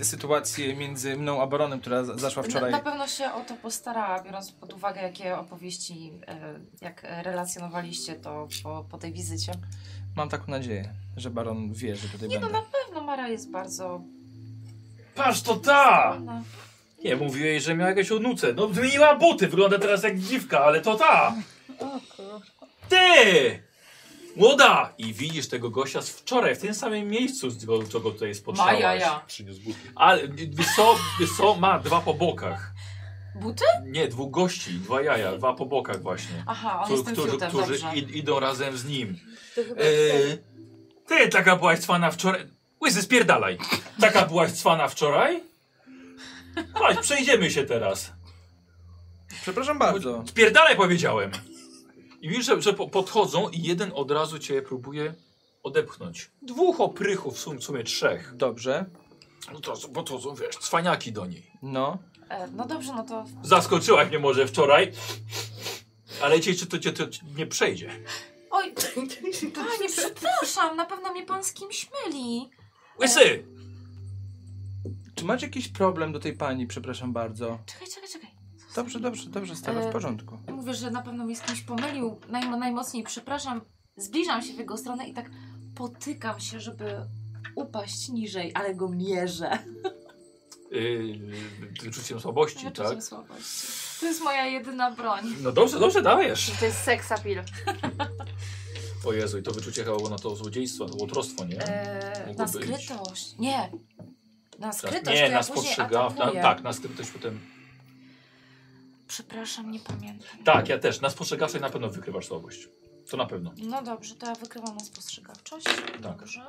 [SPEAKER 1] y, sytuację między mną a Baronem, która za- zaszła
[SPEAKER 7] Na,
[SPEAKER 1] wczoraj.
[SPEAKER 7] na pewno się o to postarała, biorąc pod uwagę, jakie opowieści, e, jak relacjonowaliście to po, po tej wizycie.
[SPEAKER 1] Mam taką nadzieję, że Baron wie, że tutaj
[SPEAKER 7] Nie no,
[SPEAKER 1] będę.
[SPEAKER 7] na pewno Mara jest bardzo...
[SPEAKER 3] Patrz to ta!
[SPEAKER 7] Ona...
[SPEAKER 3] Nie, mówiłeś, że miała jakieś odnuce. No zmieniła buty, wygląda teraz jak dziwka, ale to ta! Ty! Młoda! I widzisz tego gościa z wczoraj, w tym samym miejscu, z go- co go tutaj spotkałaś.
[SPEAKER 24] Maja, ja.
[SPEAKER 2] Przyniósł buty.
[SPEAKER 3] Ale wyso, wyso ma dwa po bokach.
[SPEAKER 24] Buty?
[SPEAKER 3] Nie, dwóch gości, dwa jaja, dwa po bokach właśnie.
[SPEAKER 24] Aha, on
[SPEAKER 3] Któ-
[SPEAKER 24] jest tym
[SPEAKER 3] którzy
[SPEAKER 24] fiutem,
[SPEAKER 3] którzy
[SPEAKER 24] dobrze.
[SPEAKER 3] id, idą razem z nim.
[SPEAKER 6] To chyba
[SPEAKER 3] Eee, ty taka byłaś cwana wczoraj. Łysy, spierdalaj. Taka byłaś cwana wczoraj? Chodź, przejdziemy się teraz.
[SPEAKER 1] Przepraszam bardzo.
[SPEAKER 3] Spierdalaj powiedziałem. I widzisz, że, że po- podchodzą i jeden od razu cię próbuje odepchnąć. Dwóch oprychów, w sum- w sumie trzech.
[SPEAKER 1] Dobrze,
[SPEAKER 3] No to są- podchodzą, wiesz, cwaniaki do niej.
[SPEAKER 1] no.
[SPEAKER 7] E, no dobrze, no to...
[SPEAKER 3] Zaskoczyłaś mnie może wczoraj, ale cię, czy to cię to nie przejdzie.
[SPEAKER 7] Oj, panie, przepraszam, na pewno mnie pan z kimś myli.
[SPEAKER 3] Łysy! Y,
[SPEAKER 1] Czy macie jakiś problem do tej pani, przepraszam bardzo?
[SPEAKER 7] Czekaj, czekaj, czekaj.
[SPEAKER 1] Dobrze, dobrze, dobrze, Stello,
[SPEAKER 7] E,
[SPEAKER 1] w porządku.
[SPEAKER 7] Mówię, że na pewno mnie z kimś pomylił. Najm najmocniej przepraszam. Zbliżam się w jego stronę i tak potykam się, żeby upaść niżej, ale go mierzę.
[SPEAKER 3] Yy, czuciem y, słabości, tak?
[SPEAKER 7] Wyczuciem słabości. To jest moja jedyna broń.
[SPEAKER 3] No dobrze, dobrze, dajesz.
[SPEAKER 6] To jest seks appeal.
[SPEAKER 3] O Jezu, i to wyczucie chyba było na to złodziejstwo, to łotrostwo, nie?
[SPEAKER 7] Eee,
[SPEAKER 3] Mogło
[SPEAKER 7] na
[SPEAKER 3] być. Tak.
[SPEAKER 7] skrytość. Nie. Na skrytość
[SPEAKER 3] nie,
[SPEAKER 7] to ja
[SPEAKER 3] na
[SPEAKER 7] później
[SPEAKER 3] spostrzegawczość.
[SPEAKER 7] atakuję.
[SPEAKER 3] Tak, na skrytość potem.
[SPEAKER 7] Przepraszam, nie pamiętam.
[SPEAKER 3] Tak, ja też. Na spostrzegawczość na pewno wykrywasz słabość. To na pewno.
[SPEAKER 7] No dobrze, to ja wykrywam na spostrzegawczość.
[SPEAKER 3] Tak.
[SPEAKER 7] Dobrze.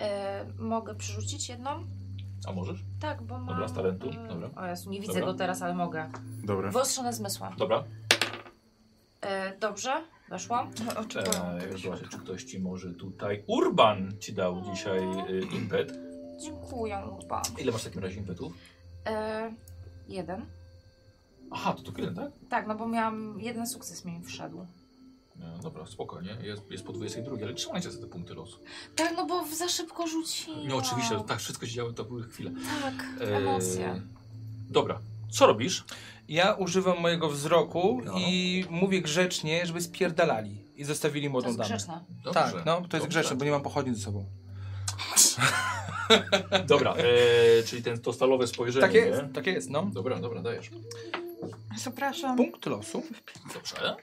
[SPEAKER 7] Eee, mogę przerzucić jedną?
[SPEAKER 3] A możesz?
[SPEAKER 7] Tak, bo mam...
[SPEAKER 3] Dobra, z talentu. Dobra.
[SPEAKER 7] O Jezu, nie widzę
[SPEAKER 3] Dobra.
[SPEAKER 7] go teraz, ale mogę.
[SPEAKER 2] Dobra.
[SPEAKER 7] Wyostrzone zmysła.
[SPEAKER 3] Dobra.
[SPEAKER 7] E, dobrze, weszłam. Tak.
[SPEAKER 3] Eee, zobaczę, czy ktoś ci może tutaj. Urban ci dał dzisiaj y, impet.
[SPEAKER 7] Dziękuję, Urban.
[SPEAKER 3] Ile masz w takim razie impetów?
[SPEAKER 7] E, jeden.
[SPEAKER 3] Aha, to tylko jeden, tak?
[SPEAKER 7] Tak, no bo miałam jeden sukces mi wszedł.
[SPEAKER 3] No, dobra, spokojnie. Jest, jest po 22, ale trzymajcie sobie te punkty losu.
[SPEAKER 7] Tak, no bo za szybko rzuciłam.
[SPEAKER 3] No oczywiście, to tak wszystko się działo, to były chwile.
[SPEAKER 7] Tak,
[SPEAKER 3] Eee,
[SPEAKER 7] emocje.
[SPEAKER 3] Dobra, co robisz?
[SPEAKER 1] Ja używam mojego wzroku
[SPEAKER 3] No.
[SPEAKER 1] i mówię grzecznie, żeby spierdalali i zostawili
[SPEAKER 7] To
[SPEAKER 1] młodą
[SPEAKER 7] jest
[SPEAKER 1] damę.
[SPEAKER 7] grzeczne.
[SPEAKER 3] Dobrze,
[SPEAKER 1] Tak, no, to jest grzeczne, bo nie mam pochodni ze sobą.
[SPEAKER 3] Dobra, eee, czyli ten, to stalowe spojrzenie.
[SPEAKER 1] Tak jest,
[SPEAKER 3] nie?
[SPEAKER 1] tak jest, no.
[SPEAKER 3] Dobra, dobra, dajesz.
[SPEAKER 5] Zapraszam.
[SPEAKER 1] Punkt losu.
[SPEAKER 3] Dobrze.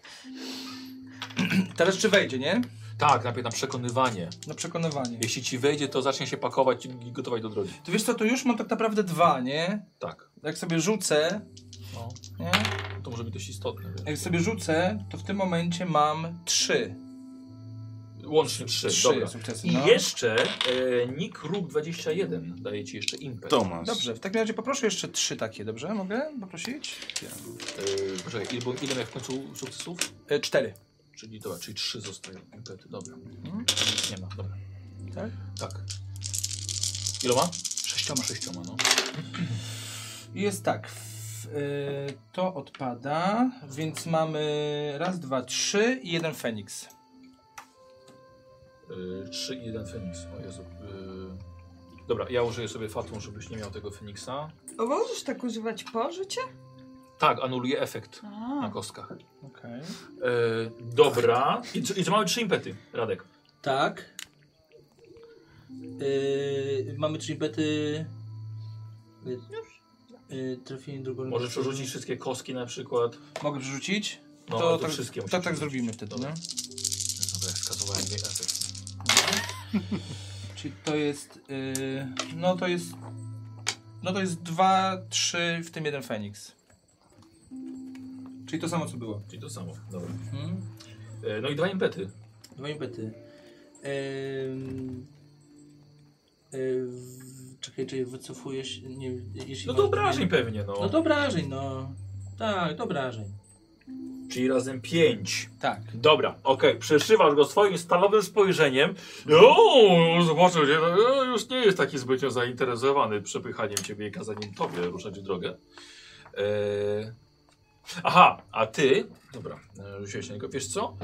[SPEAKER 1] Teraz czy wejdzie, nie?
[SPEAKER 3] Tak, najpierw na przekonywanie.
[SPEAKER 1] Na przekonywanie.
[SPEAKER 3] Jeśli ci wejdzie, to zacznie się pakować i gotować do drogi.
[SPEAKER 1] To wiesz co, to już mam tak naprawdę dwa, nie?
[SPEAKER 3] Tak.
[SPEAKER 1] Jak sobie rzucę,
[SPEAKER 3] No,
[SPEAKER 1] nie?
[SPEAKER 3] to może być dość istotne. Wiesz.
[SPEAKER 1] Jak sobie rzucę, to w tym momencie mam trzy.
[SPEAKER 3] Łącznie trzy,
[SPEAKER 1] Trzy
[SPEAKER 3] dobra.
[SPEAKER 1] sukcesy,
[SPEAKER 3] I
[SPEAKER 1] no.
[SPEAKER 3] jeszcze e, Nick Rook 21 daje ci jeszcze impet.
[SPEAKER 25] Tomasz.
[SPEAKER 1] Dobrze, w takim razie poproszę jeszcze trzy takie, dobrze? Mogę poprosić?
[SPEAKER 3] E, poczekaj, ile, było- ile miałeś w końcu sukcesów?
[SPEAKER 1] E, cztery.
[SPEAKER 3] Czyli dobra, czyli trzy zostają impety, dobra.
[SPEAKER 1] Mhm.
[SPEAKER 3] Nie ma, dobra.
[SPEAKER 1] Tak?
[SPEAKER 3] Tak. Iloma? Sześcioma. Sześcioma, no.
[SPEAKER 1] I Jest tak, w, e, to odpada, więc mamy raz, dwa, trzy i jeden Feniks.
[SPEAKER 3] Y, 3 i 1 Feniks. O Jezu. y, Dobra, ja użyję sobie fatum, żebyś nie miał tego Feniksa.
[SPEAKER 5] O, możesz tak używać po rzucie?
[SPEAKER 3] Tak, anuluję efekt na
[SPEAKER 5] A,
[SPEAKER 3] kostkach.
[SPEAKER 1] Okej.
[SPEAKER 3] Y, dobra. I co, I co mamy trzy impety, Radek?
[SPEAKER 1] Tak. Yy, mamy trzy bety. Yy, trafienie drugą.
[SPEAKER 3] Możesz przerzucić wszystkie kostki na przykład.
[SPEAKER 1] Mogę przerzucić?
[SPEAKER 3] No,
[SPEAKER 1] to
[SPEAKER 3] to,
[SPEAKER 1] tak-
[SPEAKER 3] wszystkie
[SPEAKER 1] To
[SPEAKER 3] musisz
[SPEAKER 1] tak, tak
[SPEAKER 3] przerzucić.
[SPEAKER 1] zrobimy wtedy.
[SPEAKER 3] Dobra,
[SPEAKER 1] No?
[SPEAKER 3] dobra skazowałem jej efekt.
[SPEAKER 1] y, Czyli to jest. Yy, no to jest. No to jest dwa, trzy, w tym jeden Feniks. Czyli to samo co było.
[SPEAKER 3] Czyli to samo. Dobra.
[SPEAKER 1] Mhm.
[SPEAKER 3] E, No i dwa impety.
[SPEAKER 1] Dwa impety. Ehm, e, w- czekaj, czy wycofujesz? Nie, jeśli
[SPEAKER 3] No
[SPEAKER 1] masz-
[SPEAKER 3] to obrażeń pewnie, no.
[SPEAKER 1] No to obrażeń, no. Tak, to obrażeń.
[SPEAKER 3] Czyli razem pięć.
[SPEAKER 1] Tak.
[SPEAKER 3] Dobra, okej, przeszywasz go swoim stalowym spojrzeniem. No, O, zobaczył cię, e, już nie jest taki zbytnio zainteresowany przepychaniem ciebie i kazaniem tobie ruszać w drogę. E, aha, a ty, dobra, e, rzuciłeś na niego, wiesz co?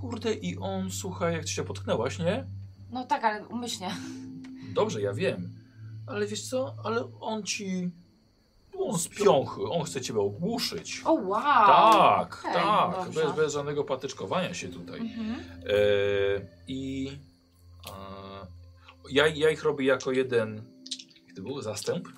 [SPEAKER 3] Kurde, i on, słuchaj, jak ty się potknęłaś, nie?
[SPEAKER 7] No tak, ale umyślnie.
[SPEAKER 3] Dobrze, ja wiem. Ale wiesz co, ale on ci... On z piąchy, on chce ciebie ogłuszyć.
[SPEAKER 7] O wow!
[SPEAKER 3] Tak,
[SPEAKER 7] Okej,
[SPEAKER 3] tak,
[SPEAKER 7] dobrze.
[SPEAKER 3] bez, bez żadnego patyczkowania się tutaj.
[SPEAKER 7] Mhm.
[SPEAKER 3] E, I e, ja, ja ich robię jako jeden. Jak to był? Zastęp?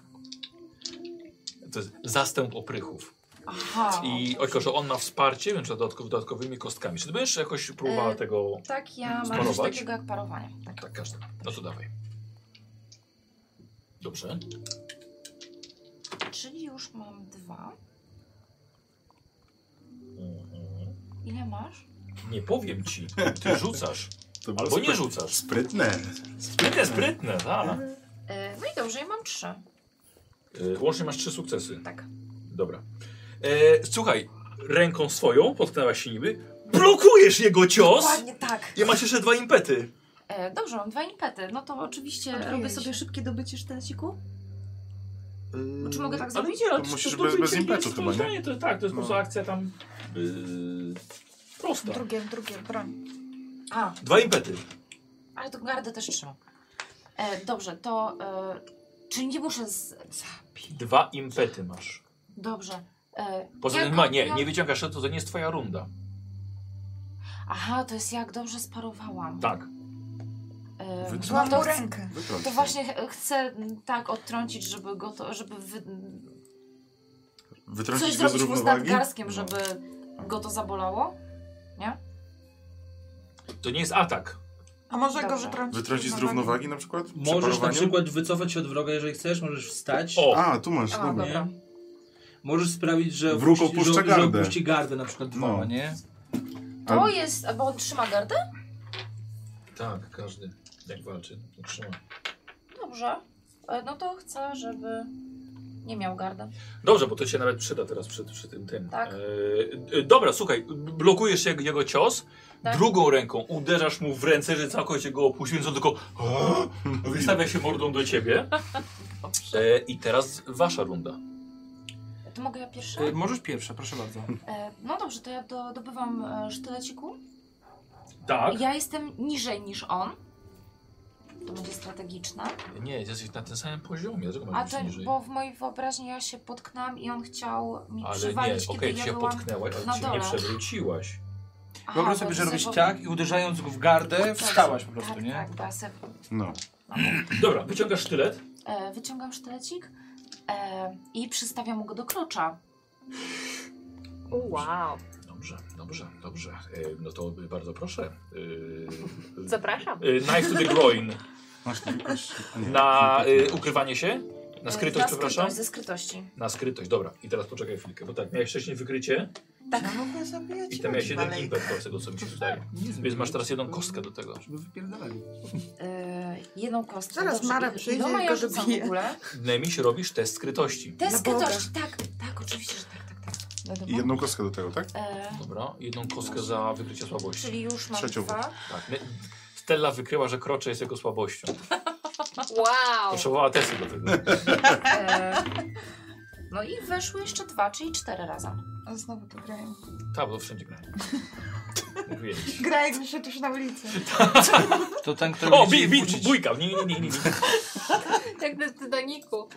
[SPEAKER 3] To jest zastęp oprychów.
[SPEAKER 7] Aha.
[SPEAKER 3] I ojko, że on ma wsparcie, więc dodatkow, dodatkowymi kostkami. Czy ty będziesz jakoś próbowała
[SPEAKER 7] E,
[SPEAKER 3] tego.
[SPEAKER 7] Tak, ja mam coś
[SPEAKER 3] Sparować?
[SPEAKER 7] takiego jak parowanie. Tak.
[SPEAKER 3] Tak, każdy. No to dawaj. Dobrze.
[SPEAKER 7] Czyli już mam dwa. Ile masz?
[SPEAKER 3] Mhm. Nie powiem ci, ty rzucasz.
[SPEAKER 2] To było
[SPEAKER 3] Albo nie
[SPEAKER 2] spry-
[SPEAKER 3] rzucasz.
[SPEAKER 2] Sprytne.
[SPEAKER 3] Sprytne, sprytne, tak.
[SPEAKER 7] E, No i dobrze, ja mam trzy.
[SPEAKER 3] E, Łącznie masz trzy sukcesy.
[SPEAKER 7] Tak.
[SPEAKER 3] Dobra. E, słuchaj, ręką swoją, potknęłaś się niby, blokujesz jego cios
[SPEAKER 7] Ładnie tak.
[SPEAKER 3] i masz jeszcze dwa impety.
[SPEAKER 7] E, Dobrze, mam dwa impety. No to oczywiście
[SPEAKER 5] Odbijaj
[SPEAKER 7] robię
[SPEAKER 5] się.
[SPEAKER 7] sobie szybkie dobycie sztaneciku. Czy mogę tak
[SPEAKER 3] Ale
[SPEAKER 7] zrobić?
[SPEAKER 3] nie, ale
[SPEAKER 2] Znaczy, no, To
[SPEAKER 3] to
[SPEAKER 2] musisz
[SPEAKER 3] to
[SPEAKER 2] bez-
[SPEAKER 3] dobycie
[SPEAKER 2] bez
[SPEAKER 3] nie jest
[SPEAKER 2] impetu chyba, nie?
[SPEAKER 3] spowodowanie, To, tak, to jest po
[SPEAKER 2] No.
[SPEAKER 3] prostu akcja tam yy, prosta.
[SPEAKER 5] Drugie, drugie, broń.
[SPEAKER 7] A,
[SPEAKER 3] Dwa impety.
[SPEAKER 7] ale to gardę też trzymam. E, Dobrze, to... E, czyli nie muszę z...
[SPEAKER 3] Dwa impety masz.
[SPEAKER 7] Dobrze. E,
[SPEAKER 3] Poza
[SPEAKER 7] jak-
[SPEAKER 3] tym, ma, nie,
[SPEAKER 7] jak-
[SPEAKER 3] nie wyciągasz, to to nie jest twoja runda.
[SPEAKER 7] Aha, to jest jak dobrze sparowałam.
[SPEAKER 3] Tak.
[SPEAKER 7] E,
[SPEAKER 5] Złam
[SPEAKER 7] to,
[SPEAKER 5] mu rękę.
[SPEAKER 2] Wytrąć
[SPEAKER 7] to
[SPEAKER 2] się.
[SPEAKER 7] właśnie ch- chcę m, tak odtrącić, żeby go to, żeby wy,
[SPEAKER 2] Wytrącić
[SPEAKER 7] coś
[SPEAKER 2] go z
[SPEAKER 7] zrobić mu z
[SPEAKER 2] równowagi?
[SPEAKER 7] nadgarstkiem,
[SPEAKER 2] No.
[SPEAKER 7] żeby go to zabolało.
[SPEAKER 3] To nie jest atak.
[SPEAKER 5] A może go
[SPEAKER 7] Dobrze.
[SPEAKER 5] wytrącić?
[SPEAKER 2] Wytrącić z równowagi na przykład? Przy
[SPEAKER 1] Możesz na
[SPEAKER 2] parowaniu?
[SPEAKER 1] przykład wycofać się od wroga, jeżeli chcesz, możesz wstać.
[SPEAKER 3] O,
[SPEAKER 2] A, tu masz, no
[SPEAKER 7] A, no
[SPEAKER 2] dobra.
[SPEAKER 7] dobra.
[SPEAKER 1] Możesz sprawić, że
[SPEAKER 2] Wróg
[SPEAKER 1] opuści-
[SPEAKER 2] opuszcza
[SPEAKER 1] że,
[SPEAKER 2] gardę.
[SPEAKER 1] Że opuści gardę na przykład dwoma,
[SPEAKER 2] No.
[SPEAKER 1] nie?
[SPEAKER 7] To jest, bo on trzyma gardę?
[SPEAKER 3] tak, każdy jak walczy, to trzyma.
[SPEAKER 7] Dobrze. E, No to chcę, żeby nie miał gardę.
[SPEAKER 3] Dobrze, bo to się nawet przyda teraz przy, przy tym tym.
[SPEAKER 7] Tak.
[SPEAKER 3] E, e, dobra, słuchaj, blokujesz jego, jego cios,
[SPEAKER 7] Tak.
[SPEAKER 3] drugą ręką uderzasz mu w ręce, że całkowicie go opuścił, więc on tylko wystawia się mordą do ciebie. E, I teraz wasza runda.
[SPEAKER 7] To mogę ja pierwsza?
[SPEAKER 1] Y, możesz pierwsza, proszę bardzo.
[SPEAKER 7] E, No dobrze, to ja do, dobywam e, sztyleciku.
[SPEAKER 3] Tak.
[SPEAKER 7] Ja jestem niżej niż on. To będzie strategiczne.
[SPEAKER 3] Nie, jesteś na tym samym poziomie, dlaczego
[SPEAKER 7] A
[SPEAKER 3] masz
[SPEAKER 7] to,
[SPEAKER 3] być niżej?
[SPEAKER 7] bo w mojej wyobraźni ja się potknęłam i on chciał mi
[SPEAKER 3] Ale nie,
[SPEAKER 7] przywalić,
[SPEAKER 3] okej,
[SPEAKER 7] kiedy
[SPEAKER 3] ty
[SPEAKER 7] ja
[SPEAKER 3] się
[SPEAKER 7] byłam... No
[SPEAKER 3] potknęłaś, ale
[SPEAKER 7] na
[SPEAKER 3] ty się nie
[SPEAKER 7] dole.
[SPEAKER 3] przewróciłaś.
[SPEAKER 7] Aha,
[SPEAKER 1] Wyobraź
[SPEAKER 7] bo
[SPEAKER 1] sobie, że robisz
[SPEAKER 7] sobie-
[SPEAKER 1] ciak i uderzając go w gardę, wstałaś po prostu,
[SPEAKER 7] tak,
[SPEAKER 1] nie?
[SPEAKER 7] Tak, bo ja sobie...
[SPEAKER 2] No.
[SPEAKER 3] Dobra, wyciągasz sztylet.
[SPEAKER 7] e, wyciągam sztylecik e, i przystawiam go do krocza.
[SPEAKER 6] Wow.
[SPEAKER 3] Dobrze, dobrze, dobrze. E, no to bardzo proszę. E,
[SPEAKER 6] Zapraszam.
[SPEAKER 3] e, knife to the groin.
[SPEAKER 2] Masz wielkość. a nie, tak
[SPEAKER 3] Na
[SPEAKER 2] nie, nie, nie.
[SPEAKER 3] y, ukrywanie się? Na skrytość,
[SPEAKER 7] Y, Na
[SPEAKER 3] przepraszam?
[SPEAKER 7] E, skrytość, ze skrytości.
[SPEAKER 3] Na skrytość, dobra. I teraz poczekaj chwilkę, bo tak, miałeś wcześniej wykrycie
[SPEAKER 5] No,
[SPEAKER 7] Tak.
[SPEAKER 1] Ja mogę zabijać
[SPEAKER 3] i tam miałeś jeden
[SPEAKER 1] malejka.
[SPEAKER 3] impet z tego, co mi się wydaje. Więc masz teraz jedną kostkę do tego.
[SPEAKER 1] Żeby wypierdalali.
[SPEAKER 7] E, jedną kostkę.
[SPEAKER 5] Zaraz
[SPEAKER 7] Dobrze,
[SPEAKER 5] Mara
[SPEAKER 7] i-
[SPEAKER 5] przyjdzie
[SPEAKER 7] iloma
[SPEAKER 5] i
[SPEAKER 7] ja
[SPEAKER 5] go
[SPEAKER 7] rzucam
[SPEAKER 5] dobije.
[SPEAKER 7] w ogóle.
[SPEAKER 3] Nemiś, robisz test skrytości.
[SPEAKER 7] Te
[SPEAKER 5] Na
[SPEAKER 7] skrytości, tak, tak, oczywiście, że tak, tak, tak.
[SPEAKER 2] I
[SPEAKER 5] no,
[SPEAKER 7] Wiadomo.
[SPEAKER 2] jedną kostkę do tego, tak?
[SPEAKER 7] E,
[SPEAKER 3] Dobra, jedną kostkę za wykrycie słabości.
[SPEAKER 7] czyli już mam
[SPEAKER 2] Trzecią.
[SPEAKER 7] dwa.
[SPEAKER 3] Tak. Ne- Stella wykryła, że krocze jest jego słabością.
[SPEAKER 6] Wow.
[SPEAKER 3] Potrzebowała testy do tego.
[SPEAKER 7] E, no i weszły jeszcze dwa, czyli cztery razem.
[SPEAKER 5] A znowu to grają.
[SPEAKER 3] Tak, bo wszędzie grają. Mówiłem ci.
[SPEAKER 5] Gra jakby się tuż na ulicy.
[SPEAKER 7] tak.
[SPEAKER 1] To ten, który
[SPEAKER 3] O,
[SPEAKER 1] będzie
[SPEAKER 3] bij,
[SPEAKER 1] ich
[SPEAKER 3] bij,
[SPEAKER 1] bucić.
[SPEAKER 3] bójka! Nie, nie, nie, nie. nie.
[SPEAKER 6] Jak na Titaniku.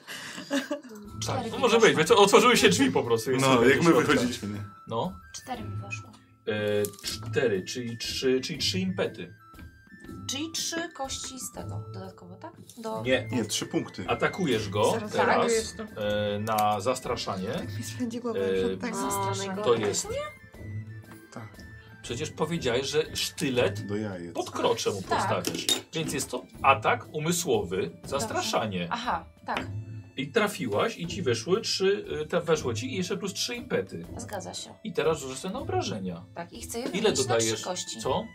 [SPEAKER 3] Tak, no może być, wiesz co, otworzyły się drzwi po prostu. jest
[SPEAKER 2] No,
[SPEAKER 3] sobie
[SPEAKER 2] jak
[SPEAKER 3] do
[SPEAKER 2] my
[SPEAKER 3] środka.
[SPEAKER 2] wychodziliśmy, nie?
[SPEAKER 3] No.
[SPEAKER 7] Cztery mi weszło.
[SPEAKER 3] E, cztery, czyli trzy, czyli trzy impety.
[SPEAKER 7] Czyli trzy kości z tego dodatkowo, tak? Do...
[SPEAKER 3] Nie.
[SPEAKER 2] Nie, trzy punkty.
[SPEAKER 3] Atakujesz go
[SPEAKER 5] Zaraz
[SPEAKER 3] teraz
[SPEAKER 5] zareagujesz to.
[SPEAKER 3] e, na zastraszanie.
[SPEAKER 5] Mi spędzi głowę
[SPEAKER 3] E,
[SPEAKER 5] przed tak
[SPEAKER 6] my
[SPEAKER 3] To jest.
[SPEAKER 2] Tak.
[SPEAKER 3] Przecież powiedziałeś, że sztylet
[SPEAKER 2] Do jajec.
[SPEAKER 3] pod krocze mu
[SPEAKER 7] Tak.
[SPEAKER 3] postawisz. Więc jest to atak umysłowy, zastraszanie.
[SPEAKER 7] Aha, tak.
[SPEAKER 3] I trafiłaś i ci weszły trzy, y, te weszło ci i jeszcze plus trzy impety.
[SPEAKER 7] Zgadza się.
[SPEAKER 3] I teraz rzucę sobie na obrażenia.
[SPEAKER 7] Tak, i chcę je
[SPEAKER 3] Ile
[SPEAKER 7] wymienić na trzy
[SPEAKER 3] dodajesz?
[SPEAKER 7] kości.
[SPEAKER 3] Co?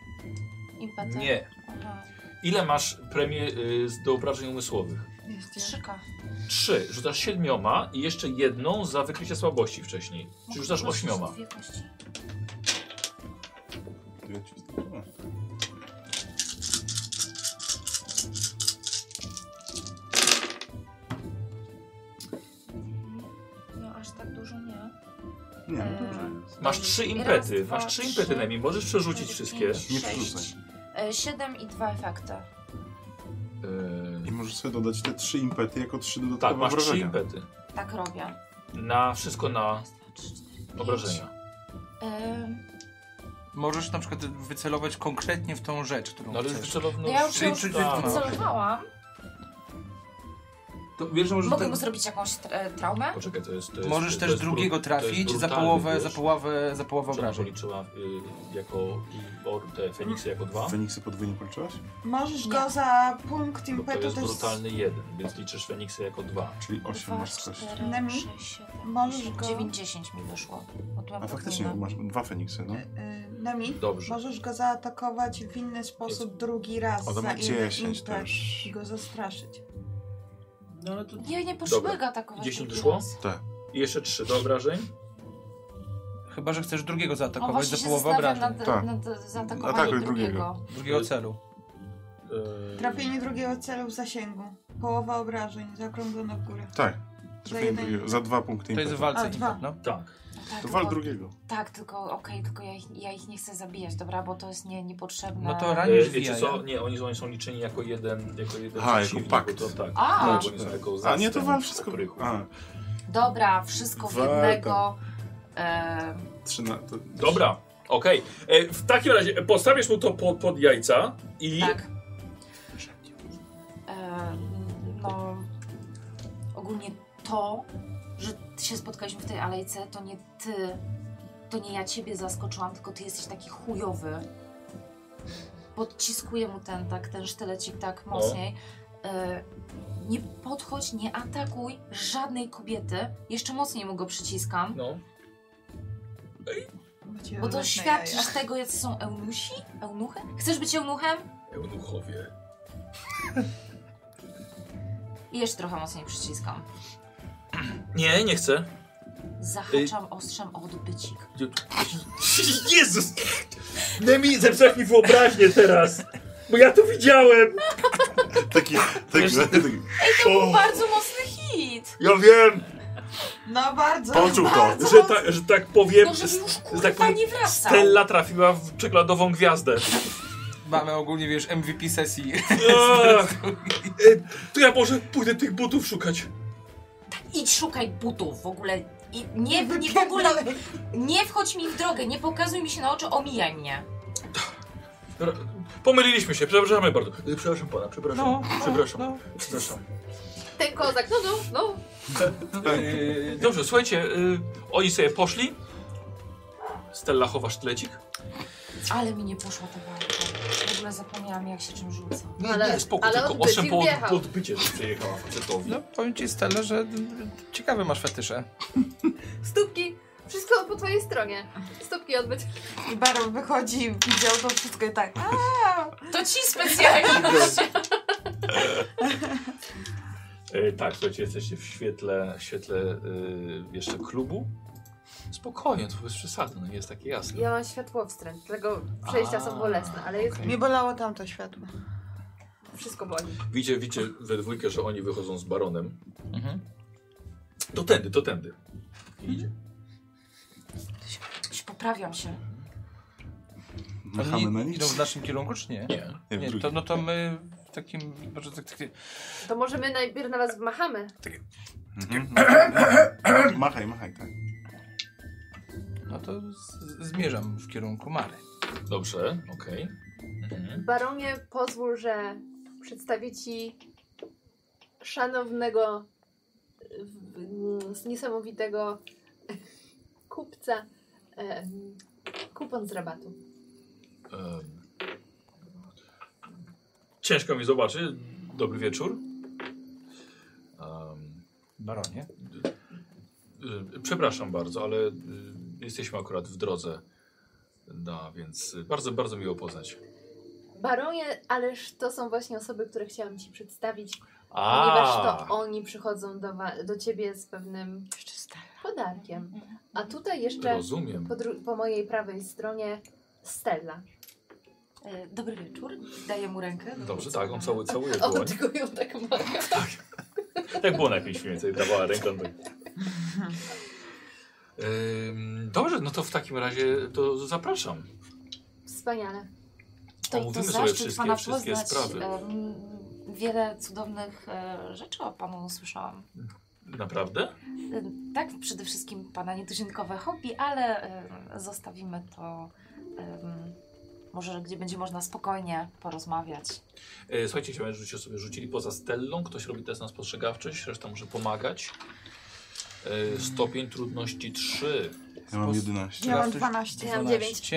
[SPEAKER 7] Impety.
[SPEAKER 3] Nie.
[SPEAKER 7] Aha.
[SPEAKER 3] Ile masz premii y, z- do obrażeń umysłowych?
[SPEAKER 7] Trzyka.
[SPEAKER 3] Trzy. Rzucasz siedmioma i jeszcze jedną za wykrycie słabości wcześniej. Czyli rzucasz
[SPEAKER 7] Mogę po
[SPEAKER 3] ośmioma.
[SPEAKER 7] prostu Dwie kości.
[SPEAKER 26] To ja ci zdążyłem.
[SPEAKER 7] No aż tak dużo nie.
[SPEAKER 26] Nie,
[SPEAKER 7] Eee,
[SPEAKER 26] no dobrze jest.
[SPEAKER 3] Masz trzy
[SPEAKER 7] Raz,
[SPEAKER 3] impety.
[SPEAKER 7] dwa,
[SPEAKER 3] Masz trzy
[SPEAKER 7] trzy,
[SPEAKER 3] impety najmniej. Możesz przerzucić
[SPEAKER 7] cztery,
[SPEAKER 3] wszystkie.
[SPEAKER 7] pięć,
[SPEAKER 26] Nie
[SPEAKER 7] sześć.
[SPEAKER 26] wrzucaj.
[SPEAKER 7] E, Siedem i dwa efekty.
[SPEAKER 3] Y,
[SPEAKER 2] I możesz sobie dodać te trzy impety jako trzy dodatkowe
[SPEAKER 3] tak, masz trzy
[SPEAKER 2] wrażenia.
[SPEAKER 3] impety.
[SPEAKER 7] Tak robię.
[SPEAKER 3] Na wszystko na
[SPEAKER 7] Raz, dwa, trzy, cztery, pięć.
[SPEAKER 3] obrażenia.
[SPEAKER 7] E,
[SPEAKER 1] Możesz na przykład wycelować konkretnie w tą rzecz, którą
[SPEAKER 3] No ale
[SPEAKER 1] chcesz.
[SPEAKER 3] wycelowno...
[SPEAKER 7] No ja już
[SPEAKER 1] Czyli-
[SPEAKER 7] ją
[SPEAKER 1] czyli-
[SPEAKER 3] tak.
[SPEAKER 7] wycelowałam.
[SPEAKER 1] To wiesz, że
[SPEAKER 7] Mogę
[SPEAKER 1] możesz,
[SPEAKER 7] mu zrobić jakąś e, traumę?
[SPEAKER 3] Poczekaj, to jest... To jest
[SPEAKER 1] możesz
[SPEAKER 3] to
[SPEAKER 1] też
[SPEAKER 3] jest
[SPEAKER 1] drugiego
[SPEAKER 3] brut- to jest
[SPEAKER 1] trafić za
[SPEAKER 3] brutalny,
[SPEAKER 1] połowę, za
[SPEAKER 3] wiesz?
[SPEAKER 1] połowę, za połowę
[SPEAKER 3] Czy ona
[SPEAKER 1] obrażeń.
[SPEAKER 3] policzyła y, jako or, te Feniksy jako dwa?
[SPEAKER 2] Feniksy podwójnie policzyłaś?
[SPEAKER 5] Możesz
[SPEAKER 7] Nie.
[SPEAKER 5] go za punkt
[SPEAKER 3] Bo to
[SPEAKER 5] impetu
[SPEAKER 3] jest
[SPEAKER 5] też...
[SPEAKER 3] brutalny jeden, więc liczysz Feniksy jako dwa.
[SPEAKER 2] Czyli osiem
[SPEAKER 7] Dwa,
[SPEAKER 2] masz z kości.
[SPEAKER 7] cztery,
[SPEAKER 5] Nemi?
[SPEAKER 7] sześć, siedem,
[SPEAKER 5] Możesz
[SPEAKER 7] osiem,
[SPEAKER 5] go-
[SPEAKER 7] dziewięć, dziesięć mi wyszło. Od
[SPEAKER 2] A faktycznie, masz dwa Feniksy, no.
[SPEAKER 5] y, Nami,
[SPEAKER 3] Dobrze.
[SPEAKER 5] możesz go zaatakować w inny sposób drugi raz
[SPEAKER 2] O, to
[SPEAKER 5] za
[SPEAKER 2] ma
[SPEAKER 5] inny
[SPEAKER 2] 10
[SPEAKER 5] impet
[SPEAKER 2] też.
[SPEAKER 5] i go zastraszyć.
[SPEAKER 3] No ale to...
[SPEAKER 7] Ja nie potrzebuję
[SPEAKER 3] Dobra.
[SPEAKER 7] go atakować.
[SPEAKER 3] Dziesięć
[SPEAKER 7] drugi
[SPEAKER 3] wyszło?
[SPEAKER 7] raz.
[SPEAKER 2] Tak.
[SPEAKER 3] I jeszcze trzy do obrażeń.
[SPEAKER 1] Chyba, że chcesz drugiego
[SPEAKER 7] O,
[SPEAKER 1] zaatakować
[SPEAKER 7] właśnie
[SPEAKER 1] za
[SPEAKER 7] się
[SPEAKER 1] połowę
[SPEAKER 7] zastanawiam
[SPEAKER 1] obrażeń.
[SPEAKER 7] nad,
[SPEAKER 2] Tak.
[SPEAKER 7] nad zaatakowaniem
[SPEAKER 2] Atakuj drugiego.
[SPEAKER 7] drugiego.
[SPEAKER 1] Drugiego celu.
[SPEAKER 3] Yy,
[SPEAKER 5] Trafienie drugiego celu w zasięgu. Połowa obrażeń, zaokrąglona w górę.
[SPEAKER 2] Tak.
[SPEAKER 5] jeden
[SPEAKER 2] Trafiłem drugiego.
[SPEAKER 5] impet.
[SPEAKER 2] Za dwa punkty
[SPEAKER 1] To jest w
[SPEAKER 2] impetu.
[SPEAKER 1] walce
[SPEAKER 5] A, dwa.
[SPEAKER 1] impet, no.
[SPEAKER 3] Tak.
[SPEAKER 7] Tak,
[SPEAKER 2] To
[SPEAKER 7] tylko-
[SPEAKER 2] wal drugiego.
[SPEAKER 7] Tak, tylko okej, tylko ja ich, ja ich nie chcę zabijać, dobra, bo to jest nie, niepotrzebne.
[SPEAKER 1] No to
[SPEAKER 3] E,
[SPEAKER 1] ranisz
[SPEAKER 3] wiecie
[SPEAKER 1] wija,
[SPEAKER 3] co? Nie, oni, oni są liczeni jako jeden, jako jeden
[SPEAKER 2] Aha, jako
[SPEAKER 3] przeciwnik,
[SPEAKER 2] pakt.
[SPEAKER 3] bo To, tak.
[SPEAKER 7] A.
[SPEAKER 3] no, bo oni są jako
[SPEAKER 2] A nie, to
[SPEAKER 3] zastęp
[SPEAKER 2] wal wszystko.
[SPEAKER 3] poprychów.
[SPEAKER 2] A,
[SPEAKER 7] Dobra, wszystko w
[SPEAKER 2] Dwa,
[SPEAKER 7] jednego. E,
[SPEAKER 2] trzyna... To...
[SPEAKER 3] Dobra, okej. E, W takim razie postawisz mu to pod, pod jajca i...
[SPEAKER 7] tak. E, no, ogólnie to, że się spotkaliśmy w tej alejce, to nie ty, to nie ja ciebie zaskoczyłam, tylko ty jesteś taki chujowy. Podciskuję mu ten, tak, ten sztylecik tak mocniej. E, nie podchodź, nie atakuj żadnej kobiety. Jeszcze mocniej mu go przyciskam.
[SPEAKER 3] No.
[SPEAKER 5] Macie
[SPEAKER 7] Bo to
[SPEAKER 5] różne
[SPEAKER 7] świadczy
[SPEAKER 5] jaja.
[SPEAKER 7] z tego, jacy są eunusi? Eunuchy? Chcesz być eunuchem?
[SPEAKER 3] Eunuchowie.
[SPEAKER 7] I jeszcze trochę mocniej przyciskam.
[SPEAKER 3] Nie, nie chcę.
[SPEAKER 7] Zahaczam
[SPEAKER 3] Y-
[SPEAKER 7] ostrzem o odbycik.
[SPEAKER 27] Jezus! Nemi, zepsułaś mi wyobraźnię teraz! Bo ja to widziałem!
[SPEAKER 7] No,
[SPEAKER 2] Taki,
[SPEAKER 3] Wiesz,
[SPEAKER 2] taki, taki... O,
[SPEAKER 7] Bardzo mocny hit!
[SPEAKER 27] Ja wiem,
[SPEAKER 5] No bardzo.
[SPEAKER 2] Poczuł to.
[SPEAKER 5] bardzo
[SPEAKER 27] że, ta, że tak powiem...
[SPEAKER 7] No żeby już
[SPEAKER 27] że
[SPEAKER 7] kurwa
[SPEAKER 27] tak powiem,
[SPEAKER 7] nie wracał.
[SPEAKER 27] Stella trafiła w czekoladową gwiazdę.
[SPEAKER 1] Mamy no ogólnie, wiesz, MVP sesji.
[SPEAKER 27] Ach, e, to ja może pójdę tych butów szukać.
[SPEAKER 7] Idź szukaj butów w ogóle. I nie, nie, w ogóle nie wchodź mi w drogę, nie pokazuj mi się na oczy, omijaj mnie.
[SPEAKER 3] Dobra, Pomyliliśmy się, przepraszamy bardzo. E, Przepraszam pana, przepraszam.
[SPEAKER 1] No,
[SPEAKER 3] przepraszam.
[SPEAKER 1] no.
[SPEAKER 3] przepraszam.
[SPEAKER 6] Ten kozak, no, no, no.
[SPEAKER 3] E, Dobrze, słuchajcie, e, oni sobie poszli. Stella chowa sztylecik.
[SPEAKER 7] Ale mi nie poszła ta walka. W ogóle zapomniałam jak się czym rzuca.
[SPEAKER 6] Ale-
[SPEAKER 3] nie, spoko,
[SPEAKER 6] ale
[SPEAKER 3] tylko
[SPEAKER 6] odbyt
[SPEAKER 3] osiem
[SPEAKER 6] im
[SPEAKER 3] po,
[SPEAKER 6] wjechał.
[SPEAKER 3] po odbycie, że przejechała facetowi.
[SPEAKER 1] No, powiem ci, Stella, że y, ciekawe masz fetysze.
[SPEAKER 6] Stópki. Wszystko po twojej stronie. Stópki odbyć.
[SPEAKER 5] I Baron wychodzi, widział to wszystko i tak. A,
[SPEAKER 7] To ci specjalnie.
[SPEAKER 3] E, tak, słuchajcie, jesteście w świetle, świetle e, jeszcze klubu. Spokojnie, to bez przesady, no nie jest takie jasne.
[SPEAKER 6] Ja mam światło wstręt, dlatego przejścia
[SPEAKER 3] A,
[SPEAKER 6] są bolesne, ale jest,
[SPEAKER 3] okej.
[SPEAKER 5] mnie bolało tamto światło.
[SPEAKER 6] wszystko boli.
[SPEAKER 3] Widzicie, widzicie we dwójkę, że oni wychodzą z baronem.
[SPEAKER 1] Mhm.
[SPEAKER 3] To tędy, to tędy. I Idzie.
[SPEAKER 7] Poprawiam się.
[SPEAKER 1] Oni
[SPEAKER 2] Machamy na nic.
[SPEAKER 1] idą w naszym kierunku, czy nie?
[SPEAKER 3] Nie.
[SPEAKER 2] Nie, w
[SPEAKER 1] Nie,
[SPEAKER 2] drugi.
[SPEAKER 1] to, no to my w takim, może tak, tak,
[SPEAKER 6] To może my najpierw na was machamy.
[SPEAKER 2] Mhm. Machaj, machaj, tak.
[SPEAKER 1] no to z, zmierzam w kierunku Mary.
[SPEAKER 3] Dobrze, okej. Mhm.
[SPEAKER 6] Baronie, pozwól, że przedstawię ci szanownego, w- w- niesamowitego kupca em, kupon z rabatu.
[SPEAKER 3] Em, Ciężko mi zobaczyć. Dobry wieczór. Em,
[SPEAKER 1] Baronie.
[SPEAKER 3] Y, Przepraszam bardzo, ale y, jesteśmy akurat w drodze. Da, więc y, bardzo, bardzo miło poznać.
[SPEAKER 6] Baronie, ależ to są właśnie osoby, które chciałam ci przedstawić,
[SPEAKER 3] A,
[SPEAKER 6] ponieważ to oni przychodzą do, wa- do ciebie z pewnym
[SPEAKER 5] Jeszcze stara.
[SPEAKER 6] podarkiem. A tutaj jeszcze
[SPEAKER 3] rozumiem.
[SPEAKER 6] po, dru- po mojej prawej stronie Stella.
[SPEAKER 7] E, Dobry wieczór. Daję mu rękę.
[SPEAKER 3] Dobrze, tak, on cały, całuje
[SPEAKER 7] O,
[SPEAKER 3] dłoń.
[SPEAKER 7] tylko ją tak maga.
[SPEAKER 28] Tak było najpierw mniej więcej, dawała ręką. tak.
[SPEAKER 3] Ym, Dobrze, no to w takim razie to zapraszam.
[SPEAKER 6] Wspaniale.
[SPEAKER 7] To, to
[SPEAKER 3] Omówimy sobie
[SPEAKER 7] zaszczyt
[SPEAKER 3] wszystkie,
[SPEAKER 7] pana
[SPEAKER 3] wszystkie
[SPEAKER 7] poznać.
[SPEAKER 3] sprawy.
[SPEAKER 7] Em, Wiele cudownych e, rzeczy o panu usłyszałam.
[SPEAKER 3] Naprawdę?
[SPEAKER 7] E, Tak, przede wszystkim pana nietuzinkowe hobby, ale e, zostawimy to em, może gdzie będzie można spokojnie porozmawiać.
[SPEAKER 3] E, Słuchajcie, chciałem, żebyście sobie rzucili poza Stellą. Ktoś robi test na spostrzegawczość, reszta może pomagać. E, Stopień trudności 3.
[SPEAKER 2] Ja mam 11.
[SPEAKER 5] Ja mam 12.
[SPEAKER 6] Ja mam dziewięć.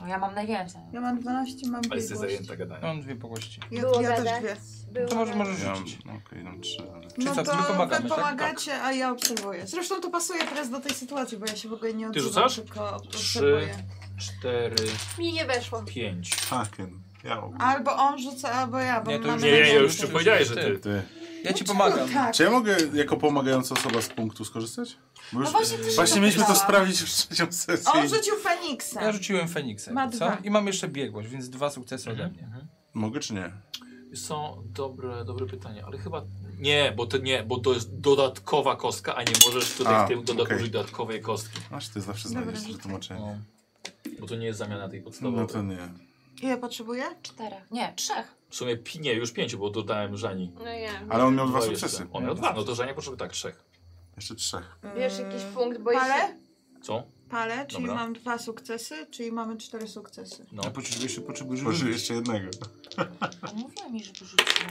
[SPEAKER 7] No ja mam najwięcej.
[SPEAKER 5] Ja mam 12, mam
[SPEAKER 3] Ale
[SPEAKER 5] dwie
[SPEAKER 3] jesteś
[SPEAKER 5] głości.
[SPEAKER 3] zajęta gadaniem.
[SPEAKER 1] Mam dwie pogłości.
[SPEAKER 5] Ja,
[SPEAKER 6] Było
[SPEAKER 5] ja też
[SPEAKER 6] gadać.
[SPEAKER 5] dwie.
[SPEAKER 6] Było
[SPEAKER 1] To może,
[SPEAKER 6] tak.
[SPEAKER 1] możesz
[SPEAKER 2] Ja mam,
[SPEAKER 1] rzucić.
[SPEAKER 2] no okej, mam 3, ale...
[SPEAKER 1] Czyli
[SPEAKER 5] No
[SPEAKER 1] co,
[SPEAKER 5] to
[SPEAKER 1] my pomagamy,
[SPEAKER 5] wy
[SPEAKER 1] tak?
[SPEAKER 5] pomagacie, a ja obserwuję. Zresztą to pasuje teraz do tej sytuacji, bo ja się w ogóle nie odzywam,
[SPEAKER 3] rzucasz?
[SPEAKER 5] tylko
[SPEAKER 3] Trzy,
[SPEAKER 5] obserwuję.
[SPEAKER 3] cztery,
[SPEAKER 6] Mi nie weszło.
[SPEAKER 3] pięć.
[SPEAKER 2] Haken. Ja mam.
[SPEAKER 5] Albo on rzuca, albo ja, bo
[SPEAKER 1] Nie, to
[SPEAKER 5] mamy
[SPEAKER 1] już
[SPEAKER 28] Nie, nie, ja już
[SPEAKER 1] to
[SPEAKER 28] ci
[SPEAKER 1] już
[SPEAKER 28] powiedziałeś, że
[SPEAKER 1] ty.
[SPEAKER 28] ty.
[SPEAKER 2] Ty.
[SPEAKER 1] Ja ci pomagam.
[SPEAKER 5] Tak.
[SPEAKER 2] Czy ja mogę jako pomagająca osoba z punktu skorzystać? Bo już...
[SPEAKER 7] No właśnie, też
[SPEAKER 2] Właśnie
[SPEAKER 7] się
[SPEAKER 2] mieliśmy to
[SPEAKER 7] zapytałam.
[SPEAKER 2] sprawdzić w trzecią sesję.
[SPEAKER 5] On rzucił Feniksa.
[SPEAKER 1] Ja rzuciłem Feniksa,
[SPEAKER 5] Ma
[SPEAKER 1] jakby, co?
[SPEAKER 5] dwa.
[SPEAKER 1] I mam jeszcze biegłość, więc dwa sukcesy ode mnie.
[SPEAKER 3] Mhm.
[SPEAKER 2] Mogę czy nie?
[SPEAKER 3] Są dobre, dobre pytanie, ale chyba nie, bo to nie, bo to jest dodatkowa kostka, a nie możesz tutaj
[SPEAKER 2] A,
[SPEAKER 3] w tym doda-
[SPEAKER 2] okej.
[SPEAKER 3] użyć dodatkowej kostki, No.
[SPEAKER 2] Aż ty zawsze
[SPEAKER 5] Dobra,
[SPEAKER 2] znajdziesz
[SPEAKER 5] rzucaj.
[SPEAKER 2] wytłumaczenie.
[SPEAKER 3] bo to nie jest zamiana tej podstawowej.
[SPEAKER 2] No to nie.
[SPEAKER 5] Ile potrzebuję?
[SPEAKER 7] Czterech. Nie, trzech.
[SPEAKER 3] W sumie pi- nie, już pięciu, bo dodałem Żani.
[SPEAKER 6] No ja.
[SPEAKER 2] Ale on miał dwa
[SPEAKER 3] jeszcze.
[SPEAKER 2] sukcesy.
[SPEAKER 3] On miał dwa, no to Żania potrzebuje tak trzech.
[SPEAKER 2] Jeszcze trzech.
[SPEAKER 6] Wiesz jakiś punkt, bo jeśli...
[SPEAKER 5] Palę?
[SPEAKER 3] Co?
[SPEAKER 5] Palę, Yy, czyli
[SPEAKER 3] Dobra.
[SPEAKER 5] mam dwa sukcesy, czyli mamy cztery sukcesy.
[SPEAKER 3] No.
[SPEAKER 1] A potrzebujesz jeszcze potrzebujesz
[SPEAKER 2] Proszę,
[SPEAKER 1] rzucić.
[SPEAKER 2] jeszcze jednego.
[SPEAKER 7] Mówiła mi, żeby rzuciła.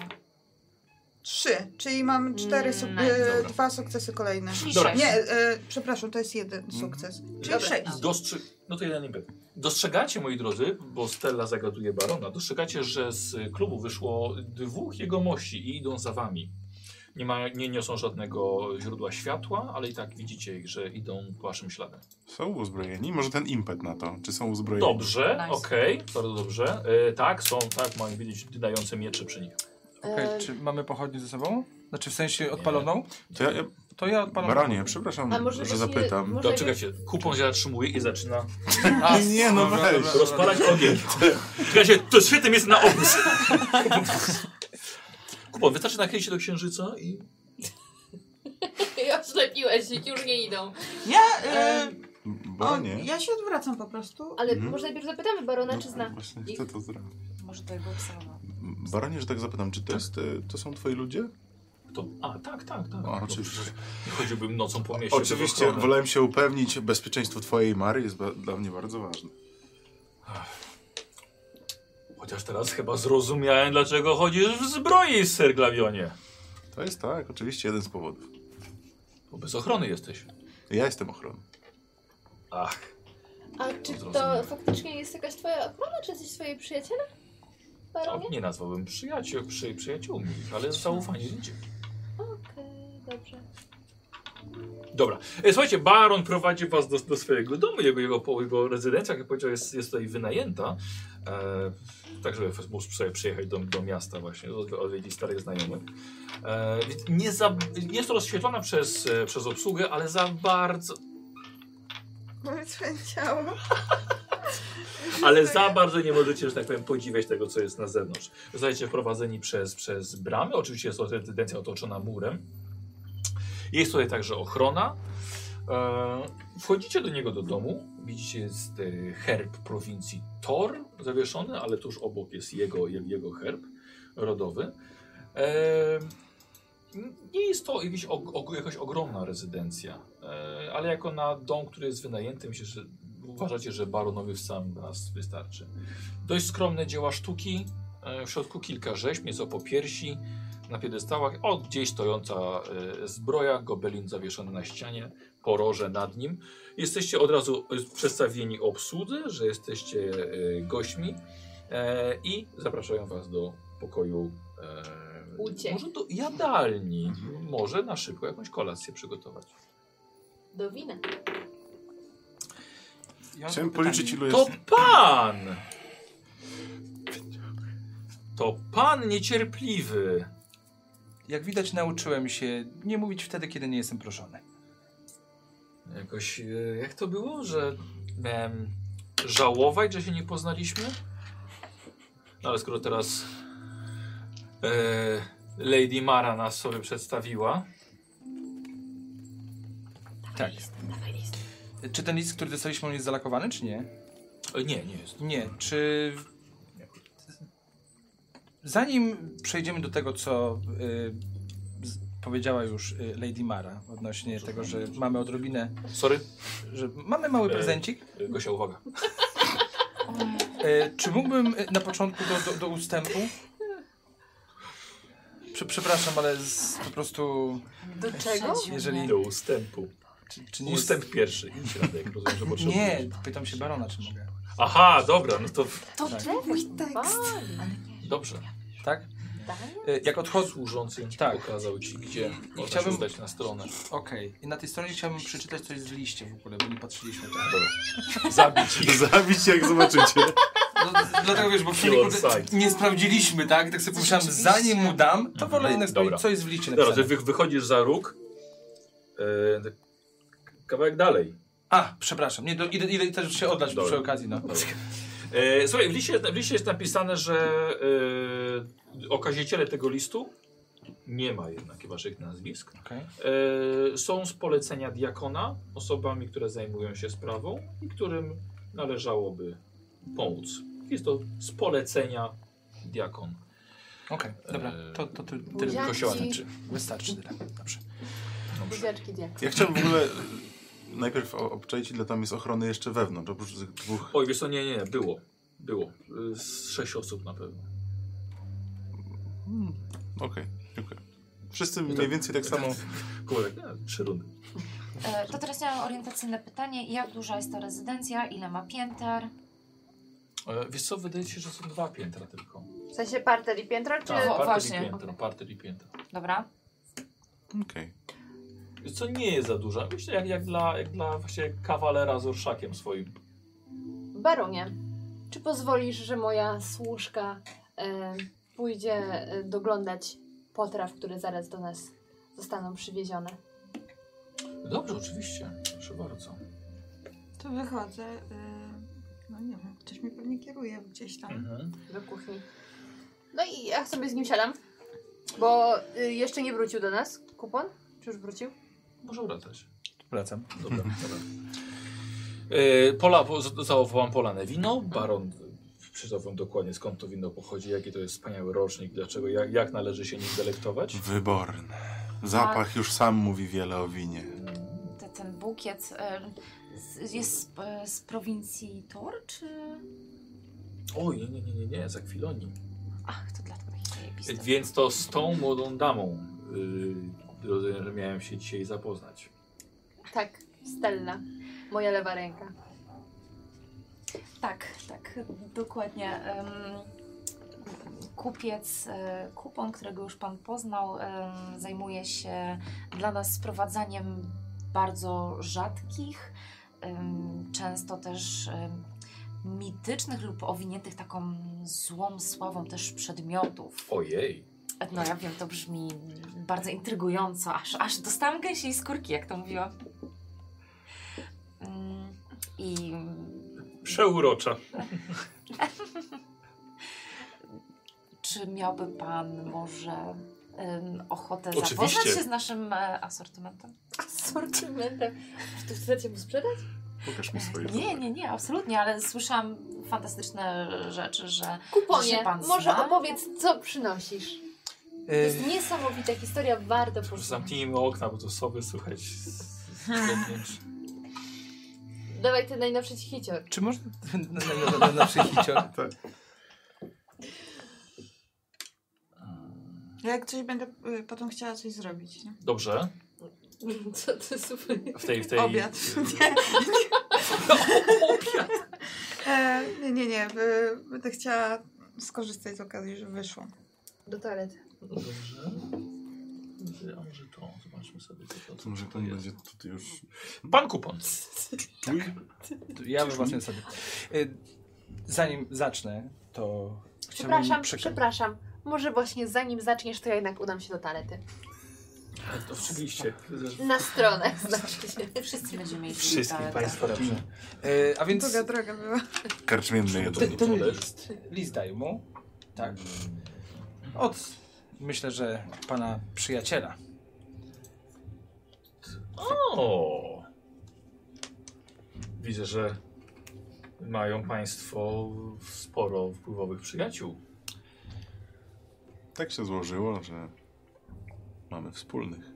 [SPEAKER 5] Trzy, czyli mam cztery suk-
[SPEAKER 6] Mm,
[SPEAKER 5] e,
[SPEAKER 3] dobra.
[SPEAKER 5] dwa sukcesy kolejne.
[SPEAKER 7] Czyli
[SPEAKER 3] Dobra.
[SPEAKER 7] sześć.
[SPEAKER 5] Nie, e, przepraszam, to jest jeden
[SPEAKER 1] Mhm.
[SPEAKER 5] sukces. Czyli sześć.
[SPEAKER 3] Dostrzy... No to jeden impet. Dostrzegacie, moi drodzy, bo Stella zagaduje barona, dostrzegacie, że z klubu wyszło dwóch jegomości i idą za wami. Nie, ma, nie niosą żadnego źródła światła, ale i tak widzicie ich, że idą waszym śladem.
[SPEAKER 2] Są uzbrojeni? Może ten impet na to. Czy są uzbrojeni?
[SPEAKER 3] Dobrze,
[SPEAKER 7] Nice.
[SPEAKER 3] okej, bardzo dobrze. E, tak, są, tak, mają widzieć dające miecze przy nich.
[SPEAKER 1] Okej,
[SPEAKER 5] E,
[SPEAKER 6] E,
[SPEAKER 1] czy mamy pochodnię ze sobą? Znaczy w sensie odpaloną?
[SPEAKER 2] To ja, ja,
[SPEAKER 1] To ja odpalam.
[SPEAKER 2] Baronie, przepraszam,
[SPEAKER 6] A może
[SPEAKER 2] że
[SPEAKER 6] byśmy-
[SPEAKER 2] zapytam.
[SPEAKER 6] może-
[SPEAKER 3] Doczekajcie, kupon się zatrzymuje i zaczyna
[SPEAKER 1] A,
[SPEAKER 2] Nie, no
[SPEAKER 1] Tak. dobra,
[SPEAKER 2] weź.
[SPEAKER 1] dobra, dobra.
[SPEAKER 3] rozpalać ogień. Czekajcie, to świetne miejsce na obóz. Kupon, wystarczy nachylić się do księżyca i
[SPEAKER 6] Ja ślepiłeś, już nie idą.
[SPEAKER 5] Ja, e, o,
[SPEAKER 2] Baronie.
[SPEAKER 5] ja się odwracam po prostu.
[SPEAKER 6] Ale
[SPEAKER 2] Mhm.
[SPEAKER 6] może najpierw zapytamy barona,
[SPEAKER 2] No,
[SPEAKER 6] czy znaczy zna.
[SPEAKER 2] Właśnie
[SPEAKER 6] ich.
[SPEAKER 2] chcę to zrobić.
[SPEAKER 7] Może to jego obserwował.
[SPEAKER 2] Baronie, że tak zapytam, czy to, jest, e, to są twoi ludzie?
[SPEAKER 3] To, a, tak, tak, tak.
[SPEAKER 2] A,
[SPEAKER 3] No,
[SPEAKER 2] oczywiście.
[SPEAKER 3] nie Chodziłbym nocą po mieście. bez
[SPEAKER 2] Oczywiście,
[SPEAKER 3] ochrony.
[SPEAKER 2] wolałem się upewnić, bezpieczeństwo twojej Mary jest ba- dla mnie bardzo ważne.
[SPEAKER 3] Chociaż teraz chyba zrozumiałem, dlaczego chodzisz w zbroi, ser Glawionie.
[SPEAKER 2] To jest tak, oczywiście jeden z powodów.
[SPEAKER 3] Bo bez ochrony jesteś.
[SPEAKER 2] Ja jestem ochroną.
[SPEAKER 3] Ach,
[SPEAKER 6] A czy to
[SPEAKER 3] Zrozumiałem.
[SPEAKER 6] faktycznie jest jakaś twoja ochrona, czy jesteś swoje przyjaciele? Baronie?
[SPEAKER 3] to Tak, nie nazwałbym przyjaciół, przy, przyjaciółmi, ale zaufanie ludzie.
[SPEAKER 6] Okej, dobrze.
[SPEAKER 3] Dobra. E, Słuchajcie, baron prowadzi was do, do swojego domu, jego, jego, po- jego rezydencja, jak powiedział, jest, jest tutaj wynajęta. E, tak, żeby f- mógł sobie przyjechać do, do miasta właśnie, od- odwiedzić starych znajomych. E, więc nie, za, nie jest to rozświetlona przez, e, przez obsługę, ale za bardzo,
[SPEAKER 5] Powiedz ciało.
[SPEAKER 3] Ale za bardzo nie możecie, że tak powiem, podziwiać tego, co jest na zewnątrz. Zostajecie wprowadzeni przez, przez bramy. Oczywiście jest to rezydencja otoczona murem. Jest tutaj także ochrona. E, Wchodzicie do niego do domu. Widzicie jest e, herb prowincji Tor zawieszony, ale tuż obok jest jego, je- jego herb rodowy. E, Nie jest to jakiś, og- og- jakaś ogromna rezydencja, e, ale jako na dom, który jest wynajęty, myślę, że uważacie, że baronowi w sam raz wystarczy. Dość skromne dzieła sztuki, e, w środku kilka rzeźb, nieco po piersi, na piedestałach, o gdzieś stojąca e, zbroja, gobelin zawieszony na ścianie, poroże nad nim. Jesteście od razu e, przedstawieni obsłudze, że jesteście e, gośćmi e, i zapraszają was do pokoju e,
[SPEAKER 6] Uciekł
[SPEAKER 3] Może do jadalni. Może na szybko jakąś kolację przygotować.
[SPEAKER 6] do wina.
[SPEAKER 1] Ja mam
[SPEAKER 2] Chciałem
[SPEAKER 1] pytanie.
[SPEAKER 2] policzyć ilu jest...
[SPEAKER 3] To pan! To pan niecierpliwy.
[SPEAKER 1] Jak widać, nauczyłem się nie mówić wtedy, kiedy nie jestem proszony.
[SPEAKER 3] Jakoś, e, jak to było, że miałem żałować, że się nie poznaliśmy? No ale skoro teraz e, Lady Mara nas sobie przedstawiła,
[SPEAKER 1] Tak. Czy ten list, który dostaliśmy, on jest zalakowany, czy nie?
[SPEAKER 3] e, nie, nie jest.
[SPEAKER 1] Nie. Czy. Zanim przejdziemy do tego, co y, z- powiedziała już y, Lady Mara odnośnie tego, że mamy odrobinę,
[SPEAKER 3] Sorry,
[SPEAKER 1] że mamy mały
[SPEAKER 3] E.
[SPEAKER 1] prezencik,
[SPEAKER 3] e, Gosia, uwaga.
[SPEAKER 1] E, czy mógłbym e, na początku do, do, do ustępu? Prze- przepraszam, ale z, po prostu.
[SPEAKER 6] Do czego?
[SPEAKER 1] Jeżeli.
[SPEAKER 3] Do ustępu.
[SPEAKER 1] Czy, czy nie jest-
[SPEAKER 3] Ustęp pierwszy. Idź, Radek, rozumiem, że potrzebujesz.
[SPEAKER 1] Nie, pytam się barona, czy mogę.
[SPEAKER 3] Aha, dobra, no to
[SPEAKER 5] To
[SPEAKER 1] Tak.
[SPEAKER 5] twój tekst.
[SPEAKER 3] dobrze.
[SPEAKER 1] Tak? E, jak odchodzę.
[SPEAKER 3] Służący
[SPEAKER 1] Tak.
[SPEAKER 3] pokazał ci, gdzie można
[SPEAKER 1] chciałbym-
[SPEAKER 3] się udać na stronę.
[SPEAKER 1] Okej. I na tej stronie chciałbym przeczytać coś z liście w ogóle, bo nie patrzyliśmy tak.
[SPEAKER 3] Zabić ich.
[SPEAKER 2] Zabić jak zobaczycie.
[SPEAKER 1] No, dlatego wiesz, bo wtedy
[SPEAKER 3] Kill
[SPEAKER 1] kurde,
[SPEAKER 3] on sight.
[SPEAKER 1] nie sprawdziliśmy, tak? Tak sobie pomyślałem, zanim mu dam, to wolę jednak
[SPEAKER 3] Mhm. Dobra.
[SPEAKER 1] sprawdzić, co jest w liście
[SPEAKER 3] Dobra, ty
[SPEAKER 1] napisane.
[SPEAKER 3] wy, wychodzisz za róg. E, tak kawałek dalej.
[SPEAKER 1] A, przepraszam, nie, do, idę, idę też się oddać
[SPEAKER 3] Dobra.
[SPEAKER 1] przy okazji, no.
[SPEAKER 3] E, słuchaj, w liście, w liście jest napisane, że e, okaziciele tego listu nie ma jednak waszych nazwisk.
[SPEAKER 1] Okej.
[SPEAKER 3] E, są z polecenia diakona osobami, które zajmują się sprawą i którym należałoby pomóc. Jest to z polecenia diakon.
[SPEAKER 1] Okej, dobra,
[SPEAKER 3] E.
[SPEAKER 1] to, to ty, tyle
[SPEAKER 6] Buziaki.
[SPEAKER 1] kościoła znaczy. Wystarczy tyle, dobrze.
[SPEAKER 6] Buziaczki dziecko.
[SPEAKER 2] Ja chciałem w ogóle najpierw o- obczaić, ile tam jest ochrony jeszcze wewnątrz, oprócz tych dwóch.
[SPEAKER 3] Oj, wiesz co, nie, nie, nie, było. Było. Y, Z sześć osób na pewno.
[SPEAKER 2] Hmm, Okej, dziękuję. Wszyscy mniej więcej tak samo.
[SPEAKER 3] Kurde, nie, tak, trzy rundy.
[SPEAKER 7] E, To teraz miałam orientacyjne pytanie. Jak duża jest ta rezydencja? Ile ma pięter?
[SPEAKER 3] E, Wiesz co, wydaje ci się, że są dwa piętra tylko.
[SPEAKER 6] W sensie parter i piętro, czy...
[SPEAKER 3] Tak, parter i
[SPEAKER 7] właśnie,
[SPEAKER 3] piętro,
[SPEAKER 7] okej.
[SPEAKER 3] parter i piętro.
[SPEAKER 7] Dobra.
[SPEAKER 2] Okej.
[SPEAKER 3] Wiesz co, nie jest za duża. Myślę, jak, jak, dla, jak dla właśnie kawalera z orszakiem swoim.
[SPEAKER 6] Baronie, czy pozwolisz, że moja służka e, pójdzie e, doglądać potraw, które zaraz do nas zostaną przywiezione?
[SPEAKER 3] Dobrze, oczywiście. Proszę bardzo.
[SPEAKER 5] To wychodzę. y, No nie wiem, ktoś mi pewnie kieruje gdzieś tam.
[SPEAKER 3] Mhm.
[SPEAKER 6] do kuchni. No i ja sobie z nim siadam, bo y, jeszcze nie wrócił do nas kupon. Czy już wrócił?
[SPEAKER 3] Może wracać.
[SPEAKER 1] Wracam.
[SPEAKER 3] Dobra, dobra. E, Pola, po- z- zawołałam Polanę wino. Baron e, przeczytał wam dokładnie skąd to wino pochodzi, jaki to jest wspaniały rocznik, dlaczego, jak, jak należy się nim delektować.
[SPEAKER 2] Wyborne. Zapach już sam mówi wiele o winie.
[SPEAKER 7] Te, ten bukiet e, z, jest z, e, z prowincji Tor, czy...
[SPEAKER 3] Oj, nie, nie, nie, nie, nie, za chwiloni.
[SPEAKER 7] Ach, to dlatego taki zajebisty.
[SPEAKER 3] Więc to z tą młodą damą yy, rozumiem, że miałem się dzisiaj zapoznać.
[SPEAKER 6] Tak, Stella, moja lewa ręka.
[SPEAKER 7] Tak, tak, dokładnie. Em, kupiec, e, kupon, którego już Pan poznał, em, zajmuje się dla nas sprowadzaniem bardzo rzadkich, em, często też em, mitycznych lub owiniętych taką złą sławą też przedmiotów.
[SPEAKER 3] Ojej.
[SPEAKER 7] No ja wiem, to brzmi bardzo intrygująco, aż, aż dostałam gęsiej skórki, jak to mówiła. Mm, I
[SPEAKER 29] Przeurocza.
[SPEAKER 7] Czy miałby Pan może ym, ochotę
[SPEAKER 29] Oczywiście.
[SPEAKER 7] zapoznać się z naszym e, asortymentem?
[SPEAKER 6] Asortymentem. Czy to chcecie mu sprzedać?
[SPEAKER 2] Pokaż mi swoje.
[SPEAKER 7] Nie, nie, nie, absolutnie, ale słyszałam fantastyczne rzeczy, że Że się
[SPEAKER 6] Kuponie,
[SPEAKER 7] pan
[SPEAKER 6] może
[SPEAKER 7] zna?
[SPEAKER 6] opowiedz, co przynosisz. To
[SPEAKER 1] E,
[SPEAKER 6] jest niesamowita historia, warto posłuchać.
[SPEAKER 29] Zamknijmy okna, bo to sobie słychać. z- z zewnątrz.
[SPEAKER 6] Dawaj ten najnowszy ci hicior.
[SPEAKER 1] czy można na, na, na, na, na przychicior?
[SPEAKER 5] Ja jak coś będę y, potem chciała coś zrobić, nie?
[SPEAKER 3] Dobrze.
[SPEAKER 6] Co ty super.
[SPEAKER 3] W tej, w tej...
[SPEAKER 5] Obiad. Nie. E, nie, nie, nie. y, Będę chciała skorzystać z okazji, że wyszło.
[SPEAKER 6] Do toalety.
[SPEAKER 3] Dobrze. Dobrze, A może to? Zobaczmy sobie. Co to, co
[SPEAKER 1] Mhm.
[SPEAKER 2] To może
[SPEAKER 3] to
[SPEAKER 2] to nie
[SPEAKER 3] jest.
[SPEAKER 2] będzie tutaj już...
[SPEAKER 3] Pan kupon.
[SPEAKER 2] Czuj?
[SPEAKER 1] Ja wybaczę sobie. Y, Zanim zacznę, to chciałbym
[SPEAKER 6] Przepraszam,
[SPEAKER 1] przeka-
[SPEAKER 6] przepraszam. Może właśnie zanim zaczniesz, to ja jednak udam się do toalety.
[SPEAKER 3] Tak, To oczywiście.
[SPEAKER 6] Na stronę, znaczy się.
[SPEAKER 7] Wszyscy będziemy mieli
[SPEAKER 1] wszystkich
[SPEAKER 3] Tak.
[SPEAKER 7] toaletę.
[SPEAKER 1] Państwa. Dobrze. Y, A więc
[SPEAKER 5] Długa droga była.
[SPEAKER 2] Karczmienny
[SPEAKER 1] ten,
[SPEAKER 2] jeden.
[SPEAKER 1] ten list, list daj mu, tak, od myślę, że pana przyjaciela.
[SPEAKER 3] O! Widzę, że mają Państwo sporo wpływowych przyjaciół.
[SPEAKER 2] Tak się złożyło, że mamy wspólnych.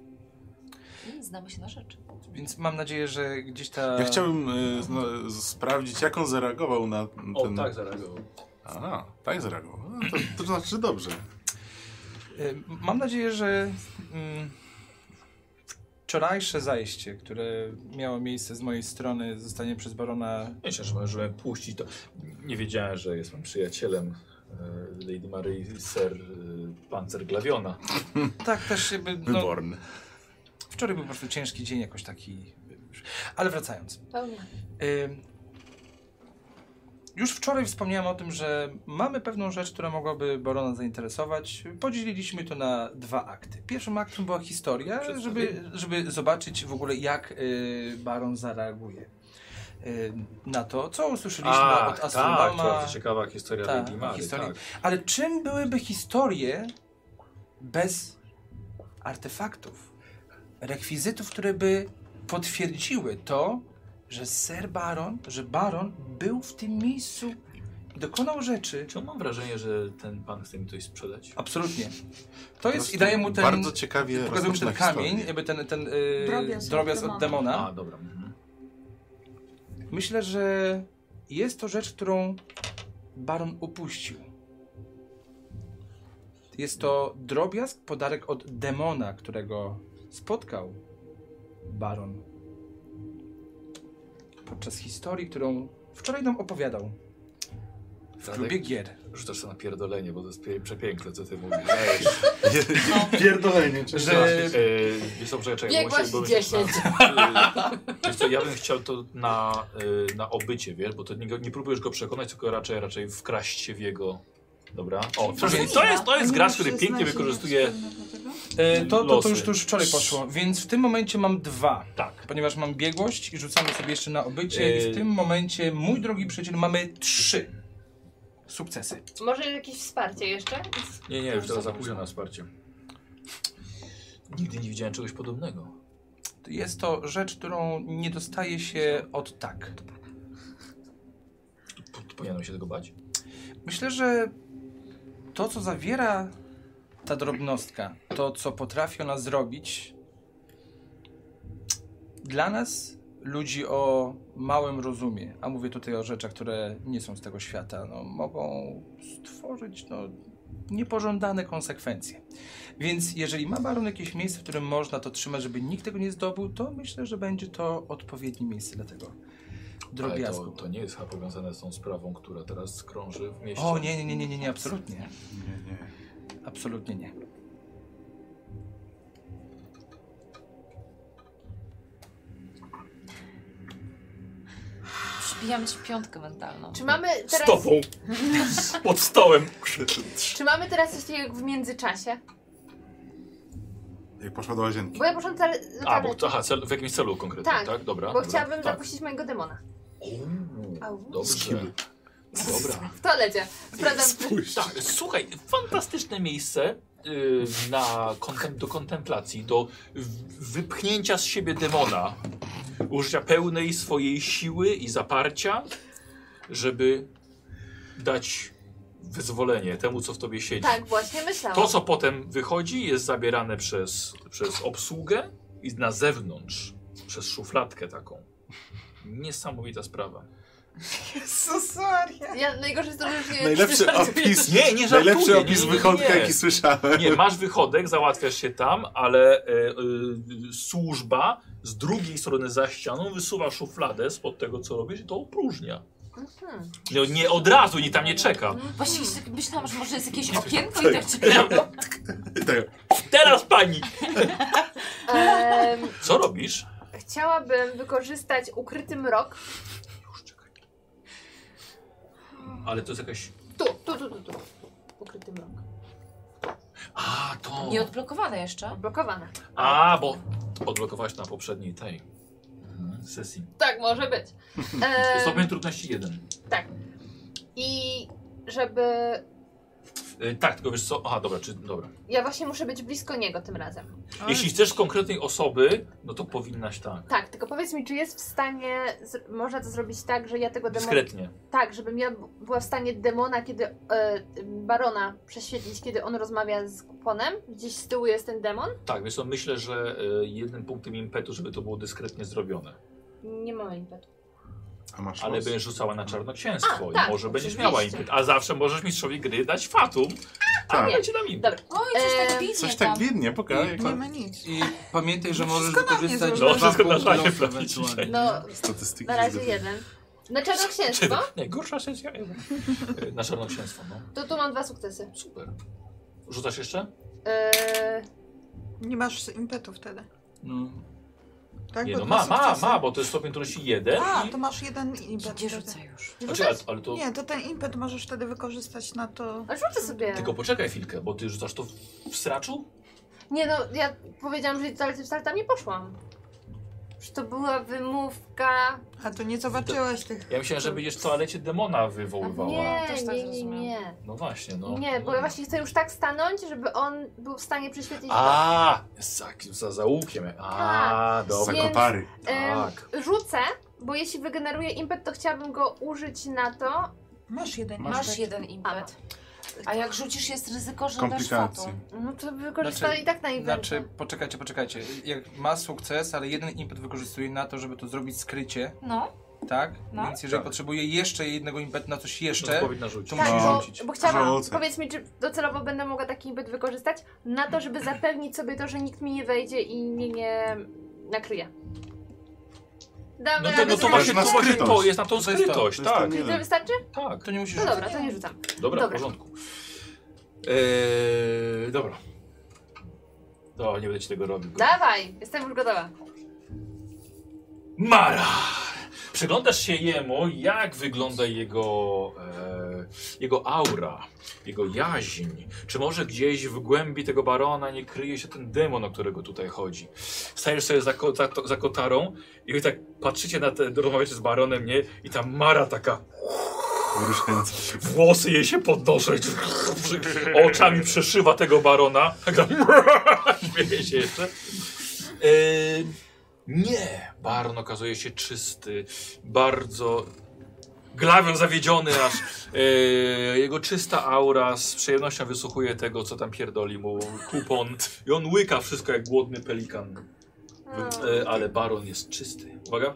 [SPEAKER 7] I znamy się na rzeczy.
[SPEAKER 1] Więc mam nadzieję, że gdzieś ta...
[SPEAKER 2] Ja chciałbym y, zna, z- sprawdzić, jak on zareagował na ten...
[SPEAKER 1] No
[SPEAKER 3] O, tak zareagował.
[SPEAKER 2] A, tak zareagował. No, to, to znaczy dobrze.
[SPEAKER 1] Y, Mam nadzieję, że mm, wczorajsze zajście, które miało miejsce z mojej strony, zostanie przez barona.
[SPEAKER 3] Myślę, że możemy puścić to. Nie wiedziałem, że jestem przyjacielem e, Lady Mary Ser e, Pancerglawiona.
[SPEAKER 1] Tak też jakby. No,
[SPEAKER 2] Wyborny.
[SPEAKER 1] wczoraj był po prostu ciężki dzień, jakoś taki. Ale wracając.
[SPEAKER 6] Pełna.
[SPEAKER 1] Y, Już wczoraj wspomniałem o tym, że mamy pewną rzecz, która mogłaby barona zainteresować. Podzieliliśmy to na dwa akty. Pierwszym aktem była historia, żeby, żeby zobaczyć w ogóle, jak y, baron zareaguje y, na to, co usłyszeliśmy no, od
[SPEAKER 3] tak,
[SPEAKER 1] astronoma.
[SPEAKER 3] bardzo ciekawa historia
[SPEAKER 1] Tak,
[SPEAKER 3] Lady Mary.
[SPEAKER 1] historia.
[SPEAKER 3] Tak.
[SPEAKER 1] Ale czym byłyby historie bez artefaktów, rekwizytów, które by potwierdziły to, że ser Baron, że Baron był w tym miejscu, dokonał rzeczy.
[SPEAKER 3] Czy mam wrażenie, że ten pan chce mi coś sprzedać?
[SPEAKER 1] Absolutnie.
[SPEAKER 2] Po
[SPEAKER 1] To jest
[SPEAKER 2] prostu
[SPEAKER 1] i daje mu ten,
[SPEAKER 2] Bardzo ciekawie
[SPEAKER 1] pokazuje mu ten
[SPEAKER 2] rozpoczyna
[SPEAKER 1] kamień,
[SPEAKER 2] historię.
[SPEAKER 1] jakby ten, ten yy, drobiazg,
[SPEAKER 5] Drobiazg od
[SPEAKER 1] od
[SPEAKER 5] demona.
[SPEAKER 1] demona.
[SPEAKER 3] A, dobra. Mhm.
[SPEAKER 1] Myślę, że jest to rzecz, którą Baron upuścił. Jest to drobiazg, podarek od demona, którego spotkał Baron podczas historii, którą wczoraj nam opowiadał
[SPEAKER 3] Tak.
[SPEAKER 1] w klubie gier.
[SPEAKER 3] Rzucasz sobie na pierdolenie, bo to jest pie- przepiękne, co ty mówisz. Ej.
[SPEAKER 2] Pierdolenie.
[SPEAKER 1] Że-
[SPEAKER 3] Yy, wiesz co, poczekaj, czekaj, bo
[SPEAKER 6] Biegłaś
[SPEAKER 3] muszę- bo
[SPEAKER 6] 10.
[SPEAKER 3] Yy, Wiesz co, ja bym chciał to na, yy, na obycie, wiesz, bo to nie, go- nie próbujesz go przekonać, tylko raczej raczej wkraść się w jego... Dobra. O, to, jest- to jest, to jest gracz, który pięknie wykorzystuje...
[SPEAKER 1] E, to, to, to,
[SPEAKER 3] Losy.
[SPEAKER 1] już, to już wczoraj poszło, więc w tym momencie mam dwa.
[SPEAKER 3] Tak.
[SPEAKER 1] Ponieważ mam biegłość i rzucamy sobie jeszcze na obycie i
[SPEAKER 3] Yy.
[SPEAKER 1] w tym momencie, mój drogi przyjaciel, mamy trzy sukcesy.
[SPEAKER 6] Może jakieś wsparcie jeszcze?
[SPEAKER 3] Nie, nie, już teraz za późno na wsparcie. Nigdy nie widziałem czegoś podobnego.
[SPEAKER 1] Jest to rzecz, którą nie dostaje się od tak.
[SPEAKER 3] P- Powinienem się tego bać.
[SPEAKER 1] Myślę, że to, co zawiera ta drobnostka, to, co potrafi ona zrobić, dla nas, ludzi o małym rozumie, a mówię tutaj o rzeczach, które nie są z tego świata, no, mogą stworzyć no, niepożądane konsekwencje. Więc jeżeli ma baron jakieś miejsce, w którym można to trzymać, żeby nikt tego nie zdobył, to myślę, że będzie to odpowiednie miejsce dla tego
[SPEAKER 3] Ale
[SPEAKER 1] drobiazgu.
[SPEAKER 3] to, to nie jest chyba powiązane z tą sprawą, która teraz krąży w mieście.
[SPEAKER 1] O, nie, nie, nie, nie, nie, nie, absolutnie.
[SPEAKER 2] Nie, nie.
[SPEAKER 1] Absolutnie nie.
[SPEAKER 7] Przybijam ci piątkę mentalną.
[SPEAKER 6] Czy mamy
[SPEAKER 3] Z
[SPEAKER 6] teraz,
[SPEAKER 3] tobą! Pod stołem!
[SPEAKER 6] czy mamy teraz coś takiego jak w międzyczasie?
[SPEAKER 2] Jak poszła do łazienki.
[SPEAKER 6] Bo ja poszłam do toale- do
[SPEAKER 3] A, bo
[SPEAKER 6] toalety,
[SPEAKER 3] to, aha, cel, w jakimś celu konkretnym, tak?
[SPEAKER 6] Tak,
[SPEAKER 3] Dobra.
[SPEAKER 6] bo
[SPEAKER 3] dobra,
[SPEAKER 6] chciałabym
[SPEAKER 3] tak.
[SPEAKER 6] zapuścić mojego demona. Au.
[SPEAKER 3] Uuu, dobrze. Dobra.
[SPEAKER 6] W toalecie. Sprawdzam,
[SPEAKER 3] Tak, słuchaj, fantastyczne miejsce y, na kontem do kontemplacji, do w- wypchnięcia z siebie demona, użycia pełnej swojej siły i zaparcia, żeby dać wyzwolenie temu, co w tobie siedzi.
[SPEAKER 6] tak właśnie myślałam.
[SPEAKER 3] To, co potem wychodzi, jest zabierane przez, przez obsługę i na zewnątrz, przez szufladkę taką. Niesamowita sprawa.
[SPEAKER 5] Susaria.
[SPEAKER 6] Ja najgorsze jest to, że już nie
[SPEAKER 2] Najlepszy opis,
[SPEAKER 3] Nie, nie żartuję,
[SPEAKER 2] najlepszy
[SPEAKER 3] nie,
[SPEAKER 2] opis
[SPEAKER 3] nie, nie,
[SPEAKER 2] wychodka,
[SPEAKER 3] nie.
[SPEAKER 2] jaki słyszałem.
[SPEAKER 3] Nie, masz wychodek, załatwiasz się tam, ale e, e, służba z drugiej strony za ścianą wysuwa szufladę spod tego, co robisz i to opróżnia.
[SPEAKER 6] Mhm.
[SPEAKER 3] Nie, nie od razu, nie tam nie czeka.
[SPEAKER 8] Właśnie się tak myślałam, że może jest jakieś okienko i tak czekam.
[SPEAKER 2] Tak.
[SPEAKER 3] Teraz pani!
[SPEAKER 6] Em,
[SPEAKER 3] Co robisz?
[SPEAKER 6] chciałabym wykorzystać ukryty mrok.
[SPEAKER 3] Ale to jest jakaś...
[SPEAKER 6] Tu, tu, tu, tu, tu. Ukryty mrok.
[SPEAKER 3] A, to...
[SPEAKER 8] Nie odblokowane jeszcze.
[SPEAKER 6] Blokowane.
[SPEAKER 3] A, bo odblokowałaś na poprzedniej tej mhm, sesji.
[SPEAKER 6] Tak, może być. Em,
[SPEAKER 3] Stopień trudności jeden.
[SPEAKER 6] I żeby.
[SPEAKER 3] E, tak, tylko wiesz co? Aha, dobra, czy... Dobra.
[SPEAKER 6] Ja właśnie muszę być blisko niego tym razem.
[SPEAKER 3] Jeśli chcesz konkretnej osoby, no to powinnaś tak.
[SPEAKER 6] Tak, tylko powiedz mi, czy jest w stanie. Z... Można to zrobić tak, że ja tego demona.
[SPEAKER 3] Dyskretnie.
[SPEAKER 6] Tak, żebym ja b- była w stanie demona, kiedy. E, barona prześwietlić, kiedy on rozmawia z kuponem. Gdzieś z tyłu jest ten demon.
[SPEAKER 3] Tak, więc myślę, że e, jednym punktem impetu, żeby to było dyskretnie zrobione.
[SPEAKER 6] Nie mamy impetu.
[SPEAKER 2] A masz
[SPEAKER 3] Ale
[SPEAKER 2] los?
[SPEAKER 3] będziesz rzucała na czarnoksięstwo
[SPEAKER 6] A,
[SPEAKER 3] i
[SPEAKER 6] tak,
[SPEAKER 3] może będziesz
[SPEAKER 6] oczywiście.
[SPEAKER 3] miała impet. A zawsze możesz mistrzowi gry dać fatum, a
[SPEAKER 2] Tak.
[SPEAKER 3] ja ci dam impet.
[SPEAKER 6] Dobra.
[SPEAKER 8] Oj, coś tak
[SPEAKER 6] Em,
[SPEAKER 8] biednie
[SPEAKER 21] Coś
[SPEAKER 8] tam.
[SPEAKER 21] tak biednie, pokaż.
[SPEAKER 5] Nie ma nic.
[SPEAKER 1] I pamiętaj, że
[SPEAKER 5] No
[SPEAKER 1] możesz
[SPEAKER 5] wszystko na mnie
[SPEAKER 1] wykorzystać
[SPEAKER 5] zrobione. No,
[SPEAKER 1] dwa
[SPEAKER 3] wszystko na
[SPEAKER 1] punkty
[SPEAKER 3] szafie
[SPEAKER 1] losu
[SPEAKER 3] prawie
[SPEAKER 1] ewentualnie.
[SPEAKER 3] dzisiaj.
[SPEAKER 6] No,
[SPEAKER 2] Statystyki.
[SPEAKER 6] na razie
[SPEAKER 2] zgaduję.
[SPEAKER 6] jeden. Na no. czarnoksięstwo,
[SPEAKER 3] Najgorsza sesja ever. E, Na czarnoksięstwo, no.
[SPEAKER 6] to tu mam dwa sukcesy.
[SPEAKER 3] Super. Rzucasz jeszcze?
[SPEAKER 6] E,
[SPEAKER 5] Nie masz impetu wtedy.
[SPEAKER 1] No.
[SPEAKER 5] Tak?
[SPEAKER 3] Nie,
[SPEAKER 5] Bo
[SPEAKER 3] no
[SPEAKER 5] dwa
[SPEAKER 3] ma, ma,
[SPEAKER 5] sukcesy.
[SPEAKER 3] ma, bo to jest stopień trudności jeden.
[SPEAKER 5] A,
[SPEAKER 3] i-
[SPEAKER 5] to masz jeden impet.
[SPEAKER 8] Gdzie
[SPEAKER 5] wtedy.
[SPEAKER 8] rzucę już?
[SPEAKER 3] Znaczy, ale, ale to...
[SPEAKER 5] Nie, to ten impet możesz wtedy wykorzystać na to.
[SPEAKER 6] a rzucę sobie.
[SPEAKER 3] Tylko poczekaj chwilkę, bo ty rzucasz to w, w sraczu?
[SPEAKER 6] Nie no, ja powiedziałam, że dalej tym startami poszłam. Że to była wymówka.
[SPEAKER 5] A to nie zobaczyłeś tych.
[SPEAKER 3] Ja myślałem, że będziesz w toalecie demona wywoływała.
[SPEAKER 6] nie,
[SPEAKER 8] też tak
[SPEAKER 6] nie, nie,
[SPEAKER 8] zrozumiałam.
[SPEAKER 6] nie.
[SPEAKER 3] No właśnie, no.
[SPEAKER 6] Nie, bo ja właśnie chcę już tak stanąć, żeby on był w stanie prześwietlić.
[SPEAKER 3] A, za, za zaułkiem. A,
[SPEAKER 6] Tak.
[SPEAKER 3] dobra.
[SPEAKER 6] Więc,
[SPEAKER 21] Zakopary.
[SPEAKER 6] em,
[SPEAKER 3] Tak.
[SPEAKER 6] rzucę, bo jeśli wygeneruję impet, to chciałabym go użyć na to.
[SPEAKER 5] Masz jeden
[SPEAKER 21] Masz
[SPEAKER 5] impet.
[SPEAKER 8] Masz jeden impet. A jak rzucisz, jest ryzyko, że dasz
[SPEAKER 21] Komplikacje.
[SPEAKER 8] fatum.
[SPEAKER 6] No to wykorzystała
[SPEAKER 1] Znaczy-
[SPEAKER 6] i tak na impet.
[SPEAKER 1] Znaczy, poczekajcie, poczekajcie. Jak ma sukces, ale jeden impet wykorzystuje na to, żeby to zrobić skrycie,
[SPEAKER 8] No,
[SPEAKER 1] tak?
[SPEAKER 8] No.
[SPEAKER 1] Więc jeżeli
[SPEAKER 21] Tak.
[SPEAKER 1] potrzebuje jeszcze jednego impetu na coś jeszcze,
[SPEAKER 3] Odpowiedź na rzucie.
[SPEAKER 1] to
[SPEAKER 6] Tak,
[SPEAKER 1] musisz
[SPEAKER 21] No.
[SPEAKER 1] rzucić.
[SPEAKER 6] bo, bo chciałam,
[SPEAKER 21] Rzucę.
[SPEAKER 6] powiedz mi, czy docelowo będę mogła taki impet wykorzystać na to, żeby zapewnić sobie to, że nikt mi nie wejdzie i mnie nie nakryje. Dam
[SPEAKER 3] No to,
[SPEAKER 6] radę
[SPEAKER 3] no to
[SPEAKER 6] zrobić.
[SPEAKER 3] właśnie
[SPEAKER 21] na
[SPEAKER 3] to, właśnie to
[SPEAKER 21] skrytość.
[SPEAKER 3] jest na tą
[SPEAKER 1] To jest to.
[SPEAKER 3] skrytość,
[SPEAKER 21] To jest
[SPEAKER 3] tak,
[SPEAKER 21] ten
[SPEAKER 6] To
[SPEAKER 21] jeden.
[SPEAKER 6] wystarczy?
[SPEAKER 3] tak.
[SPEAKER 1] To nie musisz
[SPEAKER 6] No
[SPEAKER 1] rzucić.
[SPEAKER 6] dobra, to nie rzucam.
[SPEAKER 3] Dobra,
[SPEAKER 6] Dobra.
[SPEAKER 3] w porządku. Eee, dobra. No, nie będę ci tego robił.
[SPEAKER 6] Dawaj, jestem już gotowa.
[SPEAKER 3] Mara! Przyglądasz się jemu, jak wygląda jego, e, jego aura, jego jaźń. Czy może gdzieś w głębi tego barona nie kryje się ten demon, o którego tutaj chodzi? Stajesz sobie za, ko- za, to- za kotarą i wy tak patrzycie na te, rozmawiacie z baronem, nie? I ta Mara taka,
[SPEAKER 21] Wyruszające.
[SPEAKER 3] włosy jej się podnoszą, i oczami przeszywa tego barona. Taka, śmieje się jeszcze. Ehm, nie, baron okazuje się czysty, bardzo glawią zawiedziony aż. E, jego czysta aura z przyjemnością wysłuchuje tego, co tam pierdoli mu kupon i on łyka wszystko jak głodny pelikan. E, ale baron jest czysty. Uwaga.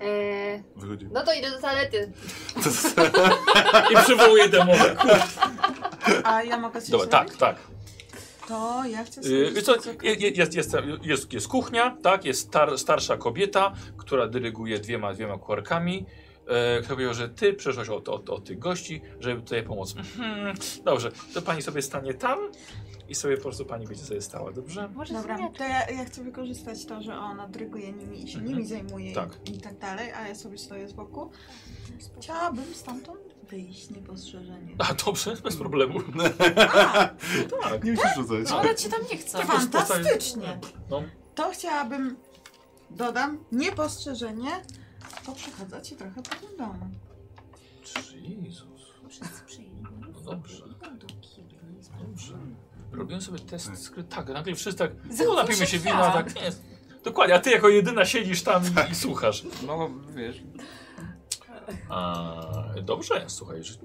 [SPEAKER 6] Eee,
[SPEAKER 2] Wychodzi.
[SPEAKER 6] no to idę do toalety.
[SPEAKER 21] To jest-
[SPEAKER 3] I przywołuje demona.
[SPEAKER 5] A ja mogę coś
[SPEAKER 3] Dobra,
[SPEAKER 5] zrobić?
[SPEAKER 3] tak, tak.
[SPEAKER 5] To ja chcę
[SPEAKER 3] Yy,
[SPEAKER 5] zrobić.
[SPEAKER 3] wiesz co, je- je- jest, jest, jest, jest kuchnia, tak? Jest star, starsza kobieta, która dyryguje dwiema, dwiema kwarkami. E, która powiedziała, że ty przyszłaś od, od, od tych gości, żeby tutaj pomóc. Mhm, dobrze, to pani sobie stanie tam i sobie po prostu pani będzie sobie stała, dobrze?
[SPEAKER 6] Może
[SPEAKER 5] Dobra,
[SPEAKER 6] sobie-
[SPEAKER 5] to ja, ja chcę wykorzystać to, że ona dryguje nimi i się
[SPEAKER 3] Mhm.
[SPEAKER 5] nimi zajmuje
[SPEAKER 3] Tak.
[SPEAKER 5] i tak dalej, a ja sobie stoję z boku. Chciałabym stamtąd wyjść niepostrzeżenie.
[SPEAKER 3] A dobrze, bez problemu.
[SPEAKER 5] A,
[SPEAKER 3] Tak.
[SPEAKER 21] Nie musisz rzucać.
[SPEAKER 8] no ale cię tam nie chcę.
[SPEAKER 5] fantastycznie!
[SPEAKER 3] No.
[SPEAKER 5] To chciałabym, dodam, niepostrzeżenie, bo przychodzę ci trochę pod domu.
[SPEAKER 3] Jezus. No dobrze. Dobrze. Robiłem sobie test skry. Tak, nagle wszyscy tak. No, napijmy się wina, tak. Nie. Dokładnie, a ty jako jedyna siedzisz tam i- i słuchasz.
[SPEAKER 1] No, wiesz,
[SPEAKER 3] A, dobrze, słuchaj. że-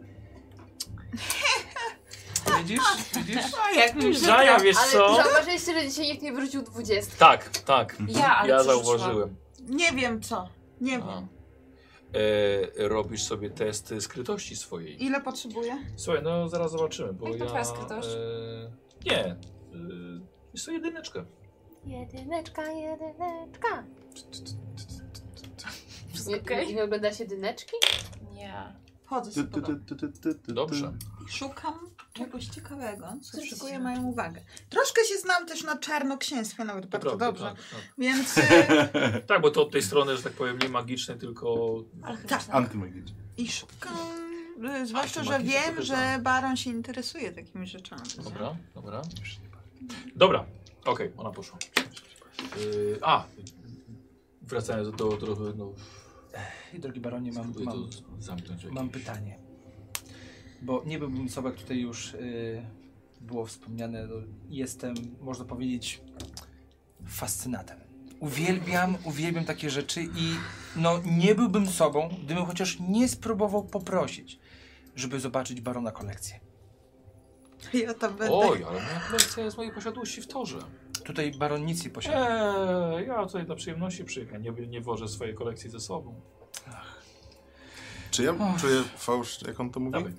[SPEAKER 1] widzisz? Widzisz?
[SPEAKER 5] A jak
[SPEAKER 3] Żaja, wiesz
[SPEAKER 6] Ale
[SPEAKER 3] co?
[SPEAKER 6] zauważyliście, że dzisiaj nikt nie wrócił 20.
[SPEAKER 3] Tak,
[SPEAKER 7] Mm.
[SPEAKER 3] tak.
[SPEAKER 8] Ja, ale
[SPEAKER 3] Ja
[SPEAKER 8] przerzuciłam.
[SPEAKER 3] zauważyłem.
[SPEAKER 5] Nie wiem co, nie
[SPEAKER 3] A.
[SPEAKER 5] wiem.
[SPEAKER 3] E, robisz sobie test skrytości swojej.
[SPEAKER 5] Ile potrzebuję?
[SPEAKER 3] Słuchaj, no zaraz zobaczymy, bo
[SPEAKER 8] Jak to
[SPEAKER 3] ja...
[SPEAKER 8] twoja skrytość?
[SPEAKER 3] E, nie. E, jest to jedyneczka.
[SPEAKER 6] Jedyneczka, jedyneczka.
[SPEAKER 7] wszystko
[SPEAKER 6] Nie,
[SPEAKER 7] okej?
[SPEAKER 6] nie, nie oglądacie dyneczki?
[SPEAKER 7] Nie.
[SPEAKER 5] Chodzę
[SPEAKER 2] Ty,
[SPEAKER 5] sobie
[SPEAKER 2] ty,
[SPEAKER 5] po domu.
[SPEAKER 2] ty, ty, ty, ty, ty.
[SPEAKER 3] Dobrze.
[SPEAKER 5] Szukam czegoś ciekawego, co
[SPEAKER 7] Coś
[SPEAKER 5] szykuje
[SPEAKER 7] ciekawego.
[SPEAKER 5] moją uwagę. Troszkę się znam też na czarnoksięstwie, nawet bardzo
[SPEAKER 3] Prawda,
[SPEAKER 5] dobrze.
[SPEAKER 3] Tak, tak.
[SPEAKER 5] Więc y,
[SPEAKER 3] tak, bo to od tej strony, że tak powiem, nie magiczne, tylko
[SPEAKER 7] Ale
[SPEAKER 5] Tak.
[SPEAKER 7] chyba tak.
[SPEAKER 2] Antymagicznie.
[SPEAKER 5] i szukam. y, Zwłaszcza,
[SPEAKER 3] A, tu
[SPEAKER 5] że
[SPEAKER 3] makijaż
[SPEAKER 5] wiem,
[SPEAKER 3] pokazałem.
[SPEAKER 5] że Baron się interesuje takimi rzeczami.
[SPEAKER 3] Dobra, dobra. Dobra, okej, ona poszła. Yy, a, wracając do trochę, no,
[SPEAKER 1] I drogi baronie, mam,
[SPEAKER 3] spróbuję to
[SPEAKER 1] mam,
[SPEAKER 3] zamknąć. jakieś-
[SPEAKER 1] mam pytanie. Bo nie byłbym sobą, jak tutaj już y, było wspomniane, no, jestem, można powiedzieć, fascynatem. Uwielbiam, uwielbiam takie rzeczy i no, nie byłbym sobą, gdybym chociaż nie spróbował poprosić, żeby zobaczyć barona kolekcję.
[SPEAKER 5] Ja to będę.
[SPEAKER 3] Oj, ale moja kolekcja jest mojej posiadłości w torze.
[SPEAKER 1] Tutaj baronicy posiada.
[SPEAKER 3] Eee, ja tutaj dla przyjemności przyjechałem, nie, nie wożę swojej kolekcji ze sobą.
[SPEAKER 2] Czy ja czuję fałsz, jak on to mówi?
[SPEAKER 3] Dawaj.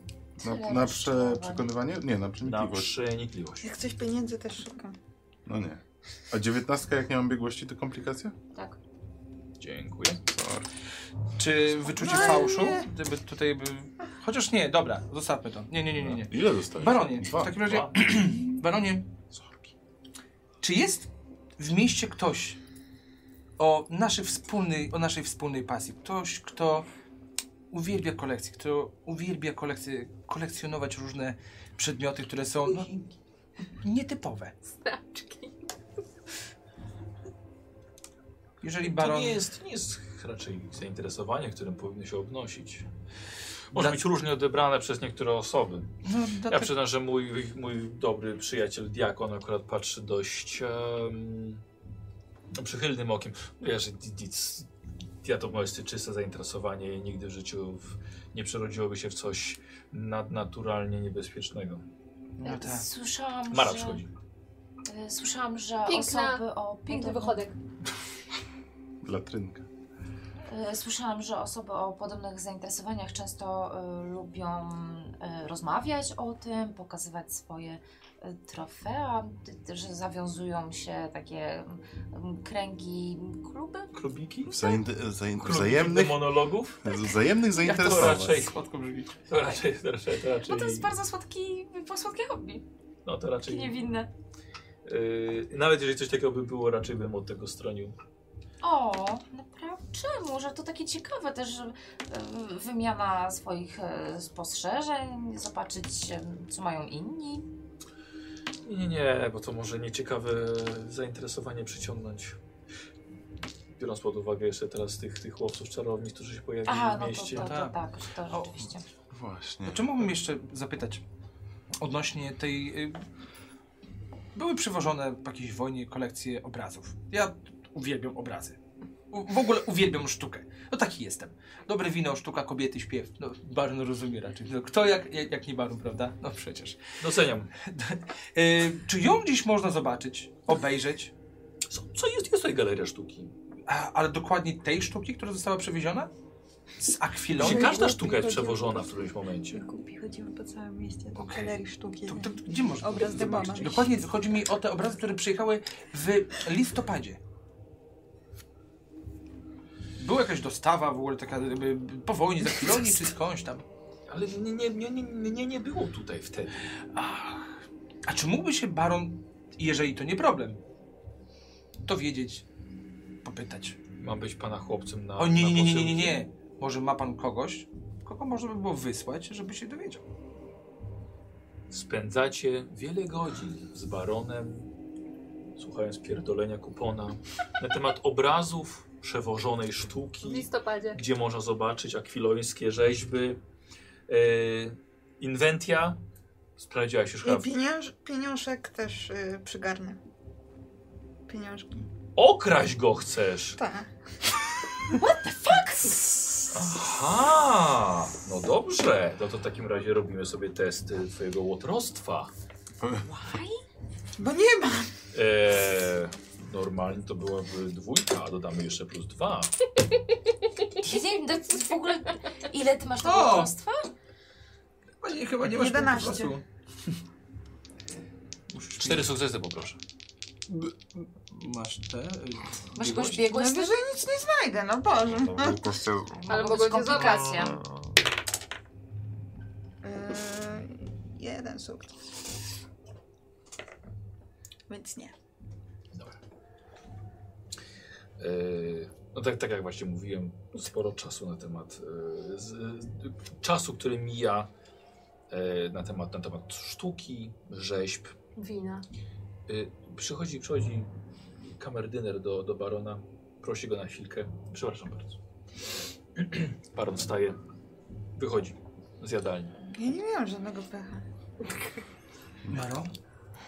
[SPEAKER 2] Na, na prze, przekonywanie? Nie, na
[SPEAKER 3] Na
[SPEAKER 2] przenikliwość.
[SPEAKER 3] przenikliwość.
[SPEAKER 5] Jak coś pieniędzy też szukam.
[SPEAKER 2] No nie. A dziewiętnastka, jak nie mam biegłości, to komplikacja?
[SPEAKER 3] Dziękuję.
[SPEAKER 1] Czy wyczucie
[SPEAKER 5] Spokojnie.
[SPEAKER 1] fałszu? Gdyby tutaj by... Chociaż nie, dobra, zostawmy to. Nie, nie, nie, nie. nie.
[SPEAKER 2] Ile dostajesz?
[SPEAKER 1] Baronie,
[SPEAKER 2] Dwa.
[SPEAKER 3] tak-
[SPEAKER 1] w takim razie, Baronie, czy jest w mieście ktoś o, naszej wspólnej, o naszej wspólnej pasji? Ktoś, kto uwielbia kolekcje, kto uwielbia kolekcje, kolekcjonować różne przedmioty, które są no, nietypowe.
[SPEAKER 6] Znaczki.
[SPEAKER 1] Jeżeli
[SPEAKER 3] To
[SPEAKER 1] Baron...
[SPEAKER 3] nie jest, nie jest raczej zainteresowanie, którym powinno się obnosić. Może
[SPEAKER 1] Dla-
[SPEAKER 3] być różnie odebrane przez niektóre osoby.
[SPEAKER 1] No,
[SPEAKER 3] Ja
[SPEAKER 1] dlatego-
[SPEAKER 3] przyznam, że mój, mój dobry przyjaciel Diakon akurat patrzy dość em, no, przychylnym okiem. Wiesz, di- di- ja to jest czyste zainteresowanie i nigdy w życiu w, nie przerodziłoby się w coś nadnaturalnie niebezpiecznego.
[SPEAKER 1] no, tak.
[SPEAKER 7] Słyszałam,
[SPEAKER 3] Mara
[SPEAKER 7] że...
[SPEAKER 3] przychodzi.
[SPEAKER 7] e, Słyszałam, że
[SPEAKER 6] Piękna-
[SPEAKER 7] osoby o
[SPEAKER 6] Piękny
[SPEAKER 7] podobnym-
[SPEAKER 6] wychodek.
[SPEAKER 2] Latrynka.
[SPEAKER 7] E, Słyszałam, że osoby o podobnych zainteresowaniach często e, lubią e, rozmawiać o tym, pokazywać swoje e, trofea, t- t- że zawiązują się takie mm, kręgi, kluby.
[SPEAKER 3] Klubiki?
[SPEAKER 2] Zainte- zain-
[SPEAKER 3] Klubiki
[SPEAKER 2] wzajemnych,
[SPEAKER 3] do monologów?
[SPEAKER 2] wzajemnych
[SPEAKER 3] Ja to raczej,
[SPEAKER 2] zainteresowań.
[SPEAKER 1] Słodko brzmi.
[SPEAKER 3] to raczej, to raczej, to raczej,
[SPEAKER 7] No to jest bardzo słodki, słodkie hobby,
[SPEAKER 3] no to
[SPEAKER 7] takie
[SPEAKER 3] raczej
[SPEAKER 7] niewinne.
[SPEAKER 3] Yy, nawet jeżeli coś takiego by było, raczej bym od tego stronił.
[SPEAKER 7] O, naprawdę? Czemu? Że to takie ciekawe też że, e, wymiana swoich e, spostrzeżeń, zobaczyć e, co mają inni.
[SPEAKER 3] Nie, nie, nie, bo to może nieciekawe zainteresowanie przyciągnąć. Biorąc pod uwagę jeszcze teraz tych, tych łowców czarownic, którzy się pojawili
[SPEAKER 7] Aha,
[SPEAKER 3] w
[SPEAKER 7] no
[SPEAKER 3] mieście.
[SPEAKER 7] to, to, to
[SPEAKER 1] tak.
[SPEAKER 7] tak, to
[SPEAKER 1] O,
[SPEAKER 7] rzeczywiście.
[SPEAKER 2] Właśnie.
[SPEAKER 1] A czy mógłbym jeszcze zapytać odnośnie tej. y, Były przywożone po jakiejś wojnie kolekcje obrazów. Ja uwielbiam obrazy. U, w ogóle uwielbiam sztukę. No taki jestem. Dobre wino, sztuka, kobiety, śpiew. No, Baron rozumie raczej. No, kto jak, jak, jak nie Baron, prawda? No przecież.
[SPEAKER 3] Doceniam.
[SPEAKER 1] Y, czy ją gdzieś można zobaczyć, obejrzeć?
[SPEAKER 3] Co, co jest, jest tutaj galeria sztuki?
[SPEAKER 1] A, ale dokładnie tej sztuki, która została przewieziona? Z akwilą?
[SPEAKER 7] No,
[SPEAKER 3] Gdzie
[SPEAKER 5] Lony-
[SPEAKER 3] każda sztuka jest
[SPEAKER 5] Lony-
[SPEAKER 3] przewożona w którymś momencie.
[SPEAKER 5] Kupi, chodzimy po całym mieście do
[SPEAKER 1] Okej.
[SPEAKER 5] galerii sztuki.
[SPEAKER 1] To,
[SPEAKER 5] nie?
[SPEAKER 1] to, to, gdzie można
[SPEAKER 5] Obraz demona.
[SPEAKER 1] zobaczyć? Dokładnie chodzi mi o te obrazy, które przyjechały w listopadzie. Była jakaś dostawa w ogóle taka jakby po wojnie, za chwilę czy skądś tam.
[SPEAKER 3] Ale nie, nie, nie, nie, nie, nie było tutaj wtedy.
[SPEAKER 1] Ach. A czy mógłby się baron, jeżeli to nie problem, to wiedzieć, popytać?
[SPEAKER 3] Mam być pana chłopcem na
[SPEAKER 1] O nie,
[SPEAKER 3] na
[SPEAKER 1] nie, nie, nie, nie,
[SPEAKER 3] posyłki?
[SPEAKER 1] nie. Może ma pan kogoś, kogo można by było wysłać, żeby się dowiedział?
[SPEAKER 3] Spędzacie wiele godzin z baronem, słuchając pierdolenia kupona na temat obrazów przewożonej
[SPEAKER 6] W
[SPEAKER 3] sztuki,
[SPEAKER 6] listopadzie.
[SPEAKER 3] gdzie można zobaczyć akwilońskie rzeźby. E, inwentia sprawdziłaś już chyba.
[SPEAKER 5] I pieniąż, pieniążek też y, przygarnę. Pieniążki.
[SPEAKER 3] Okraść go chcesz!
[SPEAKER 5] Tak.
[SPEAKER 3] Aha! No dobrze, no to w takim razie robimy sobie test y, twojego łotrostwa.
[SPEAKER 5] Bo nie ma.
[SPEAKER 3] E, normalnie to byłaby dwójka, a dodamy jeszcze plus dwa.
[SPEAKER 7] Ja nie wiem, to jest w ogóle ile ty masz
[SPEAKER 1] O!
[SPEAKER 7] tego ustrojstwa?
[SPEAKER 1] Panie, chyba nie
[SPEAKER 5] masz 11. punktu
[SPEAKER 1] Musisz
[SPEAKER 3] Cztery sukcesy poproszę.
[SPEAKER 1] Masz te... y,
[SPEAKER 7] Masz jakąś
[SPEAKER 1] biegłości?
[SPEAKER 7] biegłość?
[SPEAKER 5] Najwyżej nic nie znajdę, no Boże.
[SPEAKER 2] Kościół.
[SPEAKER 6] Ale
[SPEAKER 7] Mogą
[SPEAKER 6] mogą
[SPEAKER 7] być
[SPEAKER 6] cię zabrać.
[SPEAKER 7] komplikacje.
[SPEAKER 5] Yy, jeden sukces. Więc nie.
[SPEAKER 3] Yy, No tak, tak jak właśnie mówiłem, sporo czasu na temat yy, z, y, czasu, który mija yy, na temat, na temat sztuki, rzeźb.
[SPEAKER 6] Wina.
[SPEAKER 3] Yy, Przychodzi, przychodzi kamerdyner do, do barona, prosi go na chwilkę. Przepraszam bardzo. Baron wstaje, wychodzi z jadalni.
[SPEAKER 5] Ja nie miałam żadnego pecha.
[SPEAKER 1] Maro?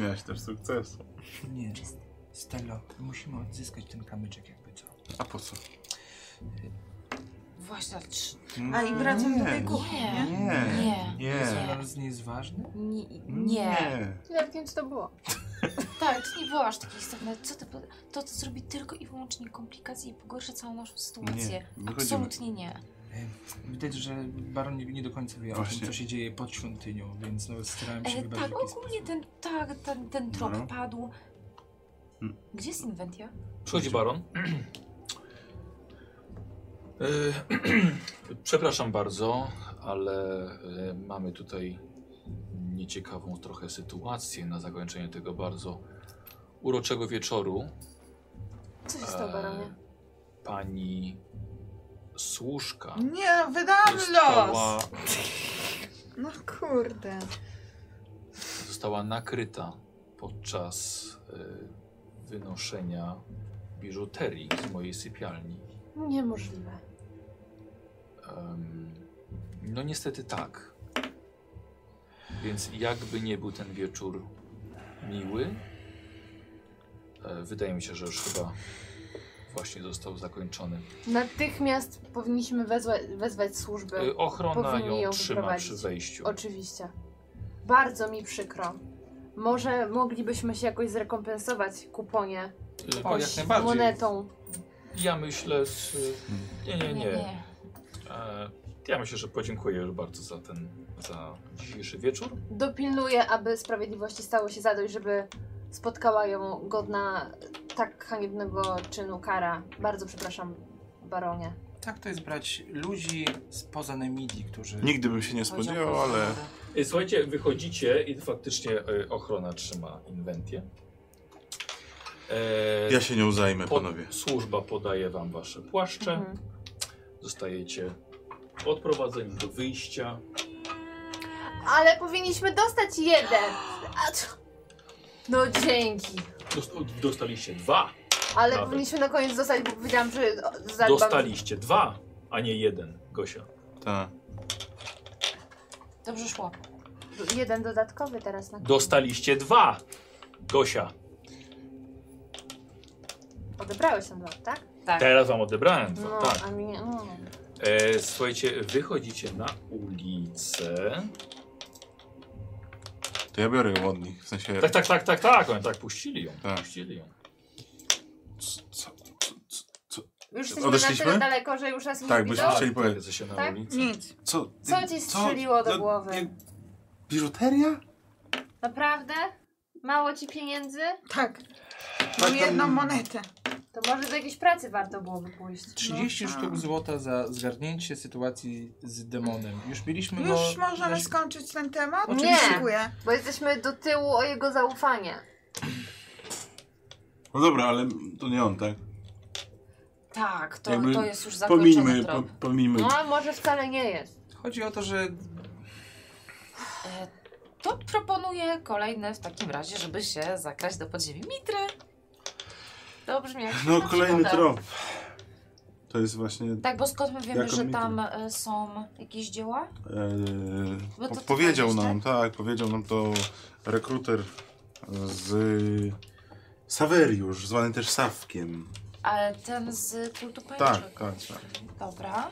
[SPEAKER 2] Miałeś też sukces.
[SPEAKER 1] Nie. Stella, musimy odzyskać ten kamyczek jakby co.
[SPEAKER 2] A po co?
[SPEAKER 7] Właśnie, ale trz-
[SPEAKER 5] A i wracam do
[SPEAKER 2] Nie.
[SPEAKER 5] tej kuchni,
[SPEAKER 7] Nie.
[SPEAKER 5] nie?
[SPEAKER 2] Nie.
[SPEAKER 7] Nie.
[SPEAKER 1] Co
[SPEAKER 2] Nie.
[SPEAKER 1] dla nas nie jest ważne?
[SPEAKER 7] Nie. nie.
[SPEAKER 6] Nawet nie wiem, co to było.
[SPEAKER 7] Tak, to nie było aż takie istotne. Co to, to, to zrobi tylko i wyłącznie komplikacje i pogorsza całą naszą sytuację.
[SPEAKER 2] wychodzimy.
[SPEAKER 7] Absolutnie nie.
[SPEAKER 1] Widać, że Baron nie, nie do końca wie o tym,
[SPEAKER 2] Właśnie.
[SPEAKER 1] co się dzieje pod świątynią, więc nawet starałem się
[SPEAKER 7] E,
[SPEAKER 1] wybrać
[SPEAKER 7] tak,
[SPEAKER 1] w jakiś sposób.
[SPEAKER 7] ogólnie ten, tak, ten, ten trop
[SPEAKER 2] No.
[SPEAKER 7] padł.
[SPEAKER 2] Hmm.
[SPEAKER 7] Gdzie jest Inventia?
[SPEAKER 3] Przychodzi baron. Yy, Przepraszam bardzo, ale yy, mamy tutaj nieciekawą trochę sytuację na zakończenie tego bardzo uroczego wieczoru.
[SPEAKER 6] Co się stało,
[SPEAKER 3] E,
[SPEAKER 6] baronie?
[SPEAKER 3] Pani służka
[SPEAKER 5] Nie, wydałam
[SPEAKER 3] została,
[SPEAKER 5] los! No kurde.
[SPEAKER 3] została nakryta podczas yy, wynoszenia biżuterii z mojej sypialni.
[SPEAKER 6] Niemożliwe.
[SPEAKER 3] Em, No niestety tak. Więc jakby nie był ten wieczór miły, e, wydaje mi się, że już chyba właśnie został zakończony.
[SPEAKER 6] Natychmiast powinniśmy wezwa- wezwać służby.
[SPEAKER 30] Y,
[SPEAKER 3] E, Ochrona ją
[SPEAKER 6] Powinni ją
[SPEAKER 3] trzyma
[SPEAKER 6] wyprowadzić.
[SPEAKER 3] przy wejściu.
[SPEAKER 6] Oczywiście. Bardzo mi przykro. Może moglibyśmy się jakoś zrekompensować kuponie
[SPEAKER 3] E,
[SPEAKER 30] O, jak najbardziej.
[SPEAKER 6] monetą.
[SPEAKER 3] Ja myślę, z... nie, nie, nie. E, Ja myślę, że podziękuję już bardzo za ten, za dzisiejszy wieczór.
[SPEAKER 6] Dopilnuję, aby sprawiedliwości stało się zadość, żeby spotkała ją godna tak haniebnego czynu kara. Bardzo przepraszam, baronie.
[SPEAKER 1] Tak to jest brać ludzi spoza Nemidii, którzy...
[SPEAKER 2] Nigdy bym się nie spodziewał, ale
[SPEAKER 3] E, Słuchajcie, wychodzicie i faktycznie e, ochrona trzyma inwentję. E,
[SPEAKER 2] ja się nią zajmę,
[SPEAKER 3] Pod-
[SPEAKER 2] panowie.
[SPEAKER 3] Służba podaje wam wasze płaszcze.
[SPEAKER 6] Mhm.
[SPEAKER 3] Zostajecie odprowadzeni do wyjścia.
[SPEAKER 6] Ale powinniśmy dostać jeden! A co? No dzięki.
[SPEAKER 3] Dost- dostaliście dwa.
[SPEAKER 6] Ale
[SPEAKER 3] Nawet.
[SPEAKER 6] powinniśmy na koniec dostać, bo powiedziałam, że zadbam.
[SPEAKER 3] Dostaliście dwa, a nie jeden, Gosia.
[SPEAKER 2] Tak.
[SPEAKER 7] Dobrze szło.
[SPEAKER 6] Jeden dodatkowy teraz na koniec.
[SPEAKER 3] Dostaliście dwa, Gosia.
[SPEAKER 6] Odebrałeś tam dwa, tak?
[SPEAKER 3] Teraz wam odebrałem dwa.
[SPEAKER 6] No,
[SPEAKER 3] Tak.
[SPEAKER 6] a mnie... No.
[SPEAKER 3] E, słuchajcie, wychodzicie na ulicę.
[SPEAKER 2] To ja biorę ją od nich. W sensie.
[SPEAKER 3] Tak, tak, tak, tak, tak. Oni tak puścili ją.
[SPEAKER 2] Tak.
[SPEAKER 3] Puścili ją.
[SPEAKER 2] Co, co, co, co,
[SPEAKER 6] Już jesteśmy na
[SPEAKER 2] Odeszliśmy?
[SPEAKER 6] tyle daleko, że już nas nie
[SPEAKER 2] Tak,
[SPEAKER 6] tak,
[SPEAKER 2] bo
[SPEAKER 6] widzą.
[SPEAKER 2] się-
[SPEAKER 3] Tak,
[SPEAKER 2] chcieli powiedzieć.
[SPEAKER 3] jesteście na
[SPEAKER 6] Tak?
[SPEAKER 3] ulicy.
[SPEAKER 5] Nic.
[SPEAKER 2] co,
[SPEAKER 6] Co ci strzeliło do
[SPEAKER 2] No,
[SPEAKER 6] głowy?
[SPEAKER 2] nie- Biżuteria?
[SPEAKER 6] Naprawdę? Mało ci pieniędzy?
[SPEAKER 5] Tak. Mam jedną
[SPEAKER 30] no,
[SPEAKER 5] monetę.
[SPEAKER 6] To może do jakiejś pracy warto byłoby pójść.
[SPEAKER 30] 30 sztuk złota za zgarnięcie sytuacji z demonem. Już mieliśmy go...
[SPEAKER 5] Już możemy
[SPEAKER 30] na-
[SPEAKER 5] skończyć ten temat?
[SPEAKER 6] Oczywiście.
[SPEAKER 5] Dziękuję.
[SPEAKER 6] Bo jesteśmy do tyłu o jego zaufanie.
[SPEAKER 2] No dobra, ale to nie on, tak?
[SPEAKER 7] Tak, to,
[SPEAKER 2] Jakby
[SPEAKER 7] to jest już zakończony
[SPEAKER 2] Pomijmy,
[SPEAKER 7] trop.
[SPEAKER 2] po, pomijmy.
[SPEAKER 6] No, a może wcale nie jest.
[SPEAKER 30] Chodzi o to, że
[SPEAKER 7] E, to proponuję kolejny w takim razie, żeby się zakraść do podziemi Mitry. To brzmi jak
[SPEAKER 2] No
[SPEAKER 7] świetna
[SPEAKER 2] kolejny
[SPEAKER 7] przygoda.
[SPEAKER 2] trop. To jest właśnie
[SPEAKER 7] Tak, bo skąd my wiemy,
[SPEAKER 2] Jako
[SPEAKER 7] że
[SPEAKER 2] Mitry.
[SPEAKER 7] tam e, są jakieś dzieła?
[SPEAKER 2] Eee,
[SPEAKER 7] Bo to
[SPEAKER 2] po- powiedział
[SPEAKER 7] ty powiedziałeś,
[SPEAKER 2] nam, tak, powiedział nam to rekruter z Saveriusz, zwany też Sawkiem.
[SPEAKER 7] Ale ten z kultu
[SPEAKER 2] Tak,
[SPEAKER 7] pajęczek.
[SPEAKER 2] tak, tak.
[SPEAKER 7] Dobra.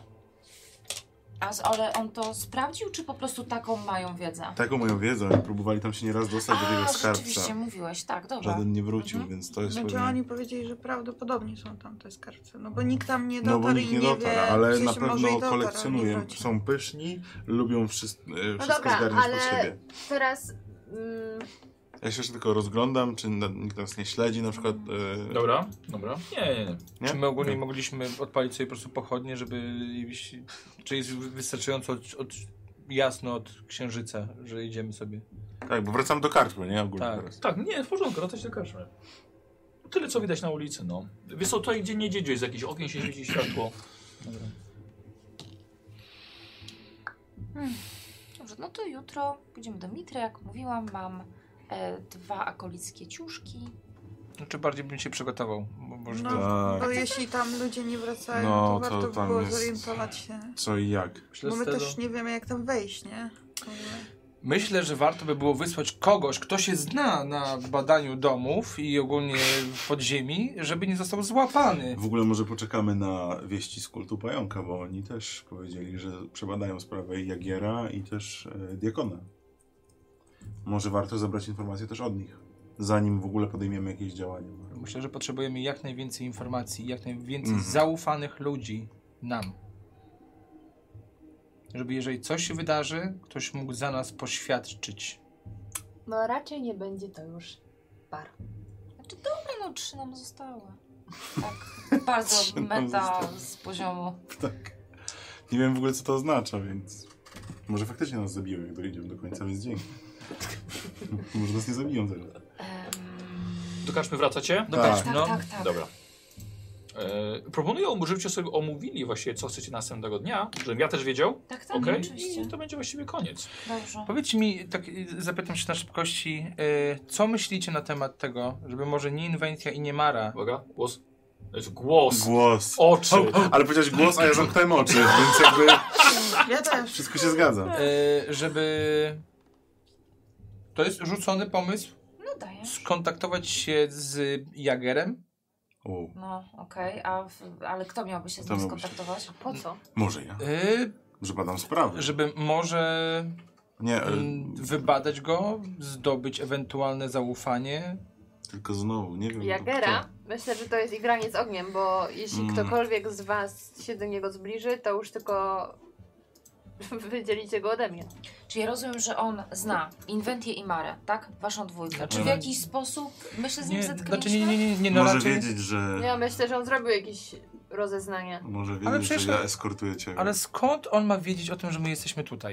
[SPEAKER 7] A z, ale on to sprawdził, czy po prostu taką mają wiedzę?
[SPEAKER 2] Taką moją wiedzę, próbowali tam się nieraz dostać do
[SPEAKER 7] A,
[SPEAKER 2] tego
[SPEAKER 7] rzeczywiście,
[SPEAKER 2] skarbca.
[SPEAKER 7] mówiłeś, tak, dobra.
[SPEAKER 2] Żaden nie wrócił,
[SPEAKER 7] Mhm.
[SPEAKER 2] więc to jest
[SPEAKER 5] Znaczy
[SPEAKER 2] pewnie...
[SPEAKER 5] oni powiedzieli, że prawdopodobnie są tam te skarbce. No bo nikt tam nie
[SPEAKER 2] No
[SPEAKER 5] dotarł
[SPEAKER 2] bo nikt
[SPEAKER 5] i
[SPEAKER 2] nie
[SPEAKER 5] nie,
[SPEAKER 2] dotarł,
[SPEAKER 5] wie,
[SPEAKER 2] ale
[SPEAKER 5] czy
[SPEAKER 2] na
[SPEAKER 5] się może i
[SPEAKER 2] pewno
[SPEAKER 5] dotarł, ale nie
[SPEAKER 2] kolekcjonują.
[SPEAKER 5] wróci.
[SPEAKER 2] Są pyszni, lubią e, wszystko, wszystko
[SPEAKER 6] dobra,
[SPEAKER 2] zgarniać
[SPEAKER 6] ale-
[SPEAKER 2] pod siebie.
[SPEAKER 6] Teraz mm,
[SPEAKER 2] Ja się jeszcze tylko rozglądam, czy na- nikt nas nie śledzi na przykład. e,
[SPEAKER 3] Dobra, dobra. Nie, nie, nie.
[SPEAKER 2] Nie?
[SPEAKER 1] Czy my ogólnie
[SPEAKER 2] Nie.
[SPEAKER 1] mogliśmy odpalić sobie po prostu pochodnie, żeby... jeśli- Czy jest wystarczająco od, od, jasno od księżyca, że idziemy sobie?
[SPEAKER 2] Tak, bo wracam do kartły, nie? Ogólnie
[SPEAKER 1] Tak.
[SPEAKER 2] teraz.
[SPEAKER 3] Tak, nie, w porządku, wracać do karczmy. Tyle co widać na ulicy, no. Wiesz co, tutaj gdzie nie dzieje, jest jakiś ogień się świeci światło.
[SPEAKER 7] Dobrze, no to jutro pójdziemy do Mitry, jak mówiłam, mam e, dwa akolickie ciuszki.
[SPEAKER 1] Znaczy bardziej bym się przygotował. Bo może
[SPEAKER 5] No.
[SPEAKER 2] Tak.
[SPEAKER 5] Bo jeśli tam ludzie nie wracają,
[SPEAKER 2] No,
[SPEAKER 5] to
[SPEAKER 2] to
[SPEAKER 5] warto by
[SPEAKER 2] tam
[SPEAKER 5] było
[SPEAKER 2] jest-
[SPEAKER 5] zorientować się.
[SPEAKER 2] Co i jak?
[SPEAKER 1] Myślę,
[SPEAKER 5] Bo my
[SPEAKER 1] z tego-
[SPEAKER 5] też nie wiemy, jak tam wejść, nie?
[SPEAKER 1] Myślę, że warto by było wysłać kogoś, kto się zna na badaniu domów i ogólnie podziemi, żeby nie został złapany.
[SPEAKER 2] W ogóle może poczekamy na wieści z kultu pająka, bo oni też powiedzieli, że przebadają sprawę Jagiera i też e, Diakona. Może warto zebrać informacje też od nich, zanim w ogóle podejmiemy jakieś działania.
[SPEAKER 1] Myślę, że potrzebujemy jak najwięcej informacji, jak najwięcej
[SPEAKER 2] Mhm.
[SPEAKER 1] zaufanych ludzi nam. Żeby jeżeli coś się wydarzy, ktoś mógł za nas poświadczyć.
[SPEAKER 6] No raczej nie będzie to już bar.
[SPEAKER 7] Znaczy dobra, no trzy nam zostały. Tak, bardzo
[SPEAKER 2] Trzy nam
[SPEAKER 7] meta
[SPEAKER 2] zostały.
[SPEAKER 7] z poziomu.
[SPEAKER 2] Tak. Nie wiem w ogóle, co to oznacza, więc... Może faktycznie nas zabiją, jak dojedziemy do końca, więc dzięki. może nas nie zabiją teraz.
[SPEAKER 7] Em,
[SPEAKER 3] Do karczmy wracacie?
[SPEAKER 1] No
[SPEAKER 2] Tak.
[SPEAKER 1] tak,
[SPEAKER 7] tak,
[SPEAKER 1] no.
[SPEAKER 7] tak, tak.
[SPEAKER 3] Dobra. E, proponuję, żebyście sobie omówili właśnie, co chcecie następnego dnia, żebym ja też wiedział.
[SPEAKER 7] Tak, tak,
[SPEAKER 3] Okej?
[SPEAKER 7] oczywiście.
[SPEAKER 3] I to będzie właściwie koniec.
[SPEAKER 7] Dobrze.
[SPEAKER 1] Powiedz mi, tak y, zapytam się na szybkości, y, co myślicie na temat tego, żeby może nie inwencja i nie mara
[SPEAKER 3] Uwaga, głos. To jest głos.
[SPEAKER 2] Głos.
[SPEAKER 3] Oczy.
[SPEAKER 2] Ale powiedziałeś głos, a ja zamknąłem oczy, więc jakby
[SPEAKER 5] Ja też.
[SPEAKER 2] wszystko się zgadza.
[SPEAKER 1] E, żeby. To jest rzucony pomysł
[SPEAKER 7] No daję.
[SPEAKER 1] skontaktować się z Jagerem.
[SPEAKER 2] O,
[SPEAKER 7] No, okej, a w- ale kto miałby się z
[SPEAKER 2] Kto
[SPEAKER 7] nim
[SPEAKER 2] miałby się-
[SPEAKER 7] skontaktować?
[SPEAKER 6] Po co?
[SPEAKER 2] może ja,
[SPEAKER 1] e,
[SPEAKER 2] że badam sprawę.
[SPEAKER 1] żeby może
[SPEAKER 2] Nie, ale...
[SPEAKER 1] mm, wybadać go, zdobyć ewentualne zaufanie.
[SPEAKER 2] Tylko znowu, nie wiem.
[SPEAKER 6] Jagera? Myślę, że to jest igranie z ogniem, bo jeśli
[SPEAKER 2] Tak. Mm.
[SPEAKER 6] ktokolwiek z was się do niego zbliży, to już tylko wydzielicie go ode mnie.
[SPEAKER 7] Czyli ja rozumiem, że on zna Inventię i Marę, tak? Waszą dwójkę. Czy w
[SPEAKER 1] no-
[SPEAKER 7] jakiś sposób my się z nim
[SPEAKER 1] Nie, znaczy
[SPEAKER 7] zetknęliśmy?
[SPEAKER 1] nie, nie, nie, nie no
[SPEAKER 2] Może
[SPEAKER 1] raczej.
[SPEAKER 2] wiedzieć, że.
[SPEAKER 6] Ja myślę, że on zrobił jakieś rozeznanie.
[SPEAKER 2] Może wiedzieć,
[SPEAKER 1] przecież- no,
[SPEAKER 2] że ja eskortuję ciebie.
[SPEAKER 1] Ale skąd on ma wiedzieć o tym, że my jesteśmy tutaj?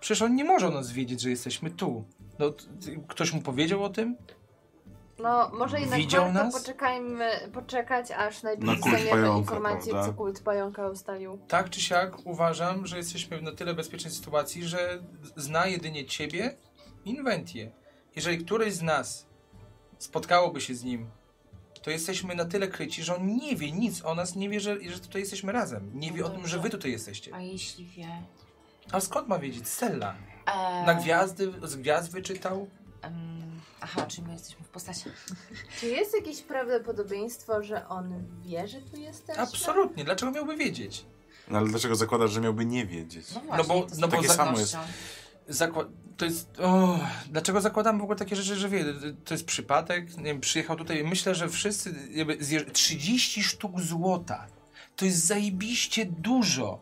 [SPEAKER 1] Przecież on nie może o nas wiedzieć, że jesteśmy tu. No, t- t- ktoś mu powiedział o tym?
[SPEAKER 6] No, może jednak
[SPEAKER 1] Widział
[SPEAKER 6] warto
[SPEAKER 1] nas?
[SPEAKER 6] poczekajmy, poczekać, aż najpierw
[SPEAKER 2] Na kult
[SPEAKER 6] dostaniemy
[SPEAKER 2] pająka,
[SPEAKER 6] informację,
[SPEAKER 2] prawda?
[SPEAKER 6] co kult pająka ustalił.
[SPEAKER 1] Tak czy siak uważam, że jesteśmy w na tyle bezpiecznej sytuacji, że zna jedynie ciebie, Inventię. Jeżeli któryś z nas spotkałoby się z nim, to jesteśmy na tyle kryci, że on nie wie nic o nas, nie wie, że, że tutaj jesteśmy razem. Nie wie o tym, że wy tutaj jesteście.
[SPEAKER 7] A jeśli wie?
[SPEAKER 1] A skąd ma wiedzieć? Stella.
[SPEAKER 7] Eee,
[SPEAKER 1] Na gwiazdy, z gwiazd wyczytał?
[SPEAKER 7] em, aha, czyli my jesteśmy w postaci. No
[SPEAKER 6] Czy jest jakieś prawdopodobieństwo, że on wie, że tu jesteśmy?
[SPEAKER 1] Absolutnie. Dlaczego miałby wiedzieć?
[SPEAKER 2] No, ale dlaczego zakładasz, że miałby nie wiedzieć?
[SPEAKER 7] No właśnie,
[SPEAKER 1] bo-
[SPEAKER 7] to
[SPEAKER 1] no bo
[SPEAKER 7] z
[SPEAKER 2] za-
[SPEAKER 7] pewnością.
[SPEAKER 1] Zakła- to jest. O, dlaczego zakładam w ogóle takie rzeczy, że wie? To jest przypadek. Nie wiem, przyjechał tutaj. Myślę, że wszyscy. Jakby zje- 30 sztuk złota. To jest zajebiście dużo.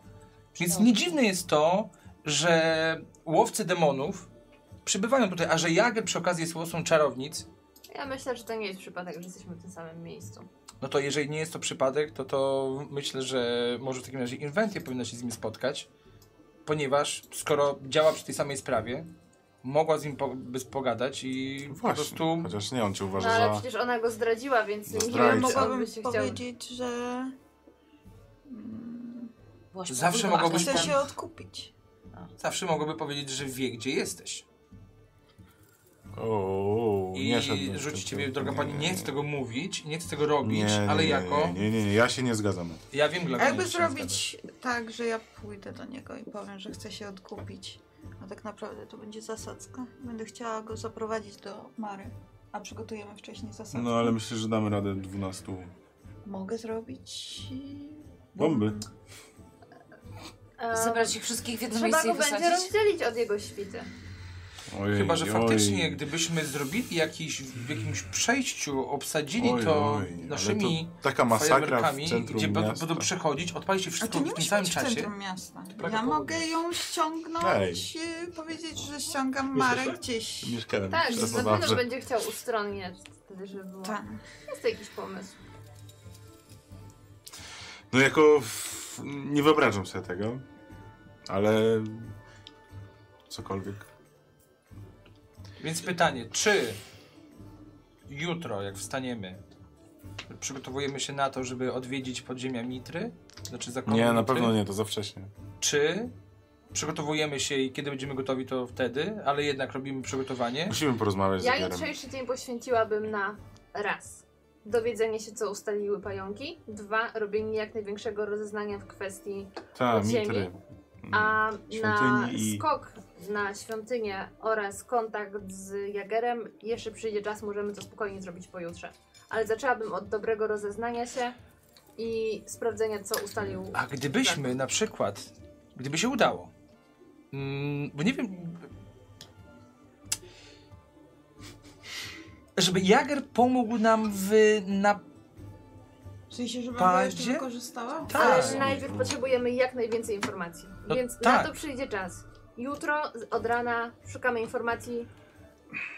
[SPEAKER 1] Więc nie dziwne jest to, że łowcy demonów przybywają tutaj, a że Jager przy okazji jest łowcą czarownic.
[SPEAKER 6] Ja myślę, że to nie jest przypadek, że jesteśmy w tym samym miejscu.
[SPEAKER 1] No to jeżeli nie jest to przypadek, to to myślę, że może w takim razie Inventia powinna się z nim spotkać, ponieważ skoro działa przy tej samej sprawie, mogła z nim po, bez pogadać i po
[SPEAKER 2] Właśnie.
[SPEAKER 1] prostu
[SPEAKER 2] Chociaż nie, on cię
[SPEAKER 6] No
[SPEAKER 2] uważa
[SPEAKER 6] ale
[SPEAKER 2] za.
[SPEAKER 6] przecież ona go zdradziła, więc
[SPEAKER 2] Za
[SPEAKER 6] nie
[SPEAKER 2] zdrajcę.
[SPEAKER 6] wiem,
[SPEAKER 5] Mogłabym
[SPEAKER 6] mogłabym się chciał.
[SPEAKER 5] powiedzieć, że... mm,
[SPEAKER 7] Byłaś
[SPEAKER 1] Zawsze
[SPEAKER 7] podwójną
[SPEAKER 1] mogło być
[SPEAKER 5] Chcę
[SPEAKER 7] agentem.
[SPEAKER 5] się odkupić.
[SPEAKER 1] zawsze mogłaby powiedzieć, że wie, gdzie jesteś.
[SPEAKER 2] O,
[SPEAKER 1] I
[SPEAKER 2] nie szedłbym w
[SPEAKER 1] rzuci
[SPEAKER 2] tym
[SPEAKER 1] ciebie,
[SPEAKER 2] kierunku.
[SPEAKER 1] droga pani, nie chcę tego mówić, nie chcę tego robić,
[SPEAKER 2] Nie, nie,
[SPEAKER 1] ale
[SPEAKER 2] nie,
[SPEAKER 1] jako...
[SPEAKER 2] Nie, nie, nie, ja się nie zgadzam. na to.
[SPEAKER 1] Ja wiem, dla
[SPEAKER 5] A jakby
[SPEAKER 1] mnie się
[SPEAKER 5] zrobić tak, że ja pójdę do niego i powiem, że chcę się odkupić, a tak naprawdę to będzie zasadzka. Będę chciała go zaprowadzić do Mary, a przygotujemy wcześniej zasadzkę.
[SPEAKER 2] No ale myślę, że damy radę 12
[SPEAKER 5] Mogę zrobić... e, no.
[SPEAKER 2] bomby.
[SPEAKER 6] Ehm,
[SPEAKER 7] Zebrać ich wszystkich w jedno
[SPEAKER 6] Trzeba
[SPEAKER 7] miejsce
[SPEAKER 6] go
[SPEAKER 7] i
[SPEAKER 6] będzie
[SPEAKER 7] wysadzić.
[SPEAKER 6] rozdzielić od jego świty.
[SPEAKER 2] Ojej,
[SPEAKER 1] Chyba, że
[SPEAKER 2] oj.
[SPEAKER 1] faktycznie gdybyśmy zrobili jakiś, w jakimś przejściu, obsadzili
[SPEAKER 2] Oj,
[SPEAKER 1] to
[SPEAKER 2] oj, ale
[SPEAKER 1] naszymi
[SPEAKER 2] to taka masakra w
[SPEAKER 1] fajerwerkami,
[SPEAKER 2] centrum
[SPEAKER 1] gdzie będą,
[SPEAKER 2] miasta.
[SPEAKER 1] będą przechodzić, odpalić się
[SPEAKER 5] A
[SPEAKER 1] wszystko
[SPEAKER 5] to nie
[SPEAKER 1] w tym
[SPEAKER 5] musi
[SPEAKER 1] samym
[SPEAKER 5] być w
[SPEAKER 1] czasie.
[SPEAKER 5] centrum miasta.
[SPEAKER 1] Praga
[SPEAKER 5] Ja
[SPEAKER 1] południe.
[SPEAKER 5] mogę ją ściągnąć, y, powiedzieć, że ściągam
[SPEAKER 1] tak.
[SPEAKER 5] Marek gdzieś.
[SPEAKER 2] Mieszkałem
[SPEAKER 6] Tak,
[SPEAKER 2] przez
[SPEAKER 6] na pewno
[SPEAKER 2] Mazowsze.
[SPEAKER 6] będzie chciał ustronnie wtedy, żeby było.
[SPEAKER 5] Tak.
[SPEAKER 6] Jest to jakiś pomysł.
[SPEAKER 2] No jako... W... Nie wyobrażam sobie tego, ale... Cokolwiek.
[SPEAKER 1] Więc pytanie, czy jutro, jak wstaniemy, przygotowujemy się na to, żeby odwiedzić podziemia Mitry? Znaczy zakonu
[SPEAKER 2] Nie, na
[SPEAKER 1] Mitry?
[SPEAKER 2] pewno nie, to za wcześnie.
[SPEAKER 1] Czy przygotowujemy się i kiedy będziemy gotowi, to wtedy, ale jednak robimy przygotowanie?
[SPEAKER 2] Musimy porozmawiać
[SPEAKER 6] Ja
[SPEAKER 2] z Gierem.
[SPEAKER 6] jutrzejszy dzień poświęciłabym na raz. Dowiedzenie się, co ustaliły pająki. Dwa, robienie jak największego rozeznania w kwestii
[SPEAKER 2] Ta,
[SPEAKER 6] podziemi.
[SPEAKER 2] mitry.
[SPEAKER 6] A na
[SPEAKER 2] Świątyni i-
[SPEAKER 6] skok na świątynię oraz kontakt z Jagerem jeszcze przyjdzie czas, możemy to spokojnie zrobić pojutrze. Ale zaczęłabym od dobrego rozeznania się i sprawdzenia, co ustalił.
[SPEAKER 1] A gdybyśmy na przykład, gdyby się udało, mm, bo nie wiem, żeby Jager pomógł nam w na...
[SPEAKER 5] W sensie, żebym
[SPEAKER 1] Padzie?
[SPEAKER 5] go jeszcze wykorzystała?
[SPEAKER 1] Tak.
[SPEAKER 6] Ale najpierw potrzebujemy jak najwięcej informacji.
[SPEAKER 1] No
[SPEAKER 6] więc
[SPEAKER 1] tak.
[SPEAKER 6] na to przyjdzie czas. Jutro z- od rana szukamy informacji.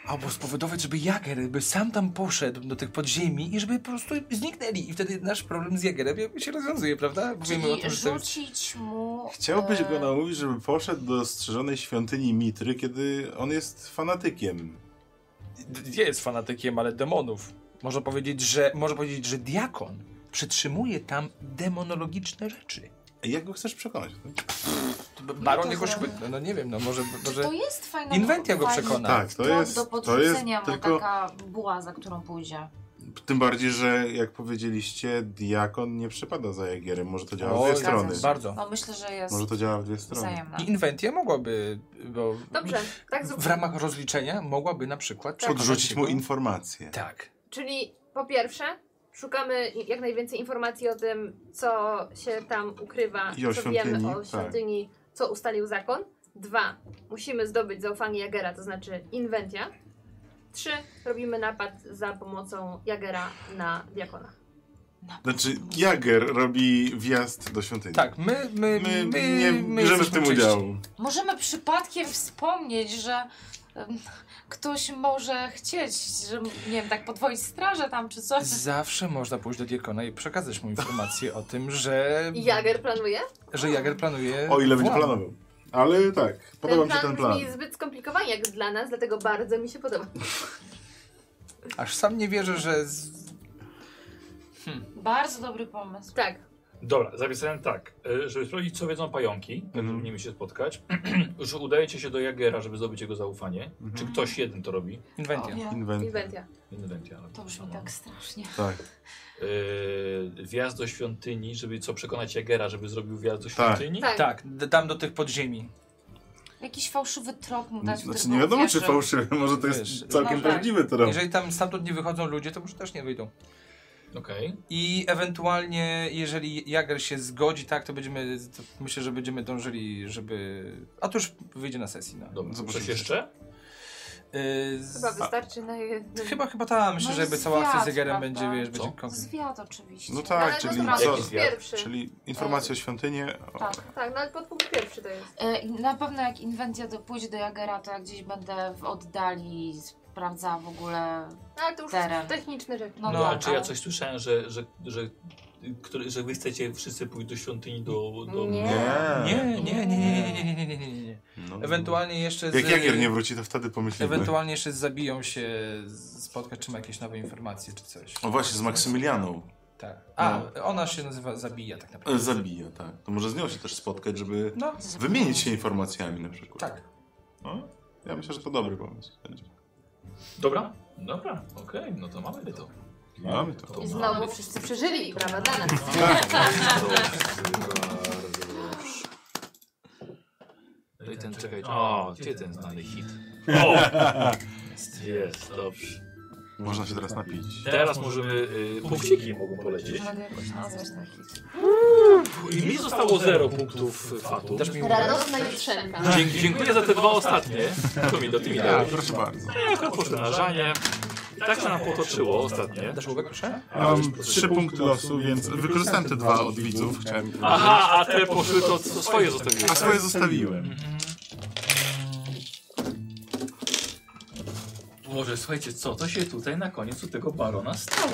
[SPEAKER 1] Albo spowodować, żeby Jager by sam tam poszedł do tych podziemi i żeby po prostu zniknęli. I wtedy nasz problem z Jagerem jakby się rozwiązuje, prawda? Bo wiemy o tym,
[SPEAKER 7] Czyli
[SPEAKER 1] że to jest...
[SPEAKER 7] rzucić mu...
[SPEAKER 2] Chciałbyś
[SPEAKER 7] e,
[SPEAKER 2] go namówić, żeby poszedł do strzeżonej świątyni Mitry, kiedy on jest fanatykiem.
[SPEAKER 1] D- nie jest fanatykiem, ale demonów. Można powiedzieć, że, może powiedzieć, że diakon przytrzymuje tam demonologiczne rzeczy.
[SPEAKER 2] A Jak go chcesz przekonać? o tym?
[SPEAKER 1] B- Baron
[SPEAKER 5] to
[SPEAKER 1] jego
[SPEAKER 5] zaraz.
[SPEAKER 1] szpytny, no nie wiem, no może...
[SPEAKER 7] Czy
[SPEAKER 1] może...
[SPEAKER 7] to jest fajna...
[SPEAKER 1] Inwentia go
[SPEAKER 7] fajny
[SPEAKER 1] przekona.
[SPEAKER 2] Tak, to
[SPEAKER 7] trop
[SPEAKER 2] jest,
[SPEAKER 7] do
[SPEAKER 2] to jest
[SPEAKER 7] podrzucenia mu
[SPEAKER 2] tylko...
[SPEAKER 7] taka buła, za którą pójdzie.
[SPEAKER 2] Tym bardziej, że jak powiedzieliście, diakon nie przepada za Jagierem. Może to działa
[SPEAKER 1] Oj,
[SPEAKER 2] w dwie
[SPEAKER 7] zgadzam
[SPEAKER 2] strony.
[SPEAKER 7] się.
[SPEAKER 1] Bardzo.
[SPEAKER 7] No myślę, że jest
[SPEAKER 2] Może to działa w dwie strony.
[SPEAKER 7] wzajemna.
[SPEAKER 1] I Inwentia mogłaby, bo
[SPEAKER 6] Dobrze, tak
[SPEAKER 1] w
[SPEAKER 6] zróbmy.
[SPEAKER 1] ramach rozliczenia mogłaby na przykład...
[SPEAKER 2] Tak. Podrzucić mu
[SPEAKER 1] przekonać jego-
[SPEAKER 2] informacje.
[SPEAKER 1] Tak.
[SPEAKER 6] Czyli po pierwsze, szukamy i- jak najwięcej informacji o tym, co się tam ukrywa,
[SPEAKER 2] I o
[SPEAKER 6] co
[SPEAKER 2] świątyni,
[SPEAKER 6] wiemy o
[SPEAKER 2] tak.
[SPEAKER 6] świątyni, co ustalił zakon. Dwa, musimy zdobyć zaufanie Jagera, to znaczy inwentia. Trzy, robimy napad za pomocą Jagera na diakona.
[SPEAKER 2] Znaczy, Jager robi wjazd do świątyni.
[SPEAKER 1] Tak, my... My,
[SPEAKER 2] My,
[SPEAKER 1] my,
[SPEAKER 2] nie
[SPEAKER 1] my
[SPEAKER 2] bierzemy w
[SPEAKER 1] jesteśmy
[SPEAKER 2] tym
[SPEAKER 1] czyści.
[SPEAKER 2] udziału.
[SPEAKER 7] Możemy przypadkiem wspomnieć, że em, ktoś może chcieć, że nie wiem, tak podwoić strażę tam czy coś.
[SPEAKER 1] Zawsze można pójść do diakona i przekazać mu informację o tym, że,
[SPEAKER 6] I Jager planuje?
[SPEAKER 1] że Jager planuje...
[SPEAKER 2] O ile będzie
[SPEAKER 1] włam.
[SPEAKER 2] planował. Ale tak, podoba
[SPEAKER 6] ten
[SPEAKER 2] mi się
[SPEAKER 6] plan
[SPEAKER 2] ten plan.
[SPEAKER 6] brzmi zbyt skomplikowany jak dla nas, dlatego bardzo mi się podoba.
[SPEAKER 1] Aż sam nie wierzę, że... Z...
[SPEAKER 7] Bardzo dobry pomysł.
[SPEAKER 6] Tak,
[SPEAKER 3] Dobra, zapisałem tak, e, żeby sprawdzić, co wiedzą pająki, jak
[SPEAKER 2] Mhm.
[SPEAKER 3] mm. nimi się spotkać. Już udajecie się do Jagera, żeby zdobyć jego zaufanie.
[SPEAKER 2] Mhm.
[SPEAKER 3] Czy ktoś jeden to robi?
[SPEAKER 1] Inwentia.
[SPEAKER 5] Nie.
[SPEAKER 2] Inwent.
[SPEAKER 6] inwentia.
[SPEAKER 3] Inwentia. robi.
[SPEAKER 7] To brzmi
[SPEAKER 3] No.
[SPEAKER 7] tak strasznie.
[SPEAKER 2] Tak.
[SPEAKER 3] Yy, wjazd do świątyni, żeby co przekonać Jagera, żeby zrobił wjazd do
[SPEAKER 2] Tak.
[SPEAKER 3] świątyni.
[SPEAKER 6] Tak,
[SPEAKER 1] Tak, d- tam do tych podziemi.
[SPEAKER 7] Jakiś fałszywy trop mu dać, w
[SPEAKER 2] Znaczy,
[SPEAKER 7] którym
[SPEAKER 2] nie
[SPEAKER 7] on
[SPEAKER 2] wiadomo,
[SPEAKER 7] wierzy.
[SPEAKER 2] czy fałszywe. Może to
[SPEAKER 1] Wiesz,
[SPEAKER 2] jest całkiem
[SPEAKER 7] no tak.
[SPEAKER 2] prawdziwe to robi.
[SPEAKER 1] Jeżeli tam stamtąd nie wychodzą ludzie, to może też nie wyjdą.
[SPEAKER 3] Okej.
[SPEAKER 1] I ewentualnie, jeżeli Jager się zgodzi, tak, to będziemy, to myślę, że będziemy dążyli, żeby... A to już wyjdzie na sesji, no.
[SPEAKER 3] Dobra,
[SPEAKER 2] Zobaczymy.
[SPEAKER 3] coś jeszcze?
[SPEAKER 1] Yy, z...
[SPEAKER 6] Chyba wystarczy na jednym.
[SPEAKER 1] Chyba, chyba ta, myślę,
[SPEAKER 7] No
[SPEAKER 1] że jakby
[SPEAKER 7] i
[SPEAKER 1] cała akcja z
[SPEAKER 7] zwiat,
[SPEAKER 1] Jagerem
[SPEAKER 7] prawda?
[SPEAKER 1] będzie, wiesz,
[SPEAKER 3] Co?
[SPEAKER 1] będzie konflikt.
[SPEAKER 7] Zwiat oczywiście.
[SPEAKER 2] No
[SPEAKER 6] Ale
[SPEAKER 2] tak,
[SPEAKER 6] to
[SPEAKER 2] czyli,
[SPEAKER 6] jest
[SPEAKER 2] co,
[SPEAKER 3] jakiś zwiat.
[SPEAKER 6] pierwszy.
[SPEAKER 2] czyli informacje o świątynie. O,
[SPEAKER 7] Tak.
[SPEAKER 6] Tak, no ale podpunkt pierwszy to jest.
[SPEAKER 7] E, i Na pewno jak inwencja do, pójdzie do Jagera, to ja gdzieś będę w oddali sprawdzała w ogóle...
[SPEAKER 6] No, ale to już
[SPEAKER 7] Teren.
[SPEAKER 6] techniczne rzeczy.
[SPEAKER 7] No,
[SPEAKER 1] No,
[SPEAKER 3] No,
[SPEAKER 7] tak,
[SPEAKER 3] czy ja
[SPEAKER 7] ale-
[SPEAKER 3] coś słyszałem, że, że, że, który, że wy chcecie wszyscy pójść do świątyni do... do...
[SPEAKER 2] Tak.
[SPEAKER 1] Nie, nie, nie, nie, nie, nie, nie, nie, nie, nie, nie.
[SPEAKER 2] No.
[SPEAKER 1] Ewentualnie jeszcze z...
[SPEAKER 2] Jak Jagier nie wróci, to wtedy pomyślimy.
[SPEAKER 1] Ewentualnie jeszcze z zabiją się z- spotkać, czy ma jakieś nowe informacje, czy coś.
[SPEAKER 2] O właśnie, z Maksymilianą.
[SPEAKER 1] Tak. A, ona się nazywa Zabija tak
[SPEAKER 2] E,
[SPEAKER 1] naprawdę.
[SPEAKER 2] Zabija, tak. To może z nią się też spotkać, żeby
[SPEAKER 1] No,
[SPEAKER 2] wymienić się informacjami na przykład.
[SPEAKER 1] tak.
[SPEAKER 2] No, ja myślę, że to dobry pomysł. będzie.
[SPEAKER 3] Dobra? Dobra, okej, no to mamy to.
[SPEAKER 2] Mamy to.
[SPEAKER 3] no,
[SPEAKER 6] I znowu wszyscy przeżyli, brawa dla nas.
[SPEAKER 3] No
[SPEAKER 31] Daj ten, czekaj.
[SPEAKER 3] O, gdzie ten znany hit? O! Jest, jest, dobrze.
[SPEAKER 2] Można się teraz napić.
[SPEAKER 3] Teraz możemy... Y, punkciki mogą polecieć.
[SPEAKER 7] Mogę jakoś nazwać taki.
[SPEAKER 3] I mi zostało 0 punktów fatu.
[SPEAKER 1] Też mi
[SPEAKER 6] Radosna jutrzenka.
[SPEAKER 3] Dzie- Dziękuję za te dwa ostatnie. To mi do tymi
[SPEAKER 2] Ja,
[SPEAKER 1] Tak.
[SPEAKER 3] dałeś.
[SPEAKER 2] proszę bardzo.
[SPEAKER 3] Jako poszczędzanie. I tak się nam potoczyło ostatnie.
[SPEAKER 1] Dasz łówek, proszę?
[SPEAKER 32] Mam trzy punkty losu, więc
[SPEAKER 2] Wykorzystałem te dwa od widzów, chciałem powiedzieć.
[SPEAKER 3] Aha, a te poszły to co- swoje zostawiły.
[SPEAKER 2] A swoje zostawiłem.
[SPEAKER 33] Boże, słuchajcie, co to się tutaj na koniec u tego barona stało?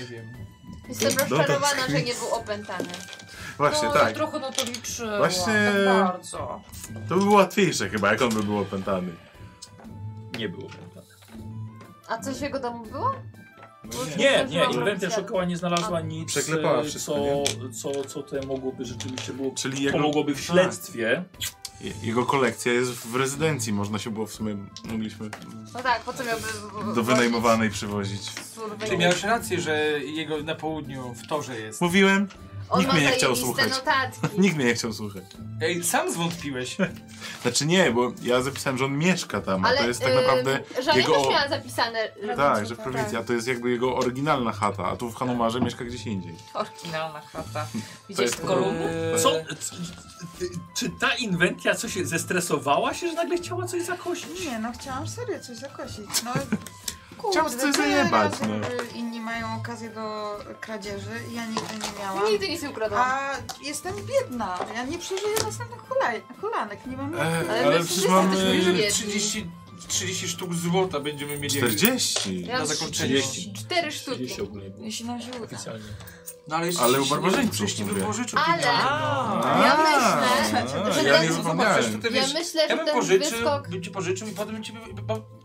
[SPEAKER 1] Nie wiem.
[SPEAKER 6] Jestem
[SPEAKER 2] No to-
[SPEAKER 6] rozczarowana, że nie był opętany.
[SPEAKER 2] Właśnie,
[SPEAKER 7] no,
[SPEAKER 2] tak.
[SPEAKER 7] trochę na to liczyłam.
[SPEAKER 2] Właśnie-
[SPEAKER 7] Tak bardzo.
[SPEAKER 2] To by było łatwiejsze chyba, jak on by był opętany.
[SPEAKER 33] Nie było prawda.
[SPEAKER 6] A coś w jego domu było? Bo już
[SPEAKER 3] Nie, nie,
[SPEAKER 6] zdążyłam
[SPEAKER 3] inwentia
[SPEAKER 6] robić
[SPEAKER 3] szukała, nie znalazła nic,
[SPEAKER 32] Przeklepała
[SPEAKER 3] e,
[SPEAKER 32] wszystko,
[SPEAKER 3] co,
[SPEAKER 32] nie?
[SPEAKER 3] co, co te mogłoby rzeczywiście było,
[SPEAKER 2] Czyli jego,
[SPEAKER 3] pomogłoby w śledztwie.
[SPEAKER 2] je- jego kolekcja jest w rezydencji, można się było w sumie, mogliśmy
[SPEAKER 6] No tak, po co miałby...
[SPEAKER 2] do wynajmowanej przywozić.
[SPEAKER 1] Ty miałeś rację, że jego na południu w torze jest.
[SPEAKER 2] Mówiłem,
[SPEAKER 6] On
[SPEAKER 2] Nikt
[SPEAKER 6] ma
[SPEAKER 2] mnie nie chciał
[SPEAKER 6] zajebiste
[SPEAKER 2] słuchać.
[SPEAKER 6] notatki.
[SPEAKER 2] nikt mnie nie chciał słuchać.
[SPEAKER 1] Ej, sam zwątpiłeś.
[SPEAKER 2] Znaczy nie, bo ja zapisałem, że on mieszka tam, a
[SPEAKER 6] Ale y,
[SPEAKER 2] to jest tak naprawdę
[SPEAKER 6] Żania
[SPEAKER 2] jego...
[SPEAKER 6] też miała zapisane... że-
[SPEAKER 2] Tak, że w prowincji, a to jest jakby jego oryginalna chata, a tu w Hanumarze mieszka gdzieś indziej.
[SPEAKER 7] Oryginalna chata. Widzisz
[SPEAKER 2] jest-
[SPEAKER 7] tylko rumu?
[SPEAKER 1] Eee,
[SPEAKER 3] Co, c- c- czy ta inwentia coś się zestresowała się, że nagle chciała coś zakosić?
[SPEAKER 5] Nie, no chciałam serio coś zakosić. No,
[SPEAKER 2] Chciałam
[SPEAKER 5] kurde,
[SPEAKER 2] coś
[SPEAKER 5] tyle
[SPEAKER 2] zajebać,
[SPEAKER 5] razy,
[SPEAKER 2] no.
[SPEAKER 5] y, Inni mają okazję do kradzieży i ja nigdy nie miałam.
[SPEAKER 6] Nigdy nic nie ukradłam.
[SPEAKER 5] A jestem biedna. Ja nie przeżyję następnych hulaj- hulanek. Nie mam jak.
[SPEAKER 2] E,
[SPEAKER 6] Ale
[SPEAKER 2] ale,
[SPEAKER 6] my
[SPEAKER 2] przecież
[SPEAKER 6] wszyscy
[SPEAKER 2] mamy
[SPEAKER 6] jesteśmy biedni.
[SPEAKER 1] 30, 30 sztuk złota będziemy mieli.
[SPEAKER 2] 40.
[SPEAKER 1] Na
[SPEAKER 6] Ja
[SPEAKER 1] zakończenie.
[SPEAKER 6] Cztery sztuki.
[SPEAKER 33] ogólnie było.
[SPEAKER 5] Jeśli nam się uda.
[SPEAKER 33] Oficjalnie.
[SPEAKER 1] No, ale, jeszcze
[SPEAKER 2] Ale u
[SPEAKER 1] się nie-
[SPEAKER 2] barbarzyńców,
[SPEAKER 1] przecież nie
[SPEAKER 2] mówię.
[SPEAKER 1] wypożyczył
[SPEAKER 6] Ale-
[SPEAKER 1] pieniędzy.
[SPEAKER 2] A,
[SPEAKER 6] Ja myślę,
[SPEAKER 2] a,
[SPEAKER 6] że
[SPEAKER 2] ja
[SPEAKER 6] ten-
[SPEAKER 2] nie
[SPEAKER 1] Zobacz,
[SPEAKER 2] zapomniałem.
[SPEAKER 1] to No, ty
[SPEAKER 6] Ja
[SPEAKER 1] wiesz,
[SPEAKER 6] myślę,
[SPEAKER 1] ja
[SPEAKER 6] że
[SPEAKER 1] bym
[SPEAKER 6] ten
[SPEAKER 1] pożyczył,
[SPEAKER 6] wyskok...
[SPEAKER 1] bym ci pożyczył i potem ci by- bo-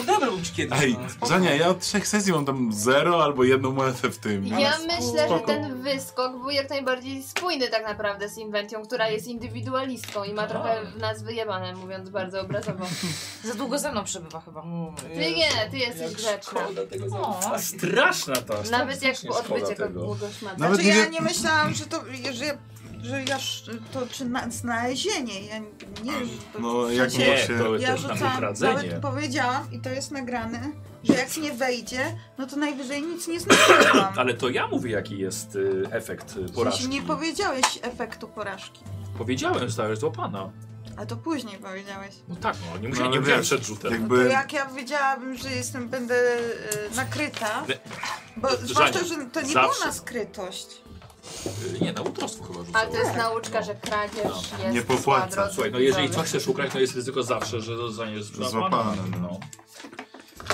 [SPEAKER 1] odebrał ci kiedyś.
[SPEAKER 2] Ej,
[SPEAKER 1] no, spoko.
[SPEAKER 2] Żania, ja od trzech sesji mam tam zero albo jedną monetę w tym.
[SPEAKER 6] Ja myślę, że
[SPEAKER 2] spoko.
[SPEAKER 6] ten wyskok był jak najbardziej spójny tak naprawdę z inwentją, która jest indywidualistką i ma trochę w nas wyjebane, mówiąc bardzo obrazowo.
[SPEAKER 7] Za długo ze mną przebywa chyba.
[SPEAKER 6] Ty nie, ty jesteś
[SPEAKER 1] Jak
[SPEAKER 2] No,
[SPEAKER 6] grzeczna.
[SPEAKER 1] szkoda tego
[SPEAKER 7] O,
[SPEAKER 1] zaufania.
[SPEAKER 3] Straszna ta.
[SPEAKER 6] Nawet jak
[SPEAKER 3] strasznie szkoda
[SPEAKER 6] odbycie
[SPEAKER 3] tego.
[SPEAKER 6] kogoś ma.
[SPEAKER 2] Nawet
[SPEAKER 5] Znaczy,
[SPEAKER 2] nie
[SPEAKER 5] ja
[SPEAKER 2] wie-
[SPEAKER 5] nie myślałam, że to. że, że ja. sz- to czy na, znalezienie. Ja nie. że To,
[SPEAKER 2] No, jak
[SPEAKER 5] przecież-
[SPEAKER 2] było
[SPEAKER 3] Nie,
[SPEAKER 2] się...
[SPEAKER 3] to
[SPEAKER 5] Ja
[SPEAKER 3] jest tam
[SPEAKER 5] rzucałam,
[SPEAKER 3] wykradzenie.
[SPEAKER 5] nawet powiedziałam i to jest nagrane, że jak nie wejdzie, no to najwyżej nic nie znalazłam.
[SPEAKER 3] Ale to ja mówię, jaki jest y, efekt y,
[SPEAKER 5] W sensie
[SPEAKER 3] porażki.
[SPEAKER 5] nie powiedziałeś efektu porażki,
[SPEAKER 3] Powiedziałem, że to jest łapana.
[SPEAKER 5] a to później powiedziałeś.
[SPEAKER 3] No tak, no, nie
[SPEAKER 2] No,
[SPEAKER 3] musiałem,
[SPEAKER 2] ale
[SPEAKER 3] nie musiałem
[SPEAKER 2] wiesz,
[SPEAKER 3] przed rzutem.
[SPEAKER 5] No to
[SPEAKER 2] Jakby...
[SPEAKER 5] jak ja wiedziałabym, że jestem, będę e, nakryta,
[SPEAKER 3] Nie.
[SPEAKER 5] bo
[SPEAKER 3] Żania,
[SPEAKER 5] zwłaszcza, że to nie
[SPEAKER 3] zawsze.
[SPEAKER 5] była skrytość.
[SPEAKER 33] Y, Nie, na utrostwo chyba
[SPEAKER 6] Ale to
[SPEAKER 33] rzucałem.
[SPEAKER 6] jest nauczka, że kradzież
[SPEAKER 3] No,
[SPEAKER 6] jest
[SPEAKER 2] Nie popłaca.
[SPEAKER 6] zła droga.
[SPEAKER 3] Słuchaj, no jeżeli coś chcesz ukraść, to jest ryzyko zawsze, że zostaniesz złapany.
[SPEAKER 2] Złapany, no.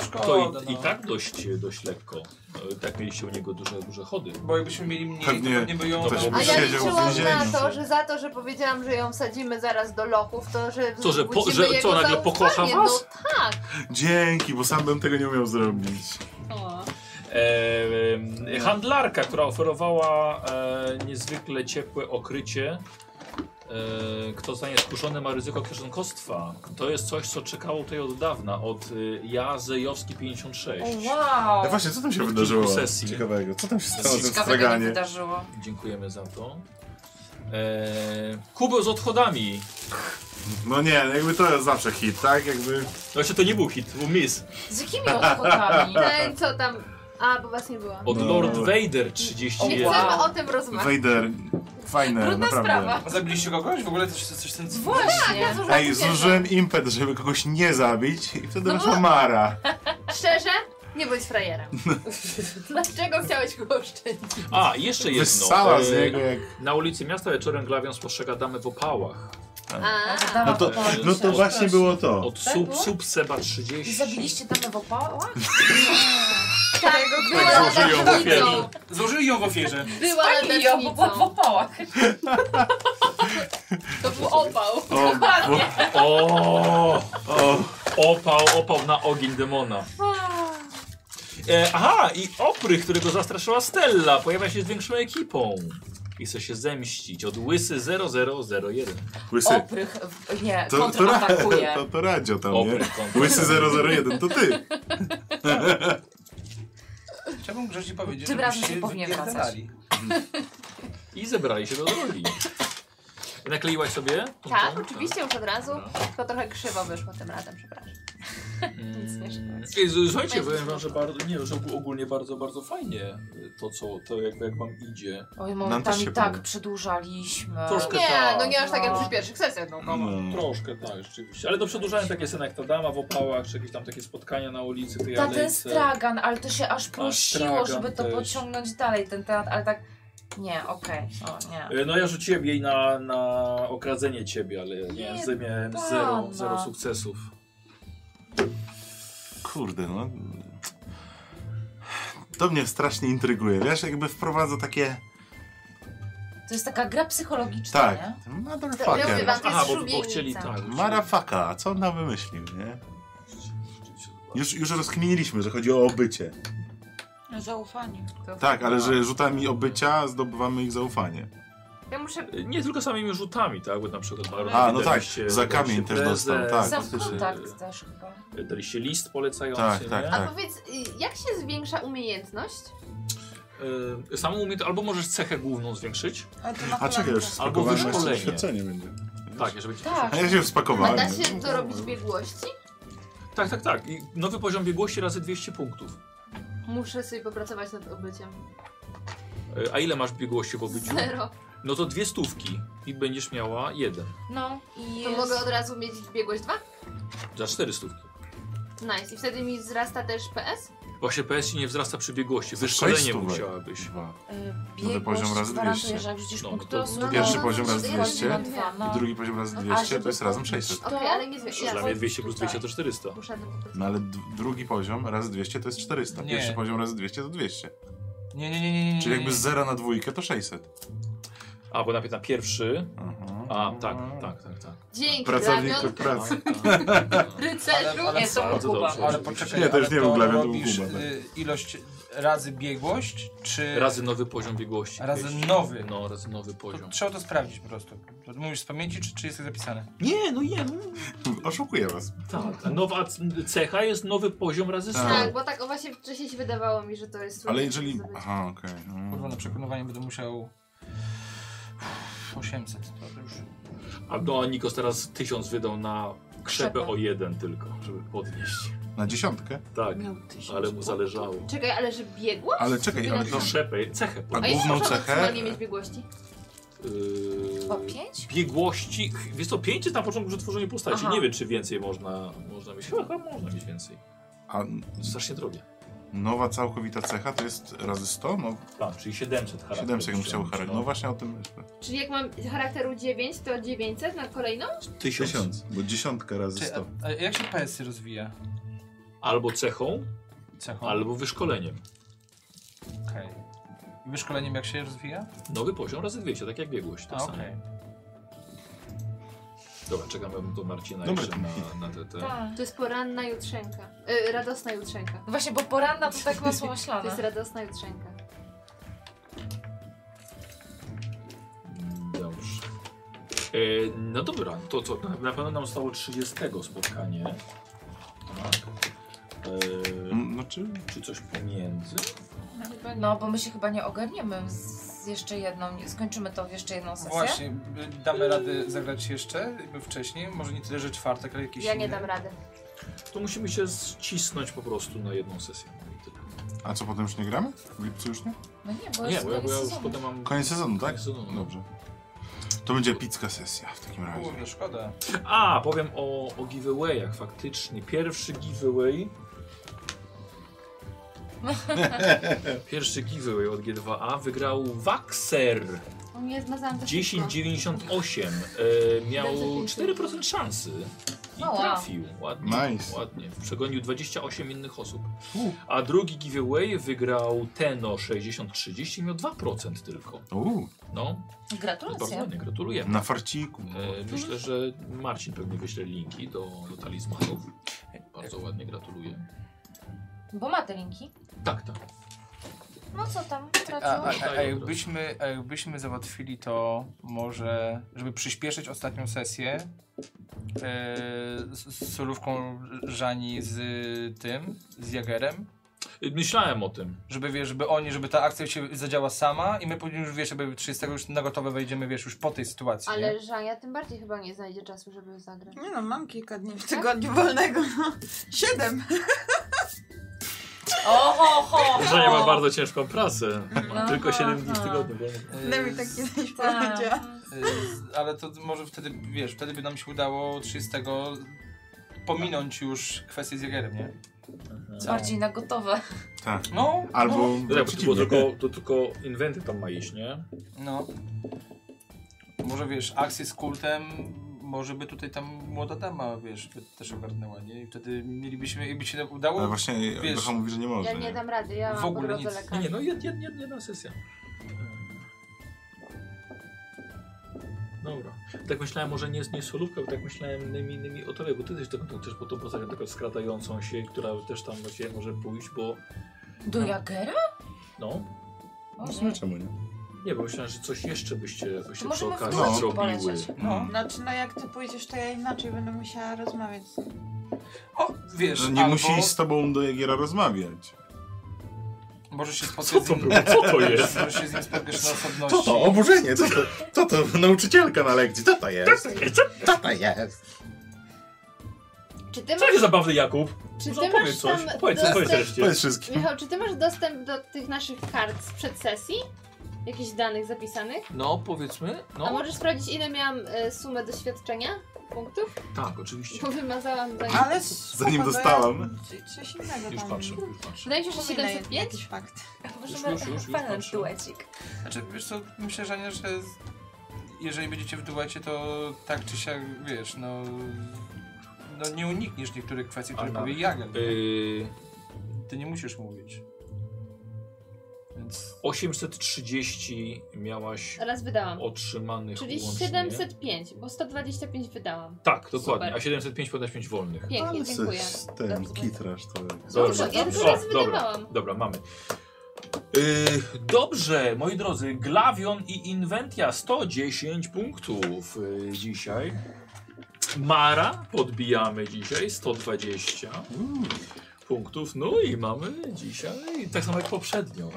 [SPEAKER 1] Szkoda,
[SPEAKER 3] To i,
[SPEAKER 1] no.
[SPEAKER 3] i tak dość, dość lekko. E, Tak mieliście u niego duże, duże chody.
[SPEAKER 1] Bo jakbyśmy mieli mniej,
[SPEAKER 2] Pewnie
[SPEAKER 1] to pewnie by ją...
[SPEAKER 2] ktoś
[SPEAKER 6] A
[SPEAKER 2] by
[SPEAKER 6] ja
[SPEAKER 2] siedział w
[SPEAKER 6] liczyłam
[SPEAKER 2] więzieniu.
[SPEAKER 6] na to, że za to, że powiedziałam, że ją sadzimy zaraz do lochów, to że
[SPEAKER 3] Co, że po-
[SPEAKER 6] wzbudzimy
[SPEAKER 3] że co,
[SPEAKER 6] jego
[SPEAKER 3] nagle
[SPEAKER 6] zaufanie.
[SPEAKER 3] pokocha was?
[SPEAKER 6] No tak!
[SPEAKER 2] Dzięki, bo sam bym tego nie umiał zrobić.
[SPEAKER 3] E, e, handlarka, która oferowała e, niezwykle ciepłe okrycie. E, kto zostanie skuszony ma ryzyko kieszonkostwa. To jest coś, co czekało tutaj od dawna, od y, Ja Zejowski 56.
[SPEAKER 7] Wow.
[SPEAKER 2] A właśnie, co tam się
[SPEAKER 3] Od
[SPEAKER 2] wydarzyło?
[SPEAKER 3] kilku sesji.
[SPEAKER 2] Ciekawego. Co tam się stało w
[SPEAKER 7] Nic
[SPEAKER 2] tym
[SPEAKER 7] ciekawego nie
[SPEAKER 2] straganie?
[SPEAKER 7] wydarzyło.
[SPEAKER 3] Dziękujemy za to. E, kubeł z odchodami.
[SPEAKER 2] No nie, jakby to jest zawsze hit, tak? Jakby...
[SPEAKER 3] Znaczy to nie był hit, był miss.
[SPEAKER 7] Z jakimi odchodami?
[SPEAKER 6] Ten No, co tam... A, bo was nie była.
[SPEAKER 3] Od
[SPEAKER 2] No.
[SPEAKER 3] Lord Vader
[SPEAKER 6] Nie
[SPEAKER 3] 31.
[SPEAKER 6] chcemy
[SPEAKER 7] Wow.
[SPEAKER 6] o tym rozmawiać.
[SPEAKER 2] Vader, fajne,
[SPEAKER 7] Trudna
[SPEAKER 2] naprawdę.
[SPEAKER 7] sprawa.
[SPEAKER 1] A Zabiliście kogoś? W ogóle coś, coś ten...
[SPEAKER 7] Właśnie.
[SPEAKER 6] Zużyłam
[SPEAKER 2] Ej,
[SPEAKER 6] ucieczkę.
[SPEAKER 2] zużyłem impet, żeby kogoś nie zabić i wtedy
[SPEAKER 6] No
[SPEAKER 2] weszła
[SPEAKER 6] bo-
[SPEAKER 2] Mara.
[SPEAKER 6] Szczerze? Nie bądź frajerem. Dlaczego chciałeś go oszczędzić?
[SPEAKER 3] A, jeszcze jedno.
[SPEAKER 2] Wyssała z
[SPEAKER 3] E,
[SPEAKER 2] niego jak...
[SPEAKER 3] Na ulicy miasta wieczorem glawią spostrzega damę w opałach.
[SPEAKER 6] A,
[SPEAKER 2] No to, no to właśnie było to.
[SPEAKER 3] Od
[SPEAKER 7] Tak
[SPEAKER 3] sub,
[SPEAKER 7] było?
[SPEAKER 3] sub Seba 30.
[SPEAKER 7] I zabiliście damę w opałach?
[SPEAKER 6] tak, była
[SPEAKER 2] Zużyją
[SPEAKER 6] latarnicą.
[SPEAKER 1] Złożyli ją w ofierze.
[SPEAKER 6] Była
[SPEAKER 7] Pani ją w, w
[SPEAKER 6] latarnicą.
[SPEAKER 7] opałach.
[SPEAKER 6] To był opał.
[SPEAKER 2] O, bo,
[SPEAKER 3] O,
[SPEAKER 2] o,
[SPEAKER 3] opał, opał na ogień demona. E, aha, i opry, którego zastraszyła Stella, pojawia się z większą ekipą. I chce się zemścić od łysy 0001.
[SPEAKER 2] łysy.
[SPEAKER 7] Oprych. w- Nie,
[SPEAKER 2] To, to, ra,
[SPEAKER 7] kontratakuje.
[SPEAKER 2] to, to radio tam, nie?
[SPEAKER 3] Opry kontra.
[SPEAKER 2] Łysy 001, to ty.
[SPEAKER 1] Chciałbym grzecznie powiedzieć,
[SPEAKER 7] Tym
[SPEAKER 1] że
[SPEAKER 7] razem się powinien wracać.
[SPEAKER 3] I zebrali się do drogi. Nakleiłaś sobie? tą-
[SPEAKER 6] Tak,
[SPEAKER 3] tą?
[SPEAKER 6] oczywiście już od razu.
[SPEAKER 3] Dobra.
[SPEAKER 6] Tylko trochę krzywo wyszło tym razem, przepraszam. Nic nie
[SPEAKER 2] Mm.
[SPEAKER 6] szkodzi.
[SPEAKER 3] Ej, z- Słuchajcie,
[SPEAKER 6] Będzie
[SPEAKER 3] powiem wam, że bardzo, nie, że ogó- ogólnie bardzo, bardzo fajnie y, to, co, to jakby jak wam idzie.
[SPEAKER 7] Oj,
[SPEAKER 2] Nam
[SPEAKER 7] momentami
[SPEAKER 2] też się
[SPEAKER 7] tak
[SPEAKER 2] podoba.
[SPEAKER 7] przedłużaliśmy.
[SPEAKER 3] Troszkę
[SPEAKER 6] Nie,
[SPEAKER 3] tak.
[SPEAKER 6] no nie aż tak jak
[SPEAKER 7] No.
[SPEAKER 6] przy pierwszych sesjach, no komu.
[SPEAKER 2] Mm,
[SPEAKER 3] Troszkę tak,
[SPEAKER 34] Mm.
[SPEAKER 3] rzeczywiście.
[SPEAKER 34] Ale to przedłużałem takie sceny jak ta dama w opałach, czy jakieś tam takie spotkania na ulicy, tej
[SPEAKER 7] Ta, ten
[SPEAKER 34] alejce.
[SPEAKER 7] stragan, ale to się aż prosiło,
[SPEAKER 34] stragan
[SPEAKER 7] żeby to
[SPEAKER 34] też.
[SPEAKER 7] pociągnąć dalej, ten temat, ale tak. Nie, okej, o nie.
[SPEAKER 34] Y, No ja rzuciłem jej na, na okradzenie ciebie, ale nie,
[SPEAKER 7] Nie,
[SPEAKER 34] nie miałem
[SPEAKER 7] dama.
[SPEAKER 34] zero, zero sukcesów.
[SPEAKER 2] Kurde, no. To mnie strasznie intryguje, wiesz? Jakby wprowadza takie.
[SPEAKER 7] To jest taka gra psychologiczna,
[SPEAKER 2] Tak.
[SPEAKER 7] nie?
[SPEAKER 6] Ja mówię
[SPEAKER 2] Motherfucker.
[SPEAKER 6] wam, to
[SPEAKER 3] Aha,
[SPEAKER 6] jest
[SPEAKER 3] bo, bo
[SPEAKER 6] szubienica.
[SPEAKER 3] chcieli tak. bo chcieli-
[SPEAKER 2] Marafaka, a co on nam wymyślił, nie? Już, już rozkminiliśmy, że chodzi o obycie.
[SPEAKER 5] Zaufanie.
[SPEAKER 2] Tak, ale że rzutami obycia zdobywamy ich zaufanie.
[SPEAKER 6] Ja muszę
[SPEAKER 3] Y, Nie tylko samymi rzutami, tak? Bo na przykład Baron,
[SPEAKER 2] A, no tak,
[SPEAKER 3] daliście-
[SPEAKER 2] za kamień
[SPEAKER 3] daliście
[SPEAKER 2] też dostał, tak.
[SPEAKER 7] Za
[SPEAKER 2] faktycznie.
[SPEAKER 7] kontakt też chyba.
[SPEAKER 3] Y, Daliście list polecający,
[SPEAKER 2] Tak, tak,
[SPEAKER 3] nie?
[SPEAKER 6] A
[SPEAKER 2] tak.
[SPEAKER 6] powiedz, y, jak się zwiększa umiejętność?
[SPEAKER 3] Y, Samą umiejętność, albo możesz cechę główną zwiększyć.
[SPEAKER 5] Ale to na
[SPEAKER 2] A czekaj, już
[SPEAKER 3] Albo
[SPEAKER 2] spakowałem
[SPEAKER 3] wyszkolenie.
[SPEAKER 35] Doświadczenie będzie.
[SPEAKER 3] Tak, jeżeli ci
[SPEAKER 7] Tak.
[SPEAKER 2] A ja się
[SPEAKER 6] A
[SPEAKER 2] spakowałem.
[SPEAKER 6] da się to robić w biegłości?
[SPEAKER 3] tak, tak, tak. I nowy poziom biegłości razy 200 punktów.
[SPEAKER 6] Muszę sobie popracować nad obyciem.
[SPEAKER 3] Y, A ile masz biegłości w obyciu?
[SPEAKER 6] Zero.
[SPEAKER 3] No to dwie stówki i będziesz miała jeden.
[SPEAKER 7] No i
[SPEAKER 6] To
[SPEAKER 7] jest...
[SPEAKER 6] mogę od razu mieć biegłość dwa?
[SPEAKER 3] Za cztery stówki.
[SPEAKER 6] Nice. I wtedy mi wzrasta też PS?
[SPEAKER 3] Właśnie PS ci nie wzrasta przy biegłości.
[SPEAKER 2] Za sześć
[SPEAKER 3] Wyszkolenie
[SPEAKER 2] stówek.
[SPEAKER 3] musiałabyś.
[SPEAKER 7] y,
[SPEAKER 2] Nowy
[SPEAKER 7] biegłość
[SPEAKER 2] poziom razy
[SPEAKER 7] gwarantuje,
[SPEAKER 2] 200.
[SPEAKER 7] że jak wrzucisz
[SPEAKER 3] No,
[SPEAKER 7] punkt
[SPEAKER 3] to-
[SPEAKER 7] losu,
[SPEAKER 3] to
[SPEAKER 7] no,
[SPEAKER 2] pierwszy
[SPEAKER 7] no,
[SPEAKER 2] poziom
[SPEAKER 7] no,
[SPEAKER 2] razy
[SPEAKER 7] to
[SPEAKER 2] 200,
[SPEAKER 7] na dwa, no.
[SPEAKER 2] I drugi poziom razy
[SPEAKER 7] A
[SPEAKER 2] 200
[SPEAKER 7] żeby
[SPEAKER 2] to jest razem 600.
[SPEAKER 7] To-
[SPEAKER 6] Okej, ale nie zwiększa.
[SPEAKER 7] Ja
[SPEAKER 3] Dla mnie 200 plus
[SPEAKER 7] tutaj.
[SPEAKER 3] 200 to 400.
[SPEAKER 6] Muszę na to
[SPEAKER 2] No
[SPEAKER 6] popracować.
[SPEAKER 2] ale d- drugi poziom razy 200 to jest 400.
[SPEAKER 1] Nie.
[SPEAKER 2] Pierwszy poziom razy 200 to 200.
[SPEAKER 1] Nie, nie, nie, nie, nie, nie.
[SPEAKER 2] Czyli jakby z zera na dwójkę to 600.
[SPEAKER 3] A, bo najpierw na pierwszy.
[SPEAKER 2] Mhm.
[SPEAKER 3] A, tak, tak, tak, tak.
[SPEAKER 6] Dzięki,
[SPEAKER 2] Pracowniku
[SPEAKER 6] Damian.
[SPEAKER 2] pracy.
[SPEAKER 6] Rycerzu.
[SPEAKER 1] Ale-
[SPEAKER 7] Nie, to
[SPEAKER 3] Bardzo
[SPEAKER 7] był Kuba.
[SPEAKER 3] dobrze.
[SPEAKER 1] Ale poczekaj,
[SPEAKER 2] Nie, to już
[SPEAKER 1] ale
[SPEAKER 2] nie był Glawian, to był
[SPEAKER 1] robisz
[SPEAKER 2] Kuba, tak.
[SPEAKER 1] y, ilość razy biegłość, czy...
[SPEAKER 3] Razy nowy poziom biegłości.
[SPEAKER 1] Razy
[SPEAKER 3] Wieś.
[SPEAKER 1] nowy.
[SPEAKER 3] No, razy nowy
[SPEAKER 1] To
[SPEAKER 3] poziom.
[SPEAKER 1] trzeba to sprawdzić po prostu. To Mówisz z pamięci, czy, czy jest tak zapisane?
[SPEAKER 3] Nie, no nie, no.
[SPEAKER 2] Oszukuję was.
[SPEAKER 3] Tak. Nowa c- cecha jest nowy poziom razy 100.
[SPEAKER 6] Tak, bo tak o właśnie wcześniej się wydawało mi, że to jest
[SPEAKER 2] Ale
[SPEAKER 6] trudne
[SPEAKER 2] jeżeli...
[SPEAKER 6] do zdobycia.
[SPEAKER 2] Aha, okej. mm.
[SPEAKER 1] Kurwa, na
[SPEAKER 2] Okay.
[SPEAKER 1] przekonywanie będę musiał... 800, to już...
[SPEAKER 3] A no, Nikos teraz 1000 wydał na krzepę
[SPEAKER 7] Tak. Krzepę.
[SPEAKER 3] o jeden tylko, żeby podnieść.
[SPEAKER 2] Na dziesiątkę?
[SPEAKER 3] Tak,
[SPEAKER 7] Miał tysiąc
[SPEAKER 3] ale mu
[SPEAKER 7] punktów.
[SPEAKER 3] zależało. No,
[SPEAKER 6] Czekaj, ale że biegłość?
[SPEAKER 2] Ale czekaj, ale to...
[SPEAKER 3] Krzepę, cechę
[SPEAKER 2] A
[SPEAKER 6] A
[SPEAKER 3] podnieść.
[SPEAKER 6] ile
[SPEAKER 2] główną
[SPEAKER 6] można
[SPEAKER 2] cechę-
[SPEAKER 6] maksymalnie mieć biegłości?
[SPEAKER 7] Chyba
[SPEAKER 3] Yy,
[SPEAKER 7] pięć?
[SPEAKER 3] biegłości. Ch- Wiesz co, 5 jest na początku przy tworzeniu postaci.
[SPEAKER 7] Aha.
[SPEAKER 3] Nie wiem, czy więcej można, można mieć. Chyba, chyba można mieć więcej.
[SPEAKER 2] A
[SPEAKER 3] Strasznie drogie.
[SPEAKER 2] nowa całkowita cecha to jest razy 100? No
[SPEAKER 3] Tak, czyli 700 charakterów.
[SPEAKER 2] 700 bym chciał
[SPEAKER 3] przyjąć,
[SPEAKER 2] charakter. No właśnie o tym myślę.
[SPEAKER 6] Czyli jak mam charakteru 9, to 900 na kolejną?
[SPEAKER 3] no. 1000.
[SPEAKER 2] Bo dziesiątka razy
[SPEAKER 1] Czy,
[SPEAKER 2] 100.
[SPEAKER 1] a, a jak się PS rozwija?
[SPEAKER 3] Albo cechą,
[SPEAKER 1] Cechą?
[SPEAKER 3] albo wyszkoleniem.
[SPEAKER 1] Okej. I wyszkoleniem jak się rozwija?
[SPEAKER 3] Nowy poziom razy 200, tak jak biegłość. Tak
[SPEAKER 1] A,
[SPEAKER 3] samo.
[SPEAKER 1] okej.
[SPEAKER 3] Dobra, czekamy do Marcina
[SPEAKER 2] Dobra.
[SPEAKER 3] jeszcze na, na te, te.
[SPEAKER 7] Tak.
[SPEAKER 6] To jest poranna jutrzenka. Y, radosna jutrzenka.
[SPEAKER 7] No Właśnie, bo poranna to tak masło
[SPEAKER 6] To jest
[SPEAKER 7] maślane.
[SPEAKER 6] radosna jutrzenka.
[SPEAKER 3] Dobrze. E, no dobra, to co? Na, na pewno nam stało 30 spotkanie. Tak. E,
[SPEAKER 2] Mm, No czy...
[SPEAKER 3] czy coś pomiędzy?
[SPEAKER 7] No, bo my się chyba nie ogarniemy z jeszcze jedną, nie- skończymy to w jeszcze jedną sesję.
[SPEAKER 1] Właśnie, y, damy radę zagrać jeszcze y, wcześniej? Może nie tyle, że czwartek, ale jakiś
[SPEAKER 6] Ja nie
[SPEAKER 1] inny?
[SPEAKER 6] dam rady.
[SPEAKER 3] To musimy się ścisnąć po prostu na jedną sesję. No i tyle.
[SPEAKER 2] A co, potem już nie gramy? W lipcu już nie?
[SPEAKER 7] No nie, bo
[SPEAKER 3] Nie,
[SPEAKER 7] jest
[SPEAKER 3] bo ja, bo ja już
[SPEAKER 7] sezonu.
[SPEAKER 3] potem mam...
[SPEAKER 2] Koniec sezonu, tak?
[SPEAKER 3] Koniec sezonu. no.
[SPEAKER 2] Dobrze. To będzie epicka sesja w takim razie.
[SPEAKER 1] Kurde, szkoda.
[SPEAKER 3] A, powiem o, o giveawayach faktycznie. Pierwszy giveaway... Pierwszy giveaway od G2A wygrał Waxer.
[SPEAKER 6] O nie, zmazałam to wszystko.
[SPEAKER 3] 10,98. E, miał 4% szansy. I
[SPEAKER 7] O, wow.
[SPEAKER 3] trafił. Ładnie.
[SPEAKER 2] Nice.
[SPEAKER 3] ładnie. Przegonił 28 innych osób. A drugi giveaway wygrał Teno 6030 i miał 2% tylko.
[SPEAKER 2] Uuu,
[SPEAKER 3] No, bardzo
[SPEAKER 7] Gratulacje.
[SPEAKER 3] ładnie, gratulujemy.
[SPEAKER 2] na farciku.
[SPEAKER 3] E, myślę, że Marcin pewnie wyśle linki do, do talizmanów. Bardzo ładnie gratuluję.
[SPEAKER 7] Bo ma te linki.
[SPEAKER 3] Tak, tak.
[SPEAKER 7] No co tam,
[SPEAKER 1] A, a,
[SPEAKER 7] traciło?
[SPEAKER 1] a, a, jakbyśmy, a jakbyśmy załatwili to może, żeby przyspieszyć ostatnią sesję e, z, z solówką Żani z tym, z Jagerem,
[SPEAKER 36] Y,
[SPEAKER 3] Myślałem o tym.
[SPEAKER 1] Żeby, wiesz, żeby oni, żeby ta akcja się zadziała sama i my później już, wiesz, jakby 30 już na gotowe wejdziemy, wiesz, już po tej sytuacji, nie?
[SPEAKER 6] Ale Żania tym bardziej chyba nie znajdzie czasu, żeby zagrać.
[SPEAKER 5] Nie no, mam kilka dni w tygodniu wolnego. no. Siedem.
[SPEAKER 7] Oho, ho,
[SPEAKER 36] Że nie ma bardzo ciężką pracę. Ma
[SPEAKER 7] No,
[SPEAKER 36] tylko 7 dni w
[SPEAKER 7] aha.
[SPEAKER 36] tygodniu. wiem.
[SPEAKER 5] Daj
[SPEAKER 1] E,
[SPEAKER 5] mi takie coś
[SPEAKER 7] Tak.
[SPEAKER 5] powiedziała.
[SPEAKER 1] Y, Ale to może wtedy, wiesz, wtedy by nam się udało 30 pominąć już kwestię z Jagerem, nie?
[SPEAKER 7] Bardziej na gotowe.
[SPEAKER 2] Tak.
[SPEAKER 1] No,
[SPEAKER 2] Albo
[SPEAKER 36] No tak, No. bo to, było
[SPEAKER 2] przeciwnie.
[SPEAKER 36] tylko, to tylko inwenty tam ma iść, nie?
[SPEAKER 1] No. Może wiesz, akcję z kultem, może by tutaj tam młoda dama, wiesz, by też ogarnęła, nie? I wtedy mielibyśmy, jakby się tak udało.
[SPEAKER 2] Ale właśnie
[SPEAKER 1] Wiesz,
[SPEAKER 2] Gocha mówi, że nie może.
[SPEAKER 6] Ja nie dam rady, ja
[SPEAKER 1] W
[SPEAKER 6] mam
[SPEAKER 1] ogóle
[SPEAKER 6] po drodze
[SPEAKER 1] nic.
[SPEAKER 6] lekarza.
[SPEAKER 36] Nie, nie, no jed, jed, jed, jedna sesja. Dobra. Tak myślałem, może nie, nie solówka, bo tak myślałem innymi, innymi o tobie, bo ty też taką też po tą postacią taką skradającą się, która też tam właściwie może pójść, bo
[SPEAKER 7] Do Jagera?
[SPEAKER 36] no,
[SPEAKER 2] No w sumie czemu nie?
[SPEAKER 36] nie, bo myślałem, że coś jeszcze byście jakoś się
[SPEAKER 7] To
[SPEAKER 36] przy
[SPEAKER 7] możemy w
[SPEAKER 36] okazji
[SPEAKER 2] duecie
[SPEAKER 36] zrobiły.
[SPEAKER 7] polecieć.
[SPEAKER 1] No.
[SPEAKER 5] Znaczy, no jak ty pójdziesz, to ja inaczej będę musiała rozmawiać z nim.
[SPEAKER 1] O, wiesz,
[SPEAKER 2] Że No, nie
[SPEAKER 1] albo
[SPEAKER 2] musi z tobą do Jagiera rozmawiać.
[SPEAKER 1] może się
[SPEAKER 36] No Co
[SPEAKER 1] spotkać z
[SPEAKER 36] to
[SPEAKER 1] nim,
[SPEAKER 36] było? Co to jest?
[SPEAKER 1] może się z nim spotkasz na osobności.
[SPEAKER 37] Co to? Oburzenie? Co to? Co to? Nauczycielka na lekcji? Co to jest? Co to jest?
[SPEAKER 6] Czy ty
[SPEAKER 36] Co
[SPEAKER 6] masz,
[SPEAKER 36] jest zabawny Jakub?
[SPEAKER 6] czy
[SPEAKER 3] no
[SPEAKER 36] Może
[SPEAKER 6] ty masz
[SPEAKER 36] opowiedz coś.
[SPEAKER 6] tam
[SPEAKER 36] Opowiedz coś, powiedz
[SPEAKER 6] dostęp...
[SPEAKER 36] wreszcie.
[SPEAKER 37] Powiedz wszystkim.
[SPEAKER 6] Michał, czy ty masz dostęp do tych naszych kart sprzed sesji? Jakichś danych zapisanych?
[SPEAKER 3] No, powiedzmy.
[SPEAKER 6] A
[SPEAKER 3] No,
[SPEAKER 6] możesz sprawdzić, ile miałam e, sumę doświadczenia? Punktów?
[SPEAKER 3] tak, oczywiście.
[SPEAKER 6] Bo wymazałam za
[SPEAKER 5] Ale
[SPEAKER 2] Zanim dostałam.
[SPEAKER 5] Coś innego
[SPEAKER 3] Już
[SPEAKER 5] tam.
[SPEAKER 3] patrzę, już patrzę.
[SPEAKER 6] Wydaje mi się, że
[SPEAKER 5] Przypominaj
[SPEAKER 6] 705?
[SPEAKER 5] Jakiś fakt.
[SPEAKER 7] Możemy
[SPEAKER 3] już, już, już
[SPEAKER 7] fajny
[SPEAKER 3] patrzę.
[SPEAKER 7] duecik.
[SPEAKER 1] Znaczy, wiesz co, myślę, że, nie, że z- jeżeli będziecie w duecie, to tak czy siak, wiesz, no... No nie unikniesz niektórych kwestii, które
[SPEAKER 36] Anna,
[SPEAKER 1] powie Jager.
[SPEAKER 36] Y,
[SPEAKER 3] Yy,
[SPEAKER 1] Ty nie musisz mówić. Więc...
[SPEAKER 3] 830 miałaś
[SPEAKER 6] Raz wydałam.
[SPEAKER 3] otrzymanych
[SPEAKER 6] Czyli
[SPEAKER 3] łącznie.
[SPEAKER 6] 705, bo 125 wydałam.
[SPEAKER 3] Tak, dokładnie.
[SPEAKER 6] Super.
[SPEAKER 3] A 705 podasz 5 wolnych.
[SPEAKER 6] Pięknie,
[SPEAKER 2] Ale
[SPEAKER 6] dziękuję.
[SPEAKER 2] se- ten
[SPEAKER 6] Dobrze.
[SPEAKER 2] kitraż No to jest.
[SPEAKER 6] Dobrze, ja tylko raz
[SPEAKER 3] O, dobra,
[SPEAKER 6] wydawałam.
[SPEAKER 3] dobra, mamy. Yy, dobrze, moi drodzy, Glavion i Inventia 110 punktów yy, dzisiaj. Mara podbijamy dzisiaj 120 punktów. No i mamy dzisiaj, tak samo jak poprzednio,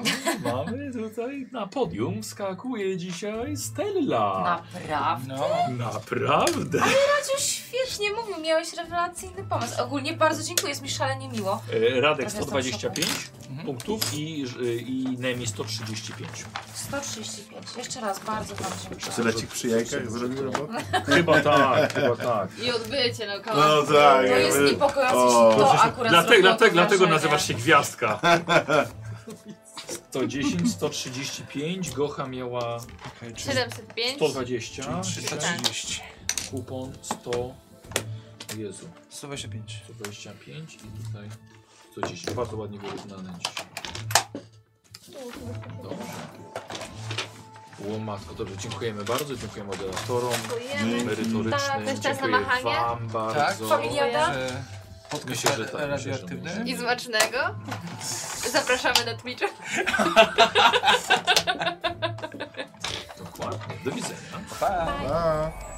[SPEAKER 3] no, mamy tutaj na podium skakuje dzisiaj Stella.
[SPEAKER 7] Naprawdę.
[SPEAKER 1] No,
[SPEAKER 3] Naprawdę.
[SPEAKER 7] Radziu świetnie mówił, miałeś rewelacyjny pomysł. Ogólnie bardzo dziękuję, jest mi szalenie miło.
[SPEAKER 3] E, Radek
[SPEAKER 7] Teraz jestem
[SPEAKER 3] 125
[SPEAKER 1] Mhm.
[SPEAKER 3] punktów i, i Nemi 135.
[SPEAKER 7] 135. Jeszcze raz bardzo wam dziękuję.
[SPEAKER 2] Sylecik przy jajkach zrobił, bo...
[SPEAKER 3] Chyba tak, chyba tak.
[SPEAKER 6] I odbycie na
[SPEAKER 2] No
[SPEAKER 6] kawałek.
[SPEAKER 7] To
[SPEAKER 2] tak.
[SPEAKER 7] jest
[SPEAKER 2] jakby-
[SPEAKER 7] niepokojące,
[SPEAKER 2] O.
[SPEAKER 7] że to akurat
[SPEAKER 3] Dlatego,
[SPEAKER 7] zrobiło
[SPEAKER 3] dlatego, dlatego
[SPEAKER 7] wrażenie.
[SPEAKER 3] nazywasz się Gwiazdka. 110, 135, Gocha miała
[SPEAKER 6] 705.
[SPEAKER 3] 120,
[SPEAKER 1] 330.
[SPEAKER 6] Tak.
[SPEAKER 3] kupon 100, Jezu,
[SPEAKER 1] 125.
[SPEAKER 3] 125 i tutaj 110. Bardzo ładnie wyrównane dzisiaj. Dobrze. O matko, dobrze, dziękujemy bardzo, dziękujemy moderatorom
[SPEAKER 6] Dziękujemy.
[SPEAKER 2] No
[SPEAKER 3] merytorycznym,
[SPEAKER 6] Tak, to jest czas na
[SPEAKER 3] dziękuję
[SPEAKER 6] machanie? Tak,
[SPEAKER 3] wam bardzo.
[SPEAKER 7] Familiada?
[SPEAKER 1] Że podcast
[SPEAKER 3] Myślę, że tak, myślę, że
[SPEAKER 1] radioaktywny.
[SPEAKER 6] I smacznego. Zapraszamy na Twitcha.
[SPEAKER 3] Dokładnie, do widzenia.
[SPEAKER 1] Pa.
[SPEAKER 2] A.